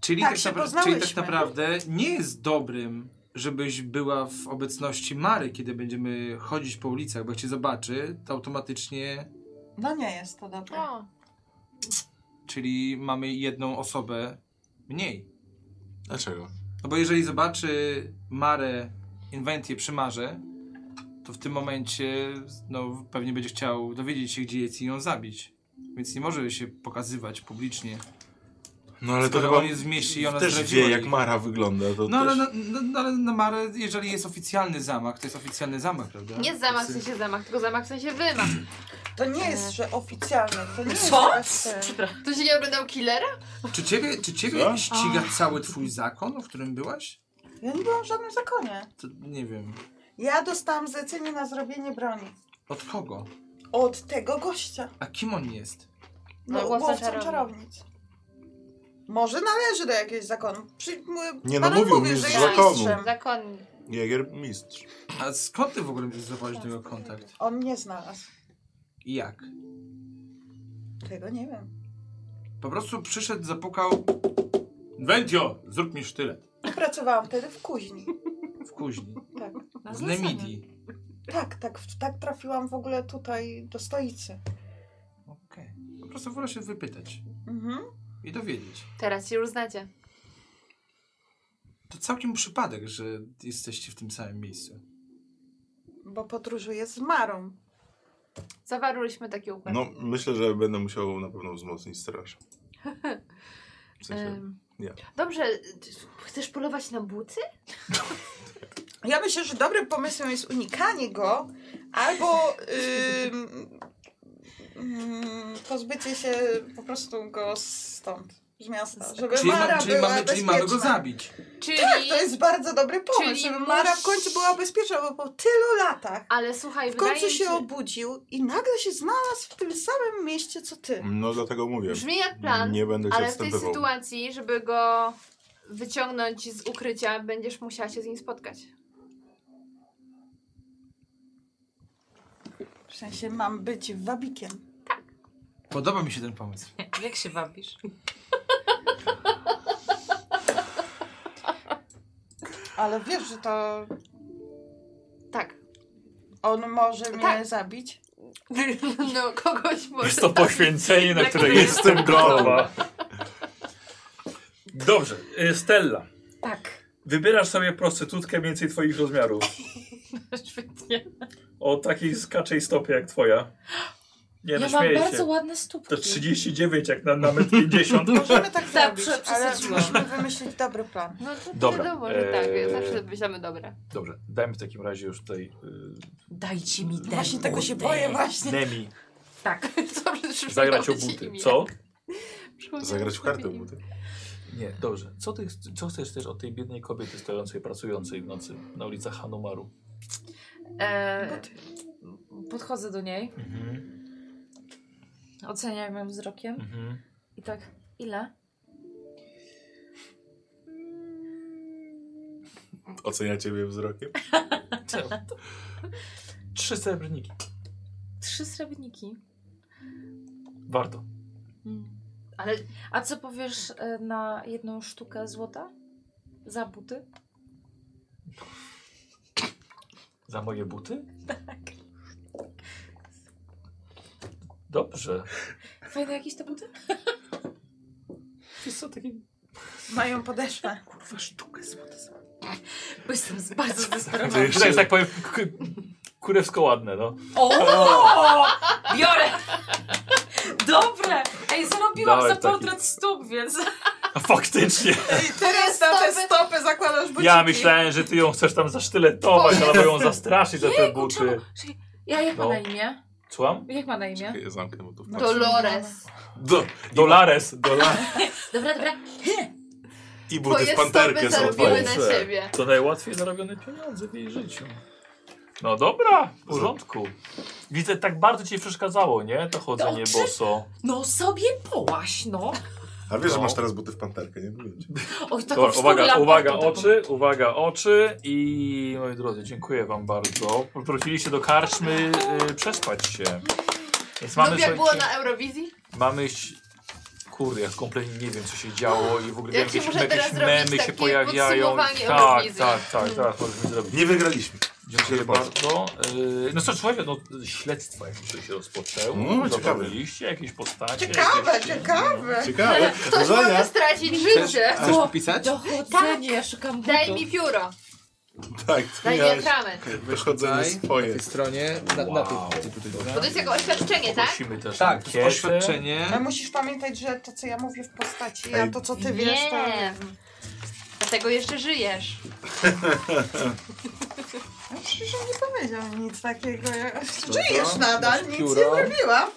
Speaker 3: Czyli,
Speaker 5: Tak
Speaker 3: tak
Speaker 5: się
Speaker 3: napra- czyli tak
Speaker 5: poznałyśmy.
Speaker 3: naprawdę nie jest dobrym, żebyś była w obecności Mary, kiedy będziemy chodzić po ulicach, bo jak cię zobaczy, to automatycznie...
Speaker 5: No nie jest to dobre.
Speaker 6: O,
Speaker 3: Czyli mamy jedną osobę mniej.
Speaker 8: dlaczego?
Speaker 3: No bo jeżeli zobaczy Marę Inventię przy Marze, to w tym momencie no, pewnie będzie chciał dowiedzieć się, gdzie jest i ją zabić. Więc nie może się pokazywać publicznie.
Speaker 8: No ale to
Speaker 3: Skoro
Speaker 8: chyba
Speaker 3: on jest w mieście i ona
Speaker 8: też
Speaker 3: zdradziła
Speaker 8: wie,
Speaker 3: jej.
Speaker 8: jak Mara wygląda. To
Speaker 3: No
Speaker 8: też...
Speaker 3: ale na, no, no, ale na Marę, jeżeli jest oficjalny zamach, to jest oficjalny zamach, prawda? y,
Speaker 6: nie zamach w sensie zamach, tylko zamach w sensie wymach.
Speaker 5: To nie jest, że oficjalne, to nie jest...
Speaker 2: Co?
Speaker 5: aż ten.
Speaker 6: To się nie oglądał killera?
Speaker 3: Czy ciebie, czy ciebie
Speaker 8: Co?
Speaker 3: ściga cały twój zakon, w którym byłaś?
Speaker 5: Ja nie byłam w żadnym zakonie.
Speaker 3: To nie wiem.
Speaker 5: Ja dostałam zlecenie na zrobienie broni.
Speaker 3: Od kogo?
Speaker 5: Od tego gościa.
Speaker 3: A kim on jest?
Speaker 5: No,
Speaker 6: No,
Speaker 5: łowcą
Speaker 6: łowca
Speaker 5: czarownic.
Speaker 6: czarownic.
Speaker 5: Może należy do jakiegoś zakonu. Przy, m-
Speaker 8: Nie, no
Speaker 5: Pan
Speaker 8: mówił
Speaker 5: mówił,
Speaker 8: mi
Speaker 5: że
Speaker 8: z
Speaker 5: jest
Speaker 8: zakonu.
Speaker 5: mistrzem.
Speaker 6: Zakonnik.
Speaker 8: Jagier mistrz.
Speaker 3: A skąd ty w ogóle będziesz zachować do niego kontakt?
Speaker 5: On nie znalazł.
Speaker 3: I jak?
Speaker 5: Tego nie wiem.
Speaker 3: Po prostu przyszedł, zapukał. Wentio, zrób mi sztylet.
Speaker 5: Pracowałam wtedy w kuźni.
Speaker 3: W kuźni.
Speaker 5: Tak,
Speaker 2: Na
Speaker 3: Z
Speaker 2: zlecenie.
Speaker 3: Nemidii.
Speaker 5: tak, tak, tak trafiłam w ogóle tutaj do stolicy.
Speaker 3: Okej. Po prostu wolę się wypytać
Speaker 5: Mhm.
Speaker 3: i dowiedzieć.
Speaker 6: Teraz się już znacie.
Speaker 3: To całkiem przypadek, że jesteście w tym samym miejscu.
Speaker 5: Bo podróżuję z Marą.
Speaker 6: Zawarłyśmy taki układ.
Speaker 4: No, myślę, że będę musiał na pewno wzmocnić straż. W sensie,
Speaker 6: Em,
Speaker 4: ja.
Speaker 6: Dobrze, ty- chcesz polować na buty?
Speaker 5: Ja myślę, że dobrym pomysłem jest unikanie go albo ym, ym, pozbycie się po prostu go stąd, z miasta. Żeby
Speaker 7: Czyli, ma,
Speaker 5: Mara
Speaker 7: czyli,
Speaker 5: była
Speaker 7: mamy, czyli mamy go
Speaker 5: bezpieczna. Tak,
Speaker 7: zabić.
Speaker 6: Czyli...
Speaker 5: To jest bardzo dobry pomysł,
Speaker 6: Czyli
Speaker 5: żeby
Speaker 6: masz-
Speaker 5: Mara w końcu była bezpieczna, bo po tylu latach
Speaker 6: Ale słuchaj,
Speaker 5: w
Speaker 6: wydaje
Speaker 5: końcu
Speaker 6: mi się...
Speaker 5: się obudził i nagle się znalazł w tym samym mieście, co ty.
Speaker 4: No, dlatego mówię.
Speaker 6: Brzmi jak plan,
Speaker 4: Nie będę cię
Speaker 6: ale w tej
Speaker 4: odstępywał.
Speaker 6: sytuacji, żeby go wyciągnąć z ukrycia, będziesz musiała się z nim spotkać.
Speaker 5: W sensie mam być wabikiem.
Speaker 7: Podoba mi się ten pomysł.
Speaker 12: Jak się wabisz?
Speaker 5: Ale wiesz, że to
Speaker 6: Tak.
Speaker 5: on może mnie
Speaker 6: Tak.
Speaker 5: zabić.
Speaker 6: No, kogoś może...
Speaker 1: Jest to poświęcenie, na
Speaker 12: Tak,
Speaker 1: które
Speaker 12: tak.
Speaker 1: jestem gotowa. Dobrze, y, Stella.
Speaker 2: Tak.
Speaker 1: Wybierasz sobie prostytutkę mniej więcej twoich rozmiarów.
Speaker 12: Świetnie.
Speaker 1: O takiej skaczej stopie jak twoja. Nie no,
Speaker 2: ja mam
Speaker 1: śmieję
Speaker 2: bardzo
Speaker 1: się.
Speaker 2: ładne
Speaker 1: To
Speaker 2: stópki.
Speaker 1: 39 jak na, na metr 50.
Speaker 5: Możemy
Speaker 2: Tak,
Speaker 5: tak zrobić,
Speaker 2: prze-
Speaker 5: ale
Speaker 2: przesadziłam.
Speaker 5: musimy wymyślić dobry plan.
Speaker 6: No to, to
Speaker 1: Dobra,
Speaker 6: wiadomo, że
Speaker 1: eee.
Speaker 6: tak, zawsze myślamy dobre.
Speaker 1: Dobrze, dajmy w takim razie już tutaj y,
Speaker 12: Dajcie mi ten.
Speaker 5: Właśnie tego się boję właśnie.
Speaker 1: Nemi
Speaker 12: Tak.
Speaker 6: Co, że
Speaker 1: zagrać o
Speaker 6: przypomniało ci
Speaker 1: buty.
Speaker 6: imię?
Speaker 1: Co?
Speaker 6: Przypomniało
Speaker 4: Zagrać w
Speaker 6: sobie
Speaker 4: kartę
Speaker 6: imię.
Speaker 4: buty.
Speaker 1: Nie, dobrze. Co, ty, chc- co chcesz też od tej biednej kobiety stojącej, pracującej w nocy na ulicach Hanumaru?
Speaker 2: E, podchodzę do niej,
Speaker 1: Mhm.
Speaker 2: oceniam ją wzrokiem
Speaker 1: Mhm.
Speaker 2: i tak, ile?
Speaker 4: Ocenia ciebie wzrokiem.
Speaker 1: Co? Trzy srebrniki.
Speaker 2: Trzy srebrniki.
Speaker 1: Warto.
Speaker 5: Hmm.
Speaker 6: Ale
Speaker 2: A co powiesz e, na jedną sztukę złota? Za buty?
Speaker 1: Za moje buty? Tak. Dobrze.
Speaker 2: Fajne jakieś te buty?
Speaker 1: Wiesz co, takie...
Speaker 5: Mają podeszwę.
Speaker 1: Kurwa, sztukę złota.
Speaker 12: Bo jestem z- bardzo
Speaker 4: To
Speaker 12: zdesperowana.
Speaker 1: Jeszcze... Tak,
Speaker 4: jeszcze...
Speaker 1: że tak powiem, k- kurewsko ładne, no.
Speaker 12: O! Biorę! Dobre! Ej, zarobiłam
Speaker 1: Dałem
Speaker 12: za
Speaker 1: taki.
Speaker 12: portret stóp, więc...
Speaker 1: Faktycznie.
Speaker 5: I teraz na te stopy zakładasz buciki.
Speaker 1: Ja myślałem, że ty ją chcesz tam zasztyletować albo ją zastraszyć za te buty.
Speaker 2: Czyli- Ja jak ma
Speaker 1: No.
Speaker 2: na imię?
Speaker 1: Słucham?
Speaker 2: Jak ma na imię?
Speaker 4: Ja zamknę, bo to
Speaker 6: No,
Speaker 4: wpadł.
Speaker 6: Dolores.
Speaker 4: Do,
Speaker 1: Dolares. Dola...
Speaker 2: Dobra, dobra.
Speaker 4: I buty
Speaker 6: Twoje
Speaker 4: z
Speaker 6: stopy
Speaker 4: panterkiem są
Speaker 6: zarobiły
Speaker 4: twoje.
Speaker 6: na
Speaker 1: Boże.
Speaker 6: siebie.
Speaker 1: To najłatwiej zarobione pieniądze w jej życiu. No dobra, w porządku. Widzę, tak bardzo ci przeszkadzało, nie? To chodzenie
Speaker 12: Dobrze.
Speaker 1: boso.
Speaker 12: No sobie połaś, no.
Speaker 4: A wiesz, że
Speaker 1: No.
Speaker 4: masz teraz buty w panterkę, nie mówię ci.
Speaker 12: Oj, taką
Speaker 1: Dobra, uwaga,
Speaker 12: wstąpiłam
Speaker 1: uwaga,
Speaker 12: portą taką.
Speaker 1: oczy, uwaga, oczy i moi drodzy, dziękuję wam bardzo. Wróciliście do karczmy y, przespać się. Więc mamy
Speaker 6: Lub jak było
Speaker 1: słuchajcie,
Speaker 6: na Eurowizji?
Speaker 1: mamy... ś- Kurde, ja kompletnie nie wiem, co się działo i w ogóle
Speaker 6: Ja
Speaker 1: wiem,
Speaker 6: ci
Speaker 1: jakieś,
Speaker 6: muszę
Speaker 1: jakieś
Speaker 6: teraz zrobić
Speaker 1: memy się
Speaker 6: takie
Speaker 1: pojawiają.
Speaker 6: podsumowanie
Speaker 1: Tak,
Speaker 6: Eurowizji.
Speaker 1: tak, tak, teraz możemy zrobić.
Speaker 4: Nie wygraliśmy.
Speaker 1: Dziękuję
Speaker 4: Dziękuję
Speaker 1: bardzo. Yy, No co, słuchajcie, no, śledztwo jakieś tutaj się rozpoczęło.
Speaker 4: No, ciekawe.
Speaker 1: Zabraliście jakieś postacie.
Speaker 5: Ciekawe,
Speaker 1: jakieś...
Speaker 5: ciekawe.
Speaker 4: Ciekawe.
Speaker 6: Ktoś może stracić życie.
Speaker 7: Chcesz popisać?
Speaker 12: Tak.
Speaker 2: Dochodzenie, ja szukam butów.
Speaker 6: Daj mi pióro.
Speaker 4: Tak,
Speaker 6: Daj mi
Speaker 4: miałeś
Speaker 6: atrament.
Speaker 4: wychodzenie
Speaker 7: Daj, na
Speaker 4: swoje.
Speaker 7: tej stronie, na, na tej,
Speaker 1: Wow.
Speaker 7: tej tutaj, dobra?
Speaker 6: Bo to jest jako oświadczenie, tak?
Speaker 1: Prosimy też
Speaker 7: Tak, to
Speaker 1: ankietę.
Speaker 7: jest oświadczenie.
Speaker 5: Ale musisz pamiętać, że to co ja mówię w postaci, a
Speaker 4: Ej.
Speaker 5: to co ty wiesz, to...
Speaker 6: Dlatego jeszcze żyjesz.
Speaker 5: No Przecież on nie powiedział nic takiego. Ja...
Speaker 7: to?
Speaker 5: Żyjesz nadal,
Speaker 7: Masz
Speaker 5: nic nie
Speaker 7: pióro?
Speaker 5: zrobiłam.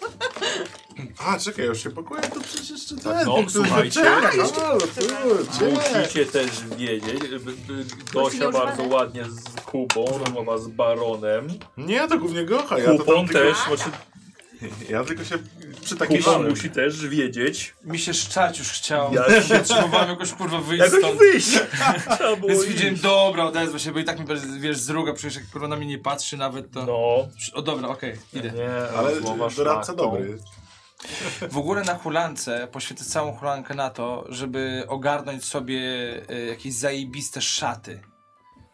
Speaker 4: A, czekaj, już się pakuję, to przecież jeszcze
Speaker 1: Tak,
Speaker 4: ten.
Speaker 1: no, słuchajcie.
Speaker 4: No, kurczę.
Speaker 1: Musicie też wiedzieć, y, y, y, Gosia
Speaker 6: Musimy
Speaker 1: bardzo
Speaker 6: używać.
Speaker 1: ładnie z Kubą, rozmowa z Baronem.
Speaker 4: Nie, to głównie Gocha. Ja, to
Speaker 1: Kupą
Speaker 4: tam tylko,
Speaker 1: też,
Speaker 2: Tak.
Speaker 1: znaczy
Speaker 4: ja tylko się
Speaker 1: Kuba
Speaker 4: przytakiwałem.
Speaker 1: musi też wiedzieć,
Speaker 3: Mi się szczać już chciało.
Speaker 1: Ja się-
Speaker 3: Potrzebowałem jakoś kurwa wyjść
Speaker 1: jakoś
Speaker 3: stąd.
Speaker 1: wyjść. Trzeba było
Speaker 3: Więc
Speaker 1: iść.
Speaker 3: widziałem, dobra, odezwę się, bo i tak mi bez- wiesz, zruga, przecież jak kurwa na mnie nie patrzy nawet, to...
Speaker 1: No,
Speaker 3: O dobra, okej, idę.
Speaker 1: nie,
Speaker 4: Ale
Speaker 1: rozmowa
Speaker 4: doradca
Speaker 1: szlachtą.
Speaker 4: dobry.
Speaker 3: W ogóle na hulance poświęcę całą hulankę na to, żeby ogarnąć sobie e, jakieś zajebiste szaty.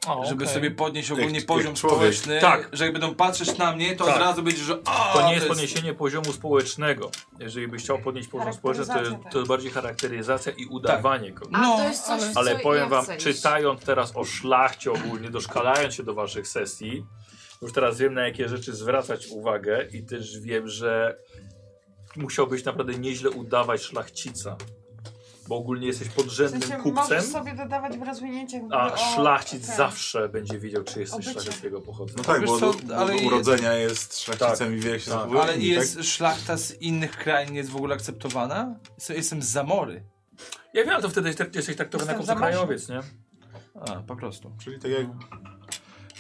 Speaker 1: O,
Speaker 3: żeby
Speaker 1: okej.
Speaker 3: sobie podnieść ogólnie
Speaker 4: Jak-
Speaker 3: poziom
Speaker 4: jak człowiek.
Speaker 3: społeczny.
Speaker 1: Tak.
Speaker 3: Że jak będą patrzeć na mnie, to
Speaker 1: Tak.
Speaker 3: od razu będzie, że o,
Speaker 1: To nie jest podniesienie poziomu społecznego. Jeżeli byś chciał podnieść poziom społeczny, to,
Speaker 5: Charakteryzacja,
Speaker 1: jest-
Speaker 5: tak.
Speaker 1: to jest bardziej charakteryzacja i udawanie kogoś.
Speaker 2: A
Speaker 3: No,
Speaker 2: to jest coś,
Speaker 3: ale-
Speaker 2: co
Speaker 1: Ale
Speaker 2: ja
Speaker 1: powiem wam, tak-
Speaker 2: chcę iść.
Speaker 1: czytając teraz o szlachcie ogólnie, doszkalając się do waszych sesji, Już teraz wiem, na jakie rzeczy zwracać uwagę i też wiem, że musiałbyś naprawdę nieźle udawać szlachcica, bo ogólnie jesteś
Speaker 5: W
Speaker 1: podrzędnym
Speaker 5: sensie
Speaker 1: kupcem,
Speaker 5: możesz sobie dodawać w rozwinięciach w ogóle
Speaker 1: a
Speaker 5: o-
Speaker 1: szlachcic
Speaker 5: ten.
Speaker 1: zawsze będzie wiedział, czy jesteś
Speaker 5: Obycie.
Speaker 1: szlacheckiego pochodzenia.
Speaker 4: No tak,
Speaker 3: Wiesz
Speaker 4: bo
Speaker 3: co,
Speaker 4: do, bo
Speaker 3: ale
Speaker 4: do
Speaker 3: i-
Speaker 4: urodzenia jest szlachcicem i wie jak się
Speaker 1: tak.
Speaker 4: zachowuje.
Speaker 3: Ale
Speaker 4: inni,
Speaker 3: jest szlachta z innych krain jest w ogóle akceptowana? Co, Jestem z Zamory.
Speaker 1: Ja wiem, ale to wtedy jesteś- tak jesteś traktowany jako
Speaker 5: Jestem za
Speaker 1: krajowiec, nie?
Speaker 3: A, po prostu.
Speaker 4: Tak? Czyli tak jak...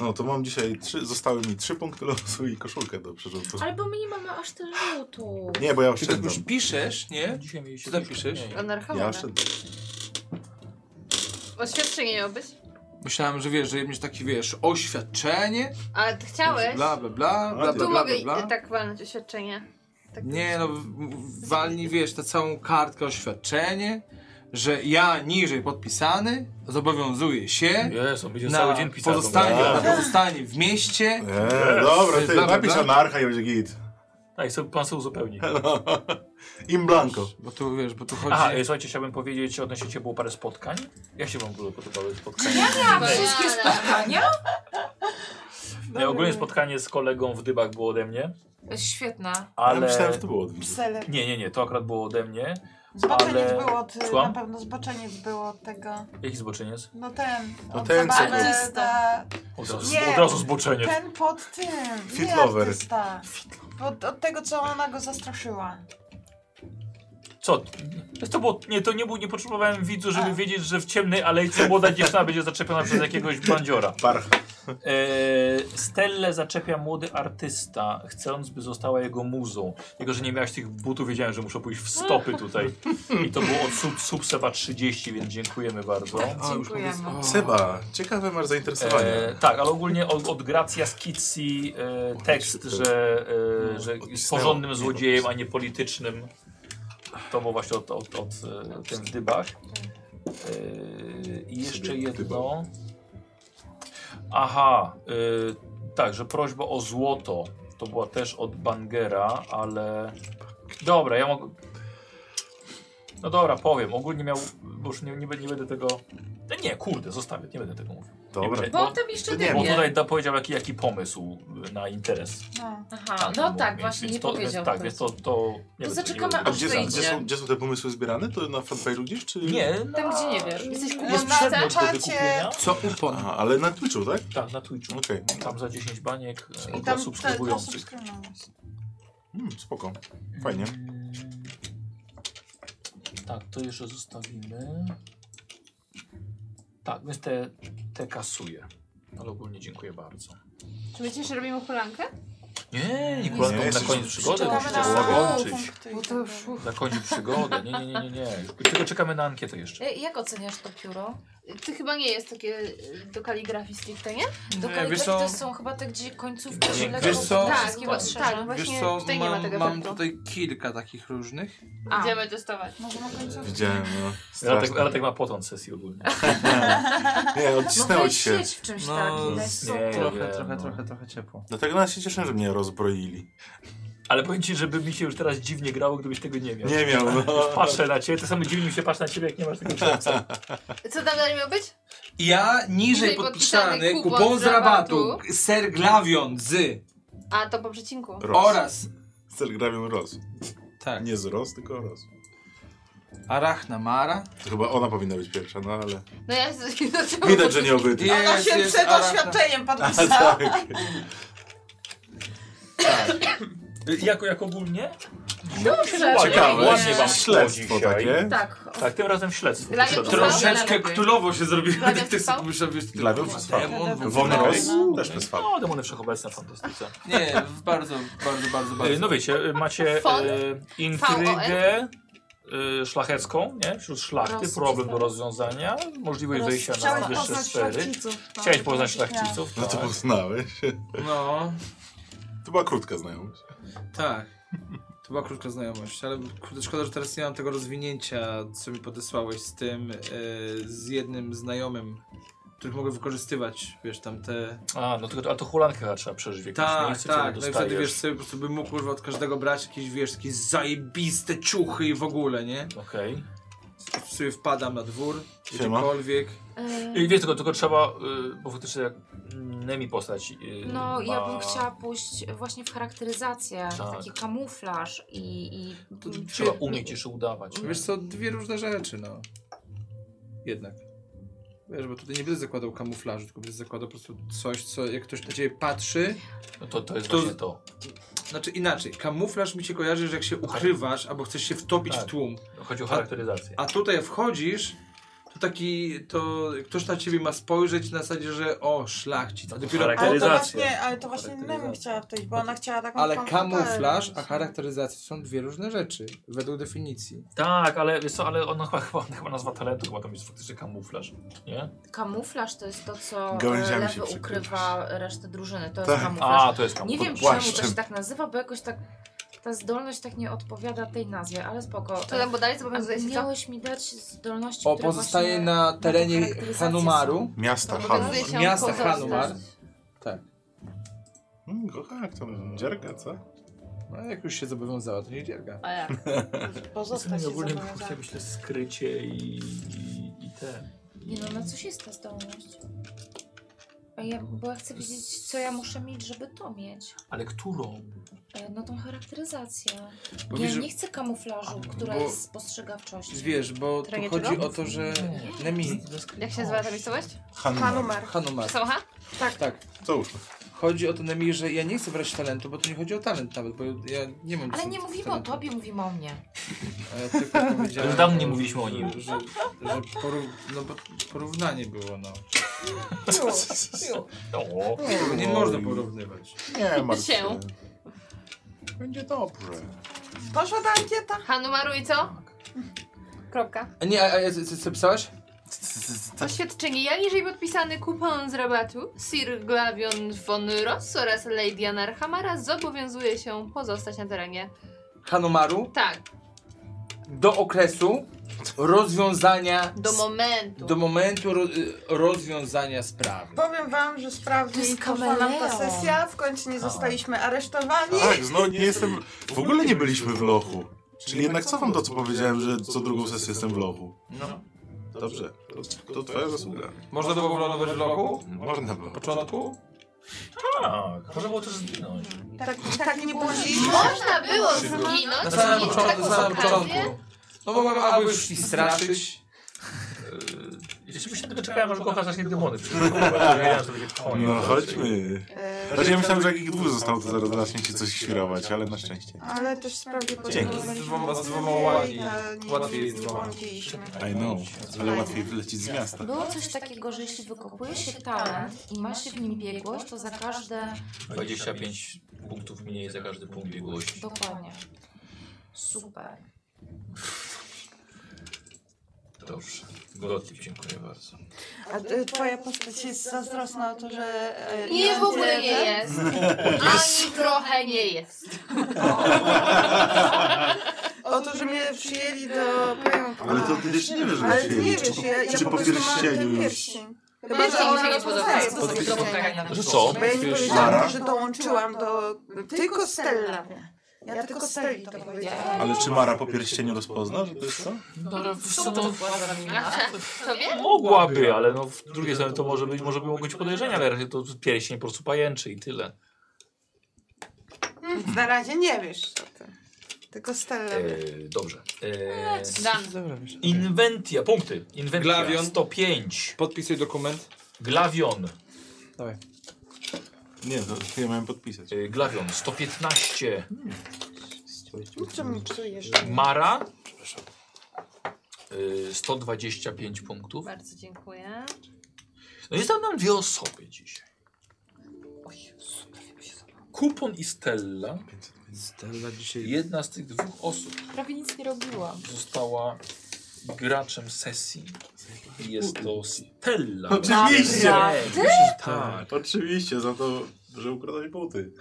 Speaker 4: No to mam dzisiaj trzy, zostały mi trzy punkty losu i koszulkę do przerzutu.
Speaker 2: Albo my nie mamy aż tyle rzutu.
Speaker 4: Nie, bo
Speaker 3: Ty
Speaker 4: ja
Speaker 3: tak
Speaker 4: oszczędzam.
Speaker 3: już piszesz, nie?
Speaker 1: No, Dzisiaj mieliście...
Speaker 3: Co tam piszesz?
Speaker 4: Ja
Speaker 6: Anarchowana.
Speaker 4: oszczędzam.
Speaker 6: Oświadczenie miało być?
Speaker 3: Myślałem, że wiesz, że będziesz taki, wiesz, oświadczenie,
Speaker 6: Ale ty chciałeś. No
Speaker 3: bla, bla, bla, bla, bla,
Speaker 4: A,
Speaker 6: Tu
Speaker 3: bla,
Speaker 6: mogę
Speaker 3: bla, bla.
Speaker 6: i- tak walnąć oświadczenie. Tak.
Speaker 3: Nie, no, w- w- walnij, wiesz, tę całą kartkę oświadczenie, że ja niżej podpisany zobowiązuję się
Speaker 1: Jest, on będzie
Speaker 3: na
Speaker 1: cały dzień pisał.
Speaker 3: pozostanie,
Speaker 4: A.
Speaker 3: na pozostanie w mieście.
Speaker 4: Eee, dobra,
Speaker 3: Bla,
Speaker 4: ty
Speaker 3: bla, bla.
Speaker 4: napisz anarcha i będzie git.
Speaker 1: Tak, i sobie pan sobie uzupełni.
Speaker 4: Im blanco.
Speaker 3: Bo tu, wiesz, bo tu chodzi...
Speaker 1: Aha, e, słuchajcie, chciałbym powiedzieć odnośnie ciebie było parę spotkań. Jak się wam w ogóle podobały spotkania?
Speaker 6: Ja
Speaker 12: Wszystkie spotkania?
Speaker 1: No, Ja ogólnie spotkanie z kolegą w Dybach było ode mnie,
Speaker 12: Świetna.
Speaker 4: Ja
Speaker 1: ale...
Speaker 4: myślałem, że to było od widzów.
Speaker 5: Psele.
Speaker 1: Nie, nie, nie, to akurat było ode mnie.
Speaker 5: Zboczeniec
Speaker 1: ale-
Speaker 5: było od,
Speaker 1: Słucham?
Speaker 5: na pewno zboczeniec było od tego,
Speaker 1: Jaki zboczeniec?
Speaker 5: no ten,
Speaker 4: No
Speaker 5: od
Speaker 4: ten, co
Speaker 5: zabawy,
Speaker 12: był.
Speaker 5: ta,
Speaker 1: Od razu,
Speaker 5: Nie. Tak.
Speaker 1: od razu zboczeniec.
Speaker 5: ten pod tym,
Speaker 4: Fit
Speaker 5: nie
Speaker 4: lover.
Speaker 5: artysta, od, od tego co ona go zastraszyła.
Speaker 1: Co? To było, nie, to nie, był, nie potrzebowałem widzu, żeby
Speaker 5: A.
Speaker 1: wiedzieć, że w ciemnej alejce młoda dziewczyna będzie zaczepiona przez jakiegoś bandziora.
Speaker 4: Parcha.
Speaker 1: Eee, Stelle zaczepia młody artysta, chcąc, by została jego muzą. Tylko, że nie miałaś tych butów, wiedziałem, że muszę pójść w stopy tutaj. I to było od sub, sub Seba 30, więc dziękujemy bardzo.
Speaker 12: Dziękujemy.
Speaker 4: Seba, ciekawe masz zainteresowanie.
Speaker 1: E, tak, ale ogólnie od, od Gracja Skizzi e, tekst,
Speaker 4: się to- No,
Speaker 1: że, e, że jest
Speaker 4: odcisnęło. no,
Speaker 1: porządnym złodziejem, a nie politycznym. To było właśnie od, od, od e, tym w dybach. E, I jeszcze
Speaker 4: Sobie
Speaker 1: jedno. Aha, e, tak, że prośba o złoto. To była też od Bangera, ale... Dobra, ja mogę... No dobra, powiem. Ogólnie miał... Bo już nie, nie, będę- nie będę tego... No Nie, kurde, zostawię, nie będę tego mówił.
Speaker 4: Dobra.
Speaker 1: Nie,
Speaker 2: Bo
Speaker 1: bo,
Speaker 2: on tam jeszcze
Speaker 4: nie,
Speaker 1: bo
Speaker 2: dymie.
Speaker 1: tutaj da, powiedział jaki, jaki pomysł na interes.
Speaker 5: No.
Speaker 2: Aha, no
Speaker 1: Bo-
Speaker 2: tak,
Speaker 1: więc-
Speaker 2: właśnie
Speaker 1: więc
Speaker 2: nie
Speaker 1: to,
Speaker 2: powiedział.
Speaker 1: Więc, tak,
Speaker 2: tego.
Speaker 1: więc to... to nie
Speaker 2: To
Speaker 1: wiem,
Speaker 2: zaczekamy,
Speaker 1: nie-
Speaker 4: A
Speaker 2: aż
Speaker 4: gdzie,
Speaker 2: wyjdzie.
Speaker 4: gdzie, są, gdzie są te pomysły zbierane? To na fanpage'u gdzieś, czy...
Speaker 1: Nie, na...
Speaker 2: Tam, gdzie nie wiesz.
Speaker 1: Jesteś
Speaker 5: kupiony.
Speaker 1: jest
Speaker 5: Na
Speaker 1: przedmiot do
Speaker 5: czacie.
Speaker 1: wykupienia.
Speaker 3: Co upon?
Speaker 4: Aha, ale na Twitchu, tak?
Speaker 1: Tak, na Twitchu.
Speaker 4: Okej.
Speaker 1: Tam za 10 baniek e, dla
Speaker 5: I tam te- dla
Speaker 1: subskrybujących.
Speaker 5: subskrybujących.
Speaker 4: Mm, spoko. Fajnie.
Speaker 1: Mm, Tak, to jeszcze zostawimy. Tak, więc te, te kasuję. Ale ogólnie dziękuję bardzo.
Speaker 6: Czy my jeszcze robimy hulankę?
Speaker 1: Nie, nie,
Speaker 4: Nie,
Speaker 1: nie na
Speaker 4: jesteś-
Speaker 1: koniec przygody
Speaker 5: Czekamy
Speaker 1: musicie
Speaker 5: na
Speaker 1: zakończyć.
Speaker 5: punkty.
Speaker 12: Bo to już...
Speaker 1: Zakończyć przygodę. Nie, nie, nie, nie, nie. Tylko czekamy na ankietę jeszcze.
Speaker 2: E, Jak oceniasz to pióro?
Speaker 6: To chyba nie jest takie y, do kaligrafii stricte, nie?
Speaker 2: Do
Speaker 3: Nie,
Speaker 2: kaligrafii
Speaker 3: wiesz co-
Speaker 2: to są chyba te, gdzie końcówki
Speaker 1: Wiesz
Speaker 2: się lekko
Speaker 3: co-
Speaker 2: tak,
Speaker 6: Tak,
Speaker 2: wszystkie
Speaker 6: bo-
Speaker 2: ostrzeża.
Speaker 6: tak,
Speaker 3: Wiesz
Speaker 6: właśnie
Speaker 3: co,
Speaker 6: tutaj nie ma
Speaker 3: mam,
Speaker 6: tego
Speaker 3: mam
Speaker 6: mam
Speaker 3: tutaj kilka takich różnych.
Speaker 2: A.
Speaker 6: Idziemy testować.
Speaker 5: Może na końcu?
Speaker 4: Widziałem, no.
Speaker 1: Ale tak,
Speaker 4: Straszne.
Speaker 1: ale tak ma potąd sesji ogólnie.
Speaker 4: Nie,
Speaker 2: No
Speaker 4: odcisnęło
Speaker 2: weź
Speaker 4: ci się.
Speaker 2: sieć w czymś
Speaker 3: No,
Speaker 2: takim. Weź
Speaker 3: z-
Speaker 1: nie.
Speaker 2: super.
Speaker 3: trochę,
Speaker 1: wiem,
Speaker 3: trochę,
Speaker 1: no.
Speaker 3: trochę, trochę ciepło.
Speaker 4: Dlatego nas się cieszę, że mnie rozbroili.
Speaker 1: Ale powiem ci, żeby mi się już teraz dziwnie grało, gdybyś tego nie miał.
Speaker 4: Nie miał, no.
Speaker 1: Już Patrzę na ciebie, to samo dziwnie mi się patrzy na ciebie, jak nie masz tego czerwca.
Speaker 6: Co tam dalej miał być?
Speaker 3: Ja niżej
Speaker 6: Niżej podpisany
Speaker 3: podpisany
Speaker 6: kupon
Speaker 3: kupon
Speaker 6: z
Speaker 3: z rabatu
Speaker 6: rabatu.
Speaker 3: ser glavion z
Speaker 6: A, to po przecinku.
Speaker 4: Roz.
Speaker 3: oraz
Speaker 4: Z telegramią roz.
Speaker 3: tak,
Speaker 4: Nie z roz, tylko roz.
Speaker 3: arachna mara.
Speaker 4: To chyba ona powinna być pierwsza, no ale...
Speaker 6: No ja z...
Speaker 4: Widać, że nie obyty.
Speaker 5: Ona się
Speaker 3: jest
Speaker 5: przed
Speaker 3: arachna-
Speaker 5: oświadczeniem
Speaker 4: A,
Speaker 5: podpisała.
Speaker 4: tak.
Speaker 1: Jak, jak ogólnie?
Speaker 2: Dobrze,
Speaker 1: Ładnie,
Speaker 4: Ciekawe.
Speaker 1: ładnie wam
Speaker 4: Śledztwo
Speaker 1: szło dzisiaj.
Speaker 4: takie.
Speaker 2: Tak,
Speaker 1: Tak, tym razem śledztwo.
Speaker 6: Dla
Speaker 1: Przyszedł.
Speaker 6: Trwa-
Speaker 3: Troszeczkę
Speaker 6: lepiej.
Speaker 3: ktulowo się zrobiło,
Speaker 6: Glavion
Speaker 3: jak ty
Speaker 6: trwał?
Speaker 3: sobie myślałem, wiesz, ty-
Speaker 4: Glavion trwał.
Speaker 3: Demon w
Speaker 4: Wonros
Speaker 3: ogóle.
Speaker 5: No.
Speaker 4: też bez fal.
Speaker 1: No, demony wszechobecne w fantastyce.
Speaker 3: Nie, bardzo, bardzo, bardzo,
Speaker 1: E,
Speaker 3: bardzo.
Speaker 1: No wiecie, e, macie
Speaker 6: Fon?
Speaker 1: e, intrygę e, szlachecką, nie? Wśród szlachty,
Speaker 2: Roz-
Speaker 1: problem do rozwiązania, możliwość wejścia
Speaker 5: Chciałeś
Speaker 1: na wyższe
Speaker 5: poznać
Speaker 1: sfery.
Speaker 5: szlachciców. No,
Speaker 1: Chciałeś poznać
Speaker 5: tak.
Speaker 1: szlachciców,
Speaker 4: No to
Speaker 1: tak.
Speaker 4: poznałeś.
Speaker 3: No,
Speaker 4: To była krótka znajomość.
Speaker 3: tak. To była krótka znajomość, ale kurde, szkoda, że teraz nie mam tego rozwinięcia, co mi podesłałeś z tym, e, z jednym znajomym, których mogę wykorzystywać, wiesz, tam te...
Speaker 1: A, no to, a to hulankę chyba trzeba przeżyć w jakimś
Speaker 3: Tak,
Speaker 1: miejscu, które
Speaker 3: tak, no i wtedy,
Speaker 1: dostajesz.
Speaker 3: wiesz, sobie po prostu bym mógł, kurwa, od każdego brać jakieś, wiesz, takie zajebiste ciuchy i w ogóle, nie?
Speaker 1: Okej.
Speaker 3: sobie wpadam na dwór,
Speaker 4: Siema.
Speaker 3: gdziekolwiek.
Speaker 2: E,
Speaker 1: I wiesz, tylko, tylko trzeba, y, bo faktycznie jak Nemi postać y,
Speaker 2: No,
Speaker 1: ma...
Speaker 2: ja bym chciała pójść właśnie w charakteryzację,
Speaker 1: Tak.
Speaker 2: taki kamuflaż i... i
Speaker 3: To
Speaker 2: m,
Speaker 1: Trzeba
Speaker 2: czy-
Speaker 1: umieć jeszcze udawać.
Speaker 2: Mm.
Speaker 1: nie?
Speaker 3: Wiesz co, dwie różne rzeczy, no. Jednak. Wiesz, bo tutaj nie będę zakładał kamuflażu, tylko będę zakładał po prostu coś, co jak ktoś na ciebie patrzy,
Speaker 1: No to, to jest
Speaker 3: To-
Speaker 1: właśnie to.
Speaker 3: znaczy inaczej, kamuflaż mi się kojarzy, że jak się ukrywasz albo chcesz się wtopić
Speaker 1: Tak.
Speaker 3: w tłum,
Speaker 1: Chodzi o charakteryzację.
Speaker 3: a tutaj jak wchodzisz, to taki, to ktoś na ciebie ma spojrzeć na zasadzie, że o, szlachcic, a dopiero
Speaker 5: Ale to
Speaker 1: Charakteryzacja.
Speaker 5: właśnie, ale to właśnie Nemi chciała wtedy, bo ona chciała taką
Speaker 3: Ale
Speaker 5: konfrontację.
Speaker 3: kamuflaż, a charakteryzacja to są dwie różne rzeczy, według definicji.
Speaker 1: Tak, ale wiesz co, ale ona chyba, chyba, chyba nazwa talentu, chyba tam jest faktycznie kamuflaż, nie?
Speaker 2: Kamuflaż to jest to, co e,
Speaker 4: Gałęziami
Speaker 2: lewy
Speaker 4: się przykrywasz.
Speaker 2: ukrywa resztę drużyny. To
Speaker 4: Tak.
Speaker 2: jest kamuflaż.
Speaker 1: A, to jest
Speaker 2: Nie
Speaker 1: kamuflaż.
Speaker 2: wiem,
Speaker 4: pod
Speaker 2: czemu to
Speaker 4: płaszczem.
Speaker 2: się tak nazywa, bo jakoś tak ta zdolność tak nie odpowiada tej nazwie, ale spoko.
Speaker 6: To tam bodaj
Speaker 2: A
Speaker 6: zobowiązuje się co?
Speaker 2: miałeś mi dać zdolności,
Speaker 3: O,
Speaker 2: które
Speaker 3: pozostaje
Speaker 2: właśnie
Speaker 3: na terenie
Speaker 2: charakteryzacje są.
Speaker 3: Hanumaru.
Speaker 6: No,
Speaker 4: Miasta, Hanumar.
Speaker 6: Zobowiązuje się
Speaker 3: Miasta
Speaker 6: pozostać.
Speaker 3: Hanumar. Tak.
Speaker 4: Mm, kocha, jak to dzierga, co?
Speaker 3: No jak już się zobowiązała, to nie dzierga.
Speaker 6: A jak?
Speaker 5: Pozostać się
Speaker 1: ogólnie
Speaker 5: zobowiązana.
Speaker 1: myślę, skrycie i, i, i te.
Speaker 2: Nie no, na coś jest ta zdolność. A ja, bo ja chcę wiedzieć, co ja muszę mieć, żeby to mieć.
Speaker 1: Ale którą?
Speaker 2: E, No tą charakteryzację.
Speaker 3: Bo
Speaker 2: ja
Speaker 3: wiesz, że-
Speaker 2: nie chcę kamuflażu, która
Speaker 3: bo-
Speaker 2: jest spostrzegawczością.
Speaker 3: Wiesz, bo tu
Speaker 12: Terenie
Speaker 3: chodzi
Speaker 12: czego?
Speaker 3: o to, że Nemi,
Speaker 6: Jak się nazywa ta miejscowość?
Speaker 4: Hanumar.
Speaker 5: Hanumer.
Speaker 3: Hanumar,
Speaker 6: Socha?
Speaker 3: tak, tak.
Speaker 4: Co już?
Speaker 3: Chodzi o to Nemi, że ja nie chcę brać talentu, bo to nie chodzi o talent nawet, bo ja nie mam
Speaker 2: Ale
Speaker 3: nic
Speaker 2: nie
Speaker 3: z
Speaker 2: mówimy o
Speaker 3: talentu.
Speaker 2: tobie, mówimy o mnie.
Speaker 3: A ja tylko powiedziałem,
Speaker 1: Już dawno nie
Speaker 3: że-
Speaker 1: mówiliśmy o nim.
Speaker 3: Że, że poró- no bo porównanie było, no.
Speaker 1: O,
Speaker 3: Tego nie
Speaker 4: Oj.
Speaker 3: można porównywać.
Speaker 4: Nie, martw
Speaker 6: Się.
Speaker 4: się. Będzie dobrze.
Speaker 5: Poszła ta ankieta?
Speaker 6: Hanumaru i co? Kropka.
Speaker 3: A nie, a, a co, co pisałeś?
Speaker 6: Oświadczenie. Ja niżej podpisany kupon z rabatu Sir Glavion von Ross oraz Lady Anar Hamara zobowiązuje się pozostać na terenie.
Speaker 3: Hanumaru
Speaker 6: Tak,
Speaker 3: do okresu rozwiązania
Speaker 6: do momentu.
Speaker 3: do momentu ro, y, rozwiązania sprawy.
Speaker 5: Powiem wam, że
Speaker 2: To
Speaker 5: sprawnie
Speaker 2: jest
Speaker 5: poszła nam ta
Speaker 2: kameleon.
Speaker 5: sesja, w końcu nie zostaliśmy aresztowani.
Speaker 4: Tak, znowu nie jestem... W ogóle nie byliśmy w lochu. Czyli jednak cofam to, co powiedziałem, że co drugą sesję jestem w lochu.
Speaker 3: No.
Speaker 4: Dobrze, to, to twoja zasługa.
Speaker 3: Można było wylądować w loku?
Speaker 4: Można było.
Speaker 3: Na początku?
Speaker 1: tak. Można było to zginąć.
Speaker 5: Tak, tak nie budziliśmy.
Speaker 6: Można było zginąć
Speaker 3: Na
Speaker 6: i
Speaker 3: samym,
Speaker 6: mieć
Speaker 3: początku,
Speaker 6: taką
Speaker 3: na samym
Speaker 6: okazję.
Speaker 3: początku. No bo mogłem albo już i straszyć.
Speaker 1: Rzeczywiście tylko czekałem, aż kocha zacznie demony.
Speaker 4: No chodźmy.
Speaker 5: E,
Speaker 4: Znaczy ja myślałem, że jak ich dwóch zostało, to zaraz zacznie się coś świrować, ale na szczęście.
Speaker 5: Ale też sprawnie
Speaker 4: Dzięki.
Speaker 5: podziękowaliśmy.
Speaker 3: Z dwoma- z dwoma łagi.
Speaker 5: E,
Speaker 3: Łatwiej z dwoma.
Speaker 4: I know, ale łatwiej wylecieć z
Speaker 3: Tak.
Speaker 4: miasta.
Speaker 2: Było coś takiego, że jeśli wykopuje się talent i ma się w nim biegłość, to za każde...
Speaker 1: 25 punktów mniej za każdy punkt biegłości.
Speaker 2: Dokładnie. Super.
Speaker 1: Dobrze. Gotti, dziękuję bardzo.
Speaker 5: A y, twoja postać jest zazdrosna o to, że... y,
Speaker 6: Nie, w ogóle nie
Speaker 5: Andrzej-
Speaker 6: jest. Ani trochę nie jest.
Speaker 5: O to, że mnie przyjęli do pająka.
Speaker 4: Ale to ty też nie wiesz,
Speaker 5: Ale
Speaker 4: że
Speaker 5: ty nie
Speaker 4: się
Speaker 5: wiesz, ja, ja
Speaker 4: czy
Speaker 5: po
Speaker 4: po
Speaker 5: prostu mam
Speaker 4: pierścieniu
Speaker 5: ten
Speaker 4: już?
Speaker 5: pierścień. Chyba,
Speaker 6: Pierścień
Speaker 5: że
Speaker 6: mi się
Speaker 5: ona
Speaker 6: nie
Speaker 5: rozpoznaje,
Speaker 6: podoba.
Speaker 5: co to
Speaker 2: Zrobię
Speaker 5: pierścień.
Speaker 1: Że co?
Speaker 5: Bo ja nie powiedziałam, że dołączyłam do... Tylko Stella. Ja tylko Stelli to powiedziałam.
Speaker 4: Ale czy Mara po pierścieniu rozpozna, że to jest to?
Speaker 6: Tobie?
Speaker 1: Mogłaby, ale no w drugiej strony to może być, tak. może by mogły być podejrzenia, ale raczej to pierścień po prostu pajęczy i tyle. no.
Speaker 5: Na razie nie wiesz o tym. Tylko Stella.
Speaker 3: E,
Speaker 1: Eee, dobrze. Eee,
Speaker 6: Dam.
Speaker 1: inwentia, punkty. Inwentia
Speaker 3: Glavion.
Speaker 1: 105.
Speaker 3: Podpisuj dokument.
Speaker 1: Glavion.
Speaker 3: Dawaj.
Speaker 4: Nie, to ja miałem podpisać.
Speaker 1: Eee, Glavion 115.
Speaker 5: Co mi czujesz?
Speaker 1: Mara. Eee, 125 punktów.
Speaker 6: Bardzo dziękuję.
Speaker 1: No jest tam nam dwie osoby dzisiaj. Kupon i Stella.
Speaker 3: Stella dzisiaj...
Speaker 1: Jedna z tych dwóch osób
Speaker 2: Prawie nic nie robiłam.
Speaker 1: została graczem sesji. I Jest to Stella.
Speaker 4: Oczywiście!
Speaker 1: Myślę, że Tak.
Speaker 4: Oczywiście, za to, że ukradłeś buty.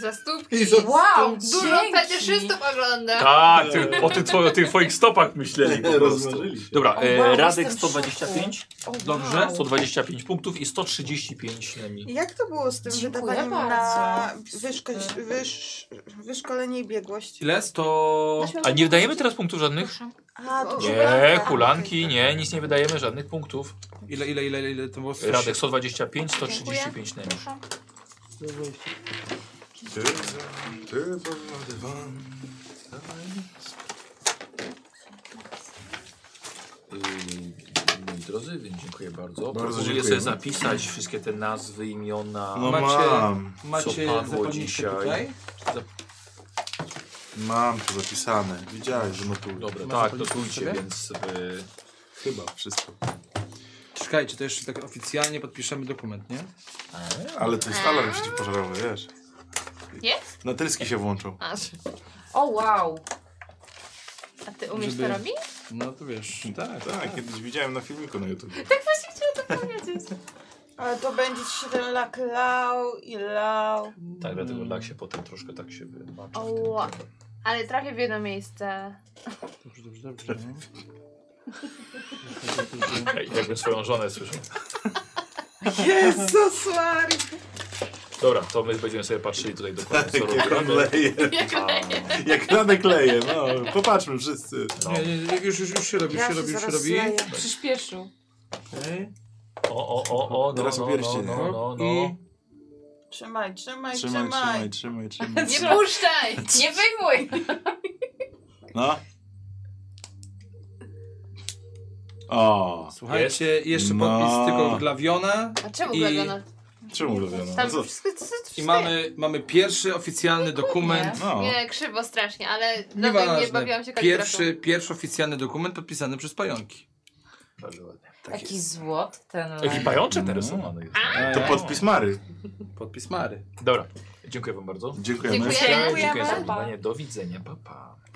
Speaker 6: Za stópki.
Speaker 4: I za
Speaker 2: Wow,
Speaker 6: Dużo
Speaker 2: dzięki.
Speaker 1: E,
Speaker 6: fetyszystów ogląda.
Speaker 1: Tak, ty, o, tym twoim, o tych twoich stopach myśleli po prostu.
Speaker 4: Rozmarzyli się.
Speaker 1: Dobra,
Speaker 2: O,
Speaker 1: e,
Speaker 2: wow,
Speaker 1: Radek
Speaker 2: jestem No. w
Speaker 1: 125,
Speaker 2: O, wow.
Speaker 1: dobrze, 125 punktów i 135 Nemi.
Speaker 5: I Jak to było z tym
Speaker 2: Dziękuję
Speaker 5: wydawaniem na
Speaker 2: bardzo.
Speaker 5: wyszko- wysz- wyszkolenie i biegłość?
Speaker 3: Ile? To...
Speaker 1: A nie wydajemy teraz punktów żadnych?
Speaker 2: Proszę.
Speaker 5: A, to tak.
Speaker 1: Nie,
Speaker 5: hulanka.
Speaker 1: hulanki, nie, nic nie wydajemy, żadnych punktów.
Speaker 3: Ile, ile, ile, ile to było?
Speaker 1: Radek 125, 135 Nemi.
Speaker 2: Proszę.
Speaker 4: Ty za- Ty za dywan.
Speaker 1: Yy, Moi drodzy, więc dziękuję bardzo. Próbuję
Speaker 4: dziękujemy.
Speaker 1: sobie zapisać wszystkie te nazwy, imiona.
Speaker 4: No
Speaker 3: Macie-
Speaker 4: mam,
Speaker 3: Macie
Speaker 1: Co padło
Speaker 3: zapalniczkę
Speaker 1: dzisiaj?
Speaker 3: tutaj?
Speaker 4: mam to zapisane. Widziałeś, że notuję.
Speaker 1: Dobra,
Speaker 3: Masz
Speaker 1: tak,
Speaker 3: zapalniczkę w
Speaker 1: dotujcie,
Speaker 3: sobie?
Speaker 1: więc yy,
Speaker 4: Chyba wszystko.
Speaker 3: Czekajcie, to jeszcze tak oficjalnie podpiszemy dokument, nie?
Speaker 4: Ale to jest alarm przeciwpożarowy, wiesz.
Speaker 6: Jest?
Speaker 4: Na tylski się włączył.
Speaker 6: A,
Speaker 2: O, wow.
Speaker 6: a ty umiesz
Speaker 3: Żeby-
Speaker 6: to robić?
Speaker 3: No to wiesz.
Speaker 1: Hmm.
Speaker 4: Tak, tak, kiedyś widziałem na filmiku na YouTube.
Speaker 6: Właśnie chciałam to powiedzieć.
Speaker 5: Ale to będzie ci się ten lak lał i lał.
Speaker 1: tak, dlatego lak się potem troszkę tak się wybaczy.
Speaker 6: Oła. Ale trafię w jedno miejsce.
Speaker 3: Dobrze, dobrze, dobrze.
Speaker 1: Jakby swoją żonę słyszał.
Speaker 5: Jezus Maria.
Speaker 1: Dobra, to my będziemy sobie patrzyli tutaj dokładnie, co
Speaker 4: Tak, Jak on
Speaker 1: robimy.
Speaker 4: leje. Jak Radek leje, no. Popatrzmy wszyscy.
Speaker 6: Tak,
Speaker 1: No.
Speaker 3: Nie, nie, nie, już, już, już się robi, już
Speaker 5: Ja
Speaker 3: się
Speaker 5: się
Speaker 3: robi, już się
Speaker 5: zaraz
Speaker 3: robi.
Speaker 5: leję.
Speaker 12: Przyspieszył.
Speaker 3: Okej.
Speaker 1: O, o, o, o, no,
Speaker 4: Teraz
Speaker 1: no, no,
Speaker 4: pierścień,
Speaker 1: no, no, no.
Speaker 3: I-
Speaker 5: Trzymaj, trzymaj,
Speaker 4: Trzymaj,
Speaker 5: trzymaj.
Speaker 4: trzymaj, trzymaj, trzymaj.
Speaker 6: Nie puszczaj!
Speaker 12: Nie wyjmuj!
Speaker 4: No. O,
Speaker 3: Słuchajcie, jeszcze
Speaker 4: No.
Speaker 3: podpis tylko dla Wiona.
Speaker 6: A czemu
Speaker 3: I-
Speaker 6: Gladona?
Speaker 4: czemu ulubiono?
Speaker 8: No
Speaker 6: Tam
Speaker 4: Co?
Speaker 6: wszystko, co, co,
Speaker 3: I mamy, mamy pierwszy oficjalny dokument.
Speaker 4: No.
Speaker 6: Nie, krzywo strasznie, ale dlatego No nie
Speaker 3: Nieważne.
Speaker 6: bawiłam się kaligrafą.
Speaker 3: Pierwszy, pierwszy oficjalny dokument podpisany przez pająki.
Speaker 1: Bardzo ładnie.
Speaker 2: Taki złot ten
Speaker 1: Jaki
Speaker 2: lek.
Speaker 1: pajączek
Speaker 4: No.
Speaker 1: narysowany jest.
Speaker 4: To podpis Mary.
Speaker 3: Podpis Mary.
Speaker 1: Dobra, dziękuję wam bardzo.
Speaker 4: Dziękujemy.
Speaker 6: Dziękuję.
Speaker 1: Dziękuję za oglądanie, do widzenia, pa pa.